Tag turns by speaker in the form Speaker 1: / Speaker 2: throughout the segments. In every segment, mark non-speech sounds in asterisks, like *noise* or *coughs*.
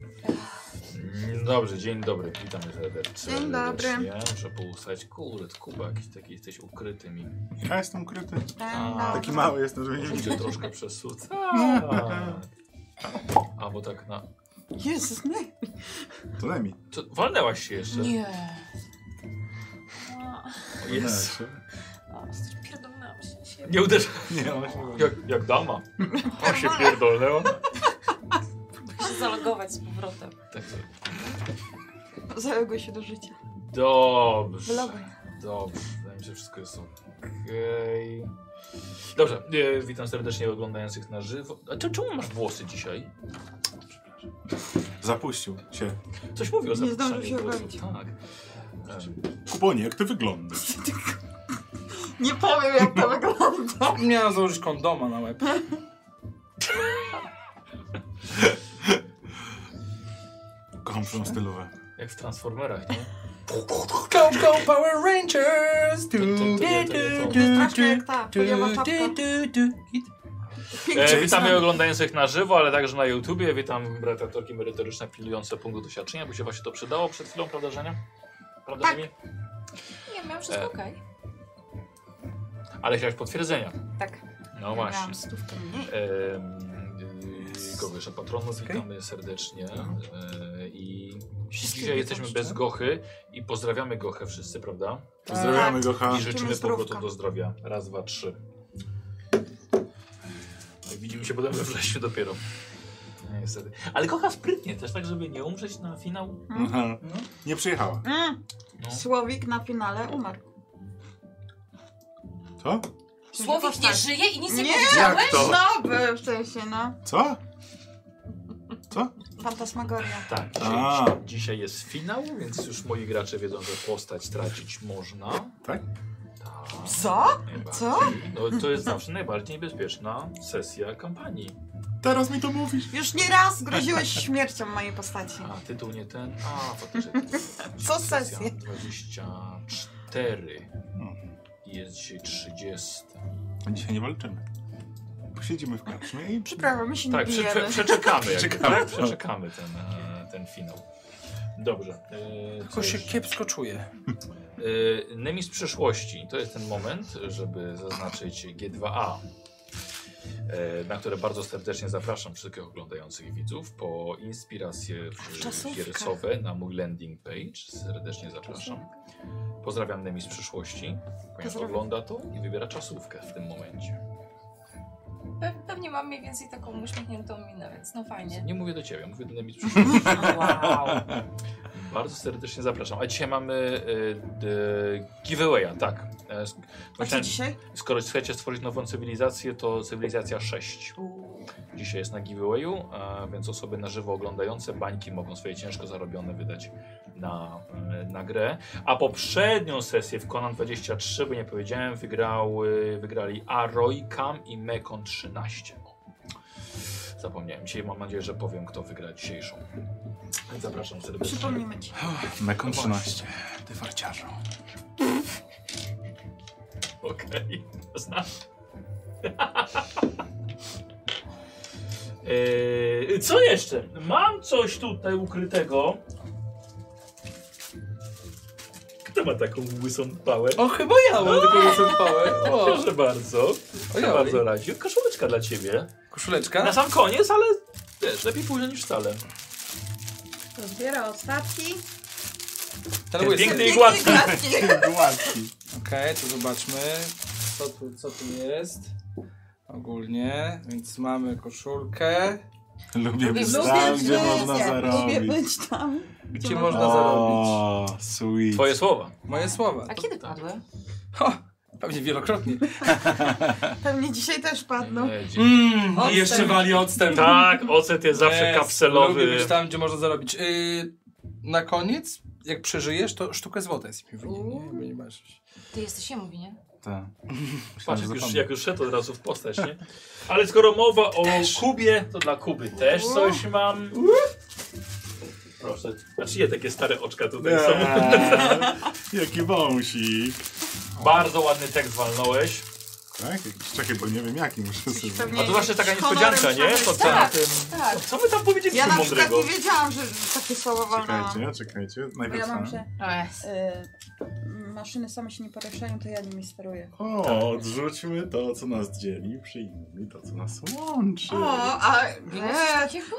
Speaker 1: Mm, Dobrze, dzień dobry, witam serdecznie.
Speaker 2: Dzień dobry.
Speaker 1: serdecznie. Muszę poustać. Kurde, Kuba, jakiś taki jesteś ukryty mi.
Speaker 3: Ja jestem ukryty.
Speaker 1: A,
Speaker 3: Taki mały jestem, że mnie
Speaker 2: *laughs*
Speaker 3: nie widzi.
Speaker 1: Cię troszkę przesuca. Albo tak na...
Speaker 2: Jezus, nie.
Speaker 3: To Lemi.
Speaker 1: Co, walnęłaś się jeszcze?
Speaker 2: Nie.
Speaker 1: O, Jezu.
Speaker 4: Pierdolnęłam No, się siebie.
Speaker 1: Nie uderz...
Speaker 3: Nie, ona się nie
Speaker 1: Jak, jak
Speaker 2: *laughs*
Speaker 1: dama. O, się pierdolnęła.
Speaker 4: Muszę zalogować z powrotem.
Speaker 1: Tak, tak.
Speaker 2: Załego się do życia.
Speaker 1: Dobrze.
Speaker 2: Wyloguj.
Speaker 1: Dobrze, wydaje mi się, że wszystko jest okej. Dobrze, e, witam serdecznie oglądających na żywo. A ty, czemu masz włosy dzisiaj?
Speaker 3: Zapuścił się.
Speaker 1: Coś mówił o
Speaker 2: Nie zdążył
Speaker 1: zapuszczaniu
Speaker 2: się
Speaker 1: włosów.
Speaker 2: obronić.
Speaker 1: Tak.
Speaker 3: Kubonie, jak ty wyglądasz?
Speaker 2: Nie
Speaker 1: *laughs*
Speaker 2: powiem jak to wygląda.
Speaker 5: Miałem założyć kondoma na łeb.
Speaker 3: Kocham tą stylowę.
Speaker 1: Jak w Transformerach,
Speaker 2: *laughs*
Speaker 1: nie?
Speaker 5: Go, go, Power Rangers!
Speaker 1: To-
Speaker 5: Du,
Speaker 1: to- to nie,
Speaker 5: du,
Speaker 1: to nie, to.
Speaker 5: du,
Speaker 2: To
Speaker 5: du,
Speaker 2: straszne jak ta
Speaker 5: du,
Speaker 2: foliowa czapka.
Speaker 5: du, du, du. Git.
Speaker 1: E,
Speaker 3: Jason.
Speaker 1: witamy oglądających na żywo, ale także na YouTubie. Witam redaktorki merytoryczne pilnujące punktu doświadczenia, bo się właśnie to przydało przed chwilą, prawda Żenia? Prawda
Speaker 2: Tak.
Speaker 1: Żemi?
Speaker 4: Nie, miałam wszystko
Speaker 1: E,
Speaker 4: okej.
Speaker 1: Ale chciałeś potwierdzenia.
Speaker 4: Tak.
Speaker 1: No właśnie.
Speaker 2: Miałam stówkę mniej.
Speaker 1: Ehm, y, Gocha jeszcze patronów
Speaker 5: Okej.
Speaker 1: witamy serdecznie.
Speaker 2: No.
Speaker 1: E, I
Speaker 5: Wszystkie
Speaker 1: dzisiaj jesteśmy
Speaker 5: witam,
Speaker 1: bez
Speaker 5: czy?
Speaker 1: Gochy i pozdrawiamy Gochę wszyscy, prawda?
Speaker 3: Pozdrawiamy
Speaker 2: Tak.
Speaker 3: go, ha.
Speaker 1: I życzymy
Speaker 2: zdrówka.
Speaker 1: powrotu do zdrowia. Raz, dwa, trzy. No i widzimy się potem we wrześniu dopiero. No, Niestety. Ale kocha sprytnie też, tak żeby nie umrzeć na finał.
Speaker 2: Mhm.
Speaker 3: Aha.
Speaker 5: No.
Speaker 3: Nie przyjechała.
Speaker 2: Mm.
Speaker 1: No.
Speaker 2: Słowik na finale umarł.
Speaker 3: Co?
Speaker 4: Słowik nie żyje i nic nie,
Speaker 2: Nie!
Speaker 3: Jak to?
Speaker 2: No, by w sensie, no.
Speaker 3: Co?
Speaker 2: Fantasmagoria.
Speaker 1: Tak,
Speaker 3: A.
Speaker 1: dzisiaj, dzisiaj jest finał, więc już moi gracze wiedzą, że postać tracić można.
Speaker 3: Tak?
Speaker 1: Tak.
Speaker 2: Co?
Speaker 1: najbardziej.
Speaker 2: Co?
Speaker 1: No, to jest zawsze najbardziej niebezpieczna sesja kampanii.
Speaker 3: Teraz mi to mówisz.
Speaker 2: Już nie raz groziłeś śmiercią mojej postaci.
Speaker 1: A, tytuł nie ten. A, faktycznie.
Speaker 2: *laughs* Co sesję?
Speaker 1: 24.
Speaker 3: Mhm.
Speaker 1: I Jest dzisiaj 30.
Speaker 3: Dzisiaj nie walczymy. Posiedzimy w karczmie i...
Speaker 2: Przepraszam, my się nie
Speaker 1: Tak, prze, prze,
Speaker 2: bijemy.
Speaker 1: przeczekamy. jakby,
Speaker 3: Przeczekamy.
Speaker 1: tak? Przeczekamy ten, e, ten finał. Dobrze. e,
Speaker 5: Tylko
Speaker 1: coś-
Speaker 5: się kiepsko czuję.
Speaker 1: E, Nemis przyszłości. To jest ten moment, żeby zaznaczyć G2A, e, na które bardzo serdecznie zapraszam wszystkich oglądających widzów po inspiracje w-
Speaker 2: czasówka.
Speaker 1: giersowe na mój landing page. Serdecznie zapraszam. Pozdrawiam Nemis przyszłości, ponieważ
Speaker 2: Pozdrawiam.
Speaker 1: ogląda to i wybiera czasówkę w tym momencie.
Speaker 4: Pe pewnie mam mniej więcej taką uśmiechniętą minę, więc no fajnie.
Speaker 1: Nie mówię do ciebie, mówię do Nemis przyszłości.
Speaker 4: Wow.
Speaker 1: Bardzo serdecznie zapraszam. A dzisiaj mamy e, d, giveawaya, tak. E, sk-
Speaker 2: A co
Speaker 1: myślałem-
Speaker 2: dzisiaj?
Speaker 1: Skoro chcecie stworzyć nową cywilizację, to cywilizacja 6. Dzisiaj jest na giveawayu, e, więc osoby na żywo oglądające bańki mogą swoje ciężko zarobione wydać na, e, na grę. A poprzednią sesję w Conan 23, bo nie powiedziałem, wygrały, wygrali Aroikam i Mekon 13. Zapomniałem. Dzisiaj mam nadzieję, że powiem, kto wygra dzisiejszą. Zapraszam serdecznie.
Speaker 2: Przypomnijmy ci.
Speaker 3: Mekon 13. Ty farciarzu.
Speaker 1: Okej, znaczy. znasz. Eee, co jeszcze? Mam coś tutaj ukrytego. Kto ma taką łysą pałę?
Speaker 5: O, chyba ja mam tylko wysąpałem. O,
Speaker 1: Proszę bardzo. Proszę
Speaker 5: Ojoj.
Speaker 1: bardzo, Radziu. Koszuleczka dla ciebie. Na
Speaker 5: koszuleczka?
Speaker 1: sam koniec, ale też lepiej późno niż wcale.
Speaker 2: Rozbiera ostatki.
Speaker 5: Ten łysy.
Speaker 1: piękny-
Speaker 5: Okej,
Speaker 1: I gładki.
Speaker 2: gładki.
Speaker 3: Gładki.
Speaker 5: to zobaczmy. Co tu, co tu jest? Ogólnie, więc mamy koszulkę.
Speaker 3: Lubię być
Speaker 4: Lubię
Speaker 3: tam,
Speaker 4: być
Speaker 3: gdzie
Speaker 4: tam,
Speaker 3: można
Speaker 2: Lubię
Speaker 3: zarobić.
Speaker 2: być tam.
Speaker 5: Gdzie
Speaker 2: O.
Speaker 5: można zarobić?
Speaker 3: O, sweet.
Speaker 1: Twoje słowa.
Speaker 5: Moje słowa.
Speaker 4: A
Speaker 2: Tak.
Speaker 4: kiedy padły?
Speaker 5: Ho, pewnie wielokrotnie.
Speaker 2: Pewnie dzisiaj też padną.
Speaker 1: Nie, E, dzięki.
Speaker 5: Mm,
Speaker 4: Odstęp.
Speaker 5: I jeszcze wali odstęp.
Speaker 1: Tak, ocet jest zawsze
Speaker 5: Jest, Lubię
Speaker 1: kapselowy.
Speaker 5: być tam, gdzie można zarobić. Yy, na koniec, jak przeżyjesz, to sztukę złota jest mi winien, nie? Bo nie masz.
Speaker 4: Ty jesteś się mówi, nie?
Speaker 3: Tak.
Speaker 1: Patrz, jak
Speaker 3: Myślałem, że
Speaker 1: już,
Speaker 3: zapomnę.
Speaker 1: jak już szedł od razu w postać, nie? Ale skoro mowa o Kubie, to dla Kuby też coś mam. Proszę. Znaczy nie, takie stare oczka tutaj są.
Speaker 3: Eee, Jaki wąsik.
Speaker 1: Bardzo ładny tekst walnąłeś.
Speaker 3: Tak? Jakiś, czekaj, bo nie wiem jaki muszę sobie...
Speaker 1: A to właśnie taka
Speaker 2: Honorem
Speaker 1: niespodzianka, nie? To,
Speaker 2: trzeba-
Speaker 1: co, na
Speaker 4: Tak.
Speaker 1: tym,
Speaker 4: Tak.
Speaker 1: co my tam powiedzieliśmy
Speaker 2: Ja na przykład
Speaker 1: mądrego?
Speaker 2: nie wiedziałam, że że takie słowa walnęłam.
Speaker 3: Czekajcie, czekajcie. Najpierw
Speaker 6: Ja mam,
Speaker 3: same.
Speaker 6: że
Speaker 2: E.
Speaker 6: y, maszyny same się nie poruszają, to ja nimi steruję.
Speaker 3: O, odrzućmy to, co nas dzieli, przyjmijmy to, co nas łączy.
Speaker 2: O, a nie,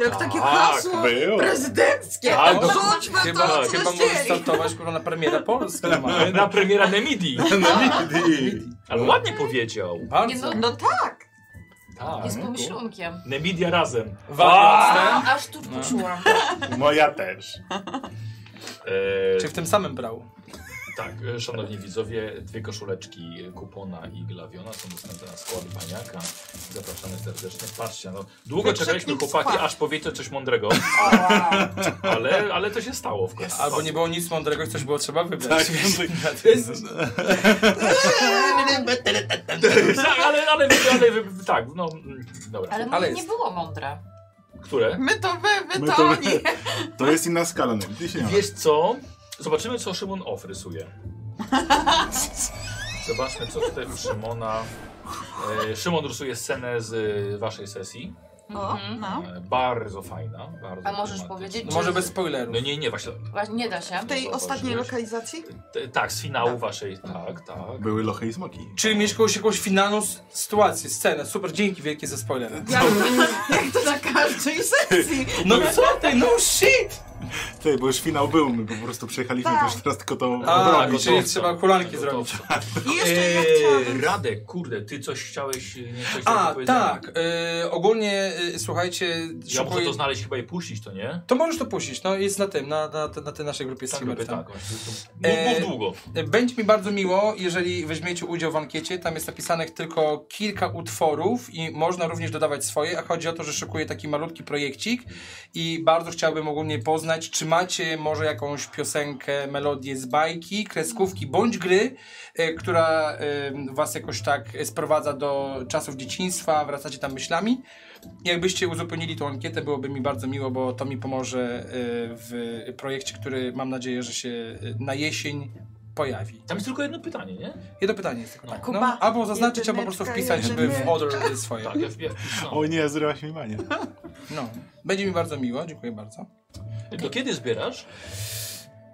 Speaker 2: jak takie
Speaker 1: Tak,
Speaker 2: hasło
Speaker 3: Było.
Speaker 2: prezydenckie.
Speaker 1: Tak, no.
Speaker 2: Rzućmy to,
Speaker 5: Chyba,
Speaker 1: tak,
Speaker 2: co
Speaker 5: chyba
Speaker 2: nas
Speaker 5: możesz
Speaker 2: dzieli.
Speaker 5: startować kurwa na premiera Polski. mamy.
Speaker 1: Na premiera Nemidi.
Speaker 3: Na midi.
Speaker 1: Ale ładnie powiedział.
Speaker 4: Nie,
Speaker 5: Bardzo.
Speaker 4: no,
Speaker 2: No tak.
Speaker 1: Tak.
Speaker 4: Jest pomyślunkiem.
Speaker 1: Nemidia razem.
Speaker 5: Ważne.
Speaker 4: Aż tu
Speaker 5: No.
Speaker 4: poczułam.
Speaker 3: Moja też.
Speaker 1: Eee,
Speaker 5: Czy w tym samym brał?
Speaker 1: Tak, e, szanowni widzowie, dwie koszuleczki e, kupona i glawiona są dostępne na skład baniaka. Zapraszamy serdecznie. Patrzcie, no, długo
Speaker 2: Wykrzyknik
Speaker 1: czekaliśmy chłopaki,
Speaker 2: skład.
Speaker 1: aż powiecie coś mądrego, ale, ale to się stało w końcu.
Speaker 5: Albo nie było nic mądrego i coś było trzeba wybrać.
Speaker 3: Tak.
Speaker 5: *laughs*
Speaker 1: tak, ale, ale, ale wy- tak, no mm, dobra.
Speaker 4: Ale
Speaker 5: Ale
Speaker 4: moje nie
Speaker 5: jest.
Speaker 4: było mądre.
Speaker 1: Które?
Speaker 2: My to wy, wy
Speaker 3: My
Speaker 2: to
Speaker 3: to
Speaker 2: oni.
Speaker 3: wy. *laughs* To jest inna skala, no. Gdzieś nie ma.
Speaker 1: Wiesz co? Zobaczymy, co Szymon off rysuje. Zobaczmy, co tutaj u Szymona. E, Szymon rysuje scenę z e, waszej sesji.
Speaker 2: O,
Speaker 4: Mhm.
Speaker 2: no.
Speaker 1: E, Bardzo fajna. Bardzo
Speaker 4: A możesz
Speaker 1: tematyczna.
Speaker 4: powiedzieć,
Speaker 5: No może bez spoilerów.
Speaker 1: No nie, nie, właśnie.
Speaker 4: Właśnie nie da się.
Speaker 2: W tej
Speaker 1: Zauważyłeś.
Speaker 2: ostatniej lokalizacji?
Speaker 1: T- tak, z finału waszej. Tak, tak.
Speaker 3: Były lochy i smoki.
Speaker 5: Czyli mieć jakąś, jakąś finalną s- sytuację, scenę. Super, dzięki wielkie za spoiler.
Speaker 2: Jak, jak to na każdej sesji.
Speaker 5: No co ty, no shit!
Speaker 3: Ty, bo już finał był, my po prostu przejechaliśmy
Speaker 2: Tak.
Speaker 3: też teraz tylko to
Speaker 5: A,
Speaker 3: odrobić.
Speaker 5: czyli trzeba kulanki
Speaker 1: Tak, Gotowca.
Speaker 5: zrobić.
Speaker 2: I jeszcze ja
Speaker 1: Eee,
Speaker 2: chciałabym...
Speaker 1: Radek, kurde, ty coś chciałeś, e, nie coś
Speaker 5: A,
Speaker 1: powiedziałem.
Speaker 5: tak. y, ogólnie, y, słuchajcie,
Speaker 1: Ja muszę
Speaker 5: szykuję-
Speaker 1: to znaleźć chyba i puścić, to nie?
Speaker 5: To możesz to puścić, no jest na tym, na, na, na tej naszej grupie
Speaker 1: Tak,
Speaker 5: streamer,
Speaker 1: tak.
Speaker 5: tam.
Speaker 1: tak. Mów,
Speaker 5: Eee,
Speaker 1: mów długo.
Speaker 5: Będzie mi bardzo miło, jeżeli weźmiecie udział w ankiecie. Tam jest napisanych tylko kilka utworów i można również dodawać swoje, a chodzi o to, że szykuję taki malutki projekcik i bardzo chciałbym ogólnie poznać, czy macie może jakąś piosenkę, melodię z bajki, kreskówki bądź gry, e, która e, was jakoś tak sprowadza do czasów dzieciństwa, wracacie tam myślami. Jakbyście uzupełnili tą ankietę, byłoby mi bardzo miło, bo to mi pomoże e, w projekcie, który mam nadzieję, że się e, na jesień pojawi.
Speaker 1: Tam jest tylko jedno pytanie, nie?
Speaker 5: Jedno pytanie jest tylko.
Speaker 1: No.
Speaker 5: Tak.
Speaker 2: Kuba,
Speaker 5: no, albo zaznaczyć, albo po prostu
Speaker 2: jedyneczka,
Speaker 5: wpisać, żeby w
Speaker 2: jedyneczka.
Speaker 5: order swoje.
Speaker 1: Tak, ja, ja wpisałem.
Speaker 3: O nie, zryłaś mi manię.
Speaker 5: No. Będzie mi bardzo miło, dziękuję bardzo.
Speaker 1: Do kiedy zbierasz?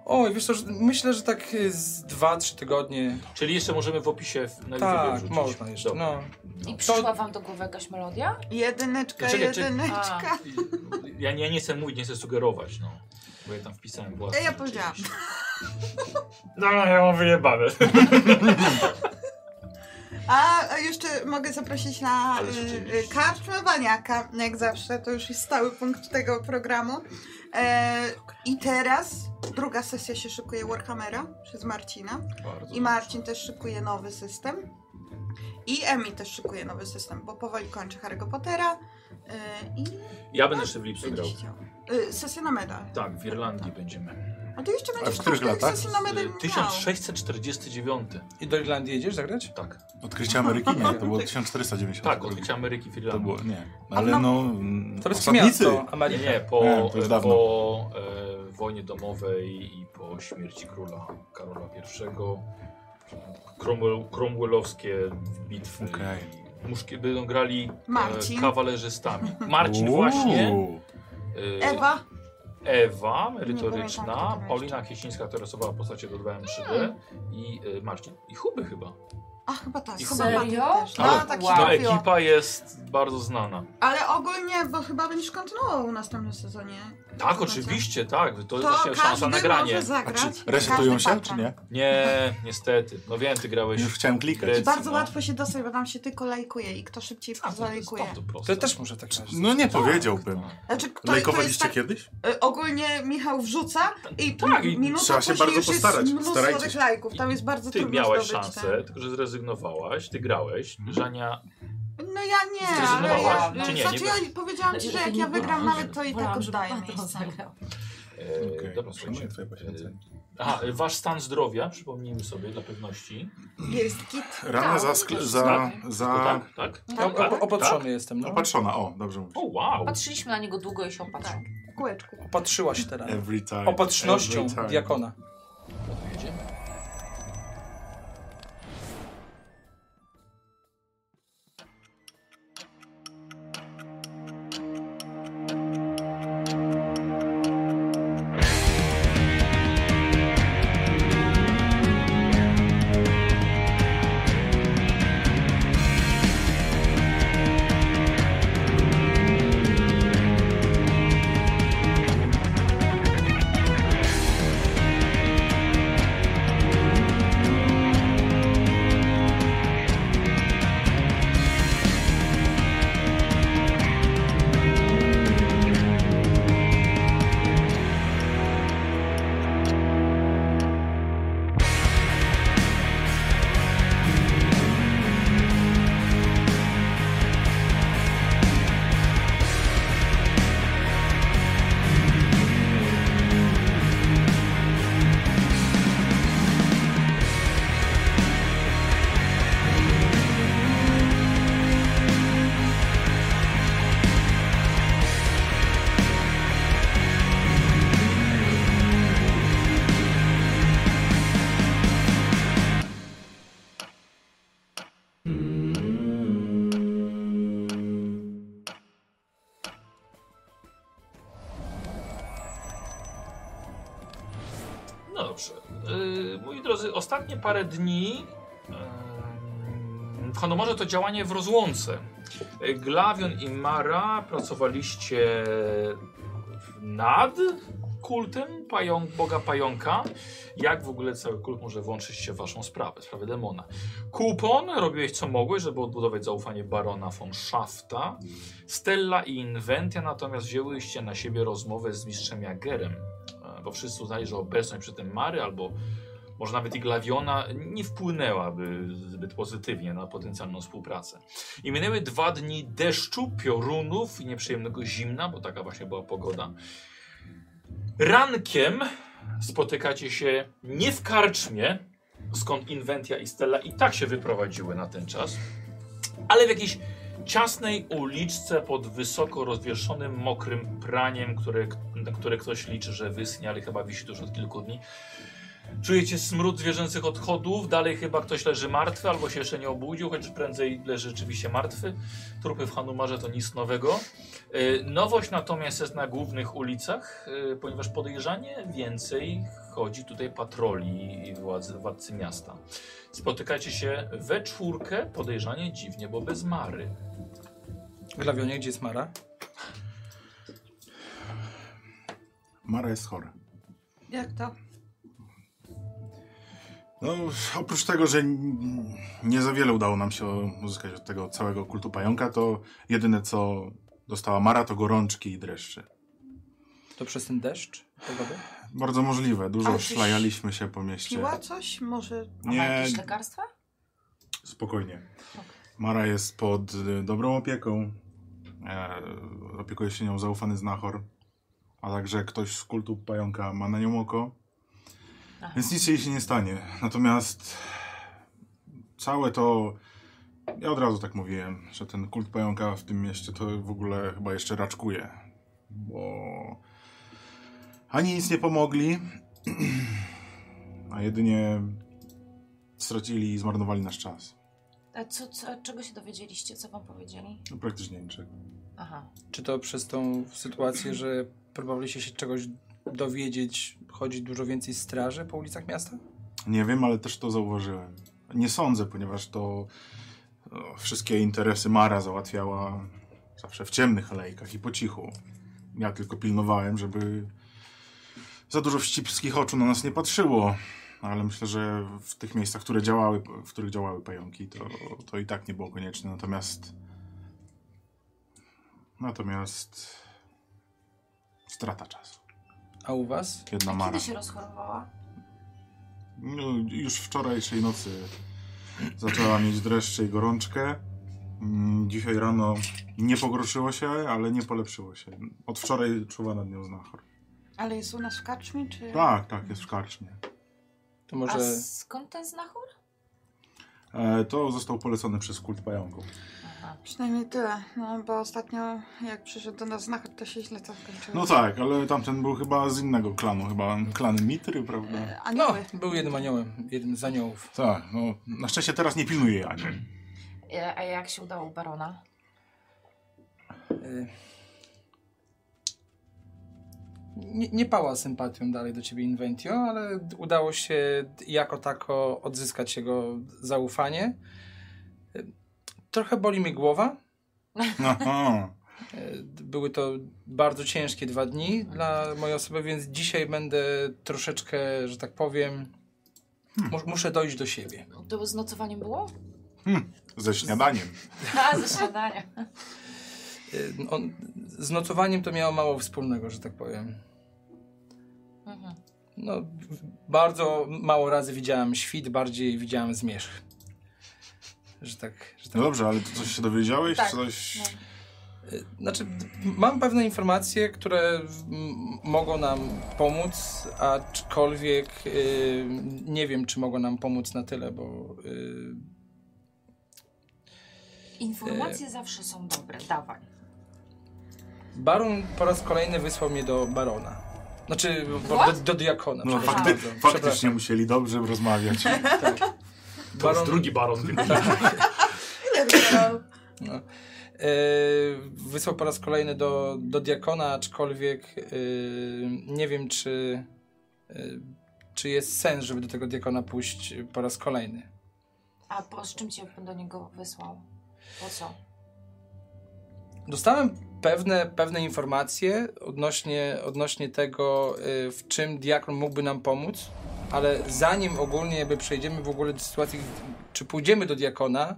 Speaker 5: Oj, wiesz co, że myślę, że tak y, z 2-3 tygodnie.
Speaker 1: Czyli jeszcze możemy w opisie w- na YouTube
Speaker 5: Tak,
Speaker 1: wrzucić.
Speaker 5: można jeszcze.
Speaker 1: Dobra.
Speaker 5: No.
Speaker 4: I przyszła wam do głowy jakaś melodia?
Speaker 2: Jedyneczka,
Speaker 1: Czekaj, czekaj.
Speaker 2: jedyneczka.
Speaker 5: no.
Speaker 1: Ja, ja nie chcę mówić, nie chcę sugerować, no. Bo ja tam wpisałem własne.
Speaker 2: Ja, ja powiedziałam.
Speaker 1: No, ja mam wyjebane.
Speaker 2: A a jeszcze mogę zaprosić na
Speaker 1: Ale
Speaker 2: y, y,
Speaker 1: rzeczywiście.
Speaker 2: karczmę Baniaka, jak zawsze, to już jest stały punkt tego programu. E, I teraz druga sesja się szykuje Warhammera przez Marcina.
Speaker 1: Bardzo
Speaker 2: I Marcin też szykuje nowy system. I Emi też szykuje nowy system, bo powoli kończy Harry'ego Pottera. y, I
Speaker 1: Ja będę jeszcze w lipcu grał.
Speaker 2: będzie się działo. Y, Sesja na medal.
Speaker 1: Tak, w Irlandii będziemy.
Speaker 2: A to jeszcze
Speaker 3: w
Speaker 2: będziesz
Speaker 3: których
Speaker 2: troszkę tych
Speaker 3: latach?
Speaker 2: sesji na medal
Speaker 1: Y,
Speaker 2: miał.
Speaker 1: 1649.
Speaker 5: I do Irlandii jedziesz zagrać?
Speaker 1: Tak.
Speaker 3: Odkrycie Ameryki? Nie, to było 1490.
Speaker 1: Tak, odkrycie Ameryki w
Speaker 3: To
Speaker 1: Irlandii.
Speaker 3: było, nie.
Speaker 2: A
Speaker 3: Ale
Speaker 2: no-
Speaker 3: no... mm,
Speaker 5: To jest
Speaker 3: osadnicy.
Speaker 5: miasto,
Speaker 1: Nie,
Speaker 5: Ameryka.
Speaker 1: nie, po,
Speaker 3: Nie, to już dawno.
Speaker 1: po e, wojnie domowej i po śmierci króla Karola I. Cromwell, Cromwellowskie bitwy.
Speaker 3: Okej.
Speaker 1: Muszki będą grali e,
Speaker 2: Marcin.
Speaker 1: kawalerzystami. Marcin
Speaker 3: Uuu.
Speaker 1: właśnie. e,
Speaker 2: Ewa.
Speaker 1: Ewa,
Speaker 2: Nie pamiętam, kto
Speaker 1: merytoryczna,
Speaker 2: tam Mm.
Speaker 1: Paulina Kieśnińska, która rysowała postacie do 2M3D i y, Marcin. I Huby chyba.
Speaker 2: A chyba tak.
Speaker 1: I
Speaker 2: Chyba
Speaker 1: chyba-
Speaker 2: Patryk
Speaker 4: Serio?
Speaker 2: też. No,
Speaker 1: Ale-
Speaker 2: tak się
Speaker 4: Wow.
Speaker 1: No
Speaker 2: trafiło.
Speaker 1: ekipa jest bardzo znana.
Speaker 2: Ale ogólnie, bo chyba będziesz kontynuował w następnym sezonie.
Speaker 1: Tak,
Speaker 2: Znaczy,
Speaker 1: oczywiście, tak. To
Speaker 2: To
Speaker 1: jest właśnie szansa na
Speaker 2: każdy
Speaker 1: granie.
Speaker 2: może
Speaker 3: A
Speaker 2: zagrać.
Speaker 3: czy resetują
Speaker 2: każdy
Speaker 3: się, czy
Speaker 2: patron.
Speaker 3: nie?
Speaker 1: Nie, niestety. No wiem, ty grałeś.
Speaker 3: Już chciałem
Speaker 1: Gry.
Speaker 3: klikać.
Speaker 2: I bardzo
Speaker 1: No.
Speaker 2: łatwo się dostać, bo tam się tylko lajkuje i kto szybciej
Speaker 1: A, to jest
Speaker 2: zalajkuje.
Speaker 1: bardzo proste.
Speaker 5: To ja też muszę tak grać.
Speaker 3: No nie powiedziałbym.
Speaker 2: Znaczy, kto, to jest
Speaker 3: Lajkowaliście
Speaker 2: tak,
Speaker 3: kiedyś?
Speaker 2: y, ogólnie Michał wrzuca i
Speaker 1: Tak, i
Speaker 2: minuta
Speaker 3: trzeba się
Speaker 2: później
Speaker 3: bardzo
Speaker 2: już jest
Speaker 3: postarać.
Speaker 2: mnóstwo
Speaker 3: Starajcie
Speaker 2: tych
Speaker 3: się.
Speaker 2: lajków. Tam jest bardzo
Speaker 1: Ty
Speaker 2: trudno
Speaker 1: miałeś
Speaker 2: zdobyć tak.
Speaker 1: szansę,
Speaker 2: ten.
Speaker 1: tylko że zrezygnowałaś, ty grałeś.
Speaker 3: Mhm.
Speaker 1: Żania,
Speaker 2: No ja nie, ale ja,
Speaker 1: Zrezygnowałaś, czy nie?
Speaker 2: znaczy
Speaker 1: Nie
Speaker 2: ja powiedziałam ci, że jak ja wygram nawet to i tak
Speaker 4: Wolałam, żeby
Speaker 2: oddaję
Speaker 4: pan to
Speaker 2: miejsce.
Speaker 4: zagrał.
Speaker 1: e,
Speaker 3: Okej,
Speaker 1: dobra,
Speaker 3: szanuję
Speaker 1: słuchajcie.
Speaker 3: twoje poświęcenie.
Speaker 1: Aha, e, wasz stan zdrowia, przypomnijmy sobie dla pewności.
Speaker 2: Jest git.
Speaker 3: Rana za... skle- za,
Speaker 1: To
Speaker 3: za...
Speaker 1: E, tak, tak.
Speaker 5: O- o- No, Opatrzony jestem, no.
Speaker 3: Opatrzona, o, dobrze mówisz.
Speaker 1: O wow.
Speaker 4: Patrzyliśmy na niego długo i się
Speaker 2: Tak.
Speaker 4: opatrzył.
Speaker 2: Kółeczku.
Speaker 5: Opatrzyłaś teraz.
Speaker 3: Every time.
Speaker 5: Opatrznością
Speaker 3: every time.
Speaker 5: diakona.
Speaker 1: Jedziemy. No dobrze. Yy, moi drodzy, ostatnie parę dni yy, Honomorze to działanie w rozłące. Yy, Glawion i Mara pracowaliście nad kultem pająk, Boga Pająka. Jak w ogóle cały kult może włączyć się w waszą sprawę, sprawę demona. Kupon, robiłeś co mogłeś, żeby odbudować zaufanie barona von Schafta. Stella i Inventia natomiast wzięłyście na siebie rozmowę z mistrzem Jagerem. E, bo wszyscy uznali, że obecność przy tym Mary albo może nawet i Glawiona nie wpłynęłaby zbyt pozytywnie na potencjalną współpracę. I minęły dwa dni deszczu, piorunów i nieprzyjemnego zimna, bo taka właśnie była pogoda. Rankiem spotykacie się nie w karczmie, skąd Inventia i Stella i tak się wyprowadziły na ten czas, ale w jakiejś ciasnej uliczce pod wysoko rozwieszonym, mokrym praniem, które, na które ktoś liczy, że wyschnie, ale chyba wisi tu już od kilku dni. Czujecie smród zwierzęcych odchodów, dalej chyba ktoś leży martwy albo się jeszcze nie obudził, chociaż prędzej leży rzeczywiście martwy. Trupy w Hanumarze to nic nowego. E, Nowość natomiast jest na głównych ulicach, e, ponieważ podejrzanie więcej chodzi tutaj patroli i władzy, władcy miasta. Spotykacie się we czwórkę, podejrzanie dziwnie, bo bez Mary.
Speaker 5: Glawionie, gdzie jest Mara?
Speaker 3: Mara jest chora.
Speaker 2: Jak to?
Speaker 3: No, oprócz tego, że n- nie za wiele udało nam się uzyskać od tego całego kultu pająka, to jedyne co dostała Mara to gorączki i dreszcze.
Speaker 5: To przez ten deszcz? Pogody?
Speaker 3: Bardzo możliwe,
Speaker 2: Ale
Speaker 3: dużo
Speaker 2: tyś
Speaker 3: szlajaliśmy się po mieście.
Speaker 2: Piła coś? Może
Speaker 4: A ma
Speaker 3: Nie,
Speaker 4: jakieś lekarstwa?
Speaker 3: spokojnie. Mara jest pod y, dobrą opieką. E, opiekuje się nią zaufany znachor, a także ktoś z kultu pająka ma na nią oko.
Speaker 4: Aha.
Speaker 3: Więc nic jej się nie stanie. Natomiast całe to. Ja od razu tak mówiłem, że ten kult pająka w tym mieście to w ogóle chyba jeszcze raczkuje. Bo ani nic nie pomogli, *clears throat* a jedynie stracili i zmarnowali nasz czas.
Speaker 4: A co, co, czego się dowiedzieliście? Co wam powiedzieli?
Speaker 3: No, praktycznie niczego.
Speaker 4: Aha.
Speaker 5: Czy to przez tą sytuację, że próbowaliście się czegoś dowiedzieć, chodzi dużo więcej straży po ulicach miasta?
Speaker 3: Nie wiem, ale też to zauważyłem. Nie sądzę, ponieważ to no, wszystkie interesy Mara załatwiała zawsze w ciemnych alejkach i po cichu. Ja tylko pilnowałem, żeby za dużo wścibskich oczu na nas nie patrzyło. Ale myślę, że w tych miejscach, które działały, w których działały pająki, to, to i tak nie było konieczne. Natomiast. Natomiast. Strata czasu.
Speaker 5: A u was?
Speaker 3: Jedna
Speaker 4: A
Speaker 3: Mara.
Speaker 4: kiedy się rozchorowała?
Speaker 3: No, już wczorajszej nocy zaczęła mieć dreszcze i gorączkę. Mm, Dzisiaj rano nie pogorszyło się, ale nie polepszyło się. Od wczoraj czuwa nad nią znachor.
Speaker 2: Ale jest u nas w karczmie, czy...
Speaker 3: Tak, tak, jest w karczmie.
Speaker 5: To
Speaker 4: A
Speaker 5: może...
Speaker 4: skąd ten znachór?
Speaker 3: E, to został polecony przez kult pająków.
Speaker 4: Aha.
Speaker 2: Przynajmniej tyle, no bo ostatnio jak przyszedł do nas znachar, to się źle tam skończyło.
Speaker 3: No tak, ale tamten był chyba z innego klanu, chyba klan Mitry, prawda?
Speaker 2: E,
Speaker 5: No, *laughs*
Speaker 2: Anioły.
Speaker 5: był jednym aniołem, jednym z aniołów.
Speaker 3: Tak, no na szczęście teraz nie pilnuje jej ani.
Speaker 4: E, A jak się udało u barona?
Speaker 5: Y, Nie, nie pała sympatią dalej do ciebie Inventio, ale udało się jako tako odzyskać jego zaufanie. Y, Trochę boli mi głowa.
Speaker 3: Aha.
Speaker 5: Y, Były to bardzo ciężkie dwa dni dla mojej osoby, więc dzisiaj będę troszeczkę, że tak powiem, mus- muszę dojść do siebie.
Speaker 4: To z nocowaniem było?
Speaker 3: Ze śniadaniem.
Speaker 4: *laughs* A, ze śniadania.
Speaker 5: Y, On, z nocowaniem to miało mało wspólnego, że tak powiem.
Speaker 4: Mhm.
Speaker 5: No, w- bardzo mało razy widziałem świt, bardziej widziałem zmierzch. Że tak. Że tak.
Speaker 3: No dobrze, ale ty coś się dowiedziałeś?
Speaker 4: Tak,
Speaker 3: Coś...
Speaker 4: no.
Speaker 5: Y, Znaczy, d- mam pewne informacje, które mm, mogą nam pomóc, aczkolwiek y, nie wiem, czy mogą nam pomóc na tyle, bo y,
Speaker 4: Informacje zawsze są dobre, dawaj.
Speaker 5: Baron po raz kolejny wysłał mnie do barona. Znaczy, do,
Speaker 4: What?
Speaker 5: do, do diakona.
Speaker 3: No
Speaker 5: przepraszam
Speaker 3: fakty,
Speaker 5: bardzo.
Speaker 3: faktycznie
Speaker 5: Przepraszam.
Speaker 3: musieli dobrze rozmawiać.
Speaker 5: Tak.
Speaker 1: To jest drugi baron. *laughs*
Speaker 5: No. E, wysłał po raz kolejny do, do diakona, aczkolwiek e, nie wiem, czy e, czy jest sens, żeby do tego diakona pójść po raz kolejny.
Speaker 4: A po, z czym cię do niego wysłał? Po co?
Speaker 5: Dostałem pewne, pewne informacje odnośnie, odnośnie tego, y, w czym diakon mógłby nam pomóc, ale zanim ogólnie jakby przejdziemy w ogóle do sytuacji, czy pójdziemy do diakona,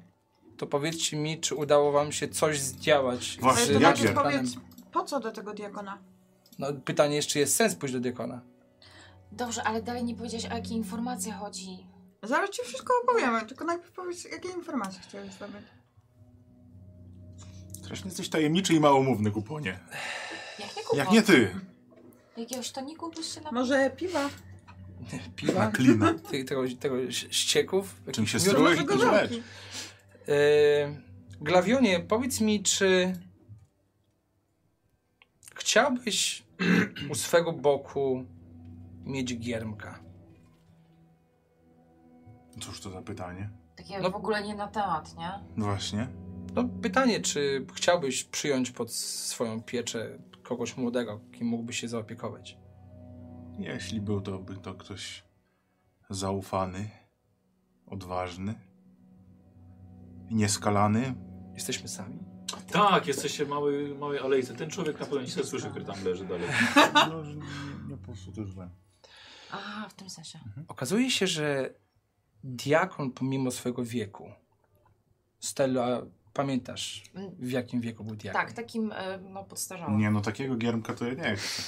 Speaker 5: to powiedzcie mi, czy udało wam się coś zdziałać.
Speaker 3: Właśnie,
Speaker 2: Ale
Speaker 5: z
Speaker 2: to najpierw
Speaker 3: jakie?
Speaker 5: diakonem.
Speaker 2: powiedz, po co do tego diakona?
Speaker 5: No, pytanie jest, czy jest sens pójść do diakona.
Speaker 4: Dobrze, ale dalej nie powiedziałeś, o jakie informacje chodzi.
Speaker 2: Zaraz ci wszystko opowiemy, tylko najpierw powiedz, jakie informacje chciałeś zdobyć.
Speaker 3: Strasznie jesteś tajemniczy i małomówny, kuponie.
Speaker 4: Jak nie kupon?
Speaker 3: Jak nie ty,
Speaker 4: Jakiegoś toniku byś się na...
Speaker 2: Może piwa?
Speaker 5: Piwa?
Speaker 3: klina.
Speaker 5: Ty- Tego, tego ś- ścieków?
Speaker 3: Czym się
Speaker 5: Jakichś miód?
Speaker 3: strułeś
Speaker 2: może
Speaker 3: i to lecz.
Speaker 2: gorzałki?
Speaker 5: Yy, Glawionie, powiedz mi, czy chciałbyś *clears throat* u swego boku mieć giermka?
Speaker 3: Cóż to za pytanie?
Speaker 4: Takie
Speaker 5: No.
Speaker 4: w ogóle nie na temat, nie?
Speaker 3: Właśnie.
Speaker 5: No, pytanie, czy chciałbyś przyjąć pod swoją pieczę kogoś młodego, kim mógłbyś się zaopiekować?
Speaker 3: Jeśli był to, by to ktoś zaufany, odważny, nieskalany.
Speaker 5: *laughs* Jesteśmy sami?
Speaker 1: Tak, jesteście w małej, małej alejce. Ten człowiek na pewno nic nie słyszy, który tam leży dalej.
Speaker 3: No, że nie, nie po prostu to źle.
Speaker 4: A, w tym sensie.
Speaker 5: Okazuje się, że diakon pomimo swojego wieku, Stella, pamiętasz
Speaker 4: Mm,
Speaker 5: w jakim wieku był diakon?
Speaker 4: Tak, takim, e, no, podstarzałym.
Speaker 3: Nie, no takiego giermka to ja nie chcę.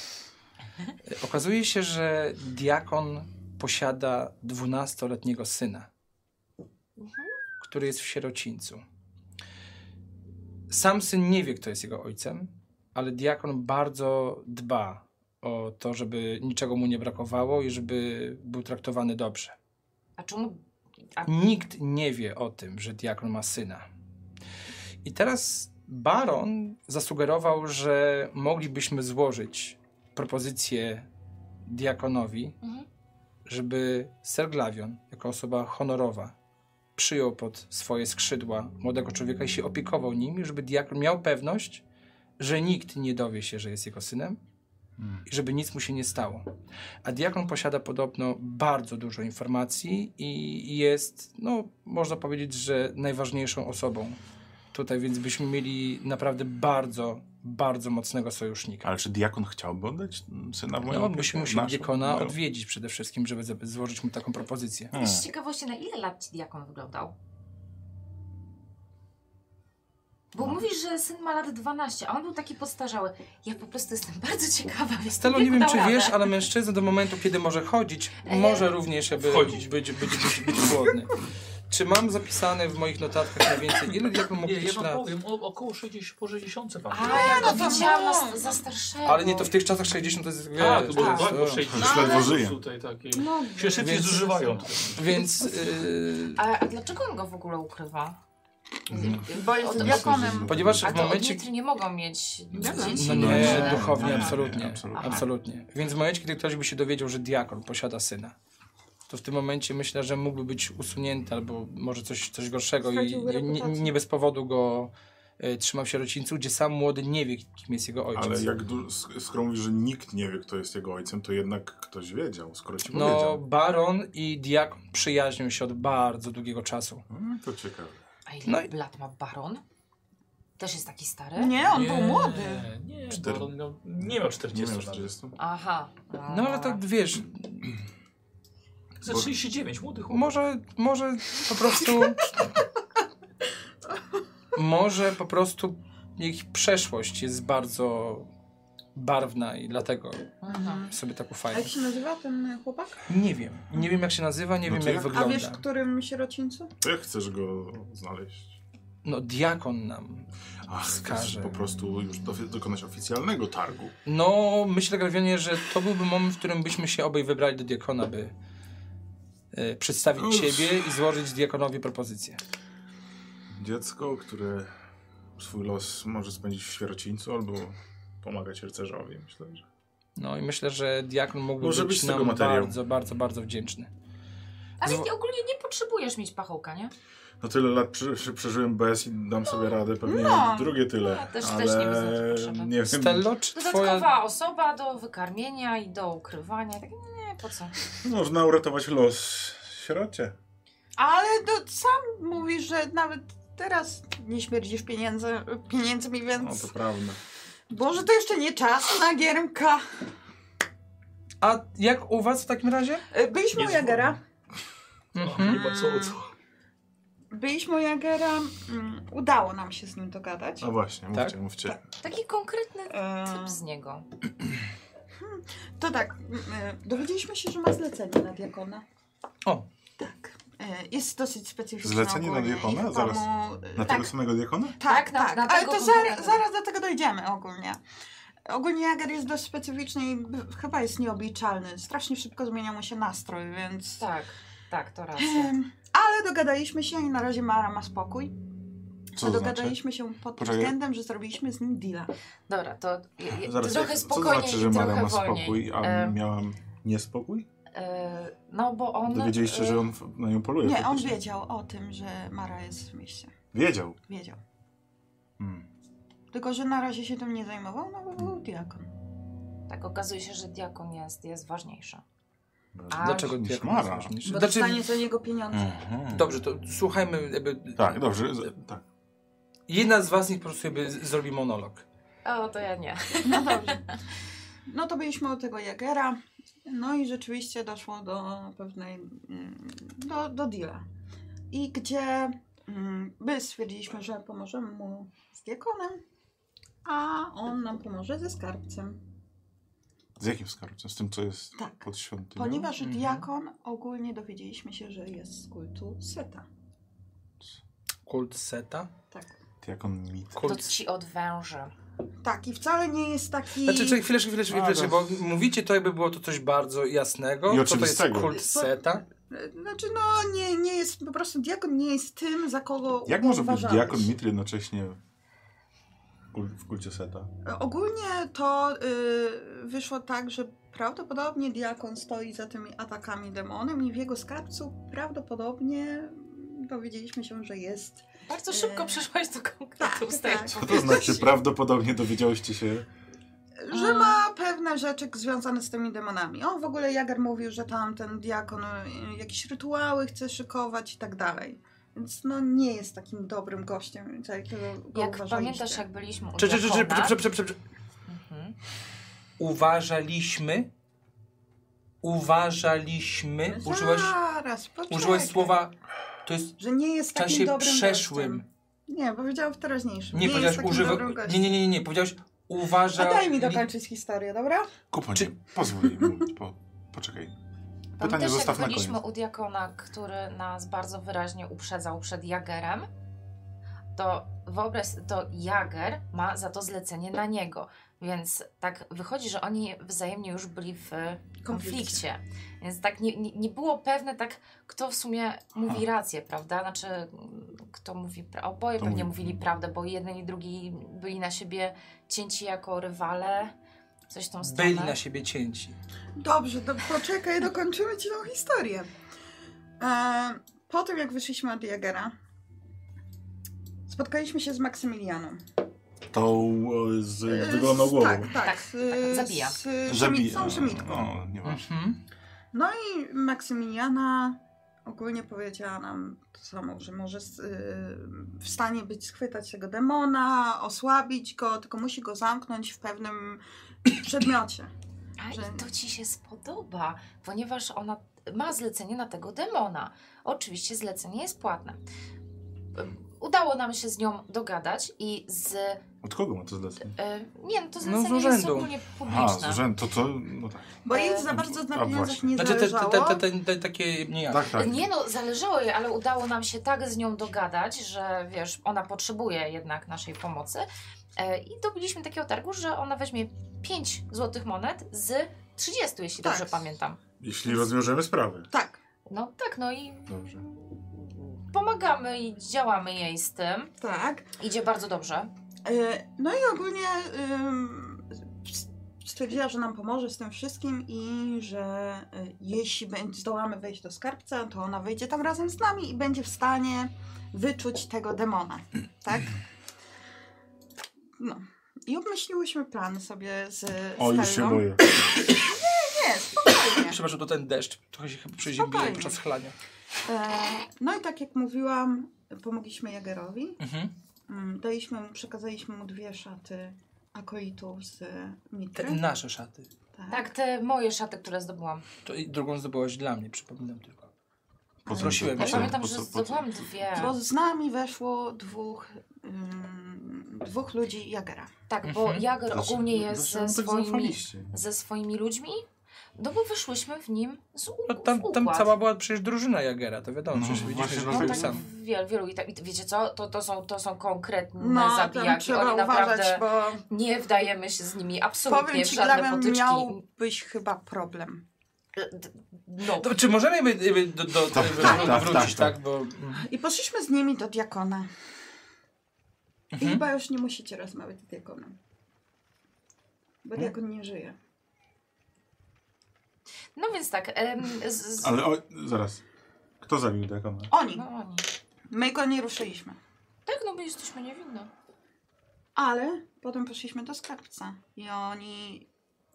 Speaker 5: Okazuje się, że diakon posiada 12-letniego syna,
Speaker 4: Mhm.
Speaker 5: który jest w sierocińcu. Sam syn nie wie, kto jest jego ojcem, ale diakon bardzo dba o to, żeby niczego mu nie brakowało i żeby był traktowany dobrze.
Speaker 4: A czemu... A,
Speaker 5: Nikt nie wie o tym, że diakon ma syna. I teraz baron zasugerował, że moglibyśmy złożyć propozycję diakonowi,
Speaker 4: mhm.
Speaker 5: żeby Ser Glavion, jako osoba honorowa, przyjął pod swoje skrzydła młodego człowieka i się opiekował nim, żeby diakon miał pewność, że nikt nie dowie się, że jest jego synem
Speaker 3: Hmm.
Speaker 5: i żeby nic mu się nie stało. A diakon posiada podobno bardzo dużo informacji i jest, no, można powiedzieć, że najważniejszą osobą tutaj, więc byśmy mieli naprawdę bardzo, bardzo mocnego sojusznika.
Speaker 3: Ale czy diakon chciałby oddać syna w moją
Speaker 5: No,
Speaker 3: opiekę?
Speaker 5: byśmy musieli
Speaker 3: Naszą? no.
Speaker 5: diakona
Speaker 3: Moją?
Speaker 5: odwiedzić przede wszystkim, żeby ze- złożyć mu taką propozycję.
Speaker 3: Hmm.
Speaker 4: Z ciekawości, na ile lat ci diakon wyglądał? Bo
Speaker 3: No.
Speaker 4: mówisz, że syn ma lat 12, a on był taki podstarzały. Ja po prostu jestem *laughs* bardzo ciekawa. jak
Speaker 5: Stelo,
Speaker 4: jak
Speaker 5: nie wiem,
Speaker 4: dał
Speaker 5: czy
Speaker 4: radę.
Speaker 5: wiesz, ale mężczyzna do momentu, kiedy może chodzić,
Speaker 4: E,
Speaker 5: może również jakby
Speaker 1: wchodzić.
Speaker 5: Być, być, być, być głodny. Czy mam zapisane w moich notatkach na więcej, ile diakon mógł
Speaker 1: Nie, ja
Speaker 5: być
Speaker 1: wam
Speaker 5: na...
Speaker 1: powiem, o, około 60, po 60 pan.
Speaker 4: A, ja
Speaker 2: no
Speaker 4: go
Speaker 2: to
Speaker 4: widziałam
Speaker 2: mąż.
Speaker 4: na, za starszego.
Speaker 5: Ale nie, to w tych czasach 60 to jest...
Speaker 1: Tak,
Speaker 5: wiesz,
Speaker 1: bo
Speaker 5: to jest-
Speaker 1: tak, bo
Speaker 5: o.
Speaker 1: 60.
Speaker 3: No, ale- Żyje.
Speaker 1: Tutaj takie.
Speaker 2: No,
Speaker 1: Się szybciej
Speaker 5: Więc-
Speaker 1: zużywają. tutaj.
Speaker 5: Więc... Yy,
Speaker 4: A, a dlaczego on go w ogóle ukrywa?
Speaker 2: Bo jest
Speaker 4: Od-
Speaker 2: diakonem.
Speaker 5: Hmm. ponieważ
Speaker 4: A
Speaker 5: w
Speaker 4: to
Speaker 5: momencie...
Speaker 4: odnitry nie mogą mieć
Speaker 2: No
Speaker 4: dzieci.
Speaker 3: No
Speaker 5: No nie,
Speaker 3: nie,
Speaker 5: duchownie,
Speaker 3: nie, nie,
Speaker 5: absolutnie. absolutnie.
Speaker 3: absolutnie.
Speaker 5: Więc w momencie, kiedy ktoś by się dowiedział, że diakon posiada syna, to w tym momencie myślę, że mógłby być usunięty albo może coś, coś gorszego i
Speaker 2: Straciłby
Speaker 5: nie, nie,
Speaker 2: reputację.
Speaker 5: nie bez powodu go y, trzymał w sierocińcu, gdzie sam młody nie wie, kim jest jego ojciec.
Speaker 3: Ale jak du- sk- skoro mówisz, że nikt nie wie, kto jest jego ojcem, to jednak ktoś wiedział, skoro ci
Speaker 5: No,
Speaker 3: powiedział.
Speaker 5: baron i diakon przyjaźnią się od bardzo długiego czasu.
Speaker 3: Mm, to ciekawe.
Speaker 4: A
Speaker 5: No
Speaker 4: ile
Speaker 5: i-
Speaker 4: lat ma baron? Też jest taki stary?
Speaker 2: Nie, on był
Speaker 1: Nie,
Speaker 2: młody.
Speaker 1: Nie,
Speaker 3: Cztery-
Speaker 1: bo on miał- nie miał
Speaker 3: Nie
Speaker 1: 40.
Speaker 3: wiem,
Speaker 1: nawet.
Speaker 3: 40?
Speaker 4: Aha.
Speaker 5: No ale to wiesz,
Speaker 1: Za 39, młody chłopak.
Speaker 5: Może, może po prostu. może po prostu ich przeszłość jest bardzo barwna i dlatego
Speaker 4: Mhm.
Speaker 5: sobie tak
Speaker 2: A
Speaker 5: ufają.
Speaker 2: jak się nazywa ten chłopak?
Speaker 5: Nie wiem. Nie wiem jak się nazywa, nie
Speaker 3: No
Speaker 5: wiem
Speaker 3: to
Speaker 5: jak
Speaker 3: jak-
Speaker 2: A
Speaker 5: wygląda.
Speaker 2: wiesz, w którym sierocińcu?
Speaker 3: To jak chcesz go znaleźć?
Speaker 5: No diakon nam.
Speaker 3: Ach, chcesz
Speaker 5: Wskażę.
Speaker 3: po prostu już do- dokonać oficjalnego targu.
Speaker 5: No myślę Grawionie, że to byłby moment, w którym byśmy się obaj wybrali do diakona, by e, przedstawić
Speaker 3: Uff.
Speaker 5: ciebie i złożyć diakonowi propozycję.
Speaker 3: Dziecko, które swój los może spędzić w sierocińcu albo pomagać rycerzowi, myślę, że...
Speaker 5: No i myślę, że diakon mógłby
Speaker 3: Może
Speaker 5: być
Speaker 3: być z tego
Speaker 5: nam
Speaker 3: materiał.
Speaker 5: bardzo, bardzo, bardzo wdzięczny. Zwo-
Speaker 7: Ale nie, ogólnie nie potrzebujesz mieć pachołka, nie?
Speaker 3: No tyle lat prze, prze- przeżyłem bez i dam sobie radę pewnie
Speaker 2: No.
Speaker 3: drugie tyle.
Speaker 7: Ja też-
Speaker 3: ale
Speaker 7: też nie wiem, co potrzeba.
Speaker 3: nie wiem.
Speaker 5: Stello, czy
Speaker 7: Dodatkowa
Speaker 5: twoja...
Speaker 7: osoba do wykarmienia i do ukrywania. Tak, nie, po co?
Speaker 3: Można uratować los sierocie.
Speaker 2: Ale to sam mówisz, że nawet teraz nie śmierdzisz pieniędzy, pieniędzmi,
Speaker 3: No
Speaker 2: więc...
Speaker 3: to prawda.
Speaker 2: Boże, to jeszcze nie czas na Giermka.
Speaker 5: A jak u was w takim razie?
Speaker 2: E, Byliśmy u
Speaker 1: Jest
Speaker 2: Jagera.
Speaker 1: Mhm. Chyba co, co?
Speaker 2: Byliśmy u Jagera. mm, Udało nam się z nim dogadać.
Speaker 3: No właśnie, mówcie,
Speaker 5: Tak?
Speaker 3: mówcie.
Speaker 7: Taki konkretny
Speaker 2: E,
Speaker 7: typ z niego.
Speaker 2: to tak, m, e, dowiedzieliśmy się, że ma zlecenie na diakona.
Speaker 5: O.
Speaker 2: Tak. E, Jest dosyć specyficzne.
Speaker 3: Zlecenie na
Speaker 2: ogólnie
Speaker 3: diakona?
Speaker 2: i w
Speaker 3: Zaraz.
Speaker 2: domu, e,
Speaker 3: Na
Speaker 2: tak,
Speaker 3: tego samego diakona?
Speaker 2: Tak,
Speaker 7: Tak, na-
Speaker 2: tak.
Speaker 7: na
Speaker 2: Ale
Speaker 7: tego
Speaker 2: to
Speaker 7: konkretnego.
Speaker 2: zaraz, zaraz do tego dojdziemy ogólnie. Ogólnie Jager jest dość specyficzny i b- chyba jest nieobliczalny. Strasznie szybko zmienia mu się nastrój, więc...
Speaker 7: Tak, tak,
Speaker 2: *laughs*
Speaker 7: to racja.
Speaker 2: Em, Ale dogadaliśmy się i na razie Mara ma spokój.
Speaker 3: Co
Speaker 2: A
Speaker 3: to znaczy?
Speaker 2: dogadaliśmy się pod
Speaker 3: Poczekaj.
Speaker 2: względem, że zrobiliśmy z nim deala.
Speaker 7: Dobra, to je, je,
Speaker 3: Zaraz,
Speaker 7: trochę
Speaker 3: co to
Speaker 7: spokojniej
Speaker 3: znaczy, że
Speaker 7: i
Speaker 3: Mara
Speaker 7: trochę
Speaker 3: ma
Speaker 7: wolniej.
Speaker 3: spokój, a
Speaker 7: E,
Speaker 3: miałam niespokój?
Speaker 7: e, no bo on...
Speaker 3: Dowiedzieliście,
Speaker 7: e,
Speaker 3: że on f- na nią poluje.
Speaker 2: Nie, on
Speaker 3: faktycznie.
Speaker 2: wiedział o tym, że Mara jest w mieście.
Speaker 3: Wiedział.
Speaker 2: Wiedział.
Speaker 3: Hmm.
Speaker 2: Tylko, że na razie się tym nie zajmował, no bo był diakon.
Speaker 7: Tak, okazuje się, że diakon jest, jest ważniejszy.
Speaker 3: Bardzo
Speaker 7: A-
Speaker 5: Dlaczego
Speaker 3: niż
Speaker 5: jak
Speaker 3: Mara.
Speaker 2: Tak. Bo
Speaker 5: Znaczy,
Speaker 2: dostanie za niego pieniądze.
Speaker 3: Mhm.
Speaker 5: dobrze, to słuchajmy, jakby...
Speaker 3: Tak, dobrze. z- Tak.
Speaker 5: Jedna z was niech po prostu jakby z- zrobi monolog.
Speaker 7: O, to ja nie.
Speaker 3: Mm.
Speaker 2: No dobrze. No to byliśmy u tego Jagera. No i rzeczywiście doszło do pewnej... mm, do, do deala. I gdzie mm, my stwierdziliśmy, że pomożemy mu z diakonem, a on nam pomoże ze skarbcem.
Speaker 3: Z jakim skarbcem? Z tym, co jest
Speaker 2: Tak.
Speaker 3: pod świątynią?
Speaker 2: Ponieważ
Speaker 5: Mhm.
Speaker 2: diakon ogólnie dowiedzieliśmy się, że jest z kultu Seta.
Speaker 5: Kult Seta?
Speaker 2: Tak.
Speaker 3: Diakon mit.
Speaker 7: To
Speaker 5: Kult...
Speaker 7: ci odwęży.
Speaker 2: Tak, i wcale nie jest taki.
Speaker 5: Znaczy, czekaj, chwileczkę, chwileczkę,
Speaker 3: A,
Speaker 5: chwileczkę, bo
Speaker 3: dobra.
Speaker 5: mówicie to jakby było to coś bardzo
Speaker 3: I
Speaker 5: jasnego. co to jest
Speaker 3: oczywistego.
Speaker 5: kult Seta?
Speaker 2: Znaczy, no nie, nie jest, po prostu diakon nie jest tym, za kogo.
Speaker 3: Jak
Speaker 2: go
Speaker 3: może być
Speaker 2: uważałeś.
Speaker 3: diakon mit jednocześnie w kul- w kulcie Seta?
Speaker 2: Ogólnie to y, wyszło tak, że prawdopodobnie diakon stoi za tymi atakami demonem i w jego skarbcu prawdopodobnie dowiedzieliśmy się, że jest.
Speaker 7: Bardzo
Speaker 2: E,
Speaker 7: szybko przeszłaś do konkretów
Speaker 2: tak,
Speaker 7: z tej
Speaker 2: tak.
Speaker 3: Co to znaczy? Prawdopodobnie dowiedziałyście się.
Speaker 2: Że
Speaker 7: Mm.
Speaker 2: ma pewne rzeczy związane z tymi demonami. On w ogóle Jager mówił, że tam ten diakon y, jakieś rytuały chce szykować i tak dalej. Więc no nie jest takim dobrym gościem, za jakiego go
Speaker 7: Jak
Speaker 2: uważaliście.
Speaker 7: pamiętasz, jak byliśmy u
Speaker 5: Czy, czy, czy, czy,
Speaker 7: diakona-
Speaker 5: czy, czy, czy, czy,
Speaker 7: Mhm.
Speaker 5: uważaliśmy? Uważaliśmy?
Speaker 2: Tak.
Speaker 5: Użyłeś,
Speaker 2: Zaraz,
Speaker 5: użyłeś
Speaker 2: poczekaj.
Speaker 5: słowa, to jest
Speaker 2: Że nie jest
Speaker 5: w
Speaker 2: takim
Speaker 5: czasie
Speaker 2: dobrym
Speaker 5: przeszłym.
Speaker 2: gościem. Nie, powiedziałam w teraźniejszym.
Speaker 5: Nie,
Speaker 2: jest
Speaker 5: powiedziałeś
Speaker 2: takim
Speaker 5: używa...
Speaker 2: dobrym gościem.
Speaker 5: Nie, nie, nie, nie, powiedziałeś
Speaker 2: A
Speaker 5: uważa...
Speaker 2: daj mi dokończyć historię, dobra?
Speaker 3: Kupoń,
Speaker 5: Czy-
Speaker 3: pozwól mi. Po, poczekaj. Pytanie
Speaker 7: Pamiętasz,
Speaker 3: zostaw
Speaker 7: jak
Speaker 3: na
Speaker 7: byliśmy
Speaker 3: koniec.
Speaker 7: u diakona, który nas bardzo wyraźnie uprzedzał przed Jagerem, to wyobraź, to Jager ma za to zlecenie na niego. Więc tak wychodzi, że oni wzajemnie już byli w e, konflikcie. Więc tak nie, nie, nie było pewne, tak kto w sumie mówi rację, prawda? Znaczy, m, kto mówi, pra- oboje
Speaker 3: To
Speaker 7: pewnie
Speaker 3: mówi-
Speaker 7: mówili prawdę, bo jeden i drugi byli na siebie cięci jako rywale, coś w tą stronę.
Speaker 5: Byli na siebie cięci.
Speaker 2: Dobrze, do, poczekaj, dokończymy ci tą historię. E, po tym, jak wyszliśmy od Jagera, spotkaliśmy się z Maksymilianą.
Speaker 3: Tą e, z
Speaker 2: E,
Speaker 3: wygloną
Speaker 2: z-
Speaker 3: głową.
Speaker 2: Tak, tak.
Speaker 7: Tak,
Speaker 2: Z,
Speaker 7: tak, zabija.
Speaker 2: Z szymit-
Speaker 3: Zabija. no,
Speaker 2: Tą szymitką.
Speaker 3: O, nie ma.
Speaker 5: Mhm.
Speaker 2: No i Maksymiliana ogólnie powiedziała nam to samo, że może s- y, w stanie być schwytać tego demona, osłabić go, tylko musi go zamknąć w pewnym przedmiocie.
Speaker 7: A
Speaker 2: że-
Speaker 7: i to ci się spodoba, ponieważ ona ma zlecenie na tego demona. Oczywiście zlecenie jest płatne. Ym, Udało nam się z nią dogadać i z. y,
Speaker 3: Od kogo ma to zlecenie?
Speaker 7: nie, no to
Speaker 5: z
Speaker 7: zlecenie jest
Speaker 5: urzędu.
Speaker 7: ogólnie
Speaker 3: Aha, z
Speaker 7: publiczne.
Speaker 3: urzędu, to to, no tak.
Speaker 2: Bo jej
Speaker 7: E,
Speaker 2: za bardzo
Speaker 3: a
Speaker 2: na pieniądzach
Speaker 3: właśnie.
Speaker 2: nie
Speaker 5: Znaczy te, te,
Speaker 2: zależało.
Speaker 5: te, te, te, te takie niejaki.
Speaker 3: Tak, tak.
Speaker 7: Nie no, zależało jej, ale udało nam się tak z nią dogadać, że wiesz, ona potrzebuje jednak naszej pomocy. E, I dobiliśmy takiego targu, że ona weźmie 5 złotych monet z 30, jeśli
Speaker 2: Tak.
Speaker 7: dobrze pamiętam.
Speaker 3: Jeśli rozwiążemy sprawę.
Speaker 2: Tak,
Speaker 7: No tak, no i
Speaker 3: Dobrze.
Speaker 7: pomagamy i działamy jej z tym.
Speaker 2: tak.
Speaker 7: Idzie bardzo dobrze.
Speaker 2: E, No i ogólnie ym, s- stwierdziła, że nam pomoże z tym wszystkim i że y, jeśli bę- zdołamy wejść do skarbca, to ona wyjdzie tam razem z nami i będzie w stanie wyczuć tego demona, tak? No. I obmyśliłyśmy plan sobie z
Speaker 3: O, już się
Speaker 2: Stellą.
Speaker 3: boję.
Speaker 2: Nie, spokojnie.
Speaker 5: Przepraszam, to ten deszcz. Trochę się chyba przeziębiłem
Speaker 2: Spokojnie.
Speaker 5: podczas chlania.
Speaker 2: E, no i tak jak mówiłam, pomogliśmy Jagerowi.
Speaker 5: Mhm.
Speaker 2: Mm, Daliśmy mu, przekazaliśmy mu dwie szaty akolitów z
Speaker 5: Te
Speaker 3: No.
Speaker 2: Mitry.
Speaker 5: nasze szaty.
Speaker 7: Tak, te moje szaty, które zdobyłam.
Speaker 5: To i drugą zdobyłaś dla mnie, przypominam tylko.
Speaker 3: Po co-
Speaker 5: Prosiłem
Speaker 3: po
Speaker 7: Ja
Speaker 5: cię.
Speaker 3: co-
Speaker 7: pamiętam,
Speaker 3: po
Speaker 7: że
Speaker 3: co- po co-
Speaker 7: zdobyłam dwie.
Speaker 2: Bo z nami weszło dwóch, ym, dwóch ludzi Jagera.
Speaker 7: Tak, bo
Speaker 5: Mhm.
Speaker 7: Jager
Speaker 3: Dlaczego-
Speaker 7: ogólnie jest
Speaker 3: dlaczego
Speaker 7: ze
Speaker 3: mu tak
Speaker 7: swoimi,
Speaker 3: zaufaliście?
Speaker 7: ze swoimi ludźmi. No bo wyszłyśmy w nim z u-
Speaker 5: No,
Speaker 7: w
Speaker 5: tam, tam
Speaker 7: układ.
Speaker 5: cała była przecież drużyna Jagera, to wiadomo,
Speaker 3: No,
Speaker 5: przecież widzieliśmy,
Speaker 3: właśnie
Speaker 5: że
Speaker 7: No
Speaker 5: był
Speaker 3: dlatego-
Speaker 7: tak
Speaker 5: sam.
Speaker 7: wielu, wielu i tak, i wiecie co, to, to, są, to są konkretne
Speaker 2: No, tam
Speaker 7: zabijaki,
Speaker 2: trzeba
Speaker 7: oni
Speaker 2: uważać,
Speaker 7: naprawdę
Speaker 2: bo
Speaker 7: nie wdajemy się z nimi absolutnie
Speaker 2: powiem
Speaker 7: w
Speaker 2: ci,
Speaker 7: żadne
Speaker 2: Glamem,
Speaker 7: potyczki.
Speaker 2: miałbyś chyba problem.
Speaker 7: No,
Speaker 5: To, czy możemy jakby, jakby do, do,
Speaker 3: Tak,
Speaker 5: jakby
Speaker 3: tak,
Speaker 5: wró-
Speaker 3: tak,
Speaker 5: wrócić,
Speaker 3: tak,
Speaker 5: tak? Bo...
Speaker 2: I poszliśmy z nimi do diakona. I
Speaker 5: Mhm.
Speaker 2: chyba już nie musicie rozmawiać z diakonem. Bo
Speaker 3: Mhm.
Speaker 2: diakon nie żyje.
Speaker 7: no więc tak, em, z, z,
Speaker 3: Ale o, zaraz. Kto zabił dekona?
Speaker 2: Oni.
Speaker 7: no oni.
Speaker 2: My go nie ruszyliśmy.
Speaker 7: Tak, no my jesteśmy niewinne.
Speaker 2: Ale potem poszliśmy do skarbca. I oni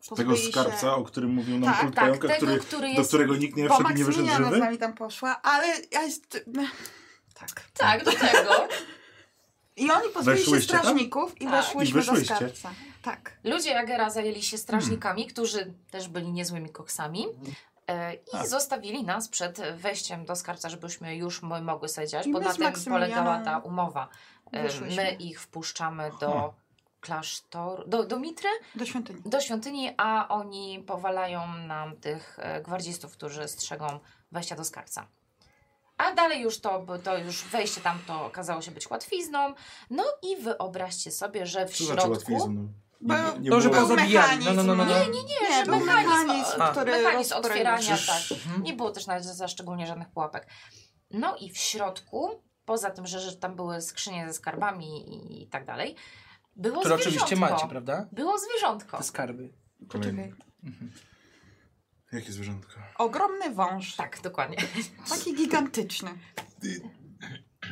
Speaker 3: Tego
Speaker 2: pozbyli się-
Speaker 3: skarbca, o którym mówił nam
Speaker 2: Tak,
Speaker 3: kult
Speaker 7: tak,
Speaker 3: pająka,
Speaker 7: tego,
Speaker 3: który,
Speaker 7: który
Speaker 3: do
Speaker 7: jest...
Speaker 3: którego nikt nie
Speaker 2: Bo
Speaker 3: wszedł i nie wyszedł
Speaker 2: Maksymiliana z
Speaker 3: żywy?
Speaker 2: nami tam poszła, ale ja jest... *laughs* Tak.
Speaker 7: Tak, do
Speaker 3: *laughs*
Speaker 7: tego.
Speaker 2: I oni pozbyli się
Speaker 3: Weszłyście tam?
Speaker 2: strażników i
Speaker 7: Tak.
Speaker 2: weszłyśmy
Speaker 3: I
Speaker 2: do
Speaker 3: weszłyście.
Speaker 2: skarbca. Tak.
Speaker 7: Ludzie Jagera zajęli się strażnikami,
Speaker 3: Hmm.
Speaker 7: którzy też byli niezłymi koksami. e, I
Speaker 3: Tak.
Speaker 7: zostawili nas przed wejściem do skarbca, żebyśmy już mo- mogły siedzieć,
Speaker 2: I
Speaker 7: bo
Speaker 2: my
Speaker 7: na
Speaker 2: z
Speaker 7: tym
Speaker 2: Maksymilianem
Speaker 7: polegała ta umowa. E,
Speaker 2: wyszłyśmy.
Speaker 7: My ich wpuszczamy
Speaker 3: Hmm.
Speaker 7: do klasztoru, do, do Mitry,
Speaker 2: Do świątyni.
Speaker 7: do świątyni, a oni powalają nam tych e, gwardzistów, którzy strzegą wejścia do skarbca. A dalej już to, to już wejście tam to okazało się być łatwizną. No i wyobraźcie sobie, że w
Speaker 3: Co znaczy
Speaker 7: środku...
Speaker 3: łatwizną? Nie,
Speaker 2: Bo-
Speaker 3: nie, nie
Speaker 5: To, że
Speaker 3: było...
Speaker 5: go zabijali. No, no,
Speaker 2: mechanizm.
Speaker 5: no, no, no.
Speaker 2: Nie,
Speaker 7: Nie, że
Speaker 2: był mechanizm,
Speaker 7: mechanizm,
Speaker 2: który
Speaker 7: mechanizm
Speaker 2: rozprył.
Speaker 7: otwierania,
Speaker 5: Przecież-
Speaker 7: tak.
Speaker 5: Mhm.
Speaker 7: Nie było też nawet za szczególnie żadnych pułapek. No i w środku, poza tym, że, że tam były skrzynie ze skarbami i, i tak dalej, było
Speaker 5: Które
Speaker 7: zwierzątko.
Speaker 5: oczywiście macie, prawda?
Speaker 7: Było zwierzątko.
Speaker 2: Tak.
Speaker 5: Te skarby.
Speaker 3: Kolejny.
Speaker 5: Mhm.
Speaker 3: Jakie zwierzątko?
Speaker 2: Ogromny wąż.
Speaker 7: Tak, dokładnie.
Speaker 2: Taki gigantyczny.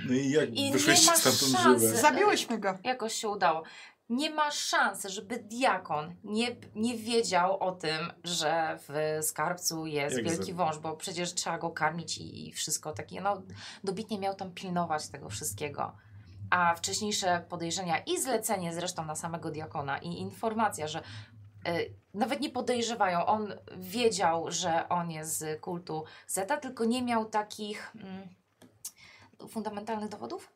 Speaker 3: No i jak
Speaker 7: I nie
Speaker 3: wyszłyście
Speaker 7: ma
Speaker 3: stamtąd
Speaker 7: szansy.
Speaker 3: żywe?
Speaker 2: Zabiłyśmy go.
Speaker 7: Jakoś się udało. Nie ma szansy, żeby diakon nie, nie wiedział o tym, że w skarbcu jest
Speaker 3: Jak
Speaker 7: wielki
Speaker 3: zabił?
Speaker 7: wąż, bo przecież trzeba go karmić i, i wszystko takie. No, dobitnie miał tam pilnować tego wszystkiego. A wcześniejsze podejrzenia i zlecenie zresztą na samego diakona i informacja, że y, nawet nie podejrzewają, on wiedział, że on jest z kultu Zeta, tylko nie miał takich mm, fundamentalnych dowodów,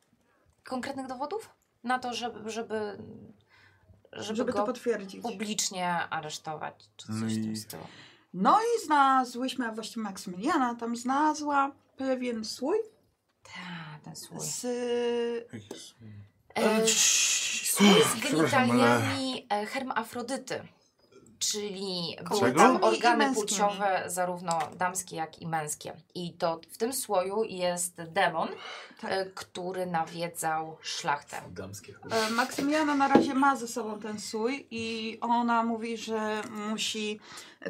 Speaker 7: konkretnych dowodów na to, żeby, żeby, żeby,
Speaker 2: Żeby,
Speaker 7: go
Speaker 2: to potwierdzić.
Speaker 7: publicznie aresztować, czy coś
Speaker 3: No
Speaker 7: w
Speaker 3: i-
Speaker 7: tym stylu.
Speaker 2: No i znalazłyśmy, a właściwie Maksymiliana tam znalazła pewien słój
Speaker 7: Ta, Tak, ten słój.
Speaker 2: z...
Speaker 7: E,
Speaker 5: Ech,
Speaker 7: słój z
Speaker 3: przepraszam,
Speaker 7: genitaliami e, hermafrodyty. Czyli były
Speaker 3: Czego?
Speaker 7: tam
Speaker 2: Kobietami i
Speaker 7: organy
Speaker 2: męskimi.
Speaker 7: płciowe, zarówno damskie, jak i męskie. I to w tym słoju jest demon,
Speaker 2: Tak.
Speaker 7: e, który nawiedzał szlachtę.
Speaker 1: Damskie.
Speaker 2: E, Maksymiliana na razie ma ze sobą ten sój i ona mówi, że musi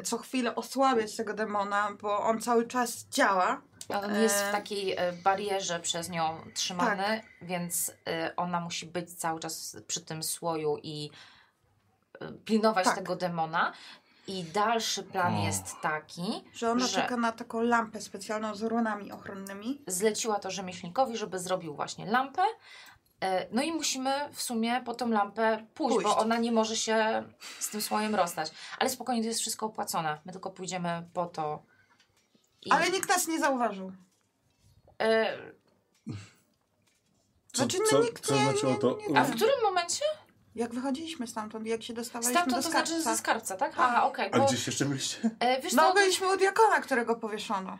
Speaker 2: co chwilę osłabiać tego demona, bo on cały czas działa.
Speaker 7: On jest w
Speaker 2: E, Tak.
Speaker 7: takiej e, barierze przez nią trzymany, więc e, ona musi być cały czas przy tym słoju i e, pilnować
Speaker 2: Tak.
Speaker 7: tego demona. I dalszy plan
Speaker 3: O.
Speaker 7: jest taki,
Speaker 2: Że ona
Speaker 7: Że-
Speaker 2: czeka na taką lampę specjalną z runami ochronnymi.
Speaker 7: zleciła to rzemieślnikowi, żeby zrobił właśnie lampę. E, No i musimy w sumie po tą lampę pójść,
Speaker 2: Pójść.
Speaker 7: bo ona nie może się z tym słojem rozstać. Ale spokojnie, to jest wszystko opłacone. My tylko pójdziemy po to. I,
Speaker 2: Ale nikt nas nie zauważył.
Speaker 7: e,
Speaker 3: Co,
Speaker 2: Znaczy, no
Speaker 3: co,
Speaker 2: nikt
Speaker 3: co
Speaker 2: nie-
Speaker 3: znaczyło
Speaker 2: nie-
Speaker 3: to?
Speaker 7: a w którym momencie?
Speaker 2: Jak wychodziliśmy stamtąd, jak się dostawaliśmy
Speaker 7: Stamtąd
Speaker 2: do
Speaker 7: to
Speaker 2: skarbca.
Speaker 7: znaczy ze skarbca, tak? Aha, okej.
Speaker 3: A
Speaker 7: bo-
Speaker 3: gdzieś jeszcze byliście?
Speaker 7: E, wiesz
Speaker 2: No
Speaker 7: co,
Speaker 2: byliśmy u diakona, którego powieszono.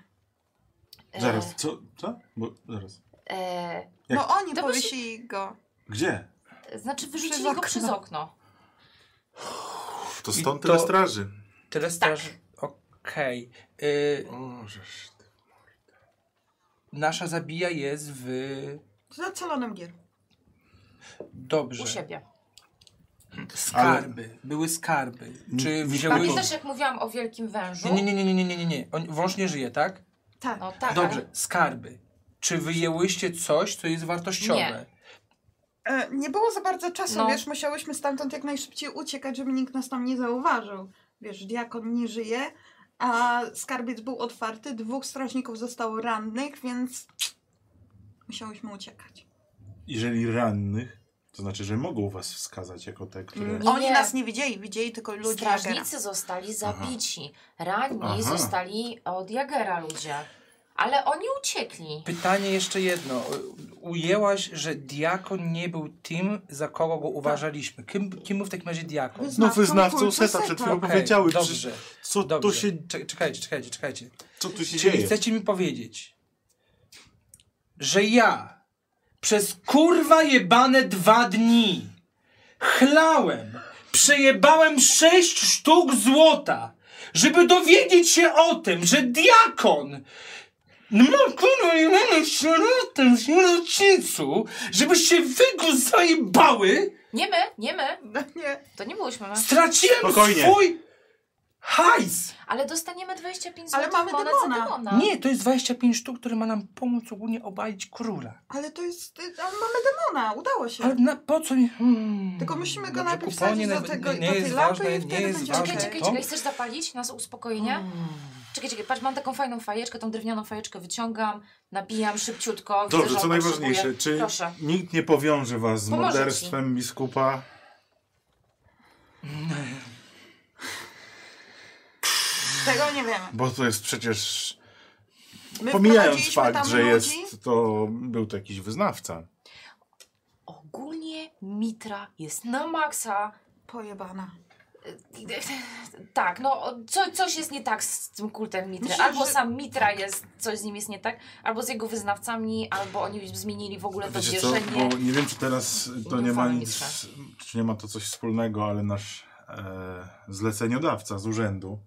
Speaker 7: e,
Speaker 3: Zaraz, co? Co? Bo, zaraz.
Speaker 7: E,
Speaker 3: Jak-
Speaker 2: No oni
Speaker 7: To by się-
Speaker 2: powiesili go.
Speaker 3: Gdzie?
Speaker 7: znaczy wyrzucili
Speaker 2: Przez
Speaker 7: go
Speaker 2: okno.
Speaker 7: przez okno.
Speaker 3: To
Speaker 5: I
Speaker 3: stąd
Speaker 5: to-
Speaker 3: tyle straży.
Speaker 2: tak.
Speaker 5: Tyle straż. Okej. Y,
Speaker 3: O, żeż ty.
Speaker 5: nasza zabija jest w...
Speaker 2: Z ocalonym gier.
Speaker 5: Dobrze.
Speaker 7: U siebie.
Speaker 5: Skarby. Były skarby. Czy wzięły...
Speaker 7: Pamiętasz, jak mówiłam o wielkim wężu?
Speaker 5: Nie, nie, nie, nie, nie, nie, nie, nie. On, wąż nie żyje, tak?
Speaker 2: Tak.
Speaker 7: No tak.
Speaker 5: Dobrze, skarby. Czy wyjęłyście coś, co jest wartościowe?
Speaker 7: Nie.
Speaker 2: E, nie było za bardzo czasu,
Speaker 7: No.
Speaker 2: wiesz, musiałyśmy stamtąd jak najszybciej uciekać, żeby nikt nas tam nie zauważył. Wiesz, diakon nie żyje, a skarbiec był otwarty, dwóch strażników zostało rannych, więc musiałyśmy uciekać.
Speaker 3: Jeżeli rannych, to znaczy, że mogą was wskazać jako te, które...
Speaker 7: Mm.
Speaker 2: Oni
Speaker 7: Nie.
Speaker 2: nas nie widzieli, widzieli tylko
Speaker 7: Ale
Speaker 2: ludzi. Jagera.
Speaker 7: strażnicy zostali zabici. Ranni
Speaker 3: Aha.
Speaker 7: zostali od Jagera ludzie. Ale oni uciekli.
Speaker 5: Pytanie jeszcze jedno. Ujęłaś, że diakon nie był tym, za kogo
Speaker 7: Tak.
Speaker 5: go uważaliśmy. Kim, kim był w takim razie diakon?
Speaker 3: No
Speaker 2: Wyznawcą
Speaker 3: wyznawcą
Speaker 2: kultu
Speaker 3: seta
Speaker 2: Seta.
Speaker 3: przed chwilą
Speaker 5: Okej,
Speaker 3: powiedziały.
Speaker 5: Dobrze,
Speaker 3: Dobrze. Co
Speaker 5: dobrze.
Speaker 3: tu się,
Speaker 5: Czek- Czekajcie, czekajcie, czekajcie.
Speaker 3: co tu się
Speaker 5: Czyli
Speaker 3: dzieje?
Speaker 5: chcecie mi powiedzieć, że ja przez kurwa jebane dwa dni chlałem, przejebałem sześć sztuk złota, żeby dowiedzieć się o tym, że diakon no kurwa, nie mamy w środku, w środku, żeby się wygu zajebały,
Speaker 7: Nie my, nie my.
Speaker 2: No nie.
Speaker 7: To nie byłyśmy my.
Speaker 5: straciłem
Speaker 3: Spokojnie.
Speaker 5: swój hajs.
Speaker 7: Ale dostaniemy 25
Speaker 2: Ale
Speaker 7: zł
Speaker 2: mamy
Speaker 7: monet
Speaker 2: demona.
Speaker 7: za demona.
Speaker 5: Nie, to jest 25 sztuk, które ma nam pomóc ogólnie obalić króla.
Speaker 2: Ale to jest. y, Ale mamy demona, udało się.
Speaker 5: Ale na, po co mi... Hmm.
Speaker 2: Tylko musimy go
Speaker 5: Dobrze,
Speaker 2: najpierw
Speaker 5: kuponie
Speaker 2: wsadzić do
Speaker 5: nawet
Speaker 2: tego-
Speaker 5: nie
Speaker 2: do tej
Speaker 5: jest
Speaker 2: lampy
Speaker 5: ważne,
Speaker 2: i
Speaker 5: nie
Speaker 2: wtedy Hmm.
Speaker 5: jest
Speaker 2: będzie
Speaker 5: ważne
Speaker 7: Czekaj, czekaj,
Speaker 5: to.
Speaker 7: czekaj. Chcesz zapalić nas uspokojenie? Czekaj, czekaj. Patrz, mam taką fajną fajeczkę, tą drewnianą fajeczkę wyciągam, nabijam szybciutko. Widzę,
Speaker 3: Dobrze,
Speaker 7: że
Speaker 3: co
Speaker 7: on
Speaker 3: najważniejsze,
Speaker 7: potrzebuje.
Speaker 3: czy
Speaker 7: Proszę.
Speaker 3: nikt nie powiąże was z
Speaker 7: Pomoże ci.
Speaker 3: morderstwem biskupa?
Speaker 2: Tego nie wiemy.
Speaker 3: Bo to jest przecież...
Speaker 2: My
Speaker 3: Pomijając
Speaker 2: wprowadziliśmy
Speaker 3: fakt,
Speaker 2: tam
Speaker 3: że
Speaker 2: ludzi.
Speaker 3: jest to... Był to jakiś wyznawca.
Speaker 7: Ogólnie Mitra jest na maksa.
Speaker 2: Pojebana.
Speaker 7: Tak, no co, coś jest nie tak z tym kultem Mitry.
Speaker 2: Myślę,
Speaker 7: albo
Speaker 2: że-
Speaker 7: sam Mitra jest, coś z nim jest nie tak, albo z jego wyznawcami, albo oni zmienili w ogóle No to
Speaker 3: Wiecie co,
Speaker 7: wierzenie.
Speaker 3: bo nie wiem, czy teraz to nie ma
Speaker 7: Ufamy
Speaker 3: nic... Czy nie ma to coś wspólnego, ale nasz e, zleceniodawca z urzędu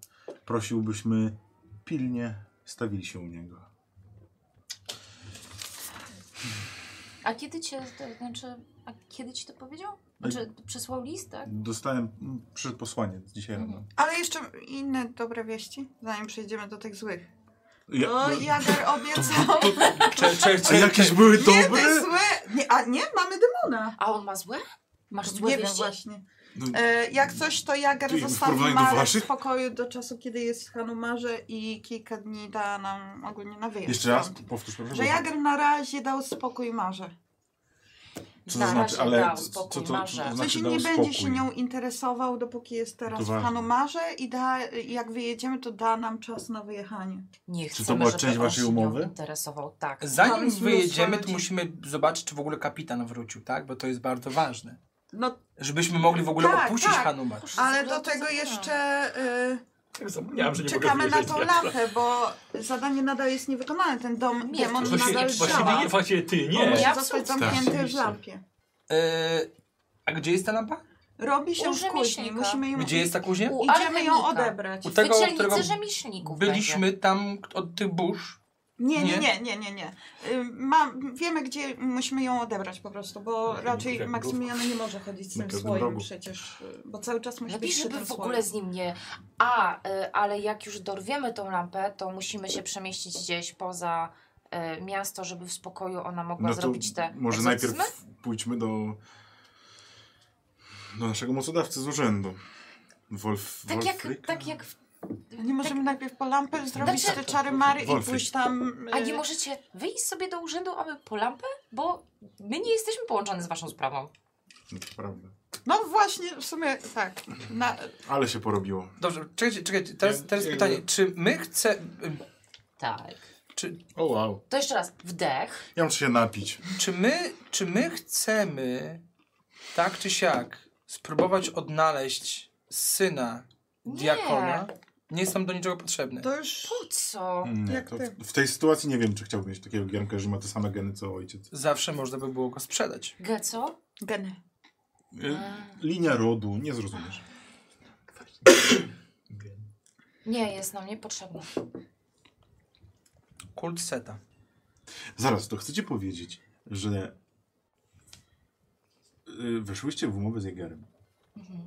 Speaker 3: prosił, byśmy pilnie stawili się u niego.
Speaker 7: A kiedy cię, to znaczy, a kiedy ci to powiedział? Znaczy, przysłał list, tak?
Speaker 3: Dostałem... m, Przyszedł posłaniec dzisiaj
Speaker 7: Mhm.
Speaker 3: rano.
Speaker 2: Ale jeszcze inne dobre wieści, zanim przejdziemy do tych złych.
Speaker 3: Ja,
Speaker 2: O,
Speaker 3: no,
Speaker 2: Jager
Speaker 3: *laughs*
Speaker 2: obiecał.
Speaker 5: Cze, cze,
Speaker 3: a
Speaker 5: cze,
Speaker 3: jakieś
Speaker 2: *laughs*
Speaker 3: były
Speaker 2: Nie,
Speaker 3: dobre?
Speaker 2: te złe. Nie, a nie, mamy demona.
Speaker 7: A on ma złe? Masz złe
Speaker 2: Nie wiem
Speaker 7: wieści?
Speaker 2: właśnie.
Speaker 3: No,
Speaker 2: E, jak coś, to
Speaker 3: Ty,
Speaker 2: Jager
Speaker 3: w
Speaker 2: zostawi
Speaker 3: porównaniu do
Speaker 2: Marę w
Speaker 3: waszych?
Speaker 2: spokoju do czasu, kiedy jest w Hanumarze i kilka dni da nam ogólnie na wyjazd.
Speaker 3: Jeszcze raz
Speaker 2: stąd.
Speaker 3: powtórz, proszę.
Speaker 2: Że Jager na razie dał spokój Marze.
Speaker 3: Co to
Speaker 7: Na
Speaker 3: znaczy?
Speaker 7: razie
Speaker 3: Ale
Speaker 7: dał
Speaker 3: co-
Speaker 7: spokój,
Speaker 3: co to-
Speaker 7: Marze.
Speaker 3: to
Speaker 2: W
Speaker 3: znaczy?
Speaker 2: sensie
Speaker 3: dał
Speaker 2: nie
Speaker 3: spokój.
Speaker 2: będzie się nią interesował, dopóki jest
Speaker 3: To
Speaker 2: teraz w
Speaker 3: ważne.
Speaker 2: Hanumarze i da, jak wyjedziemy, to da nam czas na wyjechanie.
Speaker 7: Nie
Speaker 3: to
Speaker 7: chcemy,
Speaker 3: była
Speaker 7: żeby
Speaker 3: część
Speaker 7: on
Speaker 3: waszej
Speaker 7: się nią
Speaker 3: umowy?
Speaker 7: interesował, tak.
Speaker 5: Zanim
Speaker 2: Tam jest
Speaker 5: wyjedziemy,
Speaker 2: mnóstwo
Speaker 5: to
Speaker 2: ludzi.
Speaker 5: musimy zobaczyć, czy w ogóle kapitan wrócił, tak? Bo to jest bardzo ważne.
Speaker 2: No,
Speaker 5: Żebyśmy mogli w ogóle
Speaker 2: Tak,
Speaker 5: opuścić
Speaker 2: tak.
Speaker 5: Hanumar.
Speaker 7: Proszę,
Speaker 2: ale
Speaker 7: zabrał
Speaker 2: do
Speaker 7: to
Speaker 2: tego
Speaker 7: zabrał.
Speaker 2: jeszcze y,
Speaker 1: Tak zapomniałem, że nie
Speaker 2: czekamy
Speaker 1: mogę
Speaker 2: na
Speaker 1: wierzyć
Speaker 2: tą
Speaker 1: wiatra.
Speaker 2: lampę, bo zadanie nadal jest niewykonane. Ten dom,
Speaker 7: Nie,
Speaker 2: demon
Speaker 7: to się-
Speaker 2: nadal
Speaker 1: Właściwie,
Speaker 2: działa.
Speaker 1: nie, właściwie ty
Speaker 2: On
Speaker 1: nie.
Speaker 2: musi
Speaker 7: Ja
Speaker 2: zostać
Speaker 7: absolutnie.
Speaker 2: zamknięty w
Speaker 5: Oczywiście.
Speaker 2: lampie.
Speaker 5: E, a gdzie jest ta lampa?
Speaker 2: Robi się
Speaker 7: U
Speaker 2: już kuźni,
Speaker 7: rzemieślnika.
Speaker 2: musimy ją...
Speaker 5: Gdzie jest ta kuźnia?
Speaker 7: U
Speaker 2: Idziemy ją
Speaker 7: alchemika.
Speaker 2: odebrać.
Speaker 5: U tego,
Speaker 7: Wydzielnicy
Speaker 5: którego
Speaker 7: rzemieślników będzie.
Speaker 5: Byliśmy tam od tych burz.
Speaker 2: Nie, nie,
Speaker 5: Nie?
Speaker 2: nie, nie, nie, nie. Y, ma, wiemy, gdzie musimy ją odebrać po prostu, bo
Speaker 1: Jakim-
Speaker 2: raczej
Speaker 1: jak
Speaker 2: Maksymilian nie może chodzić z
Speaker 3: Na
Speaker 2: tym
Speaker 3: każdym
Speaker 2: swoim
Speaker 3: rogu.
Speaker 2: przecież, y, bo cały czas musi
Speaker 7: Lepiej,
Speaker 2: być przy
Speaker 7: żeby
Speaker 2: tym
Speaker 7: w ogóle
Speaker 2: swoim.
Speaker 7: z nim nie. A, y, ale jak już dorwiemy tą lampę, to musimy się przemieścić gdzieś poza y, miasto, żeby w spokoju ona mogła
Speaker 3: No to
Speaker 7: zrobić te.
Speaker 3: Może
Speaker 7: egzorcyzmy?
Speaker 3: najpierw pójdźmy do, do naszego mocodawcy z urzędu. Wolf,
Speaker 7: Tak jak,
Speaker 3: Wolfryka?
Speaker 7: tak jak. w-
Speaker 2: Nie możemy najpierw po lampę zrobić
Speaker 7: Znaczy-
Speaker 2: te czary Mary i
Speaker 3: Wolfy.
Speaker 2: pójść tam... y,
Speaker 7: A nie możecie wyjść sobie do urzędu, aby po lampę? Bo my nie jesteśmy połączeni z waszą sprawą.
Speaker 3: No to prawda.
Speaker 2: No właśnie, w sumie tak. Na,
Speaker 3: Ale się porobiło.
Speaker 5: Dobrze, czekajcie, czekajcie. Teraz,
Speaker 3: Ja-
Speaker 5: teraz
Speaker 3: ja-
Speaker 5: pytanie, czy my chce...
Speaker 7: Tak.
Speaker 5: Czy,
Speaker 3: O wow.
Speaker 7: To jeszcze raz, wdech.
Speaker 3: Ja muszę się napić.
Speaker 5: czy, my, czy my chcemy, tak czy siak, spróbować odnaleźć syna
Speaker 7: Nie.
Speaker 5: diakona? Nie jest nam do niczego potrzebny.
Speaker 2: to już...
Speaker 7: Po co?
Speaker 3: Nie,
Speaker 2: Jak
Speaker 3: to
Speaker 2: ty.
Speaker 3: w, w tej sytuacji nie wiem, czy chciałbym mieć takiego giermka, że ma te same geny co ojciec.
Speaker 5: Zawsze można by było go sprzedać.
Speaker 7: Geco?
Speaker 2: Geny.
Speaker 3: Y, Linia rodu, nie zrozumiesz.
Speaker 7: Nie, jest nam niepotrzebny.
Speaker 5: Kult Seta.
Speaker 3: Zaraz, to chcecie powiedzieć, że y, weszłyście w umowę z Jagerem.
Speaker 7: Mhm.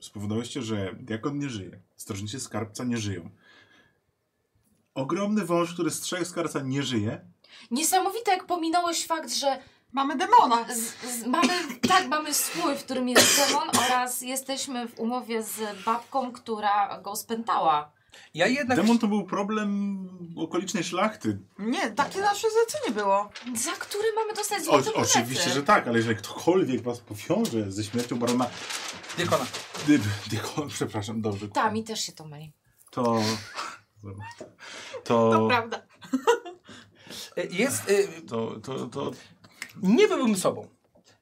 Speaker 3: spowodowałyście, że diakon nie żyje, strażnicy skarbca nie żyją. Ogromny wąż, który strzegł skarbca, nie żyje.
Speaker 7: Niesamowite, jak pominąłeś fakt, że
Speaker 2: Mamy demona!
Speaker 7: z, z, mamy, tak, mamy swój, w którym jest demon oraz jesteśmy w umowie z babką, która go spętała.
Speaker 5: Ja jednak...
Speaker 3: Demon to był problem okolicznej szlachty.
Speaker 2: Nie, takie nasze zlecenie było.
Speaker 7: Za który mamy dostać
Speaker 3: O,
Speaker 7: złotą
Speaker 3: oczywiście,
Speaker 7: monetę.
Speaker 3: że tak, ale jeżeli ktokolwiek was powiąże ze śmiercią barona...
Speaker 5: Diekona.
Speaker 3: Dy, diakon, *laughs* przepraszam, dobrze.
Speaker 7: Ta, mi też się to myli.
Speaker 3: To... To...
Speaker 2: Prawda.
Speaker 5: Y, Jest... y,
Speaker 3: To... to, to
Speaker 5: Nie byłbym sobą.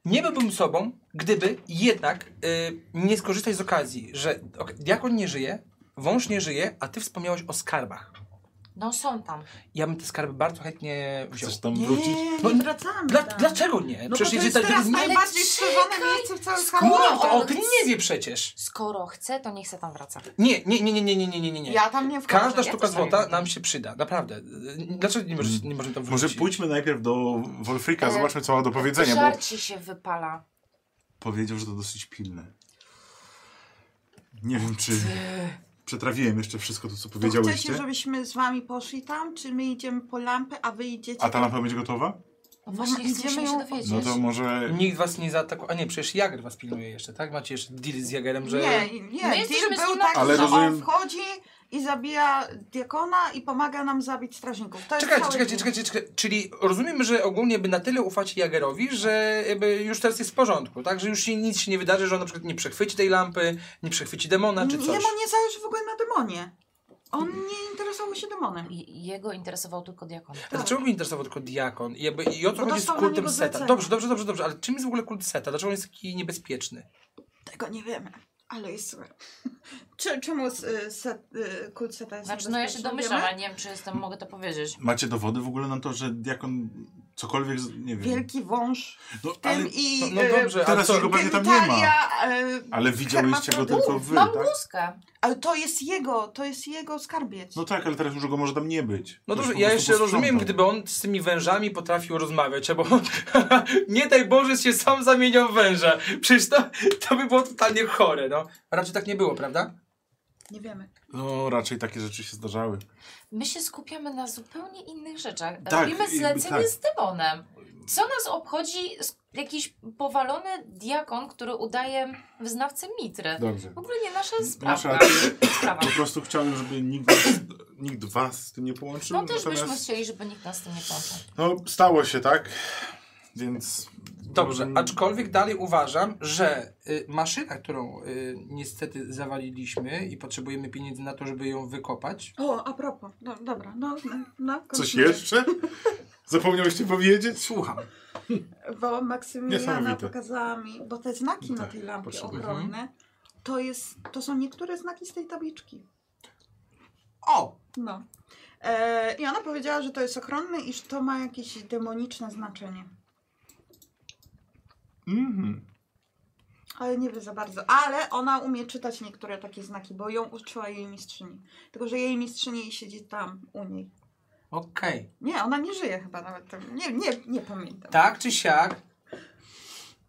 Speaker 5: Nie byłbym sobą, gdyby jednak y, nie skorzystać z okazji, że ok, diakon nie żyje, wąż nie żyje, a ty wspomniałeś o skarbach.
Speaker 7: No są tam.
Speaker 5: Ja bym te skarby bardzo chętnie wziął.
Speaker 3: chcesz tam
Speaker 2: Nie,
Speaker 3: wrócić?
Speaker 5: No,
Speaker 2: nie wracamy
Speaker 5: Dla,
Speaker 2: tam.
Speaker 5: dlaczego nie?
Speaker 2: No bo to jest
Speaker 5: jeżeli
Speaker 2: teraz
Speaker 5: nie-
Speaker 2: najbardziej
Speaker 7: czekaj,
Speaker 2: strzeżone miejsce w całym
Speaker 5: Kurwa,
Speaker 2: Hamburgu.
Speaker 5: o tym nie wie przecież.
Speaker 7: Skoro chce, to niech se tam wraca.
Speaker 5: Nie, nie, nie, nie, nie, nie, nie, nie. nie.
Speaker 2: Ja tam nie wchodzę.
Speaker 5: Każda
Speaker 7: ja
Speaker 5: sztuka
Speaker 7: też tam nie
Speaker 5: złota
Speaker 7: wiem.
Speaker 5: nam się przyda, naprawdę. Y, Dlaczego nie, możesz, nie możemy tam wrócić?
Speaker 3: Może pójdźmy najpierw do Wolfrika,
Speaker 7: E,
Speaker 3: zobaczmy co ma do powiedzenia, bo
Speaker 7: Żar ci się wypala.
Speaker 3: powiedział, że to dosyć pilne. Nie wiem, czy przetrawiłem jeszcze wszystko to, co
Speaker 2: To
Speaker 3: powiedziałyście.
Speaker 2: chcecie, żebyśmy z wami poszli tam, czy my idziemy po lampę, a wy idziecie...
Speaker 3: A ta lampa będzie gotowa?
Speaker 7: No właśnie,
Speaker 2: Idziemy
Speaker 7: musimy się
Speaker 2: ją-
Speaker 7: dowiedzieć.
Speaker 3: No to może...
Speaker 5: Nikt was nie zaatakował. A nie, przecież Jager was pilnuje jeszcze, tak? Macie jeszcze deal z Jagerem, że...
Speaker 2: Nie, nie,
Speaker 7: My
Speaker 2: deal
Speaker 7: jesteśmy z
Speaker 2: był
Speaker 7: nim
Speaker 2: taki,
Speaker 3: Ale
Speaker 2: że on
Speaker 3: rozumiem-
Speaker 2: wchodzi i zabija diakona i pomaga nam zabić strażników. To jest
Speaker 5: Czekajcie,
Speaker 2: cały
Speaker 5: czekajcie,
Speaker 2: deal.
Speaker 5: czekajcie, czekajcie. Czyli rozumiemy, że ogólnie by na tyle ufacie Jagerowi, że jakby już teraz jest w porządku, tak? Że już się nic się nie wydarzy, że on na przykład nie przechwyci tej lampy, nie przechwyci demona czy coś.
Speaker 2: Jemu nie zależy w ogóle na demonie. On nie interesował się demonem.
Speaker 7: Je- Jego interesował tylko diakon.
Speaker 5: A Dlaczego mnie interesował tylko diakon? I, jakby, i o
Speaker 2: Bo
Speaker 5: to chodzi z
Speaker 2: dostał na
Speaker 5: kultem
Speaker 2: niego
Speaker 5: seta.
Speaker 2: zlecenie.
Speaker 5: Dobrze, dobrze, dobrze, dobrze, ale czym jest w ogóle kult seta? Dlaczego on jest taki niebezpieczny?
Speaker 2: Tego nie wiemy, ale jest *laughs* super. Czy, czemu z- y, set, y, kult seta jest
Speaker 7: Znaczy, no ja się
Speaker 2: niebezpieczny,
Speaker 7: domyślam, ale
Speaker 2: wiemy?
Speaker 7: nie wiem, czy jestem, mogę to powiedzieć.
Speaker 3: Macie dowody w ogóle na to, że diakon cokolwiek, z- nie wiem.
Speaker 2: Wielki wąż
Speaker 3: No,
Speaker 2: w tym
Speaker 3: ale,
Speaker 2: i...
Speaker 5: No, no
Speaker 2: y,
Speaker 5: dobrze, a
Speaker 3: teraz
Speaker 5: co?
Speaker 3: jego- Pewnie tam nie ma.
Speaker 2: genitalia, y,
Speaker 3: ale widziałyście go tylko wy,
Speaker 7: Mam
Speaker 3: tak?
Speaker 7: bluzkę.
Speaker 2: ale to jest jego, to jest jego skarbiec.
Speaker 3: No tak, ale teraz już go może tam nie być.
Speaker 5: No
Speaker 3: Już
Speaker 5: dobrze,
Speaker 3: po
Speaker 5: ja
Speaker 3: prostu
Speaker 5: jeszcze
Speaker 3: posprzątał.
Speaker 5: rozumiem, gdyby on z tymi wężami potrafił rozmawiać, albo on, *laughs* nie daj Boże, się sam zamieniał w węża. Przecież to, to by było totalnie chore, no. Raczej tak nie było, prawda?
Speaker 2: Nie wiemy.
Speaker 3: No raczej takie rzeczy się zdarzały.
Speaker 7: My się skupiamy na zupełnie innych rzeczach.
Speaker 3: Tak,
Speaker 7: Robimy
Speaker 3: jakby
Speaker 7: zlecenie
Speaker 3: tak.
Speaker 7: z demonem. Co nas obchodzi s- jakiś powalony diakon, który udaje wyznawcę mitry?
Speaker 3: Dobrze.
Speaker 7: W ogóle nie nasza
Speaker 3: Masz
Speaker 7: sprawa.
Speaker 3: rację.
Speaker 7: sprawa. No
Speaker 3: Po prostu chciałem, żeby nikt was, nikt was z tym nie połączył.
Speaker 7: No też byśmy
Speaker 3: natomiast-
Speaker 7: chcieli, żeby nikt nas z tym nie połączył.
Speaker 3: No stało się, tak? Więc...
Speaker 5: Dobrze,
Speaker 3: Mm,
Speaker 5: aczkolwiek dalej uważam, że y, maszyna, którą y, niestety zawaliliśmy i potrzebujemy pieniędzy na to, żeby ją wykopać.
Speaker 2: O, a propos, no, dobra, no, no, no
Speaker 3: Coś
Speaker 2: kontynuuj.
Speaker 3: jeszcze? *laughs* Zapomniałeś powiedzieć?
Speaker 5: Słucham.
Speaker 2: Bo Maksymiliana
Speaker 3: Niesamowite.
Speaker 2: pokazała mi, bo te znaki na
Speaker 3: Tak,
Speaker 2: tej lampie
Speaker 3: potrzebuję.
Speaker 2: ochronne, to, jest, to są niektóre znaki z tej tabliczki.
Speaker 5: O!
Speaker 2: No. E, I ona powiedziała, że to jest ochronne i że to ma jakieś demoniczne znaczenie.
Speaker 3: Mhm.
Speaker 2: Ale nie wie za bardzo. Ale ona umie czytać niektóre takie znaki, bo ją uczyła jej mistrzyni. Tylko, że jej mistrzyni siedzi tam u niej.
Speaker 5: Okej.
Speaker 2: Nie, ona nie żyje chyba nawet. tam. Nie, nie, nie pamiętam.
Speaker 5: Tak czy siak.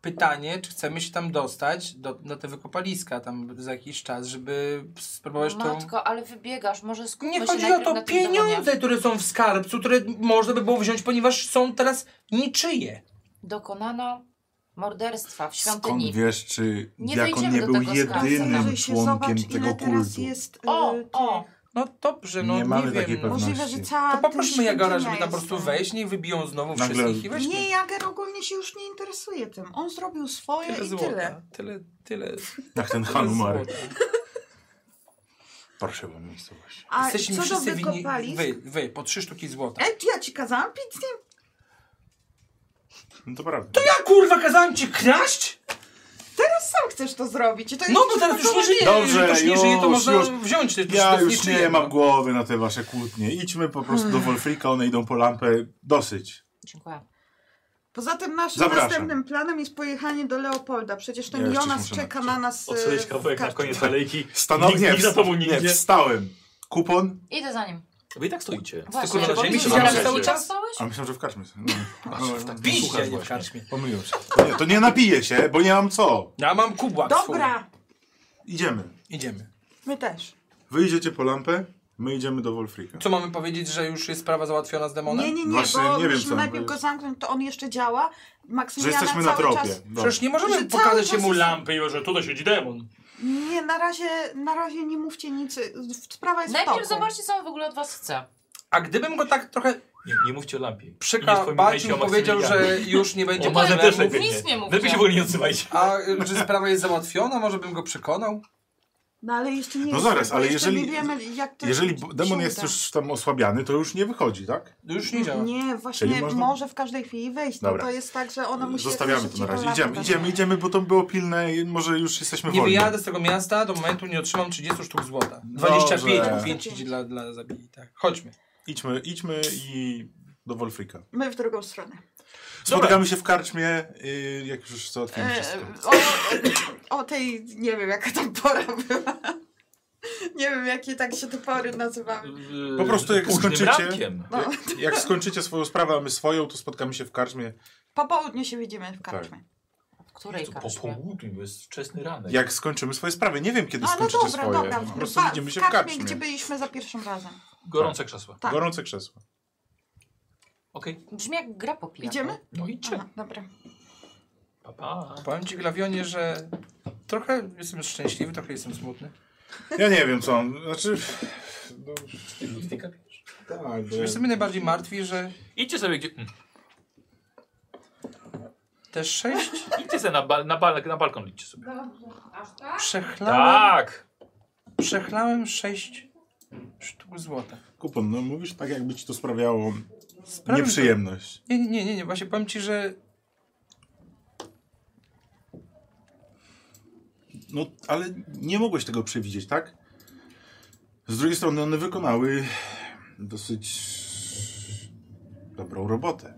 Speaker 5: Pytanie, czy chcemy się tam dostać do, na te wykopaliska tam za jakiś czas, żeby spróbować to.
Speaker 7: Matko, ale wybiegasz, może skupmy
Speaker 5: Nie
Speaker 7: się
Speaker 5: chodzi o
Speaker 7: najpierw
Speaker 5: to
Speaker 7: na tym demonie.
Speaker 5: pieniądze, które są w skarbcu, które można by było wziąć, ponieważ są teraz niczyje.
Speaker 7: Dokonano morderstwa w
Speaker 3: Skąd
Speaker 7: świątyni.
Speaker 3: wiesz, czy
Speaker 7: Nie
Speaker 3: diakon
Speaker 7: dojdziemy
Speaker 3: nie
Speaker 7: do
Speaker 3: był
Speaker 7: tego skarbca.
Speaker 3: jedynym
Speaker 2: Zajrzyj Tak, się,
Speaker 3: członkiem
Speaker 2: zobacz,
Speaker 3: tego
Speaker 2: ile teraz
Speaker 3: kultu?
Speaker 2: jest. y,
Speaker 7: O, o!
Speaker 5: No dobrze, no
Speaker 3: Nie
Speaker 5: nie,
Speaker 3: mamy
Speaker 5: wiem.
Speaker 3: takiej
Speaker 5: no.
Speaker 3: pewności.
Speaker 2: Możliwe, że cała.
Speaker 5: To poprośmy
Speaker 2: ta
Speaker 5: Jagora, żeby
Speaker 2: świątynia
Speaker 5: tam po prostu
Speaker 2: jest- tak.
Speaker 5: wejść, niech wybiją znowu
Speaker 3: Nagle-
Speaker 5: wszystkich i weźmy.
Speaker 2: Nie, Jager ogólnie się już nie interesuje tym. On zrobił swoje
Speaker 5: Tyle
Speaker 2: i tyle.
Speaker 5: złota, tyle,
Speaker 3: *laughs*
Speaker 5: tyle,
Speaker 3: Jak ten
Speaker 5: tyle
Speaker 3: Hanumar.
Speaker 5: złota.
Speaker 3: Parszywa miejscowość.
Speaker 2: A
Speaker 5: Jesteśmy
Speaker 2: co E? do
Speaker 5: wszyscy winni,
Speaker 2: wykopalisk?
Speaker 5: wy, wy, po trzy sztuki złota.
Speaker 2: Ej, ja ci kazałam pić z nim.
Speaker 3: No to prawda.
Speaker 5: Ja kurwa kazałem ci kraść?
Speaker 2: Teraz sam chcesz to zrobić. I to
Speaker 5: No
Speaker 2: jest
Speaker 5: bo teraz już nie żyje,
Speaker 3: Dobrze,
Speaker 5: już nie żyje, to
Speaker 3: już,
Speaker 5: można
Speaker 3: już.
Speaker 5: wziąć. To,
Speaker 3: Ja
Speaker 5: to
Speaker 3: już nie
Speaker 5: czyje,
Speaker 3: mam
Speaker 5: no.
Speaker 3: głowy na te wasze kłótnie. Idźmy po prostu do Wolfrika, one idą po lampę. Dosyć.
Speaker 7: Dziękuję.
Speaker 2: Poza tym naszym
Speaker 3: Zapraszam.
Speaker 2: następnym planem jest pojechanie do Leopolda. Przecież ten
Speaker 3: Ja jeszcze
Speaker 2: Jonas
Speaker 3: muszę
Speaker 2: czeka
Speaker 3: napisać.
Speaker 2: na nas. e,
Speaker 1: Odsłonić
Speaker 2: w
Speaker 1: kawałek na
Speaker 2: karczmie.
Speaker 1: koniec alejki.
Speaker 3: Stanownie.
Speaker 1: Nikt, nikt za tobą nie
Speaker 3: nie,
Speaker 1: idzie.
Speaker 3: wstałem. Kupon?
Speaker 7: Idę za nim.
Speaker 1: Wy i tak stoicie.
Speaker 7: Właśnie,
Speaker 5: kurwa na
Speaker 7: bo
Speaker 5: ziemi
Speaker 7: ty
Speaker 5: się
Speaker 7: się
Speaker 1: zamknęłeś?
Speaker 7: cały czas stałeś?
Speaker 3: A myślałem, że w karczmie. są. No.
Speaker 1: Aż tak
Speaker 5: Pić,
Speaker 1: słuchasz
Speaker 5: ja nie w
Speaker 1: właśnie.
Speaker 5: karczmie.
Speaker 3: Pomyliłem się. To nie, to nie napiję się, bo nie mam co.
Speaker 5: Ja mam kubłak swój.
Speaker 2: Dobra,
Speaker 3: Idziemy.
Speaker 5: Idziemy.
Speaker 2: My też.
Speaker 3: Wy idziecie po lampę, my idziemy do Wolfrika.
Speaker 5: Co mamy powiedzieć, że już jest sprawa załatwiona z demonem?
Speaker 2: Nie, nie, nie,
Speaker 3: Właśnie
Speaker 2: bo
Speaker 3: nie wiem,
Speaker 2: musimy
Speaker 3: co-
Speaker 2: najpierw go zamknąć, to on jeszcze działa.
Speaker 3: Że
Speaker 2: Maksymiliana
Speaker 3: jesteśmy na
Speaker 2: cały
Speaker 3: tropie.
Speaker 2: czas...
Speaker 3: Dobra.
Speaker 5: Przecież nie możemy
Speaker 2: Że cały
Speaker 5: pokazać
Speaker 2: czas
Speaker 5: jemu
Speaker 2: jest-
Speaker 5: lampy i że tutaj siedzi demon.
Speaker 2: Nie, na razie, na razie nie mówcie nic. Sprawa jest w
Speaker 7: Najpierw
Speaker 2: toku.
Speaker 7: zobaczcie, co on w ogóle od was chce.
Speaker 5: A gdybym go tak trochę
Speaker 1: Nie, nie mówcie o lampie. Nie
Speaker 5: przyka
Speaker 1: wspominajcie
Speaker 5: bardziej
Speaker 1: o
Speaker 5: powiedział, że
Speaker 1: Maksymilianie.
Speaker 5: już nie będzie
Speaker 1: O Marze
Speaker 7: problemów.
Speaker 1: też
Speaker 5: problemów,
Speaker 1: lepiej
Speaker 7: Nic nie mówcie.
Speaker 1: Lepiej się w ogóle nie odzywajcie.
Speaker 5: a y, że sprawa jest załatwiona, może bym go przekonał?
Speaker 2: No ale jeszcze nie
Speaker 3: No
Speaker 2: jest
Speaker 3: zaraz,
Speaker 2: tak, bo
Speaker 3: ale
Speaker 2: jeszcze
Speaker 3: jeżeli-
Speaker 2: nie wiemy, jak to
Speaker 3: Jeżeli
Speaker 2: się
Speaker 3: b- demon jest
Speaker 2: uda.
Speaker 3: już tam osłabiany, to już nie wychodzi, tak?
Speaker 5: No Już nie działa.
Speaker 2: Nie,
Speaker 3: Czyli
Speaker 2: właśnie
Speaker 3: można-
Speaker 2: może w każdej chwili wejść. No
Speaker 3: Dobra.
Speaker 2: to jest tak, że ona musi...
Speaker 3: Zostawiamy to
Speaker 2: szybciej tak.
Speaker 3: na razie.
Speaker 2: polata
Speaker 3: Idziemy,
Speaker 2: też.
Speaker 3: idziemy, idziemy, bo to było pilne i może już jesteśmy
Speaker 5: Nie
Speaker 3: wolni.
Speaker 5: wyjadę z tego miasta do momentu, nie otrzymam 30 sztuk złota. 25,
Speaker 3: Dobrze.
Speaker 5: bo 5 idzie dla, dla zabili. Tak. Chodźmy.
Speaker 3: Idźmy, idźmy i do Wolfrika.
Speaker 2: My w drugą stronę.
Speaker 3: Spotykamy się w karczmie, y, jak już załatwimy
Speaker 2: E,
Speaker 3: wszystko.
Speaker 2: o, o tej, nie wiem jaka tam pora była. Nie wiem jakie tak się te pory nazywały.
Speaker 1: Yy,
Speaker 3: Po prostu jak
Speaker 1: późnym
Speaker 3: skończycie-
Speaker 1: rankiem.
Speaker 3: Jak, jak skończycie swoją sprawę, a my swoją, to spotkamy się w karczmie.
Speaker 2: Po południu się widzimy w
Speaker 3: Tak.
Speaker 2: karczmie.
Speaker 7: Od której
Speaker 1: To Po
Speaker 7: karczmie?
Speaker 1: południu, bo jest wczesny ranek.
Speaker 3: Jak skończymy swoje sprawy. Nie wiem, kiedy
Speaker 2: A no
Speaker 3: skończycie
Speaker 2: dobra,
Speaker 3: swoje.
Speaker 2: dobra.
Speaker 3: po prostu
Speaker 2: Ba-
Speaker 3: widzimy się w karczmie.
Speaker 2: gdzie byliśmy za pierwszym razem.
Speaker 1: Gorące krzesła.
Speaker 2: tak.
Speaker 3: Gorące krzesło.
Speaker 1: Okej,
Speaker 7: Brzmi jak gra po pijaku.
Speaker 2: Idziemy?
Speaker 1: no idźcie.
Speaker 2: Aha, dobra.
Speaker 1: Pa, pa.
Speaker 5: Powiem ci, Glawionie, że trochę jestem szczęśliwy, trochę jestem smutny.
Speaker 3: Ja nie wiem, co on... Znaczy... No,
Speaker 1: Ludwika bierz.
Speaker 3: tak, bo...
Speaker 5: Wiesz, co mnie najbardziej martwi, że
Speaker 1: Idźcie sobie gdzie... mm,
Speaker 5: te sześć
Speaker 1: Idźcie sobie na, bal, na, bal, na balkon, idźcie sobie.
Speaker 5: przechlałem,
Speaker 1: Tak!
Speaker 5: przechlałem sześć sztuk złota.
Speaker 3: Kupon, no mówisz tak, jakby ci to sprawiało
Speaker 5: Sprawił
Speaker 3: nieprzyjemność.
Speaker 5: Nie, nie, nie, nie, właśnie powiem ci, że
Speaker 3: No, ale nie mogłeś tego przewidzieć, tak? Z drugiej strony one wykonały dosyć dobrą robotę,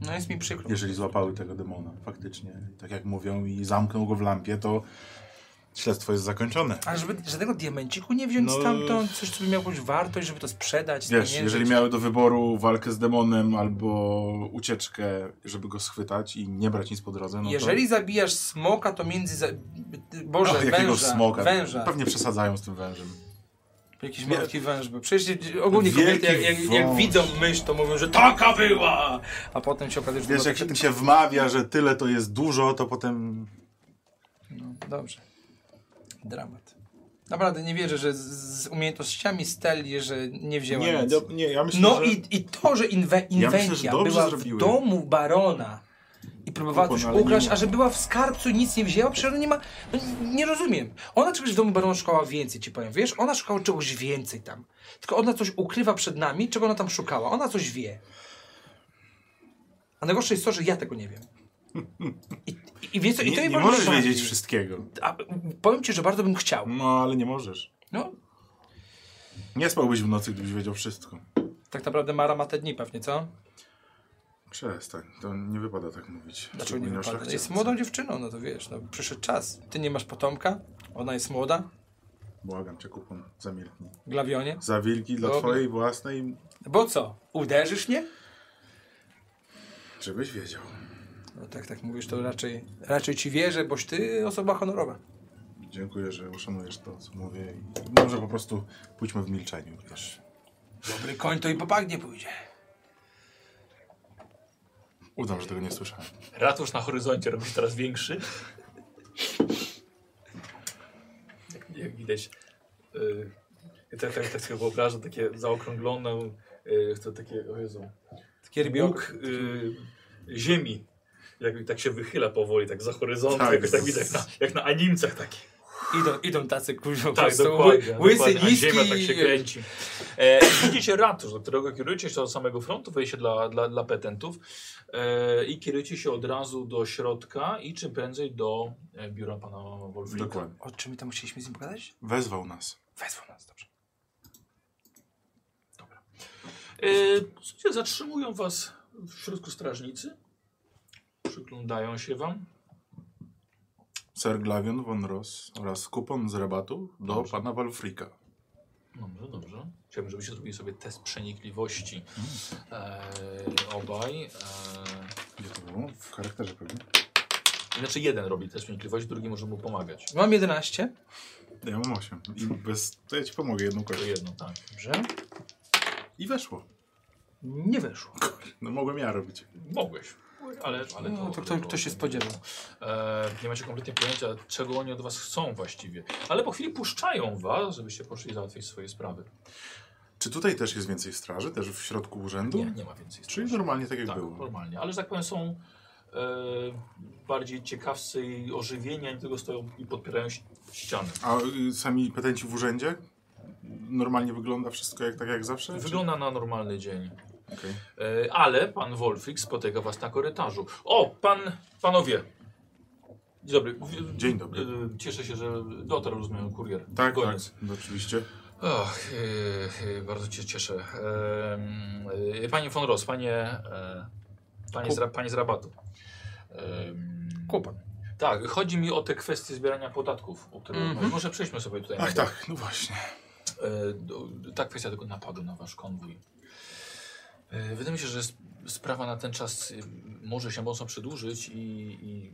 Speaker 5: no jest mi przykro.
Speaker 3: jeżeli złapały tego demona, faktycznie. Tak jak mówią i zamknął go w lampie, to śledztwo jest zakończone.
Speaker 5: Ale żeby żadnego diamenciku nie wziąć
Speaker 3: No-
Speaker 5: stamtąd, coś, co by miało jakąś wartość, żeby to sprzedać,
Speaker 3: Wiesz,
Speaker 5: spieniężyć?
Speaker 3: jeżeli miały do wyboru walkę z demonem albo ucieczkę, żeby go schwytać i nie brać nic po drodze, no
Speaker 5: Jeżeli zabijasz smoka, to między... Za...
Speaker 3: to...
Speaker 5: Boże,
Speaker 3: Ach, jakiego
Speaker 5: węża,
Speaker 3: smoga.
Speaker 5: węża. No
Speaker 3: Pewnie przesadzają z tym wężem.
Speaker 5: Jakiś malutki węż był. Przecież ogólnie
Speaker 3: Wielki
Speaker 5: kobiety jak, jak, jak
Speaker 3: wąż.
Speaker 5: widzą myśl, to mówią, że taka była! A potem się okazuje, że
Speaker 3: Wiesz,
Speaker 5: była
Speaker 3: jak się tym
Speaker 5: taka-
Speaker 3: się wmawia, że tyle to jest dużo, to potem
Speaker 5: No, dobrze. Dramat. Naprawdę nie wierzę, że z, z umiejętnościami Steli, że nie wzięła
Speaker 3: Nie,
Speaker 5: nic.
Speaker 3: do, nie, ja myślę,
Speaker 5: No
Speaker 3: że...
Speaker 5: i, i to, że inwe,
Speaker 3: Ja myślę, że
Speaker 5: inwencja
Speaker 3: dobrze
Speaker 5: była
Speaker 3: zrobiły.
Speaker 5: w domu barona i próbowała
Speaker 3: Kupon,
Speaker 5: coś
Speaker 3: ale nie
Speaker 5: ukraść,
Speaker 3: ma.
Speaker 5: a że była w skarbcu i nic nie wzięła, przecież ona nie ma... No, nie rozumiem. Ona czegoś w domu barona szukała więcej, ci powiem, wiesz? Ona szukała czegoś więcej tam. Tylko ona coś ukrywa przed nami, czego ona tam szukała. Ona coś wie. A najgorsze jest to, że ja tego nie wiem. I, i, i, wiesz co, i to
Speaker 3: nie,
Speaker 5: jej
Speaker 3: nie
Speaker 5: bardzo
Speaker 3: możesz
Speaker 5: martwi.
Speaker 3: wiedzieć wszystkiego.
Speaker 5: A, powiem ci, że bardzo bym chciał.
Speaker 3: No, ale nie możesz.
Speaker 5: No,
Speaker 3: Nie spałbyś w nocy, gdybyś wiedział wszystko.
Speaker 5: tak naprawdę Mara ma te dni pewnie, co?
Speaker 3: Przestań, to nie wypada tak mówić.
Speaker 5: Dlaczego Znaczy, nie
Speaker 3: Szczególnie o
Speaker 5: wypada?
Speaker 3: szlachcicach.
Speaker 5: Jest młodą dziewczyną, no to wiesz, no przyszedł czas. Ty nie masz potomka, ona jest młoda,
Speaker 3: Błagam cię, kupon, zamilknij.
Speaker 5: glawionie.
Speaker 3: Za wilki dla
Speaker 5: Dobra.
Speaker 3: twojej własnej,
Speaker 5: Bo co, uderzysz mnie?
Speaker 3: żebyś wiedział.
Speaker 5: No tak, tak mówisz, to raczej, raczej ci wierzę, boś ty osoba honorowa.
Speaker 3: Dziękuję, że uszanujesz to, co mówię. I może po prostu pójdźmy w milczeniu, wiesz.
Speaker 5: Dobry koń to i po bagnie pójdzie.
Speaker 3: Udam, że tego nie słyszałem.
Speaker 1: Ratusz na horyzoncie robi się teraz większy.
Speaker 8: Jak, jak widać, yy, ja tak, tak, tak sobie wyobrażam, takie zaokrąglone, yy, to takie, o Jezu,
Speaker 5: Takie rybiok.
Speaker 8: łuk yy, ziemi. Jak tak się wychyla powoli, tak za horyzontu,
Speaker 3: Tak.
Speaker 8: jakoś tak widać, jak na, jak na animcach taki.
Speaker 5: Idą, idą tacy kurwa po
Speaker 8: Tak,
Speaker 5: prostu,
Speaker 8: dokładnie.
Speaker 5: ły- Łysy,
Speaker 8: dokładnie. A
Speaker 5: niski.
Speaker 8: ziemia tak się kręci. *clears throat*
Speaker 1: E, widzicie ratusz, do którego kierujecie się od samego frontu, wejście dla, dla, dla petentów e, i kierujecie się od razu do środka i czym prędzej do e, biura pana Wolfrika.
Speaker 3: Dokładnie.
Speaker 5: O czym my tam musieliśmy z nim pogadać?
Speaker 3: Wezwał nas.
Speaker 5: Wezwał nas, dobrze.
Speaker 1: E, słuchajcie, zatrzymują was w środku strażnicy, przyglądają się wam.
Speaker 3: Sir Glavion von Ross oraz kupon z rabatu do pana Walfrika.
Speaker 1: Dobrze, dobrze. Chciałbym, żebyście zrobili sobie test przenikliwości
Speaker 5: Mhm.
Speaker 1: e, obaj. E,
Speaker 3: Gdzie to było? W charakterze pewnie.
Speaker 1: Znaczy jeden robi test przenikliwości, drugi może mu pomagać.
Speaker 5: Mam 11.
Speaker 3: Ja mam 8. I bez, to ja ci pomogę jedną
Speaker 1: To
Speaker 3: kością.
Speaker 1: jedno, tak.
Speaker 5: Dobrze.
Speaker 3: I weszło.
Speaker 5: Nie weszło.
Speaker 3: No mogłem ja robić.
Speaker 1: Mogłeś. Ale, ale
Speaker 5: No, to kto, kto się spodziewał?
Speaker 1: E, nie macie kompletnie pojęcia, czego oni od was chcą właściwie. Ale po chwili puszczają was, żebyście poszli załatwić swoje sprawy.
Speaker 3: Czy tutaj też jest więcej straży? Też w środku urzędu?
Speaker 1: Nie, nie ma więcej.
Speaker 3: Czyli
Speaker 1: straży.
Speaker 3: normalnie tak jak
Speaker 1: tak,
Speaker 3: było.
Speaker 1: normalnie. Ale że tak powiem, są e, bardziej ciekawscy i ożywieni, ani tylko stoją i podpierają ś- ściany.
Speaker 3: A y, sami petenci w urzędzie? Normalnie wygląda wszystko jak, tak jak zawsze? czy-
Speaker 1: Wygląda na normalny dzień.
Speaker 3: Okej.
Speaker 1: E, ale pan Wolfik spotyka was na korytarzu. O, pan, panowie. Dzień dobry. W-
Speaker 3: Dzień dobry.
Speaker 1: e, Cieszę się, że dotarł, rozumiem, kurier.
Speaker 3: Tak, tak,
Speaker 1: Koniec.
Speaker 3: no oczywiście.
Speaker 1: Och, e, e, bardzo cię cieszę. Em, e, Panie von Ross, panie, e, panie, z, ra- panie z rabatu. Em,
Speaker 5: Kupon.
Speaker 1: Tak, chodzi mi o te kwestie zbierania podatków, o których
Speaker 5: Mhm.
Speaker 1: rozmawialiśmy. może przejdźmy sobie tutaj.
Speaker 3: Ach
Speaker 1: na-
Speaker 3: tak, no właśnie.
Speaker 1: E, do- Ta kwestia tego napadu na wasz konwój. E, Wydaje mi się, że sp- sprawa na ten czas e, może się mocno przedłużyć i, i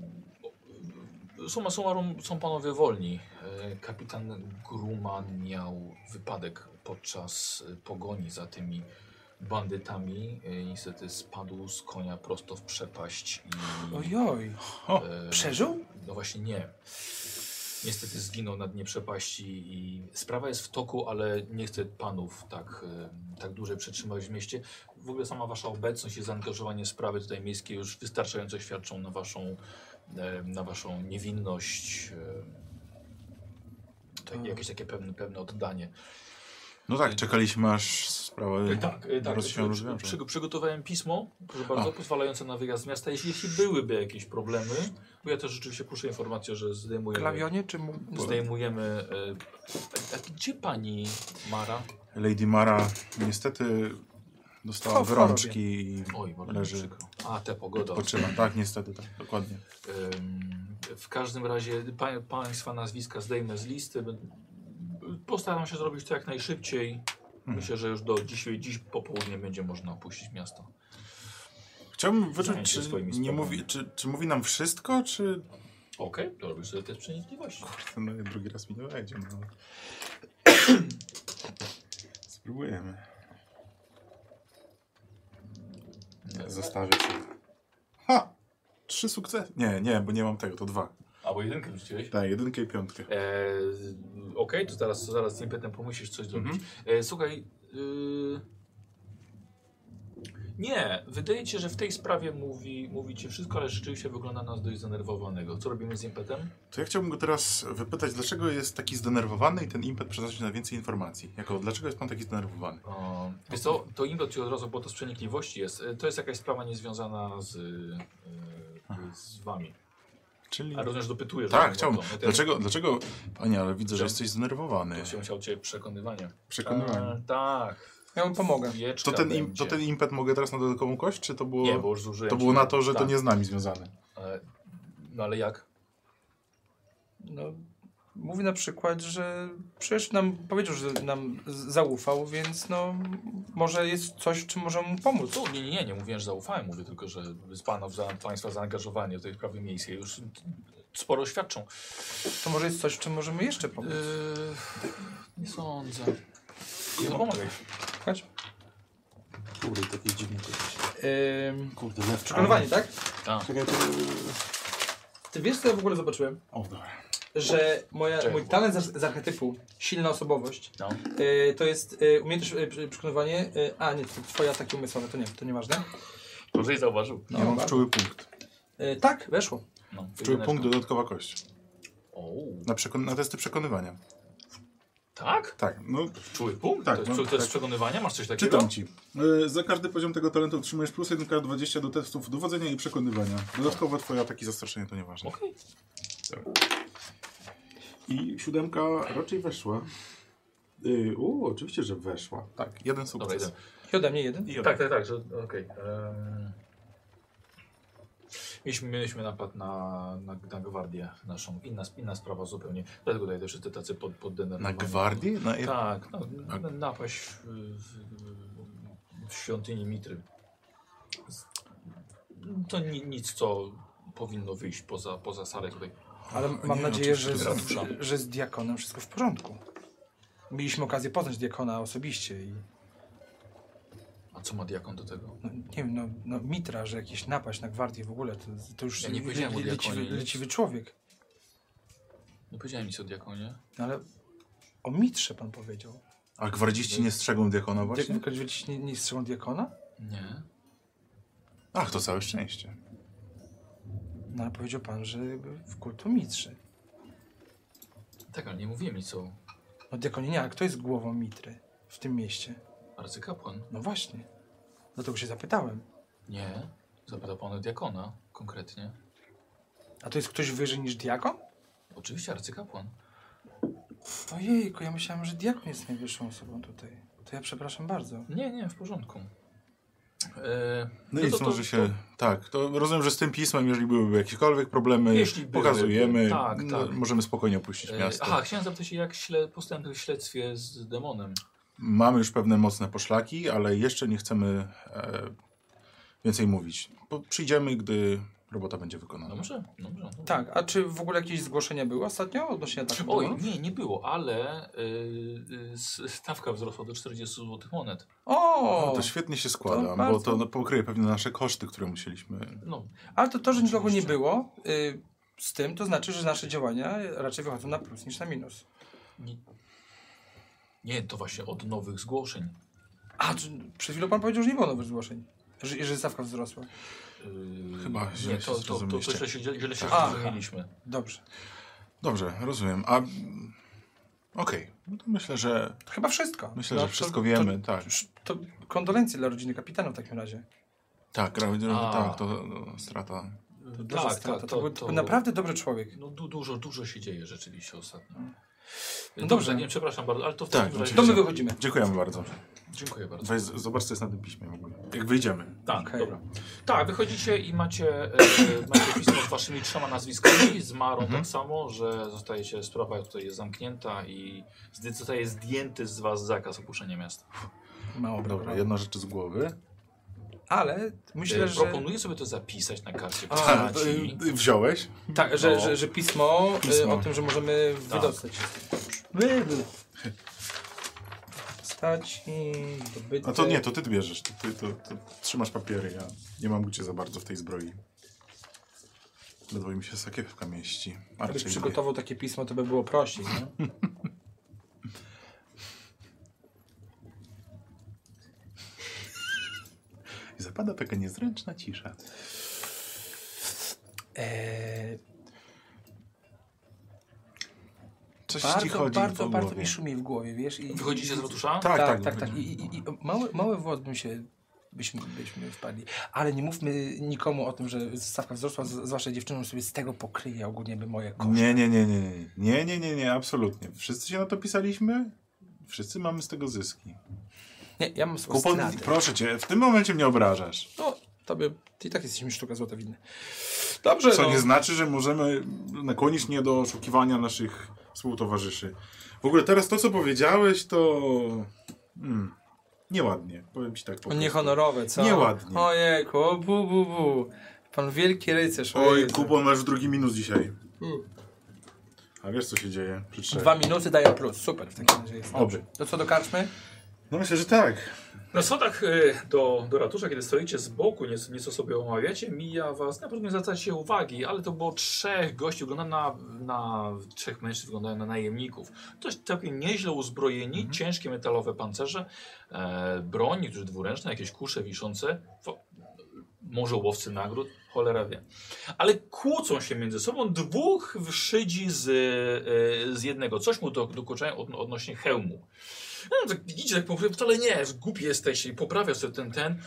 Speaker 1: o, summa summarum są panowie wolni. E, Kapitan Gruman miał wypadek podczas e, pogoni za tymi bandytami. E, Niestety spadł z konia prosto w przepaść i...
Speaker 5: Ojoj. O,
Speaker 1: e,
Speaker 5: przeżył?
Speaker 1: no właśnie nie. Niestety zginął na dnie przepaści i sprawa jest w toku, ale nie chcę panów tak, e, tak dłużej przetrzymywać w mieście. W ogóle sama wasza obecność i zaangażowanie w sprawy tutaj miejskie już wystarczająco świadczą na waszą, e, na waszą niewinność. e, Tak, jakieś takie pewne, pewne oddanie.
Speaker 3: No tak, czekaliśmy aż sprawa
Speaker 1: E, Tak, e, tak.
Speaker 3: roz- Mhm. się
Speaker 1: Przy,
Speaker 3: rozwiąże.
Speaker 1: przy, przygotowałem pismo, proszę bardzo,
Speaker 3: A.
Speaker 1: pozwalające na wyjazd z miasta, jeśli, jeśli byłyby jakieś problemy, bo ja też rzeczywiście puszczę informację, że zdejmujemy
Speaker 5: Klawionie czy mu...
Speaker 1: Zdejmujemy. e, A gdzie pani Mara?
Speaker 3: Lady Mara niestety dostała
Speaker 5: O, w
Speaker 3: wyrączki i
Speaker 1: Oj, bardzo mi
Speaker 3: Leży.
Speaker 1: przykro. A, te pogoda.
Speaker 3: odpoczywa. Tak, niestety, tak, dokładnie.
Speaker 1: Ym, W każdym razie pa, państwa nazwiska zdejmę z listy. Bę- Postaram się zrobić to jak najszybciej.
Speaker 3: Mhm.
Speaker 1: Myślę, że już do dziś, dziś po południu będzie można opuścić miasto.
Speaker 3: Chciałbym
Speaker 1: Zająć
Speaker 3: wyczuć,
Speaker 1: się
Speaker 3: czy,
Speaker 1: swoimi
Speaker 3: nie
Speaker 1: sprawami.
Speaker 3: mówi, czy, czy mówi nam wszystko, czy...
Speaker 1: Okej, to robisz sobie test przenikliwości.
Speaker 3: No, drugi raz mi nie wejdzie, no. *coughs* Spróbujemy. Nie, zostawię się. Ha! Trzy sukcesy. Nie, nie, bo nie mam tego, to dwa.
Speaker 1: Albo jedynkę rzuciłeś.
Speaker 3: Tak, jedynkę i piątkę.
Speaker 1: E, z- Okej, to zaraz, to zaraz z impetem pomyślisz coś zrobić. E, słuchaj. Y... Nie, wydaje ci się, że w tej sprawie mówi, mówi ci wszystko, ale rzeczywiście wygląda na nas dość zdenerwowanego. Co robimy z impetem?
Speaker 3: To ja chciałbym go teraz wypytać, dlaczego jest taki zdenerwowany i ten impet przeznaczyć na więcej informacji. Jako, dlaczego jest pan taki zdenerwowany?
Speaker 1: O, wiesz co, to impet ci od razu, bo to z przenikliwości jest. E, To jest jakaś sprawa niezwiązana z, e, z wami.
Speaker 3: Czyli...
Speaker 1: A rozumiem, że dopytujesz. o
Speaker 3: Tak,
Speaker 1: to,
Speaker 3: chciałbym.
Speaker 1: o to.
Speaker 3: Dlaczego, dlaczego... Panie, ale widzę, że jesteś zdenerwowany.
Speaker 1: To się musiał cię przekonywanie.
Speaker 3: Przekonywałem.
Speaker 1: E, tak.
Speaker 5: Ja mu pomogę.
Speaker 1: Wieczka
Speaker 3: To ten, im,
Speaker 1: będzie.
Speaker 3: to ten impet mogę teraz na dodatkową kość, czy to było...
Speaker 1: Nie, bo już zużyłem
Speaker 3: To było na to, że to
Speaker 1: tak.
Speaker 3: nie z nami związane.
Speaker 1: E, No ale jak?
Speaker 5: No, mówi na przykład, że przecież nam powiedział, że nam z- zaufał, więc no może jest coś, w czym możemy mu pomóc.
Speaker 1: Tu, No nie, nie, nie, nie mówiłem, że zaufałem, mówię tylko, że z panów, za, państwa zaangażowanie do tej sprawy miejskiej już sporo świadczą.
Speaker 5: To może jest coś, w czym możemy jeszcze pomóc.
Speaker 1: Yy. nie sądzę. No. Nie pomogę.
Speaker 5: Chodź.
Speaker 9: Kurde, takie dziwne to jest.
Speaker 5: Ym,
Speaker 9: Kurde, lew.
Speaker 5: przekonywanie, tak?
Speaker 1: Tak.
Speaker 9: Czekaj, to...
Speaker 5: Ty wiesz, co ja w ogóle zobaczyłem?
Speaker 3: O, dobra.
Speaker 5: Że moja,
Speaker 1: Czego?
Speaker 5: mój talent z, z archetypu, silna osobowość,
Speaker 1: No.
Speaker 5: y, to jest y, umiejętność y, przy- przekonywanie... Y, a, nie, to twoje ataki umysłowe, to nie, to nieważne.
Speaker 1: Dobrze i zauważył.
Speaker 5: No,
Speaker 3: ja mam
Speaker 5: dobra.
Speaker 3: wczuły punkt.
Speaker 5: Y, tak, weszło.
Speaker 1: No,
Speaker 3: Wczuły punkt, dodatkowa kość.
Speaker 1: O,
Speaker 3: Na, przekon- na testy przekonywania.
Speaker 1: tak?
Speaker 3: Tak, no
Speaker 1: Czuły punkt?
Speaker 3: Tak,
Speaker 1: to jest,
Speaker 3: no,
Speaker 1: to jest
Speaker 3: tak.
Speaker 1: przekonywania? Masz coś takiego?
Speaker 3: czytam ci. Y, za każdy poziom tego talentu otrzymujesz plus 1k20 do testów dowodzenia i przekonywania. Dodatkowo twoje ataki zastraszenia to nieważne.
Speaker 1: Okej.
Speaker 9: I siódemka raczej weszła.
Speaker 3: Y,
Speaker 9: Yy, u, oczywiście, że weszła.
Speaker 3: Tak, jeden
Speaker 1: Dobra,
Speaker 3: sukces.
Speaker 1: idę.
Speaker 5: I ode mnie jeden.
Speaker 3: I
Speaker 1: Tak, tak, tak, że okej. em, Mieliśmy, mieliśmy napad na, na, na gwardię naszą. Inna, inna sprawa zupełnie. Dlatego tutaj te wszyscy tacy pod,
Speaker 3: Na
Speaker 1: poddenerwowani.
Speaker 3: gwardię? Na...
Speaker 1: Tak, no,
Speaker 3: Tak.
Speaker 1: n- napaść w, w, w świątyni Mitry. Z- To ni, nic, co powinno wyjść poza, poza salę tutaj.
Speaker 5: Ale mam
Speaker 3: nie,
Speaker 1: no
Speaker 5: nadzieję, że
Speaker 3: oczywiście,
Speaker 5: z,
Speaker 1: ratusza.
Speaker 5: że z diakonem wszystko w porządku. Mieliśmy okazję poznać diakona osobiście i
Speaker 1: A co ma diakon do tego?
Speaker 5: no, nie wiem, no, no mitra, że jakiś napaść na gwardię w ogóle, to, to już
Speaker 1: Ja nie powiedziałem o
Speaker 5: leciwy,
Speaker 1: diakonie.
Speaker 5: leciwy człowiek.
Speaker 1: Nie powiedziałem nic o diakonie.
Speaker 5: No, ale o mitrze pan powiedział.
Speaker 3: A gwardziści nie strzegą diakona właśnie?
Speaker 5: Diak- Wy nie, nie strzą diakona?
Speaker 1: Nie.
Speaker 3: Ach, to całe szczęście.
Speaker 5: No ale powiedział pan, że w kultu mitrzy.
Speaker 1: Tak, ale nie mówiłem nic o
Speaker 5: No diakonie nie, ale kto jest głową mitry w tym mieście?
Speaker 1: arcykapłan.
Speaker 5: No właśnie. Dlatego się zapytałem.
Speaker 1: Nie. Zapytał pan o diakona konkretnie.
Speaker 5: A to jest ktoś wyżej niż diakon?
Speaker 1: Oczywiście arcykapłan.
Speaker 5: Ojejku, ja myślałem, że diakon jest najwyższą osobą tutaj. To ja przepraszam bardzo.
Speaker 1: Nie, nie, w porządku. E, No
Speaker 3: No, i
Speaker 1: to-
Speaker 3: nic,
Speaker 1: to-
Speaker 3: może się. Tak, to rozumiem, że z tym pismem, jeżeli byłyby jakiekolwiek problemy,
Speaker 1: Jeśli byłyby,
Speaker 3: pokazujemy.
Speaker 1: tak,
Speaker 3: no,
Speaker 1: tak.
Speaker 3: Możemy spokojnie opuścić
Speaker 1: e,
Speaker 3: miasto.
Speaker 1: aha, chciałem zapytać się, jak śle, postępy w śledztwie z demonem.
Speaker 3: Mamy już pewne mocne poszlaki, ale jeszcze nie chcemy e, więcej mówić. Po, przyjdziemy, gdy robota będzie wykonana.
Speaker 1: Dobrze, dobrze. dobrze.
Speaker 5: Tak, a czy w ogóle jakieś zgłoszenia były ostatnio odnośnie ataku?
Speaker 1: Oj,
Speaker 5: demonów?
Speaker 1: nie, nie było, ale y, y, s- stawka wzrosła do 40 zł monet.
Speaker 5: O!
Speaker 3: No, to świetnie się składa,
Speaker 5: to
Speaker 3: bo
Speaker 5: bardzo-
Speaker 3: to no, pokryje pewne nasze koszty, które musieliśmy.
Speaker 1: No,
Speaker 5: Ale to, to że nikogo nie było y, z tym, to znaczy, że nasze działania raczej wychodzą na plus niż na minus.
Speaker 1: nie, nie, to właśnie od nowych zgłoszeń.
Speaker 5: A, czy, przed chwilą pan powiedział, że nie było nowych zgłoszeń. Że, że stawka wzrosła.
Speaker 1: Y,
Speaker 3: Chyba źle
Speaker 1: nie,
Speaker 3: się
Speaker 1: to, to, to, to
Speaker 3: zrozumieliście.
Speaker 1: źle się, źle się
Speaker 5: Tak. Aha.
Speaker 1: zrozumieliśmy.
Speaker 5: Dobrze.
Speaker 3: Dobrze, rozumiem. A. mm, Okej, no to myślę, że
Speaker 5: To chyba wszystko.
Speaker 3: myślę,
Speaker 5: No,
Speaker 3: że
Speaker 5: to-
Speaker 3: wszystko
Speaker 5: to-
Speaker 3: wiemy. tak,
Speaker 5: To kondolencje dla rodziny kapitana w takim razie.
Speaker 3: tak, gra-
Speaker 1: A.
Speaker 3: tak, to, to strata.
Speaker 5: To duża
Speaker 1: Tak,
Speaker 5: strata.
Speaker 1: tak,
Speaker 5: to, był,
Speaker 1: to,
Speaker 5: to był naprawdę dobry człowiek.
Speaker 1: No, du, dużo, dużo się dzieje rzeczywiście ostatnio.
Speaker 5: No
Speaker 1: No
Speaker 5: dobrze. no
Speaker 1: dobrze, nie, przepraszam bardzo, ale to w
Speaker 3: Tak,
Speaker 1: takim razie...
Speaker 5: To my
Speaker 3: oczywiście.
Speaker 5: wychodzimy.
Speaker 3: Dziękujemy bardzo.
Speaker 1: Dziękuję bardzo.
Speaker 3: Weź, z- zobacz, co jest na tym piśmie w ogóle. Jak wyjdziemy.
Speaker 1: Tak,
Speaker 5: Okej.
Speaker 1: dobra. Tak, wychodzicie i macie, e, macie pismo z waszymi trzema nazwiskami, z Marą
Speaker 5: Mhm.
Speaker 1: tak samo, że zostajecie, sprawa tutaj jest zamknięta i zdy- zostaje zdjęty z was zakaz opuszczenia miasta.
Speaker 5: Mało
Speaker 3: Dobra, jedna rzecz z głowy.
Speaker 5: Ale myślę,
Speaker 1: e,
Speaker 5: że...
Speaker 1: proponuję sobie to zapisać na karcie
Speaker 5: A, e,
Speaker 3: A,
Speaker 1: postaci.
Speaker 3: y, y, wziąłeś?
Speaker 5: Tak, że,
Speaker 1: No.
Speaker 5: że, że pismo, y,
Speaker 3: Pismo.
Speaker 5: o tym, że możemy
Speaker 1: Tak.
Speaker 5: wydostać. Stać i dobyty.
Speaker 3: A to nie, to ty bierzesz. To, ty to, to trzymasz papiery. Ja nie mam gdzie za bardzo w tej zbroi. Ledwo mi się sakiewka mieści. A
Speaker 5: Gdybyś
Speaker 3: raczej nie.
Speaker 5: przygotował takie pismo, to by było prościej, *laughs* nie?
Speaker 3: I zapada taka niezręczna cisza.
Speaker 5: Eee,
Speaker 3: Coś ci
Speaker 5: bardzo,
Speaker 3: chodzi
Speaker 5: bardzo,
Speaker 3: po
Speaker 5: bardzo
Speaker 3: głowie.
Speaker 5: mi szumi w głowie, wiesz? I,
Speaker 1: Wychodzicie z ratusza?
Speaker 3: Tak,
Speaker 5: tak,
Speaker 3: tak.
Speaker 5: tak. tak. I, i, i mały, mały włos bym się, byśmy, byśmy wpadli. Ale nie mówmy nikomu o tym, że stawka wzrosła, z- zwłaszcza dziewczyną sobie z tego pokryje ogólnie by moje koszty.
Speaker 3: Nie, nie, nie, nie, nie. Nie, nie, nie, nie, absolutnie. Wszyscy się na to pisaliśmy. Wszyscy mamy z tego zyski.
Speaker 5: Nie, ja mam swoją
Speaker 3: Kupon,
Speaker 5: stratę.
Speaker 3: proszę cię, w tym momencie mnie obrażasz.
Speaker 5: No, tobie, ty i tak jesteś mi sztuka złota winny. Dobrze,
Speaker 3: Co
Speaker 5: no.
Speaker 3: nie znaczy, że możemy nakłonić mnie do oszukiwania naszych współtowarzyszy. W ogóle teraz to, co powiedziałeś, to. Mm, nieładnie. Powiem ci tak.
Speaker 5: No
Speaker 3: Po prostu.
Speaker 5: Niehonorowe, co?
Speaker 3: Nieładnie.
Speaker 5: Ojejku, o bu, bu, bu. Pan wielki rycerz. o
Speaker 3: Oj,
Speaker 5: Jezu.
Speaker 3: kupon masz drugi minus dzisiaj.
Speaker 5: Mm.
Speaker 3: A wiesz, co się dzieje? Przy trzech.
Speaker 5: Dwa minusy dają plus, super w takim razie jest. No
Speaker 3: Oby.
Speaker 5: To co do karczmy?
Speaker 3: No myślę, że tak.
Speaker 8: Na schodach y, do, do ratusza, kiedy stoicie z boku, nieco, nieco sobie omawiacie, mija was, na pewno nie zwracacie uwagi, ale to było trzech gości, wygląda na, na trzech mężczyzn, wyglądają na najemników. Dość całkiem nieźle uzbrojeni, ciężkie metalowe pancerze, e, broń, niektórzy dwuręczne, jakieś kusze wiszące, Fo- może łowcy nagród, cholera wie. Ale kłócą się między sobą, dwóch szydzi z, e, z jednego, coś mu do, dokuczają od, odnośnie hełmu. No, tak widzicie, tak powiem, wcale nie, głupi jesteś i poprawiasz sobie ten, ten.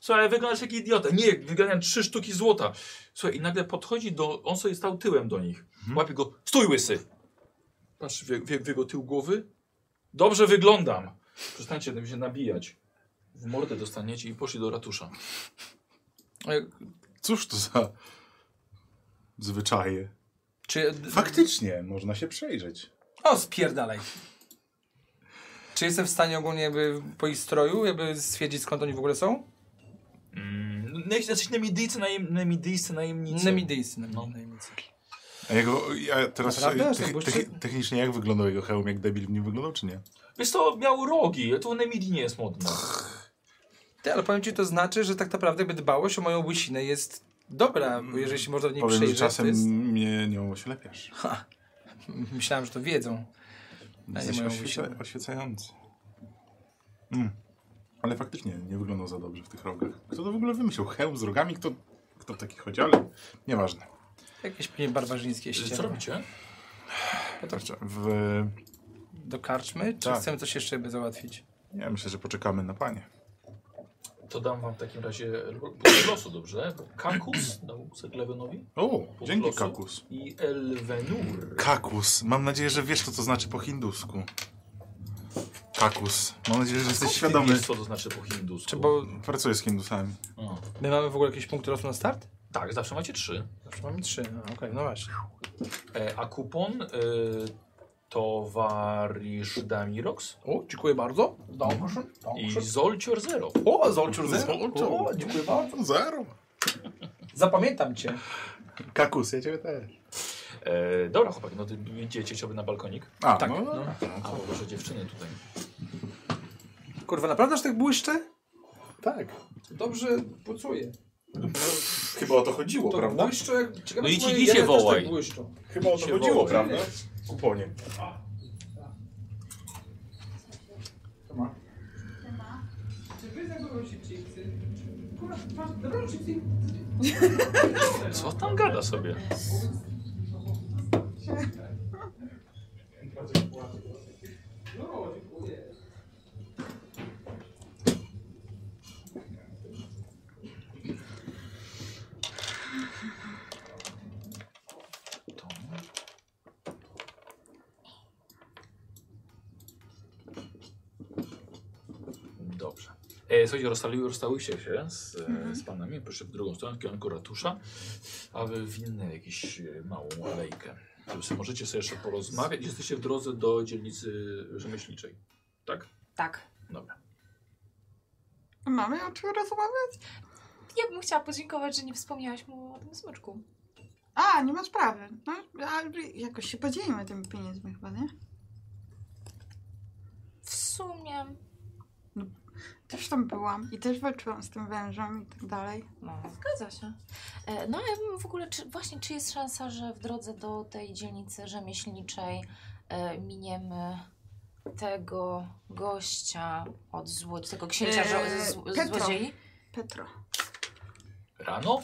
Speaker 8: Słuchaj, wyglądasz jak idiota. Nie, wyganiam trzy sztuki złota. Słuchaj, i nagle podchodzi do, on sobie stał tyłem do nich. Łapie go, stój łysy. Patrz, w, w, w jego tył głowy. Dobrze wyglądam. Przestańcie tym się nabijać. W mordę dostaniecie i poszli do ratusza.
Speaker 5: Ej,
Speaker 3: Cóż to za zwyczaje?
Speaker 5: Czy...
Speaker 3: Faktycznie, można się przejrzeć.
Speaker 5: O, spierdalaj. Czy jestem w stanie ogólnie jakby po ich stroju jakby stwierdzić skąd oni w ogóle są?
Speaker 1: Mm,
Speaker 8: znaczy,
Speaker 1: Jesteś nemidyjcy, najem, nemidyjscy najemnicy.
Speaker 5: Nemidyjscy,
Speaker 1: No.
Speaker 5: najemnicy.
Speaker 3: A jego, ja teraz
Speaker 5: Naprawdę?
Speaker 3: e,
Speaker 5: Jestem
Speaker 3: te, te,
Speaker 5: błyszczy-
Speaker 3: technicznie jak wyglądał jego hełm, jak debil w nim wyglądał, czy nie?
Speaker 1: Wiesz co, miał rogi, to nemidii nie jest modne.
Speaker 5: Ty, ale powiem ci, to znaczy, że tak naprawdę jakby dbałość o moją łysinę jest dobra, bo jeżeli się można w niej
Speaker 3: Powiem, że
Speaker 5: przyjrzeć,
Speaker 3: czasem
Speaker 5: to jest...
Speaker 3: mnie nią oślepiasz.
Speaker 5: Myślałem, że to wiedzą.
Speaker 3: Jesteś
Speaker 5: moją
Speaker 3: oświeca,
Speaker 5: łysinę.
Speaker 3: oświecający. Mm. Ale faktycznie nie wyglądał za dobrze w tych rogach. Kto to w ogóle wymyślił? Hełm z rogami? Kto, kto taki chodzi? Ale nieważne.
Speaker 5: Jakieś pewnie barbarzyńskie
Speaker 1: Co
Speaker 5: ściemy.
Speaker 1: robicie?
Speaker 3: Kurczę, W,
Speaker 5: Do karczmy? Czy
Speaker 3: Tak.
Speaker 5: chcemy coś jeszcze by załatwić?
Speaker 3: ja myślę, że poczekamy na panie.
Speaker 1: To dam wam w takim razie punkt losu, dobrze? Kakus dał Seglewenowi
Speaker 3: O,
Speaker 1: Punkt
Speaker 3: dzięki
Speaker 1: losu.
Speaker 3: kakus.
Speaker 1: i Elvenur.
Speaker 3: Kakus. Mam nadzieję, że wiesz, co to znaczy po hindusku. Kakus. Mam nadzieję, że jesteś
Speaker 1: Ty
Speaker 3: świadomy.
Speaker 1: wiesz, co to znaczy po hindusku.
Speaker 5: Czy bo
Speaker 3: Pracuję z hindusami.
Speaker 1: O.
Speaker 5: my mamy w ogóle jakieś punkty losu na start?
Speaker 1: Tak, zawsze macie trzy.
Speaker 5: Zawsze mamy trzy, no, okej, no właśnie.
Speaker 1: E, a kupon y, towarzysz Damirox
Speaker 5: O, dziękuję bardzo. Dobrze,
Speaker 1: i
Speaker 5: dobrze.
Speaker 1: Zolcior Zero.
Speaker 5: O, Zolciur Zero.
Speaker 3: Zolciur.
Speaker 5: O, dziękuję bardzo.
Speaker 3: Zero.
Speaker 5: Zapamiętam cię.
Speaker 3: Kakus, ja ciebie też.
Speaker 1: E, dobra chłopaki, no ty idziecie ciągle na balkonik.
Speaker 3: A,
Speaker 5: Tak,
Speaker 3: no,
Speaker 5: no.
Speaker 1: A bo proszę dziewczyny tutaj.
Speaker 5: Kurwa, naprawdę aż tak błyszczę?
Speaker 9: Tak.
Speaker 5: Dobrze pucuję.
Speaker 9: Chyba o to chodziło,
Speaker 5: To
Speaker 9: prawda?
Speaker 5: błyszczę jak... Ciekawe,
Speaker 1: No
Speaker 5: czy
Speaker 1: idź-
Speaker 5: moje
Speaker 1: idź je
Speaker 5: jajca też
Speaker 1: wołaj.
Speaker 5: Tak błyszczą.
Speaker 9: Chyba o to
Speaker 1: się
Speaker 9: chodziło,
Speaker 1: wołaj.
Speaker 9: prawda? Kuponie.
Speaker 1: Co tam gada sobie? Dobrze. E, słuchajcie, rozstali, rozstałyście się z, e,
Speaker 7: Mhm.
Speaker 1: z panami, proszę w drugą stronę, w kierunku ratusza, a wy w inną jakąś e, małą alejkę. Tu sobie Możecie sobie jeszcze porozmawiać. Jesteście w drodze do dzielnicy rzemieślniczej. Tak?
Speaker 7: Tak.
Speaker 1: Dobra.
Speaker 2: Mamy o czym rozmawiać?
Speaker 4: Ja bym chciała podziękować, że nie wspomniałaś mu o tym smyczku.
Speaker 2: A, nie ma sprawy. No, ale jakoś się podzielimy tymi pieniędzmi chyba, nie?
Speaker 4: W sumie.
Speaker 2: Też tam byłam i też walczyłam z tym wężem i tak dalej.
Speaker 7: No.
Speaker 4: Zgadza się.
Speaker 7: E, No ja bym w ogóle, czy, właśnie czy jest szansa, że w drodze do tej dzielnicy rzemieślniczej e, miniemy tego gościa od złodziei, tego księcia żo-
Speaker 2: Eee,
Speaker 7: z, z,
Speaker 2: Petro.
Speaker 7: złodziei?
Speaker 2: Petro.
Speaker 1: Rano?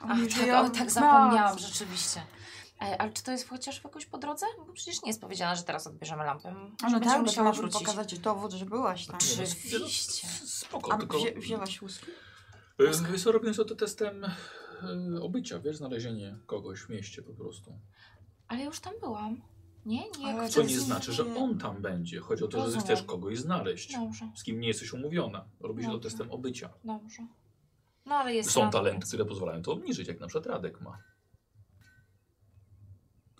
Speaker 7: Ach,
Speaker 2: Oni
Speaker 7: tak,
Speaker 2: żyją
Speaker 7: o,
Speaker 2: w
Speaker 7: tak
Speaker 2: nas.
Speaker 7: zapomniałam, rzeczywiście. E, ale czy to jest chociaż jakoś po drodze? Bo przecież nie jest powiedziane, że teraz odbierzemy lampę.
Speaker 2: A
Speaker 7: Że
Speaker 2: no
Speaker 7: będziemy
Speaker 2: tak, bo to
Speaker 7: musiały
Speaker 2: możesz pokazać dowód, że byłaś tam.
Speaker 1: Nie, no,
Speaker 7: Oczywiście.
Speaker 1: s- Spoko,
Speaker 2: A
Speaker 1: tylko...
Speaker 2: wzię, wzięłaś łuski?
Speaker 1: Y, Wiesz co, robią sobie to testem e, obycia, wiesz, znalezienie kogoś w mieście po prostu.
Speaker 7: Ale ja już tam byłam. Nie, nie.
Speaker 2: Ale
Speaker 7: chcę
Speaker 1: Co nie
Speaker 7: z-
Speaker 1: znaczy, że on tam będzie. Chodzi o to, że
Speaker 7: Rozumiem.
Speaker 1: chcesz kogoś znaleźć.
Speaker 7: Dobrze,
Speaker 1: Z kim nie jesteś umówiona. Robisz to
Speaker 7: Dobrze.
Speaker 1: testem obycia.
Speaker 7: dobrze. No ale jest
Speaker 1: Są
Speaker 7: szansa.
Speaker 1: talenty, które pozwalają to obniżyć, jak na przykład Radek ma.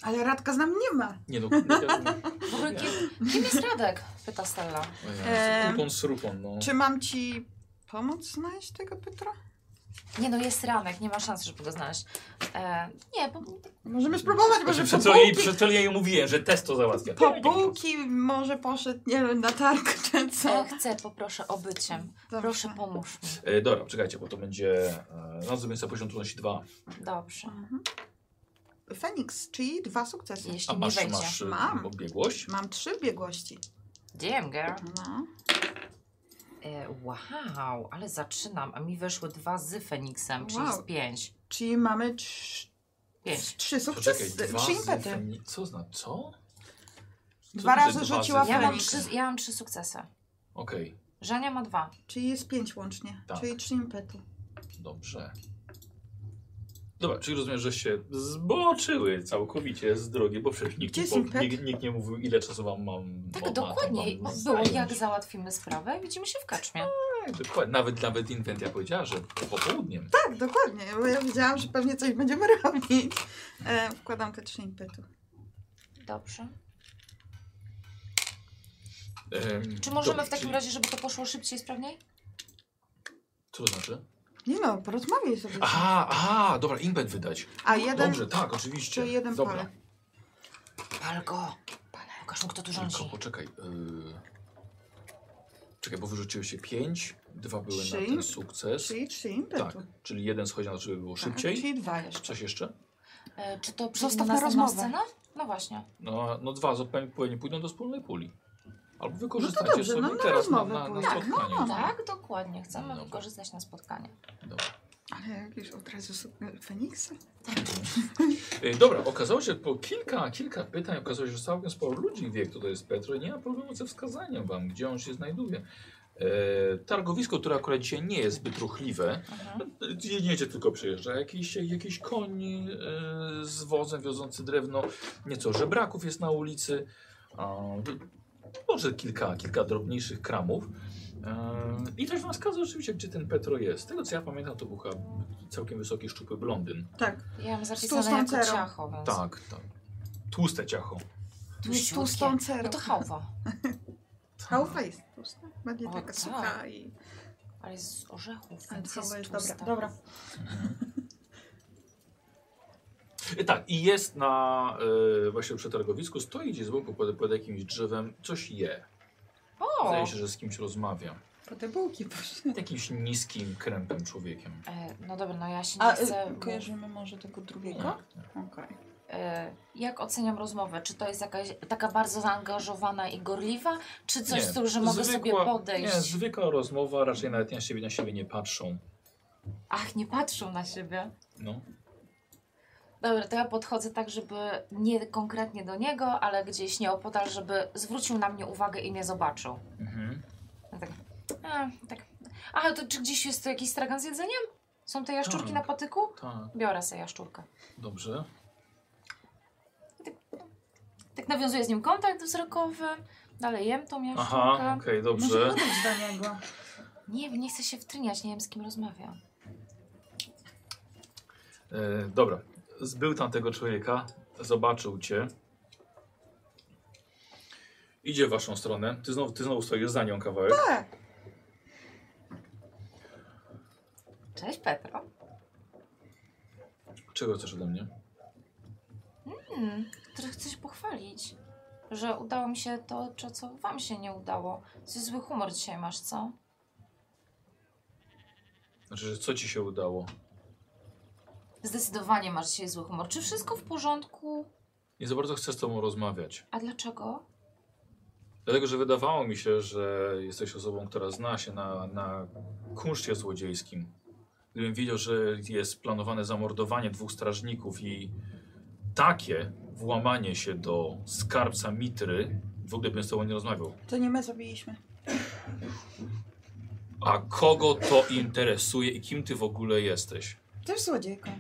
Speaker 2: Ale Radka z nami nie ma.
Speaker 1: Nie no,
Speaker 2: *laughs*
Speaker 1: ja-
Speaker 7: W ogóle kim, kim jest Radek? Pyta Stella.
Speaker 2: Em,
Speaker 1: Kupon z rupon, no.
Speaker 2: Czy mam ci pomóc znaleźć tego Petra?
Speaker 7: Nie no, jest ranek, nie ma szans, żeby go znaleźć. E, nie, bo
Speaker 2: Możemy spróbować,
Speaker 3: Znaczy,
Speaker 2: może
Speaker 1: Znaczy,
Speaker 2: po
Speaker 1: Przed co, jej,
Speaker 2: bułki-
Speaker 1: przed co jej mówiłem, że test to załatwia. Tak,
Speaker 2: Po bułki może poszedł, nie wiem, na targ czy
Speaker 7: co
Speaker 2: co.
Speaker 7: e, chcę, poproszę o byciem.
Speaker 2: Dobrze.
Speaker 7: Proszę, pomóż mi.
Speaker 1: E, dobra, czekajcie, bo to będzie... E, no, zrobimy sobie poziom trudności 2.
Speaker 7: Dobrze.
Speaker 2: Mhm. Feniks, czyli dwa sukcesy.
Speaker 1: A
Speaker 7: Jeśli nie
Speaker 1: masz,
Speaker 7: wejdzie.
Speaker 1: masz e,
Speaker 2: Mam.
Speaker 1: biegłość?
Speaker 2: Mam trzy biegłości.
Speaker 7: Damn, girl.
Speaker 2: No.
Speaker 7: E, wow, ale zaczynam, a mi weszły dwa z Feniksem, czyli
Speaker 2: Wow.
Speaker 7: z pięć.
Speaker 2: Czyli mamy trz...
Speaker 7: Pięć.
Speaker 2: trzy
Speaker 1: Poczekaj,
Speaker 2: sukcesy,
Speaker 1: dwa
Speaker 2: trzy
Speaker 1: z
Speaker 2: impety.
Speaker 1: feni- Co zna, co?
Speaker 2: Dwa
Speaker 1: to znaczy
Speaker 2: razy
Speaker 1: dwa
Speaker 2: rzuciła
Speaker 1: z-
Speaker 7: Ja mam
Speaker 2: Feniks.
Speaker 7: trzy, ja mam trzy sukcesy.
Speaker 1: Okej,
Speaker 7: Żania ma dwa.
Speaker 2: Czyli jest pięć łącznie,
Speaker 1: Tak.
Speaker 2: czyli trzy impety.
Speaker 1: dobrze. Dobra, czyli rozumiem, że się zboczyły całkowicie z drogi, bo przecież nikt,
Speaker 2: Gdzie
Speaker 1: nie
Speaker 2: jest
Speaker 1: po-
Speaker 2: impet?
Speaker 1: nikt, nikt nie mówił, ile czasu wam mam.
Speaker 7: Tak,
Speaker 1: ma- ma-
Speaker 7: dokładnie.
Speaker 1: mam
Speaker 7: Było
Speaker 1: zająć.
Speaker 7: jak załatwimy sprawę, widzimy się w kaczmie.
Speaker 1: Tak, dokładnie. Nawet, nawet inwentia powiedziała, że popołudniem.
Speaker 2: Tak, dokładnie, bo ja wiedziałam, że pewnie coś będziemy *laughs* robić. E, wkładam te trzy impety.
Speaker 7: Dobrze.
Speaker 1: Em,
Speaker 7: Czy możemy
Speaker 1: dobra,
Speaker 7: w takim
Speaker 1: czyli-
Speaker 7: razie, żeby to poszło szybciej i sprawniej?
Speaker 1: Co to znaczy?
Speaker 2: Nie no, porozmawiaj sobie. z nim.
Speaker 1: Aha, aha, dobra, impet wydać.
Speaker 2: A jeden...
Speaker 1: Dobrze, tak, oczywiście.
Speaker 2: To jeden
Speaker 1: dobra.
Speaker 2: palec.
Speaker 7: Pal go. Pokaż mu, kto tu rządzi.
Speaker 1: Tylko poczekaj. Yy... Czekaj, bo wyrzuciły się 5, dwa były
Speaker 2: Trzy.
Speaker 1: na ten sukces.
Speaker 2: Czyli trzy
Speaker 1: Tak,
Speaker 2: impetu.
Speaker 1: czyli jeden schodzi na to, żeby było
Speaker 2: Tak,
Speaker 1: szybciej.
Speaker 2: Czyli dwa jeszcze.
Speaker 1: Coś jeszcze?
Speaker 7: E, Czy to przyjdzie
Speaker 2: Zostaw
Speaker 7: na
Speaker 2: na
Speaker 7: następną
Speaker 2: rozmowę.
Speaker 7: scenę? No właśnie.
Speaker 1: No, no dwa zupełnie pewnie pójdą do wspólnej puli. Albo wykorzystajcie
Speaker 2: dobrze,
Speaker 1: sobie
Speaker 2: no na
Speaker 1: teraz na,
Speaker 2: rozmowę
Speaker 1: na, na
Speaker 2: pójdą. Tak, no,
Speaker 1: spotkaniu.
Speaker 2: no, no.
Speaker 7: Tak, dokładnie. Chcemy
Speaker 1: Dobra.
Speaker 7: wykorzystać na spotkanie.
Speaker 1: Dobra.
Speaker 2: Ale jakieś od razu są- Feniksa?
Speaker 1: Yy, Dobra, okazało się po kilka, kilka pytań, okazało się, że całkiem sporo ludzi wie, kto to jest Petro i nie ma problemu ze wskazaniem wam, gdzie on się znajduje. Yy, targowisko, które akurat dzisiaj nie jest zbyt ruchliwe,
Speaker 7: Mhm.
Speaker 1: Jedziecie tylko przejeżdża jakiś, jakiś koń e, z wozem wiozący drewno, nieco żebraków jest na ulicy, e, może kilka, kilka drobniejszych kramów. E, I też wam wskazuje oczywiście, gdzie ten Petro jest. Z tego co ja pamiętam, to był chyba całkiem wysoki, szczupły blondyn.
Speaker 2: Tak.
Speaker 7: Ja mam
Speaker 2: Z
Speaker 7: zapisane
Speaker 2: tą
Speaker 7: jako
Speaker 2: sterą.
Speaker 7: ciacho, więc...
Speaker 1: Tak, tak. Tłuste ciacho.
Speaker 7: Tłuściutkie.
Speaker 2: Tu z tą cerą.
Speaker 7: No to chałwa.
Speaker 2: Hałfa jest tłusta. Będzie
Speaker 7: O,
Speaker 2: taka
Speaker 7: tak.
Speaker 2: sucha i...
Speaker 7: Ale jest z orzechów,
Speaker 2: Ale
Speaker 7: więc jest,
Speaker 2: chałwa jest
Speaker 7: tłusta.
Speaker 2: dobra. Dobra.
Speaker 1: E, Tak, i jest na e, właśnie przy targowisku, stoi gdzieś z boku pod, pod jakimś drzewem, coś je.
Speaker 7: O!
Speaker 1: Wydaje się, że z kimś rozmawia.
Speaker 6: Po te bułki poszli.
Speaker 1: Jakimś niskim, krępym człowiekiem.
Speaker 7: E, No dobra, no ja się nie
Speaker 2: *laughs*
Speaker 6: A
Speaker 7: chcę...
Speaker 6: y, kojarzymy może tego drugiego? Okej.
Speaker 7: E, Jak oceniam rozmowę? Czy to jest jakaś taka bardzo zaangażowana i gorliwa, czy coś, z tym, że mogę sobie podejść?
Speaker 1: Nie, zwykła rozmowa, raczej nawet na siebie, na siebie nie patrzą.
Speaker 7: Ach, nie patrzą na siebie.
Speaker 1: No.
Speaker 7: Dobra, to ja podchodzę tak, żeby nie konkretnie do niego, ale gdzieś nieopodal, żeby zwrócił na mnie uwagę i mnie zobaczył.
Speaker 1: Mhm.
Speaker 7: Ja tak, a, tak. A, to czy gdzieś jest tu jakiś stragan z jedzeniem? Są te jaszczurki
Speaker 1: Tak.
Speaker 7: na patyku?
Speaker 1: Tak,
Speaker 7: Biorę sobie jaszczurkę.
Speaker 1: dobrze.
Speaker 7: Tak nawiązuję z nim kontakt wzrokowy, dalej jem tą jaszczurkę.
Speaker 1: Aha, okej,
Speaker 6: Może
Speaker 1: dobrze.
Speaker 6: podejść do niego.
Speaker 7: Nie, nie chcę się wtryniać, nie wiem z kim rozmawiam.
Speaker 1: E, dobra. Zbył tam tego człowieka, zobaczył cię. Idzie w waszą stronę. Ty znowu, ty znowu stoisz za nią kawałek.
Speaker 2: Tak.
Speaker 7: Cześć Petro.
Speaker 1: Czego chcesz ode mnie?
Speaker 7: Hmm, trochę chcę się pochwalić, że udało mi się to, co- co wam się nie udało. Ty zły humor dzisiaj masz, co?
Speaker 1: Znaczy, że co ci się udało?
Speaker 7: Zdecydowanie masz dzisiaj zły humor. Czy wszystko w porządku?
Speaker 1: Nie za bardzo chcę z tobą rozmawiać.
Speaker 7: A dlaczego?
Speaker 1: Dlatego, że wydawało mi się, że jesteś osobą, która zna się na, na kunszcie złodziejskim. Gdybym wiedział, że jest planowane zamordowanie dwóch strażników i takie włamanie się do skarbca Mitry, w ogóle bym z tobą nie rozmawiał.
Speaker 2: To nie my zabiliśmy.
Speaker 1: A kogo to interesuje i kim ty w ogóle jesteś?
Speaker 2: Też złodziejką.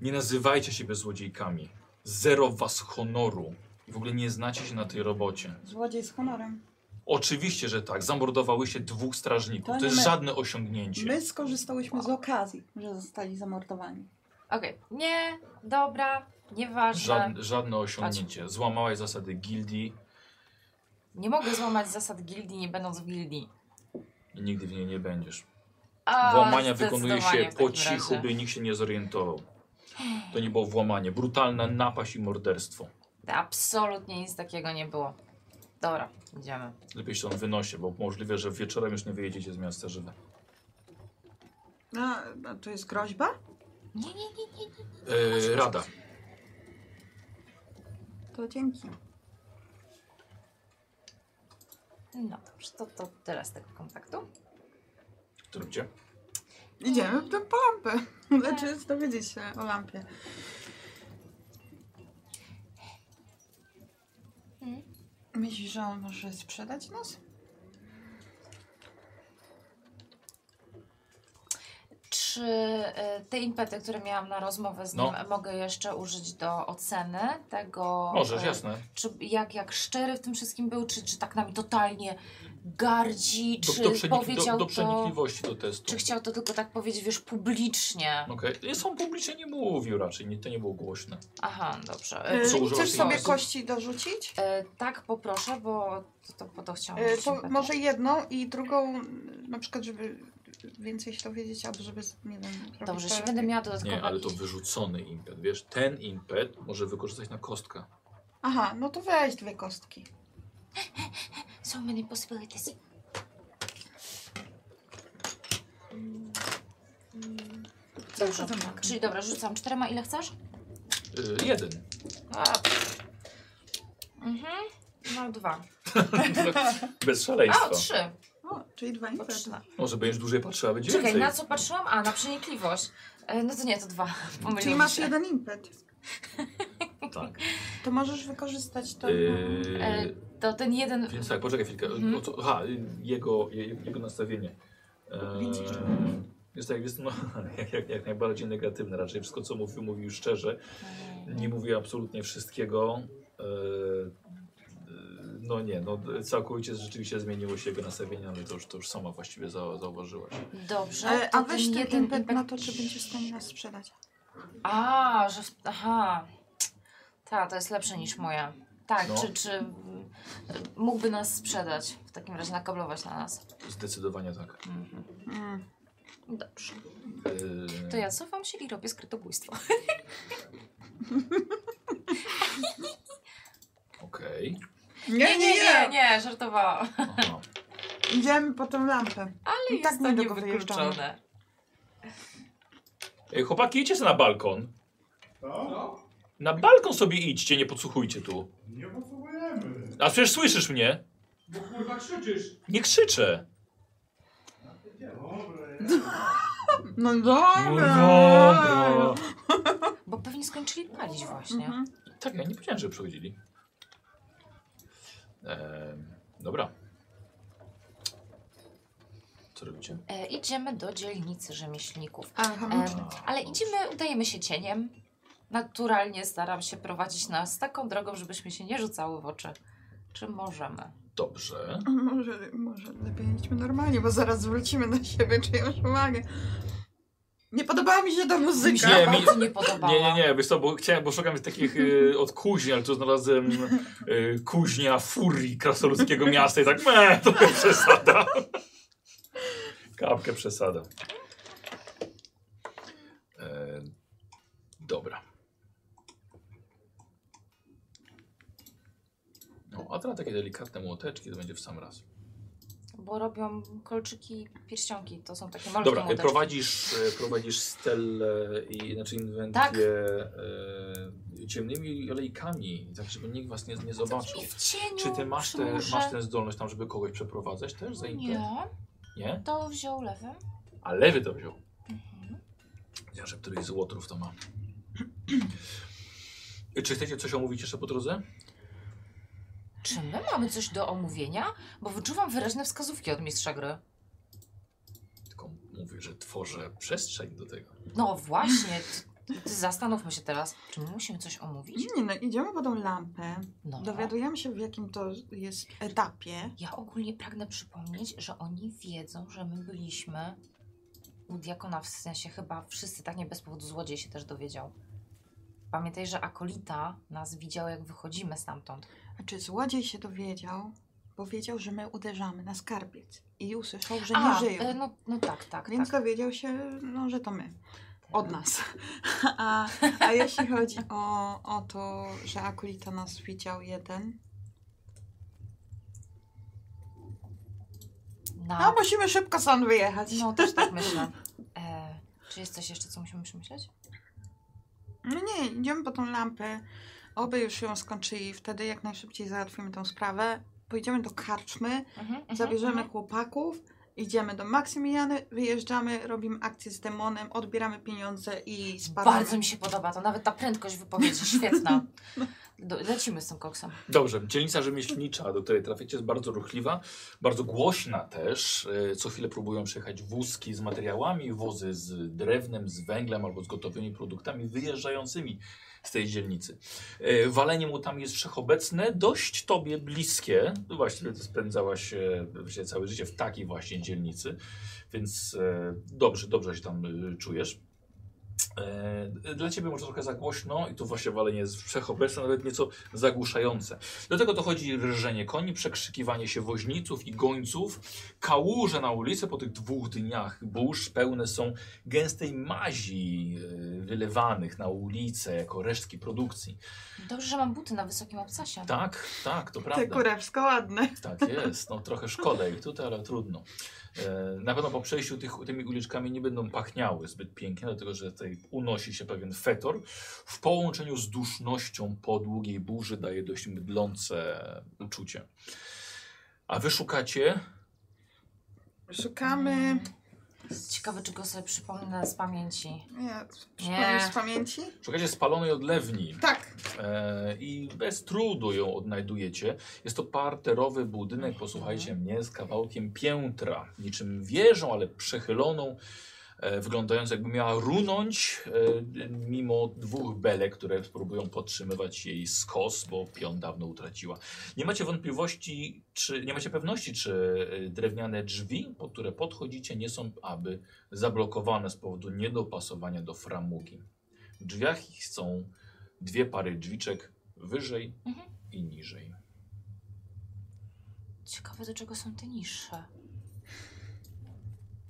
Speaker 1: Nie nazywajcie siebie złodziejkami. Zero was honoru. I w ogóle nie znacie się na tej robocie.
Speaker 2: Złodziej z honorem.
Speaker 1: Oczywiście, że tak. Zamordowałyście dwóch strażników.
Speaker 2: To
Speaker 1: To
Speaker 2: nie
Speaker 1: jest
Speaker 2: my.
Speaker 1: żadne osiągnięcie.
Speaker 2: My skorzystałyśmy z okazji, że zostali zamordowani.
Speaker 7: Okej, nie, dobra, nieważne.
Speaker 1: Żadne, żadne osiągnięcie. Złamałaś zasady gildii
Speaker 7: Nie mogę złamać zasad gildii, nie będąc w gildii.
Speaker 1: i nigdy w niej nie będziesz.
Speaker 7: A,
Speaker 1: Włamania wykonuje
Speaker 7: zdecydowanie
Speaker 1: się
Speaker 7: w
Speaker 1: po
Speaker 7: takim
Speaker 1: cichu,
Speaker 7: razie.
Speaker 1: by nikt się nie zorientował. To nie było włamanie. Brutalna napaść i morderstwo.
Speaker 7: Absolutnie nic takiego nie było. Dobra, idziemy.
Speaker 1: Lepiej się on wynosi, bo możliwe, że wieczorem już nie wyjedziecie z miasta żywe.
Speaker 2: A, a to jest groźba?
Speaker 7: Nie, nie, nie, nie.
Speaker 1: E, rada.
Speaker 2: To dzięki.
Speaker 7: No dobrze, to, to tyle z tego kontaktu.
Speaker 1: Trójcie.
Speaker 2: Idziemy w tę lampę. *laughs* Znaczy dowiedzieć się o lampie.
Speaker 7: Mm.
Speaker 2: Myślisz, że on może sprzedać nas?
Speaker 7: Czy y, te impety, które miałam na rozmowę z nim,
Speaker 1: No.
Speaker 7: mogę jeszcze użyć do oceny tego?
Speaker 1: Możesz,
Speaker 7: y,
Speaker 1: jasne.
Speaker 7: Czy jak, jak szczery w tym wszystkim był, czy, czy tak nami totalnie gardzi,
Speaker 1: Do,
Speaker 7: czy
Speaker 1: do, przenik do,
Speaker 7: powiedział
Speaker 1: do
Speaker 7: to...
Speaker 1: przenikliwości do testu.
Speaker 7: Czy chciał to tylko tak powiedzieć, wiesz, publicznie?
Speaker 1: Okej. Okay. On publicznie nie mówił raczej, nie, to nie było głośne.
Speaker 7: Aha, dobrze.
Speaker 2: E,
Speaker 7: Y,
Speaker 1: Co, używasz
Speaker 2: Chcesz
Speaker 1: tej
Speaker 2: sobie
Speaker 1: lampy?
Speaker 2: kości dorzucić?
Speaker 7: y, tak, poproszę, bo to, to, bo to chciałam.
Speaker 2: E,
Speaker 7: rzucić
Speaker 2: To
Speaker 7: impety.
Speaker 2: może jedną i drugą, na przykład, żeby więcej się dowiedzieć, albo żeby, z- nie wiem... robić
Speaker 7: Dobrze,
Speaker 2: to
Speaker 7: jeśli
Speaker 2: lepiej.
Speaker 7: będę miała dodatkowe...
Speaker 1: Nie, ale to wyrzucony impet, wiesz? Ten impet może wykorzystać na kostkę.
Speaker 2: Aha, no to weź dwie kostki.
Speaker 7: So many possibilities. Dobrze. tak.
Speaker 2: tak.
Speaker 7: Czyli dobra, rzucam czterema, ile chcesz?
Speaker 1: Yy, jeden.
Speaker 7: A. Mhm. No dwa.
Speaker 1: Bez
Speaker 7: A,
Speaker 1: szaleństwa.
Speaker 7: trzy.
Speaker 2: O, czyli dwa
Speaker 7: Bo
Speaker 2: impety.
Speaker 7: trzy.
Speaker 1: Może będziesz dłużej patrzyła, będzie
Speaker 7: Czekaj,
Speaker 1: więcej.
Speaker 7: na co patrzyłam? A, na przenikliwość. E, No to nie, to dwa. *laughs* Pomyliłam
Speaker 2: Czyli masz
Speaker 7: się.
Speaker 2: jeden
Speaker 7: *laughs*
Speaker 2: impet.
Speaker 1: Tak.
Speaker 2: To możesz wykorzystać to...
Speaker 7: E,
Speaker 1: Yy,
Speaker 7: To ten jeden...
Speaker 1: Więc tak, poczekaj chwilkę.
Speaker 7: Mhm.
Speaker 1: O co, aha, y, jego, je, jego nastawienie.
Speaker 2: Więcej jeszcze.
Speaker 1: Eee, jest tak, jest no, jak, jak, jak najbardziej negatywne. Raczej wszystko, co mówił, mówił szczerze.
Speaker 7: Eee.
Speaker 1: Nie mówił absolutnie wszystkiego. Eee, y, no nie, no całkowicie rzeczywiście zmieniło się jego nastawienie, ale to już, to już sama właściwie za, zauważyłaś.
Speaker 7: Dobrze.
Speaker 2: Ale,
Speaker 7: to
Speaker 2: E, a weź ten
Speaker 7: jeden
Speaker 2: impet
Speaker 7: impet-
Speaker 2: na to, czy będziesz w stanie nas sprzedać.
Speaker 7: A, że. w- Aha. Ta, to jest lepsze niż moja. Tak,
Speaker 1: No.
Speaker 7: czy, czy mm, mógłby nas sprzedać? W takim razie nakablować na nas.
Speaker 1: Zdecydowanie tak.
Speaker 7: Mhm.
Speaker 2: Mm.
Speaker 7: Dobrze.
Speaker 1: Eee,
Speaker 7: To ja cofam się i robię skrytobójstwo.
Speaker 1: Okej.
Speaker 2: Nie, nie,
Speaker 7: nie,
Speaker 2: nie! *laughs*
Speaker 7: nie, żartowałam.
Speaker 1: Aha.
Speaker 2: Idziemy po tą lampę.
Speaker 7: Ale
Speaker 2: tak
Speaker 7: jest to
Speaker 2: niedługo wyjeżdżamy.
Speaker 7: niewykluczone.
Speaker 1: Ej, chłopaki, idźcie sobie na balkon.
Speaker 9: No,
Speaker 1: Na balkon sobie idźcie, nie podsłuchujcie tu.
Speaker 9: nie potrzebujemy.
Speaker 1: A przecież słyszysz mnie?
Speaker 9: Bo No kurwa krzyczysz.
Speaker 1: Nie krzyczę.
Speaker 2: No
Speaker 1: No
Speaker 2: dobra!
Speaker 1: dobra.
Speaker 7: Bo pewnie skończyli palić właśnie.
Speaker 2: Mhm.
Speaker 1: Tak, ja nie powiedziałem, że przychodzili. Em, dobra. Co robicie?
Speaker 7: E, idziemy do dzielnicy rzemieślników.
Speaker 2: Ale
Speaker 7: E,
Speaker 2: hamyczny.
Speaker 7: ale idziemy, udajemy się cieniem. Naturalnie staram się prowadzić nas taką drogą, żebyśmy się nie rzucały w oczy. Czy możemy?
Speaker 1: Dobrze.
Speaker 2: Może, może lepiej idźmy normalnie, bo zaraz zwrócimy na siebie czyjąś uwagę. Nie podobała mi się ta muzyka.
Speaker 1: Nie, mi-
Speaker 7: bardzo nie podobała.
Speaker 1: Nie, nie, nie, wiesz co, bo chciałem, bo szukam takich y, od kuźni, ale tu znalazłem y, kuźnia furii krasnoludzkiego miasta i tak, me, to jest przesada. Kapkę przesada. E, dobra. No, a teraz takie delikatne młoteczki, to będzie w sam raz.
Speaker 7: Bo robią kolczyki, pierścionki. To są takie malutkie
Speaker 1: Dobra, e,
Speaker 7: młoteczki.
Speaker 1: prowadzisz, e, prowadzisz stelę i znaczy inwentję
Speaker 7: Tak.
Speaker 1: e, ciemnymi alejkami, tak żeby nikt was nie, nie zobaczył.
Speaker 7: I w cieniu
Speaker 1: Czy ty masz, te,
Speaker 7: przymurze.
Speaker 1: masz tę zdolność tam, żeby kogoś przeprowadzać też za impet?
Speaker 7: Nie,
Speaker 1: Nie?
Speaker 7: to wziął lewym.
Speaker 1: A lewy to wziął.
Speaker 7: Mhm.
Speaker 1: Ja, że któryś z łotrów to ma. *clears throat* Czy chcecie coś omówić jeszcze po drodze?
Speaker 7: Czy my mamy coś do omówienia? Bo wyczuwam wyraźne wskazówki od mistrza gry.
Speaker 1: Tylko mówię, że tworzę przestrzeń do tego.
Speaker 7: No właśnie, ty, ty zastanówmy się teraz, czy my musimy coś omówić?
Speaker 2: Nie, no, idziemy po tą lampę.
Speaker 7: No.
Speaker 2: Dowiadujemy się, w jakim to jest etapie.
Speaker 7: Ja ogólnie pragnę przypomnieć, że oni wiedzą, że my byliśmy u diakona, w sensie chyba wszyscy, tak nie bez powodu złodziej się też dowiedział. Pamiętaj, że akolita nas widział, jak wychodzimy stamtąd.
Speaker 2: A czy złodziej się dowiedział, bo wiedział, że my uderzamy na skarbiec i usłyszał, że
Speaker 7: A,
Speaker 2: nie żyją.
Speaker 7: e, No, no tak, tak,
Speaker 2: Więc
Speaker 7: tak. E, no.
Speaker 2: dowiedział się, no, że to my. Od nas. *laughs* A, a jeśli chodzi o, o to, że Akulita nas widział jeden. No,
Speaker 7: Na...
Speaker 2: musimy szybko stąd wyjechać.
Speaker 7: No też tak myślę. E, czy jest coś jeszcze, co musimy przemyśleć?
Speaker 2: No nie, idziemy po tą lampę. Oby już ją skończyli. Wtedy jak najszybciej załatwimy tą sprawę. Pojedziemy do karczmy,
Speaker 7: Mhm, mhm,
Speaker 2: zabierzemy
Speaker 7: mhm.
Speaker 2: chłopaków, idziemy do Maksymiliany, wyjeżdżamy, robimy akcję z demonem, odbieramy pieniądze i spadamy.
Speaker 7: Bardzo mi się podoba to, nawet ta prędkość wypowiedzi,
Speaker 2: *laughs*
Speaker 7: świetna. Do, lecimy z tym koksem.
Speaker 1: Dobrze, dzielnica rzemieślnicza, do której traficie, jest bardzo ruchliwa, bardzo głośna też. E, Co chwilę próbują przyjechać wózki z materiałami, wozy z drewnem, z węglem albo z gotowymi produktami wyjeżdżającymi z tej dzielnicy. E, Walenie mu tam jest wszechobecne, dość tobie bliskie. No Właściwie ty spędzałaś e, właściwie całe życie w takiej właśnie dzielnicy, więc e, dobrze, dobrze się tam e, czujesz. E, Dla ciebie może trochę za głośno i tu właśnie walenie jest wszechobecne, nawet nieco zagłuszające. Do tego dochodzi rżenie koni, przekrzykiwanie się woźniców i gońców. Kałuże na ulicy po tych dwóch dniach burz pełne są gęstej mazi e, wylewanych na ulicę jako resztki produkcji.
Speaker 7: Dobrze, że mam buty na wysokim obcasie.
Speaker 1: Tak, tak, to
Speaker 2: Te
Speaker 1: prawda.
Speaker 2: kurewsko ładne.
Speaker 1: Tak jest, no trochę szkoda ich tutaj, ale trudno. E, Na pewno po przejściu tych, tymi uliczkami nie będą pachniały zbyt pięknie, dlatego że tutaj unosi się pewien fetor. W połączeniu z dusznością po długiej burzy daje dość mdlące uczucie. A wy szukacie?
Speaker 2: Szukamy.
Speaker 7: Mm. Ciekawe, czy go sobie przypomnę z pamięci.
Speaker 2: Nie,
Speaker 7: Nie.
Speaker 2: przypomnisz z pamięci?
Speaker 1: Szukacie spalonej odlewni
Speaker 2: Tak. *laughs*
Speaker 1: e, i bez trudu ją odnajdujecie. Jest to parterowy budynek, posłuchajcie mnie, z kawałkiem piętra, niczym wieżą, ale przechyloną, e, wyglądająca jakby miała runąć, e, mimo dwóch belek, które spróbują podtrzymywać jej skos, bo pion dawno utraciła. Nie macie wątpliwości, czy, nie macie pewności, czy e, drewniane drzwi, pod które podchodzicie, nie są aby zablokowane z powodu niedopasowania do framugi. W drzwiach ich są dwie pary drzwiczek wyżej
Speaker 7: Mhm.
Speaker 1: i niżej.
Speaker 7: Ciekawe, do czego są te niższe.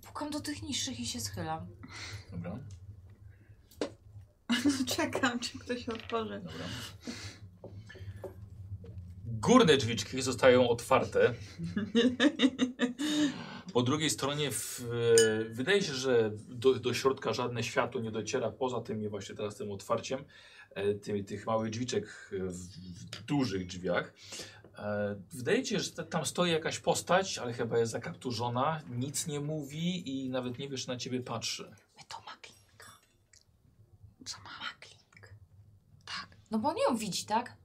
Speaker 7: Pukam do tych niższych i się schylam.
Speaker 1: Dobra,
Speaker 2: Czekam, czy ktoś otworzy.
Speaker 1: dobra. Górne drzwiczki zostają otwarte. Po drugiej stronie w, e, wydaje się, że do, do środka żadne światło nie dociera poza tymi właśnie teraz tym otwarciem e, ty, tych małych drzwiczek e, w, w dużych drzwiach. E, Wydaje się, że ta- tam stoi jakaś postać, ale chyba jest zakapturzona, nic nie mówi i nawet nie wiesz, na ciebie patrzy.
Speaker 7: My to maklinka. Co ma maklink? Tak. No bo on ją widzi, tak?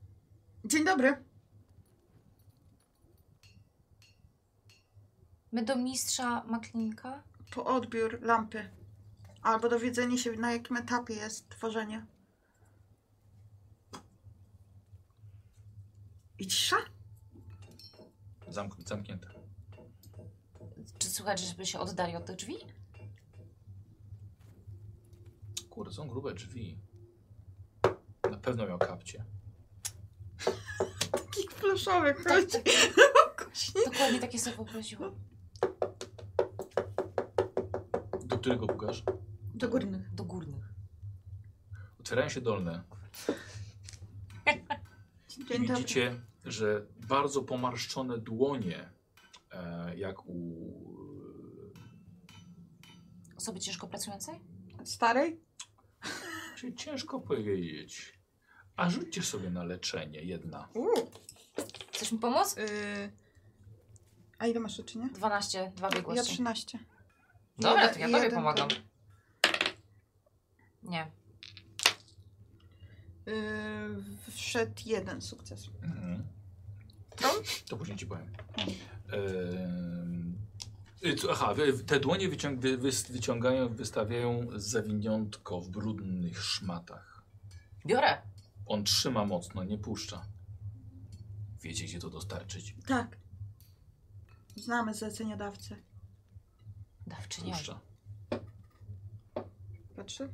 Speaker 2: Dzień dobry.
Speaker 7: My do mistrza maklinka?
Speaker 2: To odbiór lampy. Albo dowiedzenie się, na jakim etapie jest tworzenie. I cisza?
Speaker 1: Zamk- zamknięte.
Speaker 7: Czy słychać, żeby się oddali od tych drzwi?
Speaker 1: Kurde, są grube drzwi. Na pewno miał kapcie.
Speaker 2: Takich pluszowych chodzi.
Speaker 7: Dokładnie takie sobie wyobraziłam.
Speaker 1: Do którego pukasz?
Speaker 2: *laughs* Do górnych.
Speaker 7: Do górnych.
Speaker 1: Otwierają się dolne.
Speaker 2: Dzień dobry.
Speaker 1: Widzicie, że bardzo pomarszczone dłonie, e, jak u
Speaker 7: Osoby ciężko pracującej?
Speaker 2: Starej?
Speaker 1: Czyli ciężko powiedzieć. A rzućcie sobie na leczenie, jedna.
Speaker 2: Uuu.
Speaker 7: Chcesz mi pomóc?
Speaker 2: Yy. A ile masz rzeczy, nie?
Speaker 7: 12, dwa
Speaker 2: Ja
Speaker 7: biegłości.
Speaker 2: 13.
Speaker 7: Dobra, to ja tobie
Speaker 2: Jeden
Speaker 7: pomagam.
Speaker 2: to-
Speaker 7: Nie.
Speaker 2: Yy, wszedł jeden sukces.
Speaker 1: Mhm. To później ci powiem. Ehm, y, co- Aha, wy- te dłonie wyciąg, wy, wy, wyciągają, wystawiają zawiniątko w brudnych szmatach.
Speaker 7: Biorę.
Speaker 1: On trzyma mocno, nie puszcza. Wiecie, gdzie to dostarczyć?
Speaker 2: Tak. Znamy zleceniodawcę.
Speaker 7: Dawczynią.
Speaker 1: Puszcza.
Speaker 2: Patrzy?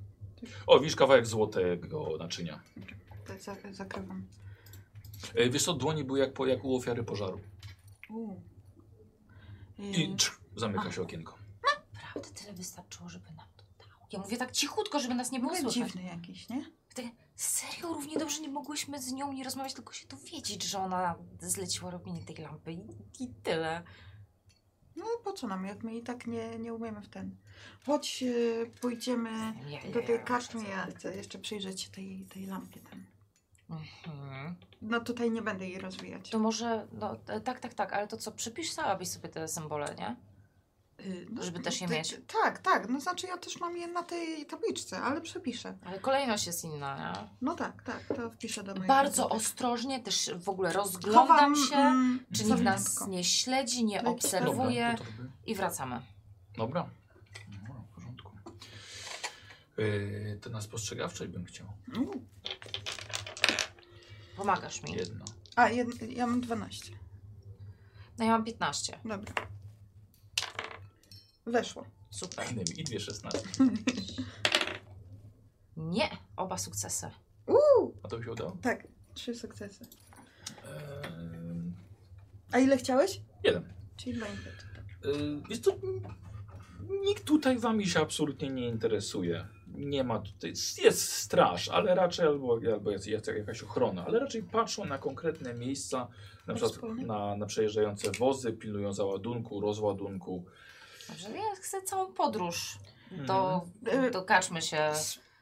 Speaker 1: O, widzisz kawałek złotego naczynia.
Speaker 2: Tak, za- zakrywam.
Speaker 1: E, Wiesz co, dłonie były jak, po, jak u ofiary pożaru.
Speaker 2: Uuu.
Speaker 1: I
Speaker 2: Yy,
Speaker 1: cz, zamyka się okienko.
Speaker 7: Naprawdę tyle wystarczyło, żeby nam to dało. Ja mówię tak cichutko, żeby nas nie było
Speaker 2: Byłem
Speaker 7: słychać. tak,
Speaker 2: dziwny jakiś, nie?
Speaker 7: Serio, równie dobrze nie mogłyśmy z nią nie rozmawiać, tylko się dowiedzieć, że ona zleciła robienie tej lampy i, i tyle.
Speaker 2: No po co nam, jak my i tak nie, nie umiemy w ten. Chodź, yy, pójdziemy
Speaker 7: Ja, ja,
Speaker 2: do
Speaker 7: ja,
Speaker 2: tej
Speaker 7: ja
Speaker 2: kaszmy,
Speaker 7: muszę
Speaker 2: ja
Speaker 7: sobie-
Speaker 2: chcę jeszcze przyjrzeć się tej, tej lampie tam.
Speaker 7: Mhm.
Speaker 2: No tutaj nie będę jej rozwijać.
Speaker 7: To może, no e, tak, tak, tak, ale to co, przypisałabyś sobie te symbole, nie?
Speaker 2: Yy, no,
Speaker 7: żeby też je
Speaker 2: ty-
Speaker 7: mieć.
Speaker 2: ty- Tak, tak, no znaczy ja też mam je na tej tabliczce, ale przepiszę.
Speaker 7: Ale kolejność jest inna, nie?
Speaker 2: No tak, tak, to wpiszę do mojej
Speaker 7: Bardzo
Speaker 2: notatek.
Speaker 7: ostrożnie też w ogóle
Speaker 2: Chowam,
Speaker 7: rozglądam się,
Speaker 2: mm, No
Speaker 7: czy nikt nas
Speaker 2: zawitko.
Speaker 7: nie śledzi, nie
Speaker 2: Dobra,
Speaker 7: obserwuje
Speaker 1: Dobra, do torby.
Speaker 7: i wracamy.
Speaker 1: Dobra. Dobra, w porządku. E, to na spostrzegawczość bym chciał.
Speaker 2: Uuu.
Speaker 7: Pomagasz mi.
Speaker 1: Jedno.
Speaker 2: A, jed, ja mam 12.
Speaker 7: No ja mam 15.
Speaker 2: Dobra. Weszło.
Speaker 7: Super.
Speaker 1: Innymi. I dwie szesnaste.
Speaker 7: Nie, oba sukcesy.
Speaker 1: A to by się udało?
Speaker 6: Tak, trzy sukcesy.
Speaker 1: Ehm,
Speaker 6: A ile chciałeś?
Speaker 1: Jeden.
Speaker 6: Czyli dwa impety.
Speaker 1: Yy, Jest to. Nikt tutaj wami się absolutnie nie interesuje. Nie ma tutaj. Jest straż, ale raczej albo, albo jest, jest jakaś ochrona, ale raczej patrzą na konkretne miejsca, na przykład
Speaker 6: Wspólnie.
Speaker 1: na, na przejeżdżające wozy, pilnują załadunku, rozładunku.
Speaker 7: Dobrze, ja chcę całą podróż.
Speaker 1: Mhm.
Speaker 7: To,
Speaker 2: E,
Speaker 7: to kaczmy się.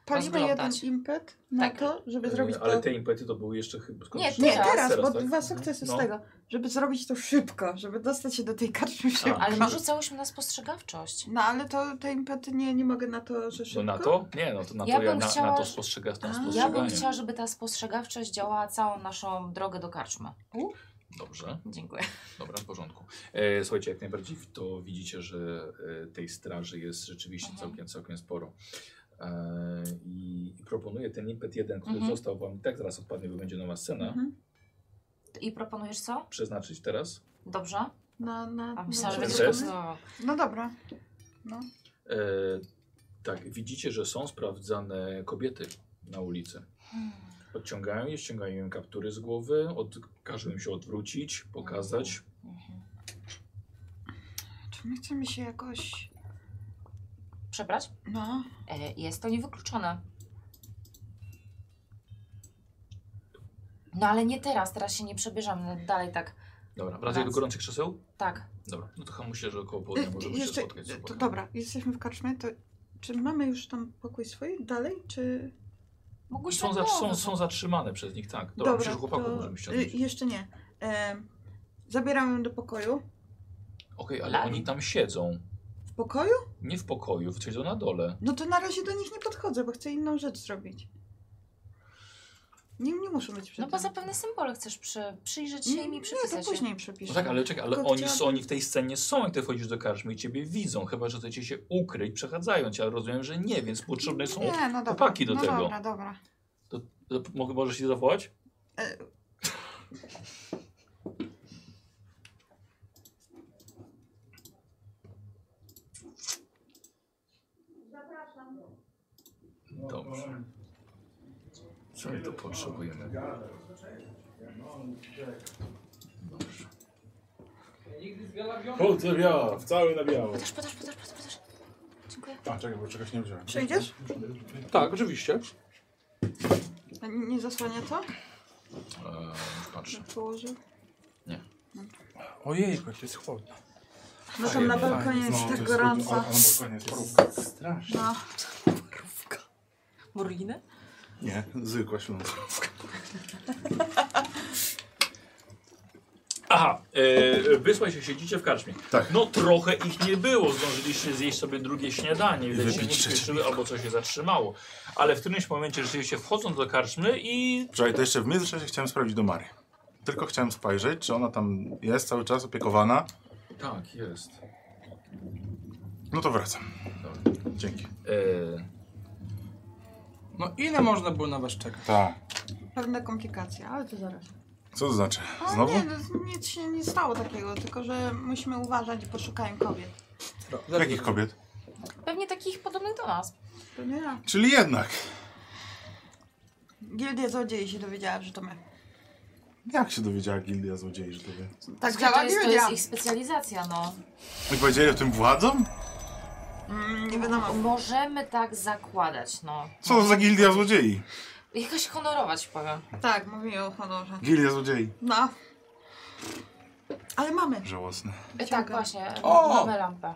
Speaker 2: Palimy jeden
Speaker 7: rozglądać.
Speaker 2: impet na
Speaker 7: Tak.
Speaker 2: to, żeby
Speaker 1: Yy,
Speaker 2: zrobić
Speaker 1: ale
Speaker 2: to...
Speaker 1: te impety to były jeszcze chyba. skąd-
Speaker 7: Nie,
Speaker 2: Nie,
Speaker 7: Teraz,
Speaker 2: teraz, bo
Speaker 1: tak?
Speaker 2: dwa sukcesy
Speaker 1: No.
Speaker 2: z tego. Żeby zrobić to szybko, żeby dostać się do tej karczmy szybko.
Speaker 7: No, Ale może rzucałyśmy na spostrzegawczość.
Speaker 2: No ale to te impety nie, nie mogę na to, że
Speaker 1: No
Speaker 2: szybko.
Speaker 1: na to? Nie, no to na to
Speaker 7: Ja
Speaker 1: ja,
Speaker 7: bym
Speaker 1: na,
Speaker 7: chciała-
Speaker 1: na to spostrzega, na
Speaker 2: A, ja
Speaker 7: Ja bym
Speaker 1: spostrzeganie.
Speaker 7: chciała, żeby ta spostrzegawczość działała całą naszą drogę do karczmy.
Speaker 1: Dobrze.
Speaker 7: Dziękuję.
Speaker 1: Dobra, w porządku. E, słuchajcie, jak najbardziej to widzicie, że e, tej straży jest rzeczywiście
Speaker 7: Mhm.
Speaker 1: całkiem, całkiem sporo. E, I proponuję ten impet jeden, który
Speaker 7: Mhm.
Speaker 1: został wam i tak zaraz odpadnie, bo będzie nowa scena,
Speaker 2: Mhm.
Speaker 7: I proponujesz co?
Speaker 1: przeznaczyć teraz.
Speaker 7: Dobrze?
Speaker 2: Na, na,
Speaker 7: A
Speaker 2: na
Speaker 7: myślałam, że
Speaker 1: Dobrze.
Speaker 7: będzie mocno...
Speaker 2: No dobra. No.
Speaker 1: E, tak, widzicie, że są sprawdzane kobiety na ulicy.
Speaker 7: Hmm.
Speaker 1: Odciągają je, ściągają im kaptury z głowy, od, każą im się odwrócić, pokazać.
Speaker 7: Mhm.
Speaker 2: Czy my chcemy się jakoś...
Speaker 7: Przebrać?
Speaker 2: No,
Speaker 7: E, Jest to niewykluczone. No ale nie teraz, teraz się nie przebierzemy. Dalej tak,
Speaker 1: Dobra, wracacie do
Speaker 7: Wrac-
Speaker 1: gorących krzeseł?
Speaker 7: tak.
Speaker 1: Dobra, no to chyba myślę, że około
Speaker 2: Y,
Speaker 1: południa możemy się
Speaker 2: jeszcze,
Speaker 1: spotkać. z
Speaker 2: to,
Speaker 1: chłopakami.
Speaker 2: dobra, jesteśmy w karczmie, to czy mamy już tam pokój swój dalej, czy...
Speaker 7: Mogłyśmy
Speaker 1: Są, za, są,
Speaker 7: nowy-
Speaker 1: są zatrzymane przez nich, tak. Dobra, myślę, że chłopaków możemy ściągnąć.
Speaker 2: y, jeszcze nie. Em, zabieram ją do pokoju.
Speaker 1: Okej, ale
Speaker 7: Lali.
Speaker 1: oni tam siedzą.
Speaker 2: W pokoju?
Speaker 1: Nie w pokoju, siedzą na dole.
Speaker 2: No to na razie do nich nie podchodzę, bo chcę inną rzecz zrobić. Nie, nie muszą być
Speaker 7: No
Speaker 2: przy
Speaker 7: bo
Speaker 2: tym. Mm,
Speaker 7: zapewne symbole chcesz przy, przyjrzeć się im i
Speaker 2: Nie,
Speaker 7: przepisać.
Speaker 2: to
Speaker 7: je.
Speaker 2: później
Speaker 1: No
Speaker 2: przepiszę.
Speaker 1: tak, ale czekaj, ale
Speaker 2: Tylko
Speaker 1: oni, są,
Speaker 2: chciałabym-
Speaker 1: oni w tej scenie są, jak ty wchodzisz do karczmy i ciebie widzą, chyba że chcecie się ukryć, przechadzając, ale rozumiem, że nie, więc potrzebne są.
Speaker 2: Nie, no dobra.
Speaker 1: chłopaki do
Speaker 2: no
Speaker 1: tego.
Speaker 2: dobra, dobra.
Speaker 1: To Mogę może się zawołać?
Speaker 2: E.
Speaker 1: Dobrze. Co my tu potrzebujemy? E, Dobrze.
Speaker 9: Chodzę biała, w cały na biało.
Speaker 7: Podasz, podasz, podasz, podasz, podasz. Dziękuję.
Speaker 3: A, czekaj, bo czegoś nie wziąłem.
Speaker 2: Przejdziesz?
Speaker 5: Tak, oczywiście.
Speaker 2: A nie- Nie zasłania to?
Speaker 1: Eee, już patrzę.
Speaker 2: Położył.
Speaker 5: Ojej, jak to jest chłodno.
Speaker 2: No tam na balkonie jest tak gorąco.
Speaker 3: A no na balkonie jest parówka.
Speaker 5: Strasznie.
Speaker 2: No,
Speaker 7: Murinę?
Speaker 3: Nie, zwykła śląska.
Speaker 1: Aha, e, wysłaj się, siedzicie w karczmie.
Speaker 3: Tak.
Speaker 1: No trochę ich nie było, zdążyliście zjeść sobie drugie śniadanie, widać się nie
Speaker 3: Wypić trzecie.
Speaker 1: śpieszyły albo coś się zatrzymało. Ale w którymś momencie rzeczywiście wchodzą do karczmy i
Speaker 3: Wczoraj to jeszcze w międzyczasie chciałem sprawdzić do Mary. Tylko chciałem spojrzeć, czy ona tam jest cały czas opiekowana.
Speaker 1: Tak, jest.
Speaker 3: No to wracam. Dzięki.
Speaker 1: Yy,
Speaker 5: No ile można było na was czekać?
Speaker 3: Tak.
Speaker 2: pewne komplikacje, ale to zaraz.
Speaker 3: Co to znaczy?
Speaker 2: A
Speaker 3: Znowu?
Speaker 2: nie, no, nic się nie stało takiego, tylko że musimy uważać i poszukajmy kobiet.
Speaker 3: Jakich kobiet?
Speaker 7: Pewnie takich podobnych do nas.
Speaker 2: To nie ja.
Speaker 3: Czyli jednak.
Speaker 2: Gildia Złodziei się dowiedziała, że to my.
Speaker 3: Jak się dowiedziała gildia złodziei, że to wie?
Speaker 2: Tak
Speaker 7: Słuchaj, to
Speaker 2: działa
Speaker 7: jest, to jest
Speaker 2: gildia.
Speaker 7: ich specjalizacja, no.
Speaker 3: I powiedzieli o tym władzom?
Speaker 2: Mm, nie wiadomo.
Speaker 7: Możemy tak zakładać, no.
Speaker 3: Co to za gildia złodziei?
Speaker 7: Jakoś honorować, powiem.
Speaker 2: Tak, mówię o honorze.
Speaker 3: Gildia złodziei.
Speaker 2: No. Ale mamy.
Speaker 3: Żałosne.
Speaker 7: E, tak,
Speaker 2: Ciągle.
Speaker 7: właśnie.
Speaker 5: O!
Speaker 7: Mamy lampę.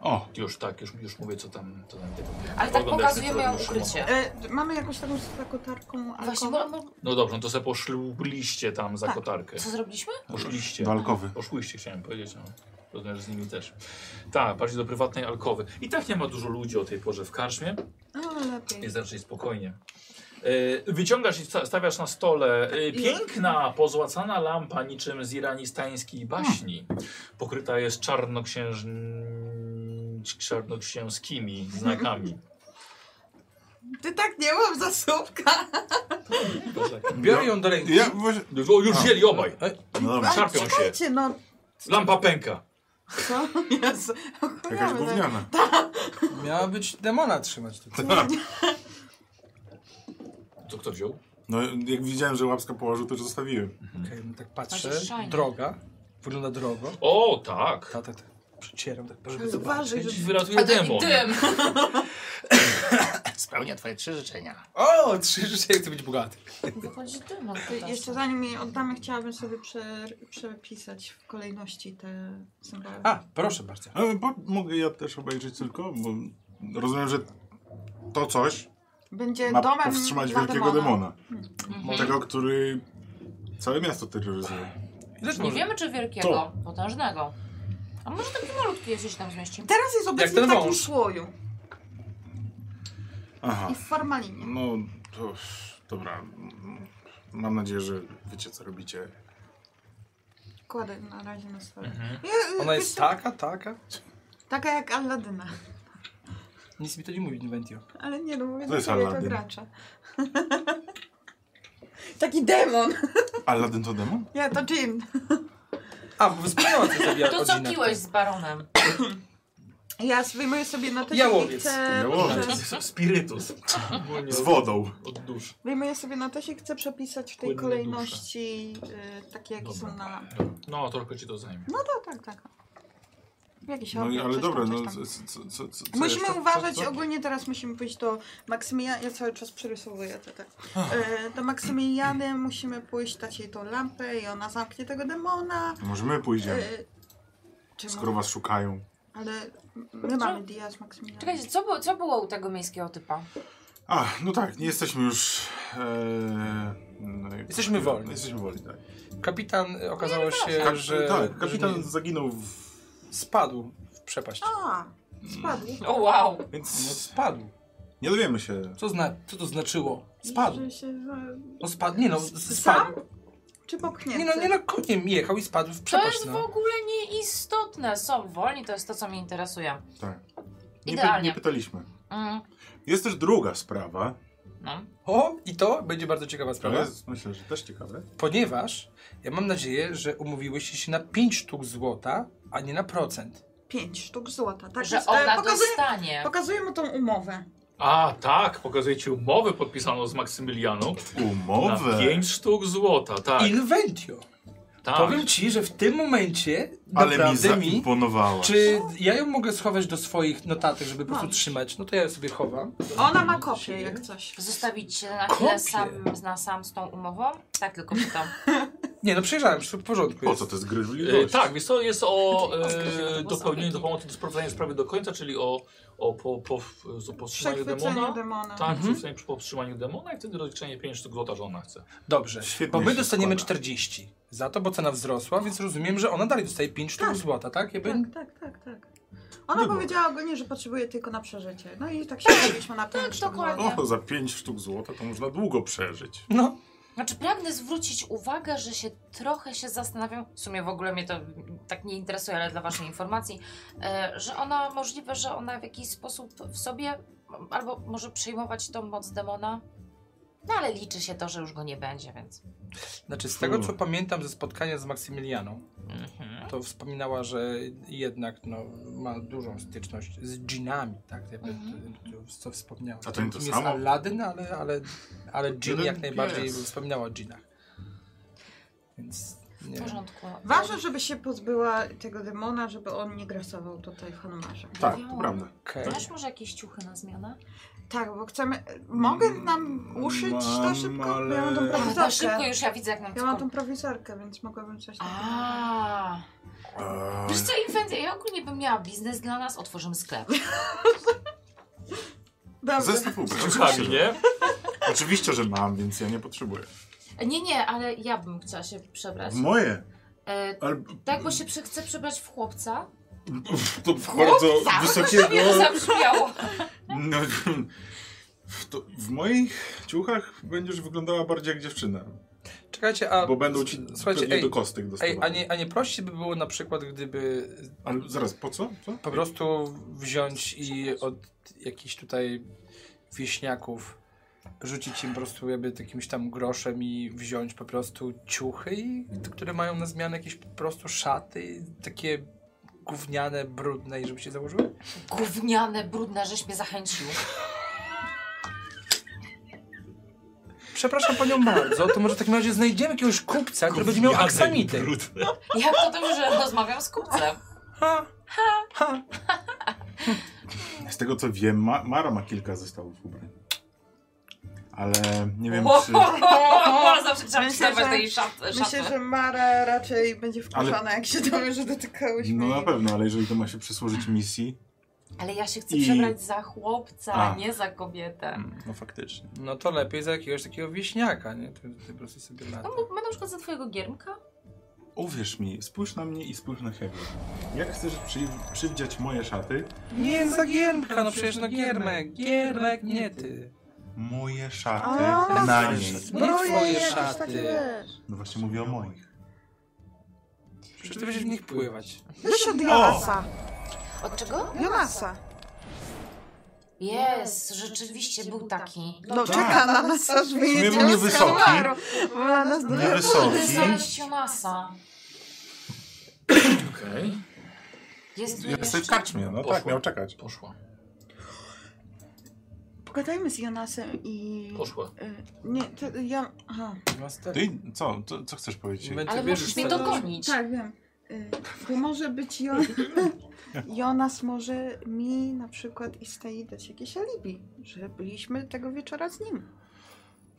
Speaker 3: O,
Speaker 1: już tak, już, już mówię co tam. Co tam tego.
Speaker 7: Ale tak
Speaker 1: Oglądasz,
Speaker 7: pokazujemy
Speaker 1: co
Speaker 7: ją
Speaker 1: robił Szymon.
Speaker 7: ukrycie.
Speaker 2: E, mamy jakąś taką z kotarką
Speaker 7: Właśnie,
Speaker 2: alkohol?
Speaker 7: bo, bo,
Speaker 1: No dobrze, no to sobie poszliście tam za
Speaker 2: Tak.
Speaker 1: kotarkę.
Speaker 7: co zrobiliśmy?
Speaker 1: Poszliście.
Speaker 3: do alkowy.
Speaker 1: Poszłyście, chciałem powiedzieć. No. Rozumiem, że z nimi też. Tak, bardziej do prywatnej alkowy. I tak nie ma dużo ludzi o tej porze w karczmie.
Speaker 2: No lepiej.
Speaker 1: Jest raczej spokojnie. E, Wyciągasz i sta- stawiasz na stole e, piękna, pozłacana lampa niczym z iranistańskiej baśni. Pokryta jest czarnoksięż... czarnoksięskimi
Speaker 7: *laughs*
Speaker 1: znakami.
Speaker 2: Ty tak nie mam zasłówka.
Speaker 5: Biorę ją do ręki.
Speaker 3: Ja właśnie...
Speaker 1: O, już wzięli obaj.
Speaker 5: E,
Speaker 3: No dobra.
Speaker 1: Szarpią się.
Speaker 2: Czekajcie, no.
Speaker 1: Lampa pęka.
Speaker 2: Co? Jezu. Tak,
Speaker 3: Jakaś gówniana.
Speaker 2: tak,
Speaker 5: Miała być demona trzymać tutaj.
Speaker 1: To kto wziął?
Speaker 3: No, jak widziałem, że łapska położył, to już zostawiłem.
Speaker 5: Okej, no tak patrzę.
Speaker 7: Masz shiny.
Speaker 5: Droga. Wygląda drogo.
Speaker 1: O, tak.
Speaker 5: Ta, ta, ta. Przycieram tak, żeby
Speaker 2: Uważaj,
Speaker 5: zobaczyć.
Speaker 2: że
Speaker 1: Wyratuje E, demon.
Speaker 2: *laughs*
Speaker 7: Dym!
Speaker 5: Spełnia twoje trzy życzenia. O, trzy życzenia, chcę być bogaty.
Speaker 7: Wychodzi dym od
Speaker 2: Ty,
Speaker 7: tego.
Speaker 2: Jeszcze zanim jej oddamy, chciałabym sobie prze, przepisać w kolejności te symbole.
Speaker 5: A, proszę bardzo.
Speaker 3: Ale bo, mogę ja też obejrzeć tylko, bo rozumiem, że to coś
Speaker 2: Będzie
Speaker 3: ma
Speaker 2: domem
Speaker 3: powstrzymać
Speaker 2: dla
Speaker 3: wielkiego demona.
Speaker 7: Mhm.
Speaker 3: Tego, który całe miasto terroryzuje.
Speaker 5: Lecz
Speaker 7: Nie
Speaker 5: może.
Speaker 7: wiemy, czy wielkiego,
Speaker 3: To.
Speaker 7: potężnego. A może taki malutki jest, jeśli tam zmieści.
Speaker 2: Teraz jest obecnie
Speaker 5: ten
Speaker 2: w takim
Speaker 5: wąż.
Speaker 2: słoju
Speaker 3: Aha.
Speaker 2: i w formalinie.
Speaker 3: No, to dobra. Mam nadzieję, że wiecie, co robicie.
Speaker 2: Kładę na razie na stole.
Speaker 1: Mhm.
Speaker 2: e,
Speaker 5: Ona jest taka, taka.
Speaker 2: Taka jak Alladyna.
Speaker 5: Nic mi to nie mówi, Inventio.
Speaker 2: Ale nie, no mówię
Speaker 3: To
Speaker 2: do
Speaker 3: jest
Speaker 2: swojego
Speaker 3: Aladdin.
Speaker 2: gracza. *laughs* Taki demon.
Speaker 3: Aladdin to demon?
Speaker 2: Ja to Jim.
Speaker 5: A, bo
Speaker 7: *laughs*
Speaker 5: wspomniała co zabija
Speaker 7: To co
Speaker 5: rodzinę
Speaker 7: piłeś z
Speaker 5: tutaj.
Speaker 7: baronem?
Speaker 2: Ja wyjmuję sobie na
Speaker 5: Jałowiec.
Speaker 2: i chcę...
Speaker 3: Jałowiec.
Speaker 2: prze-
Speaker 8: Spirytus.
Speaker 3: Z wodą.
Speaker 8: Od dusz.
Speaker 2: Wyjmuję sobie na i chcę przepisać w tej
Speaker 8: Płynne
Speaker 2: kolejności y, takie, jakie
Speaker 8: Dobra.
Speaker 2: są na lampie.
Speaker 1: No, trochę ci to zajmie.
Speaker 2: No tak, tak. Jakiś
Speaker 3: No i
Speaker 2: obiad,
Speaker 3: ale
Speaker 2: coś tam,
Speaker 3: dobra,
Speaker 2: coś
Speaker 3: no
Speaker 2: tam.
Speaker 3: co, co, co, co co
Speaker 2: Musimy
Speaker 3: jeszcze? Co-
Speaker 2: uważać,
Speaker 3: co?
Speaker 2: ogólnie teraz musimy pójść do Maksymiliana, ja cały czas przerysowuję te, te. E, do Maksymiliany musimy pójść, dać jej tą lampę i ona zamknie tego demona.
Speaker 3: Może my pójdziemy,
Speaker 2: E, czemu?
Speaker 3: skoro was szukają.
Speaker 2: Ale my mamy dia z Maksymilianem.
Speaker 7: Czekajcie, co, było- co było u tego miejskiego typa?
Speaker 3: A, no tak, nie jesteśmy już... E, no i-
Speaker 5: Jesteśmy wolni.
Speaker 3: Jesteśmy wolni, tak.
Speaker 5: Kapitan y, okazało się,
Speaker 3: Kap,
Speaker 5: że...
Speaker 3: tak, kapitan
Speaker 5: że nie-
Speaker 3: zaginął w...
Speaker 5: Spadł w przepaść.
Speaker 2: A, spadł.
Speaker 7: O wow!
Speaker 5: No
Speaker 3: Więc
Speaker 5: spadł.
Speaker 3: nie dowiemy się.
Speaker 5: Co, zna... co to znaczyło? Spadł.
Speaker 2: Że się, że...
Speaker 5: No spadł, nie no,
Speaker 2: S-
Speaker 5: s-
Speaker 2: sam?
Speaker 5: spadł.
Speaker 2: Czy popchnięty?
Speaker 5: Nie no, nie no, koniem jechał i spadł w
Speaker 7: To
Speaker 5: przepaść,
Speaker 7: jest w
Speaker 5: no.
Speaker 7: ogóle nieistotne. Są wolni, to jest to, co mnie interesuje.
Speaker 3: Tak. Nie, py,
Speaker 7: Idealnie.
Speaker 3: nie pytaliśmy.
Speaker 7: Mm,
Speaker 3: Jest też druga sprawa.
Speaker 7: no.
Speaker 5: O, i to będzie bardzo ciekawa
Speaker 3: To
Speaker 5: sprawa.
Speaker 3: jest, myślę, że też ciekawe.
Speaker 5: Ponieważ ja mam nadzieję, że umówiłyście się na 5 sztuk złota, a nie na procent.
Speaker 2: Pięć sztuk złota. Tak
Speaker 7: Że
Speaker 2: jest. E,
Speaker 7: ona
Speaker 2: pokazuję,
Speaker 7: dostanie.
Speaker 2: pokazuję mu tą umowę.
Speaker 1: A, tak, pokazuję ci umowę podpisaną z Maksymilianą.
Speaker 3: Umowę.
Speaker 1: Na 5 sztuk złota, tak.
Speaker 5: Inventio.
Speaker 1: tak.
Speaker 5: Powiem ci, że w tym momencie
Speaker 3: Ale mi
Speaker 5: naprawdę mi...
Speaker 3: zaimponowała.
Speaker 5: Czy ja ją mogę schować do swoich notatek, żeby po prostu trzymać? No to ja ją sobie chowam.
Speaker 2: Ona ma kopię jak coś.
Speaker 7: Zostawić się na
Speaker 5: Kopię.
Speaker 7: chwilę sam, na sam z tą umową? Tak tylko pytam.
Speaker 5: Nie, no przejrzałem, wszystko w porządku
Speaker 3: Po
Speaker 5: jest.
Speaker 3: co to jest
Speaker 1: E,
Speaker 3: gryźliwość?
Speaker 1: tak, więc to jest o e,
Speaker 7: Oskarżenie
Speaker 1: dopełnieniu do
Speaker 7: osobniki.
Speaker 1: pomocy do sprowadzenia sprawy do końca, czyli o, o po, po, po powstrzymaniu demona.
Speaker 2: Przechwycenie demona.
Speaker 1: Tak,
Speaker 5: Mhm.
Speaker 1: mhm. przy powstrzymaniu demona i wtedy rozliczenie 5 sztuk złota, że ona chce.
Speaker 5: Dobrze,
Speaker 3: Świetnie
Speaker 5: bo my
Speaker 3: się
Speaker 5: dostaniemy
Speaker 3: składa.
Speaker 5: 40 za to, bo cena wzrosła, więc rozumiem, że ona dalej dostaje 5 sztuk
Speaker 2: Tak.
Speaker 5: złota, tak? Ja
Speaker 2: Tak,
Speaker 5: bym...
Speaker 2: tak, tak, tak. Ona powiedziała ogólnie, że potrzebuje tylko na przeżycie. No i tak się umówiliśmy na ten sztab.
Speaker 7: dokładnie.
Speaker 3: O, za 5 sztuk złota to można długo przeżyć.
Speaker 5: No,
Speaker 7: Znaczy, pragnę zwrócić uwagę, że się trochę się zastanawiam, w sumie w ogóle mnie to mm, tak nie interesuje, ale dla Waszej informacji, e, że ona możliwe, że ona w jakiś sposób w sobie m, albo może przejmować tą moc demona. No ale liczy się to, że już go nie będzie, więc.
Speaker 5: Znaczy, z tego co
Speaker 3: Hmm.
Speaker 5: pamiętam ze spotkania z Maksymilianą,
Speaker 7: Mhm.
Speaker 5: to wspominała, że jednak no, ma dużą styczność z dżinami, tak? Jakby,
Speaker 7: Mhm.
Speaker 5: to- Co wspomniała.
Speaker 3: A to nie to
Speaker 5: Kim jest
Speaker 3: samo?
Speaker 5: Aladdin, ale, ale, ale dżin
Speaker 3: Jeden
Speaker 5: jak najbardziej
Speaker 3: pies.
Speaker 5: wspominała o dżinach. Więc nie
Speaker 7: W
Speaker 5: wiem.
Speaker 7: porządku.
Speaker 2: Ważne, żeby się pozbyła tego demona, żeby on nie grasował tutaj w Hanumarze.
Speaker 3: Tak, to prawda.
Speaker 5: Okej.
Speaker 7: Masz może jakieś ciuchy na zmianę?
Speaker 2: Tak, bo chcemy... Mogę nam uszyć to
Speaker 3: Mam,
Speaker 2: szybko?
Speaker 3: ale-
Speaker 2: Ja mam tą
Speaker 7: A, to
Speaker 2: prowizorkę.
Speaker 7: Tak, szybko już ja widzę, jak nam
Speaker 2: Ja mam tą
Speaker 7: tylko-
Speaker 2: prowizorkę, więc mogłabym coś takiego...
Speaker 7: A.
Speaker 3: Eee,
Speaker 7: Wiesz co, Infantia, ja ogólnie bym miała biznes dla nas, otworzymy sklep.
Speaker 2: Dobrze.
Speaker 3: Zestaw ubrań.
Speaker 1: Ciuchami,
Speaker 3: Oczywiście, że-
Speaker 1: nie?
Speaker 3: oczywiście, że mam, więc ja nie potrzebuję.
Speaker 7: E, Nie, nie, ale ja bym chciała się przebrać.
Speaker 3: W moje.
Speaker 7: E,
Speaker 3: Ale
Speaker 7: Tak, bo się prze, chce przebrać w chłopca.
Speaker 3: to bardzo wysokiego.
Speaker 7: Nie, no to zabrzmiało.
Speaker 3: No, to w moich ciuchach będziesz wyglądała bardziej jak dziewczyna.
Speaker 5: Czekajcie, a.
Speaker 3: Bo będą ci
Speaker 5: Słuchajcie,
Speaker 3: pewnie
Speaker 5: ej,
Speaker 3: do kostek
Speaker 5: Ej,
Speaker 3: dostawać.
Speaker 5: a nie, a nie prościej by było na przykład, gdyby
Speaker 3: Ale zaraz, po co? co?
Speaker 5: po prostu wziąć i od jakichś tutaj wieśniaków rzucić im po prostu jakby jakimś tam groszem i wziąć po prostu ciuchy, i- które mają na zmianę jakieś po prostu szaty, takie gówniane, brudne i żeby się założyły?
Speaker 7: Gówniane, brudne, żeś mnie zachęcił.
Speaker 5: przepraszam panią bardzo, to może w takim razie znajdziemy jakiegoś kupca, który będzie miał
Speaker 1: Gówniany
Speaker 5: aksamity.
Speaker 1: brud.
Speaker 7: Jak to tym, że rozmawiam z *laughs* kupcem?
Speaker 5: Ha, ha.
Speaker 3: Z tego co wiem, Ma Mara ma kilka zestawów ubrań. Ale nie wiem
Speaker 7: Wow,
Speaker 3: czy...
Speaker 7: Zawsze trzeba
Speaker 2: Myślę,
Speaker 7: przydawać
Speaker 2: że-
Speaker 7: tej szafy.
Speaker 2: Myślę, że Mara raczej będzie wkurzona, jak się dowie, że dotykałyśmy
Speaker 3: No na
Speaker 2: jej.
Speaker 3: pewno, ale jeżeli to ma się przysłużyć misji...
Speaker 7: Ale ja się chcę
Speaker 3: I-
Speaker 7: przebrać za chłopca,
Speaker 3: A.
Speaker 7: nie za kobietę.
Speaker 3: No faktycznie.
Speaker 5: No to lepiej za jakiegoś takiego wieśniaka, nie? Ty, ty po prostu sobie lata.
Speaker 7: No, bo- ma na przykład za twojego giermka?
Speaker 3: Uwierz mi, spójrz na mnie i spójrz na Hebe. Jak chcesz przy przywdziać moje szaty?
Speaker 5: Nie za giermka, no przecież no giermek, giermek, nie ty.
Speaker 3: Moje szaty
Speaker 2: A,
Speaker 3: na niej.
Speaker 5: Nie twoje
Speaker 2: jakieś takie,
Speaker 5: szaty.
Speaker 2: wiesz.
Speaker 3: No właśnie mówię o moich.
Speaker 5: Przecież ty będziesz w nich pływać.
Speaker 2: Wiesz od Jonasa.
Speaker 7: Od czego?
Speaker 2: Jonasa.
Speaker 7: Jest, rzeczywiście był taki.
Speaker 2: No
Speaker 3: Tak.
Speaker 2: czeka na nas, aż
Speaker 3: był
Speaker 2: wyjedziemy z
Speaker 3: niewysoki.
Speaker 2: Kalwaru. Bo na nas do...
Speaker 7: Ty
Speaker 3: Niewysoki.
Speaker 7: znaleźć Jonasa.
Speaker 8: Okej,
Speaker 7: Jest tu
Speaker 3: Ja
Speaker 7: jeszcze...
Speaker 3: sobie w karczmie, no tak,
Speaker 8: Poszło.
Speaker 3: miał czekać.
Speaker 8: poszła,
Speaker 2: Pogadajmy z Jonasem i...
Speaker 8: poszła.
Speaker 2: y, Nie, to ja... Aha.
Speaker 3: Ty, co, co, co chcesz powiedzieć?
Speaker 5: My-
Speaker 7: Ale
Speaker 5: Ty wiesz,
Speaker 7: możesz
Speaker 5: co-
Speaker 7: mnie dogonić.
Speaker 2: Tak, wiem. Y, Bo może być
Speaker 3: *laughs*
Speaker 2: Jon... Jonas może mi na przykład i Stei dać jakieś alibi, że byliśmy tego wieczora z nim.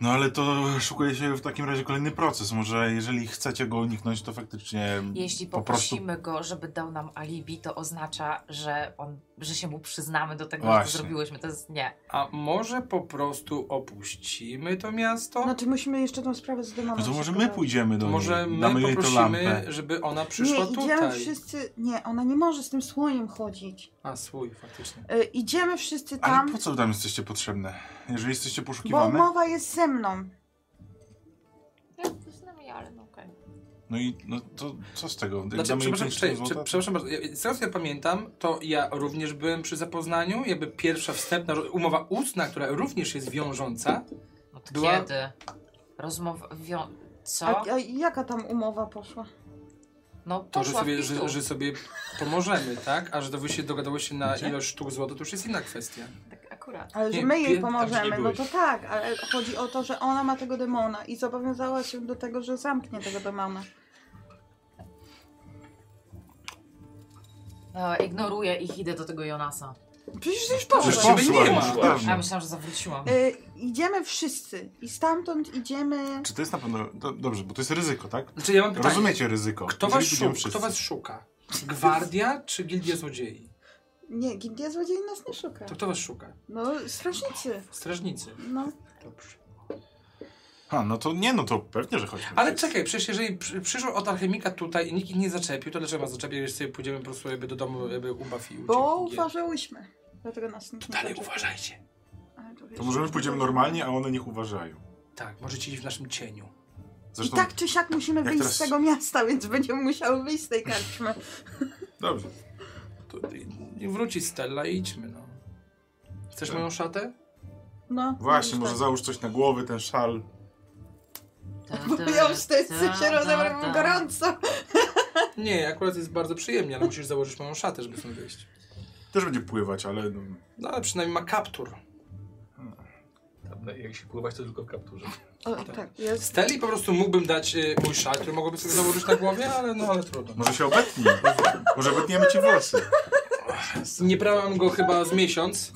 Speaker 3: No ale to szukuje się w takim razie kolejny proces. Może jeżeli chcecie go uniknąć, to faktycznie
Speaker 7: Jeśli
Speaker 3: po prostu...
Speaker 7: poprosimy go, żeby dał nam alibi, to oznacza, że, on, że się mu przyznamy do tego, że
Speaker 3: Właśnie.
Speaker 7: to zrobiłyśmy. To jest nie.
Speaker 5: A może po prostu opuścimy to miasto?
Speaker 7: No
Speaker 2: Znaczy musimy jeszcze tą sprawę z
Speaker 3: No
Speaker 2: Dymonem.
Speaker 3: to może
Speaker 2: szybko
Speaker 3: my
Speaker 2: dać.
Speaker 3: pójdziemy do
Speaker 5: To może
Speaker 3: niej,
Speaker 5: my
Speaker 3: damy jej tą
Speaker 5: poprosimy,
Speaker 3: lampę.
Speaker 5: żeby ona przyszła
Speaker 2: Nie, idziemy
Speaker 5: tutaj.
Speaker 2: wszyscy... Nie, ona nie może z tym słoniem chodzić.
Speaker 5: A, swój, faktycznie.
Speaker 2: Y, idziemy wszyscy tam,
Speaker 3: Ale po co tam jesteście potrzebne? Jeżeli jesteście
Speaker 2: bo
Speaker 3: poszukiwane,
Speaker 2: umowa jest ze mną.
Speaker 7: Ja Tak, to z nami, ale no okej.
Speaker 3: no i no to co z tego? Jak
Speaker 5: Znaczy,
Speaker 3: damy jej
Speaker 5: przepraszam,
Speaker 3: 500
Speaker 5: czekaj,
Speaker 3: złota,
Speaker 5: prze- przepraszam bardzo. Ja- Z tego co ja pamiętam, to ja również byłem przy zapoznaniu. Jakby pierwsza wstępna ro- umowa ustna, która również jest wiążąca.
Speaker 7: No to
Speaker 5: Była-
Speaker 7: kiedy? Rozmowa... Wio... Co?
Speaker 2: A, a jaka tam umowa poszła?
Speaker 7: No
Speaker 5: To, że
Speaker 7: poszła w
Speaker 5: sobie,
Speaker 7: pizdu.
Speaker 5: że, że sobie pomożemy, tak? A że wy się dogadałeś się na ilość sztuk złota, to już jest inna kwestia.
Speaker 7: Tak akurat.
Speaker 2: Ale
Speaker 5: Nie,
Speaker 2: że my jej
Speaker 5: pie- tam, że
Speaker 2: pomożemy,
Speaker 5: nie
Speaker 2: no to
Speaker 5: byłeś.
Speaker 2: tak, ale chodzi o to, że ona ma tego demona i zobowiązała się do tego, że zamknie tego demona.
Speaker 7: No, ignoruję ich, idę do tego Jonasa.
Speaker 2: Przecież już
Speaker 3: Przecież
Speaker 2: poszła.
Speaker 5: Żeby nie
Speaker 3: poszła
Speaker 5: ma.
Speaker 3: już
Speaker 7: A Ja
Speaker 3: dawno.
Speaker 7: myślałam, że zawróciłam.
Speaker 2: Y, idziemy wszyscy i stamtąd idziemy.
Speaker 3: Czy to jest na pewno... Do, dobrze, bo to jest ryzyko, tak?
Speaker 5: Znaczy, ja mam pytanie.
Speaker 3: Rozumiecie ryzyko.
Speaker 5: Kto was,
Speaker 3: Jeżeli
Speaker 5: szuka,
Speaker 3: będziemy
Speaker 5: kto
Speaker 3: wszyscy.
Speaker 5: was szuka? Gwardia czy Gildia Złodziei?
Speaker 2: Nie, gildia złodziei nas nie szuka.
Speaker 5: To kto was szuka?
Speaker 2: No, strażnicy.
Speaker 5: Strażnicy.
Speaker 2: No,
Speaker 5: Dobrze.
Speaker 3: Ha, no to nie, no to pewnie, że chodźmy.
Speaker 5: Ale czekaj, przecież jeżeli przy- przyszło od alchemika tutaj i nikt ich nie zaczepił, to dlaczego ma zaczepić, jeżeli sobie pójdziemy po prostu jakby do domu, jakby ubaw i uciekł?
Speaker 2: bo
Speaker 5: Nie.
Speaker 2: uważałyśmy. Dlatego nas nikt nie
Speaker 5: Dalej
Speaker 3: tak.
Speaker 2: zobaczył.
Speaker 5: uważajcie.
Speaker 2: Ale wiesz,
Speaker 3: To może my
Speaker 2: że-
Speaker 3: pójdziemy normalnie, a one niech uważają.
Speaker 5: Tak, możecie iść w naszym cieniu.
Speaker 2: I
Speaker 3: Zresztą,
Speaker 2: tak czy siak musimy
Speaker 3: jak
Speaker 2: wyjść
Speaker 3: teraz-
Speaker 2: z tego miasta, więc będziemy musiały wyjść z tej karczmy.
Speaker 3: dobrze.
Speaker 5: To, i- i wróci Stella i idźmy, no. Chcesz
Speaker 3: Tak.
Speaker 5: moją szatę?
Speaker 2: No.
Speaker 3: Właśnie,
Speaker 2: już
Speaker 3: może
Speaker 2: tak.
Speaker 3: załóż coś na głowy, ten szal.
Speaker 2: Bo ja już te się rozebrałam bo gorąco.
Speaker 5: Nie, akurat jest bardzo przyjemnie, ale musisz założyć moją szatę, żeby stąd wyjść.
Speaker 3: Też będzie pływać, ale... No,
Speaker 5: No ale przynajmniej ma kaptur.
Speaker 8: Tam, Jak się pływać, to tylko w kapturze.
Speaker 2: O, tak, jest.
Speaker 5: Steli po prostu mógłbym dać y, mój szal, który mogłoby sobie założyć na głowie, ale no ale trudno.
Speaker 3: może się obetnij. może obetniemy ci włosy.
Speaker 5: Nie brałem go chyba z miesiąc.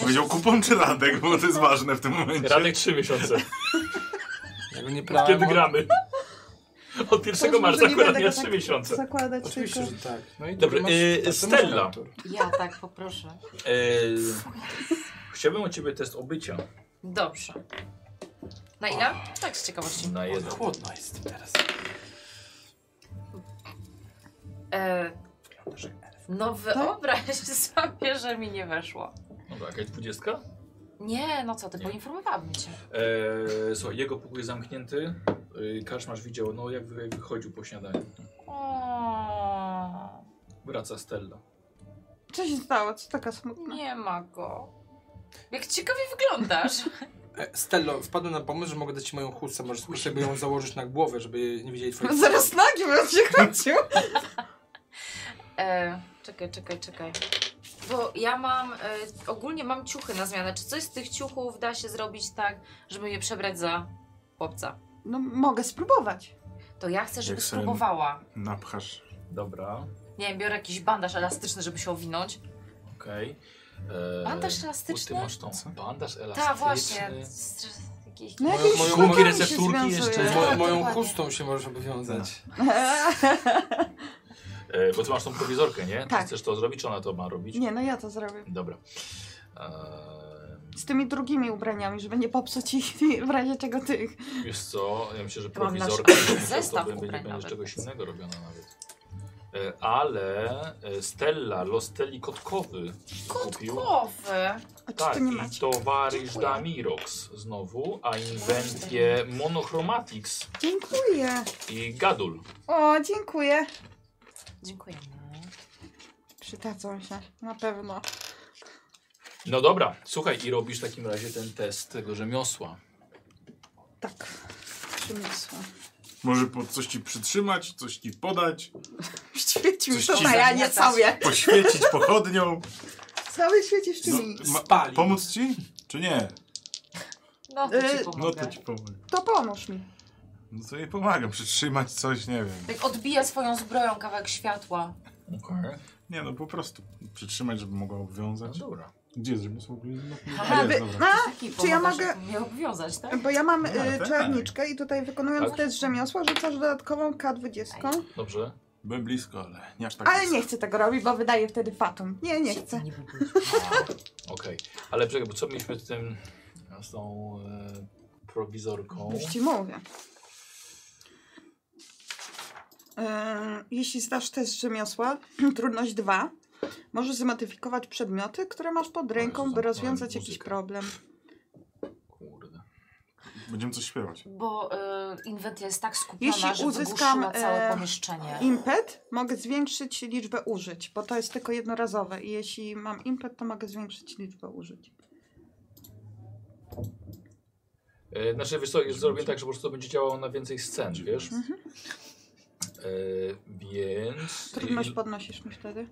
Speaker 3: Powiedział kupon czy Radek, bo to jest ważne w tym momencie.
Speaker 8: Radek trzy miesiące.
Speaker 5: Ja go nie brałem.
Speaker 8: Kiedy
Speaker 5: od-
Speaker 8: gramy? Od 1
Speaker 2: Może
Speaker 8: marca
Speaker 2: nie
Speaker 8: akurat
Speaker 2: będę
Speaker 8: miał
Speaker 2: go
Speaker 8: trzy
Speaker 2: tak
Speaker 8: miesiące.
Speaker 2: Zakładać
Speaker 5: Oczywiście,
Speaker 2: tylko.
Speaker 5: że tak. No i
Speaker 8: Dobra,
Speaker 5: tu masz-
Speaker 8: y,
Speaker 5: a tu masz
Speaker 8: Stella.
Speaker 5: kaptur.
Speaker 7: Ja tak, poproszę.
Speaker 8: Eee, chciałbym od ciebie test obycia
Speaker 7: Dobrze. Na ile? Tak z ciekawości.
Speaker 8: na jeden.
Speaker 5: Chłodno jest teraz.
Speaker 7: E, no wyobraź *laughs* sobie, że mi nie weszło.
Speaker 8: Dobra, jakaś dwudziestka?
Speaker 7: Nie, no co ty,
Speaker 8: Nie.
Speaker 7: poinformowałabym cię.
Speaker 8: Eee, słuchaj, jego pokój jest zamknięty. Eee, Karczmarz widział, no jak, wy- jak wychodził po śniadaniu.
Speaker 7: O,
Speaker 8: Wraca Stella.
Speaker 2: Co się stało? Co taka smutna?
Speaker 7: nie ma go. Jak ciekawie wyglądasz.
Speaker 5: E, Stello, wpadłem na pomysł, że mogę dać ci moją chustę. Możesz spróbować sobie ją założyć na głowę, żeby nie widzieli twoich...
Speaker 2: No, Zaraz nagi będzie chodził.
Speaker 7: E, czekaj, czekaj, czekaj. Bo ja mam, y, ogólnie mam ciuchy na zmianę. Czy coś z tych ciuchów da się zrobić tak, żeby je przebrać za chłopca?
Speaker 2: No mogę spróbować.
Speaker 7: To ja chcę, żeby
Speaker 3: Jak sen.
Speaker 7: spróbowała.
Speaker 3: Napchasz.
Speaker 1: Dobra,
Speaker 7: Nie wiem, biorę jakiś bandaż elastyczny, żeby się owinąć.
Speaker 1: okej.
Speaker 8: E,
Speaker 1: Okay.
Speaker 7: Bandaż
Speaker 1: Ty
Speaker 7: elastyczny?
Speaker 1: E, masz tą bandaż elastyczny.
Speaker 7: Tak, właśnie. Str- jakiś-
Speaker 2: No
Speaker 5: Moją-
Speaker 2: jakieś
Speaker 5: moją-
Speaker 2: sztukami
Speaker 5: moją
Speaker 1: recepturki
Speaker 2: się związuje.
Speaker 1: jeszcze.
Speaker 5: Mo- moją
Speaker 7: dokładnie.
Speaker 5: chustą się możesz obowiązać.
Speaker 1: E, bo ty masz tą prowizorkę, nie? Ty
Speaker 2: Tak.
Speaker 1: Chcesz to zrobić, czy ona to ma robić?
Speaker 2: *laughs* Nie, no ja to zrobię.
Speaker 1: Dobra. E,
Speaker 2: Z tymi drugimi ubraniami, żeby nie popsuć ich w razie czego tych.
Speaker 1: wiesz co, ja myślę, że
Speaker 7: To mam na
Speaker 1: prowizorka
Speaker 7: przykład
Speaker 1: to
Speaker 7: zestaw
Speaker 1: by-
Speaker 7: ubrań
Speaker 1: będzie, będzie
Speaker 7: nawet.
Speaker 1: czegoś innego robiona nawet. E, ale e, Stella, los Stelli kotkowy kupił.
Speaker 7: Kotkowy.
Speaker 2: A czy
Speaker 1: Tak,
Speaker 2: to nie
Speaker 1: i
Speaker 2: macie?
Speaker 1: towarzysz
Speaker 7: Dziękuję.
Speaker 1: Damirox znowu, a inwentie Monochromatics
Speaker 2: Dziękuję.
Speaker 1: i Gadul.
Speaker 2: O, dziękuję.
Speaker 7: Dziękujemy.
Speaker 2: Przydadzą się, na pewno.
Speaker 1: No dobra, słuchaj, i robisz w takim razie ten test tego rzemiosła.
Speaker 2: Tak. Przyniosłam.
Speaker 3: Może po coś ci przytrzymać, coś ci podać,
Speaker 2: *laughs* Świeci mi
Speaker 3: Coś
Speaker 2: to
Speaker 3: ci
Speaker 2: na janie
Speaker 7: zamiatasz.
Speaker 2: całe.
Speaker 3: poświecić pochodnią. No,
Speaker 2: Cały świecisz czy mi.
Speaker 3: Ma-
Speaker 5: Spali.
Speaker 3: Pomóc ci? Czy nie?
Speaker 7: No to
Speaker 2: Yy,
Speaker 7: ci
Speaker 2: no
Speaker 3: No
Speaker 7: pomogę.
Speaker 3: to ci pomogę.
Speaker 2: To pomóż mi.
Speaker 3: No to jej pomagam, przytrzymać coś, nie wiem.
Speaker 7: Tak odbija swoją zbroją kawałek światła.
Speaker 1: Okej.
Speaker 3: Nie no, po prostu przytrzymać, żeby mogła
Speaker 1: No
Speaker 3: obwiązać.
Speaker 1: dobra.
Speaker 9: Gdzie jest rzemiosło w ogóle? No,
Speaker 7: Aha,
Speaker 3: jest,
Speaker 2: wy-
Speaker 3: dobra.
Speaker 2: A,
Speaker 7: Taki
Speaker 2: Czy ja
Speaker 7: pomagasz
Speaker 2: mogę-
Speaker 7: mnie obwiązać, tak?
Speaker 2: bo ja mam
Speaker 3: No, ale
Speaker 2: y,
Speaker 3: tak.
Speaker 2: czarniczkę i tutaj wykonując
Speaker 1: Tak.
Speaker 2: test rzemiosła rzucasz dodatkową K20.
Speaker 1: Dobrze.
Speaker 3: Byłem blisko, ale nie aż tak
Speaker 2: Ale
Speaker 3: blisko.
Speaker 2: nie chcę tego robić, bo wydaje wtedy fatum. Nie, nie chcę.
Speaker 7: Niby być.
Speaker 1: A, Okej. Ale czekaj, bo co mieliśmy z tym, z tą e, prowizorką?
Speaker 2: Już ci mówię. Ehm, Jeśli zdasz test rzemiosła, *clears throat* trudność 2, możesz zmodyfikować przedmioty, które masz pod ręką, by
Speaker 1: zamknąłem
Speaker 2: rozwiązać jakiś
Speaker 1: muzykę.
Speaker 2: problem.
Speaker 1: Kurde.
Speaker 3: Będziemy coś śpiewać.
Speaker 7: Bo y, inwent jest tak skupiona,
Speaker 2: Jeśli
Speaker 7: że
Speaker 2: uzyskam,
Speaker 7: wygłuszyła całe
Speaker 2: e,
Speaker 7: pomieszczenie.
Speaker 2: Impet mogę zwiększyć liczbę użyć, bo to jest tylko jednorazowe. I jeśli mam impet, to mogę zwiększyć liczbę użyć.
Speaker 1: E, znaczy, wiesz co, jest zrobię tak, że po prostu będzie działało na więcej scen, wiesz?
Speaker 2: Mhm.
Speaker 1: E, więc...
Speaker 2: Trudność podnosisz mi wtedy?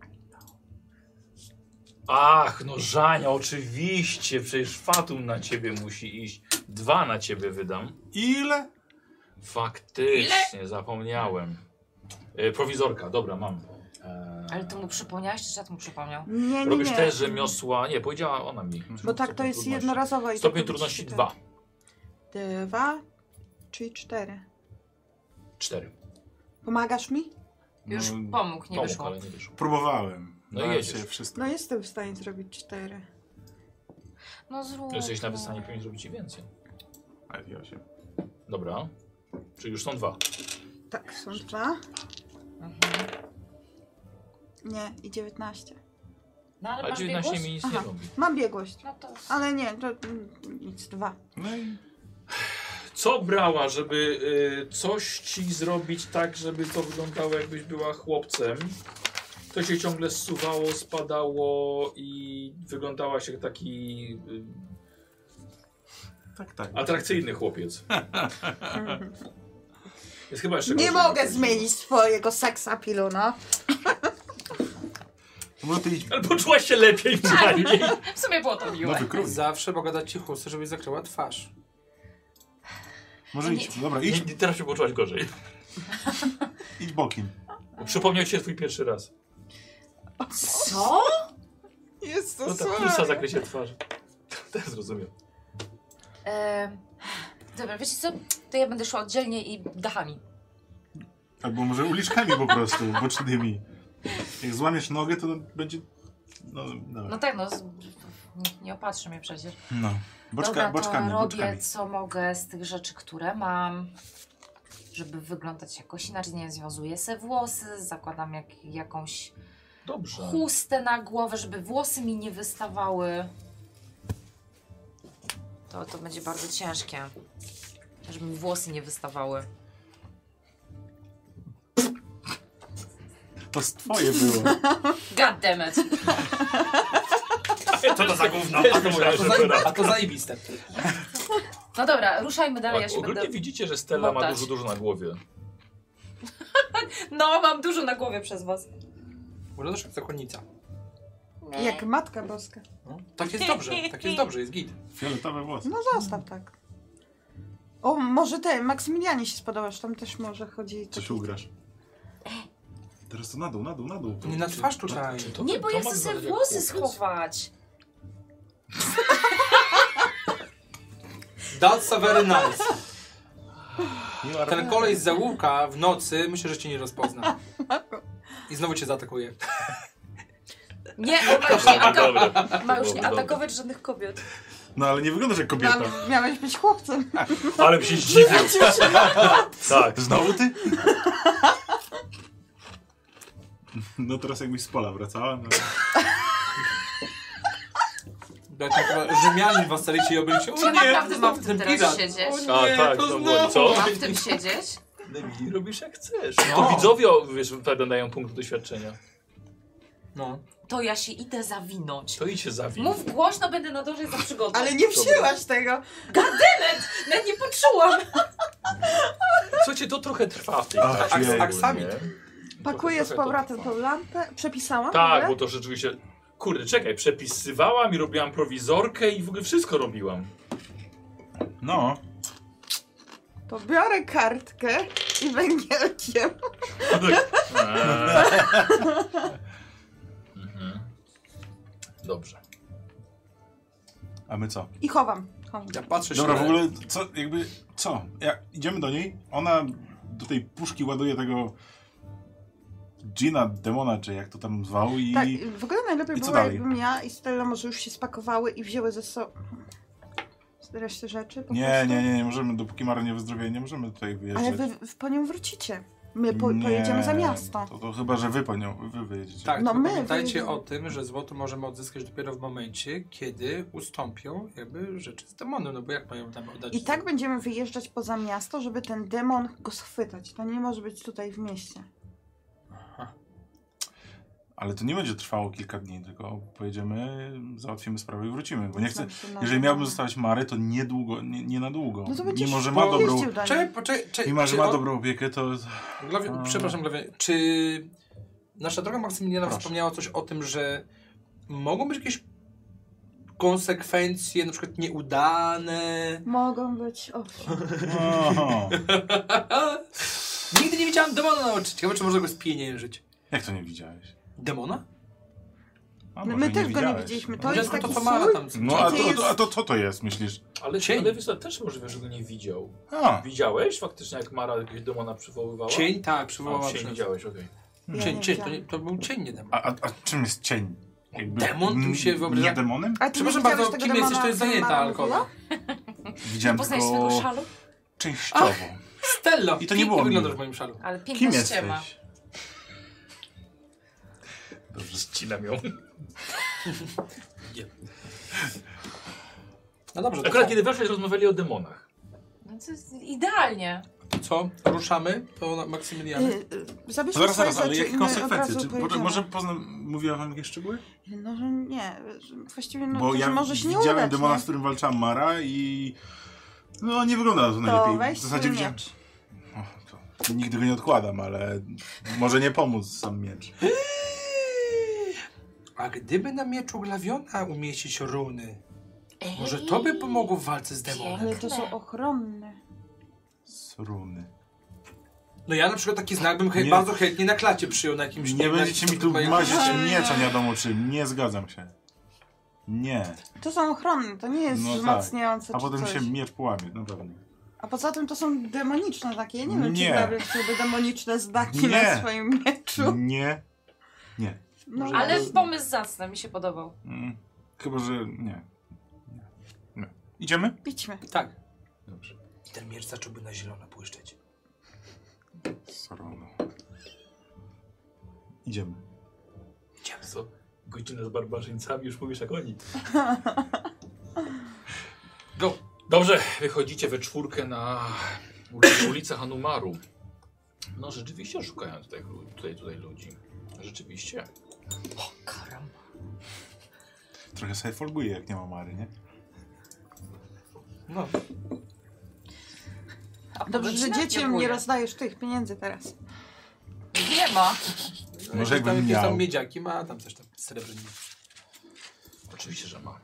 Speaker 1: Ach, no Żania, oczywiście, przecież Fatum na ciebie musi iść. Dwa na ciebie wydam.
Speaker 3: Ile?
Speaker 1: Faktycznie, zapomniałem. E, prowizorka, dobra, mam. E,
Speaker 7: Ale ty mu przypomniałeś, czy czat mu przypomniał?
Speaker 2: Nie, nie,
Speaker 1: Robisz
Speaker 2: nie.
Speaker 1: też rzemiosła, nie, powiedziała ona mi.
Speaker 2: Bo tak to
Speaker 1: Stopień
Speaker 2: jest
Speaker 1: trudności.
Speaker 2: jednorazowe. i tak
Speaker 1: Stopień
Speaker 2: tylko
Speaker 1: trudności
Speaker 2: trzy.
Speaker 1: 2,
Speaker 2: Dwa, czyli cztery.
Speaker 1: 4.
Speaker 2: Pomagasz mi?
Speaker 7: Już
Speaker 3: No,
Speaker 7: pomógł, nie
Speaker 1: Pomógł,
Speaker 7: wyszło.
Speaker 1: ale nie wyszło.
Speaker 3: Próbowałem.
Speaker 1: No
Speaker 3: Dałem
Speaker 1: jedziesz.
Speaker 3: sobie wszystko.
Speaker 2: No jestem w stanie zrobić cztery.
Speaker 7: No zrób.
Speaker 1: Jesteś
Speaker 7: no.
Speaker 1: nawet w stanie powinien zrobić i więcej.
Speaker 3: Ale Tak, ja się-
Speaker 1: Dobra. Czyli już są dwa.
Speaker 2: Tak, są dwa.
Speaker 7: Mhm.
Speaker 2: Nie, i 19.
Speaker 7: No ale
Speaker 1: A
Speaker 7: masz
Speaker 1: 19
Speaker 7: biegłość?
Speaker 1: mi nic nie
Speaker 2: Aha.
Speaker 1: robi.
Speaker 2: Mam biegłość,
Speaker 7: No to...
Speaker 2: ale nie, to mm, nic, dwa.
Speaker 3: No i
Speaker 8: Co brała, żeby y, coś ci zrobić tak, żeby to wyglądało jakbyś była chłopcem? To się ciągle zsuwało, spadało i wyglądałaś jak taki y,
Speaker 3: tak, tak.
Speaker 8: atrakcyjny
Speaker 7: *laughs*
Speaker 8: chłopiec. Jest chyba jeszcze
Speaker 2: Nie
Speaker 8: gorzej.
Speaker 2: mogę zmienić swojego seksa pilu, no.
Speaker 3: To może ty idź
Speaker 1: Ale poczułaś się lepiej
Speaker 2: Tak. *laughs*
Speaker 1: przynajmniej.
Speaker 7: W sumie było to miłe.
Speaker 3: nowy król.
Speaker 5: Zawsze pogadać ci chustę, żebyś zakryła twarz.
Speaker 3: Może
Speaker 7: No nie-
Speaker 3: idź. Dobra,
Speaker 1: I
Speaker 3: idź,
Speaker 1: teraz się poczułaś gorzej.
Speaker 3: idź bokiem.
Speaker 1: Przypomniał ci się twój pierwszy raz.
Speaker 7: Co?
Speaker 2: Jest
Speaker 1: No
Speaker 2: to
Speaker 7: tak.
Speaker 1: ta chusta zakrycie twarzy. Teraz zrozumiem.
Speaker 7: Em, E, dobra, wiecie co? To ja będę szła oddzielnie i dachami.
Speaker 3: Albo może uliczkami po prostu, bocznymi. Jak złamiesz nogę, to będzie... No,
Speaker 7: No
Speaker 3: no.
Speaker 7: tak, no. z- nikt Nie opatrzy mnie przecież.
Speaker 3: no. Boczka,
Speaker 7: dobra,
Speaker 3: boczkami,
Speaker 7: to robię
Speaker 3: boczkami.
Speaker 7: co mogę z tych rzeczy, które mam. Żeby wyglądać jakoś inaczej, nie wiem, związuję se włosy, zakładam jak, jakąś
Speaker 1: Dobrze.
Speaker 7: chustę na głowę, żeby włosy mi nie wystawały. To, to będzie bardzo ciężkie, żeby mi włosy nie wystawały.
Speaker 3: To z twoje było.
Speaker 7: God damn it.
Speaker 1: E, Co to za *laughs* gówno?
Speaker 5: A to, zajebi- a to zajebiste.
Speaker 7: No dobra, ruszajmy dalej, ja się
Speaker 1: Tak, Ogólnie
Speaker 7: będę...
Speaker 1: widzicie, że Stella ma
Speaker 7: motać.
Speaker 1: dużo, dużo na głowie.
Speaker 7: No, mam dużo na głowie przez was.
Speaker 5: Wyglądasz jak zakonnica.
Speaker 2: Jak Matka Boska.
Speaker 5: Tak jest dobrze, tak jest dobrze, jest git.
Speaker 3: Fioletowe włosy.
Speaker 2: No zostaw tak. O, może ty, Maksymilianie się spodobasz, tam też może chodzi...
Speaker 3: Coś
Speaker 2: taki-
Speaker 3: ugrasz. Teraz to na dół, na dół, na dół. No.
Speaker 5: Nie na twarz tutaj.
Speaker 1: To
Speaker 7: Nie,
Speaker 1: ten
Speaker 7: bo ja
Speaker 1: Tomasz
Speaker 7: chcę sobie
Speaker 1: zależy jak
Speaker 7: włosy
Speaker 1: kółka.
Speaker 7: schować.
Speaker 5: That's a very nice.
Speaker 1: No,
Speaker 5: Ten kolej z zaułka w nocy myślę, że cię nie rozpozna. I znowu cię
Speaker 1: *laughs*
Speaker 5: zaatakuje.
Speaker 7: Nie, on ma już nie, atako-
Speaker 1: *laughs* Dobra.
Speaker 7: *laughs* ma już nie
Speaker 1: Dobra, dobra.
Speaker 7: atakować żadnych kobiet.
Speaker 3: No ale nie wyglądasz jak
Speaker 2: No,
Speaker 3: kobieta.
Speaker 2: ale miałeś być chłopcem.
Speaker 1: No, Ale
Speaker 7: *laughs*
Speaker 1: by się zdziwił. *laughs* tak.
Speaker 3: Znowu ty? *laughs* No teraz jakbyś z pola wracała. No.
Speaker 5: Tak, jak Rzymianin was stalicie i
Speaker 7: Czy
Speaker 5: obyliście. O
Speaker 7: ja
Speaker 5: nie,
Speaker 7: naprawdę
Speaker 5: to
Speaker 7: mam
Speaker 5: znowu
Speaker 7: w tym
Speaker 5: ten
Speaker 7: teraz
Speaker 5: pirat.
Speaker 7: siedzieć?
Speaker 5: O nie,
Speaker 1: A, tak,
Speaker 5: to
Speaker 1: to było-
Speaker 5: znowu.
Speaker 1: co?
Speaker 7: Mam w tym siedzieć?
Speaker 1: I robisz jak chcesz.
Speaker 5: No.
Speaker 1: To widzowie wiesz, pewnie dają punkt doświadczenia.
Speaker 5: No.
Speaker 7: To ja się idę zawinąć.
Speaker 1: To idź się zawin.
Speaker 7: Mów głośno, będę na dążyć za przygodą.
Speaker 2: Ale nie wzięłaś tego.
Speaker 7: ja nie poczułam.
Speaker 1: Słuchajcie, to trochę trwa w tej
Speaker 3: Ach,
Speaker 1: taśmie
Speaker 5: Tak. aks-
Speaker 1: ogólnie.
Speaker 5: aksamit.
Speaker 1: Trochę-
Speaker 2: Pakuję z
Speaker 1: trochę to
Speaker 2: powrotem
Speaker 1: trwa.
Speaker 2: tą lampę. Przepisałam?
Speaker 1: Tak,
Speaker 2: w
Speaker 1: bo
Speaker 2: ogóle?
Speaker 1: to rzeczywiście... Kurde, czekaj, przepisywałam i robiłam prowizorkę i w ogóle wszystko robiłam. *laughs*
Speaker 3: no.
Speaker 2: To biorę kartkę i węgielkiem.
Speaker 1: Eee. Mhm. Dobrze.
Speaker 3: A my co?
Speaker 2: I chowam. chowam.
Speaker 5: Ja patrzę się
Speaker 3: Dobra,
Speaker 5: na-
Speaker 3: w ogóle co, jakby, co? Ja, idziemy do niej, ona do tej puszki ładuje tego Gina, demona, czy jak to tam zwał i...
Speaker 2: Tak, w ogóle najlepiej
Speaker 3: i co
Speaker 2: było,
Speaker 3: dalej?
Speaker 2: jakbym ja i Stella może już się spakowały i wzięły ze sobą resztę rzeczy. Po
Speaker 3: Nie,
Speaker 2: prostu.
Speaker 3: nie, nie, nie możemy, dopóki Mara nie wyzdrowieje, nie możemy tutaj wyjeżdżać.
Speaker 2: Ale wy w- po nią wrócicie. My po,
Speaker 3: Nie,
Speaker 2: pojedziemy za miasto.
Speaker 3: To, to chyba, że wy po nią, wy wyjedziecie.
Speaker 5: Tak,
Speaker 2: No
Speaker 5: no
Speaker 2: my
Speaker 5: pamiętajcie
Speaker 2: wy-
Speaker 5: o tym, że złoto możemy odzyskać dopiero w momencie, kiedy ustąpią jakby rzeczy z demonem, no bo jak mają tam oddać...
Speaker 2: I tak będziemy wyjeżdżać poza miasto, żeby ten demon go schwytać. To nie może być tutaj w mieście.
Speaker 5: Aha.
Speaker 3: Ale to nie będzie trwało kilka dni, tylko pojedziemy, załatwimy sprawę i wrócimy, bo nie chcę...
Speaker 2: Znam się na
Speaker 3: Jeżeli
Speaker 2: tym.
Speaker 3: miałbym zostawić Mary, to niedługo, nie, nie na długo.
Speaker 2: No to będziesz
Speaker 3: Mimo, że ma dobrą...
Speaker 2: jeździł do niej.
Speaker 5: Czekaj, poczekaj, czekaj,
Speaker 3: Mimo, że
Speaker 5: czy
Speaker 3: ma
Speaker 5: on-
Speaker 3: dobrą opiekę, to...
Speaker 5: Glawi...
Speaker 3: A.
Speaker 5: Przepraszam, Glawi... czy nasza droga Maksymiliana
Speaker 3: Proszę.
Speaker 5: wspomniała coś o tym, że mogą być jakieś konsekwencje, na przykład nieudane?
Speaker 3: *laughs*
Speaker 2: Mogą być, owszem.
Speaker 3: Oho.
Speaker 5: Nigdy nie widziałam demona na oczy. Ciekawe, czy można go spieniężyć.
Speaker 3: Jak to nie widziałeś?
Speaker 5: Demona?
Speaker 3: A,
Speaker 2: My
Speaker 3: może
Speaker 2: też go nie
Speaker 3: widziałeś.
Speaker 2: widzieliśmy. To
Speaker 5: No,
Speaker 2: jest
Speaker 5: dziecko
Speaker 2: taki
Speaker 5: to Tamara
Speaker 2: sól.
Speaker 5: tam...
Speaker 3: No a
Speaker 2: To
Speaker 3: to,
Speaker 2: jest-
Speaker 3: to, a to co to jest, myślisz?
Speaker 1: Ale,
Speaker 5: Cień.
Speaker 1: ale wiesz, co, też możliwe, że go nie widział.
Speaker 3: A,
Speaker 1: Widziałeś faktycznie, jak Mara jakiegoś demona przywoływała?
Speaker 5: Cień, tak,
Speaker 1: A,
Speaker 5: przywołała
Speaker 1: cień
Speaker 5: przez-
Speaker 1: widziałeś, okej.
Speaker 2: Ja
Speaker 5: Cień,
Speaker 2: nie
Speaker 5: cień, to, nie,
Speaker 2: widziałam.
Speaker 5: to był cień, nie demon.
Speaker 3: a, a, a czym jest cień? Jakby,
Speaker 5: Demon? Tu się
Speaker 3: m,
Speaker 5: wyobraża-
Speaker 3: Nie demonem?
Speaker 2: A ty nie
Speaker 5: Przepraszam
Speaker 2: widziałeś
Speaker 5: bardzo,
Speaker 2: tego
Speaker 5: kim jesteś,
Speaker 2: demona,
Speaker 5: to jest
Speaker 2: o którym
Speaker 5: zajęta
Speaker 2: Mara mówiła?
Speaker 5: alkohol.
Speaker 3: Widziałem
Speaker 7: Poznajesz
Speaker 3: tylko
Speaker 7: swego szalu?
Speaker 3: częściowo.
Speaker 5: Stello!
Speaker 3: I to nie było
Speaker 5: pięknie
Speaker 3: miłe.
Speaker 5: wyglądasz w moim szalu.
Speaker 7: Ale piękna
Speaker 3: Kim
Speaker 7: ściema.
Speaker 3: jesteś? Dobrze.
Speaker 1: Ścinam ją.
Speaker 5: No dobrze, to
Speaker 1: Akurat
Speaker 5: co?
Speaker 1: kiedy weszłeś, rozmawiali o demonach.
Speaker 7: No to jest idealnie.
Speaker 5: co? Ruszamy? To na Maksymiliany.
Speaker 2: Y, y, Zabierzmy
Speaker 3: No Zaraz,
Speaker 2: swoje
Speaker 3: zaraz, ale
Speaker 2: rzeczy i
Speaker 3: jakie
Speaker 2: my od
Speaker 3: konsekwencje?
Speaker 2: razu
Speaker 3: Czy, może,
Speaker 2: pojedziemy.
Speaker 3: może poznam, mówiła wam jakieś szczegóły?
Speaker 2: No że nie, że właściwie no,
Speaker 3: Bo
Speaker 2: to,
Speaker 3: ja
Speaker 2: że może się nie
Speaker 3: widziałem
Speaker 2: udać,
Speaker 3: demona, z
Speaker 2: nie?
Speaker 3: którym walczyła Mara i... No nie wygląda to najlepiej.
Speaker 2: To weź
Speaker 3: w zasadzie
Speaker 2: swój
Speaker 3: widziałem...
Speaker 2: miecz.
Speaker 3: O, to nigdy go nie odkładam, ale może nie pomóc sam miecz.
Speaker 5: A gdyby na mieczu glawiona umieścić runy, może to by pomogło w walce z demonem?
Speaker 2: Ale to są ochronne.
Speaker 3: Sruny.
Speaker 5: No ja na przykład taki znak bym chę-
Speaker 3: Nie.
Speaker 5: bardzo chętnie na klacie przyjął na jakimś...
Speaker 3: Nie
Speaker 5: na-
Speaker 3: będziecie mi tu
Speaker 5: na-
Speaker 3: mazić miecza nie wiadomo czym. Nie zgadzam się. Nie.
Speaker 2: To są ochronne, to nie jest
Speaker 3: No tak.
Speaker 2: wzmacniające
Speaker 3: A
Speaker 2: czy
Speaker 3: potem
Speaker 2: coś.
Speaker 3: się miecz połamie, No na pewno.
Speaker 2: A poza tym to są demoniczne takie. Ja nie wiem,
Speaker 3: Nie.
Speaker 2: czy Gabriel chciałby demoniczne znaki
Speaker 3: Nie.
Speaker 2: na swoim mieczu.
Speaker 3: Nie. Nie.
Speaker 2: No,
Speaker 7: Ale pomysł zacny, mi się podobał.
Speaker 3: Mm. Chyba, że nie. nie. nie. Idziemy?
Speaker 2: idźmy.
Speaker 5: Tak.
Speaker 3: Dobrze.
Speaker 5: I ten miecz zacząłby na zielono błyszczeć.
Speaker 3: Sorono. Idziemy.
Speaker 1: Co? Godzina z barbarzyńcami, już mówisz jak oni.
Speaker 5: Go!
Speaker 1: No, Dobrze, wychodzicie we czwórkę na uli- ulicę Hanumaru. No rzeczywiście szukają tutaj, tutaj, tutaj ludzi. Rzeczywiście.
Speaker 7: Karam.
Speaker 3: Trochę sobie folguję, jak nie ma Mary, nie?
Speaker 5: No.
Speaker 7: A
Speaker 2: Dobrze, że
Speaker 7: publiczna?
Speaker 2: dzieciom nie
Speaker 7: Dziękuję.
Speaker 2: rozdajesz tych pieniędzy teraz.
Speaker 7: Nie ma.
Speaker 3: Może
Speaker 5: Może tam
Speaker 3: jakbym
Speaker 5: jakieś
Speaker 3: miał.
Speaker 5: tam miedziaki ma, tam też tam srebrny.
Speaker 1: Oczywiście, że ma.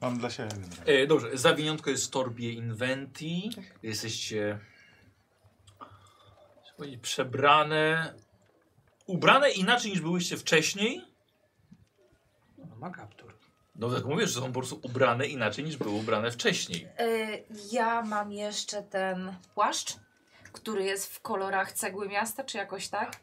Speaker 3: Mam dla siebie. generalnie.
Speaker 1: E, dobrze, zawiniątko jest w torbie Inventi. Jesteście żeby powiedzieć, przebrane, ubrane inaczej niż byłyście wcześniej.
Speaker 5: No, ma kaptur.
Speaker 1: No tak mówisz, że są po prostu ubrane inaczej niż były ubrane wcześniej.
Speaker 7: Y, ja mam jeszcze ten płaszcz, który jest w kolorach cegły miasta, czy jakoś tak?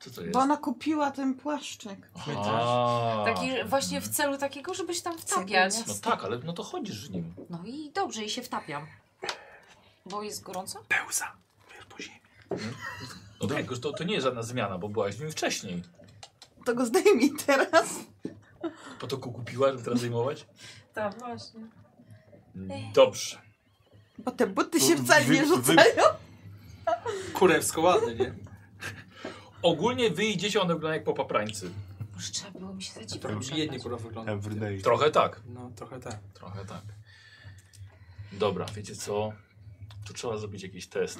Speaker 1: Co to jest?
Speaker 2: Bo ona kupiła ten płaszczyk.
Speaker 3: tak.
Speaker 1: A,
Speaker 7: Taki właśnie w celu takiego, żeby się tam wtapiać.
Speaker 1: No tak, ale no to chodzisz w nim.
Speaker 7: No i dobrze, i się wtapiam. Bo jest gorąco?
Speaker 5: Pełza. Wiesz, po ziemi.
Speaker 1: No tak, to, to nie jest żadna zmiana, bo byłaś w nim wcześniej.
Speaker 2: To go zdejmij teraz.
Speaker 1: Po to ku- kupiła, żeby teraz
Speaker 7: *laughs*
Speaker 1: zajmować?
Speaker 4: Tak, właśnie.
Speaker 1: Dobrze.
Speaker 2: Bo te buty się
Speaker 3: Wy-
Speaker 2: wcale nie
Speaker 3: wy-
Speaker 2: rzucają.
Speaker 5: Kurewsko ładny, nie?
Speaker 1: Ogólnie wy idziecie, one wyglądają jak po paprańcy.
Speaker 7: Może trzeba było mi się za dziwne
Speaker 5: Biednie kurwa wygląda.
Speaker 3: Everyday.
Speaker 1: Trochę tak.
Speaker 5: No, trochę tak.
Speaker 1: Trochę tak. Dobra, wiecie co? Tu trzeba zrobić jakiś test.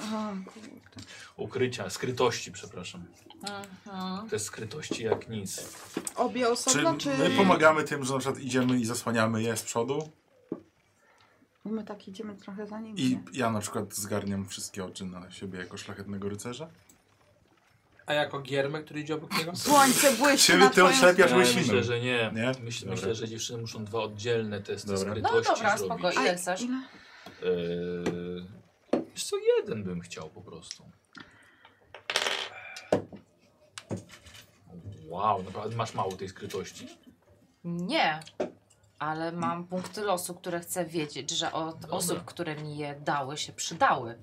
Speaker 1: Ukrycia, skrytości, przepraszam.
Speaker 7: Mhm.
Speaker 1: Test skrytości jak nic.
Speaker 2: Obie
Speaker 3: Czy
Speaker 2: osobno, czy...
Speaker 3: my pomagamy tym, że na przykład idziemy i zasłaniamy je z przodu?
Speaker 2: My tak idziemy trochę za nim.
Speaker 3: I
Speaker 2: nie?
Speaker 3: ja na przykład zgarniam wszystkie oczy na siebie jako szlachetnego rycerza?
Speaker 5: A jako giermek, który idzie obok niego?
Speaker 2: Słońce błyszczy
Speaker 3: Czyli
Speaker 2: na
Speaker 3: ty
Speaker 2: twoją...
Speaker 3: oślepiasz
Speaker 1: Ja myślę,
Speaker 3: łysiną.
Speaker 1: że nie.
Speaker 3: Nie?
Speaker 1: Myśl,
Speaker 3: Dobra.
Speaker 1: myślę, że dziewczyny muszą dwa oddzielne testy
Speaker 3: Dobra.
Speaker 7: No
Speaker 1: skrytości
Speaker 7: dobra,
Speaker 1: zrobić.
Speaker 7: spoko, ile chcesz?
Speaker 2: ile?
Speaker 1: Eee, Wiesz co, jeden bym chciał po prostu. Wow, naprawdę masz mało tej skrytości?
Speaker 7: Nie, ale mam punkty losu, które chcę wiedzieć, że od
Speaker 1: Dobra.
Speaker 7: osób, które mi je dały, się przydały.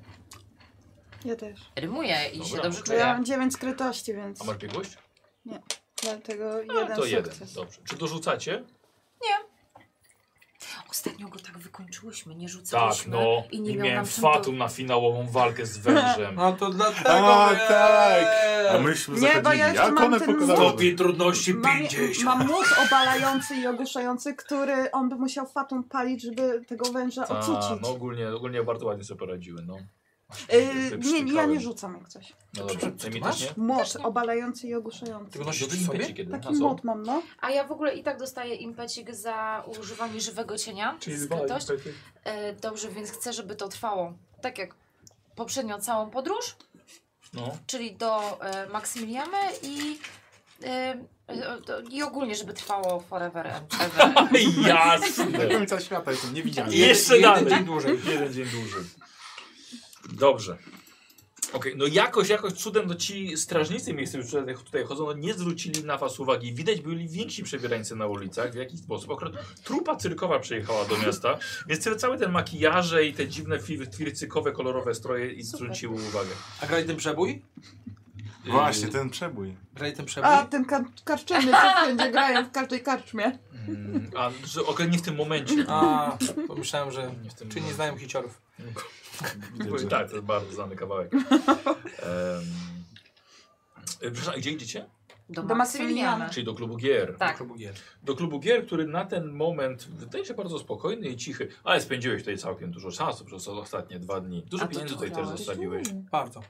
Speaker 2: Ja też.
Speaker 7: Rymuję i
Speaker 1: Dobra,
Speaker 7: się dobrze
Speaker 1: okej.
Speaker 2: Ja
Speaker 7: czuję.
Speaker 2: mam dziewięć skrytości, więc
Speaker 1: A masz biegłość?
Speaker 2: dlatego
Speaker 1: A,
Speaker 2: jeden
Speaker 1: to jeden.
Speaker 2: sukces.
Speaker 1: Dobrze. Czy dorzucacie?
Speaker 7: Ostatnio go tak wykończyłyśmy, nie rzucaliśmy.
Speaker 1: Tak, no.
Speaker 7: I nie miał
Speaker 1: miałem
Speaker 7: nam czym do-
Speaker 1: fatum na finałową walkę z
Speaker 5: *laughs*
Speaker 1: wężem.
Speaker 5: No to dlatego.
Speaker 3: A,
Speaker 5: że-
Speaker 3: tak. A myśmy
Speaker 2: Nie, bo
Speaker 3: zachodzili.
Speaker 2: ja jeszcze
Speaker 3: jak
Speaker 2: mam
Speaker 3: one
Speaker 2: ten
Speaker 3: pokazały?
Speaker 5: trudności
Speaker 2: Mam, mam mózg obalający i ogłuszający, który on by musiał fatum palić, żeby tego węża
Speaker 1: Ta,
Speaker 2: ocucić.
Speaker 1: no ogólnie, ogólnie bardzo ładnie sobie poradziły, no.
Speaker 2: Yy, nie, ja
Speaker 1: Wyprztykałem.
Speaker 2: nie rzucam jak coś.
Speaker 1: No dobrze, ty mi też
Speaker 5: masz?
Speaker 1: nie?
Speaker 2: Moc obalający i ogłuszający.
Speaker 5: Tego nosisz
Speaker 1: Dobry
Speaker 5: w sobie?
Speaker 1: impecie kiedy?
Speaker 2: Taki
Speaker 1: A co?
Speaker 2: mod mam, no.
Speaker 7: A ja w ogóle i tak dostaję impecik za używanie żywego cienia.
Speaker 8: Czyli dwa
Speaker 7: skrytość.
Speaker 8: impety.
Speaker 7: E, dobrze, więc chcę, żeby to trwało. Tak jak poprzednio całą podróż,
Speaker 1: No.
Speaker 7: czyli do e, Maksymiliamy i, e, e, do- i ogólnie, żeby trwało forever and
Speaker 1: *laughs*
Speaker 7: ever.
Speaker 1: Jasne!
Speaker 3: *laughs* Do końca świata jestem, nie widziałem.
Speaker 1: Je- Jeszcze
Speaker 5: jeden,
Speaker 1: dalej.
Speaker 5: Jeden dzień dłużej.
Speaker 1: Jeden dzień dłużej. Dobrze. Okej, no jakoś, jakoś cudem no ci strażnicy miejscowi, którzy tutaj- tutaj chodzą, no nie zwrócili na was uwagi. Widać byli więksi przebierańcy na ulicach, w jakiś sposób. Akurat trupa cyrkowa przyjechała do miasta, więc te- cały ten makijaże i te dziwne fi- twircykowe, kolorowe stroje i
Speaker 7: Super.
Speaker 1: zwróciły uwagę.
Speaker 5: A grali ten przebój?
Speaker 3: Właśnie, ten przebój.
Speaker 5: Grali ten przebój?
Speaker 2: A, ten kar karczemy, co wszędzie grają w każdej *laughs* karczmie.
Speaker 1: Mm, A że okej, nie w tym momencie.
Speaker 5: A, pomyślałem, że.
Speaker 1: Nie w tym
Speaker 5: Czy nie
Speaker 1: momencie.
Speaker 5: znają hiciorów?
Speaker 3: Widzę, że-
Speaker 1: Tak, to jest bardzo znany
Speaker 5: *laughs*
Speaker 1: kawałek. Um, przepraszam, gdzie idziecie?
Speaker 7: Do,
Speaker 2: Do Maksymiliana.
Speaker 7: Maksymiliana.
Speaker 1: Czyli do klubu gier.
Speaker 7: Tak.
Speaker 5: Klubu gier.
Speaker 1: do klubu gier, który na ten moment wydaje się bardzo spokojny i cichy, ale spędziłeś tutaj całkiem dużo czasu przez ostatnie dwa dni. Dużo
Speaker 7: A to
Speaker 1: pieniędzy
Speaker 7: tu
Speaker 1: tutaj też
Speaker 7: grałeś?
Speaker 1: zostawiłeś.
Speaker 5: Bardzo.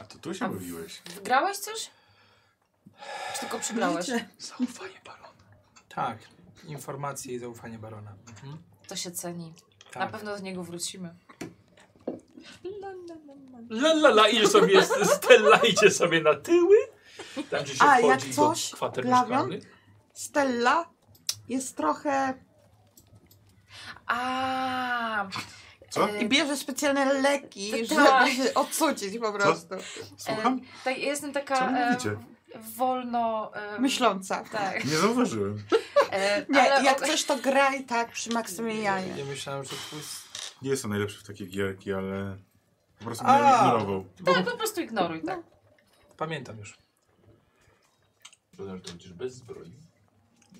Speaker 3: A to tu się
Speaker 7: A w-
Speaker 3: bawiłeś.
Speaker 7: Grałeś coś? Czy tylko przygrałeś?
Speaker 2: Wiecie,
Speaker 1: Zaufanie barona.
Speaker 5: Tak. Informacje i zaufanie barona. Mhm.
Speaker 7: To się ceni. Na
Speaker 5: Tak.
Speaker 7: pewno do niego wrócimy.
Speaker 1: La la la, idzie sobie, Stella idzie sobie na tyły. Tam gdzie się
Speaker 2: A,
Speaker 1: wchodzi
Speaker 2: jak
Speaker 1: do
Speaker 2: coś,
Speaker 1: kwater
Speaker 2: glawion?
Speaker 1: mieszkalnych.
Speaker 2: Stella jest trochę...
Speaker 7: A,
Speaker 3: Co?
Speaker 7: e,
Speaker 2: I bierze specjalne leki, żeby
Speaker 7: Tak.
Speaker 2: się ocucić po prostu.
Speaker 3: Słucham?
Speaker 7: E, tak, ja jestem
Speaker 3: Co
Speaker 7: taka
Speaker 3: wy
Speaker 7: e,
Speaker 3: mówicie?
Speaker 7: wolno. E,
Speaker 2: Myśląca.
Speaker 7: Tak.
Speaker 3: Nie zauważyłem.
Speaker 7: E,
Speaker 2: Nie,
Speaker 7: ale
Speaker 2: jak
Speaker 7: o-
Speaker 2: coś to graj tak przy Maksymilianie.
Speaker 5: Ja myślałem, że twój. s-
Speaker 3: Nie jestem najlepszy w takie gierki, ale po prostu
Speaker 5: A.
Speaker 3: mnie ignorował.
Speaker 7: Tak, po prostu ignoruj, tak.
Speaker 6: No.
Speaker 5: Pamiętam już.
Speaker 1: Dodam, że to będziesz bez zbroi.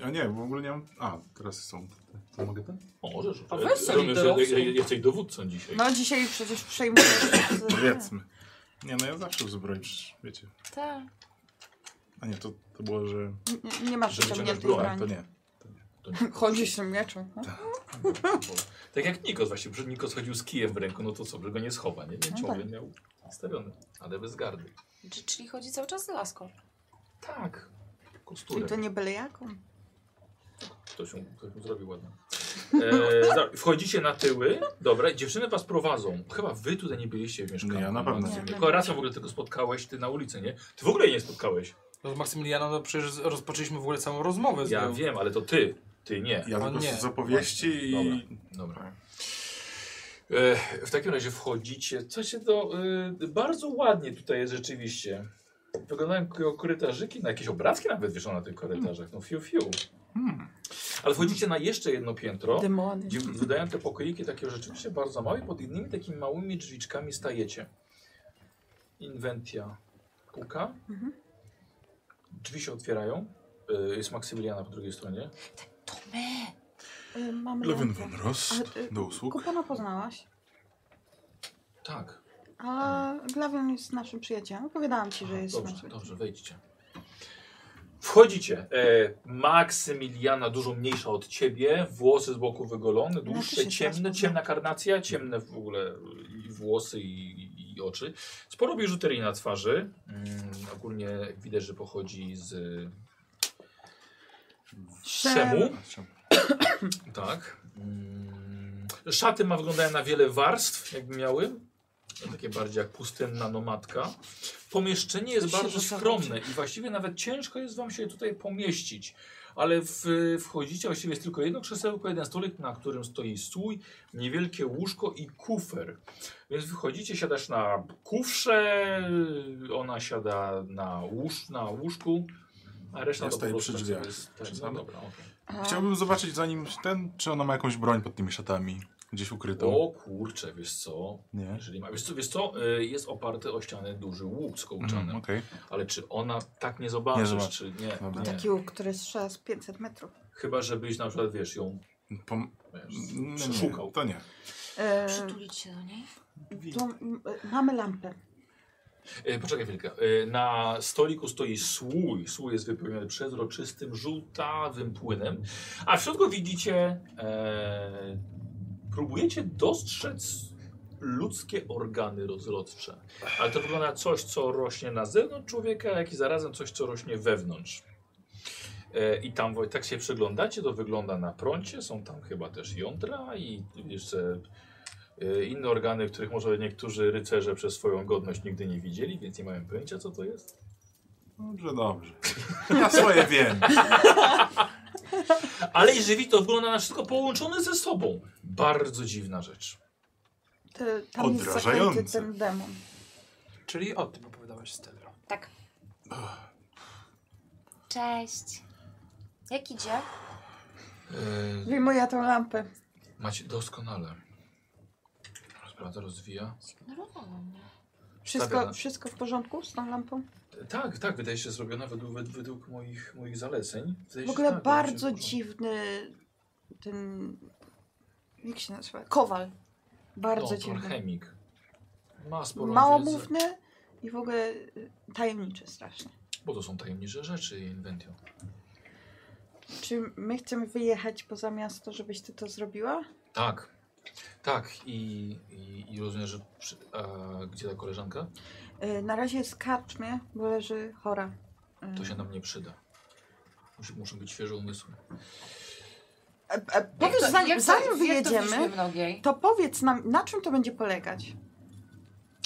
Speaker 3: A nie, w ogóle nie mam... A, teraz są. te- To mogę ten?
Speaker 1: O, możesz.
Speaker 5: A weź sobie
Speaker 1: Rozumiem, że
Speaker 5: dorosłą.
Speaker 1: Jesteś dowódcą dzisiaj.
Speaker 2: No dzisiaj przecież przejmujesz...
Speaker 3: Powiedzmy. Nie, no ja zawsze uzbroję, przecież, wiecie.
Speaker 7: tak.
Speaker 3: A nie, to, to było, że...
Speaker 2: Nie, nie masz
Speaker 1: Że wyciągasz
Speaker 2: wyciągniętej
Speaker 1: broń,
Speaker 3: Tak, to
Speaker 2: broni.
Speaker 3: nie.
Speaker 2: Chodzisz tym mieczem. no?
Speaker 1: Bo, tak jak Nikos właśnie, przed Nikos chodził z kijem w ręku, no to co, że go nie schowa, nie? Nie, ciągle miał stawiony, ale bez gardy.
Speaker 7: Czy- Czyli chodzi cały czas z laską.
Speaker 1: Tak,
Speaker 2: Czyli
Speaker 1: kosturem.
Speaker 2: to nie byle jaką.
Speaker 1: Ktoś mu, ktoś mu zrobił ładnie. E, za- wchodzicie na tyły, dobra, i dziewczyny was prowadzą. Chyba wy tutaj nie byliście w mieszkaniu.
Speaker 3: Nie, ja na pewno
Speaker 6: nie.
Speaker 1: Tylko raz ją w ogóle tylko spotkałeś, ty na ulicy, nie? Ty w ogóle jej nie spotkałeś.
Speaker 5: Z Maksymilianą no przecież z- rozpoczęliśmy w ogóle całą rozmowę z
Speaker 1: Ja
Speaker 5: nią.
Speaker 1: wiem, ale to ty. Ty nie.
Speaker 3: Ja
Speaker 5: O
Speaker 3: tylko
Speaker 5: nie.
Speaker 3: z opowieści
Speaker 1: Dobra.
Speaker 3: i...
Speaker 1: Dobra. E, w takim razie wchodzicie. Co się to. Y, bardzo ładnie tutaj jest rzeczywiście. Wyglądają k- korytarzyki, na jakieś obrazki nawet wieszą na tych korytarzach. No fiu, fiu.
Speaker 3: Hmm.
Speaker 1: Ale wchodzicie na jeszcze jedno piętro.
Speaker 6: Demony.
Speaker 1: Gdzie wydają te pokoiki takie rzeczywiście bardzo małe. Pod innymi takimi małymi drzwiczkami stajecie. Inwentia puka. Drzwi się otwierają. Y, Jest Maksymiliana po drugiej stronie.
Speaker 7: To my!
Speaker 6: Y, Mamy
Speaker 3: Lewin von Rost,
Speaker 6: Ale, y,
Speaker 3: do usług.
Speaker 6: Kupona poznałaś,
Speaker 1: Tak.
Speaker 6: a Glawion jest naszym przyjacielem. Opowiadałam ci, że jest
Speaker 1: Dobrze,
Speaker 6: naszym
Speaker 1: dobrze, wejdźcie. Wchodzicie. E, Maksymiliana dużo mniejsza od ciebie, włosy z boku wygolone, dłuższe,
Speaker 6: No, się
Speaker 1: ciemne,
Speaker 6: teraz
Speaker 1: ciemna karnacja, ciemne w ogóle i włosy i, i- i oczy. Sporo biżuterii na twarzy. Mm, ogólnie widać, że pochodzi z Szemu. Tak. Mm, Szaty ma wyglądają na wiele warstw, jakby miały. Takie bardziej jak pustynna nomadka. Pomieszczenie jest bardzo skromne i właściwie nawet ciężko jest wam się tutaj pomieścić. Ale w, wchodzicie, właściwie jest tylko jedno krzesełko, jeden stolik, na którym stoi stój, niewielkie łóżko i kufer. Więc wychodzicie, siadasz na kufrze, ona siada na, łóż, na łóżku, a reszta
Speaker 3: Ja
Speaker 1: to po
Speaker 3: stoję
Speaker 1: prostu tak
Speaker 3: przy drzwiach.
Speaker 1: sobie jest- tak,
Speaker 3: Przy
Speaker 1: no
Speaker 3: drzwiach.
Speaker 1: dobra, okej.
Speaker 3: Chciałbym zobaczyć zanim ten, czy ona ma jakąś broń pod tymi szatami. Gdzieś ukrytą.
Speaker 1: O kurczę, wiesz co?
Speaker 3: Nie. Mhm,
Speaker 1: Jeżeli ma, wiesz co, wiesz co? Y, Jest oparty o ścianę duży łuk z kołczanem.
Speaker 3: Mhm, Okej.
Speaker 1: Ale czy ona tak nie zobaczysz,
Speaker 3: Nie zobaczy.
Speaker 1: czy nie?
Speaker 3: Dobra.
Speaker 1: nie.
Speaker 6: Taki łuk, który strzela z 500 metrów.
Speaker 1: Chyba, żebyś na przykład, wiesz, ją
Speaker 3: Pom- no,
Speaker 1: wiesz,
Speaker 3: nie,
Speaker 1: przeszukał.
Speaker 3: nie, to nie.
Speaker 6: E,
Speaker 7: Przytulić się do niej?
Speaker 6: to, m, e, mamy lampę.
Speaker 1: E, Poczekaj chwilkę. E, Na stoliku stoi słój. Słój jest wypełniony przezroczystym, żółtawym płynem. A w środku widzicie, e, próbujecie dostrzec ludzkie organy rozrodcze. Ale to wygląda na coś, co rośnie na zewnątrz człowieka, jak i zarazem coś, co rośnie wewnątrz. E, I tam wo- tak się przyglądacie, to wygląda na prącie, są tam chyba też jądra i jeszcze e, inne organy, których może niektórzy rycerze przez swoją godność nigdy nie widzieli, więc nie mają pojęcia co to jest.
Speaker 3: Dobrze, dobrze. *laughs* Ja swoje wiem.
Speaker 1: Ale i żywi to wygląda na wszystko połączone ze sobą. Bardzo dziwna rzecz.
Speaker 6: Te, tam jest
Speaker 3: Odrażające.
Speaker 6: zaklęty ten demon.
Speaker 5: Czyli o tym opowiadałaś Stella.
Speaker 7: Tak. Cześć. Jak idzie?
Speaker 1: E,
Speaker 6: Wyjmuję tą lampę.
Speaker 1: macie doskonale. Rozprawda rozwija.
Speaker 7: Zignorowała mnie.
Speaker 1: Stawiana.
Speaker 6: Wszystko, wszystko w porządku z tą lampą?
Speaker 1: Tak, tak, wydaje się zrobiona według, wed- według moich, moich zaleceń. Wydaje
Speaker 6: W
Speaker 1: się,
Speaker 6: ogóle
Speaker 1: tak,
Speaker 6: bardzo
Speaker 1: wydaje się, że-
Speaker 6: dziwny ten... Jak się nazywa? Kowal. Bardzo
Speaker 1: no, to
Speaker 6: dziwny.
Speaker 1: alchemik. Ma sporo wiedzy,
Speaker 6: Małomówny i w ogóle y, tajemniczy strasznie.
Speaker 1: bo to są tajemnicze rzeczy jej inwentio.
Speaker 6: Czy my chcemy wyjechać poza miasto, żebyś ty to zrobiła?
Speaker 1: Tak, tak i, i, i rozumiem, że przy, a, gdzie ta koleżanka?
Speaker 6: Y, Na razie jest w karczmie, bo leży chora. Y,
Speaker 1: To się nam nie przyda. Musi, muszą być świeże umysły.
Speaker 6: e, e, Powiedz,
Speaker 7: Jak to- jak
Speaker 6: zanim,
Speaker 7: to-
Speaker 6: zanim
Speaker 7: Jak to
Speaker 6: wyjedziemy,
Speaker 7: weszliśmy w nogiej?
Speaker 6: to powiedz nam, na czym to będzie polegać?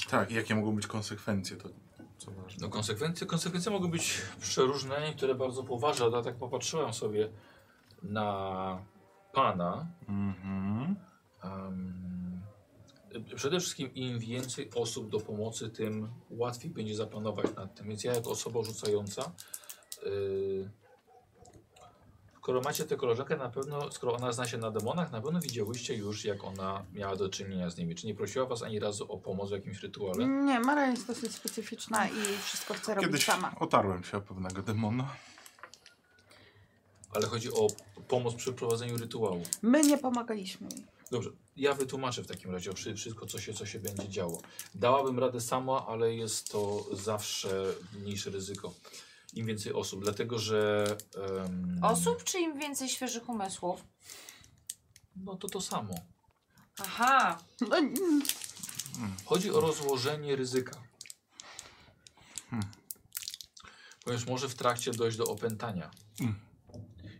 Speaker 3: Tak, i jakie mogą być konsekwencje, to co ważne.
Speaker 1: No konsekwencje, konsekwencje mogą być przeróżne, niektóre bardzo poważne, ale ja tak popatrzyłem sobie na pana.
Speaker 3: Mhm.
Speaker 1: Em, przede wszystkim im więcej osób do pomocy, tym łatwiej będzie zapanować nad tym. Więc ja jako osoba rzucająca, yy, skoro macie tę koleżankę, na pewno, skoro ona zna się na demonach, na pewno widziałyście już, jak ona miała do czynienia z nimi. Czy nie prosiła was ani razu o pomoc w jakimś rytuale?
Speaker 6: Nie, Mara jest dosyć specyficzna i wszystko chce robić
Speaker 3: Kiedyś
Speaker 6: sama.
Speaker 3: otarłem się o pewnego demona.
Speaker 1: Ale chodzi o pomoc przy prowadzeniu rytuału.
Speaker 6: My nie pomagaliśmy jej.
Speaker 1: Dobrze, ja wytłumaczę w takim razie wszy- wszystko, co się, co się będzie działo. Dałabym radę sama, ale jest to zawsze mniejsze ryzyko. Im więcej osób, dlatego że. em,
Speaker 7: Osób czy im więcej świeżych umysłów?
Speaker 1: No to to samo.
Speaker 7: Aha,
Speaker 6: No, mm,
Speaker 1: Chodzi o rozłożenie ryzyka.
Speaker 3: Hmm.
Speaker 1: Ponieważ może w trakcie dojść do opętania.
Speaker 3: Hmm.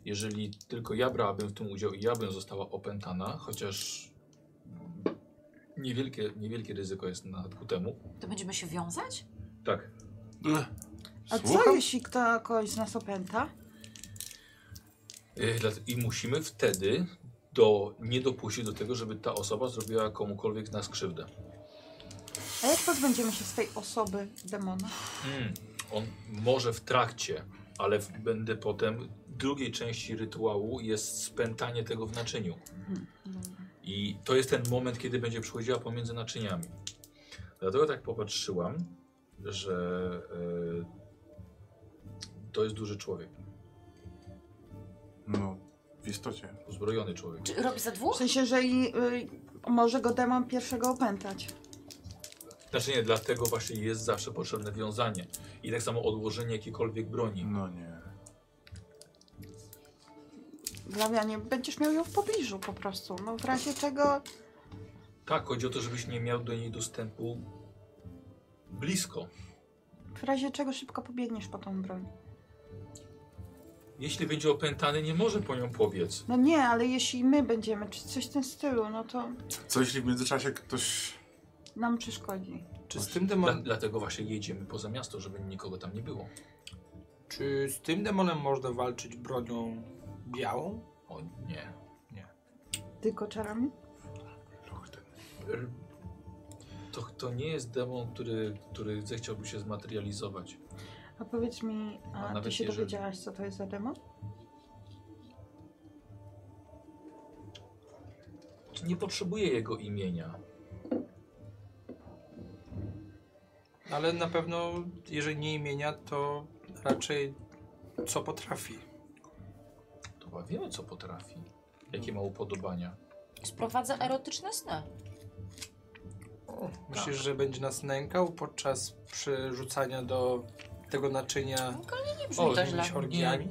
Speaker 1: Jeżeli tylko ja brałabym w tym udział i ja bym została opętana, chociaż niewielkie, niewielkie ryzyko jest na ku temu.
Speaker 7: To będziemy się wiązać?
Speaker 1: Tak.
Speaker 6: A co
Speaker 5: Słucham?
Speaker 6: jeśli kto kogoś z nas opęta?
Speaker 1: Y, dla- I musimy wtedy do, nie dopuścić do tego, żeby ta osoba zrobiła komukolwiek nas krzywdę.
Speaker 6: A jak pozbędziemy się z tej osoby demona?
Speaker 1: Mm. On może w trakcie, ale w, będę potem. Drugiej części rytuału jest spętanie tego w naczyniu. I to jest ten moment, kiedy będzie przychodziła pomiędzy naczyniami. Dlatego tak popatrzyłam, że e, to jest duży człowiek,
Speaker 3: No, w istocie.
Speaker 1: uzbrojony człowiek.
Speaker 7: Czy robi za
Speaker 6: W
Speaker 7: dwóch?
Speaker 6: sensie, że i, y, może go demon pierwszego opętać.
Speaker 1: Znaczy nie, dlatego właśnie jest zawsze potrzebne wiązanie. I tak samo odłożenie jakiejkolwiek broni.
Speaker 3: No nie.
Speaker 6: Glawianie, będziesz miał ją w pobliżu po prostu. No w razie czego
Speaker 1: Tak, chodzi o to, żebyś nie miał do niej dostępu blisko.
Speaker 6: W razie czego szybko pobiegniesz po tą broń.
Speaker 1: Jeśli będzie opętany, nie może po nią pobiec.
Speaker 6: No nie, ale jeśli my będziemy, czy coś w tym stylu, no to
Speaker 3: Co jeśli w międzyczasie ktoś...
Speaker 6: nam przeszkodzi.
Speaker 5: Czy z tym
Speaker 1: Dla,
Speaker 5: demonem,
Speaker 1: dlatego właśnie jedziemy poza miasto, żeby nikogo tam nie było.
Speaker 5: czy z tym demonem można walczyć bronią białą?
Speaker 1: O nie.
Speaker 6: Tylko czarami?
Speaker 1: R- To, to nie jest demon, który, który zechciałby się zmaterializować.
Speaker 6: A powiedz mi,
Speaker 1: A
Speaker 6: a, ty
Speaker 1: nawet
Speaker 6: się
Speaker 1: jeżeli-
Speaker 6: dowiedziałaś, co to jest za demon?
Speaker 1: Czy nie potrzebuje jego imienia?
Speaker 5: Ale na pewno, jeżeli nie imienia, to raczej co potrafi.
Speaker 1: To chyba wiemy, co potrafi. Jakie ma upodobania.
Speaker 7: Sprowadza erotyczne sny.
Speaker 5: Myślisz, że będzie nas nękał podczas przerzucania do tego naczynia
Speaker 7: Nie brzmi
Speaker 1: O,
Speaker 7: to
Speaker 1: nie
Speaker 7: źle.
Speaker 5: jakimiś orgiami?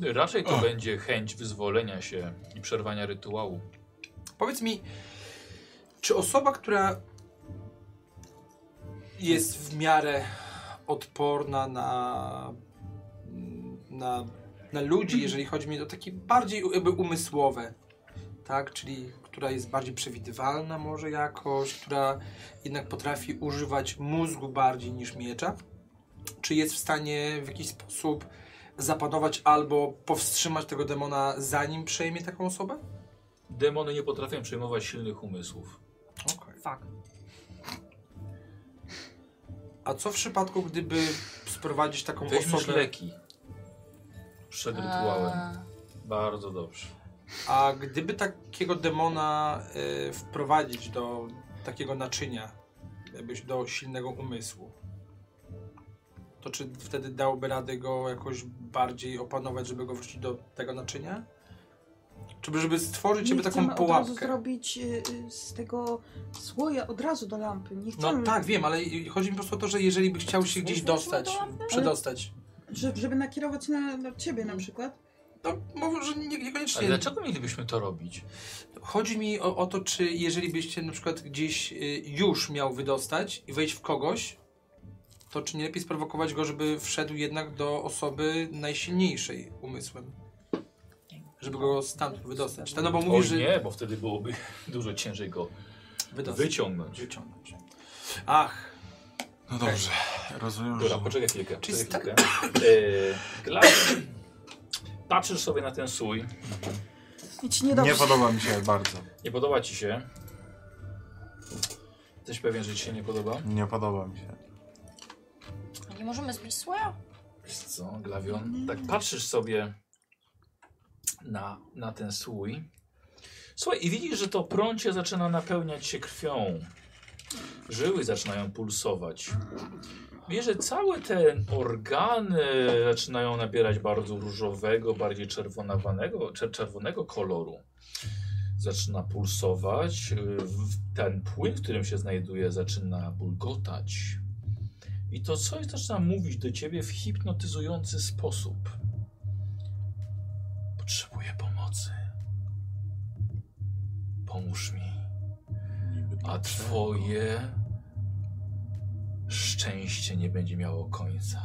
Speaker 1: Raczej to będzie chęć wyzwolenia się i przerwania rytuału.
Speaker 5: Powiedz mi, czy osoba, która jest w miarę odporna na, na, na ludzi, jeżeli chodzi mi o takie bardziej jakby umysłowe, tak? Czyli która jest bardziej przewidywalna może jakoś, która jednak potrafi używać mózgu bardziej niż miecza, czy jest w stanie w jakiś sposób zapanować albo powstrzymać tego demona zanim przejmie taką osobę?
Speaker 1: Demony nie potrafią przejmować silnych umysłów.
Speaker 7: Fakt.
Speaker 5: A co w przypadku, gdyby sprowadzić taką
Speaker 1: Weźmiesz
Speaker 5: osobę,
Speaker 1: leki przed rytuałem.
Speaker 7: Eee,
Speaker 1: Bardzo dobrze.
Speaker 5: a gdyby takiego demona y, wprowadzić do takiego naczynia, jakbyś do silnego umysłu, to czy wtedy dałoby radę go jakoś bardziej opanować, żeby go wrócić do tego naczynia? Czy by- żeby stworzyć
Speaker 6: Nie
Speaker 5: jakby
Speaker 6: chcemy
Speaker 5: taką
Speaker 6: od razu
Speaker 5: pułapkę?
Speaker 6: zrobić y, y, z tego słoja od razu do lampy. Nie
Speaker 5: No
Speaker 6: chcemy,
Speaker 5: tak, wiem, ale chodzi mi po prostu o to, że jeżeli by chciał się gdzieś dostać, przedostać,
Speaker 6: że, żeby nakierować na, na ciebie na przykład.
Speaker 5: to może No, nie-
Speaker 1: Ale
Speaker 5: niekoniecznie
Speaker 1: dlaczego mielibyśmy to robić?
Speaker 5: Chodzi mi o, o to, czy jeżeli byście na przykład gdzieś y, już miał wydostać i wejść w kogoś, to czy nie lepiej sprowokować go, żeby wszedł jednak do osoby najsilniejszej umysłem? Żeby go stamtąd wydostać. Tak, No bo
Speaker 1: Oj
Speaker 5: mówisz, że
Speaker 1: nie, bo wtedy byłoby *laughs* dużo ciężej go
Speaker 5: wydostać.
Speaker 1: wyciągnąć.
Speaker 5: Wyciągnąć. Ach,
Speaker 3: No dobrze, rozumiem,
Speaker 1: Dobra,
Speaker 3: że...
Speaker 1: poczekaj chwilkę.
Speaker 5: Czyli
Speaker 1: Poczekaj chwilkę. *clears throat* Eee, Klaus, patrzysz sobie na ten sój,
Speaker 6: I ci nie
Speaker 3: Nie
Speaker 6: dobrze.
Speaker 3: podoba mi się bardzo.
Speaker 1: nie podoba ci się. Jesteś pewien, że ci się nie podoba?
Speaker 3: Nie podoba mi się.
Speaker 7: Nie możemy zbić słoja?
Speaker 1: Wiesz co, Glawion? Tak patrzysz sobie na, na ten słój. Słuchaj, i widzisz, że to prącie zaczyna napełniać się krwią. Żyły zaczynają pulsować. Wiesz, że całe te organy zaczynają nabierać bardzo różowego, bardziej czerwonawanego, czer czerwonego koloru. Zaczyna pulsować. yy, w- Ten płyn, w którym się znajduje, zaczyna bulgotać. I to coś zaczyna mówić do ciebie w hipnotyzujący sposób. Potrzebuję pomocy. Pomóż mi. A twoje szczęście nie będzie miało końca.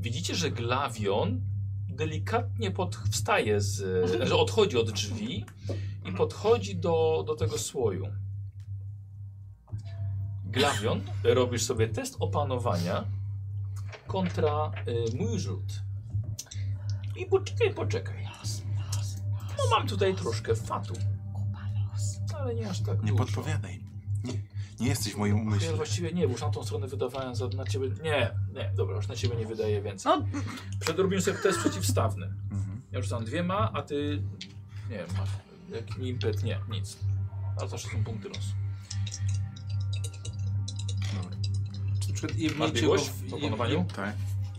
Speaker 1: Widzicie, że Glawion delikatnie pod, wstaje z, że odchodzi od drzwi i podchodzi do, do tego słoju. Glawion, robisz sobie test opanowania kontra y, mój rzut. I poczekaj, poczekaj. No mam tutaj troszkę fatu. Ale nie aż tak
Speaker 3: Nie
Speaker 1: dużo.
Speaker 3: podpowiadaj. Nie, nie jesteś w moim
Speaker 1: Ja
Speaker 3: umyśle.
Speaker 1: właściwie nie, bo już na tą stronę wydawałem za, na ciebie. Nie, nie, dobra, już na ciebie nie wydaję więcej.
Speaker 10: No.
Speaker 1: Przedrobiłem sobie test przeciwstawny.
Speaker 3: Mhm.
Speaker 1: Ja rzucam dwiema, a ty. Nie wiem, masz. Jak mi impet, nie, nic. A zawsze są punkty losu.
Speaker 5: Czy na przykład
Speaker 1: Masz
Speaker 5: jebniecie go,
Speaker 1: biegłość
Speaker 5: w,
Speaker 1: w
Speaker 5: jeb,
Speaker 1: opanowaniu?
Speaker 3: Tak,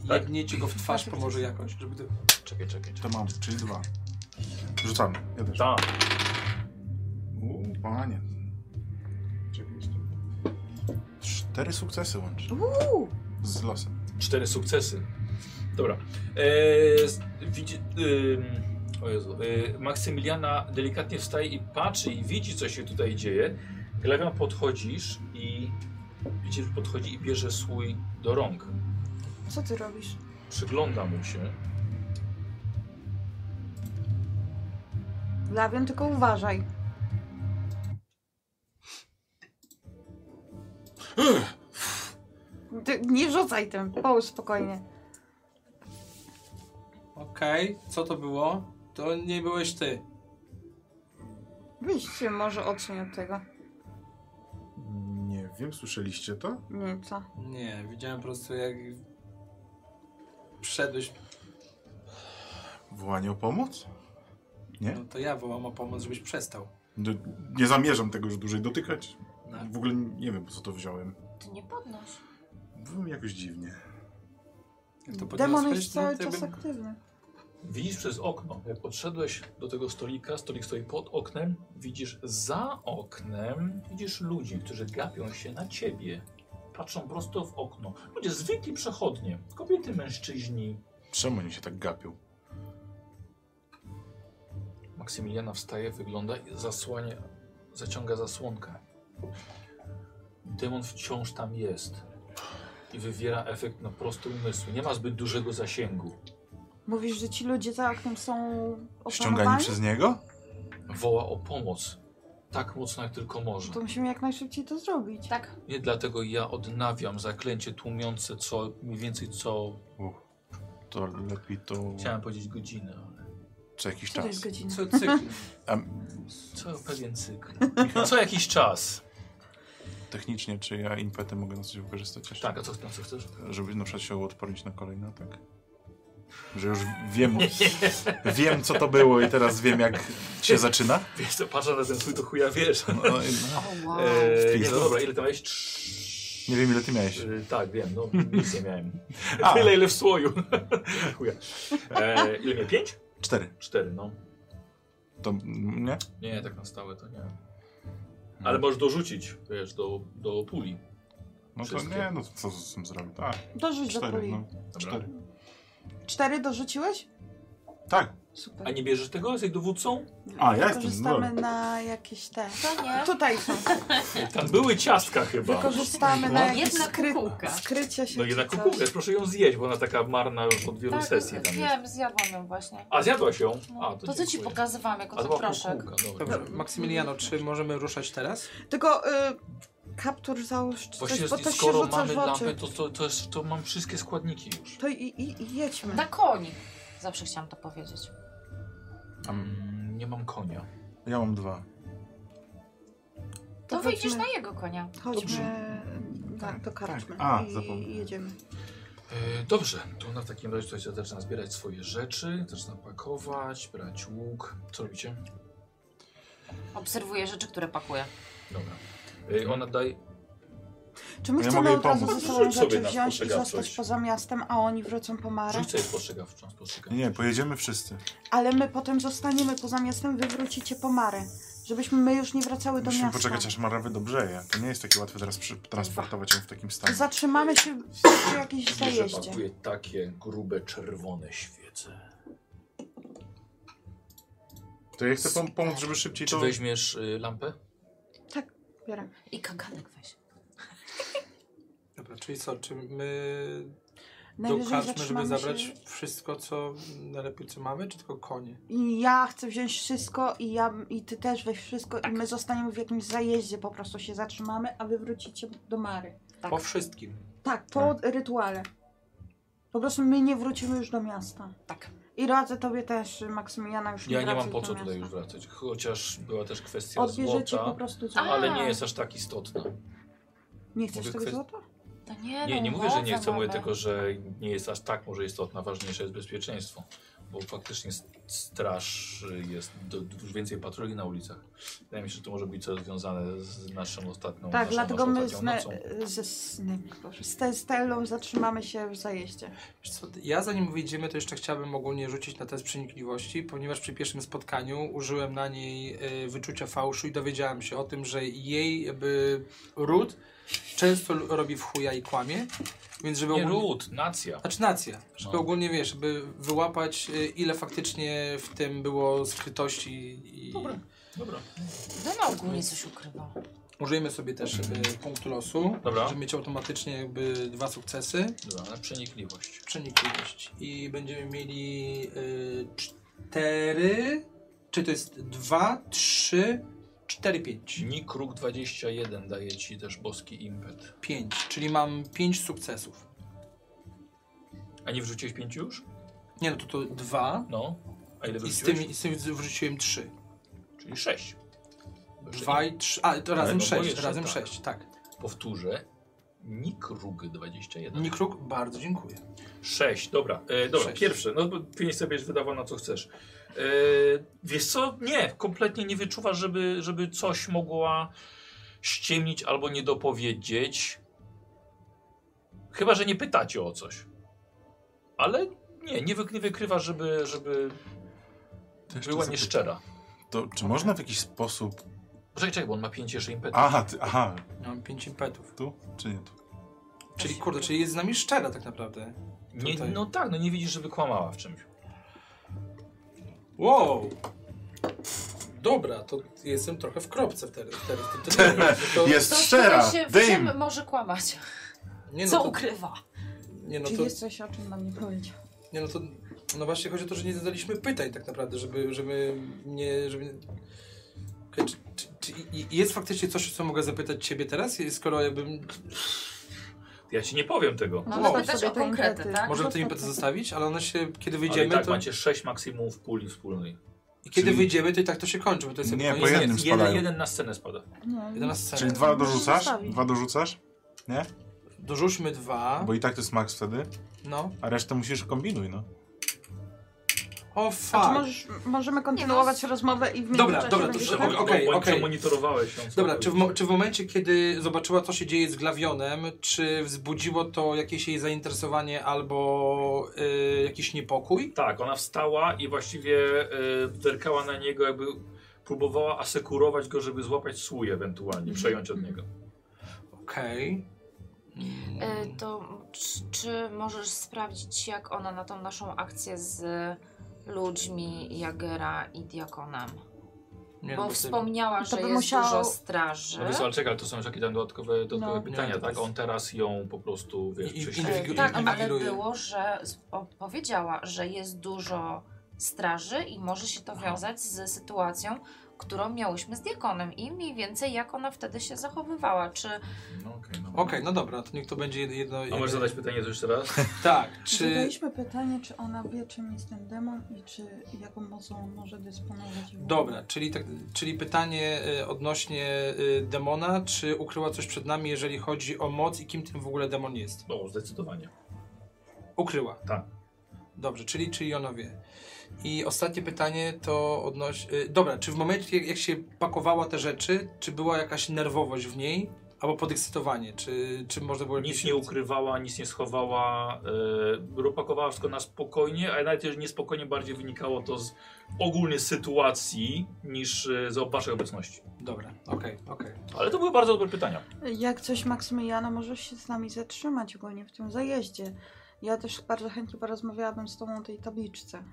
Speaker 1: Tak?
Speaker 5: jebniecie go w twarz pomoże jakoś, żeby to...
Speaker 1: Czekaj, czekaj,
Speaker 3: to
Speaker 1: czekaj.
Speaker 3: mam, czyli dwa. Rzucamy. Ja też.
Speaker 1: Ta,
Speaker 3: Uuu, panie. Czekaj jeszcze. Cztery sukcesy łącznie. Z losem.
Speaker 1: cztery sukcesy. Dobra. Eee, s- widzi, ym, o Jezu. Eee, Maksymiliana delikatnie wstaje i patrzy i widzi, co się tutaj dzieje. Glawion podchodzisz i widzisz, podchodzi i bierze swój do rąk.
Speaker 2: Co ty robisz?
Speaker 1: Przygląda mu się.
Speaker 2: Lawian, tylko uważaj. Ty nie rzucaj tym, połóż spokojnie.
Speaker 5: Okej, co to było? To nie byłeś ty.
Speaker 2: Wyjść się może odsuń od tego.
Speaker 3: Nie wiem, słyszeliście to?
Speaker 2: Nie, co?
Speaker 5: Nie, widziałem po prostu jak... Wszedłeś,
Speaker 3: Wołanie o pomoc? Nie?
Speaker 5: no to ja wołam o pomoc, żebyś przestał.
Speaker 3: No, nie zamierzam tego już dłużej dotykać.
Speaker 5: No,
Speaker 3: W ogóle nie wiem, po co to wziąłem.
Speaker 7: Ty nie podnoś.
Speaker 3: Byłem jakoś dziwnie.
Speaker 5: jak to
Speaker 2: Demon
Speaker 5: podniosłeś,
Speaker 2: jest
Speaker 5: no,
Speaker 2: cały
Speaker 5: to
Speaker 2: czas tak-
Speaker 5: jakbym-
Speaker 2: aktywny.
Speaker 1: Widzisz przez okno. Jak odszedłeś do tego stolika, stolik stoi pod oknem, widzisz za oknem, widzisz ludzi, którzy gapią się na ciebie. Patrzą prosto w okno. Ludzie zwykli przechodnie. Kobiety, mężczyźni.
Speaker 3: Czemu oni się tak gapią?
Speaker 1: Maksymiliana wstaje, wygląda i zasłania, zaciąga zasłonkę. Demon wciąż tam jest. I wywiera efekt na prosty umysł. Nie ma zbyt dużego zasięgu.
Speaker 2: Mówisz, że ci ludzie za oknem są
Speaker 3: Ściągani
Speaker 2: opanowani?
Speaker 3: przez niego?
Speaker 1: Woła o pomoc. Tak mocno, jak tylko może.
Speaker 2: To musimy jak najszybciej to zrobić.
Speaker 7: Tak,
Speaker 1: Nie dlatego ja odnawiam zaklęcie tłumiące co mniej więcej co
Speaker 3: Uch, to lepiej to
Speaker 1: chciałem powiedzieć godzinę, ale
Speaker 3: Tak. co jakiś
Speaker 2: Co to jest
Speaker 3: czas.
Speaker 2: godzina?
Speaker 5: Co cykl?
Speaker 3: A
Speaker 1: co pewien cykl. No Co jakiś czas.
Speaker 3: technicznie, czy ja impety mogę na coś wykorzystać jeszcze?
Speaker 1: Tak, a co, na co chcesz?
Speaker 3: Żeby na przykład się uodpornić na kolejny atak? Że już wiem, wiem co to było i teraz wiem jak się zaczyna?
Speaker 1: Wiesz co, patrzę na ten swój to chuja wiesz.
Speaker 3: No, no.
Speaker 7: o wow.
Speaker 1: Eee, nie,
Speaker 3: Wpis.
Speaker 1: no dobra, ile tam miałeś? Trz-
Speaker 3: Nie wiem ile ty miałeś.
Speaker 1: Eee, tak, wiem,
Speaker 3: *laughs*
Speaker 1: no nic nie miałem.
Speaker 3: A.
Speaker 1: Tyle ile w słoju. *laughs* Chuja. Eee, ile miałem? Pięć?
Speaker 3: Cztery.
Speaker 1: Cztery, no.
Speaker 3: To m, nie?
Speaker 1: Nie, tak na stałe to nie. Hmm. Ale możesz dorzucić, wiesz, do, do puli.
Speaker 3: No to
Speaker 1: Wszystkie.
Speaker 3: nie, no to co z tym zrobię? Tak,
Speaker 2: Dorzuć do
Speaker 3: cztery,
Speaker 2: puli.
Speaker 3: no. Cztery.
Speaker 2: Cztery dorzuciłeś?
Speaker 3: Tak.
Speaker 2: Super.
Speaker 1: A nie bierzesz tego? Jesteś dowódcą?
Speaker 3: A, ja jestem.
Speaker 2: Wykorzystamy
Speaker 3: dobra.
Speaker 2: na jakieś te.
Speaker 7: To nie. Tak,
Speaker 2: Tutaj są.
Speaker 1: Tam były ciastka chyba.
Speaker 2: Wykorzystamy na jakieś
Speaker 7: Jedna
Speaker 2: skry...
Speaker 7: kukułka.
Speaker 2: skrycie się.
Speaker 1: No
Speaker 2: czy
Speaker 1: jednak
Speaker 2: coś.
Speaker 1: kukułkę, proszę ją zjeść, bo ona taka marna już od wielu
Speaker 7: Tak,
Speaker 1: sesji tam jest.
Speaker 7: wiem, zjadłam ją właśnie.
Speaker 1: A zjadłaś ją?
Speaker 7: No,
Speaker 1: A,
Speaker 7: to
Speaker 1: to,
Speaker 7: co ci
Speaker 1: dziękuję.
Speaker 7: pokazywałam
Speaker 1: A,
Speaker 7: jako
Speaker 1: to
Speaker 7: ten
Speaker 1: była
Speaker 7: proszek?
Speaker 1: kukułka, dobra.
Speaker 5: Dobrze, Maksymiliano, czy możemy ruszać teraz?
Speaker 2: Tylko y, kaptur załóż czy
Speaker 1: Właśnie
Speaker 2: coś, bo to się
Speaker 1: skoro
Speaker 2: rzuca
Speaker 1: mamy
Speaker 2: w
Speaker 1: lampę,
Speaker 2: oczy.
Speaker 1: to, to, to, jest, to mam wszystkie składniki już.
Speaker 2: To i, i, i jedźmy.
Speaker 7: Mm. Na koni. Zawsze chciałam to powiedzieć.
Speaker 1: Mm, nie mam konia.
Speaker 3: Ja mam dwa.
Speaker 7: To wyjdziesz
Speaker 2: chodźmy.
Speaker 7: na jego konia.
Speaker 2: Chodźmy na, do karczmy
Speaker 3: tak. A,
Speaker 2: i,
Speaker 3: zapomniałem.
Speaker 2: i jedziemy.
Speaker 1: E, dobrze, to na takim razie tutaj zaczyna zbierać swoje rzeczy, zaczyna pakować, brać łuk. Co robicie?
Speaker 7: Obserwuję rzeczy, które pakuje.
Speaker 1: Dobra. E, ona daje...
Speaker 2: Czy my
Speaker 3: Ja
Speaker 2: chcemy
Speaker 3: mogę
Speaker 2: od razu
Speaker 3: pomóc.
Speaker 2: ze sobą
Speaker 1: Rzuć sobie
Speaker 2: rzeczy
Speaker 1: na
Speaker 2: wziąć i
Speaker 1: spostrzegawczość.
Speaker 2: zostać poza miastem, a oni wrócą po Marę?
Speaker 1: Rzuć sobie spostrzegawczą, spostrzegawczą.
Speaker 3: Nie, nie, pojedziemy wszyscy.
Speaker 2: Ale my potem zostaniemy poza miastem, wy wrócicie po Marę. Żebyśmy my już nie wracały do
Speaker 3: Musimy
Speaker 2: miasta.
Speaker 3: poczekać aż Marawy dobrzeje. To nie jest takie łatwe teraz przy, transportować ją w takim stanie.
Speaker 2: Zatrzymamy się przy jakiejś
Speaker 1: Widzisz, że
Speaker 2: zajeździe.
Speaker 1: pakuje takie grube, czerwone świece.
Speaker 3: To ja chcę pom- pomóc, żeby szybciej
Speaker 1: Czy
Speaker 3: to...
Speaker 1: weźmiesz y, lampę?
Speaker 2: Biorę.
Speaker 7: I kaganek weź.
Speaker 5: Dobra, czyli co, czy my Do
Speaker 2: Najwyżej
Speaker 5: karczmy, żeby
Speaker 2: zatrzymamy
Speaker 5: zabrać
Speaker 2: się-
Speaker 5: wszystko, co najlepiej co mamy, czy tylko konie?
Speaker 2: I ja chcę wziąć wszystko i ja i ty też weź wszystko i
Speaker 1: Tak.
Speaker 2: my zostaniemy w jakimś zajeździe, po prostu się zatrzymamy, a wy wrócicie do Mary.
Speaker 5: Po wszystkim.
Speaker 2: Tak, po rytuale. Po prostu my nie wrócimy już do miasta.
Speaker 7: Tak.
Speaker 2: I radzę tobie też, Maksymiliana, już
Speaker 1: Ja nie
Speaker 2: wracać
Speaker 1: mam po
Speaker 2: do
Speaker 1: co tutaj już
Speaker 2: miasta.
Speaker 1: wracać. Chociaż była też kwestia
Speaker 2: Odbierzecie po
Speaker 1: złota,
Speaker 2: prostu złoto.
Speaker 1: ale nie jest aż tak istotna.
Speaker 2: Nie chcesz
Speaker 1: Mówię,
Speaker 2: tego
Speaker 1: kwest-
Speaker 2: złota?
Speaker 7: To nie,
Speaker 1: Nie,
Speaker 7: no,
Speaker 1: nie mówię, że nie
Speaker 7: mowę
Speaker 1: chcę, mówię
Speaker 7: mamy.
Speaker 1: tylko, że nie jest aż tak może istotna. Ważniejsze jest bezpieczeństwo. Bo faktycznie s- straż y, jest do, dużo więcej patroli na ulicach. Wydaje mi się, że to może być coś związane z naszą ostatnią
Speaker 2: Tak,
Speaker 1: naszą,
Speaker 2: dlatego
Speaker 1: naszą
Speaker 2: my z,
Speaker 1: ostatnią
Speaker 2: ne,
Speaker 1: nocą.
Speaker 2: ze snem, Boże, z te, Stellą zatrzymamy się w zajeździe.
Speaker 5: Wiesz co, ja zanim wyjdziemy, to jeszcze chciałbym ogólnie rzucić na test przenikliwości, ponieważ przy pierwszym spotkaniu użyłem na niej e, wyczucia fałszu i dowiedziałem się o tym, że jej jakby ród często l- robi w chuja i kłamie, więc żeby
Speaker 1: Nie
Speaker 5: ogólnie...
Speaker 1: ród, nacja.
Speaker 5: Znaczy nacja, żeby
Speaker 1: No.
Speaker 5: ogólnie wiesz, by wyłapać e, ile faktycznie w tym było skrytości i
Speaker 1: Dobra. Dobra.
Speaker 7: No, no ogólnie coś ukrywa.
Speaker 5: użyjemy sobie też jakby punktu losu,
Speaker 1: Dobra.
Speaker 5: żeby mieć automatycznie jakby dwa sukcesy.
Speaker 1: Dobra, ale przenikliwość.
Speaker 5: przenikliwość i będziemy mieli y, cztery, czy to jest dwa, trzy, cztery, pięć,
Speaker 1: Nik róg 21 daje ci też boski impet.
Speaker 5: pięć, czyli mam pięć sukcesów.
Speaker 1: A nie wrzuciłeś pięciu już?
Speaker 5: Nie no, to to dwa
Speaker 1: No. A ile
Speaker 5: i z
Speaker 1: wrzuciłeś?
Speaker 5: tym, i z tym wrzuciłem trzy.
Speaker 1: Czyli sześć.
Speaker 5: Dwa i trzy, a to razem
Speaker 1: no bo
Speaker 5: sześć,
Speaker 1: jeszcze
Speaker 5: razem
Speaker 1: tak.
Speaker 5: sześć, tak.
Speaker 1: Powtórzę. Nik róg 21.
Speaker 5: Nikruk, bardzo dziękuję.
Speaker 8: Sześć, dobra. E, dobra,
Speaker 5: Sześć.
Speaker 8: pierwsze. No bo pięć sobie będziesz wydawał na co chcesz. E, wiesz co? Nie, kompletnie nie wyczuwasz, żeby, żeby coś mogła ściemnić albo nie dopowiedzieć. Chyba, że nie pytacie o coś. Ale nie, nie, wy, nie wykrywa, żeby, żeby była nieszczera.
Speaker 3: To, czy można w jakiś sposób...
Speaker 1: Czekaj, czekaj, bo on ma 5 jeszcze impetów.
Speaker 3: Aha, ty, aha,
Speaker 5: Ja Mam pięć impetów.
Speaker 3: tu? Czy nie tu?
Speaker 5: Czyli kurde, czyli jest z nami szczera tak naprawdę.
Speaker 1: nie,
Speaker 5: tutaj.
Speaker 1: no tak, no nie widzisz, żeby kłamała w czymś.
Speaker 5: Wow! Dobra, to jestem trochę w kropce wtedy. wtedy, wtedy,
Speaker 1: *laughs*
Speaker 5: to-
Speaker 3: Jest
Speaker 7: To
Speaker 3: szczera!
Speaker 7: się w
Speaker 3: Dym!
Speaker 7: czym może kłamać?
Speaker 5: nie, no
Speaker 7: Co
Speaker 5: to-
Speaker 7: ukrywa?
Speaker 5: Nie no,
Speaker 2: Czy
Speaker 5: to,
Speaker 2: jest coś, o czym nam nie powiedział?
Speaker 5: nie no to. No właśnie chodzi o to, że nie zadaliśmy pytań tak naprawdę, żeby, żeby nie. Żeby... Okej, Czy, czy, czy i- i jest faktycznie coś, co mogę zapytać ciebie teraz, I skoro jakbym.
Speaker 8: Ja ci nie powiem tego.
Speaker 1: No
Speaker 7: Mamy
Speaker 5: Wow.
Speaker 7: pytać
Speaker 2: Sobie
Speaker 7: o
Speaker 2: te
Speaker 7: konkrety,
Speaker 2: impety.
Speaker 7: tak?
Speaker 5: Możemy te impety zostawić, ale one się. Kiedy
Speaker 8: Ale i
Speaker 5: wyjdziemy,
Speaker 8: tak
Speaker 5: to.
Speaker 8: macie sześć maksimum w puli wspólnej.
Speaker 5: I kiedy
Speaker 3: Czyli-
Speaker 5: wyjdziemy, to i tak to się kończy, bo to jest
Speaker 3: Nie,
Speaker 5: jakby
Speaker 3: Po
Speaker 5: koniec.
Speaker 3: jednym
Speaker 8: jeden,
Speaker 3: spadają.
Speaker 8: jeden na scenę spada.
Speaker 2: Nie,
Speaker 5: Jedenasta scena.
Speaker 3: Czyli dwa dorzucasz?
Speaker 2: Zostawi.
Speaker 3: Dwa dorzucasz?
Speaker 5: Dorzućmy dwa.
Speaker 3: Bo i tak to jest max wtedy,
Speaker 5: No.
Speaker 3: a resztę musisz kombinuj, no.
Speaker 5: O
Speaker 2: A czy
Speaker 5: fuck.
Speaker 2: możesz, możemy kontynuować rozmowę i w
Speaker 5: Dobra,
Speaker 2: międzyczasie
Speaker 5: dobra, to
Speaker 2: będziesz
Speaker 5: się-
Speaker 2: tak?
Speaker 5: okej, okej.
Speaker 8: monitorowałeś ją.
Speaker 5: Dobra, czy w, mo- czy w momencie, kiedy zobaczyła, co się dzieje z Glawionem, czy wzbudziło to jakieś jej zainteresowanie albo y, jakiś niepokój?
Speaker 8: Tak, ona wstała i właściwie y, zerkała na niego, jakby próbowała asekurować go, żeby złapać słój
Speaker 1: Mhm.
Speaker 8: ewentualnie, przejąć od niego.
Speaker 5: Okej. Mm.
Speaker 7: Y, To czy, czy możesz sprawdzić, jak ona na tą naszą akcję z ludźmi Jagera i Diakonem?
Speaker 5: Nie,
Speaker 7: Bo
Speaker 5: no,
Speaker 7: wspomniała, że
Speaker 2: by
Speaker 7: jest
Speaker 2: musiało-
Speaker 7: dużo straży.
Speaker 1: No wiesz, ale czekaj, ale to są już jakieś tam dodatkowe, dodatkowe
Speaker 2: No.
Speaker 1: pytania,
Speaker 5: Nie, to
Speaker 1: tak?
Speaker 5: jest-
Speaker 1: On teraz ją po prostu, wiesz,
Speaker 5: I- i-
Speaker 1: prześledzi.
Speaker 7: Y,
Speaker 5: inwigilu-
Speaker 7: Tak, ale
Speaker 5: inwigiluje.
Speaker 7: było, że z- o- powiedziała, że jest dużo straży i może się to wiązać z sytuacją, którą miałyśmy z Diakonem i mniej więcej jak ona wtedy się zachowywała. Czy
Speaker 1: No, okej, no.
Speaker 5: Okej, no dobra, to niech to będzie jedno...
Speaker 8: A
Speaker 5: jedno-
Speaker 8: możesz zadać pytanie to jeszcze raz?
Speaker 5: Tak, czy...
Speaker 2: Zadaliśmy pytanie, czy ona wie, czym jest ten demon i czy jaką mocą on może dysponować.
Speaker 5: Dobra, czyli, tak, czyli pytanie y, odnośnie y, demona, czy ukryła coś przed nami, jeżeli chodzi o moc i kim tym w ogóle demon jest?
Speaker 8: No, zdecydowanie.
Speaker 5: Ukryła.
Speaker 8: Tak.
Speaker 5: Dobrze, czyli, czyli ona wie. I ostatnie pytanie to odnoś... y, Dobra, czy w momencie, jak, jak się pakowała te rzeczy, czy była jakaś nerwowość w niej? Albo podekscytowanie? Czy, czy można było...
Speaker 8: Nic
Speaker 5: jakieś-
Speaker 8: nie ukrywała, nic nie schowała, y, ropakowała wszystko na spokojnie, a nawet jeżeli niespokojnie bardziej wynikało to z ogólnej sytuacji niż y, z waszej obecności.
Speaker 5: Dobra, okej, okej.
Speaker 8: Ale to były bardzo dobre pytania.
Speaker 2: Jak coś, Maksymiliano, możesz się z nami zatrzymać ogólnie w tym zajeździe. Ja też bardzo chętnie porozmawiałabym z tobą o tej tabliczce.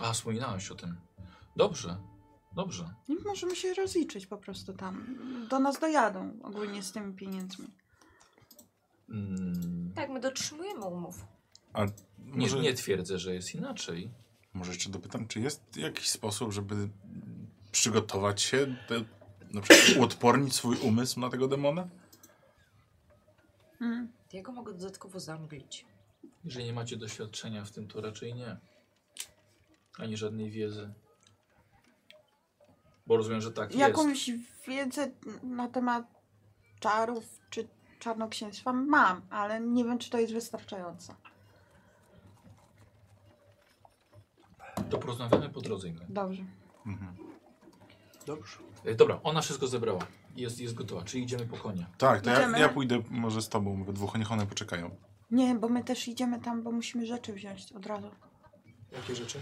Speaker 1: A, wspominałaś o tym. Dobrze, dobrze.
Speaker 2: I możemy się rozliczyć po prostu tam. Do nas dojadą ogólnie z tymi pieniędzmi.
Speaker 1: Mm,
Speaker 7: tak, my dotrzymujemy umów.
Speaker 3: A
Speaker 1: Nie,
Speaker 3: może,
Speaker 1: nie twierdzę, że jest inaczej.
Speaker 3: może jeszcze dopytam, czy jest jakiś sposób, żeby przygotować się, do, na przykład uodpornić swój umysł na tego demona?
Speaker 2: Mhm.
Speaker 7: Ja go mogę dodatkowo zamglić.
Speaker 1: Jeżeli nie macie doświadczenia w tym, to raczej nie. Ani żadnej wiedzy. Bo rozumiem, że tak jest.
Speaker 2: Jakąś wiedzę na temat czarów czy czarnoksięstwa mam, ale nie wiem, czy to jest wystarczające.
Speaker 1: To porozmawiamy po drodze. Inga.
Speaker 2: Dobrze.
Speaker 5: Dobrze.
Speaker 1: E, Dobra, ona wszystko zebrała. Jest, jest gotowa, czyli idziemy po konia.
Speaker 3: Tak, to ja,
Speaker 2: Idziemy.
Speaker 3: ja pójdę może z tobą, we dwóch, niech one poczekają.
Speaker 2: Nie, bo my też idziemy tam, bo musimy rzeczy wziąć od razu.
Speaker 5: Jakie rzeczy?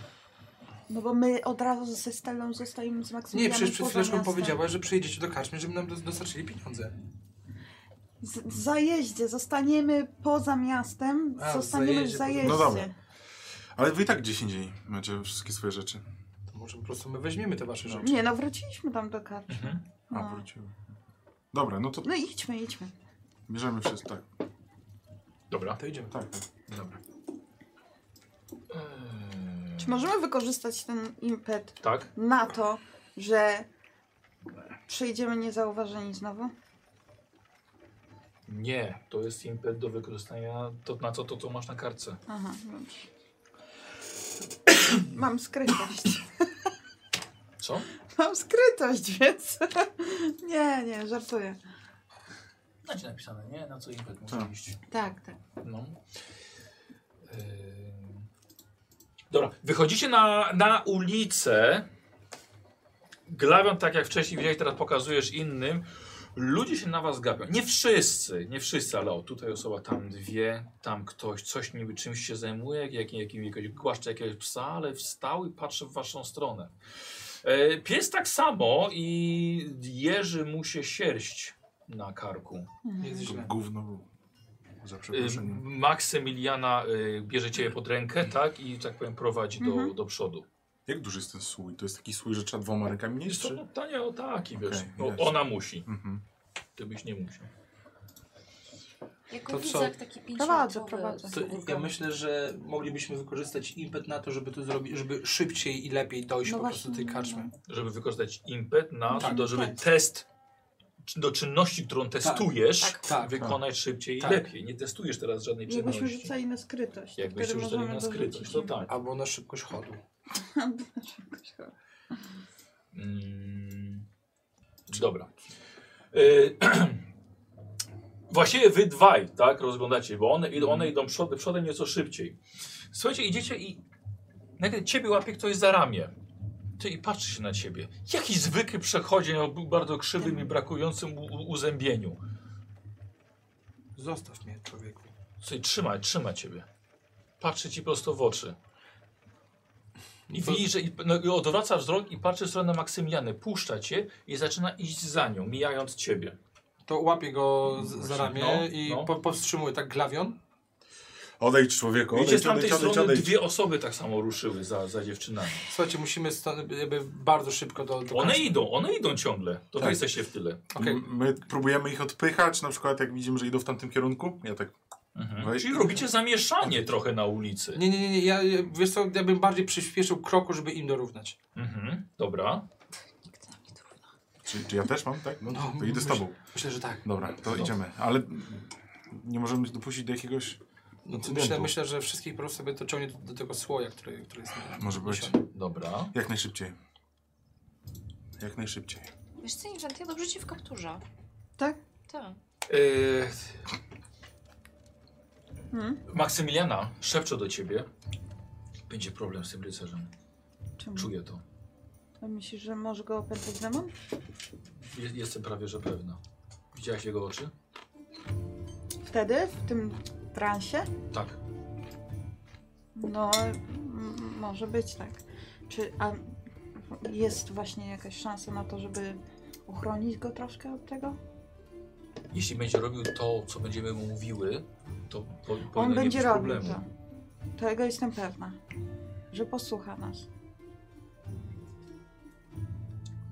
Speaker 2: No bo my od razu ze Stellą zostajemy z
Speaker 5: Nie,
Speaker 2: Maksymilianem
Speaker 5: przecież przed
Speaker 2: poza
Speaker 5: chwileczką
Speaker 2: miastem.
Speaker 5: powiedziałaś, że przyjedziecie do karczmy, żeby nam dos- dostarczyli pieniądze.
Speaker 2: Z- w zajeździe, zostaniemy poza miastem,
Speaker 5: A, w
Speaker 2: zostaniemy w
Speaker 5: zajeździe,
Speaker 2: zajeździe.
Speaker 3: No
Speaker 5: poza-
Speaker 3: dobra. Ale wy i tak gdzieś indziej macie wszystkie swoje rzeczy.
Speaker 5: To może po prostu my weźmiemy te wasze rzeczy.
Speaker 2: Nie, no wróciliśmy tam do karty.
Speaker 8: Mhm.
Speaker 3: A,
Speaker 2: No.
Speaker 3: wróciły. Dobra, no to
Speaker 2: No idźmy, idźmy.
Speaker 3: bierzemy wszystko, tak.
Speaker 1: Dobra.
Speaker 5: To idziemy.
Speaker 3: Tak,
Speaker 1: Dobra. E,
Speaker 2: Czy możemy wykorzystać ten impet
Speaker 1: Tak?
Speaker 2: na to, że przyjdziemy niezauważeni znowu?
Speaker 1: Nie, to jest impet do wykorzystania to, na co to, co masz na kartce.
Speaker 2: Aha, dobrze. *coughs* Mam skrytość. *coughs*
Speaker 1: Co?
Speaker 2: Mam skrytość, więc... *laughs* Nie, nie, żartuję.
Speaker 1: Na No, ci napisane, nie? Na co impet
Speaker 3: Tak.
Speaker 1: iść.
Speaker 2: Tak, tak.
Speaker 1: No. Ym. Dobra, wychodzicie na, na ulicę. Glawią, tak jak wcześniej widziałeś, teraz pokazujesz innym. Ludzie się na was gapią. Nie wszyscy, nie wszyscy, ale o, tutaj osoba, tam dwie, tam ktoś, coś niby czymś się zajmuje, jak, jak, jakiegoś głaszcze jakiegoś psa, ale wstał i patrzy w waszą stronę. E, pies tak samo i jeży mu się sierść na karku.
Speaker 5: Nie jest
Speaker 3: to
Speaker 5: źle.
Speaker 3: gówno było. Za
Speaker 1: Y,
Speaker 3: przeproszeniem.
Speaker 1: Maksymiliana y, bierze ciebie pod rękę, tak? I tak powiem prowadzi do,
Speaker 2: Mhm.
Speaker 1: do przodu.
Speaker 3: Jak duży jest ten słój? To jest taki słój, że trzeba dwoma rękami
Speaker 1: Wiesz
Speaker 3: nieść,
Speaker 1: co,
Speaker 3: czy?
Speaker 1: no, to nie o taki, wiesz.
Speaker 3: Okej,
Speaker 1: no,
Speaker 3: jasne.
Speaker 1: ona musi,
Speaker 3: Mhm.
Speaker 1: ty byś nie musiał.
Speaker 7: Ja go
Speaker 5: To
Speaker 7: widzę
Speaker 5: co?
Speaker 7: jak taki
Speaker 2: Prowadzę,
Speaker 7: pięcioletni.
Speaker 2: prowadzę.
Speaker 5: To ja myślę, że moglibyśmy wykorzystać impet na to, żeby to zrobić, żeby szybciej i lepiej dojść
Speaker 2: No
Speaker 5: po prostu do tej
Speaker 2: właśnie,
Speaker 5: karczmy.
Speaker 1: Żeby wykorzystać impet na
Speaker 5: Tak.
Speaker 1: do, żeby
Speaker 2: Tak.
Speaker 1: test czy- do czynności, którą testujesz,
Speaker 5: Tak, tak,
Speaker 1: wykonać szybciej
Speaker 5: Tak.
Speaker 1: i lepiej. Nie testujesz teraz żadnej
Speaker 2: Jakbyśmy
Speaker 1: czynności.
Speaker 2: rzucali na skrytość. to
Speaker 1: Jakbyś
Speaker 2: wtedy
Speaker 1: już dali
Speaker 2: możemy
Speaker 1: na
Speaker 2: dorzucić.
Speaker 1: skrytość, to
Speaker 2: *laughs*
Speaker 1: tak.
Speaker 5: Albo na szybkość chodu.
Speaker 1: Mm, dobra. Y, *clears throat* Właściwie wy dwaj, tak, rozglądacie, bo one, id- one idą przodem, przodem nieco szybciej. Słuchajcie, idziecie i nagle ciebie łapie ktoś za ramię. Ty i patrzy się na ciebie. Jaki zwykły przechodzień o b- bardzo krzywym i brakującym u- u- uzębieniu.
Speaker 5: Zostaw mnie, człowieku.
Speaker 1: Słuchaj, trzyma, trzyma ciebie. Patrzy ci prosto w oczy. I
Speaker 5: To-
Speaker 1: widzisz, że i, no, i odwraca wzrok i patrzy w stronę Maksymiliany. Puszcza cię i zaczyna iść za nią, mijając ciebie.
Speaker 5: To łapię go z, za ramię
Speaker 1: No,
Speaker 5: i
Speaker 1: no.
Speaker 5: Po, powstrzymuję tak glawion.
Speaker 3: Odejdź człowieku,
Speaker 1: Widzicie, z
Speaker 3: odejdź,
Speaker 1: tamtej
Speaker 3: odejdź, odejdź,
Speaker 1: strony
Speaker 3: odejdź.
Speaker 1: dwie osoby tak samo ruszyły za, za dziewczynami.
Speaker 5: Słuchajcie, musimy stąd jakby bardzo szybko do, do
Speaker 1: One
Speaker 5: karczmy.
Speaker 1: idą, one idą ciągle. To wy
Speaker 3: Tak.
Speaker 1: jesteście w tyle.
Speaker 5: Okej.
Speaker 3: M- My próbujemy ich odpychać, na przykład jak widzimy, że idą w tamtym kierunku. Ja tak,
Speaker 1: Mhm.
Speaker 3: Weź-
Speaker 1: Czyli robicie zamieszanie trochę na ulicy.
Speaker 5: Nie, nie, nie, nie, ja, wiesz co, ja bym bardziej przyspieszył kroku, żeby im dorównać.
Speaker 1: Mhm. Dobra.
Speaker 7: Nikt nam nie trudno.
Speaker 3: czy, czy ja też mam, tak? No,
Speaker 5: No,
Speaker 3: to idę z
Speaker 5: myśl-
Speaker 3: tobą.
Speaker 5: Myślę, że tak.
Speaker 3: Dobra, to
Speaker 1: No.
Speaker 3: idziemy. Ale nie możemy dopuścić do jakiegoś...
Speaker 5: No, to
Speaker 3: Incydentu.
Speaker 5: myślę, myślę, że wszystkich po prostu sobie to ciągnie do, do tego słoja, który, który jest... na-
Speaker 3: Może być.
Speaker 5: niesiony.
Speaker 1: Dobra.
Speaker 3: Jak najszybciej. Jak najszybciej.
Speaker 7: Wiesz co, Inżant, ja dobrze ci w kapturze.
Speaker 2: Tak?
Speaker 7: Tak.
Speaker 1: Yy...
Speaker 2: Mhm.
Speaker 1: Maksymiliana, szepczę do ciebie. Będzie problem z tym rycerzem.
Speaker 2: Czemu?
Speaker 1: Czuję to.
Speaker 2: A Myślisz, że może go opętać demon?
Speaker 1: Je- Jestem prawie że pewna. Widziałaś jego oczy?
Speaker 2: Wtedy, w tym transie?
Speaker 1: Tak.
Speaker 2: No, m- może być tak. Czy a jest właśnie jakaś szansa na to, żeby uchronić go troszkę od tego?
Speaker 1: Jeśli będzie robił to, co będziemy mu mówiły, to po, powinno
Speaker 2: On
Speaker 1: nie
Speaker 2: będzie
Speaker 1: być
Speaker 2: robił tak.
Speaker 1: problemu.
Speaker 2: to.
Speaker 6: tak.
Speaker 2: Tego jestem pewna. Że posłucha nas.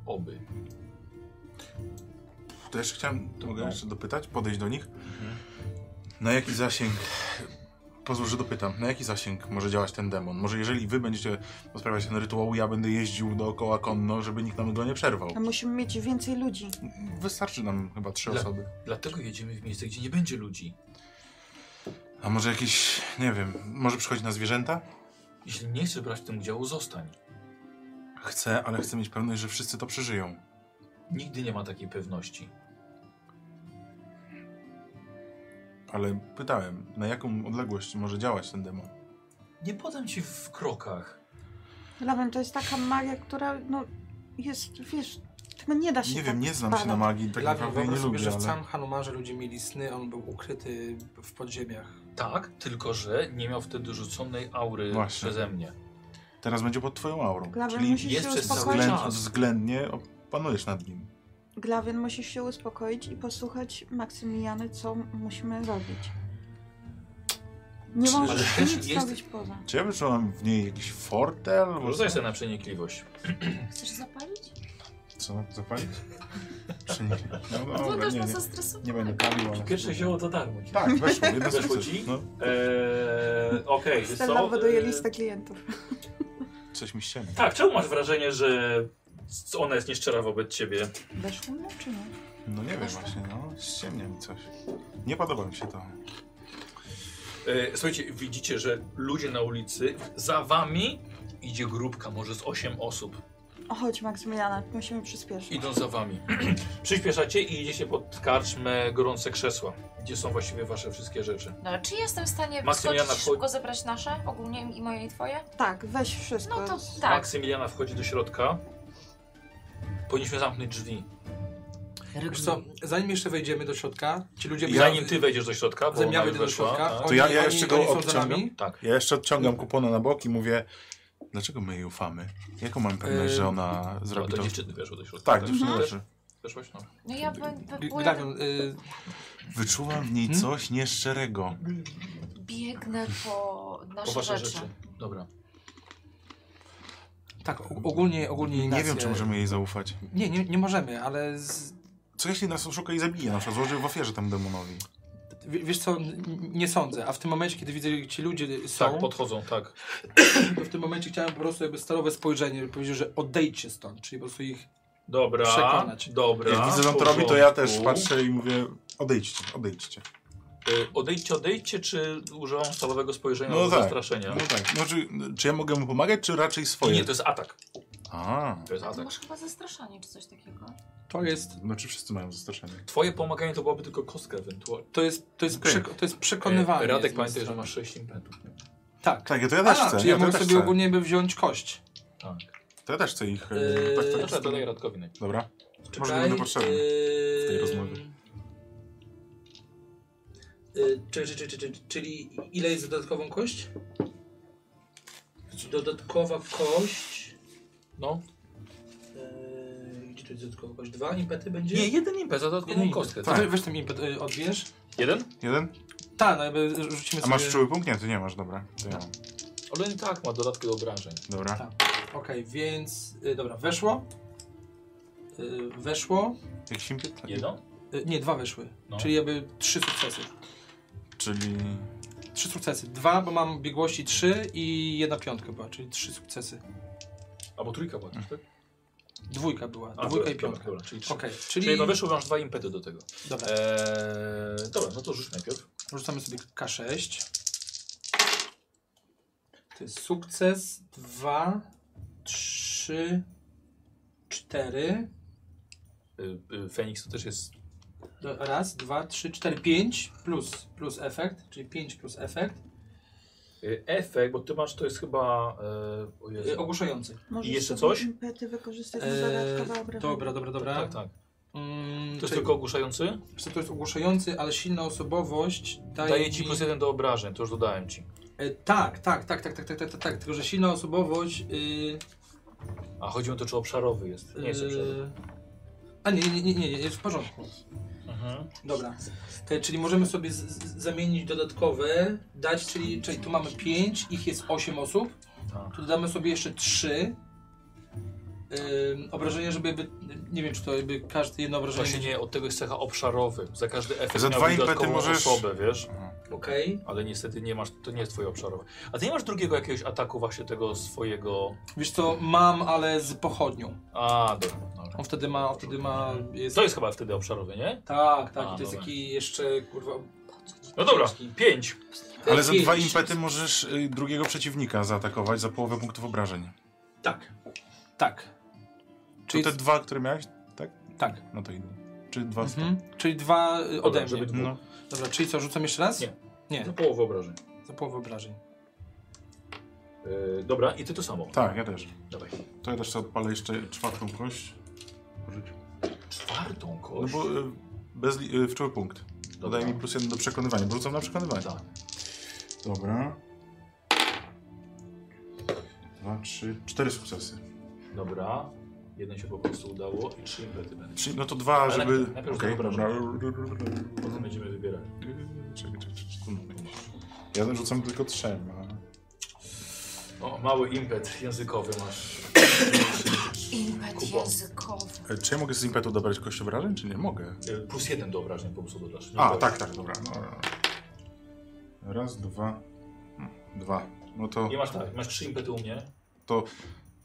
Speaker 1: Oby.
Speaker 3: To jeszcze chciałem, to mogę
Speaker 1: No.
Speaker 3: jeszcze dopytać, podejść do nich. Na jaki zasięg Pozwól, że dopytam, na jaki zasięg może działać ten demon? Może jeżeli wy będziecie rozprawiać ten rytuał, ja będę jeździł dookoła konno, żeby nikt nam go nie przerwał.
Speaker 6: A musimy mieć więcej ludzi.
Speaker 3: Wystarczy nam chyba trzy
Speaker 1: Dla-
Speaker 3: osoby.
Speaker 1: Dlatego jedziemy w miejsce, gdzie nie będzie ludzi.
Speaker 3: A może jakieś, nie wiem, może przychodzi na zwierzęta?
Speaker 1: Jeśli nie chcesz brać w tym udziału, zostań.
Speaker 3: Chcę, ale chcę mieć pewność, że wszyscy to przeżyją.
Speaker 1: Nigdy nie ma takiej pewności.
Speaker 3: Ale pytałem, na jaką odległość może działać ten demon?
Speaker 1: Nie podam ci w krokach.
Speaker 6: Lawen, to jest taka magia, która no, jest, wiesz, tego nie da się
Speaker 3: Nie
Speaker 6: tak
Speaker 3: wiem, nie znam się na
Speaker 6: zbadać.
Speaker 3: magii, tak
Speaker 5: Dla mnie
Speaker 3: naprawdę jej nie
Speaker 5: wyobraź
Speaker 3: lubię,
Speaker 5: sobie, że w
Speaker 3: ale...
Speaker 5: całym Hanumarze ludzie mieli sny, on był ukryty w podziemiach.
Speaker 1: Tak, tylko że nie miał wtedy rzuconej aury
Speaker 3: Właśnie.
Speaker 1: przeze mnie.
Speaker 3: Teraz będzie pod twoją aurą,
Speaker 6: Glawen,
Speaker 3: czyli
Speaker 6: musisz
Speaker 1: jest
Speaker 6: się
Speaker 1: przez cały
Speaker 6: uspokoić.
Speaker 1: czas.
Speaker 3: względ, względnie panujesz nad nim.
Speaker 6: Glawien musisz się uspokoić i posłuchać Maksymiliany, co musimy robić. Nie
Speaker 3: Ale
Speaker 6: możesz
Speaker 1: też
Speaker 6: nic
Speaker 1: jest-
Speaker 6: robić poza.
Speaker 3: Czy ja wyczułam w niej jakiś fortel? Bo
Speaker 1: Rzucaj sobie na przenikliwość.
Speaker 7: Chcesz zapalić?
Speaker 3: Co, zapalić? Przenikli. No
Speaker 7: No
Speaker 3: dobra,
Speaker 7: też
Speaker 3: nie, nie,
Speaker 7: nas zastresować.
Speaker 3: nie będę palił, ale...
Speaker 8: Pierwsze zioło to darmo.
Speaker 3: Tak, weszło, jedno
Speaker 8: Weszło
Speaker 3: sukces.
Speaker 8: ci?
Speaker 3: No,
Speaker 8: Eee, Okej, wiesz
Speaker 6: Stella
Speaker 8: co?
Speaker 6: wyduje
Speaker 1: e,
Speaker 8: Eee,
Speaker 6: listę klientów.
Speaker 3: coś mi ściemnia.
Speaker 8: Tak, czemu masz wrażenie, że c- ona jest nieszczera wobec ciebie?
Speaker 6: Weszło mnie czy nie?
Speaker 3: No nie wiem właśnie, no ściemnia mi coś. Nie podoba mi się to.
Speaker 1: E, słuchajcie, widzicie, że ludzie na ulicy, za wami idzie grupka, może z 8 osób.
Speaker 6: O, chodź Maksymiliana, musimy przyspieszyć.
Speaker 1: Idą za wami. *clears throat* Przyspieszacie i idziecie pod karczmę gorące krzesła, gdzie są właściwie wasze wszystkie rzeczy.
Speaker 7: No, czy jestem w stanie
Speaker 1: Maksymiliana
Speaker 7: skoczyć i
Speaker 1: wchodzi-
Speaker 7: szybko zebrać nasze? Ogólnie i moje i twoje?
Speaker 6: Tak, weź wszystko.
Speaker 7: No to
Speaker 1: Tak.
Speaker 7: tak.
Speaker 1: Maksymiliana wchodzi do środka. Powinniśmy zamknąć drzwi.
Speaker 5: Wiesz co, zanim jeszcze wejdziemy do środka, ci ludzie...
Speaker 1: Zanim ty wejdziesz do środka, bo
Speaker 5: Zanim ja
Speaker 1: ona już
Speaker 5: wejdę do
Speaker 1: weszła.
Speaker 5: środka,
Speaker 1: tak?
Speaker 5: oni,
Speaker 3: To ja- ja
Speaker 5: oni-
Speaker 3: jeszcze go
Speaker 5: oni są za
Speaker 3: obciągam.
Speaker 5: nami.
Speaker 1: Tak.
Speaker 3: Ja jeszcze odciągam kupona na bok i mówię, dlaczego my jej ufamy? Jaką mam pewność,
Speaker 5: Yy,
Speaker 3: że ona
Speaker 1: No,
Speaker 3: zrobi
Speaker 1: to
Speaker 3: to?
Speaker 1: dziewczyny weszły do środka.
Speaker 3: Tak, dziewczyny
Speaker 1: Też
Speaker 3: leży.
Speaker 1: Weszłaś? No.
Speaker 7: No ja by, by,
Speaker 5: Glawion, y,
Speaker 3: Wyczuwam w niej
Speaker 5: Hmm?
Speaker 3: coś nieszczerego.
Speaker 7: biegnę po nasze
Speaker 1: Po wasze
Speaker 7: rzeczy.
Speaker 1: rzeczy. Dobra.
Speaker 5: tak, o- ogólnie, ogólnie
Speaker 3: Nie
Speaker 5: Ignacy-
Speaker 3: wiem, czy możemy jej zaufać.
Speaker 5: Nie, nie, nie możemy, ale z...
Speaker 3: Co jeśli nas oszuka i zabije? Na przykład złożył w ofierze temu demonowi.
Speaker 5: w- wiesz co, n- nie sądzę, a w tym momencie, kiedy widzę, jak ci ludzie są,
Speaker 1: Tak, podchodzą, tak.
Speaker 5: to w tym momencie chciałem po prostu jakby stalowe spojrzenie, żeby powiedzieć, że odejdźcie stąd, czyli po prostu ich...
Speaker 1: Dobra,
Speaker 5: Przekonać.
Speaker 1: dobra.
Speaker 3: Jak widzę, że on to
Speaker 1: w
Speaker 3: robi, to ja też
Speaker 1: porządku.
Speaker 3: patrzę i mówię, odejdźcie, odejdźcie.
Speaker 1: Y, Odejdźcie, odejdźcie, czy użyłam stalowego spojrzenia
Speaker 3: No
Speaker 1: do
Speaker 3: tak.
Speaker 1: zastraszenia?
Speaker 3: No tak, no, czy, czy ja mogę mu pomagać, czy raczej
Speaker 1: I
Speaker 3: swoje?
Speaker 1: nie, to jest atak.
Speaker 3: A,
Speaker 1: To jest
Speaker 7: A to
Speaker 1: atak.
Speaker 7: masz chyba zastraszanie czy coś takiego.
Speaker 5: To jest...
Speaker 3: znaczy wszyscy mają zastraszenie.
Speaker 1: Twoje pomaganie to byłaby tylko kostka ewentualnie.
Speaker 5: To jest, to jest,
Speaker 3: Okej.
Speaker 5: przek- to jest przekonywanie.
Speaker 1: E, Radek,
Speaker 5: z
Speaker 1: pamiętaj, że
Speaker 5: strony.
Speaker 1: masz 6 impetów. nie?
Speaker 5: Tak.
Speaker 3: Tak, ja to ja też
Speaker 5: A,
Speaker 3: chcę.
Speaker 5: czyli ja mogę
Speaker 3: też
Speaker 5: sobie
Speaker 3: chcę.
Speaker 5: ogólnie by wziąć kość.
Speaker 1: Tak.
Speaker 3: To ja też chcę ich...
Speaker 5: Yy,
Speaker 3: Yy, tak, tak,
Speaker 1: Dobra,
Speaker 3: tak.
Speaker 1: E, dodaj Radkowi najpierw.
Speaker 3: Dobra. Może nie będę potrzebny
Speaker 5: w
Speaker 3: tej rozmowie.
Speaker 5: Czy, czy, czy, czy, czy, czyli ile jest dodatkową kość? Dodatkowa kość.
Speaker 1: No.
Speaker 5: Yy, gdzie tu jest dodatkowa kość? Dwa impety będzie?
Speaker 1: Nie, jeden impet, za dodatkową
Speaker 5: Jeden impet.
Speaker 1: kostkę.
Speaker 5: To
Speaker 1: Tak.
Speaker 5: ty weź ten impet, yy, odbierz.
Speaker 1: Jeden?
Speaker 3: Jeden?
Speaker 5: Tak, no jakby rzucimy
Speaker 3: A
Speaker 5: sobie.
Speaker 3: masz czuły punkt? Nie, ty nie masz, dobra. To ja mam.
Speaker 1: Ale on i tak ma dodatki do obrażeń.
Speaker 3: Dobra.
Speaker 5: Tak. Okej, więc. Yy, dobra, weszło. Yy, weszło.
Speaker 3: Jak się impet?
Speaker 1: Jedno?
Speaker 5: Yy, nie, dwa weszły.
Speaker 1: No.
Speaker 5: Czyli jakby trzy sukcesy.
Speaker 3: Czyli...
Speaker 5: Trzy sukcesy. Dwa, bo mam biegłości trzy i jedna piątka była, czyli trzy sukcesy.
Speaker 1: Albo trójka była też, tak?
Speaker 5: Dwójka była,
Speaker 1: A,
Speaker 5: dwójka
Speaker 1: dobra,
Speaker 5: i piątka.
Speaker 1: Dobra, dobra, czyli trzy.
Speaker 5: Okej, czyli...
Speaker 1: Czyli E. no weszło, masz dwa impety do tego.
Speaker 5: Dobra,
Speaker 1: Eee, dobra, no to rzuć najpierw.
Speaker 5: rzucamy sobie K6. To jest sukces, dwa, trzy, cztery,
Speaker 1: Y, y, Feniks to też jest.
Speaker 5: Do- raz, dwa, trzy, cztery, pięć, plus, plus efekt, czyli pięć plus efekt,
Speaker 1: y, Efekt, bo ty masz to jest chyba. E, o
Speaker 5: yy,
Speaker 1: Jezu.
Speaker 5: ogłuszający.
Speaker 6: Możesz
Speaker 1: jeszcze
Speaker 6: sobie
Speaker 1: coś?
Speaker 6: impety wykorzystać na
Speaker 5: Eee,
Speaker 6: dodatkowe obrażenia.
Speaker 5: dobra, dobra, dobra.
Speaker 1: Tak, tak.
Speaker 5: Mm,
Speaker 1: To jest
Speaker 5: czyli-
Speaker 1: tylko ogłuszający.
Speaker 5: Wiesz co, to jest ogłuszający, ale silna osobowość daje,
Speaker 1: Daje ci
Speaker 5: mi-
Speaker 1: plus jeden do obrażeń, to już dodałem ci.
Speaker 5: E, tak, tak, tak, tak, tak, tak, tak, tak, tak, tylko że silna osobowość... y,
Speaker 1: A chodzi o to, czy obszarowy jest. Nie jest obszarowy.
Speaker 5: y, A nie, nie, nie, nie, nie, jest w porządku. Eee,
Speaker 1: Mhm.
Speaker 5: Dobra. E, czyli możemy sobie z, z, zamienić dodatkowe, dać, czyli, czyli tu mamy 5, ich jest 8 osób.
Speaker 1: Tak.
Speaker 5: Tu dodamy sobie jeszcze 3. Yy, obrażenie, żeby, jakby- nie wiem, czy to jakby każdy jedno obrażenie...
Speaker 1: To się nie, od tego jest cecha obszarowy. Za każdy efekt
Speaker 3: Za
Speaker 1: miałbyś
Speaker 3: dwa impety
Speaker 1: dodatkową
Speaker 3: możesz-
Speaker 1: osobę, wiesz?
Speaker 5: Okej.
Speaker 1: Ale niestety nie masz, to nie jest twoje obszarowe. A ty nie masz drugiego jakiegoś ataku właśnie tego swojego...
Speaker 5: Wiesz co, mam, ale z pochodnią.
Speaker 1: A, dobra. dobra.
Speaker 5: On wtedy ma, on wtedy ma... Jest...
Speaker 1: To jest chyba wtedy obszarowy, nie?
Speaker 5: Tak, tak,
Speaker 1: A,
Speaker 5: i to jest
Speaker 1: dobra.
Speaker 5: taki jeszcze, kurwa...
Speaker 1: No dobra, pięć.
Speaker 3: Ale za
Speaker 5: Pięć.
Speaker 3: dwa impety możesz y, drugiego przeciwnika zaatakować za połowę punktów obrażeń.
Speaker 5: Tak, tak.
Speaker 3: Czy
Speaker 5: Czyli,
Speaker 3: te dwa, które miałeś? Tak?
Speaker 5: tak.
Speaker 3: No to idą. Czy dwa
Speaker 5: Mhm. Czyli dwa y, ode
Speaker 1: Dobra,
Speaker 5: mnie.
Speaker 1: żeby dwóch.
Speaker 3: No.
Speaker 5: Dobra, czyli co, rzucam jeszcze raz?
Speaker 1: Nie.
Speaker 5: Nie,
Speaker 1: Za połowę obrażeń.
Speaker 5: za połowę obrażeń.
Speaker 1: Yy, dobra, i ty to samo.
Speaker 3: Tak, ja też.
Speaker 1: Dawaj.
Speaker 3: To ja też sobie odpalę jeszcze czwartą kość.
Speaker 1: Czwartą
Speaker 3: No
Speaker 1: kość.
Speaker 3: bo y, bez li- y, wczuły punkt. Dodaje mi
Speaker 1: Dobra.
Speaker 3: plus jeden do przekonywania, bo rzucam na przekonywanie.
Speaker 1: Tak.
Speaker 3: Dobra. Dwa, trzy, cztery sukcesy.
Speaker 1: Dobra. Jeden się po prostu udało i trzy impety będą.
Speaker 3: Trzy, no to dwa,
Speaker 1: Ale
Speaker 3: żeby...
Speaker 1: najpierw- najpierw
Speaker 3: Okej,
Speaker 1: rzucam
Speaker 3: dobra.
Speaker 1: Potem będziemy wybierać.
Speaker 3: Czekaj, czekaj, czekaj, tu mamy. Ja rzucam tylko trzema.
Speaker 1: O, mały impet językowy masz.
Speaker 7: Impet
Speaker 1: Kubo.
Speaker 7: językowy.
Speaker 3: E, Czy ja mogę z impetu dobrać kość obrażeń, czy nie? Mogę.
Speaker 1: Yy, Plus jeden do obrażeń po prostu dodasz. Nie
Speaker 3: A,
Speaker 1: boisz.
Speaker 3: tak, tak, dobra. No, dobra. Raz, dwa, hmm, dwa. No to,
Speaker 1: Nie masz tak, masz trzy impety u mnie.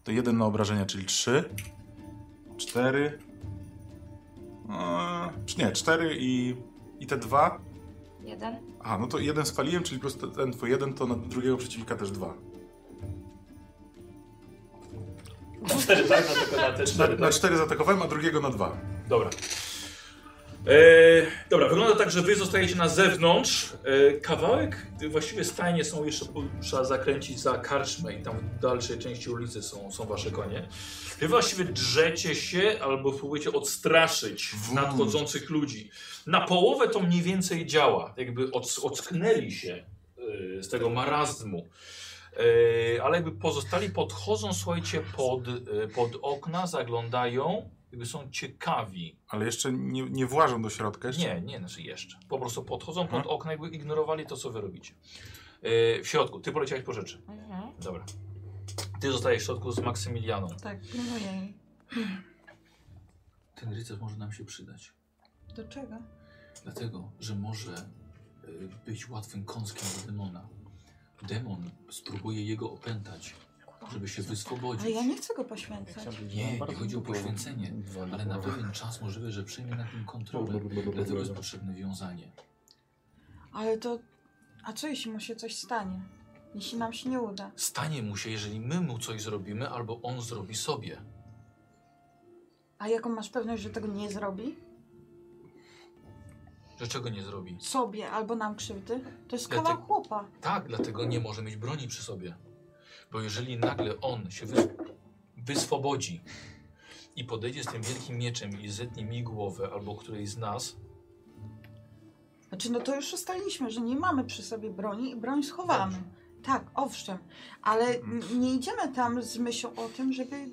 Speaker 3: to jeden na obrażenia, czyli trzy, cztery, eee, czy nie, cztery i, i te dwa.
Speaker 7: Jeden.
Speaker 3: A, no to jeden spaliłem, czyli plus te- ten twój jeden, to na drugiego przeciwnika też dwa.
Speaker 1: Cztery, tak? No tylko na te
Speaker 3: Na,
Speaker 1: cztery,
Speaker 3: na
Speaker 1: tak?
Speaker 3: cztery zaatakowałem, a drugiego na dwa.
Speaker 1: Dobra. E, dobra, wygląda tak, że wy zostajecie na zewnątrz. E, kawałek, y, właściwie stajnie są jeszcze, po- trzeba zakręcić za karczmę i tam w dalszej części ulicy są, są wasze konie. Wy właściwie drzecie się albo próbujecie odstraszyć nadchodzących ludzi. Na połowę to mniej więcej działa, jakby od, ocknęli się y, z tego marazmu. E, ale jakby pozostali podchodzą, słuchajcie, pod, y, pod okna, zaglądają, jakby są ciekawi.
Speaker 3: Ale jeszcze nie, nie włażą do środka jeszcze?
Speaker 1: Nie, nie, znaczy jeszcze. Po prostu podchodzą
Speaker 3: Aha.
Speaker 1: pod okna, jakby ignorowali to, co wy robicie. Yy, w środku, ty poleciałeś po rzeczy.
Speaker 7: Mhm.
Speaker 1: Dobra. Ty zostajesz w środku z Maksymilianą.
Speaker 2: Tak, pilnuję jej.
Speaker 1: Ten rycerz może nam się przydać.
Speaker 2: Do czego?
Speaker 1: Dlatego, że może y, być łatwym kąskiem do demona. Demon spróbuje jego opętać, żeby się
Speaker 2: Ale
Speaker 1: wyswobodzić.
Speaker 2: ja nie chcę go poświęcać.
Speaker 1: Nie, nie chodzi o poświęcenie, ale na pewien czas możliwe, że przejmie nad nim kontrolę. Dlatego jest potrzebne wiązanie.
Speaker 2: Ale to... A co jeśli mu się coś stanie? Jeśli nam się nie uda?
Speaker 1: Stanie mu się, jeżeli my mu coś zrobimy, albo on zrobi sobie.
Speaker 2: A jaką masz pewność, że tego nie zrobi?
Speaker 1: Że czego nie zrobi?
Speaker 2: Sobie albo nam krzywdy? To jest
Speaker 1: Ja
Speaker 2: kawał
Speaker 1: te-
Speaker 2: chłopa.
Speaker 1: Tak, dlatego nie może mieć broni przy sobie. Bo jeżeli nagle on się wys wyswobodzi i podejdzie z tym wielkim mieczem i zetnie mi głowę albo którejś z nas,
Speaker 2: Znaczy, no to już ustaliliśmy, że nie mamy przy sobie broni i broń schowamy. Tak, owszem, ale
Speaker 1: Mhm.
Speaker 2: n- nie idziemy tam z myślą o tym, żeby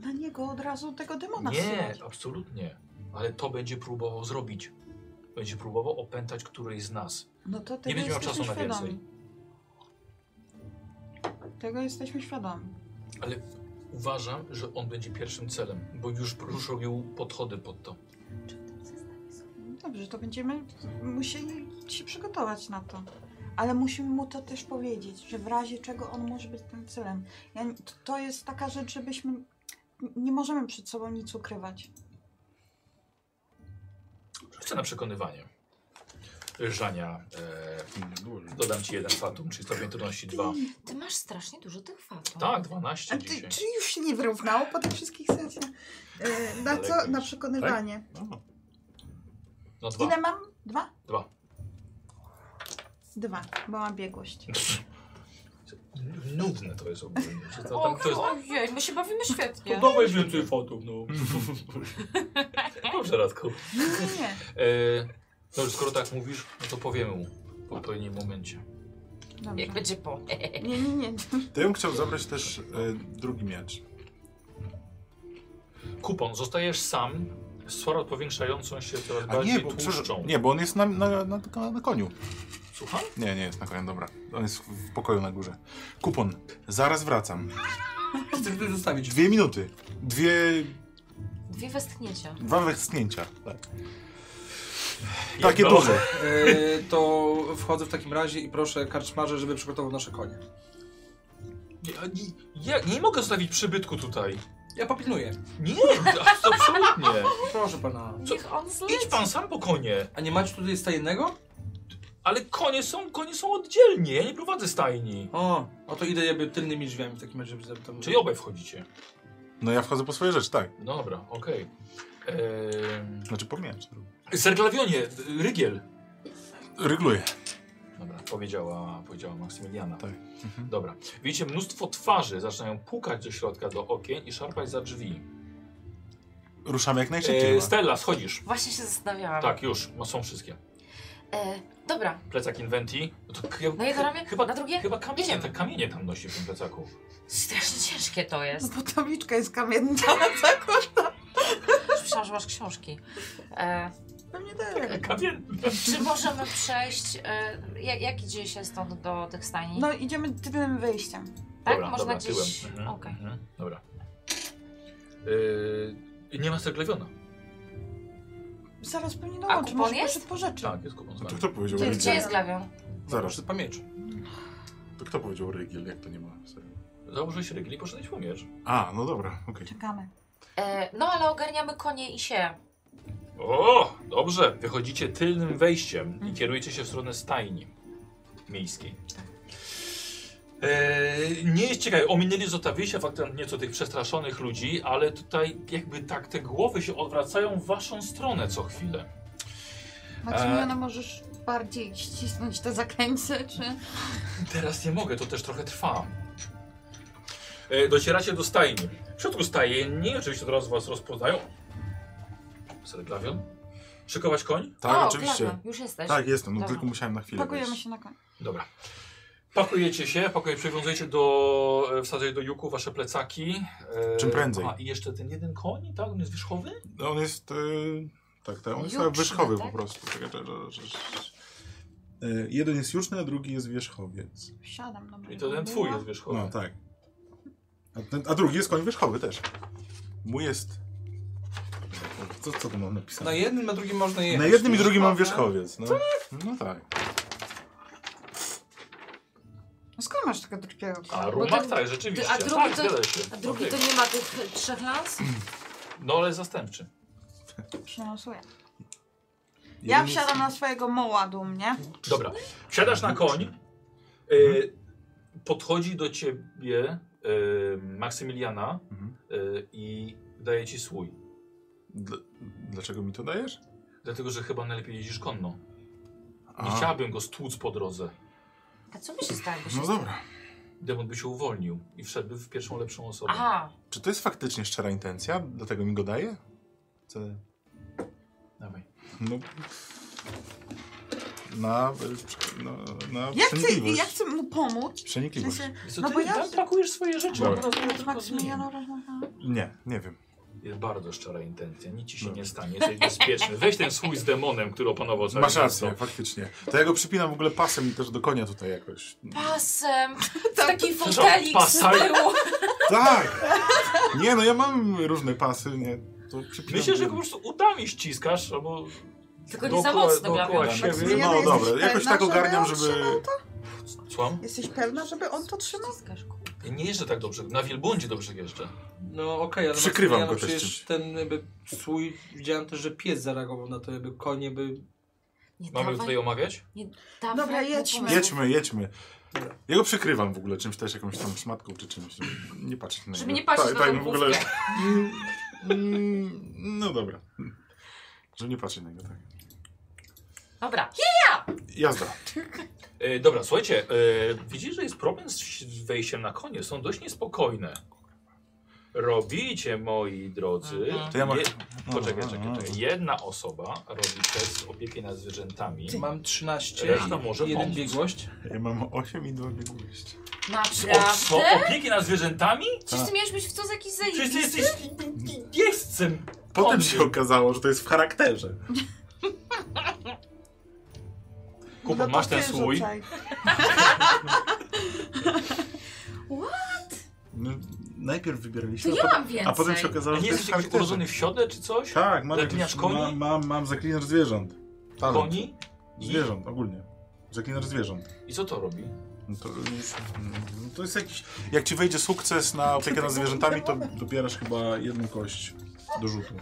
Speaker 2: na niego od razu tego demona
Speaker 1: nie,
Speaker 2: wsyłać.
Speaker 1: absolutnie. Ale to będzie próbował zrobić. Będzie próbował opętać którejś z nas.
Speaker 2: No to
Speaker 1: Nie
Speaker 2: tego
Speaker 1: będzie miał
Speaker 2: jesteśmy
Speaker 1: czasu na więcej.
Speaker 2: świadomi. Tego jesteśmy świadomi.
Speaker 1: Uważam, że on będzie pierwszym celem, bo już, już robił podchody pod to.
Speaker 7: Czy w tym zestawie są?
Speaker 2: Dobrze, to będziemy musieli się przygotować na to. Ale musimy mu to też powiedzieć, że w razie czego on może być tym celem. Ja, to- to jest taka rzecz, żebyśmy. Nie możemy przed sobą nic ukrywać.
Speaker 1: Chcę na przekonywanie. Żania, e, dodam ci jeden fatum, czyli stopień trudności dwa.
Speaker 7: Ty masz strasznie dużo tych no. fatów.
Speaker 1: Tak, 12 dzisiaj.
Speaker 2: czy już się nie wyrównało po tych wszystkich sesjach? E, na
Speaker 1: Ale co?
Speaker 2: co?
Speaker 1: jakoś-
Speaker 2: Na
Speaker 1: Na
Speaker 2: przekonywanie.
Speaker 1: No Tak? dwa.
Speaker 2: Ile mam? Dwa?
Speaker 1: Dwa.
Speaker 2: Dwa, bo
Speaker 1: *laughs*
Speaker 2: mam biegłość.
Speaker 1: Nudne to jest ogólnie. Że to-
Speaker 4: O,
Speaker 1: tam- to jest-
Speaker 4: ojej, my się bawimy świetnie.
Speaker 1: dawaj więcej fotów, no. Dobrze, Radku.
Speaker 2: Nie, nie, nie.
Speaker 1: E, no już skoro tak mówisz, no to powiemy mu w odpowiednim momencie.
Speaker 7: Jak
Speaker 2: Dobrze.
Speaker 7: będzie po.
Speaker 2: Nie, nie, nie.
Speaker 3: To ja bym chciał zabrać też e, drugi miecz.
Speaker 1: Kupon, zostajesz sam z swarą powiększającą się coraz
Speaker 3: A
Speaker 1: bardziej
Speaker 3: nie, bo,
Speaker 1: tłuszczą.
Speaker 3: przepraszam, nie, bo on jest na, na, na, na, na koniu.
Speaker 1: Słucham?
Speaker 3: Nie, nie jest na koniu, dobra. On jest w pokoju na górze. Kupon, zaraz wracam.
Speaker 5: Chcę to zostawić.
Speaker 3: Dwie minuty. Dwie...
Speaker 7: Dwie westchnięcia.
Speaker 3: Dwa westchnięcia. Tak.
Speaker 1: Jak
Speaker 3: Takie
Speaker 1: dobrze.
Speaker 3: duże.
Speaker 5: E, to wchodzę w takim razie i proszę karczmarze, żeby przygotował nasze konie.
Speaker 1: Ja, nie- ja nie mogę zostawić przybytku tutaj.
Speaker 5: Ja popilnuję.
Speaker 1: Nie, absolutnie.
Speaker 5: Proszę pana.
Speaker 1: Co?
Speaker 7: Niech on zleci.
Speaker 1: Idź pan sam po konie.
Speaker 5: A nie macie tutaj stajennego?
Speaker 1: Ale konie są, konie są oddzielnie, ja nie prowadzę stajni.
Speaker 5: O, o to idę jakby tylnymi drzwiami w takim razie, żeby żeby tam...
Speaker 1: Czyli obaj wchodzicie.
Speaker 3: No ja wchodzę po swoje rzeczy, tak.
Speaker 1: No Dobra, okej.
Speaker 3: Znaczy po miecz.
Speaker 1: Ehm, Serglawionie, Rygiel.
Speaker 3: Rygluję.
Speaker 1: Dobra, powiedziała, powiedziała Maksymiliana.
Speaker 3: Tak.
Speaker 1: Dobra. Widzicie, mnóstwo twarzy zaczynają pukać do środka do okien i szarpać za drzwi.
Speaker 3: Ruszamy jak najszybciej. no.
Speaker 1: E,
Speaker 3: chyba.
Speaker 1: Stella, schodzisz.
Speaker 7: Właśnie się zastanawiałam.
Speaker 1: Tak, już, no, są wszystkie.
Speaker 7: E, dobra,
Speaker 1: Plecak Inventi. No to k-
Speaker 7: Na jedno ramię?
Speaker 1: chyba,
Speaker 7: Na drugie?
Speaker 1: Chyba kamienie,
Speaker 7: Jedziemy.
Speaker 1: te kamienie tam nosi w tym plecaku.
Speaker 7: strasznie ciężkie to
Speaker 1: *laughs*
Speaker 2: No
Speaker 7: jest.
Speaker 2: bo tabliczka jest kamienna, *laughs* tak?
Speaker 7: Już Myślałam, że masz książki. E,
Speaker 2: Pewnie tak.
Speaker 1: Kamien...
Speaker 7: czy możemy przejść... E, jak, jak idzie się stąd do tych stajni?
Speaker 2: No idziemy tylnym wyjściem.
Speaker 7: tak?
Speaker 1: Dobra,
Speaker 7: Można
Speaker 1: dobra,
Speaker 7: gdzieś...
Speaker 1: tyłem. Mhm,
Speaker 7: Okej.
Speaker 1: mhm, Dobra. Yy, i nie ma Serglawiona.
Speaker 2: Zaraz pewnie
Speaker 7: A
Speaker 2: dołączy,
Speaker 7: kupon
Speaker 2: może
Speaker 7: jest?
Speaker 2: poszedł po rzeczy.
Speaker 1: Tak, jest kupon z
Speaker 3: A to
Speaker 1: wami.
Speaker 3: kto powiedział
Speaker 7: Gdzie,
Speaker 3: Rygiel?
Speaker 7: gdzie jest glawion?
Speaker 3: Zaraz.
Speaker 5: Proszę po miecz.
Speaker 3: To kto powiedział Rygiel, jak to nie ma? sensu?
Speaker 1: Założyłeś rygle i poszedłeś po miecz.
Speaker 3: A, no dobra, okej.
Speaker 2: Czekamy.
Speaker 7: E, no ale ogarniamy konie i się.
Speaker 1: O, dobrze. Wychodzicie tylnym wejściem i kierujecie się w stronę stajni miejskiej. Eee, nie jest ciekawe, ominęli zostawiliście faktem nieco tych przestraszonych ludzi, ale tutaj jakby tak te głowy się odwracają w waszą stronę co chwilę.
Speaker 2: Maksymiliana, możesz bardziej ścisnąć te zakręce, czy...
Speaker 1: Teraz nie mogę, to też trochę trwa. E, docieracie do stajni. W środku stajni, oczywiście od razu was rozpoznają. Serglawion? Szykować koń?
Speaker 3: Tak,
Speaker 7: o,
Speaker 3: oczywiście.
Speaker 7: Glawion, już jesteś.
Speaker 3: Tak, jestem, no
Speaker 7: Dobra.
Speaker 3: tylko musiałem na chwilę
Speaker 2: Pakujemy
Speaker 3: wejść.
Speaker 2: się na koń.
Speaker 1: Dobra. Pakujecie się, pakuje, przywiązujecie do, e, wsadzajcie do juku wasze plecaki. E,
Speaker 3: Czym prędzej.
Speaker 1: A, i jeszcze ten jeden koń, tak? On jest wierzchowy?
Speaker 3: No on jest... E, tak, tak, on jest
Speaker 7: Juczny,
Speaker 3: wierzchowy
Speaker 7: tak?
Speaker 3: po prostu. Tak, tak, tak, tak. E, jeden jest juczny, a drugi jest wierzchowiec.
Speaker 2: Wsiadam, dobra.
Speaker 1: I to ten twój jest wierzchowy.
Speaker 3: No tak. A, ten, a drugi jest koń wierzchowy też. Mój jest... Co, co tu mam
Speaker 5: Na
Speaker 3: napisane?
Speaker 5: jednym, na drugim można jechać.
Speaker 3: Na jednym i
Speaker 5: Wiesz,
Speaker 3: drugim mam
Speaker 5: prawda?
Speaker 3: wierzchowiec. No, no tak.
Speaker 2: A No, Skąd masz tego drugiego konia?
Speaker 1: A
Speaker 7: Bo
Speaker 1: rumak
Speaker 7: No ten-
Speaker 1: tak, rzeczywiście.
Speaker 7: a drugi
Speaker 1: tak,
Speaker 7: to-
Speaker 1: zgadza się.
Speaker 7: A drugi
Speaker 1: Okej.
Speaker 7: to nie ma tych e, trzech lans?
Speaker 1: No ale zastępczy.
Speaker 2: Przynosuję. Ja
Speaker 3: Jeden
Speaker 2: wsiadam na swojego moła dumnie.
Speaker 1: Dobra. Wsiadasz na koń. Y, podchodzi do ciebie y, Maksymiliana
Speaker 3: Mhm.
Speaker 1: y, i daje ci swój.
Speaker 3: Dl- Dlaczego mi to dajesz?
Speaker 1: Dlatego, że chyba najlepiej jeździsz konno. Nie
Speaker 3: A,
Speaker 1: chciałabym go stłuc po drodze.
Speaker 7: A co by się stało? jakby się
Speaker 3: No dobra.
Speaker 1: Demon by się uwolnił i wszedłby w pierwszą lepszą osobę.
Speaker 7: Aha,
Speaker 3: Czy to jest faktycznie szczera intencja? Dlatego mi go daje? Co?
Speaker 1: Dawaj.
Speaker 3: No... Na... y, No, na
Speaker 2: Ja chcę,
Speaker 3: przenikliwość.
Speaker 2: ja chcę mu pomóc. W
Speaker 3: Przenikliwość.
Speaker 2: sensie,
Speaker 1: Wiesz Co,
Speaker 2: No
Speaker 1: ty
Speaker 2: bo ja-
Speaker 1: tam pakujesz swoje rzeczy.
Speaker 7: No,
Speaker 3: Dobra.
Speaker 1: od razu ja
Speaker 2: Max-
Speaker 1: tylko z nim.
Speaker 2: Maksymiliano, rozmawiamy.
Speaker 3: Nie, nie wiem.
Speaker 1: Jest bardzo szczera intencja, nic ci się
Speaker 3: Dobra.
Speaker 1: nie stanie, jesteś bezpieczny. Weź ten swój z demonem, który opanował całe
Speaker 3: Masz rację,
Speaker 1: miasto.
Speaker 3: faktycznie. To ja go przypinam w ogóle pasem i też do konia tutaj jakoś.
Speaker 1: *laughs*
Speaker 7: pasem. Taki
Speaker 1: Przepraszam,
Speaker 7: fotelik z
Speaker 1: pasaj.
Speaker 7: tyłu.
Speaker 3: Tak! Nie, no ja mam różne pasy, nie? To przypinam
Speaker 1: Myślę, że
Speaker 3: do-
Speaker 1: go po prostu udami ściskasz, albo
Speaker 7: Tylko nie za
Speaker 1: dookoła-
Speaker 7: mocno,
Speaker 1: dookoła
Speaker 7: Glawion.
Speaker 1: siebie.
Speaker 2: Maksymilian-
Speaker 3: No
Speaker 2: Jesteś
Speaker 3: dobra, jakoś
Speaker 2: pewna,
Speaker 3: tak
Speaker 2: żeby
Speaker 3: ogarniam,
Speaker 2: on
Speaker 3: żeby...
Speaker 1: Słucham?
Speaker 2: Jesteś pewna, żeby on to trzymał?
Speaker 7: Ściskasz, kurde.
Speaker 1: Nie jeżdżę tak dobrze. Na wielbłądzie dobrze jeszcze.
Speaker 5: No okej, ale
Speaker 3: Przykrywam
Speaker 5: Maksymiliano,
Speaker 3: go też
Speaker 5: przecież ten jakby swój, widziałem też, że pies zareagował na to, jakby konie by...
Speaker 7: Nie
Speaker 1: Mamy tutaj
Speaker 7: dawaj,
Speaker 1: omawiać?
Speaker 7: dawaj
Speaker 2: Dobra,
Speaker 7: mu
Speaker 2: jedźmy.
Speaker 7: pomysł.
Speaker 3: Jedźmy, jedźmy.
Speaker 5: Dobra.
Speaker 3: Ja go przykrywam w ogóle czymś też, jakąś tam szmatką czy czymś. żeby Nie patrzeć na niego.
Speaker 7: Żeby nie patrzeć
Speaker 3: Tak,
Speaker 7: na
Speaker 3: tak,
Speaker 7: tą
Speaker 3: w ogóle.
Speaker 7: główkę.
Speaker 3: Mm, mm, No dobra. Żeby nie patrzeć na niego, tak.
Speaker 7: Dobra,
Speaker 3: Jazda.
Speaker 1: E, dobra, słuchajcie, e, widzisz, że jest problem z z wejściem na konie. Są dość niespokojne. Robicie, moi drodzy.
Speaker 7: Mhm.
Speaker 3: To ja mam...
Speaker 1: Je-
Speaker 3: no,
Speaker 1: Poczekaj,
Speaker 3: no,
Speaker 1: czekaj,
Speaker 3: no.
Speaker 1: czekaj. Jedna osoba robi test opieki nad zwierzętami.
Speaker 5: Mam 13
Speaker 1: Reszta
Speaker 5: i
Speaker 1: może
Speaker 5: jeden
Speaker 1: pomóc.
Speaker 5: biegłość.
Speaker 3: Ja mam 8 i 2 biegłości.
Speaker 1: O co?
Speaker 7: naprawdę?
Speaker 1: Opieki nad zwierzętami?
Speaker 7: Czyż ty miałeś być w to z jakiś
Speaker 1: Przecież ty
Speaker 7: zajebisty?
Speaker 1: jesteś jeźdźcem.
Speaker 3: Potem
Speaker 1: konnym.
Speaker 3: się okazało, że to jest w charakterze.
Speaker 1: Kuba,
Speaker 2: No to
Speaker 1: masz ten
Speaker 2: ty
Speaker 1: swój.
Speaker 2: rzucaj.
Speaker 3: No, najpierw wybieraliśmy,
Speaker 4: To
Speaker 3: a,
Speaker 4: ja
Speaker 3: potem,
Speaker 4: mam więcej.
Speaker 3: a potem się
Speaker 1: A
Speaker 3: okazało, że
Speaker 1: nie
Speaker 3: to jest
Speaker 1: jesteś jakiś
Speaker 3: charakterze.
Speaker 1: urodzony w siodle czy coś?
Speaker 3: Tak, mam,
Speaker 1: Zaklinasz
Speaker 3: jakoś,
Speaker 1: koni?
Speaker 3: mam, mam, mam zaklinacz zwierząt. Talent.
Speaker 1: Koni? I,
Speaker 3: Zwierząt, ogólnie. Zaklinacz zwierząt.
Speaker 1: I co to robi?
Speaker 3: No to, jest, mm, to jest jakiś... Jak ci wejdzie sukces na opiekę nad zwierzętami, to dobierasz chyba jedną kość do rzutu.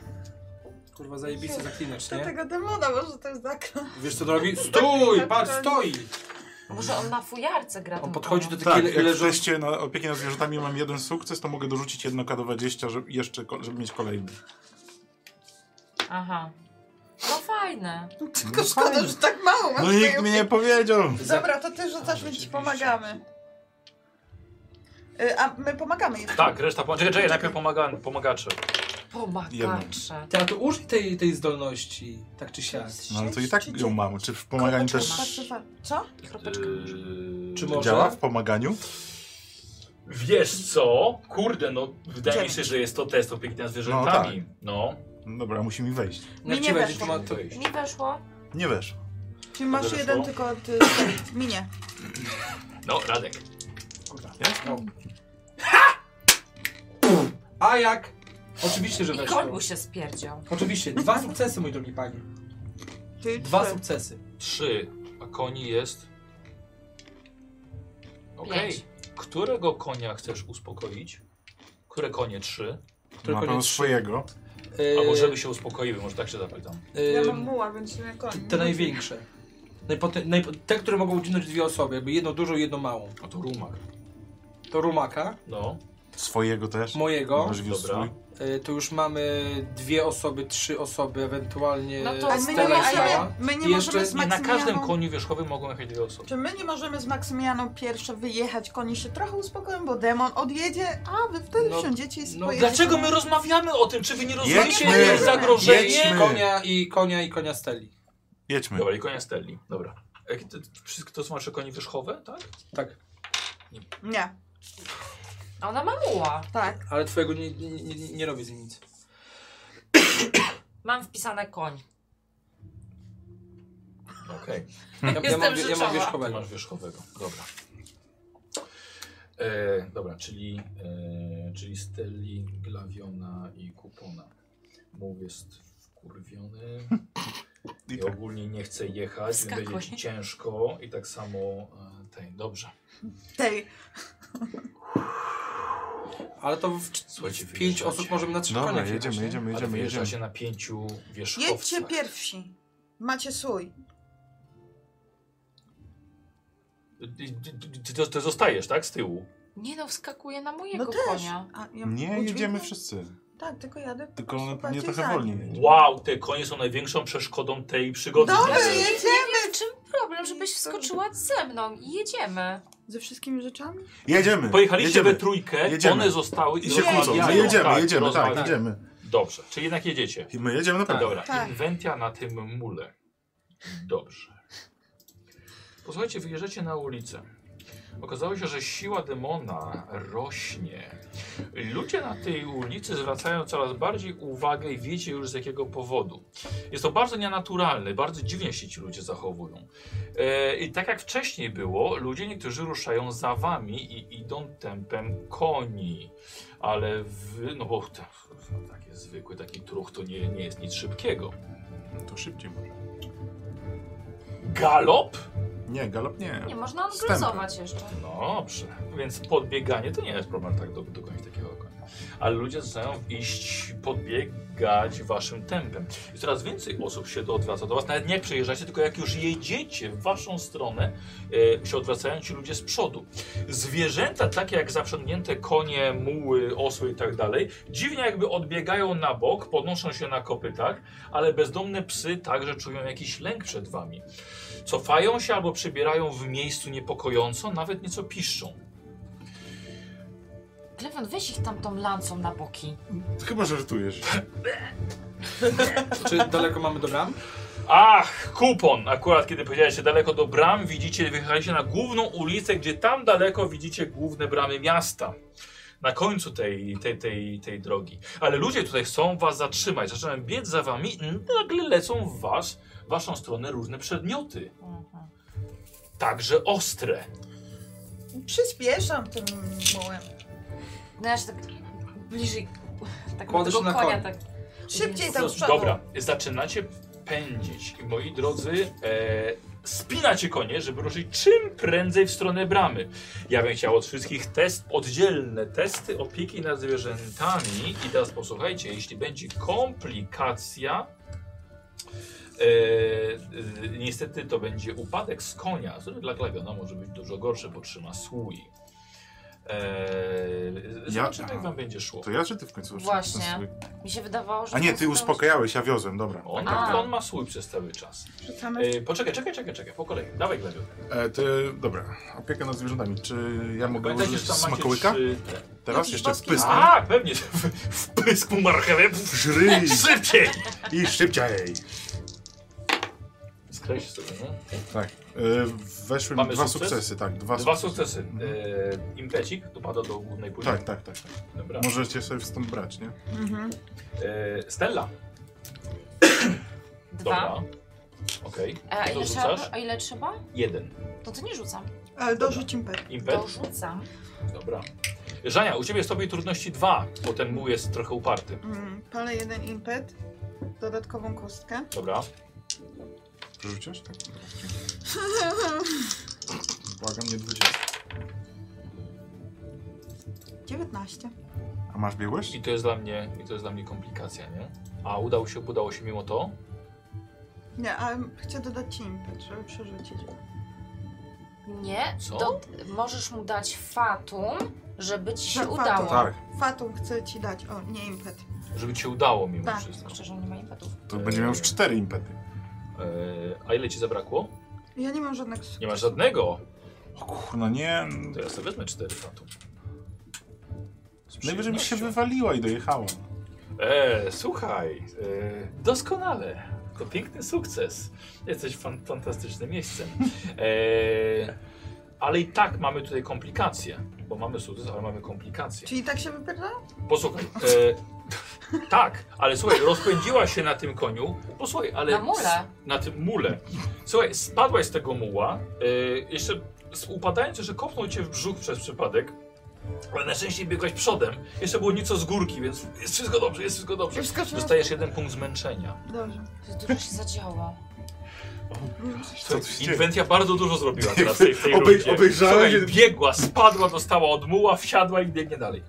Speaker 5: Kurwa, zajebisty zaklinacz,
Speaker 2: Do
Speaker 5: nie?
Speaker 2: tego demona może też zakląć.
Speaker 5: Wiesz co on robi? Stój! Patrz, stoi!
Speaker 7: Może on na fujarce gra.
Speaker 5: On
Speaker 7: tym
Speaker 5: podchodzi do
Speaker 7: kołem.
Speaker 5: tych
Speaker 3: Tak,
Speaker 5: tak,
Speaker 3: jak
Speaker 5: leżą...
Speaker 3: wreszcie na opiekę nad zwierzętami mam jeden sukces, to mogę dorzucić jedno K20, żeby, jeszcze, ko- żeby mieć kolejny.
Speaker 7: Aha. No fajne.
Speaker 2: Tylko szkoda, że tak mało masz
Speaker 3: No
Speaker 2: tej
Speaker 3: nikt mi nie powiedział!
Speaker 2: Dobra, to ty rzucasz, więc ci pomagamy. Y, A my pomagamy jeszcze.
Speaker 1: Tak, reszta pomaga. Czekaj, czekaj, najpierw pomaga, pomagacze.
Speaker 7: Pomagacze.
Speaker 5: Ty, a to użyj tej, tej zdolności, tak czy siak.
Speaker 3: No ale to i tak ją mam. Czy w pomaganiu też
Speaker 2: Patrz, patrz. Co?
Speaker 7: Kropeczka.
Speaker 1: Yy,
Speaker 5: Czy może?
Speaker 3: działa? W pomaganiu?
Speaker 1: Wiesz co? Kurde, no wydaje mi
Speaker 2: Dziewięć.
Speaker 1: się, że jest to test opieki nad zwierzętami. No.
Speaker 3: No dobra, musi mi wejść.
Speaker 5: No jak
Speaker 2: Mi
Speaker 5: ci
Speaker 2: nie
Speaker 5: wejdzie, to
Speaker 2: weszło.
Speaker 5: ma to...
Speaker 7: Mi weszło.
Speaker 3: Nie wiesz.
Speaker 2: Czyli masz
Speaker 1: Dobrze
Speaker 2: jeden
Speaker 1: szło.
Speaker 2: tylko od y, minie.
Speaker 1: No, Radek.
Speaker 5: A jak? Oczywiście, że
Speaker 7: I koń
Speaker 5: weszło.
Speaker 7: mu się spierdział.
Speaker 5: Oczywiście, dwa sukcesy, mój drogi panie.
Speaker 2: Ty
Speaker 5: Dwa
Speaker 2: trzy.
Speaker 5: sukcesy.
Speaker 1: Trzy. A koni jest. Okej.
Speaker 7: Pięć.
Speaker 1: Którego konia chcesz uspokoić? Które konie trzy?
Speaker 5: Tylko
Speaker 3: Ma
Speaker 5: nie
Speaker 3: pan
Speaker 5: trzy.
Speaker 3: swojego.
Speaker 5: Yy,
Speaker 1: Albo żeby się uspokoiły, może tak się zapytam.
Speaker 5: yy,
Speaker 2: Ja mam muła, więc nie
Speaker 5: te,
Speaker 2: koniec.
Speaker 5: te największe. Najpote, najpo, te, które mogą udźwignąć dwie osoby, jakby jedną dużą i jedną małą.
Speaker 1: A to rumak.
Speaker 5: To rumaka,
Speaker 1: No.
Speaker 3: Swojego też.
Speaker 5: mojego.
Speaker 3: Możesz wiózł
Speaker 1: Dobra.
Speaker 3: swój.
Speaker 5: Yy, to już mamy dwie osoby, trzy osoby, ewentualnie
Speaker 7: No to-
Speaker 2: A
Speaker 5: Stella
Speaker 2: my
Speaker 5: i
Speaker 2: nie,
Speaker 5: Sara.
Speaker 2: możemy, my nie
Speaker 5: I jeszcze
Speaker 2: możemy z
Speaker 1: Nie na każdym
Speaker 2: Maksymianą...
Speaker 1: koniu wierzchowym mogą jechać dwie osoby.
Speaker 2: Czy my nie możemy z Maksymianą pierwsze wyjechać? Koni się trochę uspokoją, bo demon odjedzie, a wy wtedy
Speaker 5: No,
Speaker 2: wsiądziecie i sobie
Speaker 5: no,
Speaker 2: pojedziecie.
Speaker 1: Dlaczego my rozmawiamy o tym? Czy wy nie rozumiecie
Speaker 3: Jedźmy!
Speaker 1: jakie jest zagrożenie?
Speaker 3: Jedźmy!
Speaker 5: Konia i konia i konia Steli.
Speaker 3: Jedźmy.
Speaker 1: Dobra, i konia Stelli. Dobra. Jakie to, wszystkie to są nasze konie wierzchowe, tak?
Speaker 5: Tak.
Speaker 2: Nie,
Speaker 7: A Ona ma muła.
Speaker 2: tak.
Speaker 5: Ale twojego nie, nie, nie, nie robi z nim nic.
Speaker 7: Mam wpisane koń.
Speaker 1: Okej.
Speaker 5: Ja, ja,
Speaker 7: Jestem
Speaker 5: mam, ja
Speaker 7: życzała.
Speaker 5: mam
Speaker 1: Ty
Speaker 5: wierzchowego.
Speaker 1: masz wierzchowego, dobra. E, dobra, czyli, e, czyli Steli, Glawiona i Kupona. Mów jest wkurwiony
Speaker 3: I *laughs*
Speaker 1: i
Speaker 3: tak.
Speaker 1: ogólnie nie chce jechać,
Speaker 7: Wskakuj.
Speaker 1: będzie ci ciężko i tak samo e, tej, dobrze.
Speaker 2: Tej.
Speaker 5: Ale to w,
Speaker 1: Słuchajcie,
Speaker 5: w pięć
Speaker 1: wyjeżdżacie.
Speaker 5: osób możemy na trzy
Speaker 3: Dobra,
Speaker 5: konia
Speaker 3: jedziemy,
Speaker 5: wjechać, nie?
Speaker 3: jedziemy,
Speaker 1: Ale
Speaker 3: jedziemy,
Speaker 1: wyjeżdża
Speaker 3: jedziemy.
Speaker 1: się na pięciu
Speaker 2: Jedźcie
Speaker 1: wierzchowcach.
Speaker 2: pierwsi. Macie sój.
Speaker 1: E, Ty, ty, ty, ty, ty zostajesz, tak? Z tyłu.
Speaker 7: Nie no, wskakuje na mojego
Speaker 2: No też.
Speaker 7: konia.
Speaker 2: A, ja
Speaker 3: Nie,
Speaker 2: udźwignę?
Speaker 3: jedziemy wszyscy.
Speaker 2: Tak, tylko jadę. tak.
Speaker 3: Tylko one pewnie
Speaker 2: bardziej
Speaker 3: trochę
Speaker 2: za nim.
Speaker 3: wolniej jedzie.
Speaker 1: Wow, te konie są największą przeszkodą tej przygody.
Speaker 2: Dobra,
Speaker 1: Widzę.
Speaker 2: jedziemy!
Speaker 7: Czym problem, żebyś wskoczyła ze mną i jedziemy.
Speaker 2: Ze wszystkimi rzeczami?
Speaker 3: Jedziemy!
Speaker 1: Pojechaliście
Speaker 3: jedziemy.
Speaker 1: we trójkę,
Speaker 3: Jedziemy.
Speaker 1: one zostały
Speaker 3: I się
Speaker 2: Jedziemy.
Speaker 3: kłócą. No
Speaker 1: rozmawiają.
Speaker 3: jedziemy, jedziemy, tak,
Speaker 1: rozmawiają.
Speaker 3: jedziemy.
Speaker 1: Dobrze, czyli jednak jedziecie.
Speaker 3: I my jedziemy na pewno.
Speaker 1: Dobra,
Speaker 2: Tak.
Speaker 1: inwentia na tym mule. Dobrze. Posłuchajcie, wyjeżdżacie na ulicę. Okazało się, że siła demona rośnie. Ludzie na tej ulicy zwracają coraz bardziej uwagę i wiecie już z jakiego powodu. Jest to bardzo nienaturalne, bardzo dziwnie się ci ludzie zachowują. E, I tak jak wcześniej było, ludzie niektórzy ruszają za wami i idą tempem koni. Ale wy, no bo te, taki zwykły taki truch to nie, nie jest nic szybkiego.
Speaker 3: No to szybciej może.
Speaker 1: Galop?
Speaker 3: Nie, galop nie.
Speaker 7: Nie, można
Speaker 3: Wstępy.
Speaker 7: odgryzować jeszcze.
Speaker 1: Dobrze, więc podbieganie to nie jest problem tak do, do końca takiego konia. Ale ludzie zaczynają iść, podbiegać waszym tempem. I coraz więcej osób się odwraca do was, nawet nie jak przejeżdżacie, tylko jak już jedziecie w waszą stronę, e, się odwracają ci ludzie z przodu. Zwierzęta, takie jak zaprzągnięte konie, muły, osły i tak dalej, dziwnie jakby odbiegają na bok, podnoszą się na kopytach, ale bezdomne psy także czują jakiś lęk przed wami. Cofają się albo przybierają w miejscu niepokojąco, nawet nieco piszczą.
Speaker 7: Klewion, weź ich tam tą lancą na boki.
Speaker 3: Chyba żartujesz.
Speaker 5: Czy daleko mamy do bram?
Speaker 1: Ach, kupon! Akurat kiedy powiedziałeś daleko do bram, widzicie, wyjechaliście na główną ulicę, gdzie tam daleko widzicie główne bramy miasta. Na końcu tej, tej, tej, tej drogi. Ale ludzie tutaj chcą was zatrzymać, zaczynają biec za wami, nagle lecą w was, w waszą stronę różne przedmioty.
Speaker 7: Mhm.
Speaker 1: Także ostre.
Speaker 2: Przyspieszam tym mułem.
Speaker 7: Znaczy tak bliżej. Tak
Speaker 5: Kładę
Speaker 7: do tego
Speaker 5: się na
Speaker 7: konia
Speaker 5: koń.
Speaker 7: tak.
Speaker 6: Szybciej
Speaker 7: Jezu.
Speaker 6: tam z przodu.
Speaker 1: Dobra, zaczynacie pędzić i moi drodzy, e, spinacie konie, żeby ruszyć czym prędzej w stronę bramy. Ja bym chciał od wszystkich test, oddzielne testy opieki nad zwierzętami i teraz posłuchajcie, jeśli będzie komplikacja, e, e, niestety to będzie upadek z konia, który dla klawiona może być dużo gorszy, bo trzyma słój. E, zobaczymy jak
Speaker 3: aha.
Speaker 1: wam będzie szło.
Speaker 3: To ja, czy ty w końcu
Speaker 7: Właśnie.
Speaker 3: zaczynasz ten swój-
Speaker 7: Mi się wydawało, że.
Speaker 3: A nie,
Speaker 7: to
Speaker 3: ty
Speaker 7: jest-
Speaker 3: uspokajałeś, ja wiozłem, dobra.
Speaker 1: On,
Speaker 7: A.
Speaker 1: on ma słój przez cały czas.
Speaker 2: Rzucamy.
Speaker 1: E, poczekaj, czekaj, czekaj, czekaj, po kolei. Dawaj Glebiu.
Speaker 3: E, ty, dobra, opieka nad zwierzętami. Czy ja mogę
Speaker 1: Pamiętajcie,
Speaker 3: użyć
Speaker 1: że tam macie
Speaker 3: smakołyka?
Speaker 1: trzy... no,
Speaker 3: Teraz
Speaker 6: Jakieś
Speaker 3: jeszcze
Speaker 6: babki?
Speaker 3: spysnę.
Speaker 1: Tak, pewnie. W, w pysku marchewę. w-
Speaker 3: Żryj
Speaker 1: Szybciej!
Speaker 3: i szybciej.
Speaker 1: Skreś sobie, nie?
Speaker 3: Tak. E, weszły mi
Speaker 1: Mamy
Speaker 3: dwa
Speaker 1: sukces?
Speaker 3: sukcesy, tak. Dwa,
Speaker 1: Dwa
Speaker 3: sukcesy.
Speaker 1: sukcesy. E, impecik dopada do głównej puli.
Speaker 3: Tak, tak, tak. tak.
Speaker 1: Dobra.
Speaker 3: Możecie sobie stąd brać, nie?
Speaker 2: Mhm.
Speaker 1: E, Stella.
Speaker 7: Dwa.
Speaker 1: Dobra. Okej.
Speaker 7: E, A
Speaker 1: To
Speaker 7: ile
Speaker 1: rzucasz?
Speaker 7: trzeba? A ile trzeba?
Speaker 1: Jeden.
Speaker 7: To ty nie rzucam.
Speaker 2: Ale dorzuć impet.
Speaker 1: Impet.
Speaker 7: To rzucam.
Speaker 1: Dobra. Żania, u ciebie stopień trudności dwa, bo ten mój jest trochę uparty.
Speaker 2: Mm, palę jeden impet, dodatkową kostkę. *laughs*
Speaker 1: Dobra.
Speaker 3: Przerzucisz? Tak. Dobra, dziękuję. Błagam, nie 20.
Speaker 2: 19.
Speaker 3: A masz biegłość?
Speaker 1: I to jest dla mnie, i to jest dla mnie komplikacja, nie? A udało się, udało się mimo to?
Speaker 2: Nie, ale chcę dodać ci impet, żeby przerzucić.
Speaker 7: Nie.
Speaker 1: Co?
Speaker 7: To możesz mu dać fatum, żeby ci się
Speaker 2: Tak, fatum.
Speaker 7: udało.
Speaker 3: Tak,
Speaker 2: Fatum chcę ci dać, o, nie impet.
Speaker 1: Żeby ci się udało mimo
Speaker 2: Tak.
Speaker 1: wszystko.
Speaker 7: Szczerze, nie ma impetów.
Speaker 3: to będzie miał już cztery impety.
Speaker 1: E, a ile ci zabrakło?
Speaker 2: Ja nie mam żadnych
Speaker 1: Nie masz
Speaker 2: sukcesów.
Speaker 1: żadnego.
Speaker 3: O kurna, nie.
Speaker 1: To ja sobie wezmę cztery fatum. Z
Speaker 3: Najwyżej mi się
Speaker 1: przyjemnością.
Speaker 3: wywaliła i dojechała.
Speaker 1: E, słuchaj, e, doskonale. To piękny sukces. Jesteś fan, fantastycznym miejscem. E, ale i tak mamy tutaj komplikacje. Bo mamy sukces, ale mamy komplikacje.
Speaker 2: Czyli tak się wypierda?
Speaker 1: Posłuchaj. E, tak, ale słuchaj, rozpędziła się na tym koniu. Posłuchaj, ale.
Speaker 7: Na mule.
Speaker 1: na tym mule. Słuchaj, spadłaś z tego muła. Yy, jeszcze s- upadając, że kopnął cię w brzuch przez przypadek. Ale na szczęście biegłaś przodem. Jeszcze było nieco z górki, więc jest wszystko dobrze, jest wszystko dobrze.
Speaker 2: Wskoczyłam.
Speaker 1: Dostajesz jeden punkt zmęczenia.
Speaker 2: Dobrze.
Speaker 7: Dużo się zadziało.
Speaker 3: Co tu się dzieje?
Speaker 1: Inwentia bardzo dużo
Speaker 3: *laughs*
Speaker 1: zrobiła teraz w tej, w tej
Speaker 9: Obej-
Speaker 1: rundzie.
Speaker 9: obejrzałem
Speaker 1: Słuchaj,
Speaker 9: się-
Speaker 1: biegła, spadła, dostała od muła, wsiadła i biegnie dalej.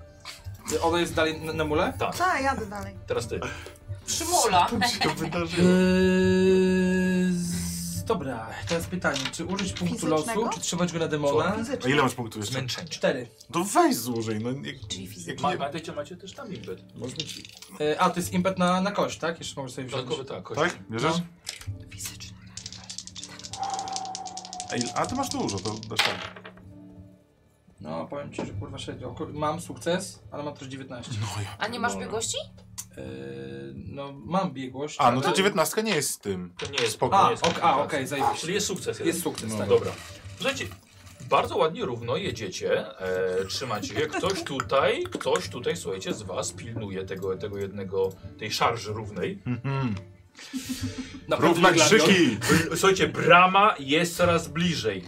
Speaker 5: Ty- Ona jest dalej na, na mule?
Speaker 1: Tak,
Speaker 2: Tak, jadę dalej.
Speaker 1: teraz ty.
Speaker 7: Przymula.
Speaker 3: Co się to wydarzyło?
Speaker 5: Eee, z- dobra, teraz pytanie, czy użyć punktu
Speaker 2: Fizycznego?
Speaker 5: losu, czy trzymać go na demona?
Speaker 3: A ile masz punktów jeszcze?
Speaker 1: Zmęczenie.
Speaker 5: Cztery.
Speaker 3: To weź złożej, no jak,
Speaker 7: Czyli
Speaker 3: jak
Speaker 1: Ma,
Speaker 3: nie...
Speaker 1: pamiętajcie, macie też tam impet.
Speaker 5: Eee, a, to jest impet na, na kość, tak? Jeszcze możesz sobie wziąć.
Speaker 1: Dodatkowy tak, kości.
Speaker 3: Tak? Bierzesz?
Speaker 5: No.
Speaker 2: Fizyczny.
Speaker 3: A, il- a ty masz dużo, to dasz tak.
Speaker 5: No, powiem ci, że kurwa średnio. Ko- Mam sukces, ale mam też 19.
Speaker 3: No ja
Speaker 7: A nie masz
Speaker 3: pierdolę.
Speaker 7: biegłości?
Speaker 5: Eee, no, mam biegłość. tak?
Speaker 3: A, no to
Speaker 5: ale-
Speaker 3: dziewiętnastka nie jest z tym.
Speaker 1: To nie jest
Speaker 3: Spoko.
Speaker 5: A,
Speaker 1: nie
Speaker 5: ok,
Speaker 1: jest
Speaker 5: a, okej,
Speaker 1: komplikacja.
Speaker 5: okay,
Speaker 1: Czyli jest sukces. jeden.
Speaker 5: Jest sukces,
Speaker 3: No.
Speaker 5: tak.
Speaker 1: Dobra. Słuchajcie, bardzo ładnie równo jedziecie, e, trzymacie się. Ktoś tutaj, ktoś tutaj, słuchajcie, z was pilnuje tego, tego jednego, tej szarży równej.
Speaker 3: Mhm.
Speaker 5: Naprawdę
Speaker 3: Równa
Speaker 5: wygląda-
Speaker 3: krzyki!
Speaker 1: Bl- Słuchajcie, brama jest coraz bliżej.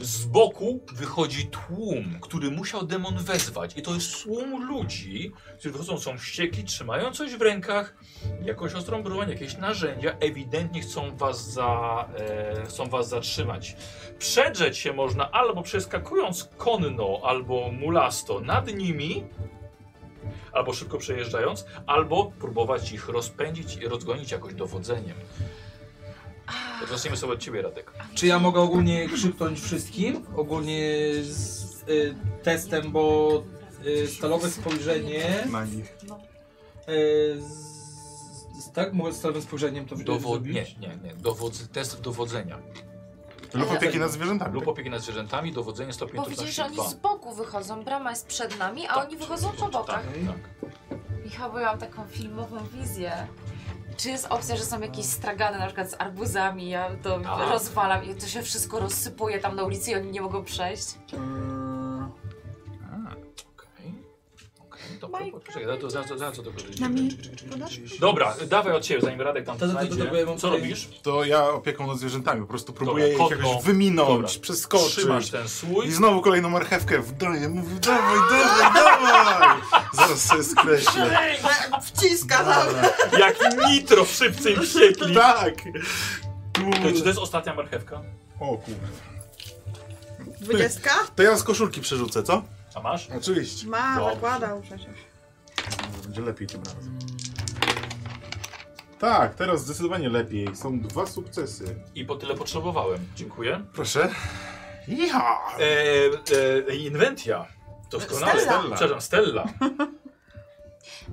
Speaker 1: Z boku wychodzi tłum, który musiał demon wezwać. I to jest tłum ludzi, którzy wychodzą, są wściekli, trzymają coś w rękach, jakąś ostrą broń, jakieś narzędzia. Ewidentnie chcą was, za, e, chcą was zatrzymać. Przedrzeć się można albo przeskakując konno, albo mulasto nad nimi, albo szybko przejeżdżając, albo próbować ich rozpędzić i rozgonić jakoś dowodzeniem. Zacznijmy sobie od ciebie, Radek.
Speaker 5: Czy ja mogę ogólnie krzyknąć wszystkim? Ogólnie z y, testem, bo y, stalowe spojrzenie.
Speaker 3: Na nich.
Speaker 5: Y, z, z, tak, mogę stalowym spojrzeniem to
Speaker 1: Dowod... Nie,
Speaker 5: zrobić?
Speaker 1: nie, nie. Dowodz... Test dowodzenia.
Speaker 3: Lub opieki nad zwierzętami.
Speaker 1: Lub opieki nad zwierzętami, dowodzenie stopień
Speaker 7: Bo widzisz, że
Speaker 1: trudności 2.
Speaker 7: oni z boku wychodzą, brama jest przed nami, a oni wychodzą po bokach.
Speaker 1: Tak, tak.
Speaker 7: I chyba byłam taką filmową wizję. Czy jest opcja, że są jakieś stragany na przykład z arbuzami, ja to
Speaker 1: Tak.
Speaker 7: rozwalam i to się wszystko rozsypuje tam na ulicy i oni nie mogą przejść?
Speaker 1: Okej. Okej, to, po- po- poczekaj, to, to, za- za- za co to korzyści?
Speaker 2: Nami
Speaker 1: Dobra, dawaj od ciebie, zanim Radek tam
Speaker 5: To-
Speaker 1: to,
Speaker 5: to- to- to- to- ja mam
Speaker 1: Co
Speaker 5: tutaj-
Speaker 1: robisz?
Speaker 3: To ja opieką nad zwierzętami po prostu próbuję
Speaker 1: Dobra,
Speaker 3: ich
Speaker 1: kotwą.
Speaker 3: jakoś wyminąć,
Speaker 1: Dobra. Trzymasz
Speaker 3: przeskoczyć.
Speaker 1: ten słój.
Speaker 3: I znowu kolejną marchewkę wdaję, mówię dawaj, dawaj, dawaj! Zaraz sobie skreślę.
Speaker 7: *laughs*
Speaker 3: Tak.
Speaker 2: Wciska
Speaker 3: Dobra.
Speaker 1: Jak nitro w szybcej wściekli.
Speaker 3: Tak!
Speaker 1: To czy to jest ostatnia marchewka?
Speaker 3: O kurde.
Speaker 2: Dwudziestka?
Speaker 3: To ja z koszulki przerzucę, co?
Speaker 1: A masz?
Speaker 3: Oczywiście.
Speaker 2: Ma,
Speaker 1: Dobrze.
Speaker 2: zakładał przecież.
Speaker 3: Może Będzie lepiej tym razem. Tak, teraz zdecydowanie lepiej. Są dwa sukcesy.
Speaker 1: I po tyle potrzebowałem. Dziękuję.
Speaker 3: Proszę. Iha!
Speaker 1: E, e, inwentia. Doskonale.
Speaker 2: Stella.
Speaker 1: Przepraszam, Stella.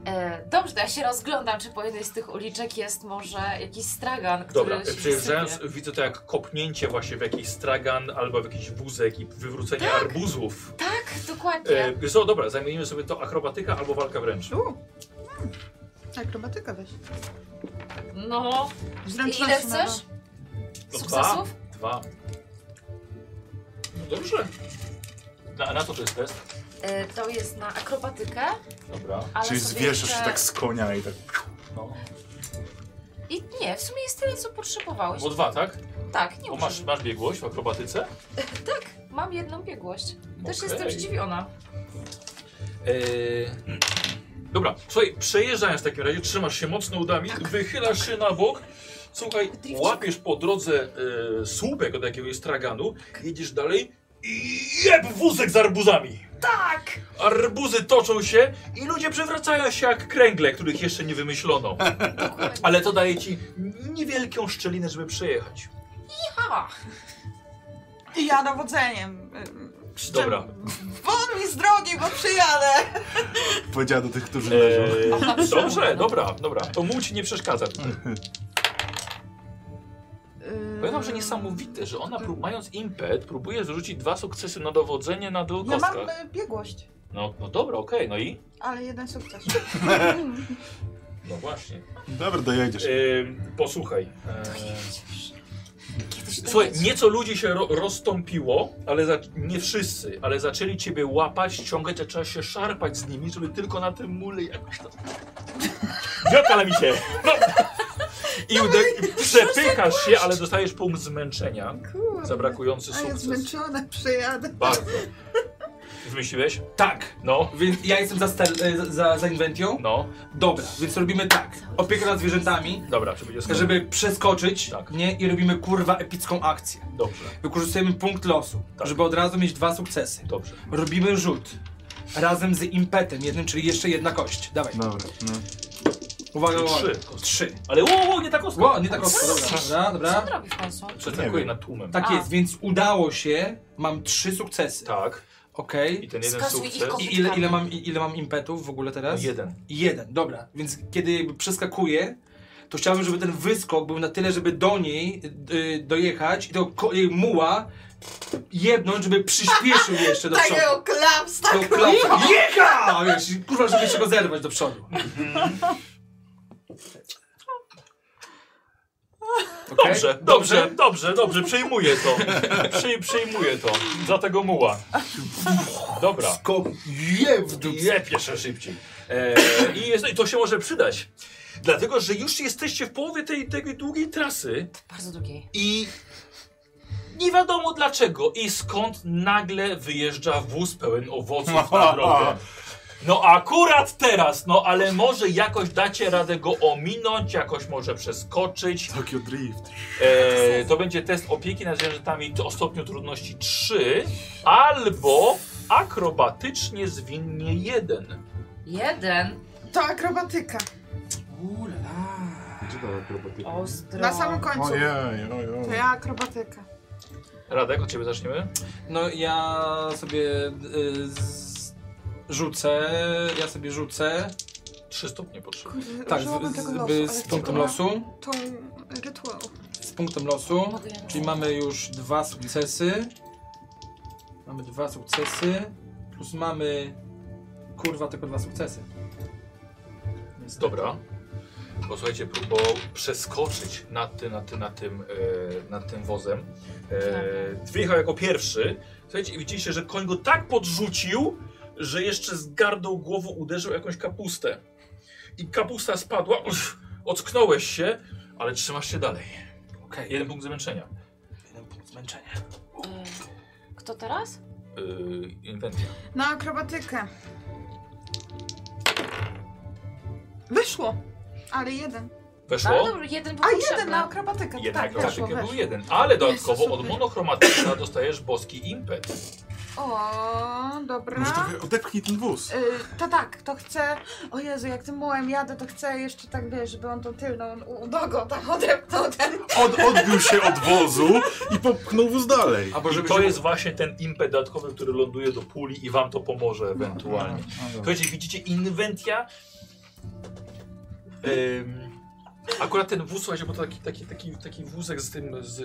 Speaker 7: E, dobrze, to ja się rozglądam, czy po jednej z tych uliczek jest może jakiś stragan, który
Speaker 1: Dobra,
Speaker 7: się
Speaker 1: przejeżdżając
Speaker 7: sypie.
Speaker 1: widzę to jak kopnięcie właśnie w jakiś stragan albo w jakiś wózek i wywrócenie arbuzów.
Speaker 7: Tak, dokładnie.
Speaker 1: E, wiesz co, dobra, zamienimy sobie to akrobatyka albo walka wręcz.
Speaker 2: Hmm. Akrobatyka weź.
Speaker 7: No,
Speaker 2: Zręczności
Speaker 7: ile
Speaker 2: na dwa.
Speaker 7: chcesz?
Speaker 1: No
Speaker 7: Sukcesów?
Speaker 1: Dwa. No dobrze. Na, na co to jest test?
Speaker 7: E, to jest na akrobatykę,
Speaker 1: Dobra.
Speaker 7: ale
Speaker 3: Czyli
Speaker 7: sobie
Speaker 3: zwieszasz
Speaker 7: jeszcze...
Speaker 3: się tak z konia i tak...
Speaker 1: No.
Speaker 7: I nie, w sumie jest tyle, co potrzebowałeś.
Speaker 1: O dwa, tak?
Speaker 7: Tak, nie
Speaker 1: O,
Speaker 7: muszę.
Speaker 1: masz, masz biegłość w akrobatyce?
Speaker 7: Mam jedną biegłość. Też
Speaker 1: Okej.
Speaker 7: jestem zdziwiona.
Speaker 1: Eee, Dobra, słuchaj, przejeżdżając w takim razie, trzymasz się mocno udami, wychylasz się na bok. Słuchaj, łapiesz po drodze e, słupek od jakiegoś straganu, jedziesz dalej i jeb wózek z arbuzami. Tak! Arbuzy toczą się i ludzie przewracają się jak kręgle, których jeszcze nie wymyślono. Ale to daje ci niewielką szczelinę, żeby przejechać.
Speaker 7: Ha!
Speaker 2: I ja dowodzeniem. ym, krzyczę,
Speaker 1: Dobra.
Speaker 2: Won mi z drogi, bo przyjadę!
Speaker 3: Powiedziała do tych, którzy leżą.
Speaker 7: E,
Speaker 1: Eee, dobrze, dobra, dobra. To mu ci nie przeszkadza. tutaj. Yy, Pamiętam, że niesamowite, że ona prób, mając impet, próbuje zrzucić dwa sukcesy na dowodzenie na dwóch
Speaker 2: Ja mam
Speaker 1: kostkach.
Speaker 2: y, biegłość,
Speaker 1: No, no dobra, okej, no i?
Speaker 2: ale jeden sukces.
Speaker 1: No właśnie.
Speaker 3: Dobra, dojedziesz.
Speaker 7: e,
Speaker 1: Ehm, posłuchaj.
Speaker 7: Kiedyś
Speaker 1: Ehm,
Speaker 7: to
Speaker 1: słuchaj,
Speaker 7: będzie.
Speaker 1: nieco ludzi się ro rozstąpiło, ale za, nie wszyscy, ale zaczęli ciebie łapać, ciągać, a trzeba się szarpać z nimi, żeby tylko na tym mule jakoś tam... Wiokala mi się! No.
Speaker 2: No,
Speaker 1: I ude... przepychasz się, ale dostajesz punkt zmęczenia za brakujący
Speaker 2: A ja
Speaker 1: sukces.
Speaker 2: zmęczona, przyjadę.
Speaker 1: Bardzo. Wymyśliłeś? Tak, no,
Speaker 5: Więc ja jestem za, stel, e, za- za, za inwentją.
Speaker 1: no.
Speaker 5: Dobra, więc robimy tak. Opiekę nad zwierzętami,
Speaker 1: Dobra, żeby jest
Speaker 5: żeby przeskoczyć,
Speaker 1: Tak.
Speaker 5: nie? I robimy kurwa epicką akcję.
Speaker 1: Dobrze,
Speaker 5: Wykorzystujemy punkt losu,
Speaker 1: Tak.
Speaker 5: żeby od razu mieć dwa sukcesy.
Speaker 1: dobrze.
Speaker 5: Robimy rzut. Razem z impetem jednym, czyli jeszcze jedna kość. Dawaj.
Speaker 3: Dobra, no.
Speaker 5: Uwaga,
Speaker 1: Czyli
Speaker 5: uwaga.
Speaker 1: trzy.
Speaker 5: Trzy.
Speaker 1: Ale ło, ło, nie tak ostro.
Speaker 5: Ło, nie tak ostro, dobra, dobra,
Speaker 7: Co on
Speaker 5: dobra.
Speaker 7: robi w końcu?
Speaker 1: Przeskakuję nad tłumem.
Speaker 5: Tak
Speaker 7: A.
Speaker 5: jest, więc udało się. Mam trzy sukcesy.
Speaker 1: Tak.
Speaker 5: Okej.
Speaker 1: I ten jeden
Speaker 7: Skasuj ich
Speaker 1: sukces.
Speaker 7: kogoś.
Speaker 5: I ile, ile, mam, i- ile mam impetów w ogóle teraz?
Speaker 1: Jeden.
Speaker 5: Jeden, dobra. Więc kiedy jakby przeskakuję, to chciałbym, żeby ten wyskok był na tyle, żeby do niej y, dojechać i tego ko- jej muła jebnąć, żeby przyspieszył jeszcze do przodu.
Speaker 2: Takiego klaps,
Speaker 5: Do
Speaker 2: tak
Speaker 5: klapy. Jecha! No, Wiesz, i kurwa, żeby się go zerwać do przodu. Okej?
Speaker 1: Dobrze, dobrze, dobrze, dobrze, przyjmuję to. Przy, przyjmuję to. Za tego muła. Dobra.
Speaker 5: Skok jeb w dupę.
Speaker 1: Jep jeszcze szybciej. E, i, jest, I to się może przydać. Dlatego, że już jesteście w połowie tej, tej długiej trasy
Speaker 7: Bardzo długiej.
Speaker 1: i nie wiadomo dlaczego i skąd nagle wyjeżdża wóz pełen owoców na drogę. No akurat teraz, no ale może jakoś dacie radę go ominąć, jakoś może przeskoczyć.
Speaker 3: Tokyo Drift.
Speaker 1: E, to będzie test opieki nad zwierzętami o stopniu trudności 3 albo akrobatycznie zwinnie 1.
Speaker 7: Jeden.
Speaker 2: To akrobatyka.
Speaker 9: Gdzie ta akrobatyka?
Speaker 7: Ostro.
Speaker 2: Na samym końcu.
Speaker 3: Ojej, ojej.
Speaker 2: To ja akrobatyka.
Speaker 1: Radek, od ciebie zaczniemy?
Speaker 5: No ja sobie y, z... rzucę, ja sobie rzucę.
Speaker 1: 3 stopnie potrzebne.
Speaker 2: Kurde,
Speaker 5: Tak,
Speaker 2: użyłabym
Speaker 5: z,
Speaker 2: tego
Speaker 5: z,
Speaker 2: losu,
Speaker 5: by-
Speaker 2: ale
Speaker 5: z
Speaker 2: chciałabym
Speaker 5: punktem losu.
Speaker 2: Tą rytuał.
Speaker 5: Z punktem losu.
Speaker 7: Mogę ją-
Speaker 5: Czyli mamy już dwa sukcesy. Mamy dwa sukcesy. Plus mamy. Kurwa, tylko dwa sukcesy. Niestety.
Speaker 1: Dobra. Posłuchajcie, próbował przeskoczyć nad, ty, nad, ty, nad, tym, e, nad tym wozem. E, wyjechał jako pierwszy. Słuchajcie, i widzieliście, że koń go tak podrzucił, że jeszcze z gardą głową uderzył jakąś kapustę. I kapusta spadła, uff, ocknąłeś się, ale trzymasz się dalej.
Speaker 5: Okej,
Speaker 1: Jeden punkt zmęczenia.
Speaker 5: jeden punkt zmęczenia.
Speaker 7: Y, Kto teraz?
Speaker 1: Yy, inwencja.
Speaker 2: Na akrobatykę. Wyszło! Ale jeden.
Speaker 7: Ale
Speaker 1: Weszło?
Speaker 7: dobry, jeden był
Speaker 2: A jeden
Speaker 7: potrzebny.
Speaker 2: na akrobatykę.
Speaker 1: Jeden
Speaker 2: tak, weszło,
Speaker 1: akrobatykę
Speaker 2: weszło.
Speaker 1: był jeden, ale dodatkowo
Speaker 2: Jezu,
Speaker 1: od
Speaker 2: super.
Speaker 1: monochromatyczna dostajesz boski impet.
Speaker 2: O,
Speaker 3: Może
Speaker 2: dobra.
Speaker 3: trochę odepchnij ten wóz.
Speaker 2: Y, to tak, to chcę. O Jezu, jak tym mułem jadę, to chcę jeszcze tak wiesz, żeby on tą tylną u- nogą tam odepnął ten.
Speaker 3: Od, odbił się od wozu i popchnął wóz dalej.
Speaker 5: Albo
Speaker 1: I
Speaker 5: żeby
Speaker 1: to jest właśnie ten impet dodatkowy, który ląduje do puli i wam to pomoże ewentualnie.
Speaker 3: no,
Speaker 1: Słuchajcie, widzicie inwentia. Em, akurat ten wóz, słuchajcie, bo to taki, taki, taki, taki wózek z tym, z...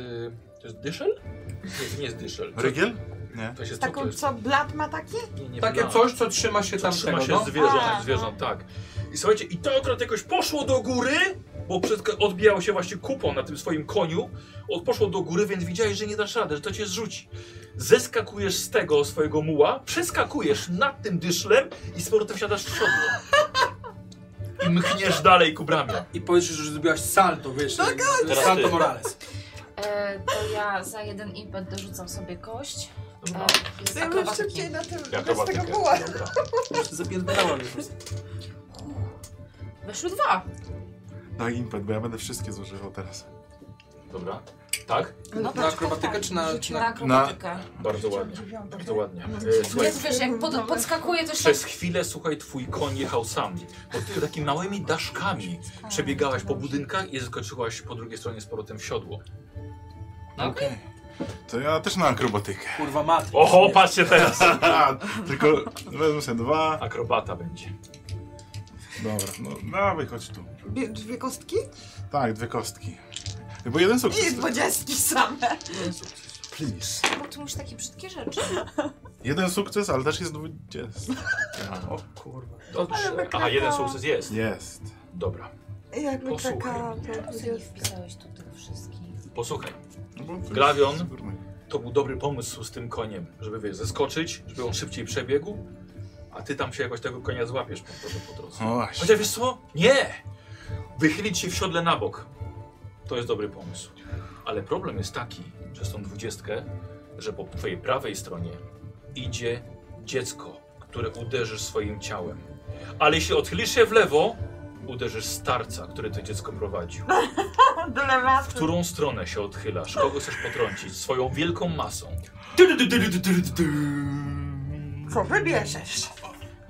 Speaker 1: To jest dyszel? Nie, to nie jest dyszel. To,
Speaker 3: Rygiel?
Speaker 1: to się co to
Speaker 2: Taką
Speaker 1: jest?
Speaker 2: co blat ma taki?
Speaker 1: Nie, nie
Speaker 5: Takie
Speaker 1: wiem. no.
Speaker 5: coś, co trzyma się
Speaker 1: Co
Speaker 5: tam
Speaker 1: trzyma
Speaker 5: tego,
Speaker 1: się
Speaker 5: no.
Speaker 1: zwierząt,
Speaker 2: A, no.
Speaker 1: zwierząt, tak. I słuchajcie, i to akurat jakoś poszło do góry, bo przed, odbijało się właśnie kupą na tym swoim koniu. Od, poszło do góry, więc widziałeś, że nie dasz rady, że to cię zrzuci. Zeskakujesz z tego swojego muła, przeskakujesz nad tym dyszlem i z powrotem wsiadasz w siodło. I mchniesz dalej ku bramie.
Speaker 5: I powiesz, że zrobiłaś salto, wiesz, jak-
Speaker 1: Teraz
Speaker 5: salto
Speaker 1: ty.
Speaker 5: Morales.
Speaker 7: Y, to ja za jeden impet dorzucam sobie kość. Y,
Speaker 1: Dobra.
Speaker 2: Ja
Speaker 7: z
Speaker 2: bym
Speaker 7: akrobatyki.
Speaker 2: szybciej na tym bez
Speaker 1: Akrobatykę.
Speaker 2: No. tego muła.
Speaker 1: Dobra.
Speaker 5: Zapierdalała mnie po prostu.
Speaker 7: Weszły dwa.
Speaker 3: Daj impet, bo ja będę wszystkie zużywał teraz.
Speaker 1: Dobra. Tak?
Speaker 7: No
Speaker 5: Na akrobatykę czy na... czy
Speaker 7: Na
Speaker 5: na...
Speaker 7: akrobatykę.
Speaker 1: Bardzo ładnie. Bardzo ładnie. E, słuchaj,
Speaker 7: Jest, wiesz, jak pod, podskakuje, to się
Speaker 1: Przez chwilę, słuchaj, twój koń jechał sam. Bo ty takimi małymi daszkami przebiegałaś po budynkach i zaskoczyłaś po drugiej stronie z powrotem w siodło.
Speaker 3: Okej. To ja też na akrobatykę. *laughs*
Speaker 5: Kurwa matki.
Speaker 1: Oho, patrzcie teraz!
Speaker 3: A, tylko wezmę sobie dwa.
Speaker 1: Akrobata będzie.
Speaker 3: Dobra, no dawaj, chodź tu.
Speaker 2: Dwie, dwie kostki?
Speaker 3: Tak, dwie kostki. Bo jeden
Speaker 2: I
Speaker 3: sukces.
Speaker 2: dwudziestki same.
Speaker 3: Please.
Speaker 7: Bo ty mówisz takie brzydkie rzeczy.
Speaker 3: Jeden sukces, ale też jest dwudziesty.
Speaker 1: O kurwa. no, Dobrze. Aha, jeden sukces jest.
Speaker 3: Jest.
Speaker 1: Dobra,
Speaker 2: Jakby
Speaker 1: Posłuchaj
Speaker 2: czekała.
Speaker 1: mnie.
Speaker 2: to
Speaker 7: Czemu sobie nie
Speaker 2: dwudziestki.
Speaker 7: wpisałeś tu tych wszystkich?
Speaker 1: posłuchaj.
Speaker 3: No bo to jest
Speaker 1: Glawion.
Speaker 3: z górnej.
Speaker 1: To był dobry pomysł z tym koniem, żeby wiesz, zeskoczyć, żeby on szybciej przebiegł, a ty tam się jakoś tego konia złapiesz po prostu po drodze.
Speaker 3: No właśnie.
Speaker 1: Chociaż wiesz co? Nie! Wychylić się w siodle na bok. To jest dobry pomysł. Ale problem jest taki, przez tą dwudziestkę, że po twojej prawej stronie idzie dziecko, które uderzysz swoim ciałem. Ale jeśli odchylisz się w lewo, uderzysz starca, który to dziecko prowadził. W którą stronę się odchylasz? Kogo chcesz potrącić? Swoją wielką masą.
Speaker 2: Co wybierzesz?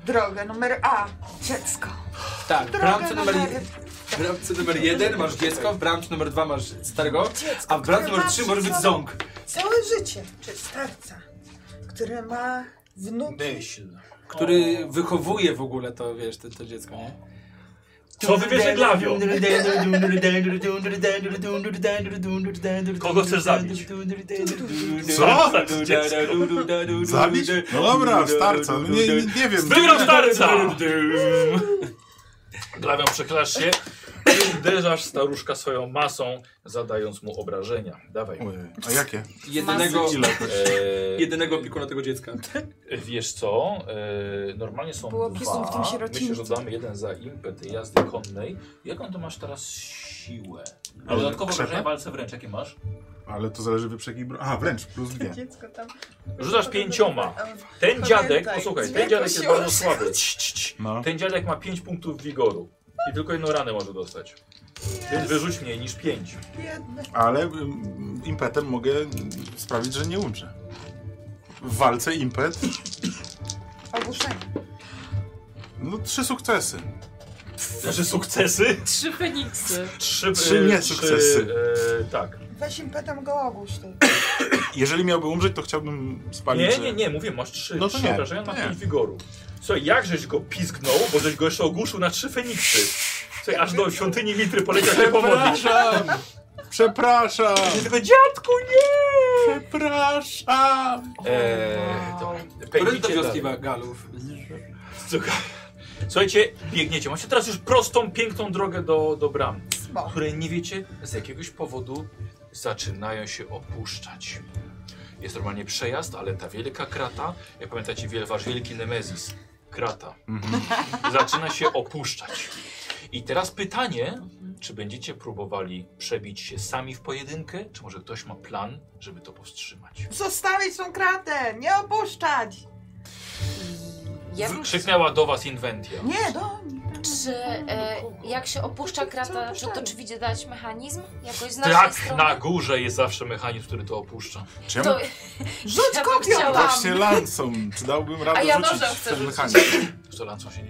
Speaker 2: Drogę numer A. Dziecko.
Speaker 5: Tak, w bramce
Speaker 2: Drogę
Speaker 5: numer,
Speaker 2: numer...
Speaker 5: w bramce numer jeden masz dziecko, w bramce numer dwa masz starego,
Speaker 2: Dziecko,
Speaker 5: a w bramce
Speaker 2: które
Speaker 5: numer
Speaker 2: ma
Speaker 5: trzy może być
Speaker 2: przed
Speaker 5: ząg.
Speaker 2: Całe życie. Czy starca, który ma wnuki.
Speaker 1: Myśl.
Speaker 5: który wychowuje w ogóle to, wiesz, to, to dziecko, nie?
Speaker 1: Co wybierze Glawio? Kogo chcesz zabić?
Speaker 3: Co?
Speaker 1: Tak, Dziecko.
Speaker 3: Zabić? No dobra, starca. No nie, nie, nie wiem.
Speaker 1: Wygrał starca! Glawią przechylasz się i uderzasz staruszka swoją masą, zadając mu obrażenia. Dawaj. E,
Speaker 3: Ojej, A jakie?
Speaker 5: Jedynego,
Speaker 3: Ile?
Speaker 1: Eee,
Speaker 5: jedynego opiekuna tego dziecka.
Speaker 1: Wiesz co, eee, normalnie są
Speaker 2: Było
Speaker 1: dwa.
Speaker 2: pisów w tym sierocińcu.
Speaker 1: Myślę, że damy jeden za impet jazdy konnej. Jaką to masz teraz siłę? A dodatkowo
Speaker 3: Krzepę?
Speaker 1: obrażenia w walce wręcz, jakie masz?
Speaker 3: Ale to zależy wyprzek i bro... A, wręcz, plus dwie.
Speaker 2: Dziecko tam.
Speaker 1: Rzucasz pięcioma. Ten
Speaker 2: Pamiętaj,
Speaker 1: dziadek, posłuchaj, ten
Speaker 2: dźwięk
Speaker 1: dziadek jest
Speaker 2: osiąga.
Speaker 1: bardzo słaby.
Speaker 3: No.
Speaker 1: Ten dziadek ma 5 punktów wigoru i tylko jedną ranę może dostać. Więc wyrzuć mniej niż 5.
Speaker 2: Biedny.
Speaker 3: Ale mm, impetem mogę sprawić, że nie umrze. W walce impet.
Speaker 2: Ogłuszenie.
Speaker 3: No trzy sukcesy.
Speaker 1: Znaczy sukcesy?
Speaker 7: Trzy feniksy.
Speaker 1: Trzy,
Speaker 3: Trzy
Speaker 1: e,
Speaker 3: niesukcesy.
Speaker 1: trzy, e, tak.
Speaker 2: Weź impetem go ogłusz ty.
Speaker 3: Jeżeli miałby umrzeć, to chciałbym spalić.
Speaker 1: Nie,
Speaker 3: że-
Speaker 1: nie, nie, mówię, masz trzy.
Speaker 3: No to
Speaker 1: trzy
Speaker 3: nie,
Speaker 1: obrażenia na
Speaker 3: to nie.
Speaker 1: 5 wigoru. Słuchaj, jak żeś go pisknął, bo żeś go jeszcze ogłuszył na trzy feniksy. Słuchaj, aż do świątyni Mitry poleciał się pomodlić.
Speaker 3: Przepraszam! Przepraszam!
Speaker 1: I Tylko dziadku, nie!
Speaker 3: Przepraszam!
Speaker 1: Eee,
Speaker 7: Wow.
Speaker 1: dobra.
Speaker 5: Który
Speaker 1: Pędzicie
Speaker 5: do wioski
Speaker 1: dalej.
Speaker 5: Galów?
Speaker 1: Słuchaj. Słuchajcie, biegniecie. Macie teraz już prostą, piękną drogę do, do bram,
Speaker 2: Smok.
Speaker 1: które nie wiecie, z jakiegoś powodu zaczynają się opuszczać. Jest normalnie przejazd, ale ta wielka krata, jak pamiętacie, wiel, wasz wielki Nemezis, krata, zaczyna się opuszczać. I teraz pytanie, czy będziecie próbowali przebić się sami w pojedynkę, czy może ktoś ma plan, żeby to powstrzymać?
Speaker 2: Zostawić tą kratę! Nie opuszczać!
Speaker 7: Ja bym
Speaker 1: Krzyknęła do was Inventia.
Speaker 2: Nie, do
Speaker 7: Czy e, jak się opuszcza krata, czy to czy widać mechanizm jakoś z naszej
Speaker 1: Tak,
Speaker 7: strony?
Speaker 1: na górze jest zawsze mechanizm, który to opuszcza.
Speaker 3: Czemu?
Speaker 7: To,
Speaker 2: Rzuć
Speaker 7: Ja bym
Speaker 2: kopią
Speaker 7: chciała.
Speaker 2: tam!
Speaker 3: Właśnie lancą. Czy dałbym radę
Speaker 4: A ja
Speaker 3: rzucić
Speaker 4: nożem chcę
Speaker 3: ten
Speaker 4: rzucić.
Speaker 3: mechanizm?
Speaker 1: To lancą się nie,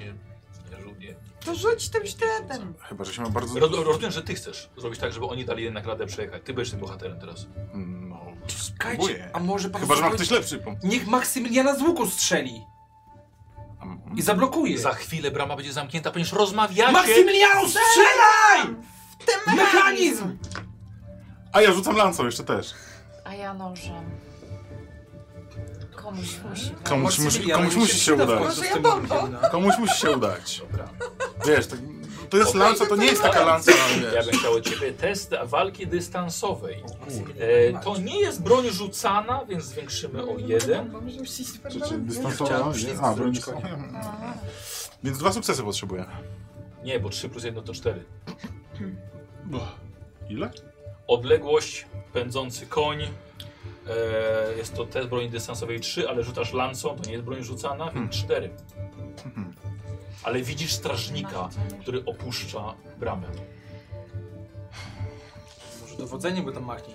Speaker 1: nie rzutnie.
Speaker 2: To rzuć tym sztyletem!
Speaker 3: Chyba, że się ma bardzo...
Speaker 1: Roz- Rozumiem, że ty chcesz zrobić tak, żeby oni dali jednak radę przejechać. Ty będziesz tym bohaterem teraz.
Speaker 3: No,
Speaker 5: Czekajcie,
Speaker 3: spróbuję.
Speaker 5: a może pan
Speaker 3: Chyba, że ma
Speaker 5: zrobi-
Speaker 3: ktoś lepszy pomysł.
Speaker 5: Niech Maksymiliana z łuku strzeli
Speaker 3: Mhm.
Speaker 5: i zablokuje.
Speaker 1: Za chwilę brama będzie zamknięta, ponieważ rozmawiacie.
Speaker 5: Tak Maksymilianu, strzelaj!
Speaker 2: W tym
Speaker 5: Mechanizm!
Speaker 3: A ja rzucam lancą jeszcze też.
Speaker 7: a ja nożem. Komuś musi być.
Speaker 3: Komuś, musi,
Speaker 5: Maksymilianu,
Speaker 3: komuś
Speaker 5: mi
Speaker 3: musi się
Speaker 5: przyda w
Speaker 3: udać.
Speaker 5: końcu
Speaker 2: Może
Speaker 5: w
Speaker 2: ja
Speaker 5: tym
Speaker 2: bombą?
Speaker 5: momencie, no.
Speaker 3: Komuś musi się udać.
Speaker 1: Dobra.
Speaker 3: Wiesz, to, to jest
Speaker 1: Okej,
Speaker 3: lanca, to nie jest taka lanca,
Speaker 1: Ja
Speaker 3: wiesz.
Speaker 1: bym chciał od ciebie test walki dystansowej. E,
Speaker 5: Kurde.
Speaker 1: to nie jest broń rzucana, więc zwiększymy o jeden.
Speaker 9: Rzeczy
Speaker 5: Chciałem
Speaker 9: dystansowa.
Speaker 5: przyjść
Speaker 9: nie? A, broń
Speaker 5: z rączką.
Speaker 3: Więc dwa sukcesy potrzebuję.
Speaker 1: Nie, bo 3 plus 1 to 4.
Speaker 3: Ile?
Speaker 1: Odległość, pędzący koń. E, jest to test broni dystansowej 3, ale rzucasz lancą, to nie jest broń rzucana, więc 4.
Speaker 3: Mhm.
Speaker 1: Ale widzisz strażnika, który opuszcza bramę.
Speaker 5: Może dowodzenie go tam machnie.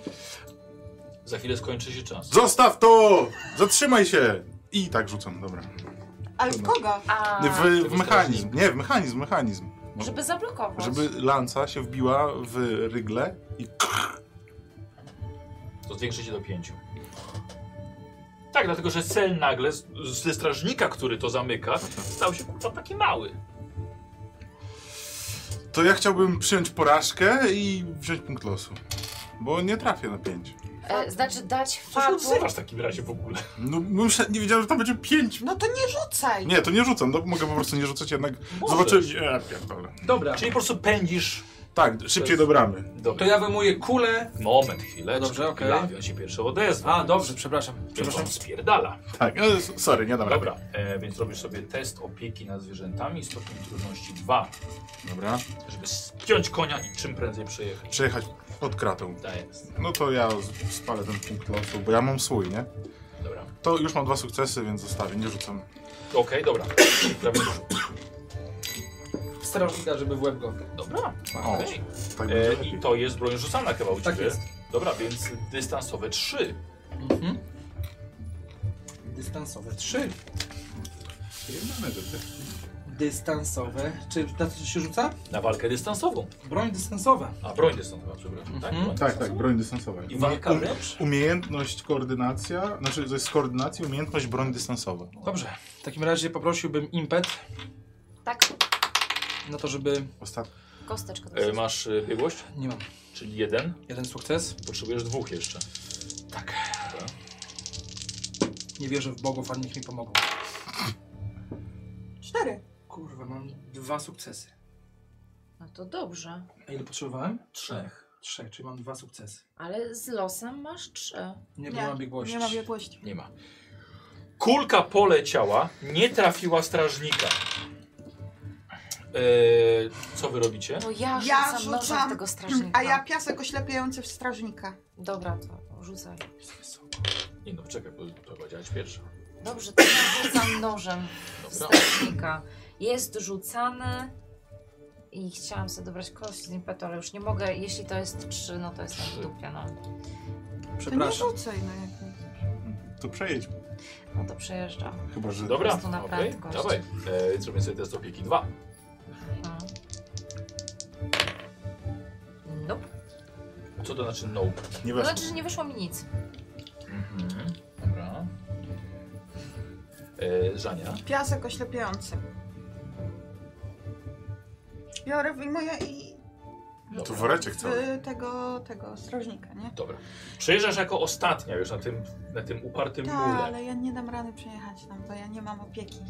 Speaker 1: Za chwilę skończy się czas.
Speaker 3: Zostaw to! Zatrzymaj się! I tak rzucam, dobra.
Speaker 2: Ale w kogo?
Speaker 7: A,
Speaker 3: W, w mechanizm, nie, w mechanizm, mechanizm. No,
Speaker 7: żeby zablokować.
Speaker 3: Żeby lanca się wbiła w rygle i
Speaker 1: To zwiększy się do 5. Tak, dlatego że cel nagle z- ze strażnika, który to zamyka, stał się kurwa taki mały.
Speaker 3: To ja chciałbym przyjąć porażkę i wziąć punkt losu. Bo nie trafię na pięć.
Speaker 7: E, znaczy dać
Speaker 1: Co się
Speaker 7: fatu.
Speaker 1: odzywasz No w takim razie w ogóle?
Speaker 3: No, muszę, nie wiedziałem, że tam będzie pięć.
Speaker 2: No to nie rzucaj!
Speaker 3: Nie, to nie rzucam, no, mogę po prostu nie rzucać, jednak
Speaker 1: Możesz.
Speaker 3: zobaczyłem. Ja pierdolę.
Speaker 5: Dobra,
Speaker 1: Czyli po prostu pędzisz.
Speaker 3: Tak, szybciej do bramy.
Speaker 5: to
Speaker 1: Dobra.
Speaker 5: ja wyjmuję kulę.
Speaker 1: Moment, chwilę.
Speaker 5: No Dobrze, okej.
Speaker 1: Lawion się pierwszy odezwa.
Speaker 5: A, dobrze, przepraszam.
Speaker 1: Przepraszam,
Speaker 5: Przepraszam.
Speaker 1: spierdala.
Speaker 3: Tak, no, s- sorry, nie dam
Speaker 1: Dobra, e, więc robisz sobie test opieki nad zwierzętami stopień trudności 2,
Speaker 3: rady. Dobra.
Speaker 1: żeby spiąć konia i czym prędzej przejechać.
Speaker 3: Przejechać pod kratą.
Speaker 1: Tak jest.
Speaker 3: No to ja z- spalę ten punkt losu, bo ja mam swój, nie?
Speaker 1: Dobra.
Speaker 3: To już mam dwa sukcesy, więc zostawię, nie rzucam.
Speaker 1: Okej, dobra. *coughs* Prawie dużo.
Speaker 5: Strażnika, żeby w łeb go.
Speaker 1: Dobra,
Speaker 3: O,
Speaker 1: okej.
Speaker 3: Tak będzie
Speaker 1: E, I
Speaker 3: lepiej.
Speaker 1: to jest broń rzucana chyba u
Speaker 5: Tak
Speaker 1: ciebie.
Speaker 5: jest.
Speaker 1: Dobra, więc dystansowe 3.
Speaker 5: Mhm. Dystansowe. Trzy. Dystansowe. Czy na co się rzuca?
Speaker 1: Na walkę dystansową.
Speaker 5: Broń dystansowa.
Speaker 1: A broń dystansowa, przepraszam. Tak,
Speaker 5: Mhm.
Speaker 1: broń
Speaker 3: Tak, tak,
Speaker 1: dystansowa.
Speaker 3: broń dystansowa.
Speaker 1: I walka
Speaker 3: Umie-
Speaker 1: wręcz?
Speaker 3: Umiejętność, koordynacja, znaczy to jest koordynacja, umiejętność, broń dystansowa.
Speaker 5: Dobrze. W takim razie poprosiłbym impet
Speaker 7: Tak,
Speaker 5: na to, żeby...
Speaker 3: Ostatni.
Speaker 7: kosteczka.
Speaker 1: E, masz e, biegłość,
Speaker 5: Nie mam.
Speaker 1: czyli jeden.
Speaker 5: Jeden sukces.
Speaker 1: Potrzebujesz dwóch jeszcze.
Speaker 5: Tak.
Speaker 1: Dobra.
Speaker 5: Nie wierzę w bogów, ale niech mi pomogą.
Speaker 2: Cztery.
Speaker 5: Kurwa, mam dwa sukcesy.
Speaker 7: No to dobrze.
Speaker 5: A ile potrzebowałem?
Speaker 1: Trzech.
Speaker 5: Trzech, czyli mam dwa sukcesy.
Speaker 7: Ale z losem masz trzy.
Speaker 5: Nie,
Speaker 2: Nie,
Speaker 5: nie mam biegłości.
Speaker 2: Nie ma biegłości.
Speaker 1: Nie ma. Kulka poleciała, nie trafiła strażnika. E, co wy robicie?
Speaker 7: To ja rzucam,
Speaker 2: Ja
Speaker 7: nożem
Speaker 2: rzucam,
Speaker 7: w tego strażnika.
Speaker 2: A ja piasek oślepiający w strażnika.
Speaker 7: Dobra, to rzucaj.
Speaker 1: Nie no, czekaj, bo to chyba działać pierwsza.
Speaker 7: Dobrze, to ja
Speaker 1: *coughs*
Speaker 7: rzucam nożem w
Speaker 1: Dobra.
Speaker 7: strażnika. Jest rzucany i chciałam sobie dobrać kość z impetu, ale już nie mogę. Jeśli to jest trzy, no to jest tam w
Speaker 1: Trzy.
Speaker 7: dupie, no.
Speaker 2: To nie
Speaker 5: Przepraszam.
Speaker 2: rzucaj, no jak
Speaker 3: To przejedź,
Speaker 7: No to przejeżdżam.
Speaker 3: chyba że...
Speaker 1: Dobra,
Speaker 7: prostu na
Speaker 1: okej,
Speaker 7: prędkość.
Speaker 1: dawaj. E, więc robimy sobie test opieki 2.
Speaker 7: No. Nope.
Speaker 1: Co to znaczy no?
Speaker 3: Nie
Speaker 7: To
Speaker 3: weszło.
Speaker 7: znaczy, że nie wyszło mi nic.
Speaker 1: Mhm. Dobra. E, Żania.
Speaker 2: Piasek oślepiający. Biorę, wyjmuję i
Speaker 3: No To
Speaker 1: Dobra.
Speaker 3: woreczek cały.
Speaker 2: w tego, tego strażnika, nie?
Speaker 1: Dobra. Przejeżdżasz jako ostatnia już na tym, na tym upartym
Speaker 2: Tak,
Speaker 1: mule.
Speaker 2: ale ja nie dam rady przejechać tam, bo ja nie mam opieki.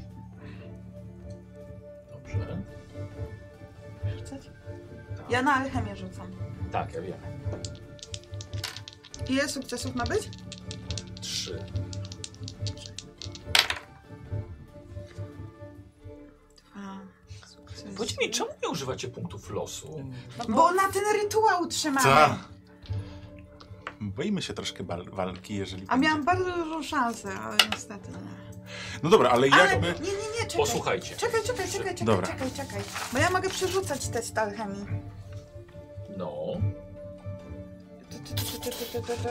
Speaker 1: Dobrze.
Speaker 2: Rzucać? Ja na alchemię rzucam.
Speaker 1: Tak, ja wiem.
Speaker 2: Ile sukcesów ma być?
Speaker 1: Trzy. trzy.
Speaker 2: A, sukces.
Speaker 1: Powiedz mi, czemu nie używacie punktów losu?
Speaker 2: Bo na ten rytuał trzymamy.
Speaker 3: Co? Tak. Boimy się troszkę bal- walki, jeżeli.
Speaker 2: A
Speaker 3: będzie.
Speaker 2: miałam bardzo dużą szansę, ale niestety nie.
Speaker 3: No dobra, ale
Speaker 2: Ale
Speaker 3: jakby.
Speaker 2: nie, nie, nie, czekaj.
Speaker 1: Posłuchajcie.
Speaker 2: Czekaj, czekaj, czekaj, czekaj,
Speaker 3: Dobra.
Speaker 2: czekaj, czekaj. Bo ja mogę przerzucać test alchemii.
Speaker 1: No.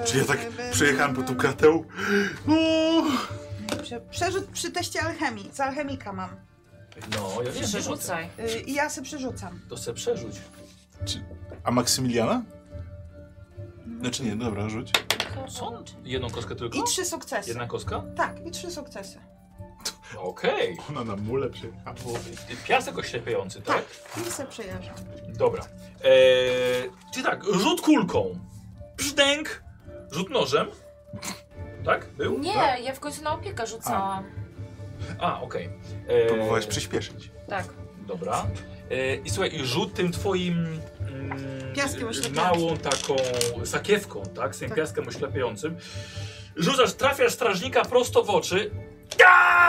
Speaker 3: Czy ja tak przejechałem po tą kratę? Uuu.
Speaker 2: Prze- Przerzut przy teście alchemii. Z alchemika mam.
Speaker 1: No, ja wiem. że to-
Speaker 7: Przerzucaj.
Speaker 2: Y, I ja sobie przerzucam.
Speaker 1: To chcę przerzuć.
Speaker 3: A Maksymiliana?
Speaker 2: Mm.
Speaker 3: Znaczy nie, dobra, rzuć.
Speaker 1: Co? Jedną kostkę tylko?
Speaker 2: I trzy sukcesy.
Speaker 1: Jedna kostka?
Speaker 2: Tak, i trzy sukcesy.
Speaker 1: Okej.
Speaker 3: Ona na mule przyjechała.
Speaker 1: Piasek oślepiający, tak?
Speaker 2: I se przejeżdżam.
Speaker 1: Dobra. Eee, czyli tak, rzut kulką. Brzdęk. Rzut nożem. Tak? Był?
Speaker 7: Nie, ja w końcu na opiekę rzucałam.
Speaker 1: A, okej. Eee,
Speaker 3: Próbowałeś przyspieszyć.
Speaker 7: Tak.
Speaker 1: Dobra. E, I słuchaj, i rzut tym twoim mm,
Speaker 2: Piaskiem oślepiającym.
Speaker 1: małą taką sakiewką, tak? Z tym
Speaker 2: Tak.
Speaker 1: piaskiem oślepiającym. Rzucasz, trafiasz strażnika prosto w oczy.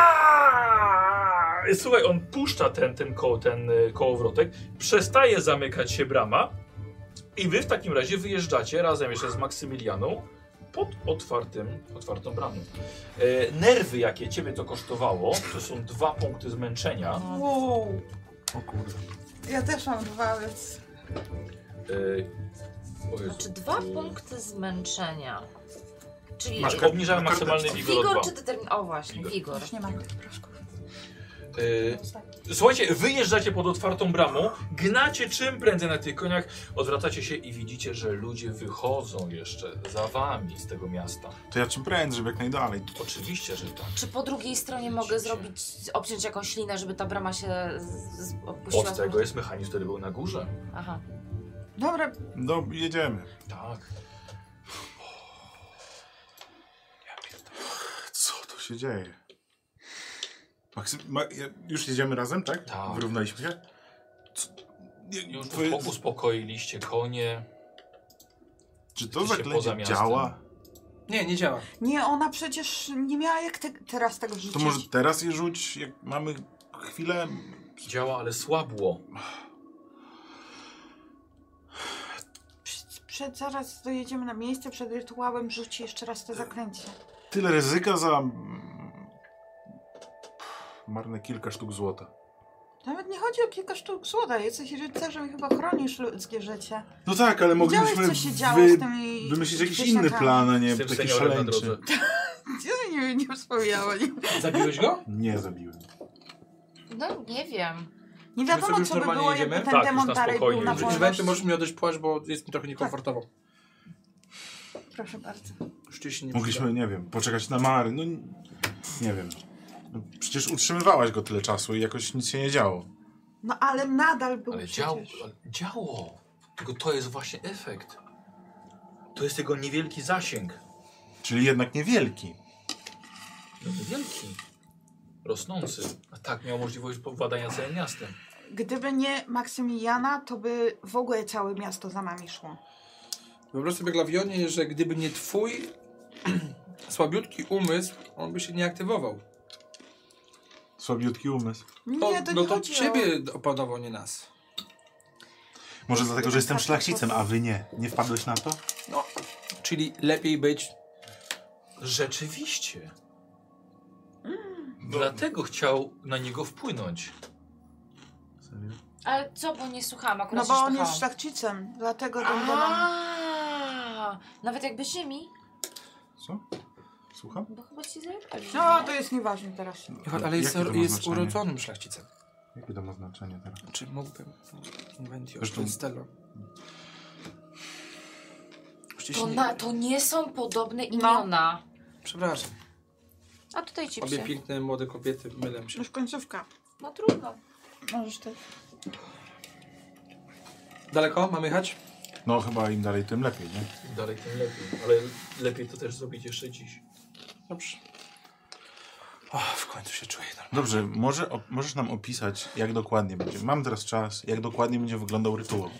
Speaker 1: Aaaa! I Słuchaj, on puszcza ten, ten, koło, ten y, kołowrotek, przestaje zamykać się brama i wy w takim razie wyjeżdżacie razem jeszcze z Maksymilianą pod otwartym, otwartą bramą. E, nerwy, jakie ciebie to kosztowało, to są dwa punkty zmęczenia.
Speaker 2: Wow.
Speaker 3: O kurde.
Speaker 2: Ja też mam dwa, więc...
Speaker 1: Yy, o Jezu.
Speaker 7: Znaczy dwa punkty zmęczenia. Czyli
Speaker 1: Masz, obniżamy maksymalny wigor o
Speaker 7: wigor
Speaker 1: dwa.
Speaker 7: czy determin... O właśnie,
Speaker 1: Wigor.
Speaker 7: wigor.
Speaker 2: Już nie mam tych proszków.
Speaker 1: Yy, słuchajcie, wyjeżdżacie pod otwartą bramą, gnacie czym prędzej na tych koniach, odwracacie się i widzicie, że ludzie wychodzą jeszcze za wami z tego miasta.
Speaker 3: To ja czym prędzej, żeby jak najdalej.
Speaker 1: Oczywiście, że tak.
Speaker 7: Czy po drugiej stronie mogę zrobić, obciąć jakąś linę, żeby ta brama się z, z, opuściła?
Speaker 1: Od tego jest mechanizm, który był na górze.
Speaker 7: Aha.
Speaker 2: Dobra,
Speaker 3: No, jedziemy.
Speaker 1: Tak.
Speaker 3: Co tu się dzieje? Maksym, ma, ja- już jedziemy razem, tak?
Speaker 1: Tak.
Speaker 3: Wyrównaliśmy się? Co, nie,
Speaker 1: Już
Speaker 3: twoje-
Speaker 1: uspokoiliście konie.
Speaker 3: czy to
Speaker 1: jesteście poza
Speaker 3: zaklęcie
Speaker 1: miastem.
Speaker 3: działa?
Speaker 5: Nie, nie działa.
Speaker 2: nie, ona przecież nie miała jak te, teraz tego rzucić.
Speaker 3: To może teraz je rzuć, jak mamy chwilę?
Speaker 1: Działa, ale słabło.
Speaker 2: Przed, przed, zaraz dojedziemy na miejsce, przed rytuałem rzuci jeszcze raz te zaklęcie.
Speaker 3: Tyle ryzyka za... mm, Marne kilka sztuk złota.
Speaker 2: Nawet nie chodzi o kilka sztuk złota, jesteś rycerzem i chyba chronisz ludzkie życie.
Speaker 3: No tak, ale mogliśmy
Speaker 2: Widziałeś, co się działo
Speaker 3: wy...
Speaker 2: z tymi
Speaker 3: wymyślić jakiś
Speaker 2: wieśniakami?
Speaker 3: inny plan, a nie
Speaker 1: Z tym
Speaker 3: taki
Speaker 1: seniorem na drodze.
Speaker 3: szaleńczy.
Speaker 2: Ja nie, nie wspomniała. Nie,
Speaker 5: Zabiłeś go?
Speaker 3: Nie zabiłem.
Speaker 7: No nie wiem.
Speaker 2: nie
Speaker 5: My sobie
Speaker 2: wiadomo,
Speaker 5: już
Speaker 2: co by
Speaker 5: normalnie
Speaker 2: było,
Speaker 5: jedziemy?
Speaker 2: jakby ten
Speaker 1: Tak, już
Speaker 2: demon
Speaker 1: na
Speaker 2: dalej był
Speaker 1: spokojnie.
Speaker 2: na
Speaker 1: Czy- czy
Speaker 5: Czy
Speaker 2: wolności.
Speaker 5: możesz mi odejść płaszcz, bo jest mi
Speaker 2: Tak.
Speaker 5: trochę niekomfortowo.
Speaker 2: Proszę bardzo.
Speaker 5: Już ci się nie
Speaker 3: Mogliśmy, nie wiem, poczekać na Mary, no n- nie wiem. No, przecież utrzymywałaś go tyle czasu i jakoś nic się nie działo.
Speaker 2: No ale nadal był
Speaker 1: Ale
Speaker 2: przecież.
Speaker 1: dział, ale działo. Tylko to jest właśnie efekt. To jest jego niewielki zasięg.
Speaker 3: Czyli jednak niewielki.
Speaker 1: No to wielki. Rosnący. A tak miał możliwość powładania całym miastem.
Speaker 2: Gdyby nie Maksymiliana, to by w ogóle całe miasto za nami szło.
Speaker 5: Wyobraź sobie, Glawionie, że gdyby nie twój *clears throat* słabiutki umysł, on by się nie aktywował.
Speaker 3: Słabiutki umysł.
Speaker 5: To,
Speaker 2: Nie, to
Speaker 5: no
Speaker 2: nie
Speaker 5: to
Speaker 2: chodzi
Speaker 5: ciebie opanował, nie nas.
Speaker 3: Może dlatego, że jestem szlachcicem, a wy nie. Nie wpadłeś na to?
Speaker 5: No, czyli lepiej być...
Speaker 1: Rzeczywiście. Dlatego chciał na niego wpłynąć.
Speaker 7: Ale co, bo nie słuchałam
Speaker 2: o...
Speaker 7: akurat
Speaker 2: No
Speaker 7: się
Speaker 2: bo on jest
Speaker 7: słuchałam.
Speaker 2: szlachcicem, dlatego ten demon...
Speaker 7: Aaa, Nawet jakby ziemi,
Speaker 3: Co? Słucham?
Speaker 7: bo chyba ci zajebali.
Speaker 2: No, to jest nieważne teraz.
Speaker 5: Ale jest,
Speaker 3: No, Jakie to ma
Speaker 5: jest
Speaker 3: znaczenie?
Speaker 5: urodzonym szlachcicem.
Speaker 3: Jakie to ma znaczenie teraz?
Speaker 5: Czy mógłbym... Inventio,
Speaker 3: Zresztą-
Speaker 5: Castello. Już ci się
Speaker 7: To,
Speaker 5: nie-
Speaker 7: na, to nie są podobne
Speaker 2: No.
Speaker 7: imiona.
Speaker 5: Przepraszam.
Speaker 7: A tutaj ci
Speaker 5: Obie
Speaker 7: psy.
Speaker 5: piękne, młode kobiety mylą się.
Speaker 2: Już końcówka.
Speaker 7: No trudno.
Speaker 2: Możesz też.
Speaker 5: Daleko? Mamy jechać?
Speaker 3: No chyba im dalej, tym lepiej, nie?
Speaker 1: Im Dalej tym lepiej. Ale lepiej to też zrobić jeszcze dziś.
Speaker 5: Dobrze. O, w końcu się czuję normalnie.
Speaker 3: Dobrze, może, op- możesz nam opisać, jak dokładnie będzie. Mam teraz czas, jak dokładnie będzie wyglądał rytuał.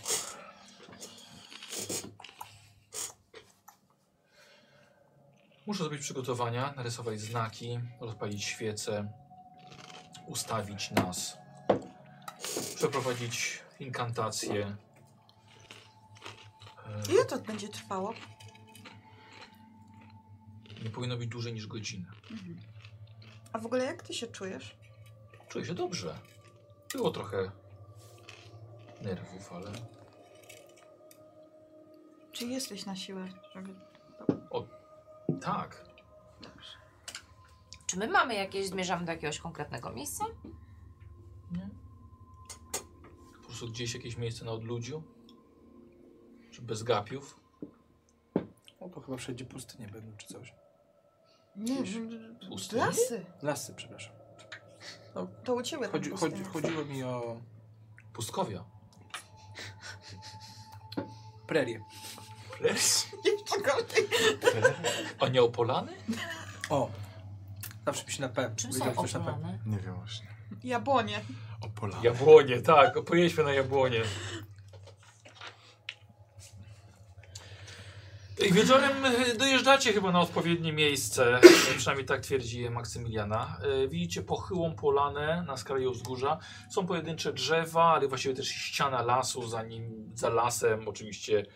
Speaker 1: Muszę zrobić przygotowania, narysować znaki, rozpalić świece, ustawić nas, przeprowadzić inkantację.
Speaker 2: Ile to będzie trwało?
Speaker 1: Nie powinno być dłużej niż godzinę.
Speaker 2: A w ogóle jak ty się czujesz?
Speaker 1: Czuję się dobrze. Było trochę nerwów, ale
Speaker 2: Czy jesteś na siłę? żeby-
Speaker 1: tak.
Speaker 7: Czy my mamy jakieś, zmierzamy do jakiegoś konkretnego miejsca?
Speaker 1: Po prostu gdzieś jakieś miejsce na odludziu, czy bez gapiów.
Speaker 5: No to chyba wszędzie pustynie będą czy coś.
Speaker 2: Nie,
Speaker 1: Gdzieś
Speaker 2: że-
Speaker 1: pustyni?
Speaker 2: lasy.
Speaker 5: Lasy, przepraszam.
Speaker 2: To u ciebie
Speaker 5: Chodzi,
Speaker 2: tam
Speaker 5: chodzi,
Speaker 2: pustynia.
Speaker 5: chodziło mi o
Speaker 1: Pustkowia.
Speaker 5: prerię.
Speaker 2: *laughs* Jeszcze gorzej.
Speaker 1: A Neopolany?
Speaker 5: O! Zawsze pisze na P.
Speaker 7: Czym
Speaker 5: Wiedział
Speaker 7: są
Speaker 5: ktoś na P.
Speaker 7: opolane?
Speaker 3: Nie wiem właśnie.
Speaker 2: Japonie.
Speaker 3: O Polanie.
Speaker 1: Jabłonie, tak. Pojedźmy na jabłonie. I Wieczorem e, dojeżdżacie chyba na odpowiednie miejsce, e, przynajmniej tak twierdzi Maksymiliana. E, Widzicie pochyłą polanę na skraju wzgórza. Są pojedyncze drzewa, ale właściwie też ściana lasu, za nim, za lasem oczywiście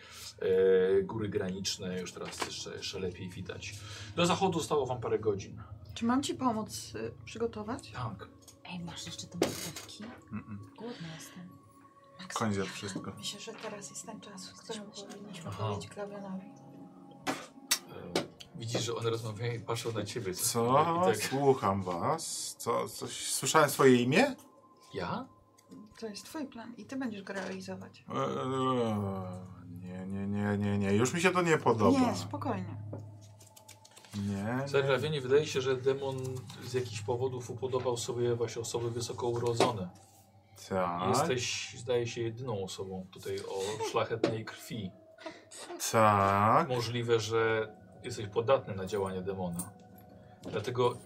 Speaker 1: e, góry graniczne, już teraz jeszcze, jeszcze lepiej widać. Do zachodu zostało wam parę godzin.
Speaker 2: Czy mam ci pomóc y, przygotować?
Speaker 1: Tak.
Speaker 7: Ej, masz jeszcze te marchewki?
Speaker 3: Mm-mm.
Speaker 7: Głodna jestem.
Speaker 3: Koń zjadł mm. wszystko.
Speaker 2: Myślę, że teraz jest ten czas, w którym powinniśmy
Speaker 1: Aha.
Speaker 2: powiedzieć Glawianowi.
Speaker 1: E, Widzisz, że one rozmawiają i patrzą na ciebie.
Speaker 3: Co?
Speaker 1: I tak,
Speaker 3: Słucham was. Co? Coś... Słyszałem swoje imię?
Speaker 1: ja?
Speaker 2: To jest twój plan i ty będziesz go realizować.
Speaker 3: Eee, nie, nie, nie, nie, nie. Już mi się to nie podoba.
Speaker 2: Nie, spokojnie.
Speaker 3: Nie.
Speaker 1: Zagrawienie wydaje się, że demon z jakichś powodów upodobał sobie właśnie osoby wysoko urodzone.
Speaker 3: Tak.
Speaker 1: Jesteś, zdaje się, jedyną osobą tutaj o szlachetnej krwi.
Speaker 3: Tak.
Speaker 1: Możliwe, że jesteś podatny na działanie demona. Dlatego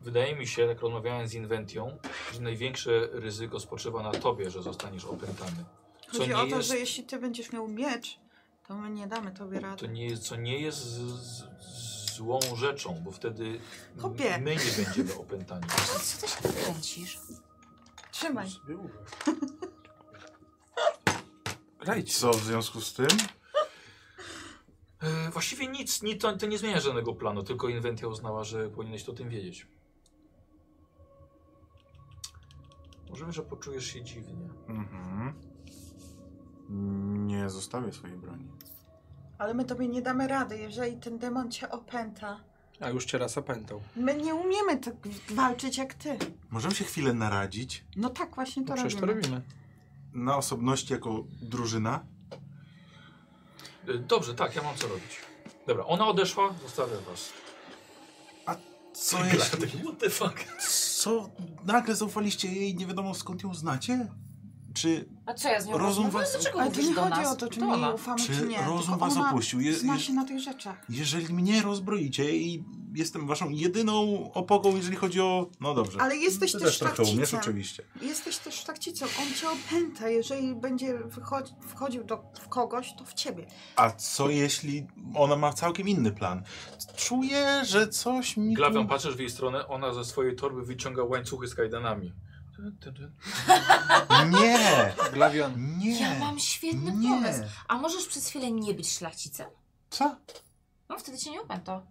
Speaker 1: wydaje mi się, tak rozmawiałem z Inventią, że największe ryzyko spoczywa na tobie, że zostaniesz opętany. Co
Speaker 2: Chodzi o
Speaker 1: nie,
Speaker 2: to,
Speaker 1: jest,
Speaker 2: że jeśli ty będziesz miał miecz, to my nie damy tobie
Speaker 1: to
Speaker 2: rady.
Speaker 1: nie jest, co nie jest z, z, złą rzeczą, bo wtedy m-
Speaker 2: Chopie.
Speaker 1: my nie będziemy opętani.
Speaker 7: No, co ty się tak kręcisz?
Speaker 2: Trzymaj.
Speaker 3: I co w związku z tym?
Speaker 1: E, Właściwie nic, ni, to, to nie zmienia żadnego planu, tylko Inventia uznała, że powinieneś to o tym wiedzieć. Możliwe, że poczujesz się dziwnie.
Speaker 3: Mhm. Nie zostawię swojej broni.
Speaker 2: Ale my tobie nie damy rady, jeżeli ten demon cię opęta.
Speaker 5: A już cię raz opętał.
Speaker 2: My nie umiemy tak walczyć jak ty.
Speaker 3: Możemy się chwilę naradzić
Speaker 2: No tak właśnie to
Speaker 5: No przecież
Speaker 2: robimy.
Speaker 5: to robimy.
Speaker 3: na osobności jako drużyna?
Speaker 1: E, Dobrze, tak, ja mam co robić. Dobra, ona odeszła, zostawię was.
Speaker 3: Co jeśli...
Speaker 1: Taki, What the fuck?
Speaker 3: Co? Nagle zaufaliście jej i nie wiadomo skąd ją znacie? Czy,
Speaker 7: A co ja z nią
Speaker 3: Rozum
Speaker 7: rozmawiam?
Speaker 3: was-
Speaker 7: Dlaczego
Speaker 2: Ale to
Speaker 7: mówisz
Speaker 2: nie
Speaker 7: do
Speaker 2: chodzi
Speaker 7: nas?
Speaker 2: o to, czy
Speaker 7: To
Speaker 2: my
Speaker 7: ona.
Speaker 2: jej ufamy, czy,
Speaker 3: czy
Speaker 2: nie.
Speaker 3: rozum
Speaker 2: tylko
Speaker 3: was
Speaker 2: ona
Speaker 3: opuścił? Je,
Speaker 2: Zna
Speaker 3: je,
Speaker 2: się na tych rzeczach.
Speaker 3: jeżeli mnie rozbroicie i jestem waszą jedyną opogą, jeżeli chodzi o... No dobrze.
Speaker 2: Ale jesteś
Speaker 3: Ty
Speaker 2: też
Speaker 3: trochę umiesz,
Speaker 2: szlachcicem.
Speaker 3: oczywiście.
Speaker 2: Jesteś też szlachcicą. On cię opęta. Jeżeli będzie wychodzi, wchodził do, w kogoś, to w ciebie.
Speaker 3: A co jeśli ona ma całkiem inny plan? Czuję, że coś mi... tu-
Speaker 1: Glawiam, patrzysz w jej stronę, ona ze swojej torby wyciąga łańcuchy z kajdanami.
Speaker 3: Nie!
Speaker 5: Glawion.
Speaker 3: Nie!
Speaker 7: Ja mam świetny pomysł.
Speaker 3: nie.
Speaker 7: A możesz przez chwilę nie być szlachcicem?
Speaker 3: Co?
Speaker 7: No wtedy cię nie opęta.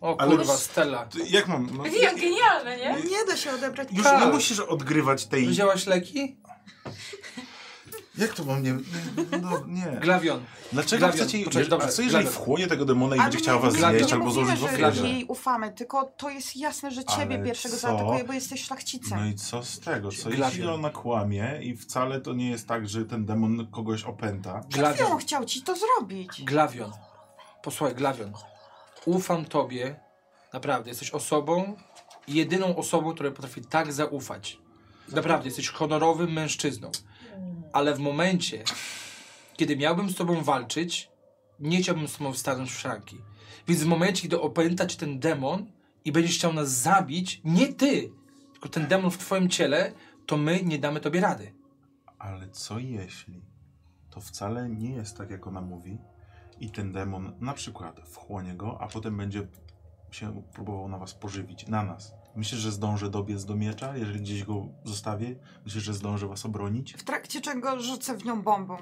Speaker 5: O
Speaker 3: Ale-
Speaker 5: kurwa, Stella.
Speaker 3: Ty- Jak mam? No,
Speaker 4: Wiem, genialne, nie?
Speaker 2: Nie da się odebrać.
Speaker 3: już
Speaker 5: Tak.
Speaker 3: nie musisz odgrywać tej...
Speaker 5: Wzięłaś leki?
Speaker 3: Jak to mam nie... nie- No, nie.
Speaker 5: Glawion.
Speaker 3: Dlaczego
Speaker 5: Glawion.
Speaker 3: chcecie jej...
Speaker 5: Poczekaj, dobrze,
Speaker 3: a co jeżeli
Speaker 5: Glawion.
Speaker 3: wchłonie tego demona i
Speaker 2: Ale
Speaker 3: będzie chciała
Speaker 2: my-
Speaker 3: was
Speaker 2: my
Speaker 5: Glawion.
Speaker 3: zjeść
Speaker 2: nie
Speaker 3: albo
Speaker 2: mówimy,
Speaker 3: złożyć w
Speaker 2: że
Speaker 5: ofierze.
Speaker 3: ofierze?
Speaker 2: jej ufamy, tylko to jest jasne, że ciebie
Speaker 3: Ale
Speaker 2: pierwszego
Speaker 3: co?
Speaker 2: zaatakuje, bo jesteś szlachcicem.
Speaker 3: No i co z tego? Co
Speaker 5: Glawion.
Speaker 3: jeśli ona kłamie i wcale to nie jest tak, że ten demon kogoś opęta?
Speaker 2: Przed chwilą
Speaker 5: Glawion.
Speaker 2: chciał ci to zrobić.
Speaker 5: Glawion. Posłuchaj, Glawion. Ufam tobie. Naprawdę, jesteś osobą, jedyną osobą, której potrafi tak zaufać. Naprawdę, jesteś honorowym mężczyzną. Ale w momencie, kiedy miałbym z tobą walczyć, nie chciałbym z tobą stanąć w szranki. Więc w momencie, kiedy opęta cię ten demon i będziesz chciał nas zabić, nie ty, tylko ten demon w twoim ciele, to my nie damy tobie rady.
Speaker 3: Ale co jeśli to wcale nie jest tak, jak ona mówi i ten demon na przykład wchłonie go, a potem będzie się próbował na was pożywić, na nas. Myślisz, że zdąży dobiec do miecza, jeżeli gdzieś go zostawię? Myślisz, że zdąży was obronić?
Speaker 2: W trakcie czego rzucę w nią bombą.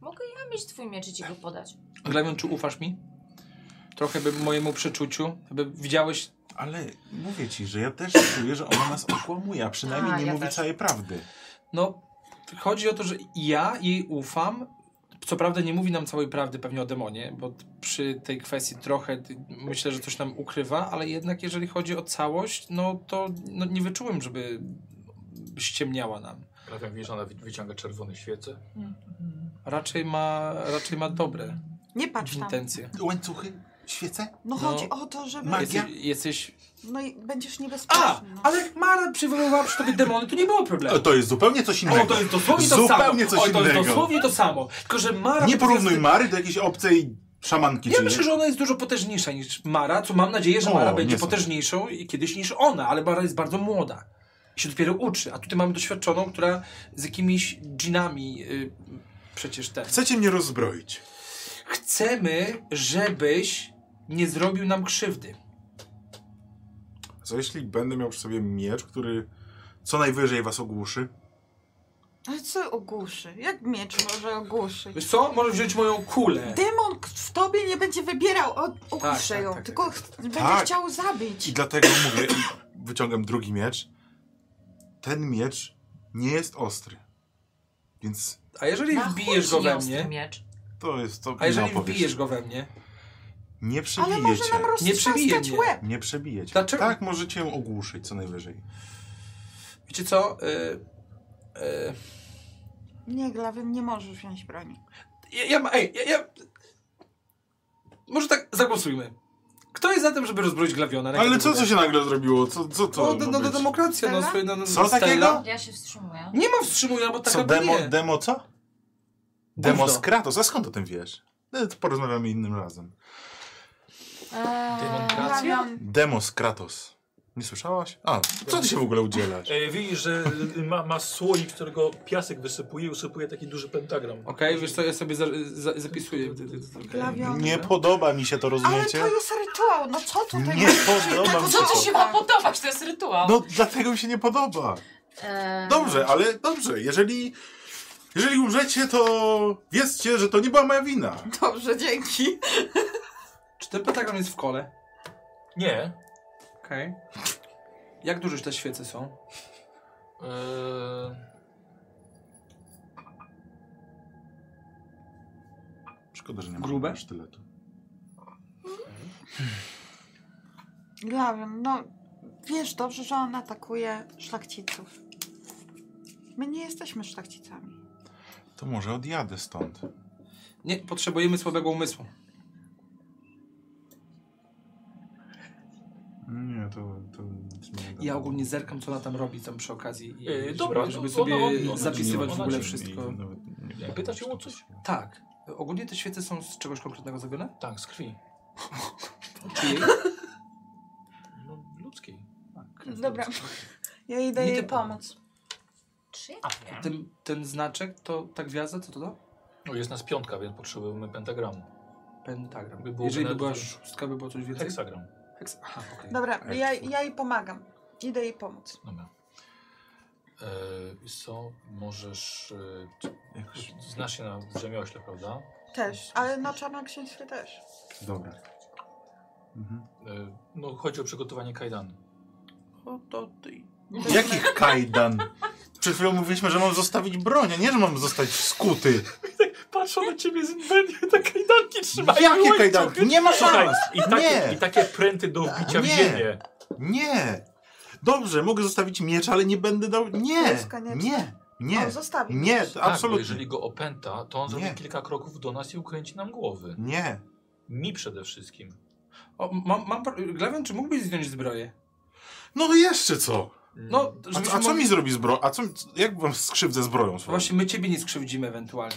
Speaker 7: Mogę ja mieć twój miecz i ci go podać.
Speaker 5: Glemion, czy ufasz mi? Trochę by mojemu przeczuciu, by widziałeś...
Speaker 3: Ale mówię ci, że ja też czuję, że ona nas okłamuje, a przynajmniej
Speaker 7: A,
Speaker 3: nie
Speaker 7: ja
Speaker 3: mówi
Speaker 7: też.
Speaker 3: całej prawdy.
Speaker 5: No, chodzi o to, że ja jej ufam. Co prawda nie mówi nam całej prawdy pewnie o demonie, bo t- przy tej kwestii trochę t- myślę, że coś nam ukrywa, ale jednak jeżeli chodzi o całość, no to no, nie wyczułem, żeby ściemniała nam.
Speaker 1: Ale jak widzisz, ona wy- wyciąga czerwone świece.
Speaker 5: Raczej ma, raczej ma dobre
Speaker 2: Nie patrz tam.
Speaker 5: intencje.
Speaker 3: Łańcuchy? Świece?
Speaker 2: No
Speaker 5: No.
Speaker 2: chodzi o to, żeby...
Speaker 3: Magia?
Speaker 5: Jesteś, jesteś...
Speaker 2: No i będziesz
Speaker 5: A!
Speaker 2: niebezpieczny. no.
Speaker 5: Ale jak Mara przywoływała przy tobie demony, to nie było problemu.
Speaker 3: O, to jest zupełnie coś innego.
Speaker 5: O, Tak. to jest dosłownie to
Speaker 3: zupełnie
Speaker 5: samo.
Speaker 3: coś
Speaker 5: o, to jest
Speaker 3: innego.
Speaker 5: dosłownie to samo. Tylko, że Mara...
Speaker 3: Nie porównuj
Speaker 5: potwierdzi-
Speaker 3: Mary do jakiejś obcej szamanki.
Speaker 5: Ja
Speaker 3: czy-
Speaker 5: myślę, że ona jest dużo potężniejsza niż Mara, co mam nadzieję, że
Speaker 3: O,
Speaker 5: Mara
Speaker 3: nie
Speaker 5: będzie
Speaker 3: sądzę.
Speaker 5: potężniejszą i kiedyś niż ona, ale Mara jest bardzo młoda. I się dopiero uczy, a tutaj mamy doświadczoną, która z jakimiś dżinami y, przecież też.
Speaker 3: Chcecie mnie rozbroić.
Speaker 5: Chcemy, żebyś nie zrobił nam krzywdy.
Speaker 3: Co jeśli będę miał przy sobie miecz, który co najwyżej was ogłuszy?
Speaker 2: Ale co ogłuszy? Jak miecz może ogłuszyć?
Speaker 5: Wiesz co? Możesz wziąć moją kulę.
Speaker 2: Demon k- w tobie nie będzie wybierał, o, ogłuszę
Speaker 5: Tak, tak,
Speaker 2: ją,
Speaker 5: tak,
Speaker 2: tylko
Speaker 5: tak,
Speaker 2: ch- będzie
Speaker 3: Tak.
Speaker 2: chciał zabić.
Speaker 3: I dlatego mówię, i wyciągam drugi miecz. Ten miecz nie jest ostry. Więc
Speaker 5: A jeżeli
Speaker 7: Na chuj
Speaker 5: wbijesz go
Speaker 7: ci nie
Speaker 5: we
Speaker 7: ostry
Speaker 5: mnie...
Speaker 7: Miecz.
Speaker 3: to jest to.
Speaker 5: A jeżeli
Speaker 3: inna opowieść.
Speaker 5: wbijesz go we mnie...
Speaker 3: Nie
Speaker 2: Ale
Speaker 3: przebijecie.
Speaker 2: może nam
Speaker 5: przebije
Speaker 2: roztrzaskać
Speaker 5: mnie.
Speaker 2: łeb.
Speaker 3: Nie przebijecie.
Speaker 5: Dlaczego-
Speaker 3: Tak, możecie ją ogłuszyć co najwyżej.
Speaker 5: Wiecie co? Y, y,
Speaker 2: Nie, Glawyn, nie możesz wziąć broni.
Speaker 5: Ja, ja, ma- ej, ja, ja... Może tak zagłosujmy. Kto jest za tym, żeby rozbroić glawiona? Rękę
Speaker 3: Ale
Speaker 5: do
Speaker 3: co,
Speaker 5: góry.
Speaker 3: co się nagle zrobiło? Co, co to?
Speaker 5: No, no,
Speaker 3: ma
Speaker 5: no,
Speaker 3: być?
Speaker 5: demokracja, no,
Speaker 2: Stella?
Speaker 5: swoje, no, no,
Speaker 3: Co
Speaker 5: Stella.
Speaker 3: takiego?
Speaker 7: Ja się wstrzymuję.
Speaker 5: Nie ma wstrzymuj, albo taka
Speaker 3: co, demo,
Speaker 5: nie.
Speaker 3: demo co? Demo z Kratos, a skąd o tym wiesz? No, to Porozmawiamy innym razem.
Speaker 7: Eee,
Speaker 1: Demonstracja?
Speaker 2: Glawion,
Speaker 3: Demo z Kratos. Nie słyszałaś? A, co ty się w ogóle udzielasz?
Speaker 8: E, widzisz, że y, ma, ma słoik, z którego piasek wysypuje i usypuje taki duży pentagram.
Speaker 5: Okej, wiesz co, ja sobie za, za, zapisuję. Okay.
Speaker 2: Glawion.
Speaker 3: Nie podoba mi się to,
Speaker 2: Ale
Speaker 3: rozumiecie?
Speaker 2: to jest rytuał, no co tutaj
Speaker 3: Nie
Speaker 2: masz?
Speaker 3: podoba mi się
Speaker 7: Co
Speaker 3: to.
Speaker 7: ci się ma podobać? To jest rytuał.
Speaker 3: No dlatego mi się nie podoba.
Speaker 7: Eee,
Speaker 3: Dobrze, ale dobrze, jeżeli... Jeżeli umrzecie, to wiedzcie, że to nie była moja wina.
Speaker 2: Dobrze, dzięki.
Speaker 5: Czy ten pentagram jest w kole?
Speaker 1: Nie.
Speaker 5: Okej. Jak duże te świece są?
Speaker 1: Eee,
Speaker 3: Szkoda, że nie ma
Speaker 5: Grube?
Speaker 3: sztyletu.
Speaker 2: Glawion, no wiesz dobrze, że on atakuje szlachciców. My nie jesteśmy szlachcicami.
Speaker 3: To może odjadę stąd.
Speaker 5: Nie, potrzebujemy słabego umysłu.
Speaker 3: No Nie, to... to nic mi nie da.
Speaker 5: Ja ogólnie zerkam, co ona tam robi tam przy okazji. I,
Speaker 1: Yy,
Speaker 5: żeby,
Speaker 1: dobra,
Speaker 5: żeby
Speaker 1: no,
Speaker 5: sobie
Speaker 1: ona- ona- ona-
Speaker 3: Znaczy,
Speaker 5: zapisywać
Speaker 1: ona-
Speaker 5: w ogóle
Speaker 1: ona-
Speaker 5: wszystko.
Speaker 1: no.
Speaker 3: Nawet nie wiem,
Speaker 1: Pytasz
Speaker 3: czy
Speaker 1: ją
Speaker 3: to
Speaker 1: o coś?
Speaker 3: pasuje.
Speaker 5: Tak. Ogólnie te świece są z czegoś konkretnego zrobione?
Speaker 1: tak,
Speaker 8: *laughs*
Speaker 1: z krwi.
Speaker 5: Czy jej?
Speaker 1: No, ludzkiej.
Speaker 2: Dobra, ja jej daję
Speaker 5: Nietypowe.
Speaker 2: pomóc.
Speaker 7: trzy?
Speaker 5: Ten, ten znaczek, to ta gwiazda, co to da?
Speaker 1: No, jest nas piątka, więc potrzebujemy pentagramu.
Speaker 5: Pentagram.
Speaker 1: By było
Speaker 5: Jeżeli by
Speaker 1: nawet-
Speaker 5: była szóstka, by było coś więcej?
Speaker 1: Heksagram.
Speaker 5: Heks- Aha, okej.
Speaker 2: Dobra, ja, ja jej pomagam. Idę jej pomóc.
Speaker 1: Dobra. Eee, wiesz co, możesz... eee, ty-
Speaker 3: Jakoś...
Speaker 1: znasz się na rzemiośle, prawda?
Speaker 2: Też, ale na czarnoksięstwie też.
Speaker 3: Dobra. Mhm.
Speaker 1: Eee, no, chodzi o przygotowanie kajdanu.
Speaker 5: O, to ty.
Speaker 3: Jakich kajdan? Przed chwilą mówiliśmy, że mam zostawić broń, a nie, że mam zostać skuty.
Speaker 8: Patrzą na ciebie z inwencji, te kajdanki trzymają.
Speaker 3: No, Jakie kajdanki? Nie ma
Speaker 8: Słuchaj,
Speaker 3: szans!
Speaker 8: i
Speaker 1: tak-
Speaker 8: takie,
Speaker 3: Nie.
Speaker 8: i takie pręty do wbicia w
Speaker 3: Nie.
Speaker 8: ziemię.
Speaker 3: Nie! Dobrze, mogę zostawić miecz, ale nie będę dał... Nie!
Speaker 2: jest konieczne.
Speaker 3: Nie!
Speaker 2: On
Speaker 3: Nie!
Speaker 2: zostawi.
Speaker 3: Nie,
Speaker 1: Tak, bo jeżeli
Speaker 3: absolutnie.
Speaker 1: go opęta, to on
Speaker 3: Nie.
Speaker 1: zrobi kilka kroków do nas i ukręci nam głowy.
Speaker 3: Nie.
Speaker 1: Mi przede wszystkim.
Speaker 5: O, mam, mam pro- Glawion, czy mógłbyś zdjąć zbroję?
Speaker 3: No jeszcze co?
Speaker 8: Mm.
Speaker 5: No,
Speaker 3: Mm. A,
Speaker 5: żebyśmy
Speaker 3: a co
Speaker 5: mogli-
Speaker 3: mi zrobi zbroja? A co, jak wam skrzywdzę zbroją swoją?
Speaker 5: Właśnie my ciebie nie skrzywdzimy ewentualnie.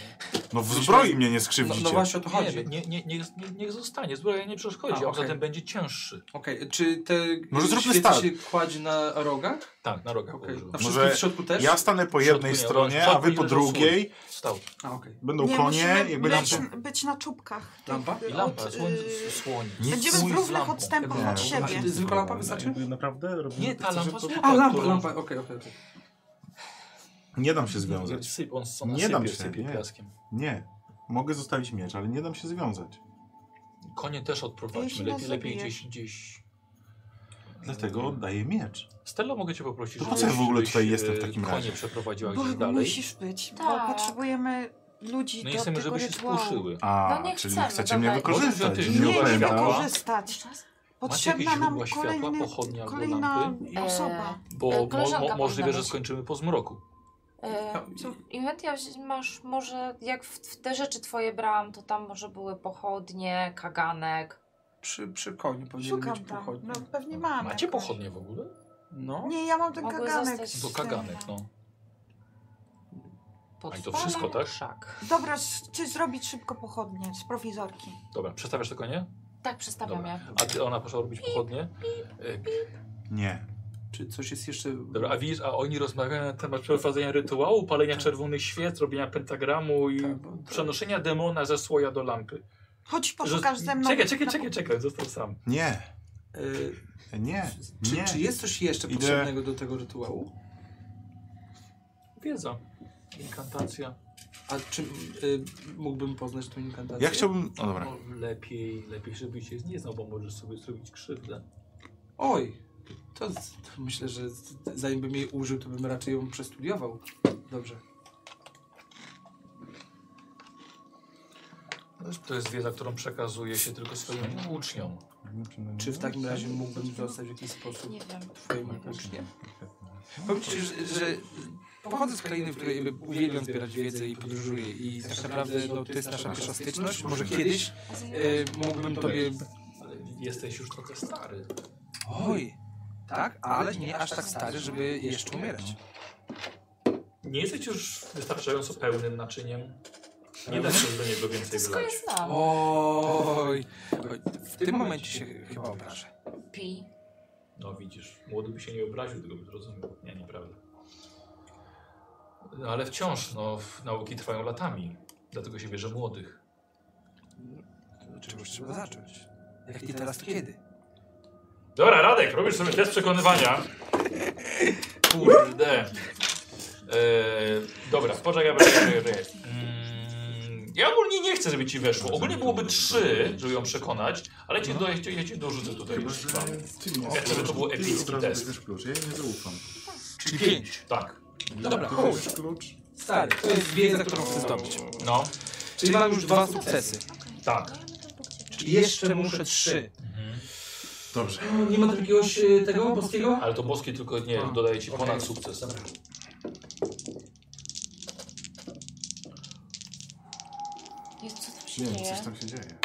Speaker 3: No w zbroi mnie nie
Speaker 5: No,
Speaker 3: skrzywdzicie.
Speaker 5: no właśnie o to
Speaker 1: Nie,
Speaker 5: chodzi.
Speaker 1: nie, nie, nie, nie, niech zostanie, zbroja nie przeszkodzi,
Speaker 5: A,
Speaker 1: a, poza
Speaker 5: okej.
Speaker 1: tym będzie cięższy.
Speaker 5: Okej, czy te
Speaker 3: Może zróbmy
Speaker 5: świece
Speaker 3: start.
Speaker 5: się kładzie na rogach?
Speaker 1: Tak, na rogach
Speaker 5: Okej.
Speaker 1: położyłem.
Speaker 5: A wszystkie
Speaker 3: Może
Speaker 5: w środku też?
Speaker 3: Ja stanę po
Speaker 1: W
Speaker 3: jednej
Speaker 1: środku nie,
Speaker 3: stronie,
Speaker 1: w
Speaker 3: a
Speaker 1: środku
Speaker 3: wy
Speaker 1: nie
Speaker 3: po
Speaker 1: leżą
Speaker 3: drugiej.
Speaker 1: Stał.
Speaker 5: A, okej.
Speaker 3: Będą
Speaker 2: Nie,
Speaker 3: konie,
Speaker 2: musimy
Speaker 3: jakby nam...
Speaker 2: być, być na czubkach. tych
Speaker 5: Lampa?
Speaker 1: I lampa,
Speaker 2: od,
Speaker 1: słoń,
Speaker 2: y,
Speaker 1: słoni.
Speaker 3: Nic
Speaker 2: Będziemy
Speaker 3: słoń
Speaker 2: w
Speaker 3: z
Speaker 2: równych
Speaker 1: lampą.
Speaker 2: odstępach od
Speaker 5: A,
Speaker 2: siebie.
Speaker 5: czy zwykła lampa wystarczy?
Speaker 9: Jakby Naprawdę robimy
Speaker 1: Nie,
Speaker 9: to,
Speaker 1: ta
Speaker 9: co, że to-
Speaker 1: lampa złota.
Speaker 5: A, lampa,
Speaker 1: którą-
Speaker 5: lampa, okej, okej. okej.
Speaker 3: Nie dam się
Speaker 1: Nie,
Speaker 3: związać.
Speaker 1: Syp, on on
Speaker 3: Nie
Speaker 1: sypie,
Speaker 3: dam się,
Speaker 1: sypie
Speaker 3: nie.
Speaker 1: piaskiem.
Speaker 3: Nie. Mogę zostawić miecz, ale nie dam się związać.
Speaker 1: Konie też odprowadźmy.
Speaker 2: Jeśli
Speaker 1: Lepiej,
Speaker 2: nas
Speaker 1: lepiej
Speaker 2: zabijesz.
Speaker 1: gdzieś, gdzieś.
Speaker 3: Dlatego
Speaker 1: Mm.
Speaker 3: oddaję miecz.
Speaker 1: Stella, mogę cię poprosić,
Speaker 3: To po co ja w ogóle
Speaker 1: żebyś,
Speaker 3: tutaj
Speaker 1: e,
Speaker 3: jestem w takim
Speaker 1: konie
Speaker 3: razie?
Speaker 1: przeprowadziła
Speaker 2: Bo
Speaker 1: gdzieś dalej.
Speaker 2: musisz być,
Speaker 7: Tak.
Speaker 2: bo potrzebujemy ludzi
Speaker 1: No
Speaker 2: do
Speaker 1: i chcemy,
Speaker 2: tego
Speaker 1: żeby się
Speaker 2: rytuału.
Speaker 1: spłuszyły.
Speaker 3: A,
Speaker 7: No nie
Speaker 3: czyli
Speaker 7: chcemy,
Speaker 3: chcecie mnie
Speaker 7: dawaj.
Speaker 3: wykorzystać.
Speaker 1: Może ty-
Speaker 2: Nie,
Speaker 3: Nie
Speaker 2: nie
Speaker 1: Źródła
Speaker 3: pamiętam.
Speaker 2: wykorzystać.
Speaker 1: Macie jakieś
Speaker 2: Potrzebna nam
Speaker 1: źródła światła,
Speaker 2: kolejny,
Speaker 1: pochodnie albo
Speaker 2: kolejna
Speaker 1: lampy?
Speaker 2: osoba.
Speaker 1: Bo
Speaker 7: E,
Speaker 1: mo,
Speaker 7: koleżanka
Speaker 1: mo, możliwe,
Speaker 7: powinna
Speaker 1: że
Speaker 7: być.
Speaker 1: skończymy po zmroku.
Speaker 7: Yy, Inwentia masz może, jak w, w te rzeczy twoje brałam, to tam może były pochodnie, kaganek.
Speaker 5: Przy, przy koniu powinien
Speaker 2: Szukam
Speaker 5: być
Speaker 2: tam.
Speaker 5: pochodni.
Speaker 2: No pewnie mamy.
Speaker 1: Macie
Speaker 2: jakąś.
Speaker 1: pochodnie w ogóle?
Speaker 5: No.
Speaker 2: Nie, ja mam ten
Speaker 7: Mogły
Speaker 2: kaganek.
Speaker 7: zostać-
Speaker 2: z
Speaker 1: To
Speaker 2: tym.
Speaker 1: kaganek, no.
Speaker 7: Pod
Speaker 1: A i to
Speaker 7: falem
Speaker 1: wszystko, tak?
Speaker 7: krzak.
Speaker 2: Dobra, s- czy zrobić szybko pochodnie z prowizorki?
Speaker 1: Dobra, przestawiasz te konie?
Speaker 7: Tak, przestawiam
Speaker 1: Dobra.
Speaker 7: je.
Speaker 1: A ty, ona poszła robić pochodnie? E,
Speaker 3: Nie.
Speaker 5: Czy coś jest jeszcze...
Speaker 1: Dobra, a widzisz, a oni rozmawiają na temat przeprowadzenia rytuału, palenia czerwonych świec, robienia pentagramu i
Speaker 5: Tak, bo-
Speaker 1: przenoszenia demona ze słoja do lampy.
Speaker 2: Chodź,
Speaker 1: Że-
Speaker 2: poszukasz ze mną.
Speaker 1: Czekaj, czekaj,
Speaker 2: na-
Speaker 1: czekaj, czekaj, został sam.
Speaker 3: Nie.
Speaker 5: Y,
Speaker 3: Nie.
Speaker 5: Czy,
Speaker 3: Nie.
Speaker 5: czy jest coś jeszcze
Speaker 3: Idę.
Speaker 5: potrzebnego do tego rytuału?
Speaker 1: Wiedza. Inkantacja.
Speaker 5: A czy y, mógłbym poznać tą inkantację?
Speaker 3: Ja chciałbym... O dobra.
Speaker 1: No, lepiej, lepiej, żebyś się nie znał, bo możesz sobie zrobić krzywdę.
Speaker 5: Oj, to, z- to myślę, że z- zanim bym jej użył, to bym raczej ją przestudiował. Dobrze.
Speaker 1: To jest wiedza, którą przekazuje się tylko swoim uczniom.
Speaker 5: Czy w takim razie mógłbym zostać w jakiś sposób
Speaker 7: Nie wiem.
Speaker 5: twoim uczniem? Powiem ci, że, że pochodzę z krainy, w której jakby uwielbiam zbierać wiedzę i podróżuję i tak naprawdę no, to jest nasza pierwsza styczność. Może kiedyś
Speaker 1: E,
Speaker 5: y, mógłbym tobie...
Speaker 1: Ale jesteś już trochę stary.
Speaker 5: Oj, tak, ale nie aż tak stary, żeby jeszcze umierać.
Speaker 1: Nie jesteś już wystarczająco pełnym naczyniem. Nie da się do niego więcej
Speaker 7: Wszystko
Speaker 1: wylać.
Speaker 7: jest znam.
Speaker 5: Oj, oj, w tym momencie się chyba obrażę.
Speaker 7: Pi.
Speaker 1: No widzisz, młody by się nie obraził, tylko by zrozumiał. Nie, nieprawda. No, ale wciąż, no, w- nauki trwają latami. Dlatego się bierze młodych.
Speaker 5: Od Czegoś trzeba zacząć. Jak nie teraz, to kiedy?
Speaker 1: Dobra, Radek, robisz sobie test przekonywania. Kurde. Eee, dobra, poczekaj, poczekaj, poczekaj, poczekaj. Mm, Ja ogólnie nie chcę, żeby ci weszło. Ogólnie byłoby trzy, żeby ją przekonać, ale cię, do, ja, cię, ja cię dorzucę tutaj.
Speaker 9: Chyba,
Speaker 1: jeszcze
Speaker 9: że
Speaker 1: dwa.
Speaker 9: ty mi
Speaker 1: Ja chcę, żeby to był
Speaker 9: ty
Speaker 1: epicki
Speaker 9: od razu
Speaker 1: test.
Speaker 9: bierzesz klucz. Ja jej nie zaufam.
Speaker 5: Czyli pięć.
Speaker 1: Tak.
Speaker 5: No dobra,
Speaker 9: Ty
Speaker 5: chuj.
Speaker 9: bierzesz klucz.
Speaker 5: Stary, to jest wiedza, którą chcę zdobyć.
Speaker 1: No,
Speaker 5: Czyli mam już dwa sukcesy.
Speaker 1: tak.
Speaker 5: Czyli jeszcze muszę trzy.
Speaker 9: Dobrze.
Speaker 5: Nie ma jakiegoś e, tego polskiego?
Speaker 1: Ale to boskie tylko nie dodaje ci ponad
Speaker 5: okej.
Speaker 1: sukces.
Speaker 7: Jezu, co tam się
Speaker 3: Nie wiem,
Speaker 7: dzieje?
Speaker 3: coś tam się dzieje.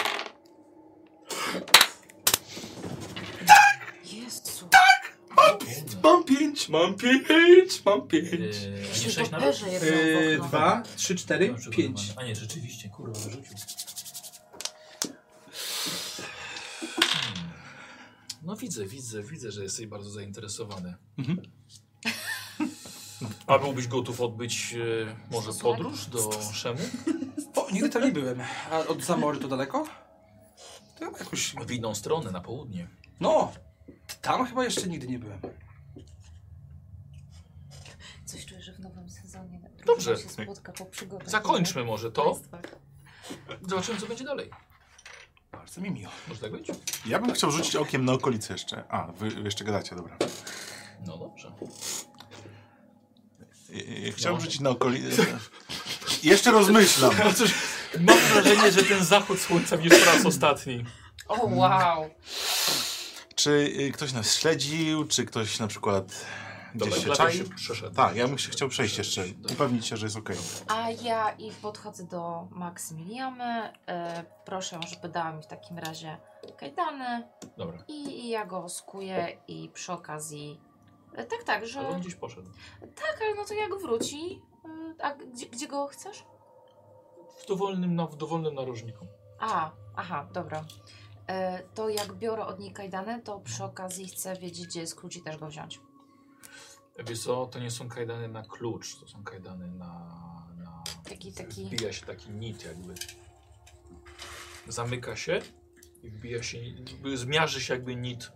Speaker 7: Jezu.
Speaker 5: Mam pięć, mam pięć, mam
Speaker 1: Eee,
Speaker 5: pięć.
Speaker 1: a nie
Speaker 7: Się
Speaker 1: sześć na
Speaker 7: doperze jedno
Speaker 5: E,
Speaker 7: w okno.
Speaker 5: dwa, trzy, cztery, pięć.
Speaker 1: A nie, rzeczywiście, kurwa, wyrzucił. Hmm. No widzę, widzę, widzę, że jesteś bardzo zainteresowany.
Speaker 5: Mhm.
Speaker 1: A byłbyś gotów odbyć e, może
Speaker 7: Stosunek?
Speaker 1: podróż do Szemu?
Speaker 5: O, nigdy tam nie byłem. A od Zamory to daleko? To jakoś...
Speaker 1: W inną stronę, na południe.
Speaker 5: No, tam chyba jeszcze nigdy nie byłem.
Speaker 7: Coś czuję, że w nowym sezonie drużyna
Speaker 1: Dobrze.
Speaker 7: się spotka po przygotach.
Speaker 1: Zakończmy może
Speaker 7: W
Speaker 1: to.
Speaker 7: państwach.
Speaker 1: Zobaczymy, co będzie dalej.
Speaker 5: Bardzo mi miło.
Speaker 1: Może tak być?
Speaker 3: Ja bym chciał rzucić okiem na okolice jeszcze. A, wy wy jeszcze gadacie, dobra.
Speaker 1: No dobrze.
Speaker 3: I- i- Chciałbym rzucić na okolice. *laughs* Jeszcze rozmyślam.
Speaker 1: Mam wrażenie, że ten zachód słońca już po raz ostatni.
Speaker 7: O wow.
Speaker 3: Czy y, ktoś nas śledził, czy ktoś na przykład
Speaker 1: Dobra,
Speaker 3: gdzieś się
Speaker 1: lepiej
Speaker 3: czai?
Speaker 1: się przeszedł. Tak.
Speaker 3: Tak, ja bym się chciał przejść jeszcze. Upewnić się, że jest okej.
Speaker 7: A ja i podchodzę do Maksymiliamy. E, proszę, żeby dała mi w takim razie kajdany
Speaker 1: Dobra.
Speaker 7: i, i ja go oskuję i przy okazji... E, tak, tak, że...
Speaker 1: Ale on gdzieś poszedł.
Speaker 7: Tak, ale no to jak wróci... E, a gdzie, gdzie go chcesz?
Speaker 1: W dowolnym, na, w dowolnym narożniku.
Speaker 7: A, aha, dobra. E, to jak biorę od niej kajdany, to przy okazji chcę wiedzieć, gdzie jest klucz i też go wziąć.
Speaker 1: E, Wiesz co, to nie są kajdany na klucz, to są kajdany na... na...
Speaker 7: Taki, taki...
Speaker 1: Wbija się taki nit jakby. Zamyka się i wbija się, zmiarzy się jakby nit.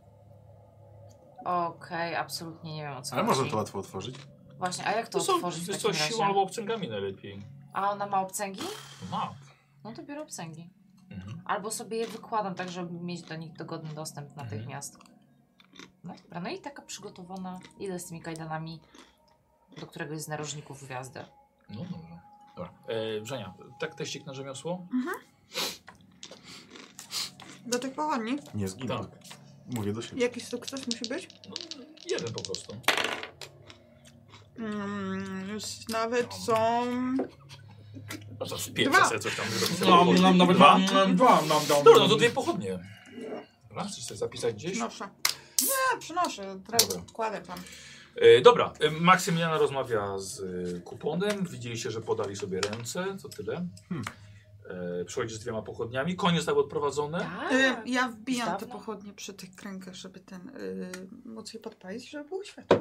Speaker 7: Okej, absolutnie nie wiem o co
Speaker 3: Ale
Speaker 7: chodzi.
Speaker 3: można to łatwo otworzyć.
Speaker 7: Właśnie, a jak to,
Speaker 1: To są,
Speaker 7: otworzyć w
Speaker 1: wiesz
Speaker 7: takim
Speaker 1: co,
Speaker 7: razie?
Speaker 1: siła albo obcęgami najlepiej.
Speaker 7: A ona ma obcęgi?
Speaker 1: Ma.
Speaker 7: No to biorę obcęgi.
Speaker 1: Mhm.
Speaker 7: Albo sobie je wykładam tak, żeby mieć do nich dogodny dostęp
Speaker 5: Mhm.
Speaker 7: natychmiast. No dobra, no i taka przygotowana. Idę z tymi kajdanami do któregoś z narożników gwiazdy.
Speaker 1: No dobrze. Dobra. E, Brzenia, tak teścik na rzemiosło?
Speaker 2: Do tych pochodni.
Speaker 3: Nie zginę.
Speaker 1: Tak.
Speaker 3: Mówię do siebie.
Speaker 2: Jakiś sukces musi być?
Speaker 1: No, jeden po prostu.
Speaker 2: Mm, już nawet są...
Speaker 1: A to z pięć
Speaker 2: Dwa.
Speaker 1: sobie coś tam zrobić.
Speaker 7: No.
Speaker 5: Nam, nam, No, nawet
Speaker 1: Dwa?
Speaker 5: nam, nam, nam, nam, nam.
Speaker 1: Dobra, no to dwie pochodnie. Dobra, chcesz sobie zapisać gdzieś?
Speaker 7: No.
Speaker 2: Przynoszę. Nie, przynoszę. Teraz
Speaker 1: Dobra.
Speaker 2: odkładę tam.
Speaker 1: E, dobra, e, Maksymiliana rozmawia z e, kuponem. Widzieliście, że podali sobie ręce, to tyle.
Speaker 3: Hmm.
Speaker 1: E, przychodzi z dwiema pochodniami. Konie zostały odprowadzone.
Speaker 7: Tak.
Speaker 2: Y, ja wbijam
Speaker 7: Dawno.
Speaker 2: te pochodnie przy tych kręgach, żeby ten... Y, móc je podpalić, żeby było światło.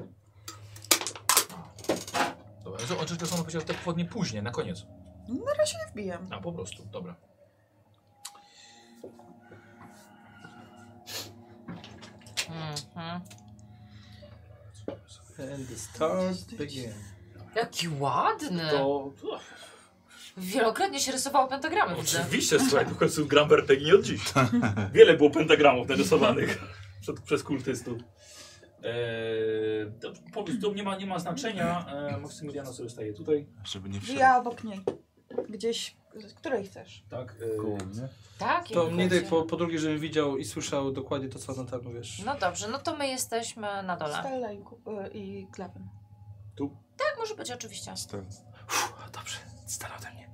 Speaker 1: Dobra, że on to samo powiedział że te pochodnie później, na koniec.
Speaker 2: Na razie nie wbijam.
Speaker 1: A po prostu, dobra.
Speaker 7: Mhm.
Speaker 5: And the stars begin.
Speaker 7: Jaki ładny!
Speaker 1: To
Speaker 7: Wielokrotnie się rysowało pentagramy. widzę.
Speaker 8: Oczywiście, słuchaj, to w końcu gram w RPG nie od dziś. Wiele było pentagramów narysowanych przed, przez kultystów.
Speaker 1: E,
Speaker 8: Eee, to, powiedz, to nie ma, nie ma znaczenia.
Speaker 1: E,
Speaker 8: Eee, Maksymiliano sobie staje tutaj.
Speaker 3: Żeby nie wszedł.
Speaker 2: Ja obok niej. Gdzieś... Z której chcesz?
Speaker 8: Tak,
Speaker 1: e,
Speaker 8: eee,
Speaker 7: Tak,
Speaker 5: To
Speaker 7: i-
Speaker 5: mnie daj po, po drugie, żebym widział i słyszał dokładnie to, co na tam mówisz.
Speaker 7: No dobrze, no to my jesteśmy na dole.
Speaker 2: Stella i, ku- y, i klapem.
Speaker 7: Tak, może być oczywiście.
Speaker 1: A, dobrze, stara ode mnie.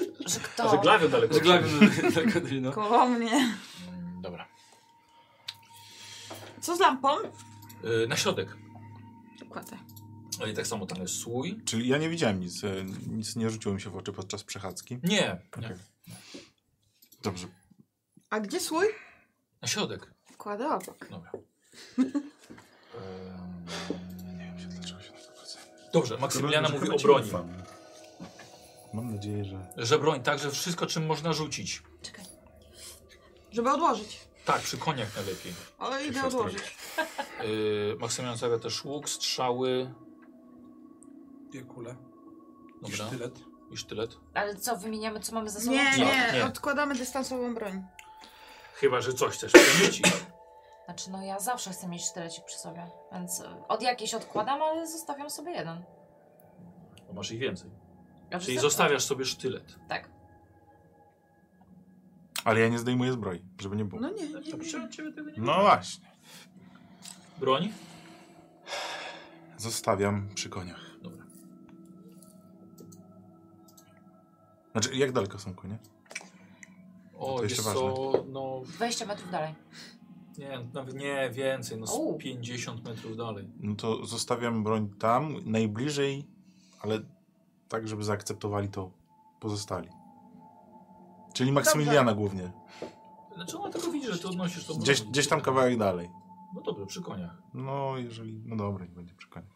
Speaker 7: Że
Speaker 8: a że
Speaker 7: kto?
Speaker 8: glawią daleko.
Speaker 5: Żeglałem na Katrino.
Speaker 2: Koło mnie.
Speaker 1: Mm, Dobra.
Speaker 2: Co z lampą?
Speaker 1: E, na środek.
Speaker 2: Kładę.
Speaker 1: No i tak samo tam jest słój.
Speaker 3: Czyli ja nie widziałem nic. e, Nic nie rzuciło mi się w oczy podczas przechadzki.
Speaker 1: Nie, nie.
Speaker 3: Okej. Dobrze.
Speaker 2: A gdzie słój?
Speaker 1: Na środek.
Speaker 2: Kładę obok.
Speaker 3: *laughs*
Speaker 1: Dobra.
Speaker 3: Nie wiem się dlaczego się na to zwracałem.
Speaker 1: Dobrze, Maksymiliana
Speaker 9: Chyba-
Speaker 1: mówi
Speaker 9: chyba
Speaker 1: o
Speaker 9: ci
Speaker 1: broni.
Speaker 9: ufam.
Speaker 3: Mam nadzieję, że...
Speaker 1: Że broń, tak, że wszystko czym można rzucić.
Speaker 2: Czekaj. Żeby odłożyć.
Speaker 1: Tak, przy koniach najlepiej.
Speaker 2: O, idę odłożyć.
Speaker 1: Yy, Maksymilian stawia też łuk, strzały.
Speaker 5: Dwie kule. I
Speaker 1: Dobra.
Speaker 5: sztylet.
Speaker 1: I sztylet.
Speaker 7: Ale co, wymieniamy, co mamy ze sobą?
Speaker 2: Nie, No, nie,
Speaker 1: nie.
Speaker 2: odkładamy dystansową broń.
Speaker 1: Chyba, że coś chcesz przemycić.
Speaker 7: Znaczy, no ja zawsze chcę mieć sztylecik przy sobie, więc y, od jakiejś odkładam, ale zostawiam sobie jeden.
Speaker 1: Bo masz ich więcej.
Speaker 7: Ja
Speaker 1: Czyli
Speaker 7: wszystko-
Speaker 1: zostawiasz sobie sztylet.
Speaker 7: Tak.
Speaker 3: Ale ja nie zdejmuję zbroi, żeby nie było.
Speaker 2: No nie, nie,
Speaker 1: To
Speaker 2: nie.
Speaker 1: od ciebie tego nie
Speaker 3: No właśnie.
Speaker 1: Broń?
Speaker 3: Zostawiam przy koniach.
Speaker 1: Dobra.
Speaker 3: Znaczy, jak daleko są konie?
Speaker 1: O,
Speaker 3: To
Speaker 1: wiesz
Speaker 3: jeszcze
Speaker 1: co, no
Speaker 7: 20 metrów dalej.
Speaker 1: nie, nawet nie więcej, no z
Speaker 7: U.
Speaker 1: 50 metrów dalej.
Speaker 3: No to zostawiam broń tam, najbliżej, ale tak, żeby zaakceptowali to pozostali. Czyli Maksymiliana głównie.
Speaker 1: Znaczy ona tylko widzi, że ty odnosisz to.
Speaker 3: Gdzieś, gdzieś tam kawałek dalej.
Speaker 1: No dobrze, przy koniach.
Speaker 3: No, jeżeli. No dobra, nie będzie przy koniach.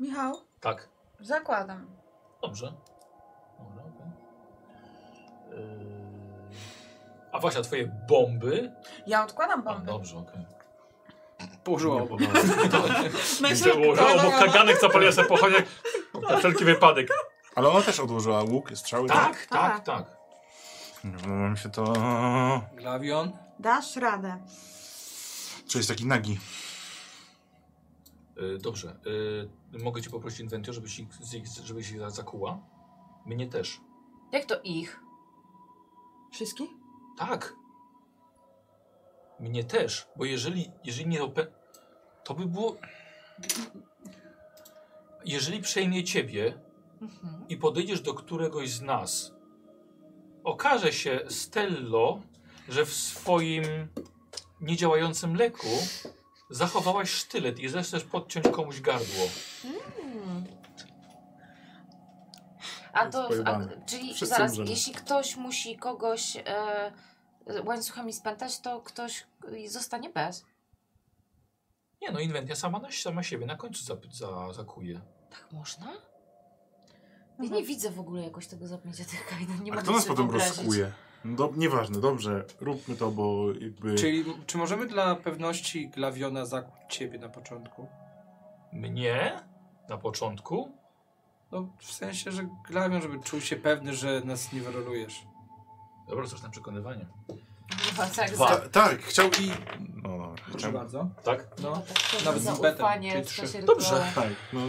Speaker 2: Michał,
Speaker 1: Tak.
Speaker 2: zakładam.
Speaker 1: Dobrze. Dobra, okej. Yy, A właśnie, a twoje bomby?
Speaker 2: Ja odkładam
Speaker 1: A,
Speaker 2: bombę.
Speaker 1: dobrze, okej.
Speaker 5: Położyła obok.
Speaker 2: No
Speaker 8: Że
Speaker 2: i szybko,
Speaker 8: obok
Speaker 2: no,
Speaker 8: kaganek zapaliła sobie pochodnie na wszelki wypadek.
Speaker 3: Ale ona też odłożyła łuk, strzały.
Speaker 1: Tak, tak,
Speaker 2: Tak.
Speaker 1: tak.
Speaker 3: Nie podoba mi się to.
Speaker 5: Glawion.
Speaker 2: Dasz radę.
Speaker 3: Czy jest taki nagi?
Speaker 1: Yy, Dobrze. Yy, Mogę cię poprosić inwentio, żebyś ich, z ich- żebyś ich za- zakuła? Mnie też.
Speaker 7: Jak to ich?
Speaker 2: Wszystkie?
Speaker 1: Tak. Mnie też, bo jeżeli, jeżeli nie opę... To by było... Jeżeli przejmie ciebie
Speaker 7: Mhm.
Speaker 1: i podejdziesz do któregoś z nas, okaże się, Stello, że w swoim niedziałającym leku zachowałaś sztylet i zechcesz podciąć komuś gardło.
Speaker 7: A
Speaker 9: Jest
Speaker 7: to,
Speaker 9: pojebane.
Speaker 7: Hmm. a, czyli
Speaker 9: Wszyscy
Speaker 7: zaraz,
Speaker 9: umrzemy.
Speaker 7: jeśli ktoś musi kogoś e, łańcuchami spętać, to ktoś y, zostanie bez.
Speaker 1: Nie no, inwentia sama, na, sama siebie na końcu zap, za, zakuje.
Speaker 7: Tak można? Ja nie widzę w ogóle jakoś tego zapnięcia tych kajdan.
Speaker 3: Mhm.
Speaker 7: Nie
Speaker 3: A
Speaker 7: mogę
Speaker 3: kto nas
Speaker 7: sobie
Speaker 3: potem
Speaker 7: wyobrazić.
Speaker 3: rozkuje? No, dob- nieważne, dobrze, róbmy to, bo jakby...
Speaker 5: Czyli czy możemy dla pewności Glawiona zakuć ciebie na początku?
Speaker 1: Mnie? Na początku?
Speaker 5: No w sensie, że Glawion, żeby czuł się pewny, że nas nie wyrolujesz.
Speaker 1: Dobra, coś na przekonywanie.
Speaker 7: Chyba tak,
Speaker 1: Dwa.
Speaker 7: za-
Speaker 3: Ta, tak, chciał i... No, dobra,
Speaker 5: Proszę
Speaker 3: chciał...
Speaker 5: bardzo.
Speaker 1: Tak?
Speaker 5: No.
Speaker 7: tak, to
Speaker 5: Nawet z impetem,
Speaker 7: zaufanie
Speaker 5: czyli
Speaker 7: w
Speaker 5: trzy.
Speaker 7: czasie
Speaker 1: Dobrze.
Speaker 7: rytuału.
Speaker 3: Tak, no.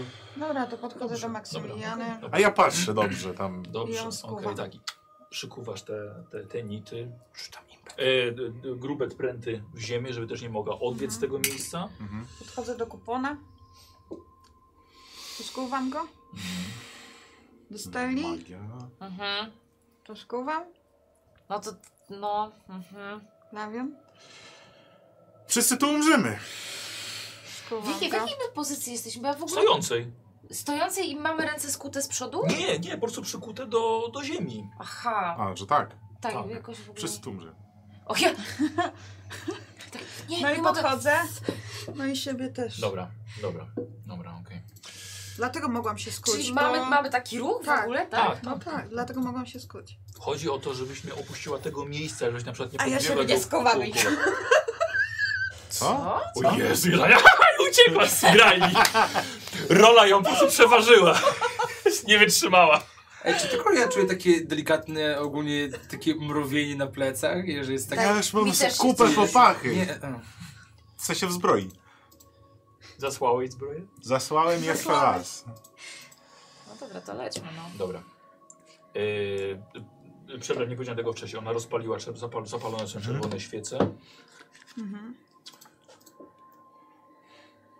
Speaker 2: Dobra, to podchodzę
Speaker 1: Dobrze,
Speaker 2: do Maksymiliany.
Speaker 1: dobra,
Speaker 3: A ja patrzę dobrze tam.
Speaker 1: Dobrze,
Speaker 2: ją
Speaker 1: okej,
Speaker 2: skuwam.
Speaker 1: tak. I Przykuwasz te, te, te nity,
Speaker 5: Rzucam impet.
Speaker 1: e, d- d- grube pręty w ziemię, żeby też nie mogła odbiec z tego miejsca.
Speaker 3: Mhm.
Speaker 2: Podchodzę do kupona. To skuwam go. Do steli.
Speaker 3: Magia.
Speaker 7: Mhm.
Speaker 2: To skuwam.
Speaker 7: No to, no, mhm.
Speaker 2: Lawiam.
Speaker 3: Wszyscy tu umrzemy.
Speaker 7: W
Speaker 2: Skuwam
Speaker 7: jakiej, w
Speaker 2: go.
Speaker 7: jakiej my pozycji jesteśmy? Bo ja w ogóle
Speaker 1: Stojącej.
Speaker 7: stojącej i mamy ręce skute z przodu?
Speaker 1: Nie, nie, po prostu przykute do, do ziemi.
Speaker 7: Aha,
Speaker 3: A, że tak,
Speaker 7: tak,
Speaker 1: tak.
Speaker 7: jakoś w ogóle...
Speaker 3: wszyscy tu umrzemy.
Speaker 7: O ja... *laughs* tak, nie,
Speaker 2: No
Speaker 7: nie
Speaker 2: i
Speaker 7: mogę...
Speaker 2: podchodzę. No i siebie też.
Speaker 1: Dobra, dobra, dobra, okej.
Speaker 2: Dlatego mogłam się skuć.
Speaker 7: Czyli
Speaker 2: bo-
Speaker 7: mamy, mamy taki ruch w
Speaker 2: no. Tak.
Speaker 7: ogóle?
Speaker 1: Tak,
Speaker 7: Tak.
Speaker 1: tak.
Speaker 2: No tak, dlatego mogłam się skuć.
Speaker 1: Chodzi o to, żebyś nie opuściła tego miejsca, żebyś na przykład nie
Speaker 2: A ja
Speaker 1: podbiegła
Speaker 2: siebie nie
Speaker 1: do-
Speaker 2: skowamy.
Speaker 1: do- do-
Speaker 3: Co?
Speaker 1: O Jezu, *laughs* Jela, uciekła z grali. Rola ją po prostu przeważyła. *laughs* Nie wytrzymała.
Speaker 5: Ej, czy tylko ja czuję takie delikatne, ogólnie takie mrowienie na plecach, jeżeli jest tak...
Speaker 3: Ja już mam
Speaker 7: Mi też się
Speaker 3: kupę
Speaker 5: czujesz.
Speaker 3: popachy.
Speaker 5: Nie, e.
Speaker 3: Chcę się wzbroi.
Speaker 1: Zasłała jej zbroję?
Speaker 3: Zasłałem jeszcze
Speaker 2: Zasłałeś.
Speaker 3: raz.
Speaker 7: No dobra, to lećmy, no.
Speaker 1: Dobra. Yy, yy, przepraszam, nie powiedziałem tego wcześniej. Ona rozpaliła, czerw- zapal, zapalone są czerwone świece.
Speaker 2: Mhm.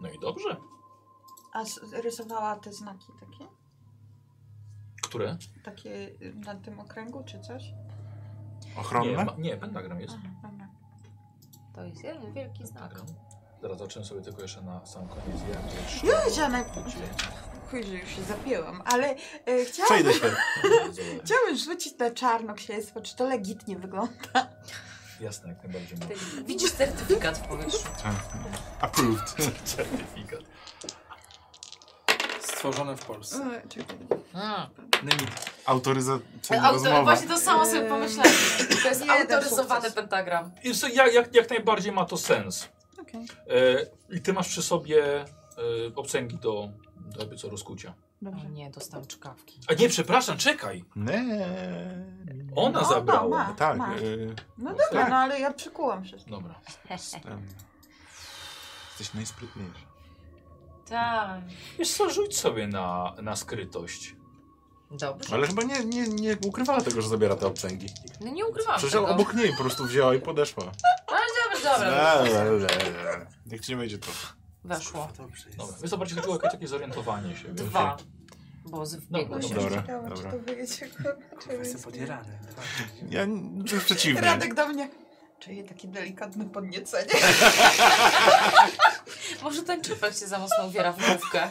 Speaker 1: No i dobrze.
Speaker 2: A s- rysowała te znaki takie?
Speaker 1: Które?
Speaker 2: Takie y, na tym okręgu czy coś?
Speaker 1: Nie,
Speaker 3: Ochronne?
Speaker 1: ma, nie pentagram jest.
Speaker 2: Aha, dobra.
Speaker 7: To jest jeden wielki znak.
Speaker 1: Pentagram. Zaraz zobaczymy sobie tylko jeszcze na sam koniec. Jak to jest
Speaker 2: Ja
Speaker 1: szybko.
Speaker 2: żadnej... Chuj, że już się zapięłam, ale e, chciałam,
Speaker 3: Przejdę się.
Speaker 1: Bardzo ładnie.
Speaker 2: chciałam rzucić na czarno księstwo, czy to legitnie wygląda.
Speaker 1: Jasne, jak najbardziej
Speaker 7: Ty
Speaker 1: mam
Speaker 7: Widzisz certyfikat w powietrzu.
Speaker 3: Approved. *laughs*
Speaker 1: certyfikat.
Speaker 5: Stworzone w Polsce.
Speaker 2: E, czekaj.
Speaker 7: Mm.
Speaker 5: Nemit.
Speaker 3: Autoryzacyjna
Speaker 7: Auto,
Speaker 3: rozmowa.
Speaker 7: właśnie to samo sobie
Speaker 2: Eee,
Speaker 7: pomyślałem. To jest
Speaker 2: jeden
Speaker 7: autoryzowany
Speaker 2: sukces.
Speaker 7: pentagram.
Speaker 1: I co, jak, jak, jak najbardziej ma to sens.
Speaker 2: Okej.
Speaker 1: E, I ty masz przy sobie e, obcęgi do, do jakby co rozkucia.
Speaker 7: O
Speaker 2: Dobrze.
Speaker 7: nie, dostałem czkawki.
Speaker 1: A nie, przepraszam, czekaj.
Speaker 3: Nie.
Speaker 1: Ona
Speaker 2: No,
Speaker 1: zabrała.
Speaker 2: no, ma.
Speaker 3: Tak.
Speaker 2: Ma.
Speaker 3: y,
Speaker 2: No dobra, no ale ja przykułam wszystko.
Speaker 1: Dobra.
Speaker 3: ten. Jesteś najsprytniejszy.
Speaker 7: Tak.
Speaker 1: Wiesz co, rzuć sobie na, na skrytość.
Speaker 7: Dobrze.
Speaker 3: Ale chyba nie, nie, nie ukrywała tego, że zabiera te obcęgi.
Speaker 7: No nie ukrywam
Speaker 3: Przecież
Speaker 7: tego. No,
Speaker 3: obok niej po prostu wzięła i podeszła.
Speaker 7: Ale dobra, dobra.
Speaker 3: Le, le, le, le. Jak ci nie będzie to.
Speaker 7: Weszło.
Speaker 5: Dobrze
Speaker 1: Dobra. Wiesz co, bardziej chodziło o jakieś takie zorientowanie się. wiesz?
Speaker 7: Dwa. Bo z
Speaker 3: No,
Speaker 1: Dobra,
Speaker 7: wbiegło się.
Speaker 3: dobra.
Speaker 2: Ciekawe, czy to wyjdzie, kurwa, czy
Speaker 5: Kurwa, jestem
Speaker 2: jest-
Speaker 5: podierany.
Speaker 3: Ja n- już przeciwnie.
Speaker 2: Radek do mnie. Czuję takie delikatne podniecenie.
Speaker 7: Może ten czepek się za mocno uwiera w główkę.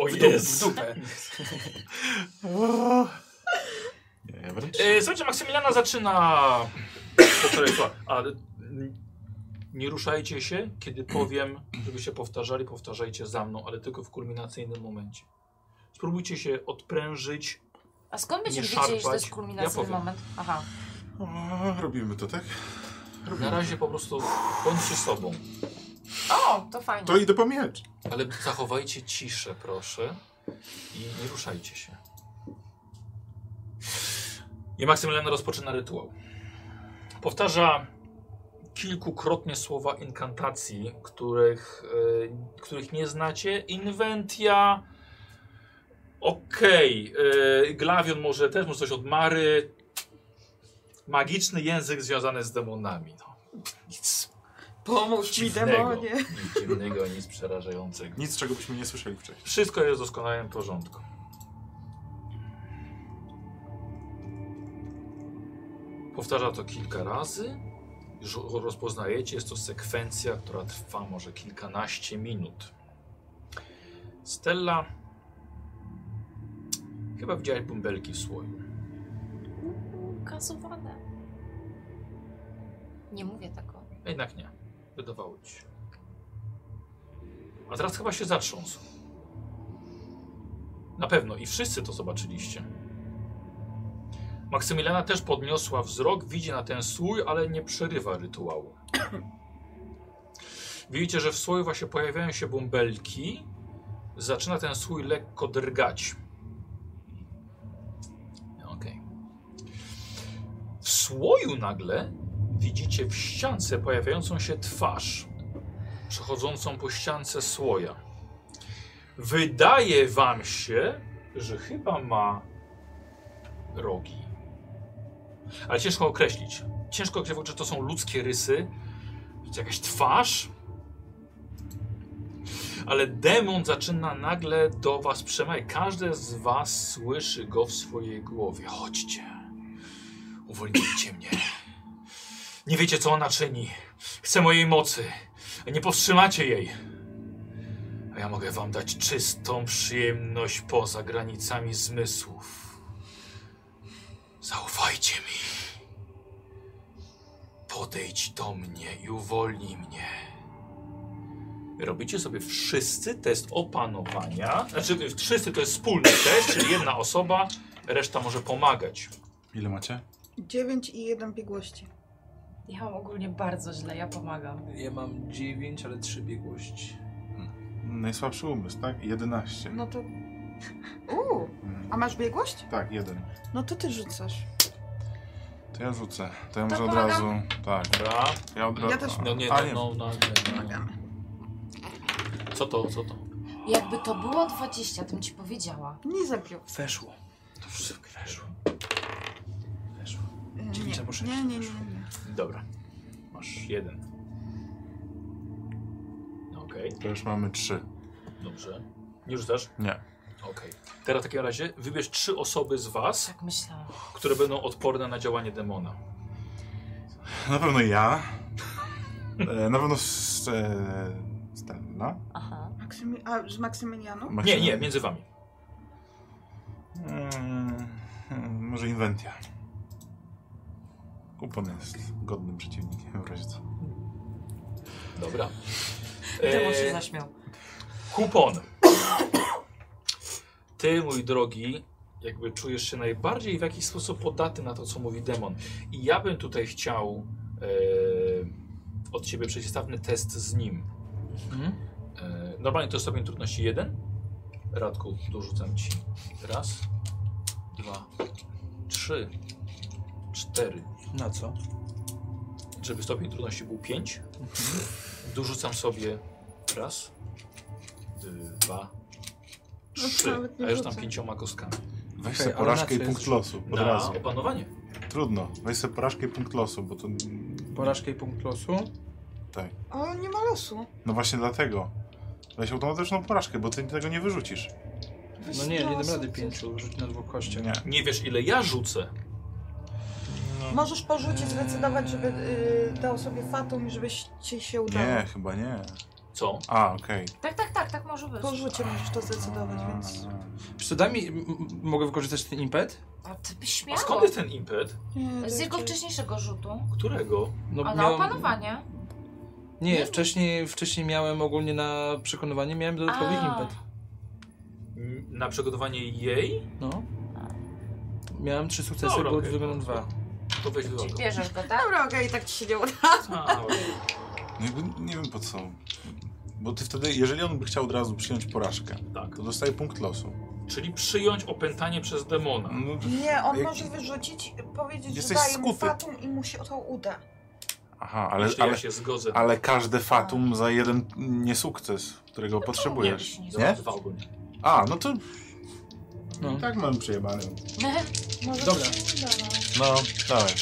Speaker 1: O
Speaker 5: W, dup, w
Speaker 1: jest.
Speaker 5: dupę.
Speaker 3: O. Nie, ja wręcz.
Speaker 1: E, słuchajcie, Maksymiliana zaczyna... Powtarzaj słowa. A, n- nie ruszajcie się, kiedy powiem, żebyście powtarzali, powtarzajcie za mną, ale tylko w kulminacyjnym momencie. Spróbujcie się odprężyć.
Speaker 7: A skąd
Speaker 1: Nie
Speaker 7: będziemy wiedzieli, że to
Speaker 1: szarpać.
Speaker 7: jest
Speaker 1: Ja
Speaker 7: kulminacyjny
Speaker 1: powiem.
Speaker 7: moment? Aha.
Speaker 3: O, robimy to, tak?
Speaker 1: Na razie po prostu bądźcie sobą.
Speaker 7: O, to fajnie.
Speaker 3: To idę po miecz.
Speaker 1: Ale zachowajcie ciszę, proszę. I nie ruszajcie się. I Maksymilian rozpoczyna rytuał. Powtarza kilkukrotnie słowa inkantacji, których, e, których nie znacie. Inwentia. Okej. e, Glawion może też może coś od Mary. Magiczny język związany z demonami. No, nic
Speaker 2: Pomóż mi
Speaker 1: dziwnego,
Speaker 2: demonie.
Speaker 1: Nic dziwnego, nic przerażającego.
Speaker 3: Nic, czego byśmy nie słyszeli wcześniej.
Speaker 1: Wszystko jest w doskonałym porządku. Powtarza to kilka razy. Już ro- rozpoznajecie, jest to sekwencja, która trwa może kilkanaście minut. Stella, chyba widziałeś bąbelki w słoju.
Speaker 7: Kasowane. Nie mówię tak tego.
Speaker 1: Jednak nie. Wydawało ci się. A teraz chyba się zatrząsł. Na pewno i wszyscy to zobaczyliście. Maksymiliana też podniosła wzrok, widzi na ten słój, ale nie przerywa rytuału. *clears throat* Widzicie, że w słoju właśnie pojawiają się bąbelki. Zaczyna ten słój lekko drgać. Okej. W słoju nagle widzicie w ściance pojawiającą się twarz przechodzącą po ściance słoja. Wydaje wam się, że chyba ma rogi. Ale ciężko określić. Ciężko określić, czy to są ludzkie rysy, czy jakaś twarz. Ale demon zaczyna nagle do was przemawiać. Każdy z was słyszy go w swojej głowie. Chodźcie. Uwolnijcie mnie. Nie wiecie, co ona czyni. Chce mojej mocy. Nie powstrzymacie jej. A ja mogę wam dać czystą przyjemność poza granicami zmysłów. Zaufajcie mi. Podejdź do mnie i uwolnij mnie. Robicie sobie wszyscy test opanowania. Znaczy, wszyscy to jest wspólny test, czyli jedna osoba, reszta może pomagać.
Speaker 3: Ile macie?
Speaker 6: 9 i 1 biegłości.
Speaker 7: Ja mam ogólnie bardzo źle, ja pomagam.
Speaker 5: Ja mam 9, ale 3 biegłości.
Speaker 3: Najsłabszy umysł, tak? 11.
Speaker 6: No to. Uuu,
Speaker 3: Mm.
Speaker 6: a masz biegłość?
Speaker 3: Tak, jeden.
Speaker 6: No to ty rzucasz.
Speaker 3: To ja rzucę. To ja może od
Speaker 4: pomagam.
Speaker 3: razu. Tak.
Speaker 1: Dobra.
Speaker 3: Ja od razu.
Speaker 6: Ja też-
Speaker 1: No nie,
Speaker 3: A,
Speaker 1: no, no, no, nie, no. Co to, co to?
Speaker 7: Jakby to było 20, to bym ci powiedziała.
Speaker 6: Nie zabił.
Speaker 5: Weszło.
Speaker 1: To wszystko weszło. Weszło.
Speaker 5: Dziewięć albo sześć.
Speaker 6: E, Nie, nie, nie, nie.
Speaker 1: Dobra. Masz jeden. No Okej,
Speaker 3: To już mamy trzy.
Speaker 1: dobrze. Nie rzucasz?
Speaker 3: Nie. *laughs*
Speaker 1: Okej. Teraz w takim razie wybierz trzy osoby z was,
Speaker 7: Tak myślałam.
Speaker 1: które będą odporne na działanie demona.
Speaker 3: Na pewno ja. E, Na pewno s- e, Stella.
Speaker 7: Aha.
Speaker 6: Maksymi... A z Maksymilianą?
Speaker 1: Nie,
Speaker 3: Maksymalnie.
Speaker 1: nie, między wami.
Speaker 3: Mm, hmm, Może Inventia. Kupon jest godnym przeciwnikiem w razie co.
Speaker 1: Dobra.
Speaker 7: Demon się
Speaker 1: E,
Speaker 7: zaśmiał.
Speaker 1: Kupon. Ty, mój drogi, jakby czujesz się najbardziej w jakiś sposób podatny na to, co mówi demon. I ja bym tutaj chciał e, od ciebie przeciwstawny test z nim. E, normalnie to jest stopień trudności 1. Radku, dorzucam ci. Raz, dwa, trzy, cztery.
Speaker 5: Na co?
Speaker 1: Żeby stopień trudności był 5, dorzucam sobie raz, dwa, trzy,
Speaker 6: No nawet nie
Speaker 1: a już tam
Speaker 6: rzucę.
Speaker 1: pięcioma kostkami.
Speaker 3: Weź
Speaker 5: Okej,
Speaker 3: sobie
Speaker 5: ale na co
Speaker 3: porażkę i
Speaker 5: jest
Speaker 3: punkt
Speaker 5: rzut?
Speaker 3: losu. Od
Speaker 1: Na
Speaker 3: razu.
Speaker 1: opanowanie.
Speaker 3: Trudno. Weź sobie porażkę i punkt losu, bo to.
Speaker 5: Porażkę i punkt losu.
Speaker 6: O, nie ma losu.
Speaker 3: No właśnie dlatego. Weź automatyczną porażkę, bo ty tego nie wyrzucisz.
Speaker 5: No nie, nie dam rady 5, rzuć na dwóch kościach.
Speaker 3: Nie.
Speaker 1: Nie wiesz ile ja rzucę.
Speaker 6: Możesz po rzucie zdecydować, żeby y, dał sobie fatum i żebyś ci się udało.
Speaker 3: Nie, chyba nie.
Speaker 1: Co?
Speaker 3: A, okej.
Speaker 7: Tak, tak, tak, tak może być.
Speaker 6: Po rzucie możesz to zdecydować, więc...
Speaker 5: Czy to da mi, m- m- mogę wykorzystać ten impet?
Speaker 7: A ty byś
Speaker 1: A
Speaker 7: śmiała.
Speaker 1: skąd jest ten impet?
Speaker 6: Nie,
Speaker 7: Z
Speaker 6: to
Speaker 7: jego
Speaker 6: jest-
Speaker 7: wcześniejszego rzutu.
Speaker 1: Którego?
Speaker 5: No,
Speaker 7: A na
Speaker 5: miałem-
Speaker 7: opanowanie.
Speaker 5: Nie, wcześniej, wcześniej miałem ogólnie na przekonywanie, miałem dodatkowy
Speaker 7: A.
Speaker 5: impet.
Speaker 1: N- Na przygotowanie jej?
Speaker 5: No. Miałem trzy sukcesy,
Speaker 1: Dobra,
Speaker 5: było
Speaker 1: okej.
Speaker 5: okay. mam dwa.
Speaker 1: To weź wywal.
Speaker 7: Czyli bierzesz go, tak?
Speaker 6: Dobra, okej, tak ci się nie uda.
Speaker 1: A,
Speaker 3: No jakby nie wiem po co. Bo ty wtedy, jeżeli on by chciał od razu przyjąć porażkę,
Speaker 1: tak.
Speaker 3: to dostaje punkt losu.
Speaker 1: Czyli przyjąć opętanie przez demona.
Speaker 3: No,
Speaker 6: Nie, on
Speaker 3: Jak-
Speaker 6: może wyrzucić, powiedzieć,
Speaker 3: Jesteś
Speaker 6: że daje mu
Speaker 3: skuty.
Speaker 6: fatum i mu się to uda.
Speaker 3: aha, ale,
Speaker 1: Jeśli
Speaker 3: ale,
Speaker 1: ja się zgodzę.
Speaker 3: ale każde fatum za jeden niesukces,
Speaker 1: No
Speaker 3: którego potrzebujesz.
Speaker 7: Nie,
Speaker 3: Nie?
Speaker 1: Dwa ogólnie.
Speaker 3: A, no to
Speaker 5: No.
Speaker 3: tak mam przejebane.
Speaker 6: Może
Speaker 5: Dobra.
Speaker 6: to się uda, no.
Speaker 3: No, dawaj.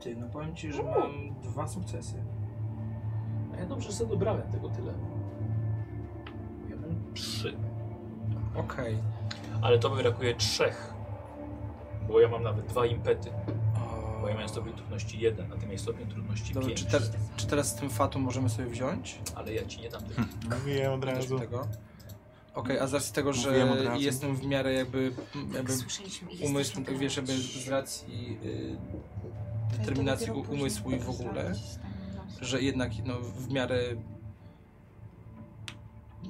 Speaker 5: Ty, no powiem ci, że mam dwa sukcesy.
Speaker 1: A ja dobrze sobie dobrałem tego tyle. Ja mam trzy.
Speaker 5: Okej.
Speaker 1: Ale to mi brakuje trzech. Bo ja mam nawet dwa impety.
Speaker 5: O,
Speaker 1: Bo ja miałem stopień trudności 1, a ty miałeś stopień trudności
Speaker 5: Dobra,
Speaker 1: 5.
Speaker 5: czy, tak- te, czy teraz z tym fatum możemy sobie wziąć?
Speaker 1: Ale ja ci nie dam tego.
Speaker 3: Mówiłem od
Speaker 5: Też
Speaker 1: Tak.
Speaker 3: razu.
Speaker 5: tego. Okej, a z racji tego, że
Speaker 3: Mówiłem od razu.
Speaker 5: jestem w miarę jakby,
Speaker 7: Tak,
Speaker 5: jakby
Speaker 7: *laughs* słyszeliśmy. i
Speaker 5: umysł,
Speaker 7: jesteśmy
Speaker 5: tak wiesz, jakby z racji y, determinacji
Speaker 6: Ja to dopiero
Speaker 5: umysłu i w
Speaker 6: później
Speaker 5: ogóle,
Speaker 2: tak?
Speaker 6: postaram się z tym, no.
Speaker 5: że jednak no, w miarę...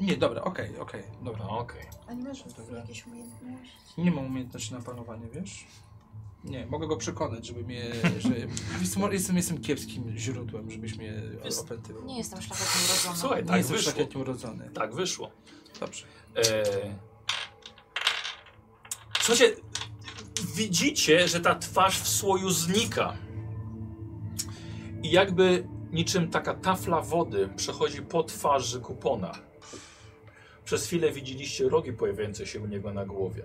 Speaker 5: Nie, dobra, okej, okej, dobra.
Speaker 1: No, okej.
Speaker 6: A nie masz
Speaker 5: Dobra.
Speaker 6: jakiejś umiejętności?
Speaker 5: Nie mam umiejętności na panowanie, wiesz? Nie, mogę go przekonać, żeby mnie... Że... Wiesz co, jestem, jestem kiepskim źródłem, żebyś mnie
Speaker 1: Jest-
Speaker 5: opętywał.
Speaker 7: Nie jestem szlachetnie urodzona.
Speaker 1: Słuchaj,
Speaker 5: Nie
Speaker 1: tak
Speaker 5: jestem
Speaker 1: wyszło.
Speaker 5: szlachetnie urodzony.
Speaker 1: Tak wyszło.
Speaker 5: Dobrze.
Speaker 1: E... Słuchajcie, widzicie, że ta twarz w słoju znika. I jakby niczym taka tafla wody przechodzi po twarzy kupona. Przez chwilę widzieliście rogi pojawiające się u niego na głowie.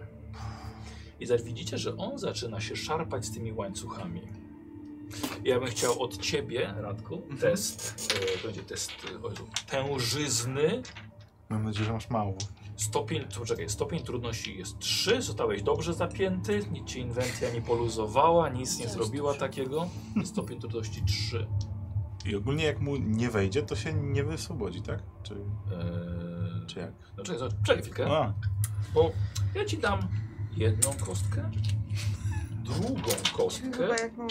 Speaker 1: I zaś widzicie, że on zaczyna się szarpać z tymi łańcuchami. Ja bym chciał od ciebie, Radku, test. E, będzie test e, o Jezu, tężyzny.
Speaker 3: Mam nadzieję, że masz mało.
Speaker 1: Stopień, tu, czekaj, stopień trudności jest 3, zostałeś dobrze zapięty, nic cię inwencja nie poluzowała, nic nie zrobiła takiego. Stopień trudności 3.
Speaker 3: I ogólnie jak mu nie wejdzie, to się nie wyswobodzi, tak? Czy,
Speaker 1: Eee,
Speaker 3: czy jak?
Speaker 1: no czekaj, zobacz, czekaj chwilkę,
Speaker 3: A,
Speaker 1: bo ja ci dam jedną kostkę, drugą kostkę.
Speaker 6: Chyba jak mu...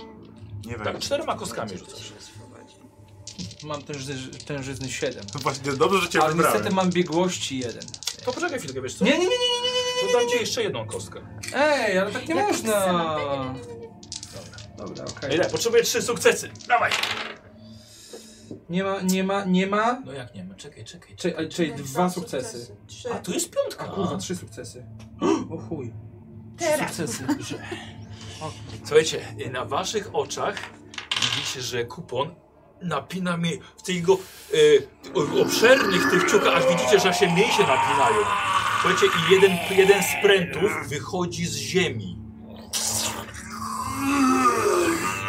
Speaker 3: nie wejdzie.
Speaker 1: Tak, czterema kostkami rzucasz.
Speaker 5: Mam tężyzny, tężyzny 7.
Speaker 3: No Właśnie dobrze, że cię
Speaker 5: Ale
Speaker 3: wybrałem.
Speaker 5: niestety mam biegłości 1.
Speaker 1: To poczekaj chwilkę, wiesz co?
Speaker 5: Nie, nie, nie, nie, nie,
Speaker 1: To dam ci jeszcze jedną kostkę.
Speaker 5: nie. Ej, ale tak nie
Speaker 6: Jak
Speaker 5: można.
Speaker 6: sama.
Speaker 5: Dobra, okej.
Speaker 1: Ile? Potrzebuję trzy sukcesy. Dawaj!
Speaker 5: Nie ma, nie ma, nie ma.
Speaker 1: No jak nie ma, czekaj, czekaj. czekaj.
Speaker 5: Czyli, ale- czyli dwa sukcesy.
Speaker 6: Trzy.
Speaker 1: A tu jest
Speaker 5: A
Speaker 1: piątka.
Speaker 5: kurwa, trzy *gasps* sukcesy. O chuj. Trzy
Speaker 6: Teraz.
Speaker 5: sukcesy.
Speaker 1: Słuchajcie, na waszych oczach widzicie, że kupon napina mnie w tych jego e, obszernych tych ciukach, aż widzicie, że się mięsie napinają. Słuchajcie, i jeden, jeden z prętów wychodzi z ziemi.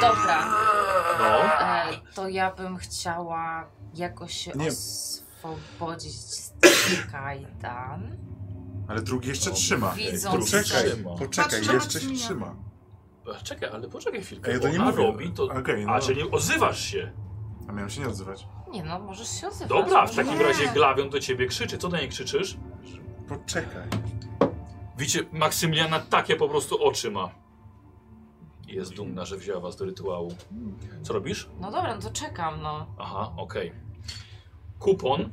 Speaker 7: Dobra,
Speaker 1: No.
Speaker 7: e, to ja bym chciała jakoś się
Speaker 3: Nie.
Speaker 7: oswobodzić z tych kajdan.
Speaker 3: Ale drugi jeszcze
Speaker 1: No,
Speaker 3: trzyma.
Speaker 7: widząc,
Speaker 3: Ej, poczekaj,
Speaker 1: że-
Speaker 3: poczekaj,
Speaker 6: Patrzę,
Speaker 3: jeszcze się
Speaker 6: Maksymilian.
Speaker 3: trzyma.
Speaker 1: A, Czekaj, ale poczekaj chwilkę,
Speaker 3: Ej,
Speaker 1: bo
Speaker 3: to nie
Speaker 1: ona
Speaker 3: mówię.
Speaker 1: robi to...
Speaker 3: Okej, no.
Speaker 1: A, czyli odzywasz się.
Speaker 3: A miałem się nie odzywać.
Speaker 7: Nie no, możesz się odzywać.
Speaker 1: Dobra, w
Speaker 7: może
Speaker 1: takim
Speaker 7: nie.
Speaker 1: razie Glawion do ciebie krzyczy. Co do niej krzyczysz?
Speaker 3: Poczekaj.
Speaker 1: Widzicie, Maksymiliana takie po prostu oczy ma. Jest dumna, że wzięła was do rytuału. Co robisz?
Speaker 7: No dobra, no to czekam, no.
Speaker 1: Aha, okej. Kupon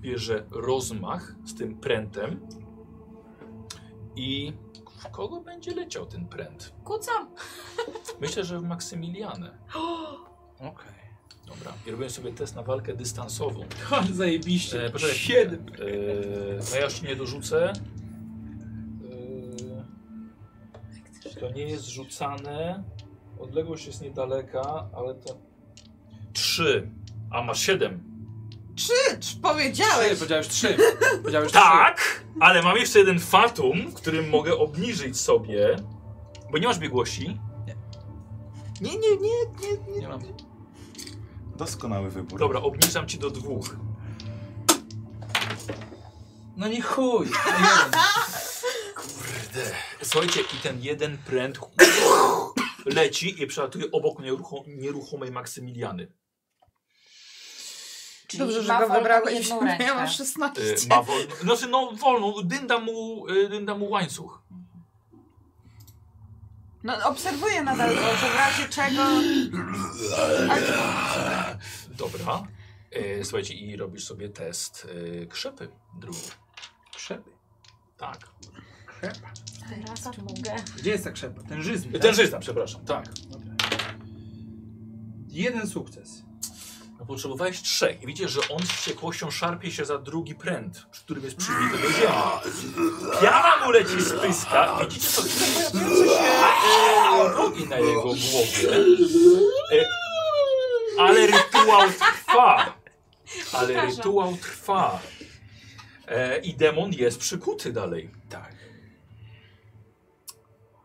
Speaker 1: bierze rozmach z tym prętem i w kogo będzie leciał ten pręt?
Speaker 7: Kucam.
Speaker 1: Myślę, że w Maksymilianę.
Speaker 5: *laughs* Okej.
Speaker 1: Dobra, i robię sobie test na walkę dystansową. Eee,
Speaker 5: Ale zajebiście.
Speaker 1: E, poczekaj.
Speaker 5: Siedem.
Speaker 1: E, no ja jeszcze nie dorzucę. E, to nie jest rzucane. Odległość jest niedaleka, ale to... Trzy, a masz siedem.
Speaker 2: Krzycz,
Speaker 5: Trzy,
Speaker 2: powiedziałeś!
Speaker 5: powiedziałeś *laughs* trzy. Powiedziałeś
Speaker 1: Tak, ale mam jeszcze jeden fatum, którym mogę obniżyć sobie, bo nie masz biegłości.
Speaker 3: Nie, nie, nie, nie,
Speaker 5: trzy. Nie mam.
Speaker 3: Doskonały wybór.
Speaker 1: Dobra, obniżam ci do dwóch.
Speaker 5: No nie chuj. No jeden. *laughs*
Speaker 1: Kurde. Słuchajcie, i ten jeden pręt leci i przelatuje obok nierucho- nieruchomej Maksymiliany.
Speaker 7: Czyli
Speaker 2: Dobrze, że
Speaker 7: ma
Speaker 2: go
Speaker 7: wolną
Speaker 2: wybrałeś.
Speaker 7: jedną
Speaker 2: bo Ja
Speaker 7: rękę.
Speaker 2: mam 16.
Speaker 1: Y, ma wolno, znaczy no wolną, dynda mu, y, dynda mu łańcuch.
Speaker 2: No obserwuję nadal to, że w razie czego...
Speaker 1: Dobra. Y, Słuchajcie, i robisz sobie test y, krzepy drugi. Krzepy? Tak.
Speaker 7: Teraz czy mogę?
Speaker 5: Gdzie jest ta krzepa? Tężyzny. tak?
Speaker 1: Tężyzna, przepraszam, tak.
Speaker 5: Dobra. Jeden *laughs* sukces.
Speaker 1: No, potrzebowałeś trzech i widzisz, że on z wściekłością szarpie się za drugi pręt, przy którym jest przybity do ziemi. Piana mu leci z pyska. Widzicie, co chwilę pojawiające się e, rogi na jego głowie. E, ale rytuał trwa. Ale rytuał trwa. E, I demon jest przykuty dalej. Tak.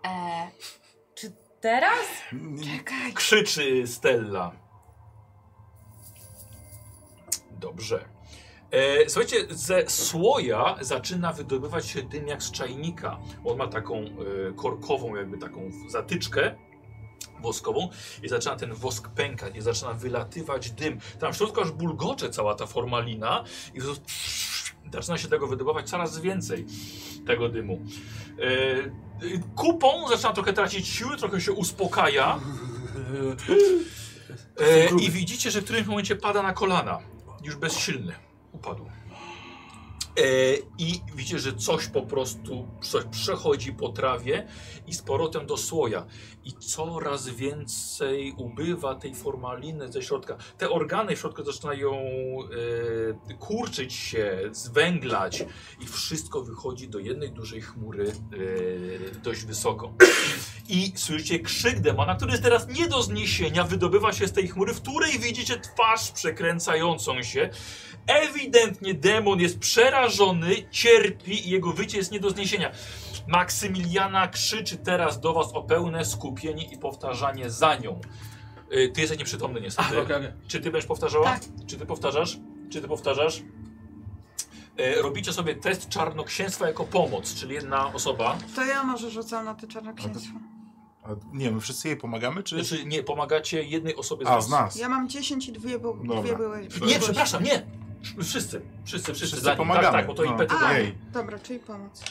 Speaker 7: E, czy teraz?
Speaker 2: Czekaj.
Speaker 1: Krzyczy Stella. Dobrze. E, słuchajcie, ze słoja zaczyna wydobywać się dym jak z czajnika. On ma taką e, korkową, jakby taką zatyczkę woskową i zaczyna ten wosk pękać i zaczyna wylatywać dym. Tam w środku aż bulgocze cała ta formalina i to- zaczyna się tego wydobywać coraz więcej tego dymu. E, e, kupą zaczyna trochę tracić siły, trochę się uspokaja. E, I widzicie, że w którymś momencie pada na kolana. Już bezsilny. Upadł. E, I widzicie, że coś po prostu coś przechodzi po trawie i z powrotem do słoja. I coraz więcej ubywa tej formaliny ze środka. Te organy w środku zaczynają e, kurczyć się, zwęglać i wszystko wychodzi do jednej dużej chmury e, dość wysoko i słyszycie krzyk demona, który jest teraz nie do zniesienia, wydobywa się z tej chmury, w której widzicie twarz przekręcającą się. Ewidentnie demon jest przerażony, cierpi i jego wycie jest nie do zniesienia. Maksymiliana krzyczy teraz do was o pełne skupienie i powtarzanie za nią. Y, Ty jesteś nieprzytomny niestety.
Speaker 5: Okej, okej.
Speaker 1: Czy ty będziesz powtarzała?
Speaker 2: Tak.
Speaker 1: Czy ty powtarzasz? Czy ty powtarzasz? E, robicie sobie test czarnoksięstwa jako pomoc, czyli jedna osoba.
Speaker 2: To ja może rzucam na te czarnoksięstwo.
Speaker 3: A, nie, my wszyscy jej pomagamy, czy...
Speaker 1: Znaczy nie, pomagacie jednej osobie z
Speaker 3: A,
Speaker 1: was.
Speaker 3: z nas.
Speaker 2: Ja mam 10 i dwie, bu-
Speaker 3: Dobra.
Speaker 2: dwie były.
Speaker 1: Nie, przepraszam, nie! Wszyscy, wszyscy, wszyscy,
Speaker 3: Wszyscy
Speaker 1: za nim.
Speaker 3: pomagamy.
Speaker 1: Tak, tak, bo to
Speaker 3: No.
Speaker 1: impety
Speaker 2: A,
Speaker 1: dla niej.
Speaker 3: Ej.
Speaker 2: dobra, czyli
Speaker 3: *laughs*
Speaker 2: pomoc.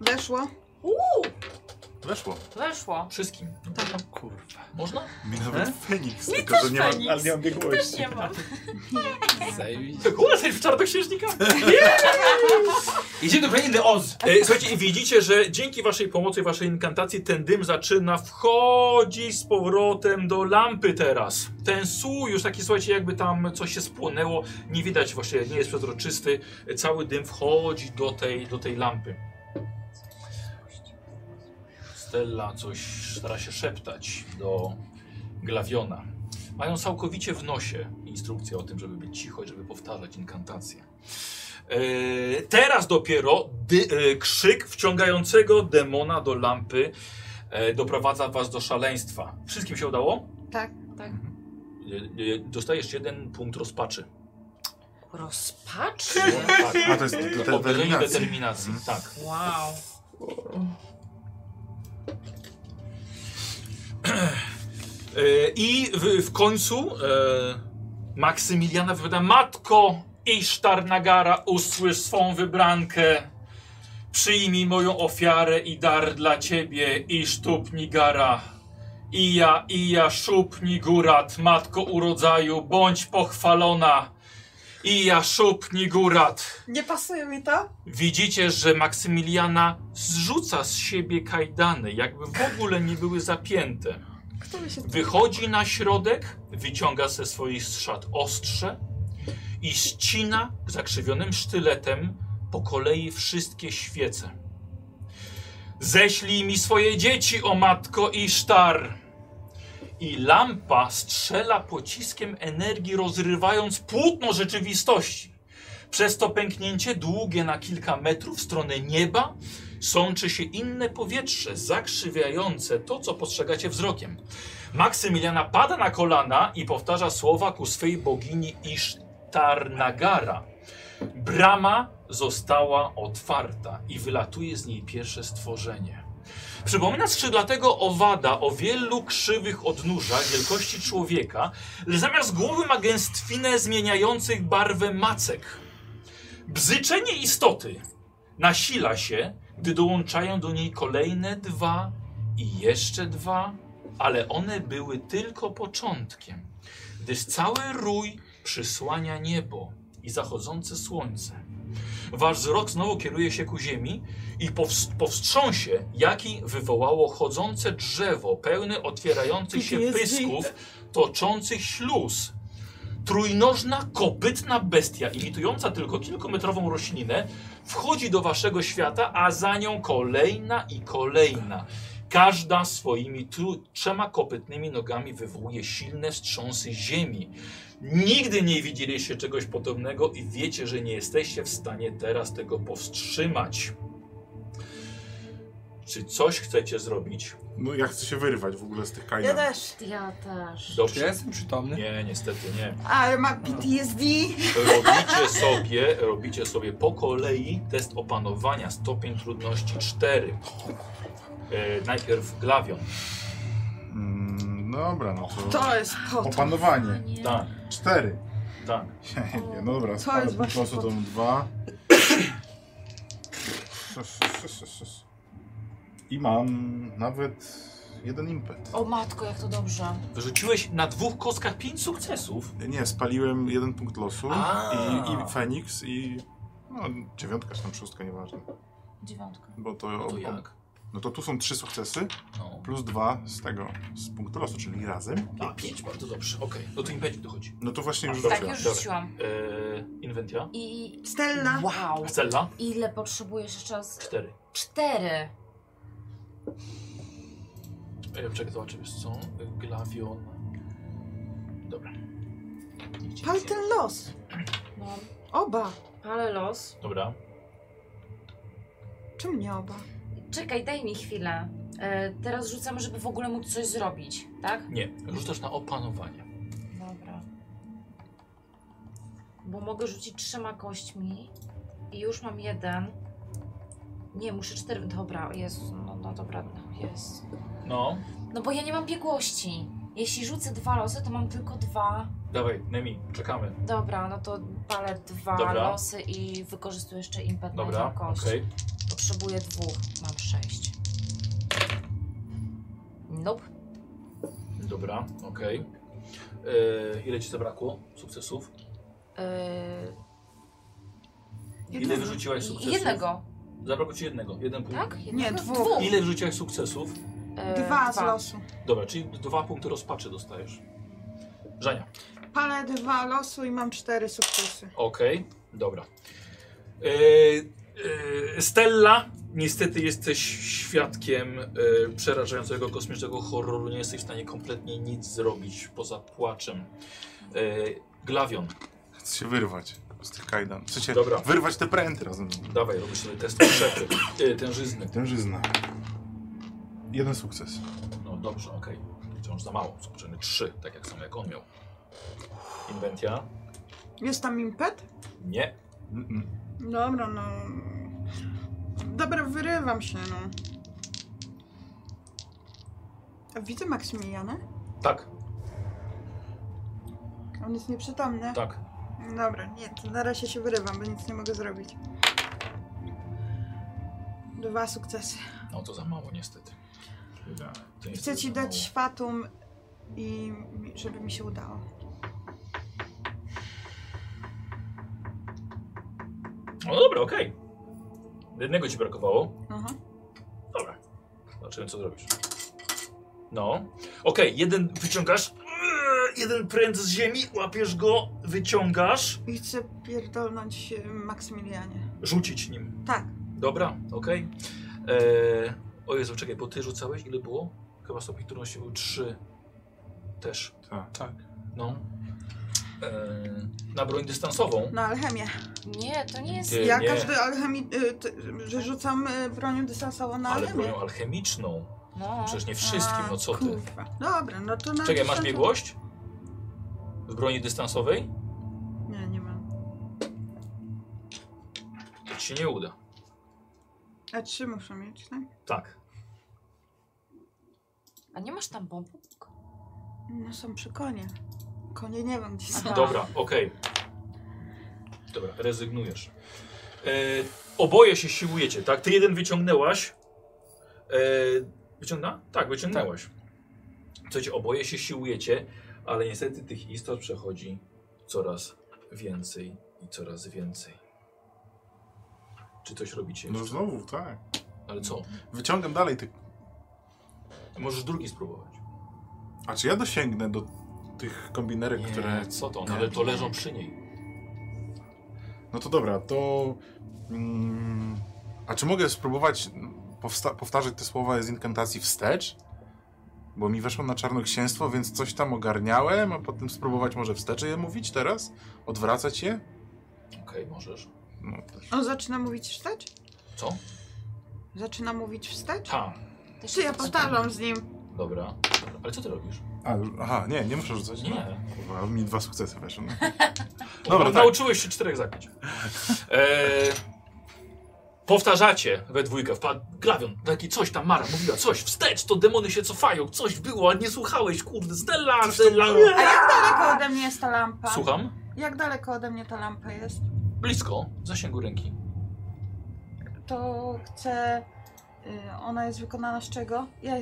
Speaker 2: Weszło.
Speaker 3: Weszło.
Speaker 7: Weszło.
Speaker 1: Wszystkim.
Speaker 5: Kurwa.
Speaker 1: Można?
Speaker 3: Mi nawet Feniks,
Speaker 4: Mi
Speaker 3: tylko
Speaker 4: też
Speaker 3: że nie mam,
Speaker 4: Feniks.
Speaker 3: ale nie mam biegłości.
Speaker 4: Też nie mam.
Speaker 5: Zajebiście.
Speaker 1: Kurwa, jesteś w czarnoksiężnika!
Speaker 5: Idziemy do krainy Oz.
Speaker 1: E, Słuchajcie, i widzicie, że dzięki waszej pomocy, waszej inkantacji, ten dym zaczyna wchodzić z powrotem do lampy teraz. Ten sół już taki, słuchajcie, jakby tam coś się spłonęło, nie widać właśnie, nie jest przezroczysty. E, Cały dym wchodzi do tej, do tej lampy. Stella coś stara się szeptać do Glawiona. Mają całkowicie w nosie instrukcję o tym, żeby być cicho i żeby powtarzać inkantacje. E, teraz dopiero dy, e, krzyk wciągającego demona do lampy e, doprowadza was do szaleństwa. Wszystkim się udało?
Speaker 2: Tak.
Speaker 7: Tak.
Speaker 1: E, e, dostajesz jeden punkt rozpaczy.
Speaker 7: Rozpaczy?
Speaker 1: Tak.
Speaker 3: A to jest Mhm.
Speaker 1: Obniżenie
Speaker 3: determinacja.
Speaker 1: determinacji. Tak.
Speaker 7: Wow.
Speaker 1: E, I w, w końcu e, Maksymiliana wypowiada Matko Isztar Nagara, usłysz swą wybrankę. Przyjmij moją ofiarę i dar dla ciebie, Isztup Nigara. Ija, Ija, Szup Nigurat, Matko Urodzaju, bądź pochwalona. Ija, Szup Nigurat.
Speaker 2: Nie pasuje mi to?
Speaker 1: Widzicie, że Maksymiliana zrzuca z siebie kajdany, jakby w ogóle nie były zapięte.
Speaker 2: Kto by się...
Speaker 1: Wychodzi na środek, wyciąga ze swoich szat ostrze i ścina zakrzywionym sztyletem po kolei wszystkie świece. Ześlij mi swoje dzieci, o matko Isztar! I lampa strzela pociskiem energii, rozrywając płótno rzeczywistości. Przez to pęknięcie, długie na kilka metrów w stronę nieba, sączy się inne powietrze, zakrzywiające to, co postrzegacie wzrokiem. Maksymiliana pada na kolana i powtarza słowa ku swej bogini Isztarnagara. Brama została otwarta i wylatuje z niej pierwsze stworzenie. Przypomina skrzydlatego owada o wielu krzywych odnóżach wielkości człowieka, lecz zamiast głowy ma gęstwinę zmieniających barwę macek. Bzyczenie istoty nasila się, gdy dołączają do niej kolejne dwa i jeszcze dwa, ale one były tylko początkiem, gdyż cały rój przysłania niebo i zachodzące słońce. Wasz wzrok znowu kieruje się ku ziemi i powst- powstrząsie, jaki wywołało chodzące drzewo pełne otwierających się
Speaker 2: Jest
Speaker 1: pysków, toczących śluz. Trójnożna, kopytna bestia, imitująca tylko kilkumetrową roślinę, wchodzi do waszego świata, a za nią kolejna i kolejna. Każda swoimi tu, trzema kopytnymi nogami wywołuje silne wstrząsy ziemi. Nigdy nie widzieliście czegoś podobnego i wiecie, że nie jesteście w stanie teraz tego powstrzymać. Czy coś chcecie zrobić?
Speaker 3: No ja chcę się wyrwać w ogóle z tych
Speaker 2: Ja
Speaker 3: kajdan.
Speaker 2: też.
Speaker 7: Ja też.
Speaker 5: Czy
Speaker 1: Dobrze.
Speaker 5: ja jestem przytomny?
Speaker 1: Nie, niestety nie.
Speaker 2: Ale ma PTSD.
Speaker 1: Robicie sobie, robicie sobie po kolei test opanowania, stopień trudności 4. E, najpierw glawion.
Speaker 3: Mm, dobra, no to...
Speaker 2: To jest pot.
Speaker 3: Opanowanie.
Speaker 1: Tak,
Speaker 3: Cztery.
Speaker 1: tak.
Speaker 3: *laughs* Nie, no dobra,
Speaker 2: To
Speaker 3: spadł
Speaker 2: jest
Speaker 3: po
Speaker 2: właśnie
Speaker 3: prostu
Speaker 2: pod-
Speaker 3: tą dwa. I mam nawet Jeden impet.
Speaker 7: O matko, jak to dobrze.
Speaker 1: Wyrzuciłeś na dwóch kostkach pięć sukcesów.
Speaker 3: Nie, spaliłem jeden punkt losu
Speaker 1: A.
Speaker 3: i, i Feniks i no, dziewiątka czy tam szóstka, nieważne.
Speaker 7: Dziewiątka.
Speaker 3: Bo to,
Speaker 1: To jak?
Speaker 3: No to tu są trzy sukcesy
Speaker 1: No.
Speaker 3: plus dwa z tego, z punktu losu, czyli razem.
Speaker 1: A, pięć, bardzo dobrze, okej. No to im będzie dochodzi.
Speaker 3: No to właśnie już
Speaker 7: Tak,
Speaker 3: dobrze.
Speaker 7: już
Speaker 1: dobra.
Speaker 7: rzuciłam.
Speaker 1: Eee, inwentia.
Speaker 7: I...
Speaker 2: Stella.
Speaker 7: Wow.
Speaker 1: Cella.
Speaker 7: Ile potrzebujesz jeszcze raz?
Speaker 1: Cztery.
Speaker 7: Cztery.
Speaker 1: Eee, czekaj, zobaczymy, co? Glavion. Dobra. Idźcie,
Speaker 2: Pal
Speaker 1: idźcie.
Speaker 2: ten los.
Speaker 7: No,
Speaker 2: Oba.
Speaker 7: ale los.
Speaker 1: Dobra.
Speaker 2: Czemu nie oba?
Speaker 7: Czekaj, daj mi chwilę. E, teraz rzucam, żeby w ogóle móc coś zrobić, tak?
Speaker 1: Nie, rzucasz na opanowanie.
Speaker 7: Dobra. Bo mogę rzucić trzema kośćmi i już mam jeden. Nie, muszę cztery. Dobra, Jezus, no, no dobra, no, jest.
Speaker 1: No.
Speaker 7: No bo ja nie mam biegłości. Jeśli rzucę dwa losy, to mam tylko dwa.
Speaker 1: Dawaj, Nemi, czekamy.
Speaker 7: Dobra, no to palę dwa
Speaker 1: Dobra.
Speaker 7: losy i wykorzystuję jeszcze impet na
Speaker 1: Dobra,
Speaker 7: jedną kość.
Speaker 1: okej.
Speaker 7: Potrzebuję dwóch, mam sześć. Nope.
Speaker 1: Dobra, okej. Eee, ile ci zabrakło sukcesów?
Speaker 7: Yy,
Speaker 1: Ile wyrzuciłaś sukcesów?
Speaker 7: jednego,
Speaker 1: Zabrakło ci jednego, jeden punkt.
Speaker 7: tak? Jednego?
Speaker 2: dwóch.
Speaker 1: Ile wyrzuciłaś sukcesów?
Speaker 7: E,
Speaker 2: Dwa z losu.
Speaker 1: Dobra, czyli dwa punkty rozpaczy dostajesz. Żania.
Speaker 2: Palę dwa losu i mam cztery sukcesy.
Speaker 1: Okej, dobra. Yy, yy, Stella, niestety jesteś świadkiem yy, przerażającego kosmicznego horroru. Nie jesteś w stanie kompletnie nic zrobić poza płaczem. Yy, Glawion,
Speaker 3: Chcę się wyrwać z tych kajdan. Chcę się
Speaker 1: Dobra.
Speaker 3: wyrwać te pręty razem.
Speaker 1: dawaj, robisz sobie test krzepy, yy, tężyzny.
Speaker 3: Tężyzna. Jeden sukces.
Speaker 1: No dobrze, okej. Wciąż za mało, są potrzebne trzy, tak jak samo jak on miał. Inwentia?
Speaker 2: Jest tam impet?
Speaker 1: Nie.
Speaker 3: Mm-mm.
Speaker 2: Dobra, no. Dobra, wyrywam się, no. A Widzę Maksymiliana?
Speaker 1: Tak,
Speaker 2: On jest nieprzytomny.
Speaker 1: tak.
Speaker 2: Dobra, nie, to na razie się wyrywam, bo nic nie mogę zrobić. Dwa sukcesy.
Speaker 1: No to za mało niestety. To niestety
Speaker 2: Tak. Chcę ci
Speaker 1: za
Speaker 2: dać fatum i mi- żeby mi się udało.
Speaker 1: mało. No dobra, okej. Jednego ci brakowało.
Speaker 2: Aha.
Speaker 1: Dobra. Zobaczymy, co zrobisz. No. Okej, jeden wyciągasz. Yy, Jeden pręt z ziemi, łapiesz go, wyciągasz.
Speaker 2: I chcę pierdolnąć e, Maksymilianie.
Speaker 1: Rzucić nim.
Speaker 2: Tak.
Speaker 1: Dobra, okej. Eee, o Jezu, czekaj, bo ty rzucałeś? Ile było? Chyba stopień trudności był 3. Też.
Speaker 3: Tak.
Speaker 1: No. Eee, na broń dystansową.
Speaker 2: Na alchemię.
Speaker 7: Nie, to nie jest.
Speaker 1: Ty,
Speaker 2: Ja
Speaker 1: nie,
Speaker 2: każdy alchemii, y, t, że rzucam y, bronią dystansową na
Speaker 1: ale
Speaker 2: alchemię.
Speaker 1: broją alchemiczną.
Speaker 7: No.
Speaker 1: Przecież nie wszystkim,
Speaker 2: A,
Speaker 1: no co ty.
Speaker 2: tak, kurwa. Dobra, no to na
Speaker 1: Czekaj, masz
Speaker 2: dystansu-
Speaker 1: biegłość? W broni dystansowej?
Speaker 2: Nie, nie mam.
Speaker 1: To ci się nie uda.
Speaker 2: A trzy muszę mieć, tak?
Speaker 1: Tak.
Speaker 7: A nie masz tam bombu?
Speaker 2: No są przy konie. Konie nie wiem gdzie są.
Speaker 7: Aha.
Speaker 1: Dobra, okej. Dobra, rezygnujesz. E, oboje się siłujecie, tak? Ty jeden wyciągnęłaś. E, wyciągna? Tak, wyciągnęłaś. Słuchajcie, oboje się siłujecie, ale niestety tych istot przechodzi coraz więcej i coraz więcej. Czy coś robicie?
Speaker 3: No
Speaker 1: jeszcze?
Speaker 3: znowu, tak.
Speaker 1: Ale co?
Speaker 3: Wyciągam dalej tych
Speaker 1: Możesz drugi spróbować.
Speaker 3: A czy ja dosięgnę do tych kombinerek, które.
Speaker 1: co to?
Speaker 3: nie.
Speaker 1: Ale to leżą przy niej.
Speaker 3: No to dobra, to. Mm, a czy mogę spróbować powsta- powtarzać te słowa z inkantacji wstecz? Bo mi weszło na czarnoksięstwo, więc coś tam ogarniałem, a potem spróbować może wstecz je mówić teraz? Odwracać je?
Speaker 1: Okej, możesz.
Speaker 3: No, też.
Speaker 2: On zaczyna mówić wstecz?
Speaker 1: Co? Tak.
Speaker 2: Zaczyna mówić wstecz?
Speaker 1: Ha,
Speaker 7: Też
Speaker 2: Czy ja
Speaker 7: jest-
Speaker 2: powtarzam z nim?
Speaker 1: dobra. Ale co ty robisz?
Speaker 3: A, aha, nie, nie muszę rzucać.
Speaker 1: Nie.
Speaker 3: No, kurwa, mi dwa sukcesy weszły.
Speaker 2: *laughs*
Speaker 3: No. Dobra, tak.
Speaker 1: Nauczyłeś się czterech
Speaker 3: *laughs*
Speaker 1: zaklęć. E, powtarzacie we dwójkę. Wpadł Glawion, taki coś tam Mara mówiła, coś wstecz, to demony się cofają, coś było, a nie słuchałeś, kurde, Stella, Stella.
Speaker 2: A jak daleko ode mnie jest ta lampa?
Speaker 1: Słucham?
Speaker 2: Jak daleko ode mnie ta lampa jest?
Speaker 1: Blisko, w zasięgu ręki.
Speaker 2: To chcę Y, Ona jest wykonana z czego? Ja y,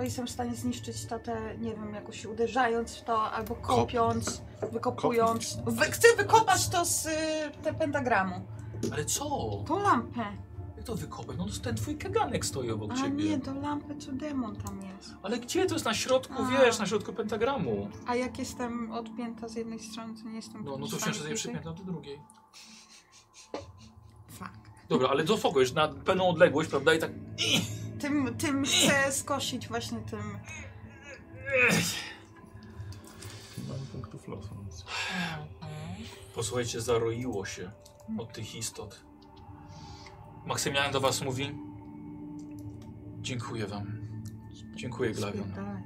Speaker 2: y, jestem w stanie zniszczyć to, te, nie wiem, jakoś uderzając w to, albo kopiąc, wykopując. Wy, chcę wykopać to z y, te pentagramu.
Speaker 1: Ale co?
Speaker 2: Tą lampę.
Speaker 1: Jak to wykopać? No to ten twój kaganek stoi obok
Speaker 2: A
Speaker 1: ciebie.
Speaker 2: nie, tą lampę co demon tam jest.
Speaker 1: Ale gdzie? To jest na środku,
Speaker 2: A.
Speaker 1: wiesz, na środku pentagramu.
Speaker 2: A jak jestem odpięta z jednej strony, to nie jestem
Speaker 1: No, no to
Speaker 2: podniesiona
Speaker 1: wciąż sobie
Speaker 2: bliżej?
Speaker 1: przypiętam do drugiej.
Speaker 2: Fuck.
Speaker 1: Dobra, ale do fogo, już na pełną odległość, prawda? I tak...
Speaker 2: Tym, tym chcę skosić właśnie tym.
Speaker 3: Mam punktów losu. więc-
Speaker 1: Posłuchajcie, zaroiło się od tych istot. Maksymilian do was mówi... Dziękuję wam. Dziękuję, Glawion.
Speaker 2: Spierdalaj.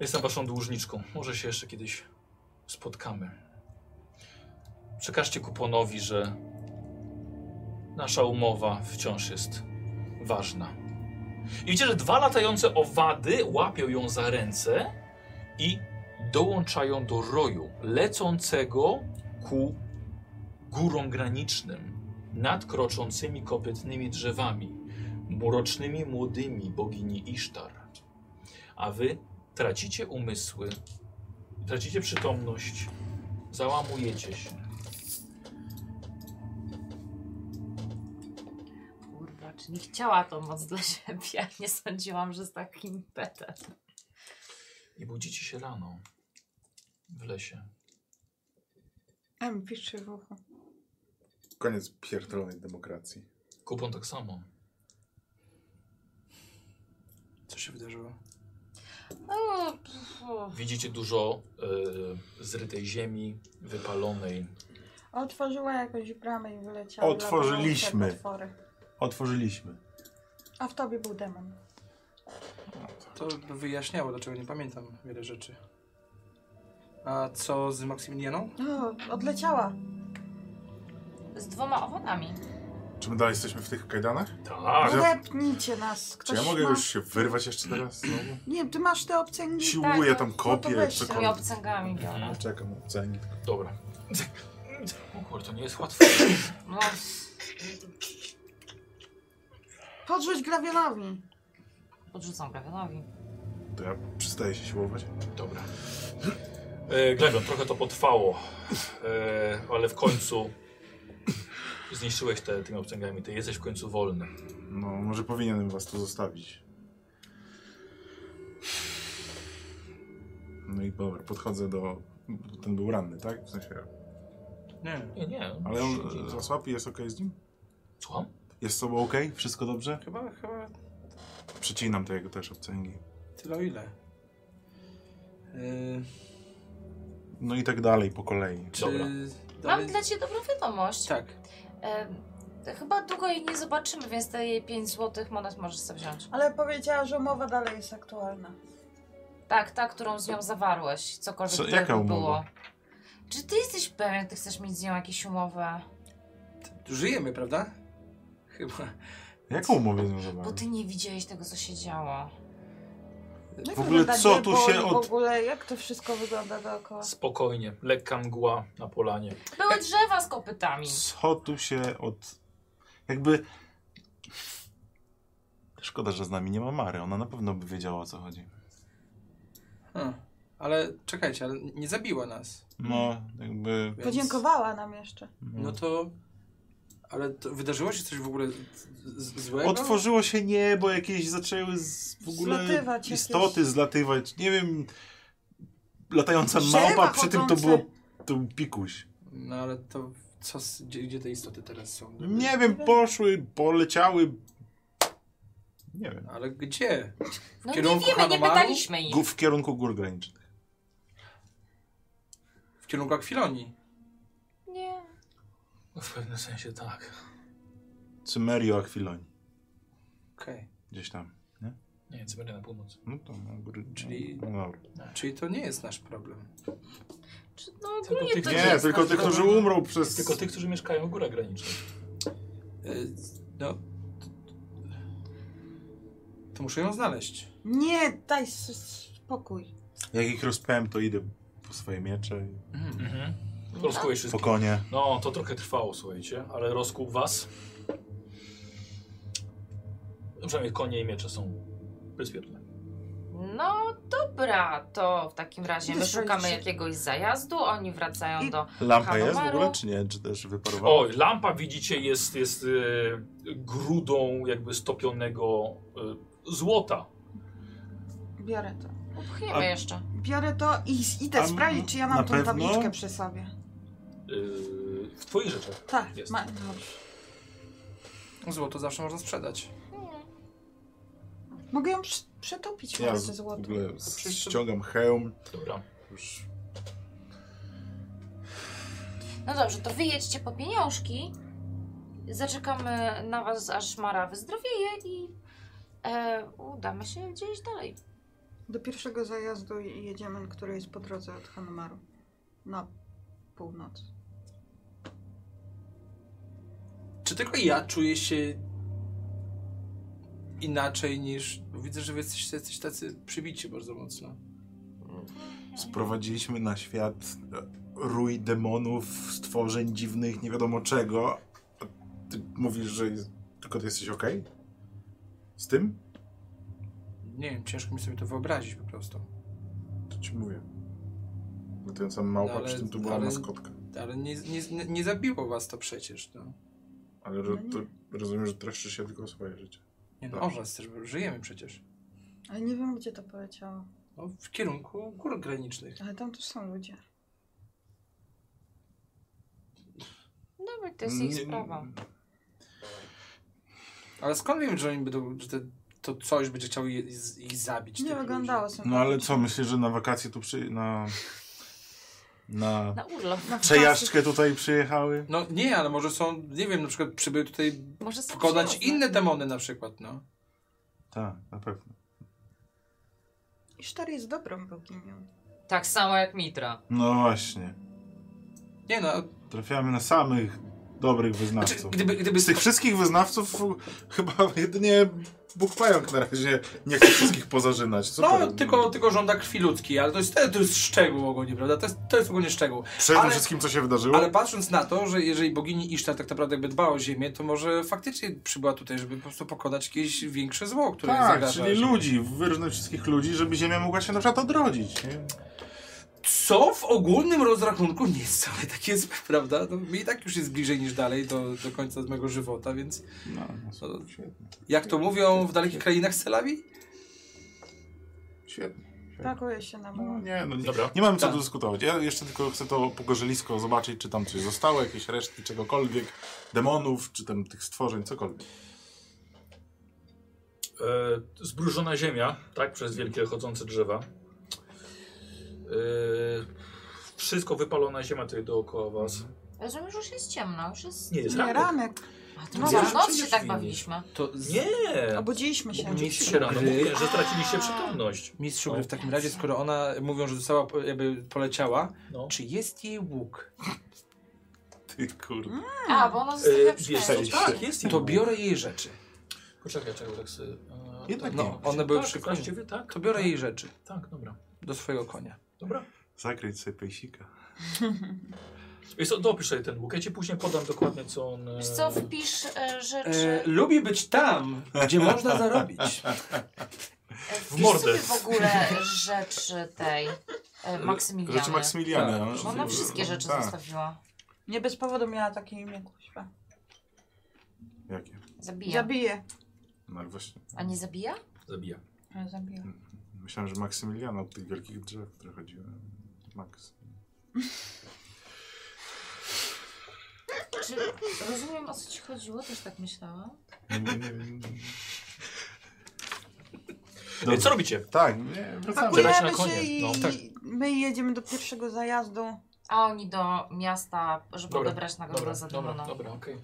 Speaker 1: Jestem waszą dłużniczką. Może się jeszcze kiedyś spotkamy. Przekażcie kuponowi, że nasza umowa wciąż jest ważna. I widzicie, że dwa latające owady łapią ją za ręce i dołączają do roju lecącego ku górom granicznym nad kroczącymi kopytnymi drzewami, mrocznymi młodymi bogini Isztar. A wy tracicie umysły, tracicie przytomność, załamujecie się.
Speaker 7: Kurwa, czy nie chciała to moc dla siebie? Nie sądziłam, że z takim impetem.
Speaker 1: I budzicie się rano w lesie.
Speaker 2: A mi piszczy w uchu.
Speaker 3: Koniec pierdolonej demokracji.
Speaker 1: Kupon tak samo.
Speaker 5: Co się wydarzyło?
Speaker 7: O, No, pff, o.
Speaker 1: Widzicie dużo e, zrytej ziemi, wypalonej.
Speaker 2: Otworzyła jakąś bramę i wyleciała.
Speaker 11: Otworzyliśmy.
Speaker 2: dlatego te potwory.
Speaker 11: Otworzyliśmy.
Speaker 2: A w tobie był demon.
Speaker 5: To by wyjaśniało, dlaczego nie pamiętam wiele rzeczy. A co z Maksymilianą?
Speaker 2: O, odleciała.
Speaker 7: Z dwoma owadami.
Speaker 3: Czy my dalej jesteśmy w tych kajdanach?
Speaker 1: Tak!
Speaker 3: ja-
Speaker 2: Odepnijcie nas.
Speaker 3: Czy
Speaker 2: Ktoś
Speaker 3: ja mogę
Speaker 2: ma...
Speaker 3: już się wyrwać jeszcze teraz znowu?
Speaker 2: Nie, ty masz te opcje. nie-
Speaker 3: Siłuję
Speaker 7: tak,
Speaker 3: tam
Speaker 2: no to
Speaker 3: kopię,
Speaker 2: weź się.
Speaker 7: Tymi
Speaker 3: cokolwiek.
Speaker 7: obcęgami biorę.
Speaker 3: Czekam, obcęgi. tylko.
Speaker 1: Dobra. *laughs* O kurde, to nie jest łatwe.
Speaker 7: No,
Speaker 2: Tak. Podrzuć glawionowi.
Speaker 7: podrzucam Gawionowi.
Speaker 3: To ja przestaję się siłować.
Speaker 1: Dobra. E, Glebion, trochę to potrwało, e, ale w końcu zniszczyłeś te, tymi obcęgami. Ty jesteś w końcu wolny.
Speaker 3: No, może powinienem was tu zostawić. No i dobra, podchodzę do... Ten był ranny, tak? W sensie...
Speaker 5: Nie.
Speaker 1: Nie, nie.
Speaker 3: Ale
Speaker 1: siedzi.
Speaker 2: no.
Speaker 3: on zasłapi, jest okej z nim?
Speaker 1: Słucham?
Speaker 3: Jest z sobą okej? Wszystko dobrze?
Speaker 5: Chyba, chyba
Speaker 3: Przecinam te jego też obcęgi.
Speaker 5: tyle o ile. Yy,
Speaker 3: No i tak dalej, po kolei.
Speaker 5: czy
Speaker 1: Dobra.
Speaker 5: dalej-
Speaker 7: Mam dla Ciebie dobrą wiadomość.
Speaker 5: Tak.
Speaker 7: E, chyba długo jej nie zobaczymy, więc te jej 5 złotych monet możesz sobie wziąć.
Speaker 2: Ale powiedziała, że umowa dalej jest aktualna. No
Speaker 7: Tak, ta, którą z nią zawarłeś, cokolwiek
Speaker 3: Co-
Speaker 7: to
Speaker 3: jaka
Speaker 7: by
Speaker 3: umowa?
Speaker 7: było. Czy Ty jesteś pewien, Ty chcesz mieć z nią jakieś umowę?
Speaker 5: Żyjemy, prawda? Chyba.
Speaker 3: Jaką umowę
Speaker 7: Bo
Speaker 3: związowałem?
Speaker 7: Ty nie widziałeś tego, co się działo.
Speaker 2: Jak
Speaker 3: W ogóle
Speaker 2: wygląda
Speaker 3: co tu
Speaker 2: niebo
Speaker 3: się
Speaker 2: i W
Speaker 3: od-
Speaker 2: ogóle jak to wszystko wygląda dookoła?
Speaker 1: Spokojnie. Lekka mgła na polanie.
Speaker 7: Były drzewa E, z kopytami.
Speaker 3: Co tu się od... Jakby... Szkoda, że z nami nie ma Mary. Ona na pewno by wiedziała, o co chodzi.
Speaker 5: Hmm. Ale czekajcie, ale nie zabiła nas.
Speaker 3: No, jakby...
Speaker 5: Więc...
Speaker 2: Podziękowała nam jeszcze.
Speaker 5: Hmm. No to. Ale to wydarzyło się coś w ogóle z- z- złego?
Speaker 3: Otworzyło się niebo, jakieś zaczęły z, w ogóle
Speaker 2: Zlatywać
Speaker 3: istoty
Speaker 2: jakieś.
Speaker 3: zlatywać. Nie wiem, latająca
Speaker 2: Drzewa
Speaker 3: małpa, przy tym to
Speaker 2: chodzące.
Speaker 3: było to był pikuś.
Speaker 5: No ale to. Co, z- gdzie, gdzie te istoty teraz są?
Speaker 3: Nie wiem, poszły, poleciały. Nie wiem.
Speaker 5: Ale gdzie?
Speaker 7: No nie
Speaker 5: kierunku
Speaker 7: wiemy, nie
Speaker 5: Hanumaru?
Speaker 7: pytaliśmy ich.
Speaker 3: Gu- W kierunku gór granicznych.
Speaker 5: W kierunku Akwilonii.
Speaker 7: Nie.
Speaker 1: No w pewnym sensie tak.
Speaker 3: Cymerio Aquiloni.
Speaker 5: Okej.
Speaker 3: Gdzieś tam.
Speaker 1: Nie, Cymeria na północ.
Speaker 3: No to na góry.
Speaker 5: Czyli-
Speaker 3: No, dobra.
Speaker 5: Czyli to nie jest nasz problem.
Speaker 7: Czy, no ogólnie
Speaker 1: tych-
Speaker 7: to
Speaker 1: Nie,
Speaker 7: nie
Speaker 3: Nie,
Speaker 7: jest
Speaker 3: tylko
Speaker 7: nasz
Speaker 3: tych, którzy
Speaker 7: problem.
Speaker 3: umrą przez.
Speaker 1: Tylko tych, którzy mieszkają w górach granicznych.
Speaker 5: Y, No. To muszę ją znaleźć.
Speaker 2: Nie, daj s- spokój.
Speaker 3: Jak ich rozpęłem, to idę po swoje miecze, i
Speaker 1: Mhm. Rozkujesz
Speaker 3: po
Speaker 1: wszystkich.
Speaker 3: konie.
Speaker 1: No, to trochę trwało, słuchajcie, ale rozkup was. No, przynajmniej konie i miecze są bezpieczne.
Speaker 7: No dobra, to w takim razie my
Speaker 2: Dostaliście-
Speaker 7: szukamy jakiegoś zajazdu, oni wracają
Speaker 2: I-
Speaker 7: do...
Speaker 12: Lampa jest w
Speaker 7: Hanomaru.
Speaker 12: ogóle, czy nie? Czy też wyparowała?
Speaker 1: O, lampa widzicie jest, jest e, grudą jakby stopionego e, złota.
Speaker 2: Biorę to.
Speaker 7: Upchniemy
Speaker 12: A-
Speaker 7: jeszcze.
Speaker 2: Biorę to i s- idę
Speaker 12: A
Speaker 2: sprawdzić, czy ja
Speaker 12: na
Speaker 2: mam tą
Speaker 12: pewno?
Speaker 2: tabliczkę przy sobie.
Speaker 1: E, w twoich rzeczach.
Speaker 2: Tak,
Speaker 1: Jest.
Speaker 2: ma, dobrze.
Speaker 5: Złoto zawsze można sprzedać.
Speaker 2: Mogę ją przy, przetopić
Speaker 3: Ja
Speaker 2: może
Speaker 3: z-
Speaker 2: ze
Speaker 3: w
Speaker 2: złotem.
Speaker 3: ogóle ściągam hełm.
Speaker 1: Dobra.
Speaker 3: Już
Speaker 7: No dobrze, to wyjedźcie po pieniążki, zaczekamy na was, aż Mara wyzdrowieje i e, udamy się gdzieś dalej.
Speaker 2: Do pierwszego zajazdu jedziemy, który jest po drodze od Hanumaru. Na północ.
Speaker 5: Czy tylko ja czuję się inaczej niż... bo Widzę, że wy jesteście, jesteście tacy przybici bardzo mocno.
Speaker 3: sprowadziliśmy na świat e, rój demonów, stworzeń dziwnych, nie wiadomo czego. A ty mówisz, że jest- tylko ty jesteś okej? Z tym?
Speaker 5: Nie wiem, ciężko mi sobie to wyobrazić po prostu.
Speaker 3: To ci mówię. No ten sam małpa,
Speaker 5: No ale-
Speaker 3: przy tym tu była
Speaker 5: ale-
Speaker 3: maskotka.
Speaker 5: Ale nie, nie, nie zabiło was to przecież. No.
Speaker 3: Ale ro, to rozumiem, że troszczysz się tylko o swoje życie.
Speaker 5: Nie no, o
Speaker 3: Dobrze.
Speaker 5: was też żyjemy przecież.
Speaker 2: Ale nie wiem, gdzie to poleciało.
Speaker 5: No, w kierunku gór granicznych.
Speaker 2: Ale tam też są ludzie.
Speaker 7: Dobra, to jest ich
Speaker 3: Nie-
Speaker 7: sprawa.
Speaker 5: Ale skąd wiem, że oni będą, że te, to coś będzie chciało je, z- ich zabić?
Speaker 2: Nie
Speaker 5: tych
Speaker 2: wyglądało
Speaker 5: ludzi?
Speaker 2: sobie.
Speaker 3: No ale co, myślisz, że na wakacje tu przy... na... na...
Speaker 7: Na urlop.
Speaker 3: przejażdżkę tutaj przyjechały?
Speaker 5: No nie, ale może są, nie wiem, na przykład przybyły tutaj
Speaker 7: Może są
Speaker 5: pokonać
Speaker 7: przyjazne.
Speaker 5: inne demony na przykład, no.
Speaker 3: Tak, na pewno.
Speaker 2: I Sztar jest dobrą boginią.
Speaker 7: Tak samo jak Mitra.
Speaker 3: No właśnie.
Speaker 5: Nie no,
Speaker 3: Trafiamy na samych dobrych
Speaker 5: znaczy,
Speaker 3: wyznawców.
Speaker 5: gdyby, gdyby
Speaker 3: Z tych wszystkich wyznawców chyba jedynie Bóg Pająk na razie nie chce wszystkich pozażynać.
Speaker 5: No,
Speaker 3: Super.
Speaker 5: tylko, tylko żąda krwi ludzkiej, ale to jest, to jest szczegół ogólnie, prawda? To jest, to jest ogólnie szczegół.
Speaker 3: Przede
Speaker 5: ale-
Speaker 3: wszystkim, co się wydarzyło?
Speaker 5: Ale patrząc na to, że jeżeli bogini Isztar tak naprawdę jakby dbała o ziemię, to może faktycznie przybyła tutaj, żeby po prostu pokonać jakieś większe zło, które jej
Speaker 3: tak,
Speaker 5: zagraża.
Speaker 3: czyli ludzi, wyróżnić wszystkich ludzi, żeby Ziemia mogła się na przykład odrodzić. Nie?
Speaker 5: Co w ogólnym rozrachunku nie jest wcale takie *laughs* złe, prawda? No, mi i tak już jest bliżej niż dalej do, do końca mojego żywota, więc
Speaker 3: No,
Speaker 5: super,
Speaker 3: no, świetnie.
Speaker 5: jak to mówią w dalekich krainach Selawi?
Speaker 3: Świetnie.
Speaker 1: Tak.
Speaker 2: Pakuje się na
Speaker 3: No,
Speaker 2: mur.
Speaker 3: nie, no, nie,
Speaker 1: Dobra.
Speaker 3: nie mamy co
Speaker 5: Tak.
Speaker 3: tu dyskutować. Ja jeszcze tylko chcę to pogorzelisko zobaczyć, czy tam coś zostało, jakieś resztki czegokolwiek, demonów, czy tam tych stworzeń, cokolwiek. *laughs*
Speaker 1: E, zbrużona ziemia, tak, przez wielkie chodzące drzewa. E, wszystko wypalona ziemia tutaj dookoła was.
Speaker 7: Rozumiem, że już jest ciemno, już jest...
Speaker 1: Nie, jest
Speaker 2: Nie,
Speaker 1: ranek.
Speaker 2: ranek.
Speaker 7: A to
Speaker 1: No,
Speaker 7: za
Speaker 1: już
Speaker 7: noc się
Speaker 1: przecież
Speaker 7: tak
Speaker 1: winni.
Speaker 7: bawiliśmy.
Speaker 5: To
Speaker 1: Nie!
Speaker 2: Obudziliśmy się.
Speaker 1: Obudziliście się rano,
Speaker 5: Gry.
Speaker 1: mówię, że straciliście przytomność.
Speaker 5: Mistrzu
Speaker 1: No.
Speaker 5: gry, w takim razie, skoro ona mówią, że została, jakby poleciała,
Speaker 1: No.
Speaker 5: czy jest jej łuk?
Speaker 3: Ty kurde.
Speaker 7: A, bo ono
Speaker 1: E,
Speaker 7: zostawia
Speaker 1: wiesz,
Speaker 7: przy
Speaker 1: co,
Speaker 7: mężu.
Speaker 1: tak, jest i
Speaker 5: To
Speaker 1: był.
Speaker 5: biorę jej rzeczy.
Speaker 1: Poczekaj, czego tak sobie... e,
Speaker 3: Jednak
Speaker 1: tak,
Speaker 5: nie.
Speaker 1: no,
Speaker 5: One były
Speaker 1: tak,
Speaker 5: przy koniu.
Speaker 1: właściwie Tak,
Speaker 5: To biorę
Speaker 1: tak,
Speaker 5: jej rzeczy
Speaker 1: Tak, dobra.
Speaker 5: do swojego konia.
Speaker 1: Dobra.
Speaker 3: Zakryć sobie pejsika.
Speaker 1: Wiesz co, dopisz sobie ten łuk, ja ci później podam dokładnie co on... e,
Speaker 7: Wiesz co, wpisz e,
Speaker 5: E,
Speaker 7: rzeczy...
Speaker 5: lubi być tam, gdzie można zarobić.
Speaker 7: E, wpisz
Speaker 1: mordę.
Speaker 7: sobie w ogóle rzeczy tej e, Maksymiliany.
Speaker 3: Rzeczy Maksymiliana.
Speaker 5: Tak.
Speaker 3: no,
Speaker 7: Ona wszystkie rzeczy
Speaker 3: tak.
Speaker 7: zostawiła.
Speaker 2: Nie bez powodu miała takie imię, kuźwa.
Speaker 3: Jakie?
Speaker 7: Zabija.
Speaker 2: Zabiję.
Speaker 3: No i właśnie.
Speaker 7: A nie zabija?
Speaker 1: Zabija.
Speaker 2: Ale Zabiję.
Speaker 3: Myślałem, że Maksymiliana od tych wielkich drzew, które chodziły. Max.
Speaker 7: Czy Znaczy, rozumiem o co ci chodziło? Też tak myślałam.
Speaker 3: Nie, nie, nie, nie.
Speaker 1: E,
Speaker 3: Dobrze.
Speaker 1: co robicie?
Speaker 3: Tak, nie, wracamy.
Speaker 1: Zabierać
Speaker 2: Pakujemy
Speaker 1: na
Speaker 2: się
Speaker 1: konie.
Speaker 2: i
Speaker 1: No,
Speaker 5: tak.
Speaker 2: my jedziemy do pierwszego zajazdu.
Speaker 7: A oni do miasta, żeby
Speaker 1: Dobra,
Speaker 7: odebrać nagrodę
Speaker 1: Dobra,
Speaker 7: za
Speaker 1: dobra,
Speaker 7: demona.
Speaker 1: dobra, okej.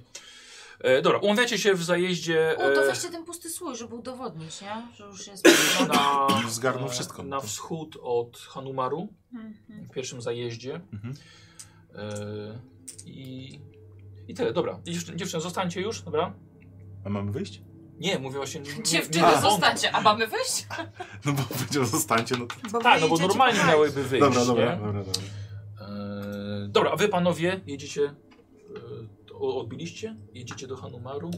Speaker 1: E, Dobra, umawiacie się w zajeździe...
Speaker 7: O, to
Speaker 1: e,
Speaker 7: weźcie ten pusty słój, żeby udowodnić, nie? Że już jest
Speaker 1: na,
Speaker 3: Zgarnął
Speaker 1: e,
Speaker 3: wszystko.
Speaker 1: na wschód od Hanumaru,
Speaker 2: Mhm.
Speaker 1: w pierwszym zajeździe.
Speaker 3: Mhm.
Speaker 1: E, I, I tyle, dobra. Dziewczyny, dziewczyny, zostańcie już, dobra?
Speaker 3: A mamy wyjść?
Speaker 1: Nie, mówię właśnie... nie- nie-
Speaker 7: Dziewczyny,
Speaker 1: on-
Speaker 7: zostańcie, a mamy wyjść?
Speaker 3: No bo powiedział, zostańcie. No to...
Speaker 2: Bo
Speaker 1: Tak,
Speaker 2: wy
Speaker 1: no bo
Speaker 2: idziecie
Speaker 1: normalnie
Speaker 2: po hajs.
Speaker 1: miałyby wyjść,
Speaker 3: Dobra, dobra,
Speaker 1: nie?
Speaker 3: dobra, dobra.
Speaker 1: Eee, dobra, a wy panowie jedziecie. e, to- o- Odbiliście? Jedziecie do Hanumaru.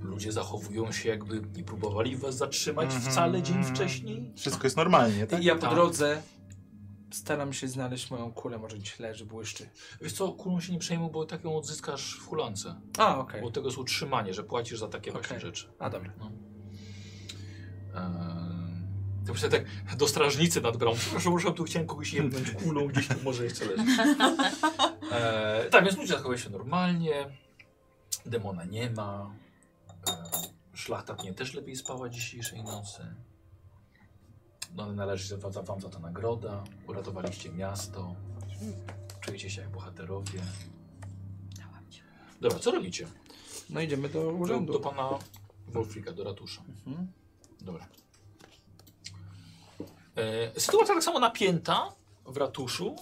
Speaker 1: ludzie zachowują się jakby nie próbowali was zatrzymać wcale dzień
Speaker 3: Mm.
Speaker 1: wcześniej.
Speaker 3: Mhm. Wszystko jest normalnie, tak?
Speaker 5: I ja po
Speaker 1: Tak.
Speaker 5: drodze staram się znaleźć moją kulę, może gdzieś leży, błyszczy.
Speaker 1: Wiesz co, kulą się nie przejmuj, bo tak ją odzyskasz w hulance.
Speaker 5: A, okej.
Speaker 1: Bo tego jest utrzymanie, że płacisz za takie właśnie
Speaker 5: Okej.
Speaker 1: rzeczy.
Speaker 5: A, dobra.
Speaker 1: Eee, To myślę tak *laughs* do strażnicy nad *laughs* bramą. Przepraszam, proszę, tu chciałem kogoś jednąć kulą, gdzieś tu może jeszcze leży.
Speaker 5: *laughs*
Speaker 1: Eee, tak, więc ludzie zachowują się normalnie. Demona nie ma. Eee, szlachta nie też lepiej spała dzisiejszej nocy. No ale należy się wa- za- wam za to nagroda. Uratowaliście miasto. Czujecie się jak bohaterowie. Dobra, co robicie?
Speaker 5: No idziemy do
Speaker 1: Do, do
Speaker 5: urzędu.
Speaker 1: pana Wolfrika, do ratusza. Dobra. E, sytuacja tak samo napięta w ratuszu.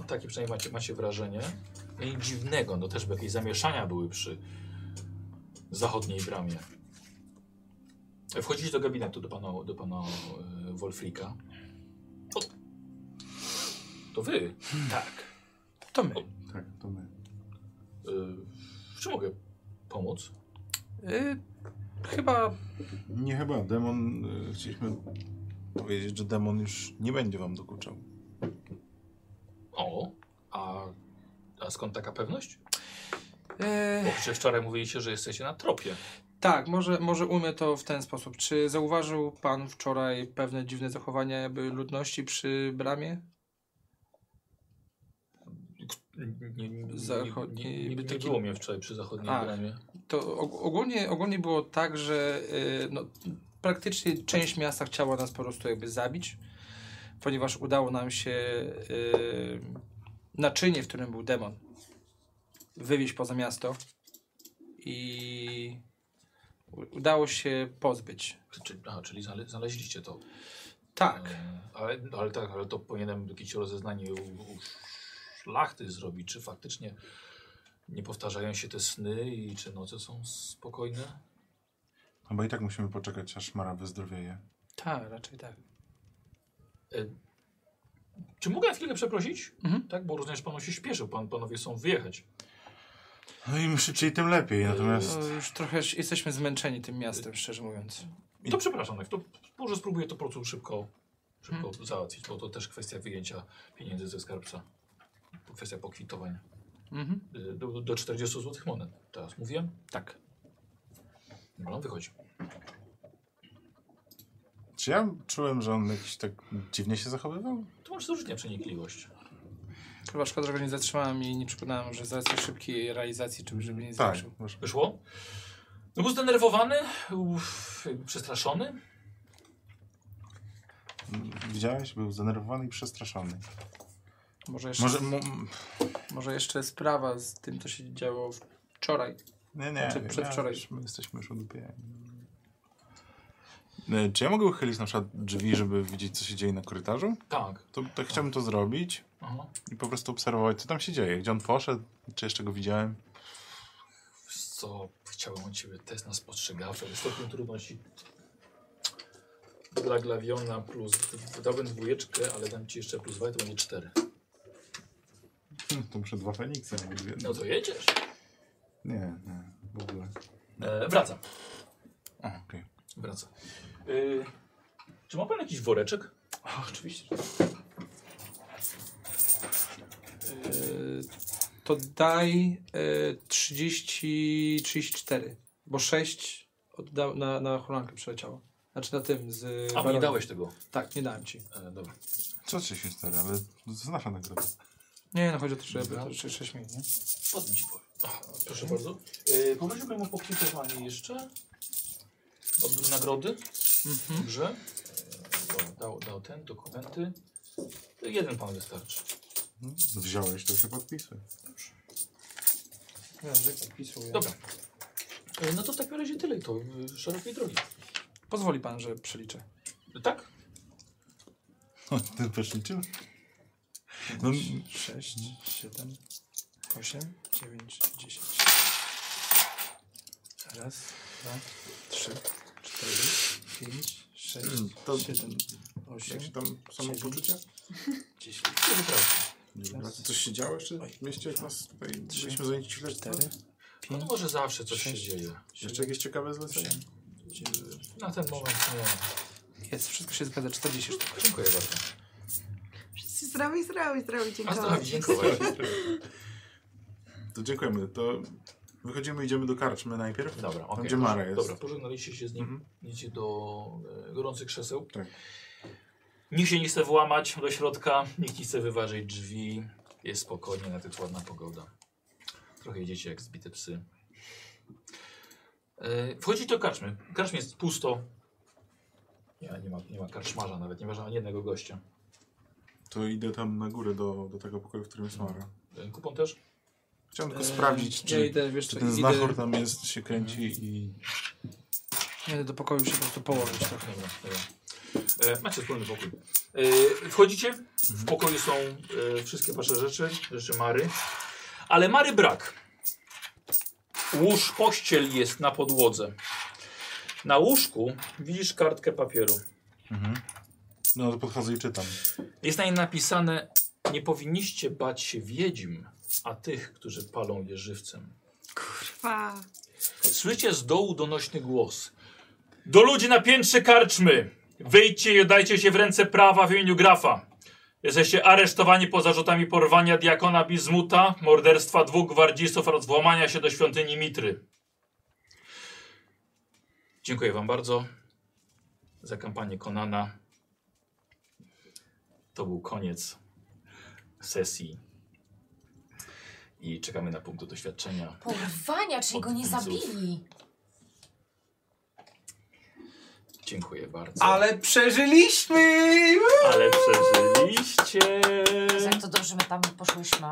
Speaker 1: E, takie przynajmniej macie, macie wrażenie. No i dziwnego, no też by jakieś zamieszania były przy zachodniej bramie. E, Wchodzicie do gabinetu do pana, do pana e, Wolfrika. O, to wy.
Speaker 5: Tak. To my.
Speaker 3: Tak, to my.
Speaker 1: E, w czym mogę pomóc?
Speaker 5: Y, chyba
Speaker 3: Nie chyba, demon... y, Chcieliśmy powiedzieć, że demon już nie będzie wam dokuczał.
Speaker 1: O, a, a skąd taka pewność?
Speaker 5: y,
Speaker 1: Bo przecież wczoraj mówiliście, że jesteście na tropie.
Speaker 5: Tak, może, może umie to w ten sposób. Czy zauważył pan wczoraj pewne dziwne zachowania jakby ludności przy bramie?
Speaker 1: Nie, nie,
Speaker 5: Zachodni-
Speaker 1: nie, nie, nie, nie
Speaker 5: taki-
Speaker 1: było mnie wczoraj przy zachodniej
Speaker 5: A.
Speaker 1: bramie.
Speaker 5: To og- ogólnie, ogólnie było tak, że y, no, praktycznie część miasta chciała nas po prostu jakby zabić, ponieważ udało nam się y, naczynie, w którym był demon, wywieźć poza miasto i u- udało się pozbyć.
Speaker 1: Czyli, aha, czyli znale, znaleźliście to.
Speaker 5: Tak.
Speaker 1: E, ale, ale tak, ale to powinienem jakieś rozeznanie u, u szlachty zrobić, czy faktycznie nie powtarzają się te sny i czy noce są spokojne.
Speaker 3: No bo i tak musimy poczekać, aż Mara wyzdrowieje.
Speaker 5: Tak, raczej tak.
Speaker 1: Czy mogę na chwilę przeprosić?
Speaker 5: Mhm.
Speaker 1: Tak, bo również panu się śpieszył, pan, panowie są wyjechać.
Speaker 3: No im szybciej, tym lepiej, natomiast...
Speaker 5: No, już trochę ś- jesteśmy zmęczeni tym miastem, szczerze mówiąc.
Speaker 3: I-
Speaker 1: To przepraszam, tak, to może spróbuję to po prostu szybko, szybko załatwić, bo to też kwestia wyjęcia pieniędzy ze skarbca. To Kwestia pokwitowania.
Speaker 5: Mhm.
Speaker 1: Y, Do, do 40 złotych monet. Teraz mówiłem? Tak. No, on wychodzi.
Speaker 3: Czy ja czułem, że on jakiś tak dziwnie się zachowywał? Tak.
Speaker 1: Tu masz różnie przenikliwość.
Speaker 5: Chyba szkoda, że go nie zatrzymałem i nie przekonałem, że z racji szybkiej realizacji, czy żeby nie
Speaker 3: Tak.
Speaker 5: zniszczył.
Speaker 3: może-
Speaker 1: Wyszło? No był zdenerwowany, uff, jakby przestraszony.
Speaker 3: m, Widziałeś? Był zdenerwowany i przestraszony.
Speaker 5: Może jeszcze,
Speaker 3: Może...
Speaker 5: może...
Speaker 3: Mu, m,
Speaker 5: jeszcze sprawa z tym, co się działo wczoraj.
Speaker 3: nie, nie.
Speaker 5: Znaczy,
Speaker 3: wiem,
Speaker 5: przedwczoraj.
Speaker 3: ja- My jesteśmy już udupieni. E, Czy ja mogę uchylić na przykład drzwi, żeby widzieć, co się dzieje na korytarzu?
Speaker 1: Tak.
Speaker 3: To, to chciałbym to zrobić
Speaker 1: Aha.
Speaker 3: i po prostu obserwować, co tam się dzieje. Gdzie on poszedł, czy jeszcze go widziałem.
Speaker 1: Wiesz co, chciałem od ciebie test na spostrzegawcze ze stopień trudności. Dla Glawiona plus, dałbym dwójeczkę, ale dam ci jeszcze plus dwa i to będzie cztery.
Speaker 3: Hmm, To muszę dwa Feniksa. mieć w jednym.
Speaker 1: No to jedziesz.
Speaker 3: Nie, nie, w ogóle.
Speaker 1: E, wracam.
Speaker 3: A, okej.
Speaker 1: Wracam. Y, czy ma pan jakiś woreczek? oczywiście.
Speaker 5: Yy, to daj yy, 30, 34, bo 6 odda- na, na hulankę przeleciało. Znaczy na tym z...
Speaker 1: A bo nie
Speaker 5: Baronem.
Speaker 1: dałeś tego.
Speaker 5: Tak, nie dałem ci.
Speaker 1: E, dobra.
Speaker 3: Co ci się stary, ale to jest nasza nagroda.
Speaker 5: Nie, no chodzi o to, żeby to 6 minut, nie?
Speaker 1: Potem ci powiem. E, Ach, proszę bardzo. Y, Poprosiłbym o pokwitowanie jeszcze. Od nagrody.
Speaker 5: Mhm.
Speaker 1: Dobrze. E, o, Dał, dał ten, dokumenty. Y, Jeden pan wystarczy.
Speaker 3: Hmm, Wziąłeś, to się podpisuj.
Speaker 5: Ja, że podpisuję.
Speaker 1: Dobra. E, No to w takim razie tyle i to y, szerokiej drogi.
Speaker 5: Pozwoli pan, że przeliczę.
Speaker 1: Tak?
Speaker 3: Ty też liczył? No,
Speaker 5: 6, 7, 8, 9, 10. Raz, dwa, trzy, cztery, pięć, sześć,
Speaker 3: Mm, to
Speaker 5: siedem,
Speaker 3: jak
Speaker 5: osiem,
Speaker 3: się tam samopoczucie?
Speaker 5: dziesięć,
Speaker 1: Dobrze.
Speaker 3: Nie wiem, Coś się działo jeszcze w mieście, jak nas tutaj byliśmy zajęci chwilę?
Speaker 5: cztery, pięć.
Speaker 1: No może zawsze coś
Speaker 5: Sześć.
Speaker 1: się dzieje.
Speaker 3: Jeszcze jakieś ciekawe zlecenie?
Speaker 1: Na ten moment nie.
Speaker 5: Jest, wszystko się zgadza, 40 sztuk.
Speaker 1: Dziękuję bardzo.
Speaker 2: Wszyscy zdrowi, zdrowi, zdrowi,
Speaker 1: A
Speaker 2: dziękuję.
Speaker 1: zdrowie, dziękuję. *laughs*
Speaker 3: To dziękujemy. To wychodzimy, idziemy do karczmy najpierw.
Speaker 1: Dobra, okej.
Speaker 3: gdzie Mara jest.
Speaker 1: Dobra, pożegnaliście się z nim.
Speaker 3: Mhm.
Speaker 1: Idziecie do e, gorących krzeseł.
Speaker 3: Tak.
Speaker 1: Nikt się nie chce włamać do środka, nikt nie chce wyważyć drzwi. Jest spokojnie, na jest ładna pogoda. Trochę jedziecie jak zbite psy. E, wchodzicie do karczmy. Karczmy jest pusto. Nie, nie ma, nie ma karczmarza nawet, nie ma żadnego jednego gościa.
Speaker 3: To idę tam na górę do, do tego pokoju, w którym jest Mara.
Speaker 1: E, kupon też?
Speaker 3: Chciałem tylko sprawdzić,
Speaker 5: Eee, Ja
Speaker 3: czy,
Speaker 5: idę, wiesz
Speaker 3: czy
Speaker 5: co,
Speaker 3: ten
Speaker 5: idę,
Speaker 3: znachor tam jest, się kręci i...
Speaker 5: idę no, do pokoju się po prostu położyć trochę.
Speaker 1: Dobra, dobra. E, macie wspólny pokój. E, wchodzicie, w pokoju są e, wszystkie wasze rzeczy, rzeczy Mary. Ale Mary brak. Łóż pościel jest na podłodze. Na łóżku widzisz kartkę papieru.
Speaker 3: No to podchodzę i czytam.
Speaker 1: Jest na niej napisane: Nie powinniście bać się wiedźm, a tych, którzy palą je żywcem.
Speaker 2: Kurwa.
Speaker 1: Słyszycie z dołu donośny głos. Do ludzi na piętrze karczmy! Wyjdźcie i oddajcie się w ręce prawa w imieniu grafa. Jesteście aresztowani po zarzutami porwania diakona Bizmuta, morderstwa dwóch gwardzistów oraz włamania się do świątyni Mitry. Dziękuję wam bardzo za kampanię Konana. To był koniec sesji. I czekamy na punkt do doświadczenia.
Speaker 7: Porwania, czyli go nie
Speaker 1: Od widzów.
Speaker 7: zabili.
Speaker 1: Dziękuję bardzo.
Speaker 5: Ale przeżyliśmy!
Speaker 1: Ale przeżyliście.
Speaker 7: Jak to dobrze my tam poszłyśmy.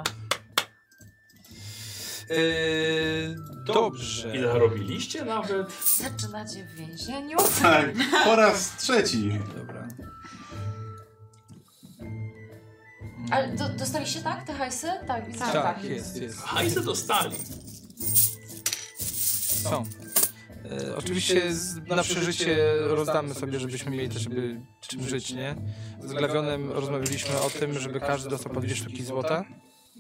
Speaker 5: Yy, dobrze.
Speaker 1: I zarobiliście nawet.
Speaker 7: Zaczynacie w więzieniu.
Speaker 3: Tak, po raz trzeci.
Speaker 5: Dobra.
Speaker 7: Ale do, dostaliście tak te hajsy? Tak, widzę. że
Speaker 5: Tak, jest, jest.
Speaker 1: Hajsy dostali.
Speaker 5: Są. E, oczywiście z, na przeżycie rozdamy sobie, żebyśmy mieli też, żeby czym żyć, nie? Z Glawionem rozmawialiśmy o tym, żeby każdy dostał po dwie sztuki złota.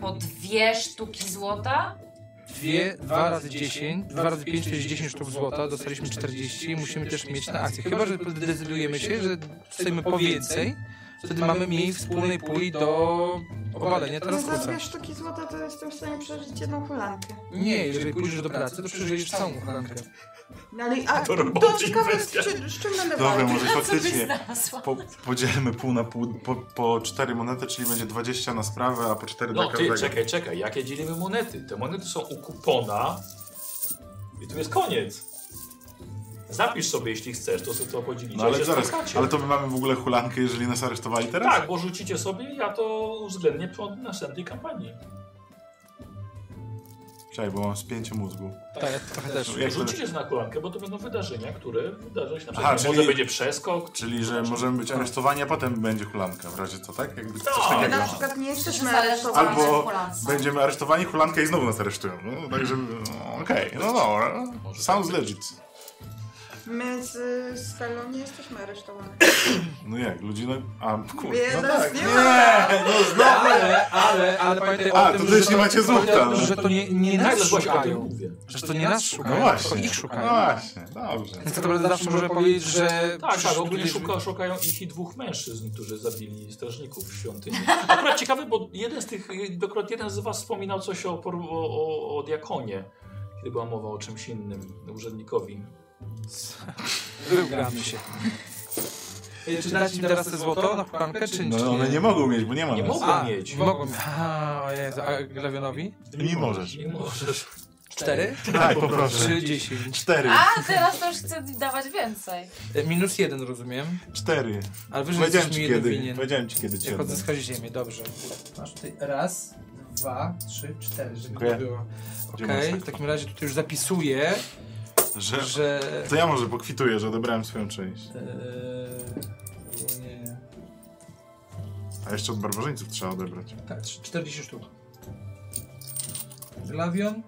Speaker 7: Po dwie sztuki złota?
Speaker 5: Dwie, dwa razy 10, dwa razy 5, czyli 10 sztuk złota, dostaliśmy 40, musimy też mieć na akcję. Chyba, że zdecydujemy się, że stoimy po więcej, wtedy mamy mniej wspólnej puli do obalenia
Speaker 2: Ja za
Speaker 5: transkursa.
Speaker 2: dwie sztuki złota to jestem w stanie przeżyć jedną hulankę.
Speaker 5: Nie, jeżeli pójdziesz do pracy, to przeżyjesz całą hulankę.
Speaker 2: No Ale, a,
Speaker 1: To
Speaker 2: to
Speaker 1: roboczy
Speaker 2: ciekawe, z,
Speaker 1: inwestia.
Speaker 2: czy, z czym będę
Speaker 3: Dobra,
Speaker 2: walczyć.
Speaker 3: może
Speaker 7: Co byś
Speaker 3: faktycznie
Speaker 7: znalazła?
Speaker 3: po, podzielmy pół na pół, po, po cztery monety, czyli będzie 20 na sprawę, a po cztery
Speaker 1: No
Speaker 3: dla
Speaker 1: ty,
Speaker 3: każdego.
Speaker 1: czekaj, czekaj. Jakie dzielimy monety? Te monety są u kupona. I tu jest koniec. Zapisz sobie, jeśli chcesz, to sobie to podzielicie.
Speaker 3: No
Speaker 1: a się
Speaker 3: ale zaraz,
Speaker 1: spotkacie.
Speaker 3: ale to my mamy w ogóle hulankę, jeżeli nas aresztowali teraz?
Speaker 1: Tak, bo rzucicie sobie, ja to uwzględnię pod następnej kampanii.
Speaker 3: Czekaj, bo mam spięcie mózgu.
Speaker 5: Tak, ja trochę też.
Speaker 3: Jak to,
Speaker 1: Rzucicie na kolankę, bo to będą wydarzenia, które wydarzą się na
Speaker 3: Aha,
Speaker 1: przykład. Może
Speaker 3: czyli-
Speaker 1: będzie przeskok.
Speaker 3: czyli, że możemy być aresztowani, a potem będzie hulanka w razie co, tak? Jakby coś
Speaker 1: No.
Speaker 3: takiego.
Speaker 2: Na przykład nie jesteśmy
Speaker 7: Zależy-
Speaker 2: aresztowani.
Speaker 3: Albo
Speaker 7: Hulanka.
Speaker 3: będziemy aresztowani, hulanka i znowu nas aresztują. No, także, no, okej, no dobra. Sounds
Speaker 5: tak.
Speaker 3: legit.
Speaker 2: My z, y, z Felą nie jesteśmy aresztowani.
Speaker 3: No jak, ludzi no... A, kurde,
Speaker 2: Wie
Speaker 3: no
Speaker 2: nas
Speaker 3: tak.
Speaker 2: nie
Speaker 3: Nie,
Speaker 2: ma.
Speaker 3: no znowu.
Speaker 5: Ale, ale, ale pamiętaj o
Speaker 3: No, A,
Speaker 5: tym,
Speaker 3: to też
Speaker 5: że
Speaker 3: nie macie złota,
Speaker 5: pamiętaj o tym,
Speaker 3: no.
Speaker 5: że to nie, nie nas
Speaker 1: Nagle właśnie o tym
Speaker 5: szukają.
Speaker 1: mówię.
Speaker 5: Że to nie nas szukają,
Speaker 3: No
Speaker 5: to
Speaker 3: właśnie,
Speaker 5: ich
Speaker 3: no
Speaker 5: szukają.
Speaker 3: właśnie, dobrze.
Speaker 5: Więc tak naprawdę zawsze możemy powiedzieć, że...
Speaker 1: Tak, tak, ogólnie
Speaker 5: przyszli-
Speaker 1: szuka, szukają ich i dwóch mężczyzn, którzy zabili strażników w świątyni. Akurat ciekawe, bo jeden z tych, akurat jeden z was wspominał coś o, por- o, o, o diakonie, kiedy była mowa o czymś innym, urzędnikowi.
Speaker 5: Wygramy się. Ej, Czy dać im teraz te złoto na hukankę, czy
Speaker 3: No
Speaker 5: czy
Speaker 3: one nie mogą mieć, bo nie ma
Speaker 1: Nie
Speaker 3: nas.
Speaker 1: mogą.
Speaker 5: A,
Speaker 1: mieć.
Speaker 5: mogą. A, o Jezu, a Glawionowi?
Speaker 3: Nie możesz.
Speaker 1: Nie możesz.
Speaker 5: Cztery?
Speaker 3: Tak, poproszę.
Speaker 5: Czy dziesięć?
Speaker 3: Cztery,
Speaker 7: A teraz to już chcę dawać więcej.
Speaker 5: E, Minus jeden, rozumiem.
Speaker 3: cztery.
Speaker 5: Ale wyżej
Speaker 3: Powiedziałem
Speaker 5: jesteś mi
Speaker 3: ci
Speaker 5: jeden
Speaker 3: kiedy,
Speaker 5: winien.
Speaker 3: powiedziałem ci kiedy ci
Speaker 5: Jak
Speaker 3: oddam.
Speaker 5: odzyskasz ziemię, dobrze. Masz tutaj raz, dwa, trzy, cztery, żeby
Speaker 3: Dziękuję.
Speaker 5: to było. Okej, tak.
Speaker 3: Dziękuję.
Speaker 5: w takim razie tutaj już zapisuję,
Speaker 3: Że...
Speaker 5: że...
Speaker 3: To ja może pokwituję, że odebrałem swoją część.
Speaker 5: Eee, o nie.
Speaker 3: A jeszcze od barbarzyńców trzeba odebrać.
Speaker 5: Tak, trz- 40 sztuk. Glawion.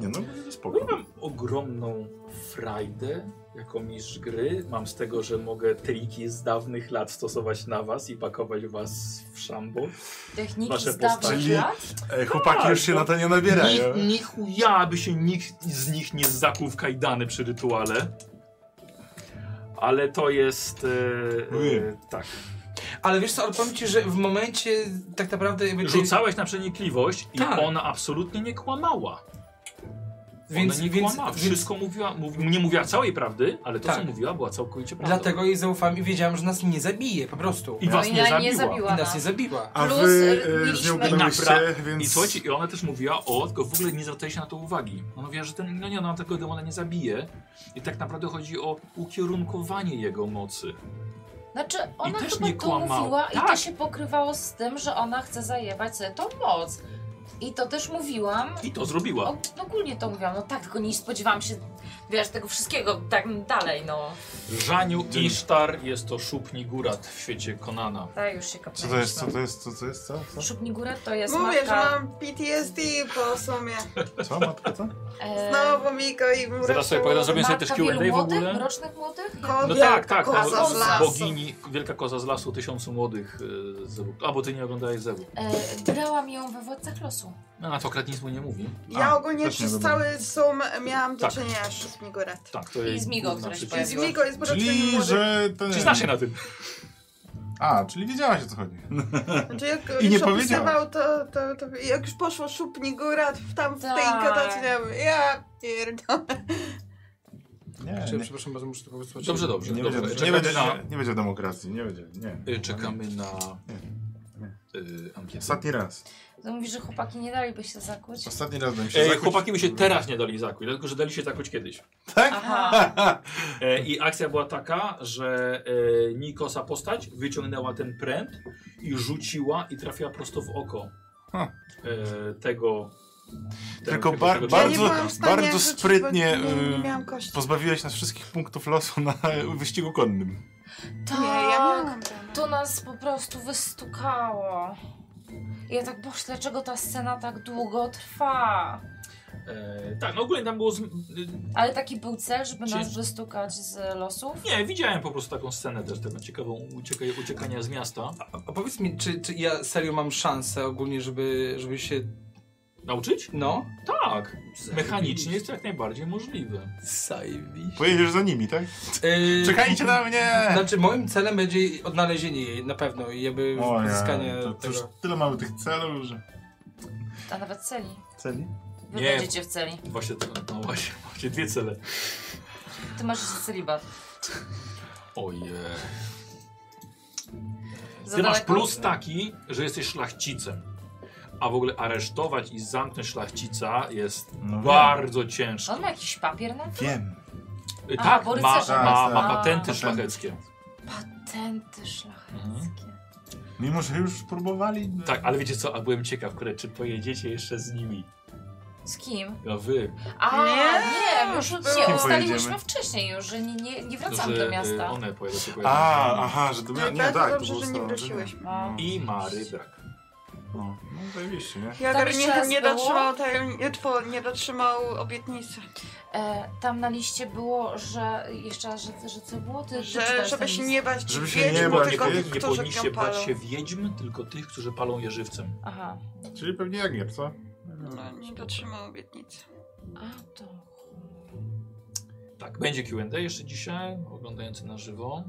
Speaker 3: Nie no, spoko. no,
Speaker 1: No
Speaker 5: No,
Speaker 1: Mam ogromną frajdę
Speaker 8: Jako mistrz gry mam z tego, że mogę triki z dawnych lat stosować na was i pakować was w szambon.
Speaker 7: Techniki
Speaker 8: Wasze
Speaker 7: z dawnych
Speaker 3: postacie.
Speaker 7: lat?
Speaker 3: Ej, E, chłopaki już się na to nie
Speaker 5: no,
Speaker 3: nabierają.
Speaker 8: Ni, ni chuja, by się nikt z nich nie zakuł w kajdany przy rytuale. Ale to jest... E, e,
Speaker 3: Mówiłem.
Speaker 8: tak.
Speaker 5: Ale wiesz co, ale powiem ci, że w momencie tak naprawdę... jakby tej-
Speaker 8: Rzucałeś na przenikliwość i
Speaker 5: Tak.
Speaker 8: ona absolutnie nie kłamała. Więc,
Speaker 5: Więc,
Speaker 8: ona nie
Speaker 5: więc,
Speaker 8: kłamała.
Speaker 5: więc
Speaker 8: Wszystko mówiła, mów, nie mówiła całej prawdy, ale to co
Speaker 5: Tak.
Speaker 8: mówiła była całkowicie prawdą.
Speaker 5: dlatego jej zaufałem i wiedziałem, że nas nie zabije po prostu.
Speaker 8: I
Speaker 5: I,
Speaker 8: was
Speaker 7: No i
Speaker 8: nie
Speaker 7: na-
Speaker 8: zabiła.
Speaker 7: nie zabiła.
Speaker 5: nas nie zabiła.
Speaker 3: A
Speaker 7: Plus,
Speaker 3: wy
Speaker 7: y,
Speaker 3: e, z
Speaker 7: mieliśmy-
Speaker 3: nią gadałyście,
Speaker 8: Napra-
Speaker 3: więc...
Speaker 8: I słuchajcie, i ona też mówiła o, tylko w ogóle nie zwracaliście na to uwagi. Ona mówiła, że ten, no nie, ona tego demona nie zabije. I tak naprawdę chodzi o ukierunkowanie jego mocy.
Speaker 7: Znaczy, ona
Speaker 8: też
Speaker 7: chyba
Speaker 8: nie
Speaker 7: to
Speaker 8: kłamała.
Speaker 7: mówiła i to
Speaker 8: Tak.
Speaker 7: się pokrywało z tym, że ona chce zajebać sobie tą moc. I to też mówiłam.
Speaker 8: I to zrobiła.
Speaker 7: O, ogólnie to mówiłam, no tak, tylko nie spodziewałam się, wiesz, tego wszystkiego tak dalej, no.
Speaker 8: Żaniu Isztar jest to szupni górat w świecie Konana.
Speaker 7: Tak, już się
Speaker 3: Co
Speaker 7: kapnęliśmy.
Speaker 3: to jest, co to jest, co to jest, co?
Speaker 7: Szubnigura to jest
Speaker 2: Mówię, że
Speaker 7: matka...
Speaker 2: mam PTSD po sumie.
Speaker 3: Co, co matka, co?
Speaker 7: e,
Speaker 2: Znowu Miko i
Speaker 1: Zaraz sobie powiadam, zrobię sobie też
Speaker 7: matka wielu
Speaker 1: Q&A w
Speaker 7: młodych,
Speaker 1: ogóle.
Speaker 7: mrocznych młodych?
Speaker 8: No
Speaker 2: Kobieta,
Speaker 8: tak, tak,
Speaker 2: koza
Speaker 8: bo-
Speaker 2: z lasu.
Speaker 8: bogini, wielka koza z lasu, tysiącu młodych e, zewu. A, bo ty nie oglądałeś zewu.
Speaker 7: E, grałam ją we Władcach Losu.
Speaker 8: No, a to akurat nic mu nie mówi.
Speaker 2: Ja
Speaker 3: A,
Speaker 2: ogólnie
Speaker 3: też nie
Speaker 2: przez
Speaker 3: wiadomo.
Speaker 2: cały sum miałam do
Speaker 8: Tak.
Speaker 2: czynienia jeszcze z Miguret.
Speaker 8: Tak, to
Speaker 7: I
Speaker 8: jest
Speaker 7: z Migo,
Speaker 8: główna
Speaker 7: która się
Speaker 8: przeciw-
Speaker 7: pojawi-
Speaker 2: Z Migo jest po
Speaker 3: Czyli, że... Ten...
Speaker 8: Czy znasz się na tym?
Speaker 3: A, czyli wiedziałaś o co chodzi.
Speaker 2: Znaczy jak
Speaker 3: I nie
Speaker 2: już
Speaker 3: powiedziała.
Speaker 2: opisywał, to, to, to jak już poszło szupni góra w tam w tej
Speaker 7: Tak.
Speaker 2: katacie, ja mówię, ja pierdolę.
Speaker 3: Nie,
Speaker 5: Czy,
Speaker 3: nie,
Speaker 5: przepraszam bardzo, muszę to po prostu...
Speaker 8: Dobrze, dobrze.
Speaker 3: nie,
Speaker 8: dobrze.
Speaker 3: będzie, nie,
Speaker 8: Czekamy
Speaker 3: będzie,
Speaker 8: na,
Speaker 3: nie będzie demokracji, nie będzie, nie.
Speaker 1: Y, Czekamy na y, ankietę.
Speaker 3: Ostatni raz.
Speaker 7: To mówi, że chłopaki nie daliby się zakuć.
Speaker 3: Ostatni raz bym się
Speaker 1: Ej,
Speaker 3: zakuć-
Speaker 1: chłopaki by się teraz nie dali zakuć, dlatego że dali się zakuć kiedyś.
Speaker 3: Tak? *laughs*
Speaker 7: Aha,
Speaker 1: E, I akcja była taka, że e, Nikosa postać wyciągnęła ten pręt i rzuciła i trafiła prosto w oko
Speaker 3: Ha.
Speaker 1: e, tego.
Speaker 3: Tylko
Speaker 1: tego-
Speaker 3: bar-
Speaker 1: tego-
Speaker 2: Ja
Speaker 3: bardzo-
Speaker 2: nie byłam w stanie
Speaker 3: bardzo
Speaker 2: rzucić, bo
Speaker 3: sprytnie,
Speaker 2: Nie, nie
Speaker 3: y,
Speaker 2: miałam kości.
Speaker 3: Pozbawiłeś nas wszystkich punktów losu na wyścigu konnym.
Speaker 7: tak.
Speaker 2: Nie, ja miałam. ten.
Speaker 7: To nas po prostu wystukało. Ja tak, boż, dlaczego ta scena tak długo trwa?
Speaker 1: E, tak, no ogólnie tam było. Z... y,
Speaker 7: Ale taki był cel, żeby
Speaker 1: Czy-
Speaker 7: nas wystukać z losów?
Speaker 1: Nie, widziałem po prostu taką scenę też, taką ciekawą ucieka... uciekania z miasta.
Speaker 5: A powiedz mi, czy, czy ja serio mam szansę ogólnie, żeby, żeby się...
Speaker 1: Nauczyć?
Speaker 5: No?
Speaker 1: Tak. Mechanicznie jest to jak najbardziej możliwe.
Speaker 5: Zajebiście.
Speaker 3: Pojedziesz za nimi, tak?
Speaker 5: Yy,
Speaker 3: Czekajcie na mnie!
Speaker 5: Znaczy moim celem będzie odnalezienie jej na pewno i jakby
Speaker 3: O
Speaker 5: uzyskanie
Speaker 3: nie, to, to
Speaker 5: tego.
Speaker 3: już tyle mamy tych celów, że...
Speaker 7: A nawet celi.
Speaker 3: Celi?
Speaker 7: Wy
Speaker 1: Nie.
Speaker 7: będziecie w celi.
Speaker 1: Właśnie, to- no właśnie, właśnie dwie cele.
Speaker 7: Ty masz jeszcze celibat.
Speaker 1: Ojej.
Speaker 7: Za
Speaker 1: Ty masz
Speaker 7: daleko?
Speaker 1: plus taki, że jesteś szlachcicem. A w ogóle aresztować i zamknąć szlachcica jest
Speaker 3: No
Speaker 1: bardzo ciężko.
Speaker 7: On ma jakiś papier na to?
Speaker 3: Wiem.
Speaker 1: Y,
Speaker 7: A,
Speaker 1: tak,
Speaker 7: bo
Speaker 1: ma, ma,
Speaker 7: rycerz-
Speaker 1: ma
Speaker 7: A.
Speaker 1: patenty
Speaker 7: Patenty.
Speaker 1: szlacheckie.
Speaker 7: Patenty szlacheckie.
Speaker 1: Mhm.
Speaker 3: Mimo, że już próbowali...
Speaker 1: Tak, ale wiecie co, a byłem ciekaw, które, czy pojedziecie jeszcze z nimi.
Speaker 7: Z kim?
Speaker 1: No wy,
Speaker 7: A,
Speaker 2: Nie,
Speaker 7: nie, już
Speaker 2: z kim
Speaker 7: nie, ustaliłyśmy
Speaker 3: pojedziemy?
Speaker 7: wcześniej już, że nie, nie, nie
Speaker 1: no,
Speaker 7: wracamy
Speaker 1: że
Speaker 7: do
Speaker 1: y,
Speaker 7: miasta.
Speaker 1: one pojadą się pojadą.
Speaker 3: A, aha, że to miało...
Speaker 2: Tak,
Speaker 3: Nie,
Speaker 2: bardzo
Speaker 3: tak,
Speaker 2: dobrze,
Speaker 3: to było
Speaker 2: że nie
Speaker 3: ustawione.
Speaker 2: wróciłyśmy.
Speaker 3: No,
Speaker 1: I Mary brak.
Speaker 3: no, no zajebiście, nie?
Speaker 2: Ja
Speaker 7: Tam
Speaker 2: nie,
Speaker 7: jeszcze raz
Speaker 2: nie
Speaker 7: było?
Speaker 2: dotrzymał, tej- nie tw- nie dotrzymał obietnicy.
Speaker 7: E, tam na liście było, że jeszcze raz, że, że co było? Ty, ty
Speaker 2: Że,
Speaker 7: czytałeś
Speaker 2: żeby
Speaker 7: ten
Speaker 2: się
Speaker 7: list.
Speaker 2: nie bać
Speaker 3: Żeby się
Speaker 2: wiedźm,
Speaker 3: nie
Speaker 1: Nie,
Speaker 3: bać,
Speaker 1: nie,
Speaker 2: tylko
Speaker 3: powinni-
Speaker 1: powinni- nie
Speaker 2: którzy
Speaker 1: powinniście
Speaker 2: ją palą.
Speaker 1: bać się wiedźm, tylko tych, którzy palą jeżywcem.
Speaker 7: Aha.
Speaker 3: Czyli pewnie jak nie, co?
Speaker 2: No, nie dotrzymał obietnicy.
Speaker 7: A to.
Speaker 1: Tak, będzie Q&A jeszcze dzisiaj, oglądający na żywo.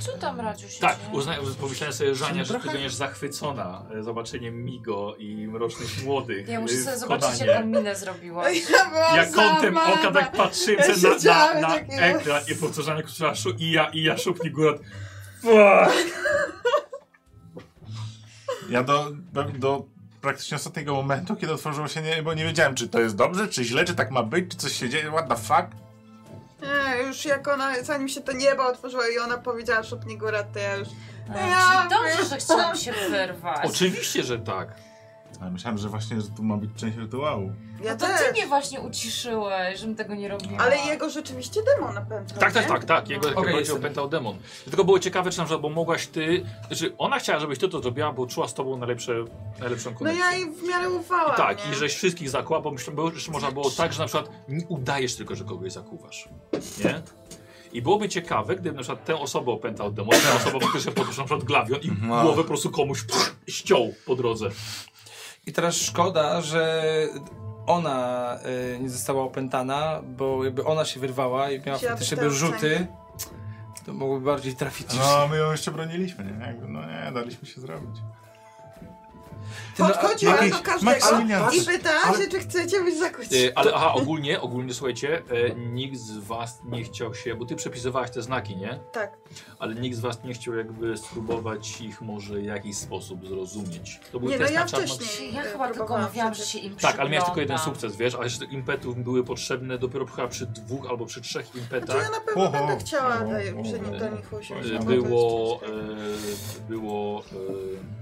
Speaker 7: Co tam Radziu się
Speaker 1: Tak,
Speaker 7: dzieje?
Speaker 1: uznaję, pomyślałem sobie, Żania, że ty
Speaker 3: Trochę-
Speaker 1: będziesz zachwycona e, zobaczeniem Migo i Mrocznych Młodych
Speaker 7: Ja
Speaker 1: e,
Speaker 7: muszę
Speaker 1: w
Speaker 7: sobie zobaczyć,
Speaker 1: Kodanie.
Speaker 7: jaką minę
Speaker 2: *laughs*
Speaker 7: zrobiła.
Speaker 2: Ja byłam
Speaker 1: Ja kątem
Speaker 2: załamana.
Speaker 1: oka tak patrzyłem
Speaker 2: Ja
Speaker 1: sobie na, na,
Speaker 2: siedziałem
Speaker 1: na
Speaker 2: takiego.
Speaker 1: ekran i po co Żania krzyczała szu- i ja, i ja szupni górat. Fuck.
Speaker 3: Ja do, do praktycznie ostatniego momentu, kiedy otworzyło się nie, bo nie wiedziałem, czy to jest dobrze, czy źle, czy tak ma być, czy coś się dzieje, what the fuck.
Speaker 2: Nie, już jak ona, zanim się to niebo otworzyło i ona powiedziała szopni góra, to ja już...
Speaker 7: Tak. A, czyli dobrze, że chciałam się wyrwać.
Speaker 1: Oczywiście, że tak.
Speaker 3: A myślałem, że właśnie że tu ma być część rytuału.
Speaker 2: Ja
Speaker 7: no to
Speaker 2: też.
Speaker 7: ty mnie właśnie uciszyłeś, żebym tego nie robiła.
Speaker 2: Ale jego rzeczywiście demon napędzał,
Speaker 1: Tak, tak,
Speaker 2: nie?
Speaker 1: tak, tak. Jego
Speaker 5: Okej,
Speaker 1: okay, bardziej
Speaker 5: jestem.
Speaker 1: opętał demon. Tylko było ciekawe, czy na przykład, bo mogłaś ty. Znaczy, ona chciała, żebyś ty to zrobiła, bo czuła z tobą najlepsze, najlepszą
Speaker 2: No
Speaker 1: konekcję.
Speaker 2: ja jej w miarę ufałam,
Speaker 1: I tak,
Speaker 2: nie?
Speaker 1: i żeś wszystkich zakłała, bo myślę, bo jeszcze można było tak, że na przykład nie udajesz tylko, że kogoś zakuwasz. Nie? I byłoby ciekawe, gdyby na przykład tę osobę opętał demon, tę osobę faktycznie podniósł na przykład glawion i
Speaker 3: Mhm.
Speaker 1: głowę po prostu komuś pff, ściął po drodze.
Speaker 5: I teraz szkoda, że ona y, nie została opętana, bo jakby ona się wyrwała i miała
Speaker 2: Wzięła
Speaker 5: faktycznie
Speaker 2: też
Speaker 5: by
Speaker 2: tę
Speaker 5: rzuty, to mogłoby bardziej trafić.
Speaker 3: No, my ją jeszcze broniliśmy, nie? Jakby, no nie, daliśmy się zrobić.
Speaker 5: Ty, no,
Speaker 2: Podchodziła
Speaker 3: Jakiś
Speaker 2: do każdego
Speaker 3: Maksymilian.
Speaker 2: i pytała
Speaker 3: ale-
Speaker 2: się, czy chcecie być zakłóceni.
Speaker 1: E, ale aha, ogólnie, ogólnie słuchajcie, e, nikt z was nie chciał się, bo ty przepisywałaś te znaki, nie?
Speaker 2: Tak.
Speaker 1: Ale nikt z was nie chciał jakby spróbować ich może w jakiś sposób zrozumieć. To był
Speaker 2: Nie, no
Speaker 1: test
Speaker 2: ja
Speaker 1: na czarno...
Speaker 2: wcześniej
Speaker 7: Ja
Speaker 2: e,
Speaker 7: chyba tylko
Speaker 2: próbowałam
Speaker 7: mówiłam, że
Speaker 2: wtedy.
Speaker 7: się im
Speaker 1: Tak, ale miałeś tylko jeden
Speaker 7: przyglądam.
Speaker 1: sukces, wiesz, a jeszcze impetów były potrzebne dopiero chyba przy dwóch albo przy trzech
Speaker 2: Znaczy ja
Speaker 1: impetach.
Speaker 2: na pewno
Speaker 3: Oho,
Speaker 2: będę chciała
Speaker 3: oho,
Speaker 2: daj-
Speaker 3: oho.
Speaker 2: przy nim do nich usiąść.
Speaker 1: E,
Speaker 2: no bo to jest
Speaker 1: Było,
Speaker 2: ciężkie.
Speaker 1: e, było, e,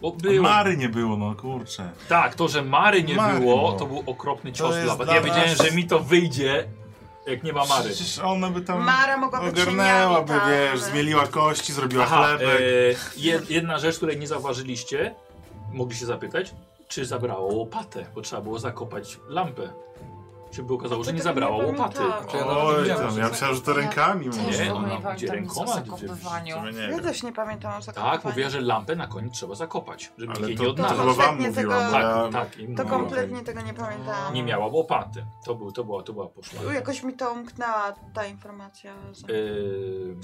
Speaker 1: bo
Speaker 3: A
Speaker 1: było,
Speaker 3: Mary nie było, no kurczę.
Speaker 1: tak, to, że Mary nie
Speaker 3: Mary
Speaker 1: było,
Speaker 3: było.
Speaker 1: to był okropny
Speaker 3: To
Speaker 1: cios
Speaker 3: jest
Speaker 1: dla was.
Speaker 3: dla
Speaker 1: Ja wiedziałem,
Speaker 3: nas-
Speaker 1: że mi to wyjdzie, jak nie ma Mary.
Speaker 3: Przecież ona by tam
Speaker 2: Mara mogłaby księgami,
Speaker 3: ogarnęłaby,
Speaker 2: tak.
Speaker 3: No, wiesz, zmieliła kości, zrobiła
Speaker 1: Aha,
Speaker 3: chlebek.
Speaker 1: e, jed, jedna rzecz, której nie zauważyliście, mogliście zapytać, czy zabrało łopatę, bo trzeba było zakopać lampę. Czy by okazało, że nie
Speaker 2: Tego
Speaker 1: zabrało łopaty.
Speaker 2: pamiętałam.
Speaker 5: ja nawet nie
Speaker 3: Oj,
Speaker 5: wiedziałem,
Speaker 3: tam,
Speaker 5: że
Speaker 3: ja
Speaker 5: tak.
Speaker 3: myślałem, że to rękami
Speaker 7: Ja
Speaker 3: może.
Speaker 7: też
Speaker 1: Nie,
Speaker 7: w ogóle
Speaker 1: ona
Speaker 7: nie
Speaker 1: gdzie
Speaker 7: pamiętam nic o
Speaker 1: rękoma, gdzie-
Speaker 7: zakopywaniu.
Speaker 3: w sumie nie
Speaker 2: Ja
Speaker 3: wiem.
Speaker 2: też nie pamiętam o zakopywaniu.
Speaker 1: Tak, mówiła, że lampę na koniec trzeba zakopać, żeby nikt
Speaker 3: Ale
Speaker 1: jej
Speaker 3: to,
Speaker 1: nie
Speaker 3: to, to
Speaker 1: odnalazł.
Speaker 3: chyba wam
Speaker 2: Kompletnie
Speaker 3: mówiłam,
Speaker 2: tego-
Speaker 3: bo ja...
Speaker 1: Tak, tak. i
Speaker 2: To
Speaker 1: mówiła,
Speaker 2: kompletnie tego nie pamiętałam.
Speaker 1: Nie miała łopaty. To, był, to, była, to była poszła.
Speaker 2: U, Jakoś mi to umknęła ta informacja. że-
Speaker 1: Yy,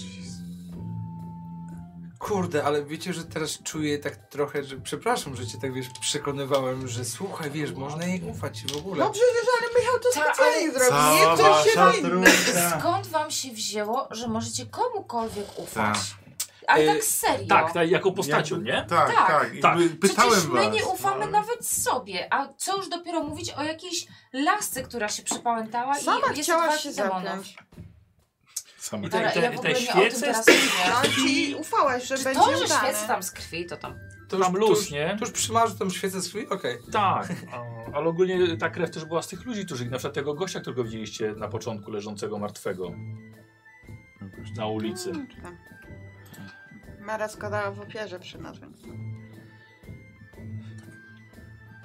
Speaker 5: Kurde, ale wiecie, że teraz czuję tak trochę, że przepraszam, że cię tak wiesz, przekonywałem, że słuchaj, wiesz, można jej ufać w ogóle.
Speaker 2: No przecież, ale Michał to
Speaker 7: Ta, ale-
Speaker 2: specjalnie zrobił.
Speaker 3: Cała
Speaker 2: Nie ktoś
Speaker 3: wasza
Speaker 2: się inny.
Speaker 3: trójka.
Speaker 7: Skąd wam się wzięło, że możecie komukolwiek ufać?
Speaker 1: E,
Speaker 7: Ale tak serio.
Speaker 1: tak, tak, jako postacią, nie?
Speaker 3: Tak,
Speaker 7: Tak.
Speaker 3: tak. I
Speaker 1: Tak.
Speaker 3: by- Pytałem
Speaker 7: Przecież my
Speaker 3: was.
Speaker 7: nie ufamy
Speaker 3: no.
Speaker 7: nawet sobie, a co już dopiero mówić o jakiejś lasce, która się przypałętała
Speaker 2: Sama
Speaker 7: i jest
Speaker 2: chciałaś
Speaker 7: walki
Speaker 2: się
Speaker 7: demonów.
Speaker 2: zapiąć.
Speaker 3: Same
Speaker 1: I
Speaker 7: Dobra,
Speaker 1: te,
Speaker 7: ja w
Speaker 1: te,
Speaker 7: ogóle
Speaker 1: te
Speaker 7: nie o tym
Speaker 1: świece,
Speaker 7: teraz
Speaker 2: No
Speaker 7: mówię.
Speaker 2: i ufałaś, że
Speaker 7: Czy
Speaker 2: będzie
Speaker 7: to, że
Speaker 2: udany.
Speaker 7: świec tam z krwi, to tam...
Speaker 5: To
Speaker 1: tam
Speaker 5: to
Speaker 1: luz,
Speaker 5: już,
Speaker 1: nie?
Speaker 5: to już przymarzy tą świecę z chwili? Okej.
Speaker 1: Tak, *laughs* a- ale ogólnie ta krew też była z tych ludzi, którzy na przykład tego gościa, którego widzieliście na początku leżącego martwego na ulicy.
Speaker 2: Mm, tak. Mara składała w opierze przy nas, więc...
Speaker 3: tak,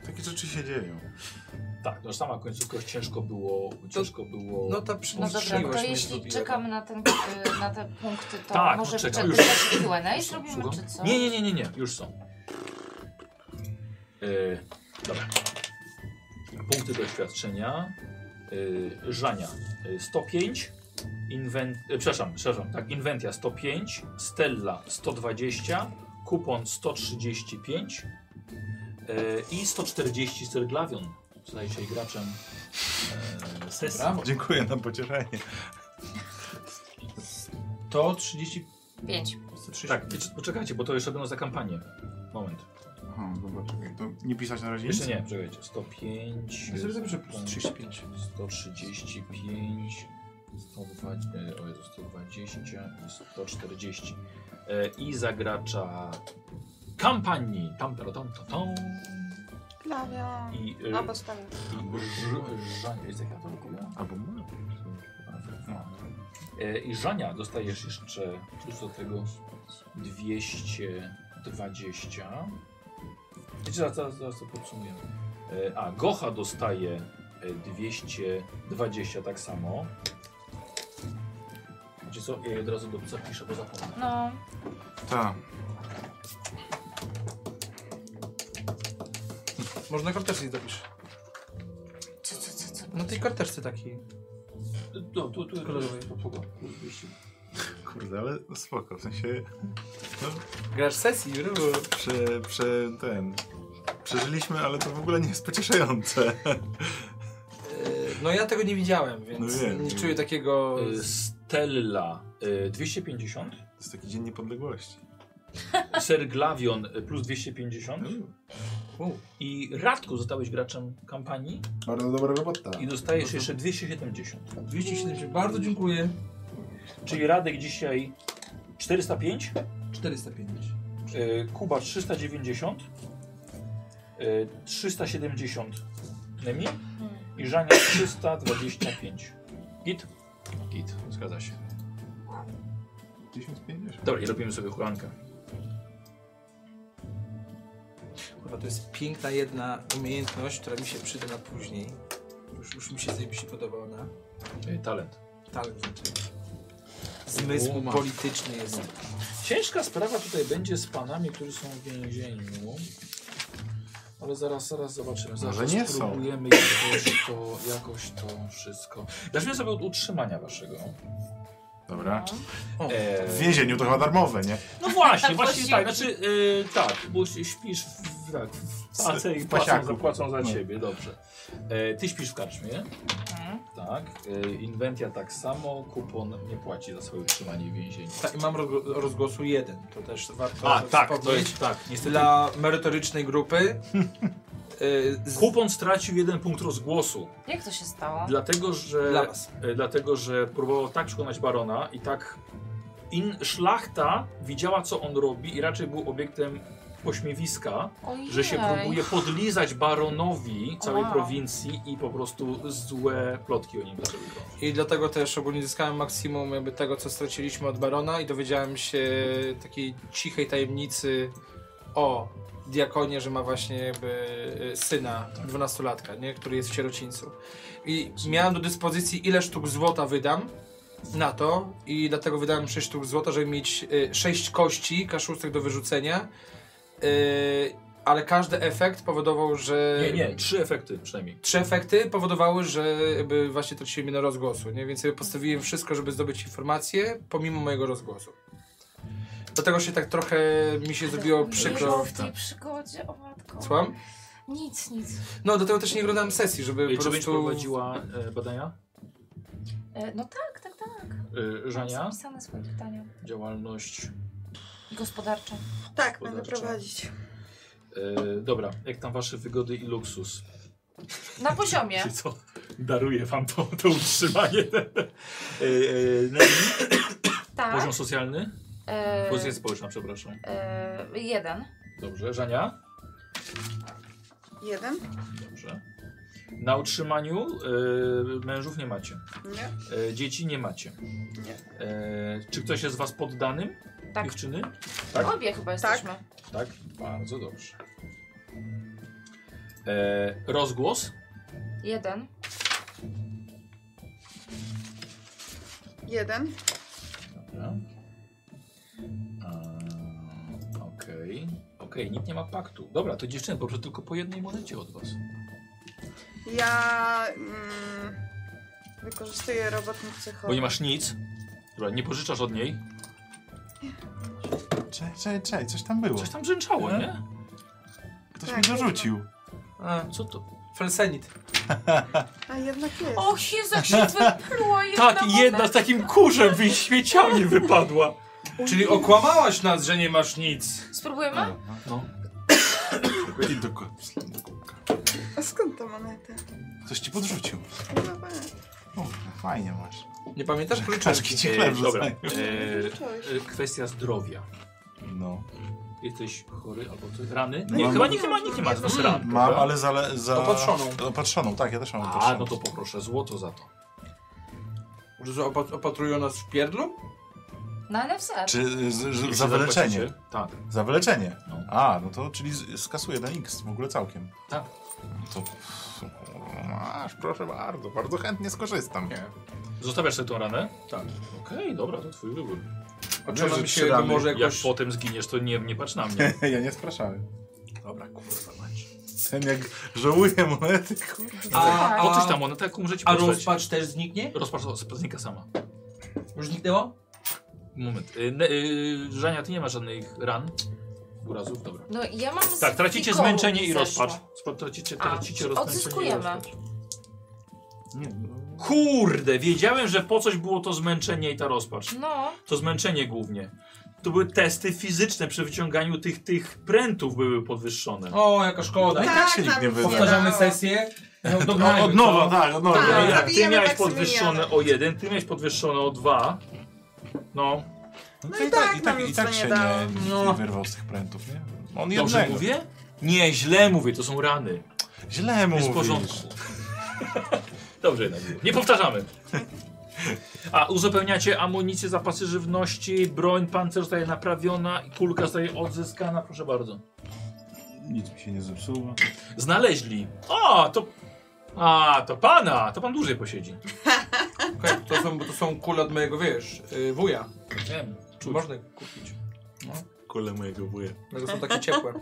Speaker 3: Takie rzeczy się dzieją.
Speaker 1: Tak, no sama końcówka ciężko było, ciężko było...
Speaker 5: No ta
Speaker 7: No
Speaker 5: przymiłość
Speaker 7: dobra, to
Speaker 5: mnie
Speaker 7: jeśli
Speaker 5: zgubiła.
Speaker 7: czekamy na, ten, y, na te punkty, to
Speaker 1: Tak,
Speaker 7: może
Speaker 1: poczekaj,
Speaker 7: czekaj,
Speaker 1: już.
Speaker 7: Q&A i zrobimy,
Speaker 1: Słucham?
Speaker 7: czy co?
Speaker 1: Nie, nie, nie, nie, nie, już są. E, Yy, dobra. Punkty doświadczenia. Yy, żania yy, 105. Inwent, yy, przepraszam, przepraszam, tak, inwentia 105, Stella 120, kupon 135 yy, e, i 140 Serglawion. Staje się graczem yy, sesji.
Speaker 5: Brawo.
Speaker 3: Dziękuję na pocieranie.
Speaker 5: To 30...
Speaker 7: Pięć.
Speaker 5: 130.
Speaker 1: Tak, wiecie, poczekajcie, bo to jeszcze będą za kampanię. Moment.
Speaker 3: Aha, dobra, czekaj, to nie pisać na razie
Speaker 1: Jeszcze
Speaker 3: nic?
Speaker 1: nie, czekajcie. 105.
Speaker 5: Ja sobie zapiszę plus 35.
Speaker 1: 135, 120, e, o Jezu, 120 i 140. E, I zagracza kampanii. Tam, tam, tam, tam, tam.
Speaker 2: Klawia.
Speaker 1: I, e,
Speaker 2: No, postawię.
Speaker 1: i Ż- Żania. Jest jak ja to robię?
Speaker 3: Albo mam.
Speaker 1: No. E, I Żania dostajesz jeszcze plus do tego 220. Wiecie, zaraz, zaraz, zaraz to podsumujemy. E, A, Gocha dostaje e, 220 tak samo. Wiecie co, ja je od razu do zapiszę, bo zapomnę.
Speaker 7: No,
Speaker 3: Tak.
Speaker 5: Może na karteczce jej dopisz.
Speaker 7: co, co, co, co?
Speaker 5: Na tej karteczce takiej.
Speaker 1: Tu, tu, tu,
Speaker 5: Kolorowej.
Speaker 3: Kurde, ale spoko, w sensie
Speaker 5: Grasz sesji, e, brawo.
Speaker 3: prze, prze, ten... Przeżyliśmy, ale to w ogóle nie jest pocieszające.
Speaker 5: Yy, No ja tego nie widziałem, więc
Speaker 3: No wiem.
Speaker 5: nie czuję takiego...
Speaker 1: E, Stella e, 250.
Speaker 3: To jest taki dzień niepodległości.
Speaker 1: Ser Glavion e, plus 250.
Speaker 5: U.
Speaker 1: I Radku zostałeś graczem kampanii
Speaker 9: Bardzo dobra robota.
Speaker 1: i dostajesz jeszcze 270.
Speaker 5: 270, bardzo dziękuję.
Speaker 1: Czyli Radek dzisiaj 405,
Speaker 5: 405.
Speaker 1: y, e, Kuba 390, y, 370 nymi i Żania 325. Git? Git, zgadza się.
Speaker 3: 1050.
Speaker 1: Dobra, i robimy sobie hulankę.
Speaker 5: Kurwa, to jest piękna jedna umiejętność, która mi się przyda na później. Już, już mi się zajebiście podoba ona.
Speaker 1: Y, Talent.
Speaker 5: Talent znaczy. Zmysł
Speaker 1: Uma.
Speaker 5: polityczny jest.
Speaker 1: Ciężka sprawa tutaj będzie z panami, którzy są w więzieniu. Ale zaraz, zaraz zobaczymy. Zaraz
Speaker 3: Może nie są.
Speaker 1: spróbujemy jakoś to, jakoś to wszystko. Zacznijmy sobie od utrzymania waszego.
Speaker 3: Dobra.
Speaker 1: Eee,
Speaker 3: W więzieniu to chyba darmowe, nie?
Speaker 1: No właśnie, właśnie
Speaker 7: Tak, właściwie.
Speaker 1: tak, znaczy yy, tak, bo się śpisz w, tak, w pace i
Speaker 3: w
Speaker 1: płacą,
Speaker 3: pasiaku.
Speaker 1: zapłacą za
Speaker 3: No.
Speaker 1: ciebie, dobrze. E, ty śpisz w karczmie,
Speaker 7: Mhm.
Speaker 1: tak, e, inwentia tak samo, kupon nie płaci za swoje utrzymanie w więzieniu.
Speaker 5: Ta, i mam rozgo- rozgłosu jeden, to też warto
Speaker 1: A, tak, to
Speaker 5: wspomnieć.
Speaker 1: jest, tak, niestety
Speaker 5: Dla merytorycznej grupy. *laughs* y, z,
Speaker 1: kupon stracił jeden punkt rozgłosu,
Speaker 7: Jak to się stało?
Speaker 1: dlatego że,
Speaker 5: Dla was.
Speaker 1: e, dlatego, że próbował tak przekonać barona i tak in, szlachta widziała co on robi i raczej był obiektem pośmiewiska,
Speaker 7: Ojej.
Speaker 1: że się próbuje podlizać baronowi całej
Speaker 7: Wow.
Speaker 1: prowincji i po prostu złe plotki o nim zaczęły krążyć.
Speaker 5: I dlatego też ogólnie zyskałem maksimum jakby tego, co straciliśmy od Barona i dowiedziałem się takiej cichej tajemnicy o diakonie, że ma właśnie jakby e, syna, 12-latka, nie? który jest w sierocińcu. I miałem do dyspozycji ile sztuk złota wydam na to i dlatego wydałem 6 sztuk złota, żeby mieć 6 kości, kaszustek do wyrzucenia. E, Ale każdy efekt powodował, że...
Speaker 1: Nie, nie, trzy efekty przynajmniej.
Speaker 5: trzy efekty powodowały, że jakby właśnie traciłem mnie na rozgłosu, nie? więc jakby postawiłem wszystko, żeby zdobyć informacje pomimo mojego rozgłosu. Dlatego się tak trochę mi się zrobiło przykro.
Speaker 7: w tej przygodzie, o matko.
Speaker 5: Słucham?
Speaker 7: Nic, nic.
Speaker 5: No, dlatego też nie oglądałem sesji, żeby
Speaker 1: E, Czy
Speaker 5: po
Speaker 1: będziesz
Speaker 5: prostu...
Speaker 1: prowadziła e, badania?
Speaker 7: E, No tak, tak,
Speaker 1: E,
Speaker 7: tak. Mam
Speaker 1: Żania?
Speaker 7: zapisane swoje pytania.
Speaker 1: Działalność.
Speaker 7: Gospodarcze.
Speaker 2: Tak, będę
Speaker 1: Gospodarcze.
Speaker 2: prowadzić.
Speaker 1: E, dobra, jak tam wasze wygody i luksus?
Speaker 7: Na poziomie.
Speaker 1: Czy co? Daruję wam to, to utrzymanie. E, e, no,
Speaker 7: Tak.
Speaker 1: poziom socjalny?
Speaker 7: E,
Speaker 1: Pozycja społeczna, przepraszam.
Speaker 7: e, jeden.
Speaker 1: Dobrze, Żania?
Speaker 2: Jeden?
Speaker 1: Dobrze. Na utrzymaniu e, mężów nie macie.
Speaker 2: Nie.
Speaker 1: E, dzieci nie macie.
Speaker 2: Nie.
Speaker 1: E, czy ktoś jest z was poddanym?
Speaker 7: Tak.
Speaker 1: Dziewczyny? Tak?
Speaker 7: Obie chyba jesteśmy.
Speaker 1: Tak, bardzo dobrze. E, rozgłos?
Speaker 7: Jeden.
Speaker 2: Jeden.
Speaker 1: Dobra. A, Okej. Okej, nikt nie ma paktu. Dobra, to dziewczyny, proszę tylko po jednej monecie od was.
Speaker 2: Ja mm, wykorzystuję robotnik
Speaker 1: Bo nie
Speaker 2: cychowy.
Speaker 1: masz nic. Dobra, nie pożyczasz od niej.
Speaker 3: Czej, czej, czej, coś tam było.
Speaker 1: Coś tam brzęczało,
Speaker 3: Mhm.
Speaker 1: nie?
Speaker 3: Ktoś
Speaker 2: Tak,
Speaker 3: mi dorzucił.
Speaker 5: A,
Speaker 1: Co to?
Speaker 5: felsenit.
Speaker 2: A jednak jest.
Speaker 7: O Jezu, jak się wypluła jedna
Speaker 1: Tak, i jedna z takim kurzem
Speaker 5: *laughs*
Speaker 1: wyświecialnie wypadła.
Speaker 5: Czyli okłamałaś nas, że nie masz nic.
Speaker 7: Spróbujemy?
Speaker 1: No.
Speaker 3: I do ko- do kubka.
Speaker 2: A skąd ta moneta?
Speaker 3: Coś ci podrzucił.
Speaker 2: No patrz,
Speaker 3: O, fajnie masz.
Speaker 5: Nie pamiętasz
Speaker 3: Czaszki
Speaker 5: kluczaszki?
Speaker 3: ci chleb
Speaker 1: dobra.
Speaker 3: zostają.
Speaker 2: zacząłeś.
Speaker 1: E, kwestia zdrowia.
Speaker 3: No.
Speaker 1: Jesteś chory albo coś? Rany?
Speaker 3: No
Speaker 1: Nie,
Speaker 3: mam-
Speaker 1: chyba nikt nie ma, nikt nie ma z was ran.
Speaker 3: Mam,
Speaker 1: prawda?
Speaker 3: ale za... za...
Speaker 5: Opatrzoną.
Speaker 3: Opatrzoną, tak, ja też mam opatrzoną.
Speaker 1: A, no to poproszę złoto za to.
Speaker 5: Że opat- opatrują nas w pierdlu?
Speaker 7: Na NFZ.
Speaker 3: Czy z, z,
Speaker 1: Jeśli
Speaker 3: za wyleczenie?
Speaker 1: zapłacicie- Tak.
Speaker 3: Za wyleczenie.
Speaker 1: No.
Speaker 3: A, no to czyli z, skasuję na X w ogóle całkiem.
Speaker 1: Tak.
Speaker 3: No To masz, proszę bardzo, bardzo chętnie skorzystam.
Speaker 5: Nie.
Speaker 1: Zostawiasz sobie tą ranę?
Speaker 5: Tak.
Speaker 1: Okej, dobra, to twój wybór.
Speaker 5: Oczyma
Speaker 3: że
Speaker 5: mi się
Speaker 3: trzy
Speaker 5: jakby
Speaker 3: rany.
Speaker 5: może
Speaker 1: No, Jak
Speaker 5: jakoś...
Speaker 1: potem zginiesz, to nie, nie patrz na mnie.
Speaker 3: *laughs* ja nie spraszałem.
Speaker 1: Dobra, kurwa mać.
Speaker 3: Ten jak żałuję monety, kurde.
Speaker 5: *laughs* A,
Speaker 1: Po coś
Speaker 5: a,
Speaker 1: tam, ona tak umrze ci
Speaker 5: a
Speaker 1: potrzeć.
Speaker 5: rozpacz też zniknie?
Speaker 1: Rozpacz o- znika sama.
Speaker 5: Już zniknęło?
Speaker 1: Moment. Y, ne- y, Żania, ty nie masz żadnych ran? Urazów? Dobra.
Speaker 7: No i ja mam z
Speaker 1: Tak, tracicie
Speaker 7: fikoru
Speaker 1: zmęczenie
Speaker 7: mi
Speaker 1: i
Speaker 7: zeszło.
Speaker 1: rozpacz. Spo- Tracicie,
Speaker 7: A,
Speaker 1: tracicie rozmęczenie i
Speaker 7: odzyskujemy.
Speaker 1: rozpacz.
Speaker 3: Nie, no.
Speaker 1: Kurde, wiedziałem, że po coś było to zmęczenie i ta rozpacz.
Speaker 7: No,
Speaker 1: To zmęczenie głównie. To były testy fizyczne przy wyciąganiu tych, tych prętów były podwyższone.
Speaker 5: O, jaka szkoda.
Speaker 3: I tak się nikt
Speaker 2: nam
Speaker 3: nie
Speaker 2: się
Speaker 3: wyda.
Speaker 5: Powtarzamy
Speaker 2: dało.
Speaker 5: sesję. No,
Speaker 3: No,
Speaker 5: dograjmy
Speaker 3: od
Speaker 5: to.
Speaker 3: nowa, tak, od nowa.
Speaker 1: No, jak
Speaker 2: Tak.
Speaker 1: ty
Speaker 2: zabijemy
Speaker 1: miałeś
Speaker 2: Maksymiliana.
Speaker 1: podwyższone o jeden, ty miałeś podwyższone o dwa. No,
Speaker 3: No,
Speaker 2: i tak nam nic to nie dało.
Speaker 3: nie,
Speaker 5: No.
Speaker 3: nie wyrwał z tych prętów, nie? On
Speaker 1: dobrze
Speaker 3: jednego.
Speaker 1: mówię? Nie, źle mówię, to są rany.
Speaker 3: Źle
Speaker 1: Jest
Speaker 3: mówisz.
Speaker 1: w porządku. *laughs* Dobrze jednak było. Nie powtarzamy. A uzupełniacie amunicję, zapasy żywności, broń, pancerz zostaje naprawiona i kulka zostaje odzyskana, proszę bardzo.
Speaker 3: Nic mi się nie zepsuło.
Speaker 1: Znaleźli. O, to... A, to pana! To pan dłużej posiedzi.
Speaker 5: Okej, to, są, to są kule od mojego, wiesz, y, wuja.
Speaker 1: Wiem.
Speaker 5: Czy można je kupić?
Speaker 3: Kole mojego wuja.
Speaker 5: No, to są takie ciepłe.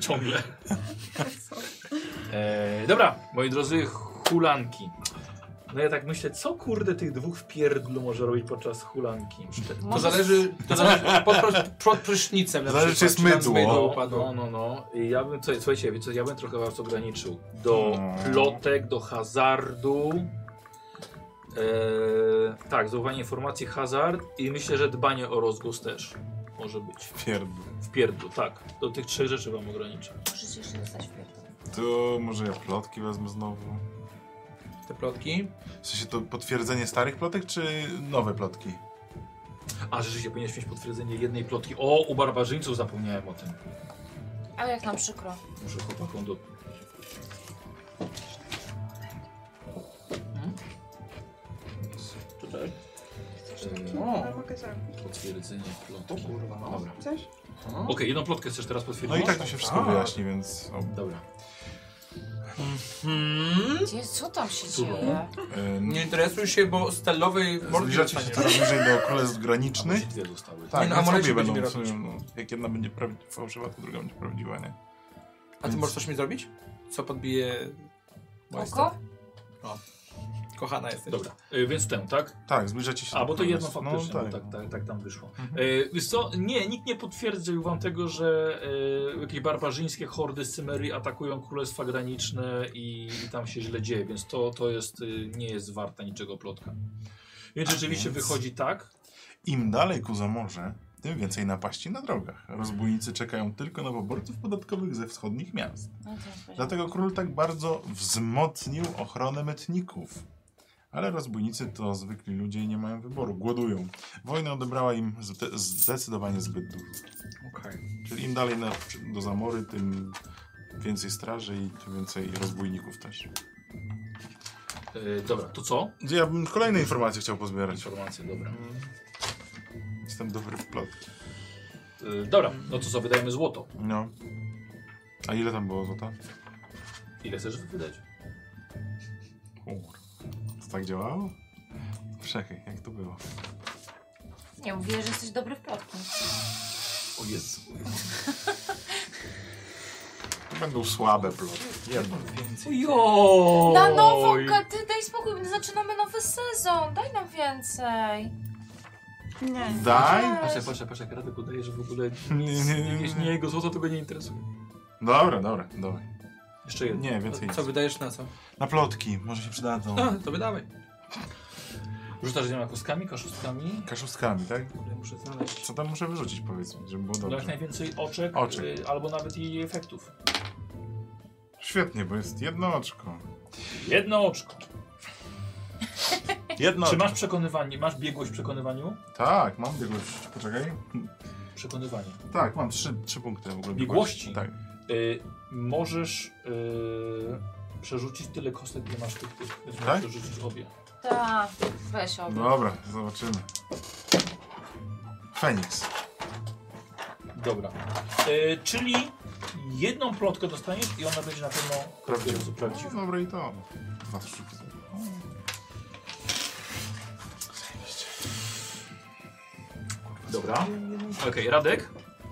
Speaker 1: Ciągle. e, dobra, moi drodzy, hulanki. No ja tak myślę, co kurde tych dwóch w pierdlu może robić podczas hulanki?
Speaker 5: To
Speaker 7: Może
Speaker 5: zależy, to zależy pod, prysz- pod prysznicem na
Speaker 3: Zależy, czy
Speaker 5: przykład,
Speaker 3: jest
Speaker 5: tam z
Speaker 3: mydło.
Speaker 5: mydła
Speaker 1: No, no,
Speaker 5: upadło.
Speaker 1: no, no. I Ja bym, co, słuchajcie, wiecie, co, ja bym trochę was ograniczył. Do
Speaker 3: No.
Speaker 1: plotek, do hazardu. E, tak, zauwanie informacji, hazard i myślę, że dbanie o rozgłos też może być.
Speaker 3: Pierdol.
Speaker 1: W pierdlu, tak. Do tych trzech rzeczy wam ograniczę.
Speaker 7: przecież dostać pierdol.
Speaker 3: To może ja plotki wezmę znowu.
Speaker 5: Te plotki.
Speaker 3: W sensie to potwierdzenie starych plotek, czy nowe plotki?
Speaker 1: A rzeczywiście powinieneś mieć potwierdzenie jednej plotki. O, u barbarzyńców zapomniałem o tym.
Speaker 7: Ale jak nam przykro.
Speaker 1: Muszę chłopakom do... Tutaj.
Speaker 5: O,
Speaker 6: Mogę zrobić.
Speaker 1: Potwierdzenie plotki.
Speaker 5: kurwa, no.
Speaker 1: Dobra.
Speaker 6: Chcesz?
Speaker 1: Okej, jedną plotkę chcesz teraz
Speaker 3: No
Speaker 1: potwierdzić? No.
Speaker 3: i tak to się wszystko
Speaker 5: Tak.
Speaker 3: wyjaśni, więc... O,
Speaker 1: Dobra. Hmm?
Speaker 7: Gdzie, co tam się
Speaker 1: Cudło.
Speaker 7: dzieje?
Speaker 3: e,
Speaker 5: Hmm. Nie interesuj się, bo stelowej mordy
Speaker 3: Zbliżacie się
Speaker 5: dostaniesz.
Speaker 3: coraz bliżej do kolest
Speaker 1: A bo ci
Speaker 3: granicznych.
Speaker 1: dwie zostały.
Speaker 3: Tak,
Speaker 5: Nie, no,
Speaker 3: więc
Speaker 5: amulety
Speaker 3: obie
Speaker 5: będziemy
Speaker 3: będą w
Speaker 5: robić.
Speaker 3: sumie, no, jak jedna będzie prawd- fałszywa, to druga będzie prawdziwa, nie?
Speaker 5: A ty możesz coś mi zrobić? Co podbije... moje
Speaker 7: Oko?
Speaker 5: stopy? Kochana jesteś.
Speaker 1: Dobra, y, więc tę, tak?
Speaker 3: Tak, zbliżacie się
Speaker 1: A, bo to
Speaker 3: kolest.
Speaker 1: jedno faktycznie, no, tak. Tak, tak, tam wyszło.
Speaker 3: Mhm.
Speaker 1: Y, Wiesz co, nie, nikt nie potwierdził wam tego, że y, jakieś barbarzyńskie hordy z Cymerii atakują królestwa graniczne i, i tam się źle dzieje, więc to, to jest, y, nie jest warta niczego plotka. Więc rzeczywiście
Speaker 3: więc-
Speaker 1: wychodzi tak,
Speaker 3: Im dalej ku zamorze, tym więcej napaści na drogach. Rozbójnicy czekają tylko na poborców podatkowych ze wschodnich miast.
Speaker 7: No to już będzie.
Speaker 3: Dlatego król tak bardzo wzmocnił ochronę metników. Ale rozbójnicy to zwykli ludzie i nie mają wyboru. Głodują. Wojna odebrała im zde- zdecydowanie zbyt dużo.
Speaker 5: Okej.
Speaker 3: Czyli im dalej na, do zamory, tym więcej straży i tym więcej rozbójników też.
Speaker 1: Y, dobra, to co?
Speaker 3: Ja bym kolejne informacje chciał pozbierać.
Speaker 1: Informacje, dobra.
Speaker 3: Jestem dobry w plotki.
Speaker 1: Y, dobra, no to co, wydajemy złoto.
Speaker 3: No. A ile tam było złota?
Speaker 1: Ile chcesz wydać?
Speaker 3: Kur. To tak działało? Przechy, jak to było?
Speaker 7: Nie, mówię, że jesteś dobry w plotki.
Speaker 1: O Jezu.
Speaker 3: To będą słabe plotki.
Speaker 5: No,
Speaker 3: Jedno.
Speaker 1: Jo!
Speaker 7: Na nową katy, daj spokój, my zaczynamy nowy sezon, daj nam więcej.
Speaker 6: Nie.
Speaker 3: Daj!
Speaker 1: Patrzę, patrzę, patrzę, jak Radek udaje, że w ogóle
Speaker 3: Nie, nie, nie,
Speaker 1: jakieś
Speaker 3: nie.
Speaker 1: nie jego złoto tego nie interesuje.
Speaker 3: Dobra, dobra, dawaj.
Speaker 1: Jeszcze jedno.
Speaker 3: Nie, więcej nic.
Speaker 5: Co wydajesz na co?
Speaker 3: Na plotki, może się przydadzą.
Speaker 5: A, to wydawaj.
Speaker 1: Rzucasz zielona kostkami, koszustkami.
Speaker 3: Kaszustkami, tak?
Speaker 5: Kurde, muszę znaleźć.
Speaker 3: Co tam muszę wyrzucić, powiedzmy, żeby było
Speaker 1: Dałeś
Speaker 3: dobrze.
Speaker 1: najwięcej oczek,
Speaker 3: Oczek.
Speaker 1: y, albo nawet i efektów.
Speaker 3: Świetnie, bo jest jedno oczko.
Speaker 1: Jedno oczko.
Speaker 3: Jedno
Speaker 1: Czy masz
Speaker 3: oczko.
Speaker 1: przekonywanie, masz biegłość w przekonywaniu?
Speaker 3: Tak, mam biegłość. Poczekaj.
Speaker 1: Przekonywanie.
Speaker 3: Tak, mam trzy, trzy punkty w ogóle.
Speaker 1: Biegłości?
Speaker 3: Tak.
Speaker 1: Y, możesz y, przerzucić tyle kostek, ile masz tych, tych. Więc możesz
Speaker 3: Tak?
Speaker 1: przerzucić obie.
Speaker 7: Tak, weź obu.
Speaker 1: No.
Speaker 3: Dobra, zobaczymy. Feniks.
Speaker 1: Dobra. Y, czyli jedną plotkę dostaniesz i ona będzie na pewno
Speaker 3: Prawdziwy. No
Speaker 1: prawdziwa.
Speaker 3: Dobra i to. Dwa sztuki.
Speaker 1: Dobra. Okej, Radek,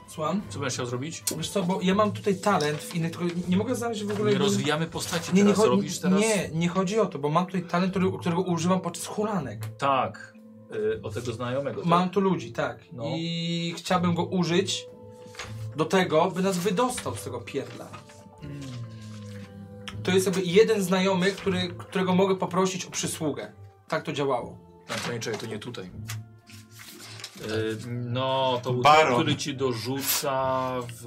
Speaker 5: Słucham?
Speaker 1: co będziesz chciał zrobić?
Speaker 5: Wiesz co, bo ja mam tutaj talent w innych, tylko nie mogę znaleźć w ogóle...
Speaker 1: Nie rozwijamy postaci
Speaker 5: nie, nie,
Speaker 1: teraz,
Speaker 5: chodzi-
Speaker 1: robisz teraz?
Speaker 5: nie, nie chodzi o to, bo mam tutaj talent, który, którego używam podczas hulanek.
Speaker 1: Tak. Y, o tego znajomego.
Speaker 5: Mam tu ludzi, tak.
Speaker 1: No.
Speaker 5: I chciałbym go użyć do tego, by nas wydostał z tego pierdla. To jest jakby jeden znajomy, który, którego mogę poprosić o przysługę. Tak to działało.
Speaker 1: Tak, to nie, czekaj, to nie tutaj. Y, no, to był
Speaker 3: Baron.
Speaker 1: ten, który ci dorzuca w...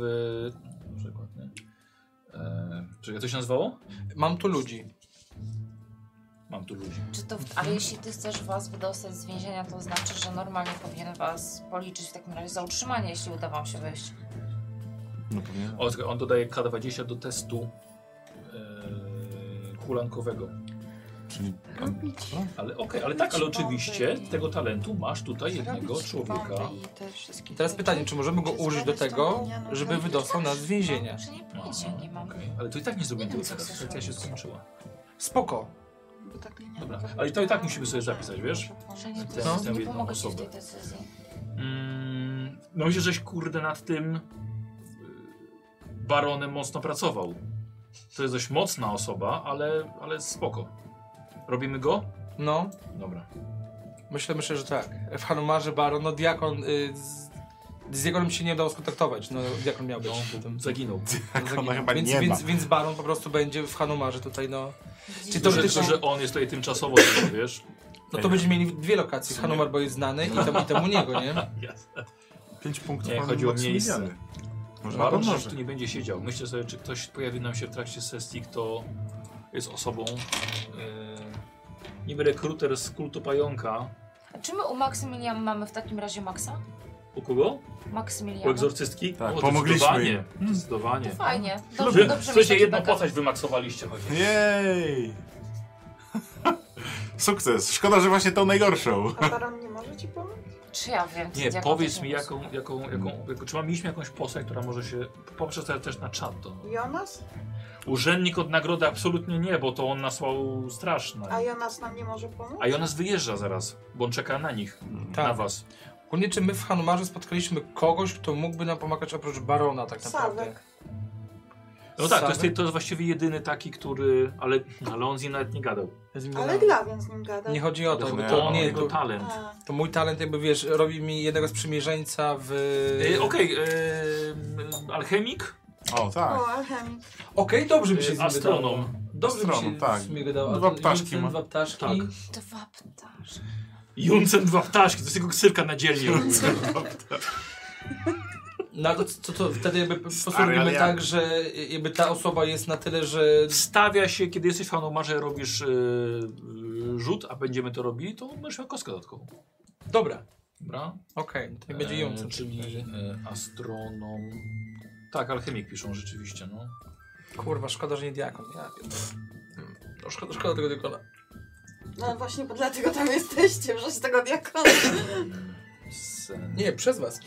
Speaker 1: Na przykład, nie? E, czekaj, jak to się nazywało?
Speaker 5: Mam tu ludzi.
Speaker 1: Mam tu ludzi.
Speaker 7: Czy to, w- ale jeśli ty chcesz was wydostać z więzienia, to znaczy, że normalnie powinien was policzyć w takim razie za utrzymanie, jeśli uda wam się wyjść.
Speaker 3: No pewnie.
Speaker 1: On, on dodaje K20 do testu e, yy, hulankowego.
Speaker 3: Czyli
Speaker 6: Robić.
Speaker 1: Ale okej, ale tak, ale oczywiście tego talentu masz tutaj jednego
Speaker 6: Robić
Speaker 1: człowieka.
Speaker 6: bomby i te wszystkie
Speaker 5: Teraz
Speaker 6: rzeczy.
Speaker 5: pytanie, czy możemy go
Speaker 6: Czy
Speaker 5: użyć do
Speaker 6: znaleźć
Speaker 5: tego,
Speaker 6: tą no, gnianą
Speaker 5: żeby
Speaker 6: żabę?
Speaker 5: wydostał nas z więzienia?
Speaker 7: Że No, nie pojęcia nie mam.
Speaker 1: Okej, Ale to i tak nie zrobię
Speaker 7: Nie wiem,
Speaker 1: tego
Speaker 7: co
Speaker 1: teraz.
Speaker 7: chcesz
Speaker 1: Sekcja się
Speaker 7: robić.
Speaker 1: skończyła.
Speaker 5: Spoko.
Speaker 6: Bo tak nie-
Speaker 1: Dobra, ale to i tak musimy sobie zapisać, wiesz?
Speaker 7: Że nie,
Speaker 1: Ten-
Speaker 7: no.
Speaker 1: tę
Speaker 7: nie
Speaker 1: jedną
Speaker 7: pomogę ci w
Speaker 1: osobę.
Speaker 7: tej decyzji.
Speaker 1: Mm, no myślę, żeś kurde nad tym y, baronem mocno pracował. To jest dość mocna osoba, ale, ale spoko. Robimy go?
Speaker 5: No,
Speaker 1: Dobra.
Speaker 5: myślę, myślę, że tak. W Hanumarze Baron, no diakon... Y, z, z Diakonem się nie dało skontaktować, no diakon miał być.
Speaker 1: No,
Speaker 5: tym.
Speaker 1: zaginął.
Speaker 3: *laughs*
Speaker 5: No, zaginął.
Speaker 3: Diakona chyba
Speaker 5: więc,
Speaker 3: nie ma.
Speaker 5: więc, więc Baron po prostu będzie w Hanumarze tutaj, no. Czy
Speaker 1: To,
Speaker 5: to,
Speaker 1: że,
Speaker 5: że,
Speaker 1: tylko, że on jest tutaj tymczasowo, tylko, wiesz?
Speaker 5: no to będziemy mieli dwie lokacje. Hanumar, bo jest znany i tam, i tam u niego, nie?
Speaker 1: Jasne.
Speaker 3: 5 punktów
Speaker 1: Nie,
Speaker 3: mam
Speaker 1: chodzi o
Speaker 3: Maksymiliany.
Speaker 1: miejsce.
Speaker 3: Można
Speaker 1: Baron
Speaker 3: pomnożyć.
Speaker 1: że tu nie będzie siedział. Myślę sobie, czy ktoś pojawi nam się w trakcie sesji, kto jest osobą yy, niby rekruter z kultu pająka.
Speaker 7: A czy my u Maksymilian mamy w takim razie Maxa?
Speaker 1: U kogo? U
Speaker 7: Maksymiliana?
Speaker 1: egzorcystki?
Speaker 3: Tak, pomogliśmy
Speaker 1: Zdecydowanie.
Speaker 3: im.
Speaker 1: zdecydowanie.
Speaker 7: Fajnie.
Speaker 1: Wy-
Speaker 7: Dobrze, tak dobrze
Speaker 1: w sensie
Speaker 7: myśleć
Speaker 1: jedną
Speaker 7: backup.
Speaker 1: postać wymaksowaliście chociaż.
Speaker 3: Jej! Sukces. Szkoda, że właśnie tą najgorszą.
Speaker 6: A baron nie może ci pomóc?
Speaker 7: Czy ja wiem? co
Speaker 1: Nie,
Speaker 7: diakon
Speaker 1: powiedz
Speaker 7: też
Speaker 1: mi
Speaker 7: nie
Speaker 1: jaką, jaką, jaką, jaką, czy mam- mieliśmy jakąś postać, która może się, poprzez to też na czat to.
Speaker 6: Jonas?
Speaker 1: Urzędnik od nagrody absolutnie nie, bo to on nasłał straszne.
Speaker 6: A Jonas nam nie może pomóc?
Speaker 1: A Jonas wyjeżdża zaraz, bo on czeka na nich, na
Speaker 5: Tak.
Speaker 1: was.
Speaker 5: Ogólnie, czy my w Hanumarze spotkaliśmy kogoś, kto mógłby nam pomagać oprócz Barona tak naprawdę?
Speaker 6: Sawek.
Speaker 1: No tak, to
Speaker 5: Samy?
Speaker 1: jest, to jest właściwie jedyny taki, który, ale, ale on z nim nawet nie gadał.
Speaker 5: Ja z nim
Speaker 6: Ale
Speaker 5: gadałem.
Speaker 6: Glawian z nim
Speaker 2: tak.
Speaker 6: gada.
Speaker 5: Nie chodzi o to,
Speaker 3: Nie,
Speaker 5: to,
Speaker 1: No To on,
Speaker 5: nie,
Speaker 1: jego
Speaker 5: to,
Speaker 3: tak.
Speaker 1: talent.
Speaker 6: A,
Speaker 5: to mój talent jakby, wiesz, robi mi jednego sprzymierzeńca w...
Speaker 1: E,
Speaker 3: Y,
Speaker 5: Okej,
Speaker 1: Okej, e, alchemik,
Speaker 3: O, tak.
Speaker 6: o, alchemik.
Speaker 5: dobrze mi się z
Speaker 1: e,
Speaker 5: nim
Speaker 1: astronom.
Speaker 5: gadało. Dobrze mi
Speaker 3: Y, Astronom,
Speaker 5: się
Speaker 3: tak.
Speaker 5: z nim gadało.
Speaker 3: Dwa
Speaker 5: A ten
Speaker 3: ptaszki
Speaker 5: Wilson,
Speaker 3: ma.
Speaker 5: Dwa ptaszki.
Speaker 1: Tak.
Speaker 7: pomóc. Dwa ptasze.
Speaker 1: Juncen dwa ptaszki, to jest jego ksywka na dzielnie.
Speaker 5: No ale to, to, to wtedy jakby
Speaker 3: ale
Speaker 5: postulujemy
Speaker 3: jak?
Speaker 5: tak, że jakby ta osoba jest na tyle, że...
Speaker 1: Wstawia się, kiedy jesteś w Hanumarze, robisz e, e, rzut, a będziemy to robili, to będziesz miał kostkę dodatkową.
Speaker 5: Dobra,
Speaker 1: Dobra?
Speaker 5: okej, to niech będzie
Speaker 1: E,
Speaker 5: jącem.
Speaker 1: Czyli e, astronom. Tak, alchemik piszą rzeczywiście, no.
Speaker 5: Kurwa, szkoda, że nie diakon. Ja, pierdolę. no, szkoda, szkoda tego diakona.
Speaker 6: No właśnie, bo dlatego tam jesteście, przez tego diakona.
Speaker 1: Sen.
Speaker 5: Nie, przez was.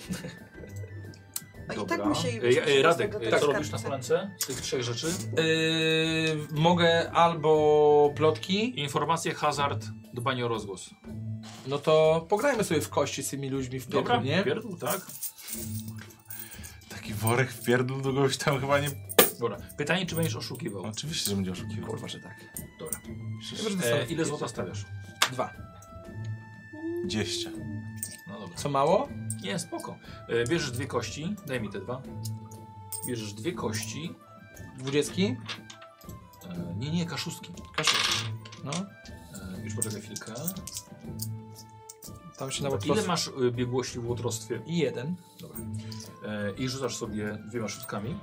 Speaker 6: A I
Speaker 1: Dobra.
Speaker 6: tak musieli
Speaker 1: E, e, Radek,
Speaker 6: do
Speaker 1: e,
Speaker 6: tej
Speaker 1: co robisz na
Speaker 6: skarbce.
Speaker 1: polance z tych trzech rzeczy?
Speaker 5: Yy, mogę albo plotki,
Speaker 1: Informacje, hazard, dbanie o rozgłos.
Speaker 5: no to pograjmy sobie w kości z tymi ludźmi w
Speaker 1: Dobra,
Speaker 5: pierdol, nie?
Speaker 1: pierdół, tak.
Speaker 3: Taki worek wpierdol do kogoś tam chyba nie...
Speaker 1: Dobra. Pytanie, czy będziesz oszukiwał?
Speaker 3: Oczywiście, że będzie oszukiwał.
Speaker 5: Kurwa, że tak.
Speaker 1: Znaczy, Dobra.
Speaker 5: E,
Speaker 1: E, ile złota stawiasz?
Speaker 5: Dwa.
Speaker 3: 20.
Speaker 1: No dobra.
Speaker 5: Co mało?
Speaker 1: Nie, spoko. E, bierzesz dwie kości, daj mi te dwa. Bierzesz dwie kości.
Speaker 5: Dwudziestki?
Speaker 1: E, nie, nie, kaszustki.
Speaker 5: Kaszusz. No,
Speaker 1: E, już poczekaj chwilkę.
Speaker 5: tam się na
Speaker 1: Ile
Speaker 5: łotrostwo.
Speaker 1: masz e, biegłości w łotrostwie?
Speaker 5: I jeden.
Speaker 1: E, I rzucasz sobie dwiema szóstkami.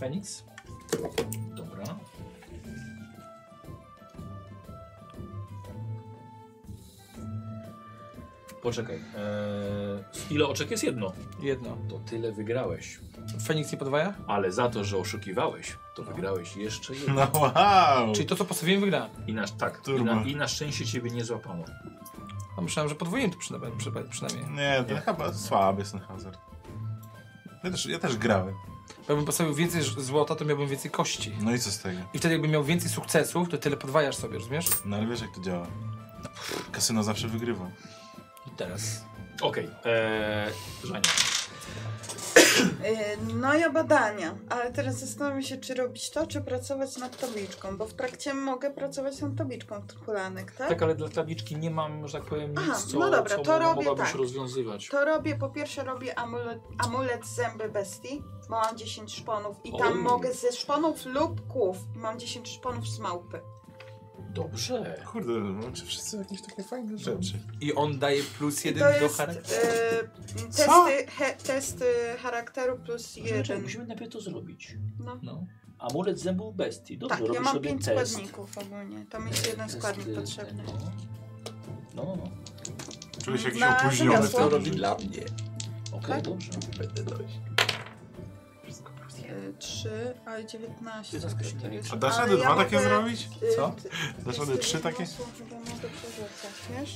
Speaker 5: Feniks?
Speaker 1: Dobra. Poczekaj. E, ile oczek jest jedno?
Speaker 5: Jedno.
Speaker 1: To tyle wygrałeś.
Speaker 5: Feniks nie podwaja?
Speaker 1: Ale za to, że oszukiwałeś, to wygrałeś jeszcze jedno.
Speaker 3: No wow!
Speaker 5: Czyli to, co postawiłem, wygrałem.
Speaker 1: I na, tak, i
Speaker 3: Turbo.
Speaker 1: na, i na szczęście ciebie nie złapano.
Speaker 5: A No, myślałem, że podwoiłem to przynajmniej. przyna- przynajmniej.
Speaker 3: Nie, to chyba słaby jest ten hazard. Ja też, ja też grałem.
Speaker 5: Bo Jakbym postawił więcej ż- złota, to miałbym więcej kości.
Speaker 3: No i co z tego?
Speaker 5: I wtedy jakbym miał więcej sukcesów, to tyle podwajasz sobie, rozumiesz?
Speaker 3: No ale wiesz jak to działa. Kasyno zawsze wygrywa.
Speaker 5: I teraz.
Speaker 1: Okej, eee, Żania.
Speaker 6: Tak? Y, No ja badania, ale teraz zastanawiam się, czy robić to, czy pracować nad tabliczką, bo w trakcie mogę pracować nad tabliczką hulanek, tak?
Speaker 1: Tak, ale dla tabliczki nie mam, że tak powiem, nic,
Speaker 6: Aha,
Speaker 1: co,
Speaker 6: no dobra,
Speaker 1: co
Speaker 6: to
Speaker 1: mo-
Speaker 6: robię
Speaker 1: mogłabyś
Speaker 6: tak.
Speaker 1: rozwiązywać.
Speaker 6: To robię, po pierwsze robię amulet, amulet zęby bestii, bo mam 10 szponów i tam
Speaker 1: Oj.
Speaker 6: mogę ze szponów lub kłów i mam 10 szponów z małpy.
Speaker 1: Dobrze.
Speaker 3: Kurde, no, czy wszyscy jakieś takie fajne rzeczy?
Speaker 5: I on daje plus
Speaker 6: I
Speaker 5: jeden
Speaker 6: to
Speaker 5: do
Speaker 6: jest
Speaker 5: charakteru.
Speaker 6: y, testy, he, testy charakteru plus
Speaker 1: Czekaj,
Speaker 6: 1.
Speaker 1: musimy najpierw to zrobić.
Speaker 6: No.
Speaker 5: No.
Speaker 1: Amulet zębów bestii. Dobrze,
Speaker 6: Tak,
Speaker 1: robisz
Speaker 6: ja mam
Speaker 1: sobie
Speaker 6: 5
Speaker 1: test. y,
Speaker 6: składników ogólnie, tam jest jeden
Speaker 1: Testy
Speaker 6: składnik potrzebny.
Speaker 1: tego. No, no, no. Okej,
Speaker 3: Czuję się jakiś
Speaker 6: Dla
Speaker 3: opóźniony w
Speaker 6: rzemiosła.
Speaker 3: tym.
Speaker 5: dla mnie.
Speaker 6: Tak?
Speaker 1: dobrze.
Speaker 5: Będę dojść.
Speaker 6: 3, a 19.
Speaker 1: Ty zaskoczenie
Speaker 6: to
Speaker 1: nie
Speaker 6: jest-
Speaker 3: A dasz
Speaker 6: ale
Speaker 3: radę dwa
Speaker 6: mogę-
Speaker 3: takie zrobić?
Speaker 6: y,
Speaker 5: Co?
Speaker 6: ty-
Speaker 3: Dasz radę
Speaker 6: jestem
Speaker 3: trzy takie?
Speaker 6: masą, Chyba mogę przerzucać,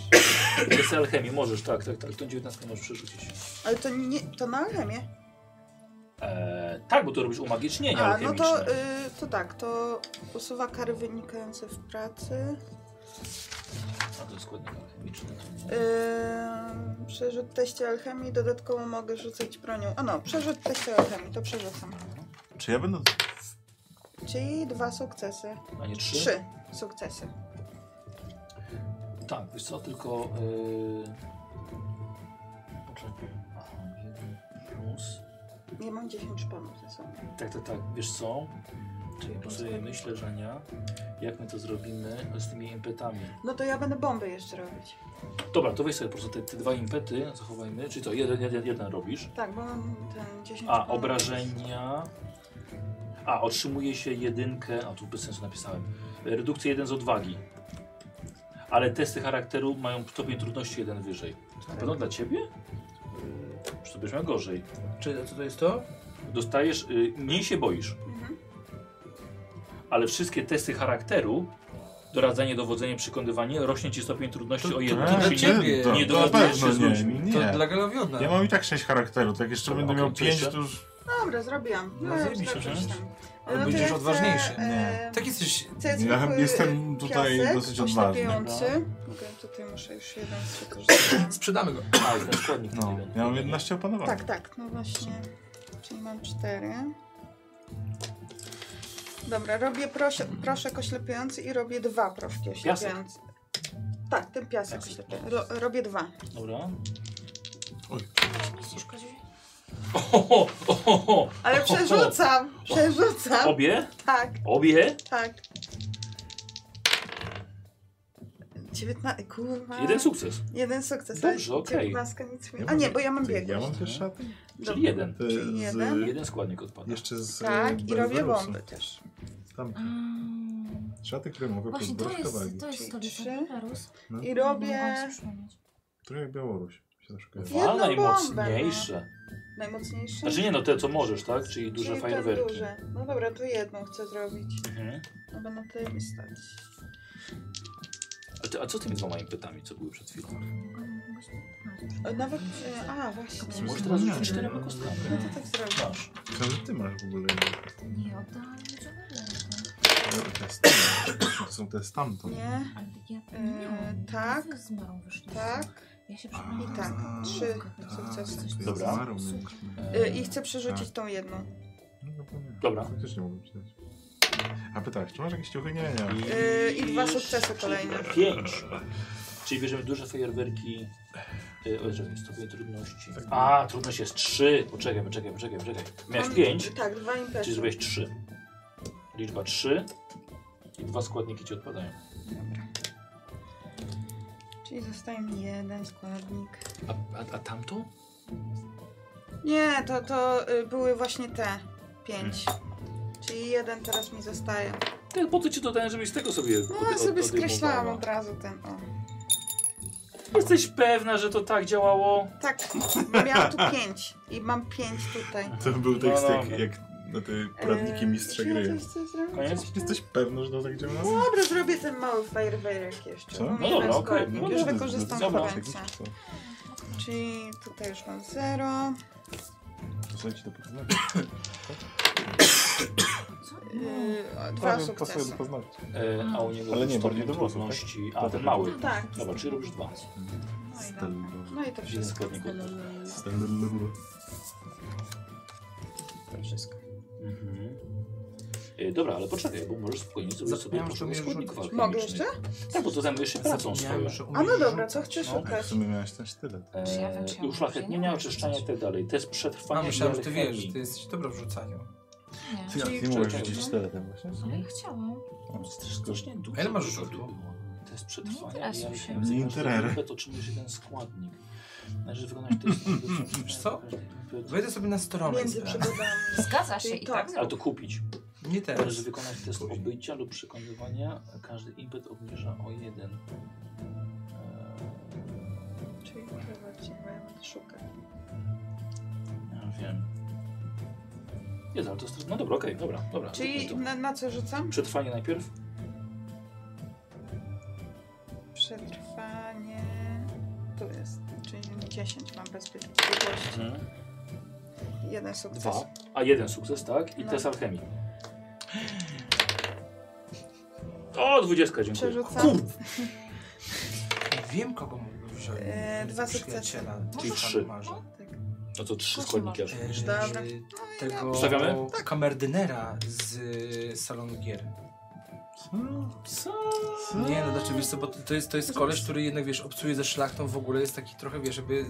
Speaker 6: wiesz?
Speaker 1: Jest alchemii, możesz, tak, tak, tak. Tą 19 możesz przerzucić.
Speaker 6: Ale to nie, to na alchemię.
Speaker 1: Eee, tak, bo tu robisz umagicznienie
Speaker 6: A, no
Speaker 1: alchemiczne.
Speaker 6: to, y, to tak, to usuwa kary wynikające w pracy.
Speaker 1: A to jest składnik alchemiczny.
Speaker 6: Yy, Y, przerzut teście alchemii, dodatkowo mogę rzucać bronią. A no, przerzut teście alchemii, to przerzucam.
Speaker 3: Czy ja będę...
Speaker 6: Czyli dwa sukcesy.
Speaker 1: A nie trzy?
Speaker 6: Trzy sukcesy.
Speaker 1: Tak, wiesz co, tylko... Yy... Poczekaj. Aha, jeden plus...
Speaker 6: Nie mam 10 szponów ze sobą.
Speaker 1: Tak, tak, tak, wiesz co? Czyli po sobie myślę, że nie. Jak my to zrobimy z tymi impetami?
Speaker 6: No to ja będę bomby jeszcze robić.
Speaker 1: Dobra, to weź sobie po prostu te, te dwa impety, zachowajmy. Czyli co, jeden, jeden, jeden robisz.
Speaker 6: Tak, bo mam ten 10
Speaker 1: A,
Speaker 6: szponów.
Speaker 1: obrażenia. A, otrzymuje się jedynkę. A tu bez sensu napisałem. Redukcję jeden z odwagi. Ale testy charakteru mają stopień trudności jeden wyżej. To na pewno dla ciebie? Czy to będziesz miał gorzej?
Speaker 5: Czy co to jest to?
Speaker 1: Dostajesz. Y, mniej się boisz.
Speaker 6: Mhm.
Speaker 1: Ale wszystkie testy charakteru, doradzenie, dowodzenie, przekonywanie, rośnie ci stopień trudności o jeden.
Speaker 5: to tak. dla
Speaker 1: czyli
Speaker 5: ciebie.
Speaker 3: to,
Speaker 1: nie
Speaker 3: to na
Speaker 1: dogadujesz
Speaker 3: pewno
Speaker 1: się z
Speaker 3: nie,
Speaker 1: ludźmi.
Speaker 5: To
Speaker 3: nie.
Speaker 5: dla Galowiona.
Speaker 3: Ja mam i tak sześć charakteru, tak jeszcze
Speaker 1: Dobra,
Speaker 3: będę
Speaker 1: okej,
Speaker 3: miał
Speaker 1: co
Speaker 3: pięć,
Speaker 1: jeszcze?
Speaker 3: to już...
Speaker 6: Dobra, zrobiłam.
Speaker 5: No,
Speaker 6: No,
Speaker 5: zajebiście,
Speaker 6: zrobiłam.
Speaker 5: że-
Speaker 6: Ale
Speaker 5: ale
Speaker 6: to
Speaker 5: będziesz
Speaker 6: ja chcę,
Speaker 5: odważniejszy.
Speaker 6: e,
Speaker 5: Tak jesteś...
Speaker 6: chcę
Speaker 3: Ja
Speaker 6: zwykły
Speaker 3: jestem tutaj
Speaker 6: piasek,
Speaker 3: dosyć odważny.
Speaker 6: oślepiający.
Speaker 1: No.
Speaker 6: Mogę tutaj muszę już jeden z wykorzystać.
Speaker 5: Sprzedamy go.
Speaker 1: A, jest ten składnik.
Speaker 3: No,
Speaker 1: jeden.
Speaker 3: ja mam 11 opanowanych.
Speaker 6: Tak, tak, no właśnie. Czyli mam cztery. Dobra, robię prosie, proszek oślepiający i robię dwa proszki oślepiające. Tak, ten piasek,
Speaker 1: Piasek.
Speaker 6: oślepiający. Ro, robię dwa.
Speaker 1: Dobra.
Speaker 7: Myślisz, Koziu?
Speaker 1: Oho, oho,
Speaker 6: Ale przerzucam, przerzucam.
Speaker 1: Obie?
Speaker 6: Tak,
Speaker 1: Obie?
Speaker 6: tak. Dziewiętna...
Speaker 2: Tak.
Speaker 6: Kurwa.
Speaker 1: Jeden sukces.
Speaker 6: Jeden sukces.
Speaker 1: Dobrze,
Speaker 6: ale
Speaker 1: okej.
Speaker 6: dziewiętnastka nic mi...
Speaker 3: Ja
Speaker 6: A nie,
Speaker 3: mam-
Speaker 6: bo ja mam
Speaker 3: Ty, Ja
Speaker 6: biegłość.
Speaker 3: mam też szatę?
Speaker 1: Czyli jeden.
Speaker 3: Ty,
Speaker 6: Czyli jeden?
Speaker 1: Jeden składnik odpada.
Speaker 3: Jeszcze z...
Speaker 6: Tak, i robię
Speaker 3: Belzerusu.
Speaker 6: bomby też.
Speaker 3: Tam,
Speaker 7: Mm,
Speaker 3: szaty, które mogę
Speaker 7: Właśnie to
Speaker 3: pozbierać
Speaker 7: jest,
Speaker 3: kawałki.
Speaker 7: to jest stolica
Speaker 6: Trzy.
Speaker 7: Perus.
Speaker 1: No.
Speaker 6: I robię
Speaker 3: Trochę jak Białoruś. Się troszkę...
Speaker 6: Jedną
Speaker 1: Dwa
Speaker 6: bombę,
Speaker 1: najmocniejsze.
Speaker 6: najmocniejsze.
Speaker 1: Znaczy nie no, te co możesz, tak? Czyli duże
Speaker 6: Czyli te
Speaker 1: fajerwerki.
Speaker 6: duże. No dobra, to jedną chcę zrobić.
Speaker 1: Mhm.
Speaker 6: No będę na tyle mi stać.
Speaker 1: A, ty, a co z tymi dwoma impetami, co były przed chwilą?
Speaker 6: O, Nawet. e, A, właśnie.
Speaker 3: Słyszę.
Speaker 1: Możesz teraz rzucić czterema kostkami.
Speaker 6: No to tak zrobię.
Speaker 1: Masz.
Speaker 3: Co że ty masz w ogóle?
Speaker 7: Nie oddałam żadnego.
Speaker 3: To jest tam. Są te stamtąd.
Speaker 6: Nie,
Speaker 7: Ale ja
Speaker 6: Eee,
Speaker 7: nie,
Speaker 6: tak,
Speaker 7: wy z Marą wyszliście.
Speaker 6: tak.
Speaker 7: Ja się
Speaker 3: A,
Speaker 7: przypomniałam.
Speaker 6: I tak, trzy
Speaker 7: Tak,
Speaker 6: sukcesy.
Speaker 7: coś
Speaker 3: to
Speaker 7: tam.
Speaker 1: Dobra.
Speaker 3: zmarł mieliśmy.
Speaker 6: E,
Speaker 1: Eee,
Speaker 6: I chcę przerzucić tą jedną.
Speaker 3: No, zapomniałem.
Speaker 1: Dobra.
Speaker 3: Faktycznie mogłem czytać. A pytałeś, czy masz jakieś ciuchy? Nie, nie. mam.
Speaker 6: E, I dwa sukcesy kolejne.
Speaker 1: Pięć. Czyli bierzemy duże fajerwerki. Yy, o, czekaj, stopień trudności.
Speaker 3: Tak.
Speaker 1: A, trudność jest trzy. Poczekaj, poczekaj, poczekaj, poczekaj. Miałeś
Speaker 6: Mam-
Speaker 1: pięć,
Speaker 6: Tak, dwa
Speaker 1: czyli
Speaker 6: impety.
Speaker 1: zrobiłeś trzy. Liczba trzy. I dwa składniki ci odpadają.
Speaker 6: Czyli zostaje mi jeden składnik.
Speaker 1: A, a, a tamto?
Speaker 6: Nie, to, to y, były właśnie te pięć.
Speaker 1: Mhm.
Speaker 6: Czyli jeden teraz mi zostaje.
Speaker 1: Ty, po co ci dodałem, żebyś z tego sobie
Speaker 6: No,
Speaker 1: ode-
Speaker 6: ja sobie
Speaker 1: odejmowała?
Speaker 6: skreślałam od razu ten. O.
Speaker 1: Jesteś pewna, że to tak działało?
Speaker 6: Tak, miałam tu pięć. I mam pięć tutaj. E,
Speaker 3: To był tekst
Speaker 1: No,
Speaker 3: jak,
Speaker 1: no.
Speaker 3: jak na te poradniki mistrza
Speaker 6: Eee, Czy No, ja
Speaker 3: gry.
Speaker 6: coś chcę zrobić?
Speaker 1: Koniec?
Speaker 3: Jesteś pewny, że to tak działa?
Speaker 6: Dobra, zrobię ten mały fajerwerek jeszcze.
Speaker 3: Co?
Speaker 6: Bo
Speaker 1: No
Speaker 6: mi
Speaker 1: dobra,
Speaker 6: jeden
Speaker 1: okej,
Speaker 6: składnik.
Speaker 1: no
Speaker 6: Już
Speaker 1: dobra,
Speaker 6: wykorzystam
Speaker 1: dobra.
Speaker 6: końca. Czyli tutaj już mam 0.
Speaker 3: To sobie ci do poznania.
Speaker 7: No,
Speaker 6: Mm, dwa
Speaker 3: Tak, pasuje
Speaker 6: sukcesy.
Speaker 3: do poznania.
Speaker 1: E, a u niego
Speaker 3: Ale nie,
Speaker 1: był
Speaker 3: bardziej
Speaker 1: stopień
Speaker 3: do włosów,
Speaker 1: trudności.
Speaker 3: tak?
Speaker 1: A, ten mały.
Speaker 6: Tak.
Speaker 1: Dobra, czyli robisz dwa.
Speaker 6: No i, dobra. no i to
Speaker 1: Jeden
Speaker 6: wszystko.
Speaker 1: składnik odpada.
Speaker 6: To wszystko.
Speaker 1: Mhm. E, dobra, ale poczekaj, bo możesz spokojnie zrobić sobie
Speaker 5: Zapomniałem, że
Speaker 1: potrzebę
Speaker 5: umiesz
Speaker 1: składników
Speaker 5: rzucać.
Speaker 6: Mogę
Speaker 1: alchemicznych. Tak, bo to zajmujesz się pracą swoją.
Speaker 6: A no dobra, co chcesz
Speaker 3: W
Speaker 6: szukać?
Speaker 3: sumie miałeś ten sztylet.
Speaker 7: Czy ja wiem, czy ja
Speaker 1: E,
Speaker 7: mam
Speaker 1: uszlachetnienia,
Speaker 7: rzucenie?
Speaker 1: oczyszczania i tak dalej. To jest
Speaker 5: A
Speaker 1: przetrwanie
Speaker 5: myślałem, że
Speaker 1: i
Speaker 5: ty wiesz,
Speaker 1: alchemii.
Speaker 5: że ty jesteś dobra w rzucaniu.
Speaker 7: Nie.
Speaker 3: Ty, a
Speaker 1: Czyli
Speaker 3: ty mogłeś
Speaker 1: czekaj,
Speaker 3: rzucić
Speaker 1: no.
Speaker 3: sztyletem właśnie?
Speaker 7: Ale ja chciałam.
Speaker 1: Strasznie dużo.
Speaker 5: A ile masz
Speaker 1: tego
Speaker 5: rzutu?
Speaker 1: było. To jest
Speaker 7: Nie
Speaker 1: przetrwanie i
Speaker 7: interesuj się.
Speaker 1: alchemii.
Speaker 3: Nie
Speaker 1: Każdy
Speaker 3: interesuj.
Speaker 1: impet otrzymuje się ten składnik. Należy wykonać
Speaker 5: *laughs*
Speaker 1: test.
Speaker 5: Wiesz co? Wejdę sobie na stronę.
Speaker 6: Między przygodami.
Speaker 7: Zgadza się
Speaker 6: Czyli
Speaker 7: i
Speaker 6: to.
Speaker 7: tak
Speaker 1: Ale
Speaker 7: zrobię.
Speaker 1: to kupić.
Speaker 5: Nie teraz.
Speaker 1: Należy wykonać test
Speaker 5: Później.
Speaker 1: obycia lub przekonywania. Każdy impet obniża o jeden. Eee,
Speaker 6: Czyli chyba cię będę szukać.
Speaker 1: Ja wiem. Jest, ale to jest... No dobra, okej, dobra, dobra.
Speaker 6: Czyli
Speaker 1: zróbmy
Speaker 6: na, na co rzucam?
Speaker 1: to. Przetrwanie najpierw.
Speaker 6: Przetrwanie. Tu jest. znaczy Czyli 10 mam bezpieczeństwo.
Speaker 5: Mhm.
Speaker 6: Jeden sukces.
Speaker 1: Dwa. A jeden sukces, tak? I
Speaker 6: No.
Speaker 1: test alchemii. O, dwudziestka, dziękuję.
Speaker 6: Przerzucam.
Speaker 1: Eee,
Speaker 5: Nie wiem, kogo mógłbym wziąć.
Speaker 6: Eee, dwa sukcesy.
Speaker 5: Przyjaciela.
Speaker 1: Czyli
Speaker 5: Tam
Speaker 1: trzy.
Speaker 5: marzę.
Speaker 1: No to trzy
Speaker 7: Proszę
Speaker 1: składniki aż.
Speaker 7: bardzo.
Speaker 5: Eee,
Speaker 6: Dobra.
Speaker 5: Tego
Speaker 1: Ustawiamy?
Speaker 5: kamerdynera z y, salonu gier.
Speaker 3: Hmm.
Speaker 5: Nie no, znaczy wiesz co, bo to to jest, to jest koleż, który jednak wiesz, obcuje ze szlachtą w ogóle, jest taki trochę wiesz, jakby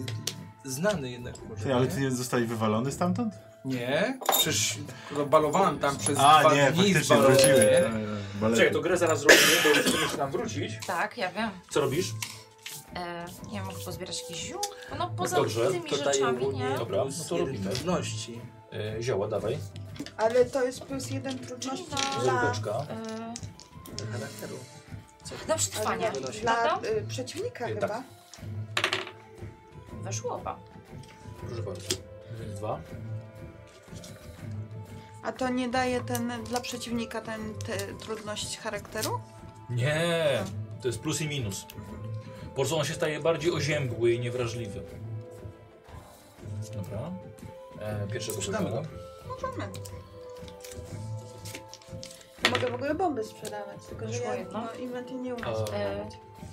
Speaker 5: znany jednak może,
Speaker 3: Ty, ale
Speaker 5: nie?
Speaker 3: ty nie zostali wywalony stamtąd?
Speaker 5: Nie, przecież go balowałem tam przez
Speaker 3: A,
Speaker 5: dwa
Speaker 3: nie,
Speaker 5: dni
Speaker 3: faktycznie
Speaker 5: z balonu,
Speaker 3: wróciły.
Speaker 5: nie?
Speaker 1: Czekaj, to grę zaraz zrobimy, bo jeszcze muszę tam wrócić.
Speaker 7: Tak, ja wiem.
Speaker 1: Co robisz?
Speaker 7: E, nie wiem, mogę pozbierać jakiś ziół? No poza
Speaker 1: Dobrze,
Speaker 7: tymi
Speaker 1: to daję
Speaker 7: rzeczami,
Speaker 1: ogólnie-
Speaker 7: nie?
Speaker 1: Dobra,
Speaker 5: Plus
Speaker 1: no to
Speaker 5: jeden
Speaker 1: robimy.
Speaker 5: trudności.
Speaker 1: E, zioła, dawaj.
Speaker 6: Ale to jest plus jeden trudności
Speaker 7: Czyli
Speaker 6: dla,
Speaker 1: Zróbeczka.
Speaker 7: E,
Speaker 5: Charakteru.
Speaker 7: na przetrwanie, No,
Speaker 6: ale nie, dla
Speaker 7: prawda?
Speaker 6: y, przeciwnika
Speaker 1: Nie,
Speaker 6: chyba.
Speaker 1: tak.
Speaker 7: Weszło oba.
Speaker 1: Proszę bardzo. Więc dwa.
Speaker 2: A to nie daje ten dla przeciwnika ten te, trudność charakteru?
Speaker 1: Nie, to jest plus i minus. Po prostu on się staje bardziej oziębły i niewrażliwy. Dobra. E, pierwsze
Speaker 5: Sprzedamy
Speaker 1: poszedłem.
Speaker 6: Możemy. Ja mogę w ogóle bomby sprzedawać, tylko że
Speaker 7: Wyszło
Speaker 6: ja
Speaker 7: jedno?
Speaker 6: no, inwenty nie umiem.
Speaker 7: E,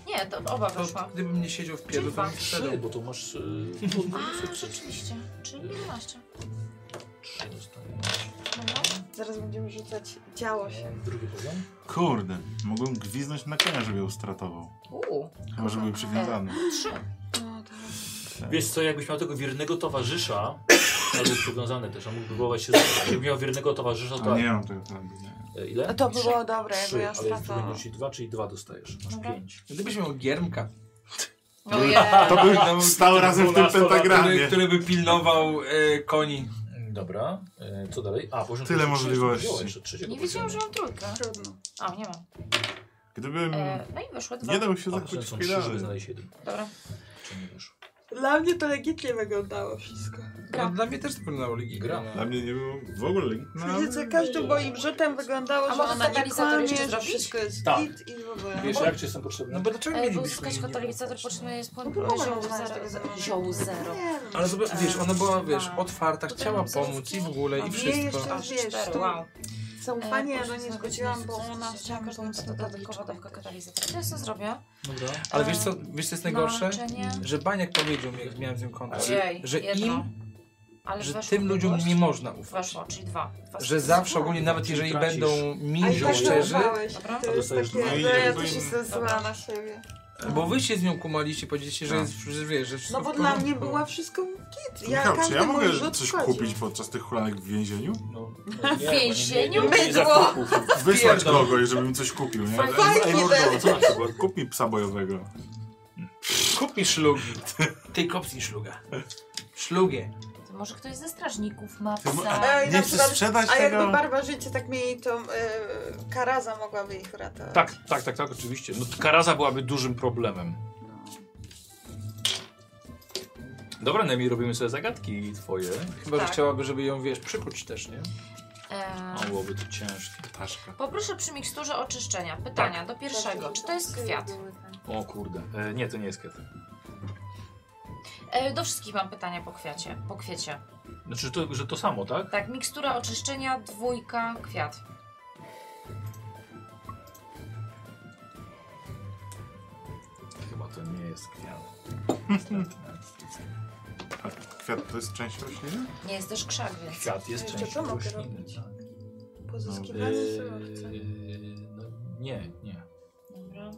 Speaker 7: nie, to oba weszło.
Speaker 5: To, gdybym nie siedział w pierdol, to
Speaker 7: Czyli
Speaker 5: bym
Speaker 7: dwa.
Speaker 1: Trzy,
Speaker 5: wszedł.
Speaker 1: bo to masz...
Speaker 7: *laughs*
Speaker 1: E,
Speaker 7: A, No, rzeczywiście, czyli 11.
Speaker 1: trzy dostaję.
Speaker 7: Dobra.
Speaker 6: Zaraz będziemy rzucać działo się.
Speaker 1: Drugi poziom.
Speaker 3: Kurde, mogłem gwiznąć na konia, żeby ją stratował.
Speaker 7: Uuu,
Speaker 3: Chyba, że był przywiązany.
Speaker 7: 3.
Speaker 2: No tak.
Speaker 1: Wiesz co, jakbyś miał tego wiernego towarzysza, ale jest przywiązany też, a mógłby próbować się zabrać. Jakbyś miał wiernego towarzysza, to...
Speaker 3: A nie mam tego prawdy, nie.
Speaker 1: E,
Speaker 2: A
Speaker 1: Ile?
Speaker 2: to było dobre, jakby
Speaker 1: Trzy,
Speaker 2: ja
Speaker 1: ale jest
Speaker 2: stracałam.
Speaker 1: drugi, czyli dwa, czyli dwa dostajesz. Masz
Speaker 7: Dobra.
Speaker 1: pięć.
Speaker 5: Gdybyś miał giermka,
Speaker 7: No yeah.
Speaker 3: To był stał razem w tym
Speaker 1: Dwunastolatkowy,
Speaker 5: który,
Speaker 3: pentagramie.
Speaker 5: który by pilnował e, koni.
Speaker 1: Mm, Dobra, e, co dalej? A, poziom
Speaker 3: Tyle
Speaker 1: trzy,
Speaker 3: możliwości.
Speaker 1: wziąłeś, że trzeciego
Speaker 7: Nie wiedziałam, że
Speaker 1: poziomu.
Speaker 7: mam trójkę.
Speaker 6: Trudno.
Speaker 7: A, nie mam.
Speaker 3: Gdybym
Speaker 7: E, no i wyszło dwa.
Speaker 3: nie dał się
Speaker 1: A, to
Speaker 3: zakłócić
Speaker 1: są trzy, żeby
Speaker 3: chwilę.
Speaker 1: znaleźć jeden.
Speaker 7: Dobra.
Speaker 1: Czy nie wiesz?
Speaker 6: Dla mnie to legitnie wyglądało wszystko.
Speaker 5: No, dla mnie też to pilnował Ligi
Speaker 1: Gra.
Speaker 5: Gra.
Speaker 3: Dla mnie nie było w ogóle legitne.
Speaker 6: Wiecie, co, każdym moim rzutem
Speaker 7: No.
Speaker 6: wyglądało,
Speaker 7: A
Speaker 6: że
Speaker 7: mogę
Speaker 6: ona nie
Speaker 7: katalizator jeszcze
Speaker 6: kłamie, że
Speaker 7: zrobić?
Speaker 6: wszystko jest
Speaker 1: Tak.
Speaker 6: git i w ogóle.
Speaker 1: Wiesz, jak ci jestem
Speaker 5: No
Speaker 1: potrzebny?
Speaker 5: bo dlaczego
Speaker 7: E, bo
Speaker 5: mielibyśmy
Speaker 7: uzyskać
Speaker 5: jej nie
Speaker 7: katalizator
Speaker 5: brać?
Speaker 7: potrzebne jest po
Speaker 6: No, próbowałam
Speaker 7: zioł
Speaker 6: znaleźć
Speaker 7: zero.
Speaker 6: tego zero.
Speaker 7: Zioł zero.
Speaker 6: Nie
Speaker 5: Ale zobacz, wiesz, ona była, wiesz, otwarta,
Speaker 7: Tutaj
Speaker 5: chciała
Speaker 7: mam zaraz
Speaker 5: pomóc i
Speaker 7: pięć.
Speaker 5: w ogóle,
Speaker 6: A
Speaker 5: i
Speaker 6: mnie
Speaker 5: wszystko.
Speaker 6: jeszcze-
Speaker 7: A,
Speaker 6: Wiesz,
Speaker 7: cztery,
Speaker 6: tu-
Speaker 7: wow.
Speaker 6: Zaufanie,
Speaker 7: E,
Speaker 6: ja że nie
Speaker 7: proszę,
Speaker 6: zgodziłam, bo
Speaker 7: zgodzić się,
Speaker 6: ona
Speaker 7: że
Speaker 6: chciała mi
Speaker 7: każdą
Speaker 6: pomóc na
Speaker 7: dodatkowa dawka katalizatora. To jest to zrobię.
Speaker 1: Dobra.
Speaker 5: Ale
Speaker 7: E,
Speaker 5: wiesz co, wiesz co jest najgorsze?
Speaker 7: Męczenie.
Speaker 5: Że Baniak powiedział mi, jak miałem z nią kontakt,
Speaker 7: Ojej,
Speaker 5: że
Speaker 7: jedno.
Speaker 5: im,
Speaker 7: Ale
Speaker 5: że
Speaker 7: weszło
Speaker 5: tym ludziom
Speaker 7: długość.
Speaker 5: nie można ufać.
Speaker 7: Weszło, czyli dwa. dwa
Speaker 5: Że
Speaker 7: sukcesy.
Speaker 5: zawsze ogólnie, nawet
Speaker 1: Czyli
Speaker 5: jeżeli
Speaker 1: tracisz.
Speaker 5: będą
Speaker 6: A
Speaker 5: mi
Speaker 6: i tak
Speaker 5: szczerzy,
Speaker 6: zaufałeś.
Speaker 7: Dobra.
Speaker 6: To jest
Speaker 1: Dostajesz
Speaker 6: takie,
Speaker 1: dwa.
Speaker 6: no,
Speaker 3: No i
Speaker 6: ja
Speaker 3: jakby-
Speaker 6: też jestem zła na siebie.
Speaker 5: bo wy się z nią kumaliście, powiedzieliście, że
Speaker 8: No.
Speaker 3: Tak.
Speaker 5: jest, że wiesz, że wszystko
Speaker 6: No bo
Speaker 5: w
Speaker 6: dla
Speaker 5: porządku.
Speaker 6: mnie była wszystko git. Ja
Speaker 3: Michał, czy
Speaker 6: każdy
Speaker 3: ja
Speaker 6: mój
Speaker 3: mogę
Speaker 6: rzut
Speaker 3: coś
Speaker 6: wchodził.
Speaker 3: kupić podczas tych hulanek w więzieniu?
Speaker 1: No, no nie,
Speaker 7: W więzieniu?
Speaker 1: bo nie- No nie- nie
Speaker 6: Mydło!
Speaker 1: zakupów.
Speaker 3: Wysłać
Speaker 5: Pierdol.
Speaker 3: kogoś, żeby mi coś kupił, nie?
Speaker 6: Fajnie,
Speaker 3: Ej, mordo, co na przykład? Kup mi psa bojowego.
Speaker 5: Kup mi szlugi. Ty kopnij szluga. Szlugie.
Speaker 7: To może ktoś ze strażników ma
Speaker 3: Ty mo-
Speaker 5: *laughs*
Speaker 7: psa.
Speaker 6: Ej,
Speaker 3: Nie
Speaker 6: na
Speaker 3: chcę
Speaker 6: przykład-
Speaker 3: sprzedać
Speaker 6: A
Speaker 3: tego.
Speaker 6: jakby barbarzyńcy tak mieli, to yy, Karaza mogłaby ich uratować.
Speaker 1: Tak, tak, tak, tak, oczywiście. No, karaza byłaby dużym problemem. Dobra, Nemi, robimy sobie zagadki twoje.
Speaker 5: Chyba,
Speaker 7: Tak.
Speaker 5: że chciałaby, żeby ją, wiesz, przykuć też, nie?
Speaker 7: E,
Speaker 1: O, byłoby to ciężkie. Paszka.
Speaker 7: poproszę przy miksturze oczyszczenia. Pytania do pierwszego. Czy to jest kwiat?
Speaker 1: O kurde. E, nie, to nie jest kwiat.
Speaker 7: E, do wszystkich mam pytania po kwiacie. Po kwiecie.
Speaker 1: Znaczy, to, że to samo, tak?
Speaker 7: Tak, mikstura oczyszczenia, dwójka, kwiat.
Speaker 1: Chyba to nie jest kwiat.
Speaker 3: A Kwiat to jest część rośliny?
Speaker 7: Nie jest też krzak, więc.
Speaker 1: Kwiat jest
Speaker 6: Jeszcze
Speaker 1: częścią
Speaker 6: co mogę
Speaker 1: rośliny.
Speaker 6: robić?
Speaker 1: tak.
Speaker 6: Pozyskiwanie surowca.
Speaker 1: Eee, no, nie, nie.
Speaker 7: Dobra.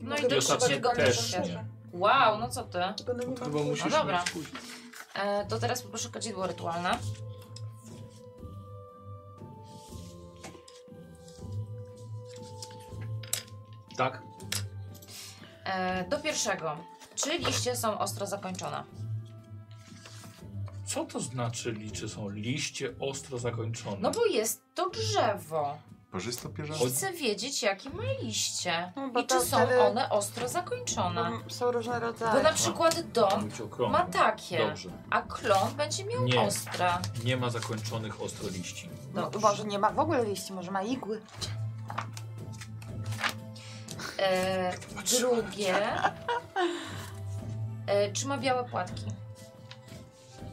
Speaker 7: No
Speaker 6: Mogę
Speaker 7: i do
Speaker 6: wyszukać
Speaker 7: trzeciego
Speaker 6: tego
Speaker 1: też
Speaker 7: kwiatu.
Speaker 1: nie.
Speaker 7: Wow, no co ty?
Speaker 6: Tylko no nie
Speaker 5: To
Speaker 6: mam
Speaker 5: chyba
Speaker 6: pół.
Speaker 5: musisz
Speaker 7: dobra.
Speaker 5: mieć później.
Speaker 7: E, to teraz poproszę kadzidło rytualne.
Speaker 1: Tak?
Speaker 7: E, do pierwszego. Czy liście są ostro zakończone?
Speaker 1: Co to znaczy liczy? Są liście ostro zakończone.
Speaker 7: No bo jest to drzewo.
Speaker 9: Parzysta pierzasta?
Speaker 7: I chcę wiedzieć, jakie ma liście.
Speaker 6: No, bo
Speaker 7: I
Speaker 6: to
Speaker 7: czy są
Speaker 6: wtedy-
Speaker 7: one ostro zakończone.
Speaker 6: Bo No, są różne
Speaker 7: Bo
Speaker 6: rodzaje.
Speaker 7: na przykład Don
Speaker 1: Mówić okrągło.
Speaker 7: ma takie,
Speaker 1: Dobrze.
Speaker 7: a klon będzie miał
Speaker 1: Nie.
Speaker 7: ostre.
Speaker 1: Nie ma zakończonych ostro liści.
Speaker 2: No, może nie ma w ogóle liści, może ma igły.
Speaker 7: E, drugie. E, czy ma białe płatki?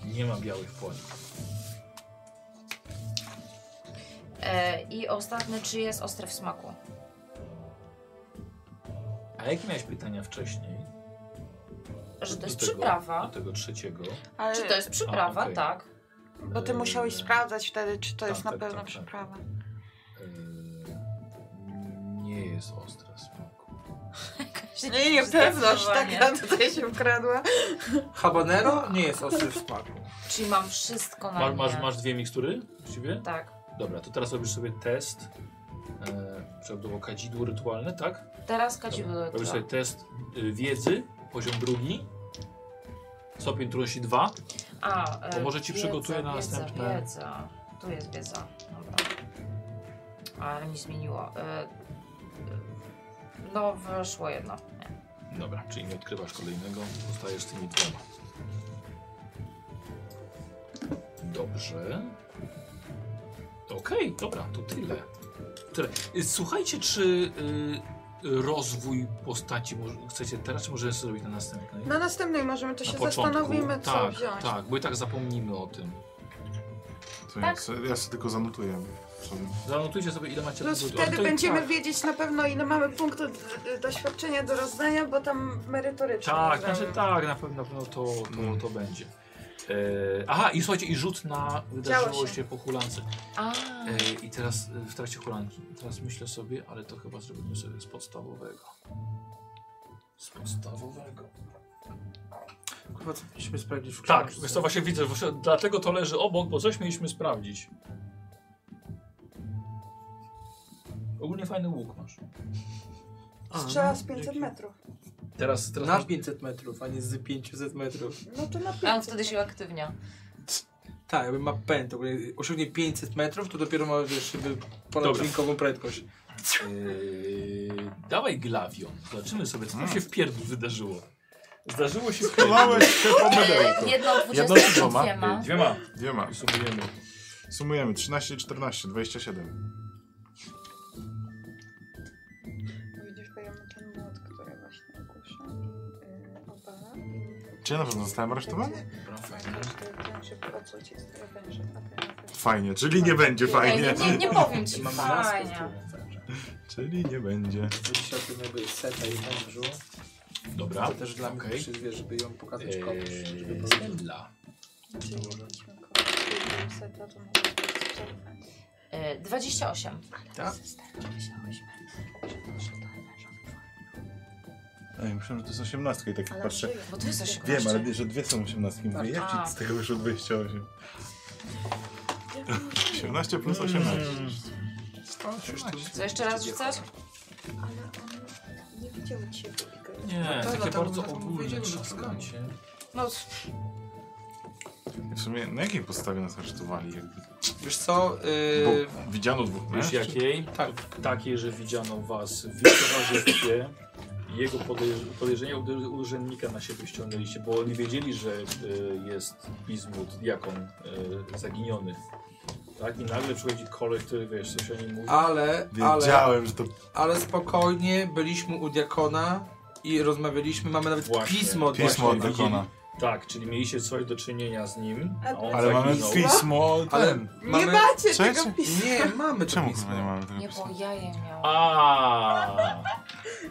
Speaker 1: Nie ma białych płatków.
Speaker 7: E, I ostatnie, czy jest ostre w smaku?
Speaker 1: A jakie miałeś pytania wcześniej?
Speaker 7: Że to
Speaker 1: Do
Speaker 7: jest
Speaker 1: tego- Do
Speaker 7: przyprawa.
Speaker 1: tego trzeciego.
Speaker 2: Ale,
Speaker 7: Czy to jest przyprawa,
Speaker 1: okej.
Speaker 6: *laughs*
Speaker 7: tak.
Speaker 2: Bo ty musiałeś sprawdzać wtedy, czy to
Speaker 1: Tak,
Speaker 2: jest na
Speaker 1: tak,
Speaker 2: pewno
Speaker 1: tak, tak.
Speaker 2: przyprawa.
Speaker 1: Eee, nie jest ostre w smaku.
Speaker 6: No Nie, tak nie, pewno, że
Speaker 7: Zdecydowanie.
Speaker 6: taka tutaj się wkradła.
Speaker 5: Habanero nie jest ostry w smaku.
Speaker 7: Czyli mam wszystko na
Speaker 1: Masz, masz,
Speaker 7: mnie.
Speaker 1: masz dwie mikstury właściwie?
Speaker 7: Tak.
Speaker 1: Dobra, to teraz robisz sobie test. Eee, Trzeba było kadzidło rytualne, tak?
Speaker 7: Teraz kadzidło
Speaker 1: Dobra.
Speaker 7: do
Speaker 1: Robisz sobie test y, wiedzy, poziom drugi. Stopień trudności 2.
Speaker 7: A, e,
Speaker 1: To może ci przygotuję na następne.
Speaker 7: Wiedza. Tu jest wiedza. Dobra. Ale mi zmieniło. E, e, no, wyszło jedno.
Speaker 1: Dobra, czyli nie odkrywasz kolejnego, zostajesz z tymi dwoma. Dobrze. Okej, dobra, to tyle. tyle. Y, Słuchajcie, czy y, y, rozwój postaci może, chcecie teraz, czy możemy sobie zrobić na następnej?
Speaker 6: Na następnej możemy, No, to
Speaker 1: na
Speaker 6: się zastanowimy, co
Speaker 1: tak,
Speaker 6: wziąć.
Speaker 1: Tak, bo i tak zapomnimy o tym.
Speaker 3: To
Speaker 7: Tak.
Speaker 3: ja, sobie, ja sobie tylko zanotuję. Sobie.
Speaker 1: Zanotujcie sobie, ile macie
Speaker 6: Plus
Speaker 1: punktów.
Speaker 6: No, wtedy
Speaker 1: Ale to-
Speaker 6: będziemy
Speaker 1: tak.
Speaker 6: wiedzieć na pewno, ile mamy punktów d- doświadczenia do rozdania, bo tam merytorycznie.
Speaker 1: Tak,
Speaker 6: rozdamy.
Speaker 1: znaczy tak, na pewno, na pewno to, to, to będzie. E, aha, i słuchajcie, i rzut na wydarzyło
Speaker 6: się.
Speaker 1: się po hulance.
Speaker 7: A,
Speaker 1: E, I teraz e, w trakcie hulanki. Teraz myślę sobie, ale to chyba zrobimy sobie z podstawowego. Z podstawowego.
Speaker 5: Chyba co mieliśmy sprawdzić w
Speaker 8: Tak,
Speaker 5: książce.
Speaker 8: wiesz co, właśnie widzę, właśnie dlatego to leży obok, bo coś mieliśmy sprawdzić.
Speaker 1: Ogólnie fajny łuk masz.
Speaker 5: A, no,
Speaker 6: Strzela z 500
Speaker 5: dzięki.
Speaker 6: metrów.
Speaker 8: Teraz, teraz
Speaker 5: Na
Speaker 8: masz-
Speaker 5: 500 metrów, a nie z 500 metrów.
Speaker 6: No to na
Speaker 7: a on
Speaker 6: 500.
Speaker 7: wtedy się uaktywnia.
Speaker 5: Tak, jakby ma pęd, to jak osiągnie 500 metrów, to dopiero ma wiesz, jakby
Speaker 1: Dobra.
Speaker 5: ponadlinkową prędkość.
Speaker 1: E, dawaj glawion. Zobaczymy sobie, co
Speaker 5: Mm.
Speaker 1: tam się w pierdlu wydarzyło. Zdarzyło się w pierdlu.
Speaker 3: Małeś się po
Speaker 7: *laughs*
Speaker 3: mydełku.
Speaker 7: Jedną
Speaker 3: Jedną
Speaker 7: dwudziestą
Speaker 3: dwoma.
Speaker 7: dwiema.
Speaker 1: Dwiema.
Speaker 3: Dwiema.
Speaker 1: I sumujemy.
Speaker 3: Sumujemy 13, 14, 27.
Speaker 6: Widzisz, bo ja mam ten młot, który właśnie ogłusza i yy, obala.
Speaker 3: Czy ja na pewno zostałem
Speaker 6: Tak.
Speaker 3: aresztowany? Fajnie, czyli nie będzie
Speaker 7: Ej,
Speaker 3: fajnie.
Speaker 7: nie, nie, nie powiem ci,
Speaker 5: Mam
Speaker 7: fajnie.
Speaker 3: *laughs*
Speaker 5: tak,
Speaker 3: Czyli nie będzie.
Speaker 5: Dzisiaj tym jakby seta i mężu.
Speaker 1: Dobra.
Speaker 5: To też dla mnie
Speaker 1: Okej.
Speaker 5: też jest, wiesz, żeby ją pokazać komuś. Żeby
Speaker 1: Eee,
Speaker 5: powiedzieć.
Speaker 1: Stella.
Speaker 6: tak
Speaker 7: Y, 28.
Speaker 5: Tak?
Speaker 3: Ej, myślałem, że to jest 18 i tak jak patrzę.
Speaker 7: Bo tu jest 18.
Speaker 3: Wiem, ale że dwie są 18. Mówię, jak
Speaker 7: A.
Speaker 3: ci z tego wyszło *laughs* 28? 18 plus 18.
Speaker 7: Co jeszcze raz rzucać?
Speaker 6: Nie widział ciebie.
Speaker 1: Nie, takie
Speaker 5: dlatego
Speaker 1: bardzo
Speaker 5: my
Speaker 1: ogólne
Speaker 5: powiedzieli, że
Speaker 1: trzaskacie.
Speaker 7: No,
Speaker 3: W sumie na jakiej podstawie nas aresztowali? Jakby?
Speaker 5: Wiesz co,
Speaker 3: Bo
Speaker 5: yy,
Speaker 3: widziano dwóch
Speaker 1: Wiesz
Speaker 3: mężczyzn.
Speaker 1: jakiej?
Speaker 5: Tak.
Speaker 1: Takiej, że widziano was w towarzystwie. Jego podejrz- podejrzenia uder- urzędnika na siebie ściągnęliście, bo oni wiedzieli, że y, jest Bizmut, diakon y, zaginiony. Tak? I nagle przychodzi koleś, który wiesz, coś o nim mówi.
Speaker 5: ale, ale,
Speaker 3: Wiedziałem, że to
Speaker 5: ale spokojnie byliśmy u diakona i rozmawialiśmy, mamy nawet
Speaker 1: Właśnie.
Speaker 5: pismo od
Speaker 3: pismo od
Speaker 5: diakona.
Speaker 3: dekona.
Speaker 1: Tak, czyli mieliście coś do czynienia z nim, a on
Speaker 3: Ale mamy
Speaker 1: zaginął.
Speaker 3: pismo.
Speaker 5: Ale
Speaker 3: Ale
Speaker 5: mamy...
Speaker 6: Nie macie
Speaker 3: Cześć?
Speaker 6: tego pisma.
Speaker 5: Nie, mamy to
Speaker 3: czemu
Speaker 5: pismo.
Speaker 3: chyba nie mamy tego
Speaker 7: nie,
Speaker 3: pisma?
Speaker 7: bo ja je miałam.
Speaker 1: A,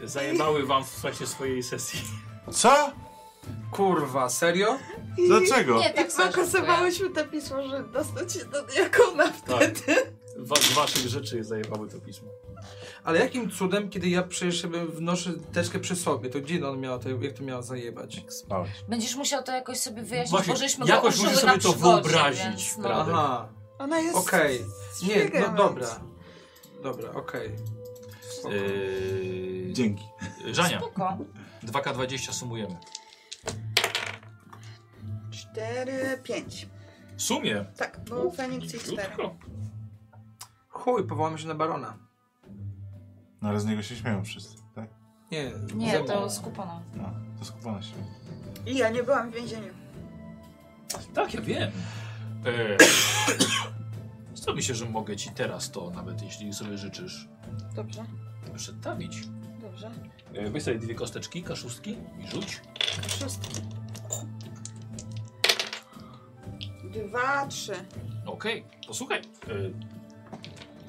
Speaker 1: Zajebały wam w trakcie swojej
Speaker 3: *laughs*
Speaker 1: sesji.
Speaker 3: Co?
Speaker 5: Kurwa, serio?
Speaker 3: Dlaczego?
Speaker 7: Nie, tak sobie żartuję.
Speaker 6: Zakosowałyśmy to pismo, że dostać się do diakona wtedy.
Speaker 1: Wa z Tak. waszych rzeczy zajebały to pismo.
Speaker 5: Ale jakim cudem, kiedy ja przecież jakby wnoszę teczkę przy sobie, to gdzie on miał to, jak to miała zajebać?
Speaker 3: Spałeś.
Speaker 7: Będziesz musiał to jakoś sobie wyjaśnić,
Speaker 1: Właśnie,
Speaker 7: bo żeśmy
Speaker 1: jakoś
Speaker 7: go użyły
Speaker 1: musisz
Speaker 7: na
Speaker 1: sobie to
Speaker 7: przygodzie,
Speaker 1: wyobrazić,
Speaker 7: więc, no.
Speaker 1: prawda?
Speaker 5: Aha,
Speaker 6: Ona jest
Speaker 5: okej. Nie, no
Speaker 6: szpiegiem,
Speaker 5: dobra. Dobra, okej.
Speaker 1: Yy,
Speaker 3: Dzięki.
Speaker 1: Żania,
Speaker 7: Spoko.
Speaker 1: 2K20 sumujemy.
Speaker 6: więc 4, 5.
Speaker 1: W sumie.
Speaker 6: Tak, bo Feniks No, i 4.
Speaker 1: Krótko.
Speaker 5: chuj, powołamy się na barona.
Speaker 3: No ale z niego się śmieją wszyscy, tak?
Speaker 5: Nie, ze
Speaker 7: Nie,
Speaker 5: mną.
Speaker 7: to z kuponą.
Speaker 3: No, to skupiono się.
Speaker 6: I ja nie byłam w więzieniu.
Speaker 1: Tak, ja wiem. E, co myślę, że mogę ci teraz to, nawet jeśli sobie życzysz,
Speaker 6: Dobrze,
Speaker 1: przedstawić.
Speaker 6: dobrze.
Speaker 1: E, Weź sobie dwie kosteczki, kaszustki i rzuć.
Speaker 6: Szósty. Dwa, trzy.
Speaker 1: Okej, posłuchaj. E,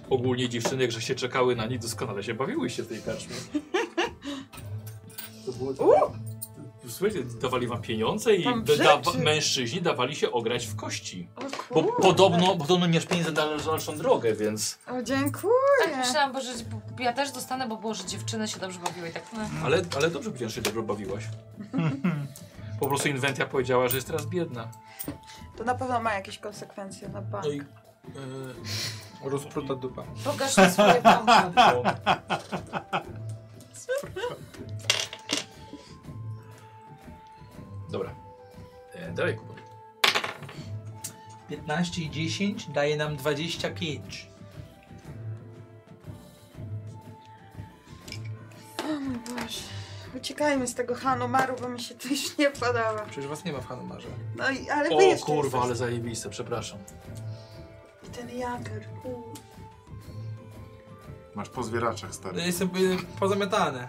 Speaker 1: ogólnie dziewczyny, jak się czekały na nic, doskonale się bawiłyście w tej karczmie. To było tak... Słuchajcie, dawali wam pieniądze i
Speaker 6: Tam
Speaker 1: da, da,
Speaker 6: rzeczy.
Speaker 1: mężczyźni dawali się ograć w kości.
Speaker 6: O
Speaker 1: Bo
Speaker 6: kurde.
Speaker 1: podobno, podobno miesz pieniądze na dalszą drogę, więc...
Speaker 6: O, dziękuję.
Speaker 7: Tak myślałam, bo, że, bo ja też dostanę, bo było, że dziewczyny się dobrze bawiły i tak. No.
Speaker 1: Ale, ale dobrze powiedziałem, że się dobrze bawiłaś. Po prostu inwentia powiedziała, że jest teraz biedna.
Speaker 6: To na pewno ma jakieś konsekwencje na bank.
Speaker 1: No i... E,
Speaker 5: Rozpruta dupa.
Speaker 7: Pokaż mi swoje pompy.
Speaker 1: to, dobra. E, dalej kupuj.
Speaker 5: 15 i 10 daje nam 25.
Speaker 6: O mój Boże. Uciekajmy z tego Hanumaru, bo mi się to już nie podoba.
Speaker 5: Przecież was nie ma w Hanumarze.
Speaker 6: No i ale wy
Speaker 1: O
Speaker 6: jeszcze
Speaker 1: kurwa, ale
Speaker 6: jesteście.
Speaker 1: zajebiste, przepraszam.
Speaker 6: I ten jager. u.
Speaker 3: Masz po zwieraczach, stary.
Speaker 5: Ja Jestem y, pozamiatany.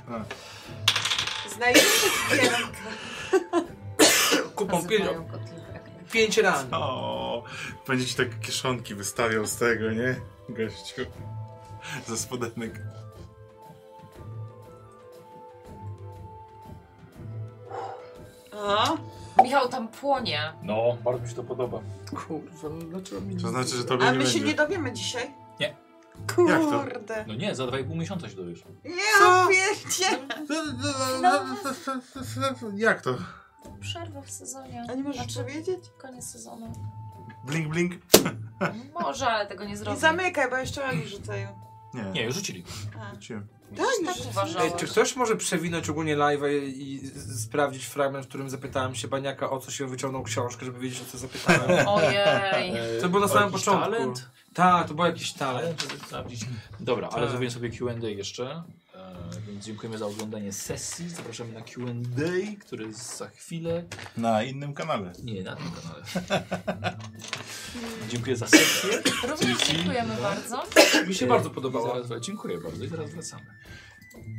Speaker 6: Znajdziesz zbiornika.
Speaker 5: Kupą pięć,
Speaker 7: Nazywają go tylko.
Speaker 5: pięć ran.
Speaker 3: O, będzie ci tak kieszonki wystawiał z tego, nie? Gościu. Ze spodenek.
Speaker 6: O,
Speaker 7: Michał tam płonie.
Speaker 1: No, bardzo mi się to podoba.
Speaker 5: Kurwa, no dlaczego mi
Speaker 3: To znaczy, że tobie
Speaker 6: a
Speaker 3: nie
Speaker 6: my się
Speaker 3: będzie.
Speaker 6: nie dowiemy dzisiaj?
Speaker 1: Nie.
Speaker 3: to?
Speaker 6: Kurde.
Speaker 1: No nie, za 2,5 miesiąca się dowiesz.
Speaker 6: Ja pierdzie. No.
Speaker 3: Jak to?
Speaker 7: Przerwa w sezonie.
Speaker 6: A nie możesz
Speaker 7: Znaczy,
Speaker 6: powiedzieć?
Speaker 7: Koniec sezonu.
Speaker 3: Blink, blink?
Speaker 7: Może, ale tego nie
Speaker 6: I
Speaker 7: zrobię.
Speaker 6: zamykaj, bo jeszcze oni rzucają.
Speaker 3: Nie.
Speaker 1: Nie, już rzucili.
Speaker 6: A.
Speaker 3: Wróciłem.
Speaker 6: Tak,
Speaker 7: tak
Speaker 6: rzucają.
Speaker 7: uważałam.
Speaker 5: Ej, czy ktoś może przewinąć ogólnie live'a i, i z- sprawdzić fragment, w którym zapytałem się Baniaka, o co się wyciągnął książkę, żeby wiedzieć, o co *laughs* zapytałem?
Speaker 7: Ojej.
Speaker 5: *laughs* To było na samym
Speaker 1: Jakiś
Speaker 5: początku.
Speaker 1: Talent?
Speaker 5: Tak, to był jakiś
Speaker 1: Ale,
Speaker 5: talent.
Speaker 1: dobra, ale
Speaker 5: Tak.
Speaker 1: zrobiłem sobie Q&A jeszcze. E, więc dziękujemy za oglądanie sesji. Zapraszamy na Q&A, który jest za chwilę.
Speaker 3: Na innym kanale.
Speaker 1: Nie, na tym *laughs* kanale. Dziękuję za sesję. E,
Speaker 7: Również dziękujemy bardzo.
Speaker 5: Mi się bardzo podobało.
Speaker 1: I zaraz- Dziękuję bardzo i teraz wracamy.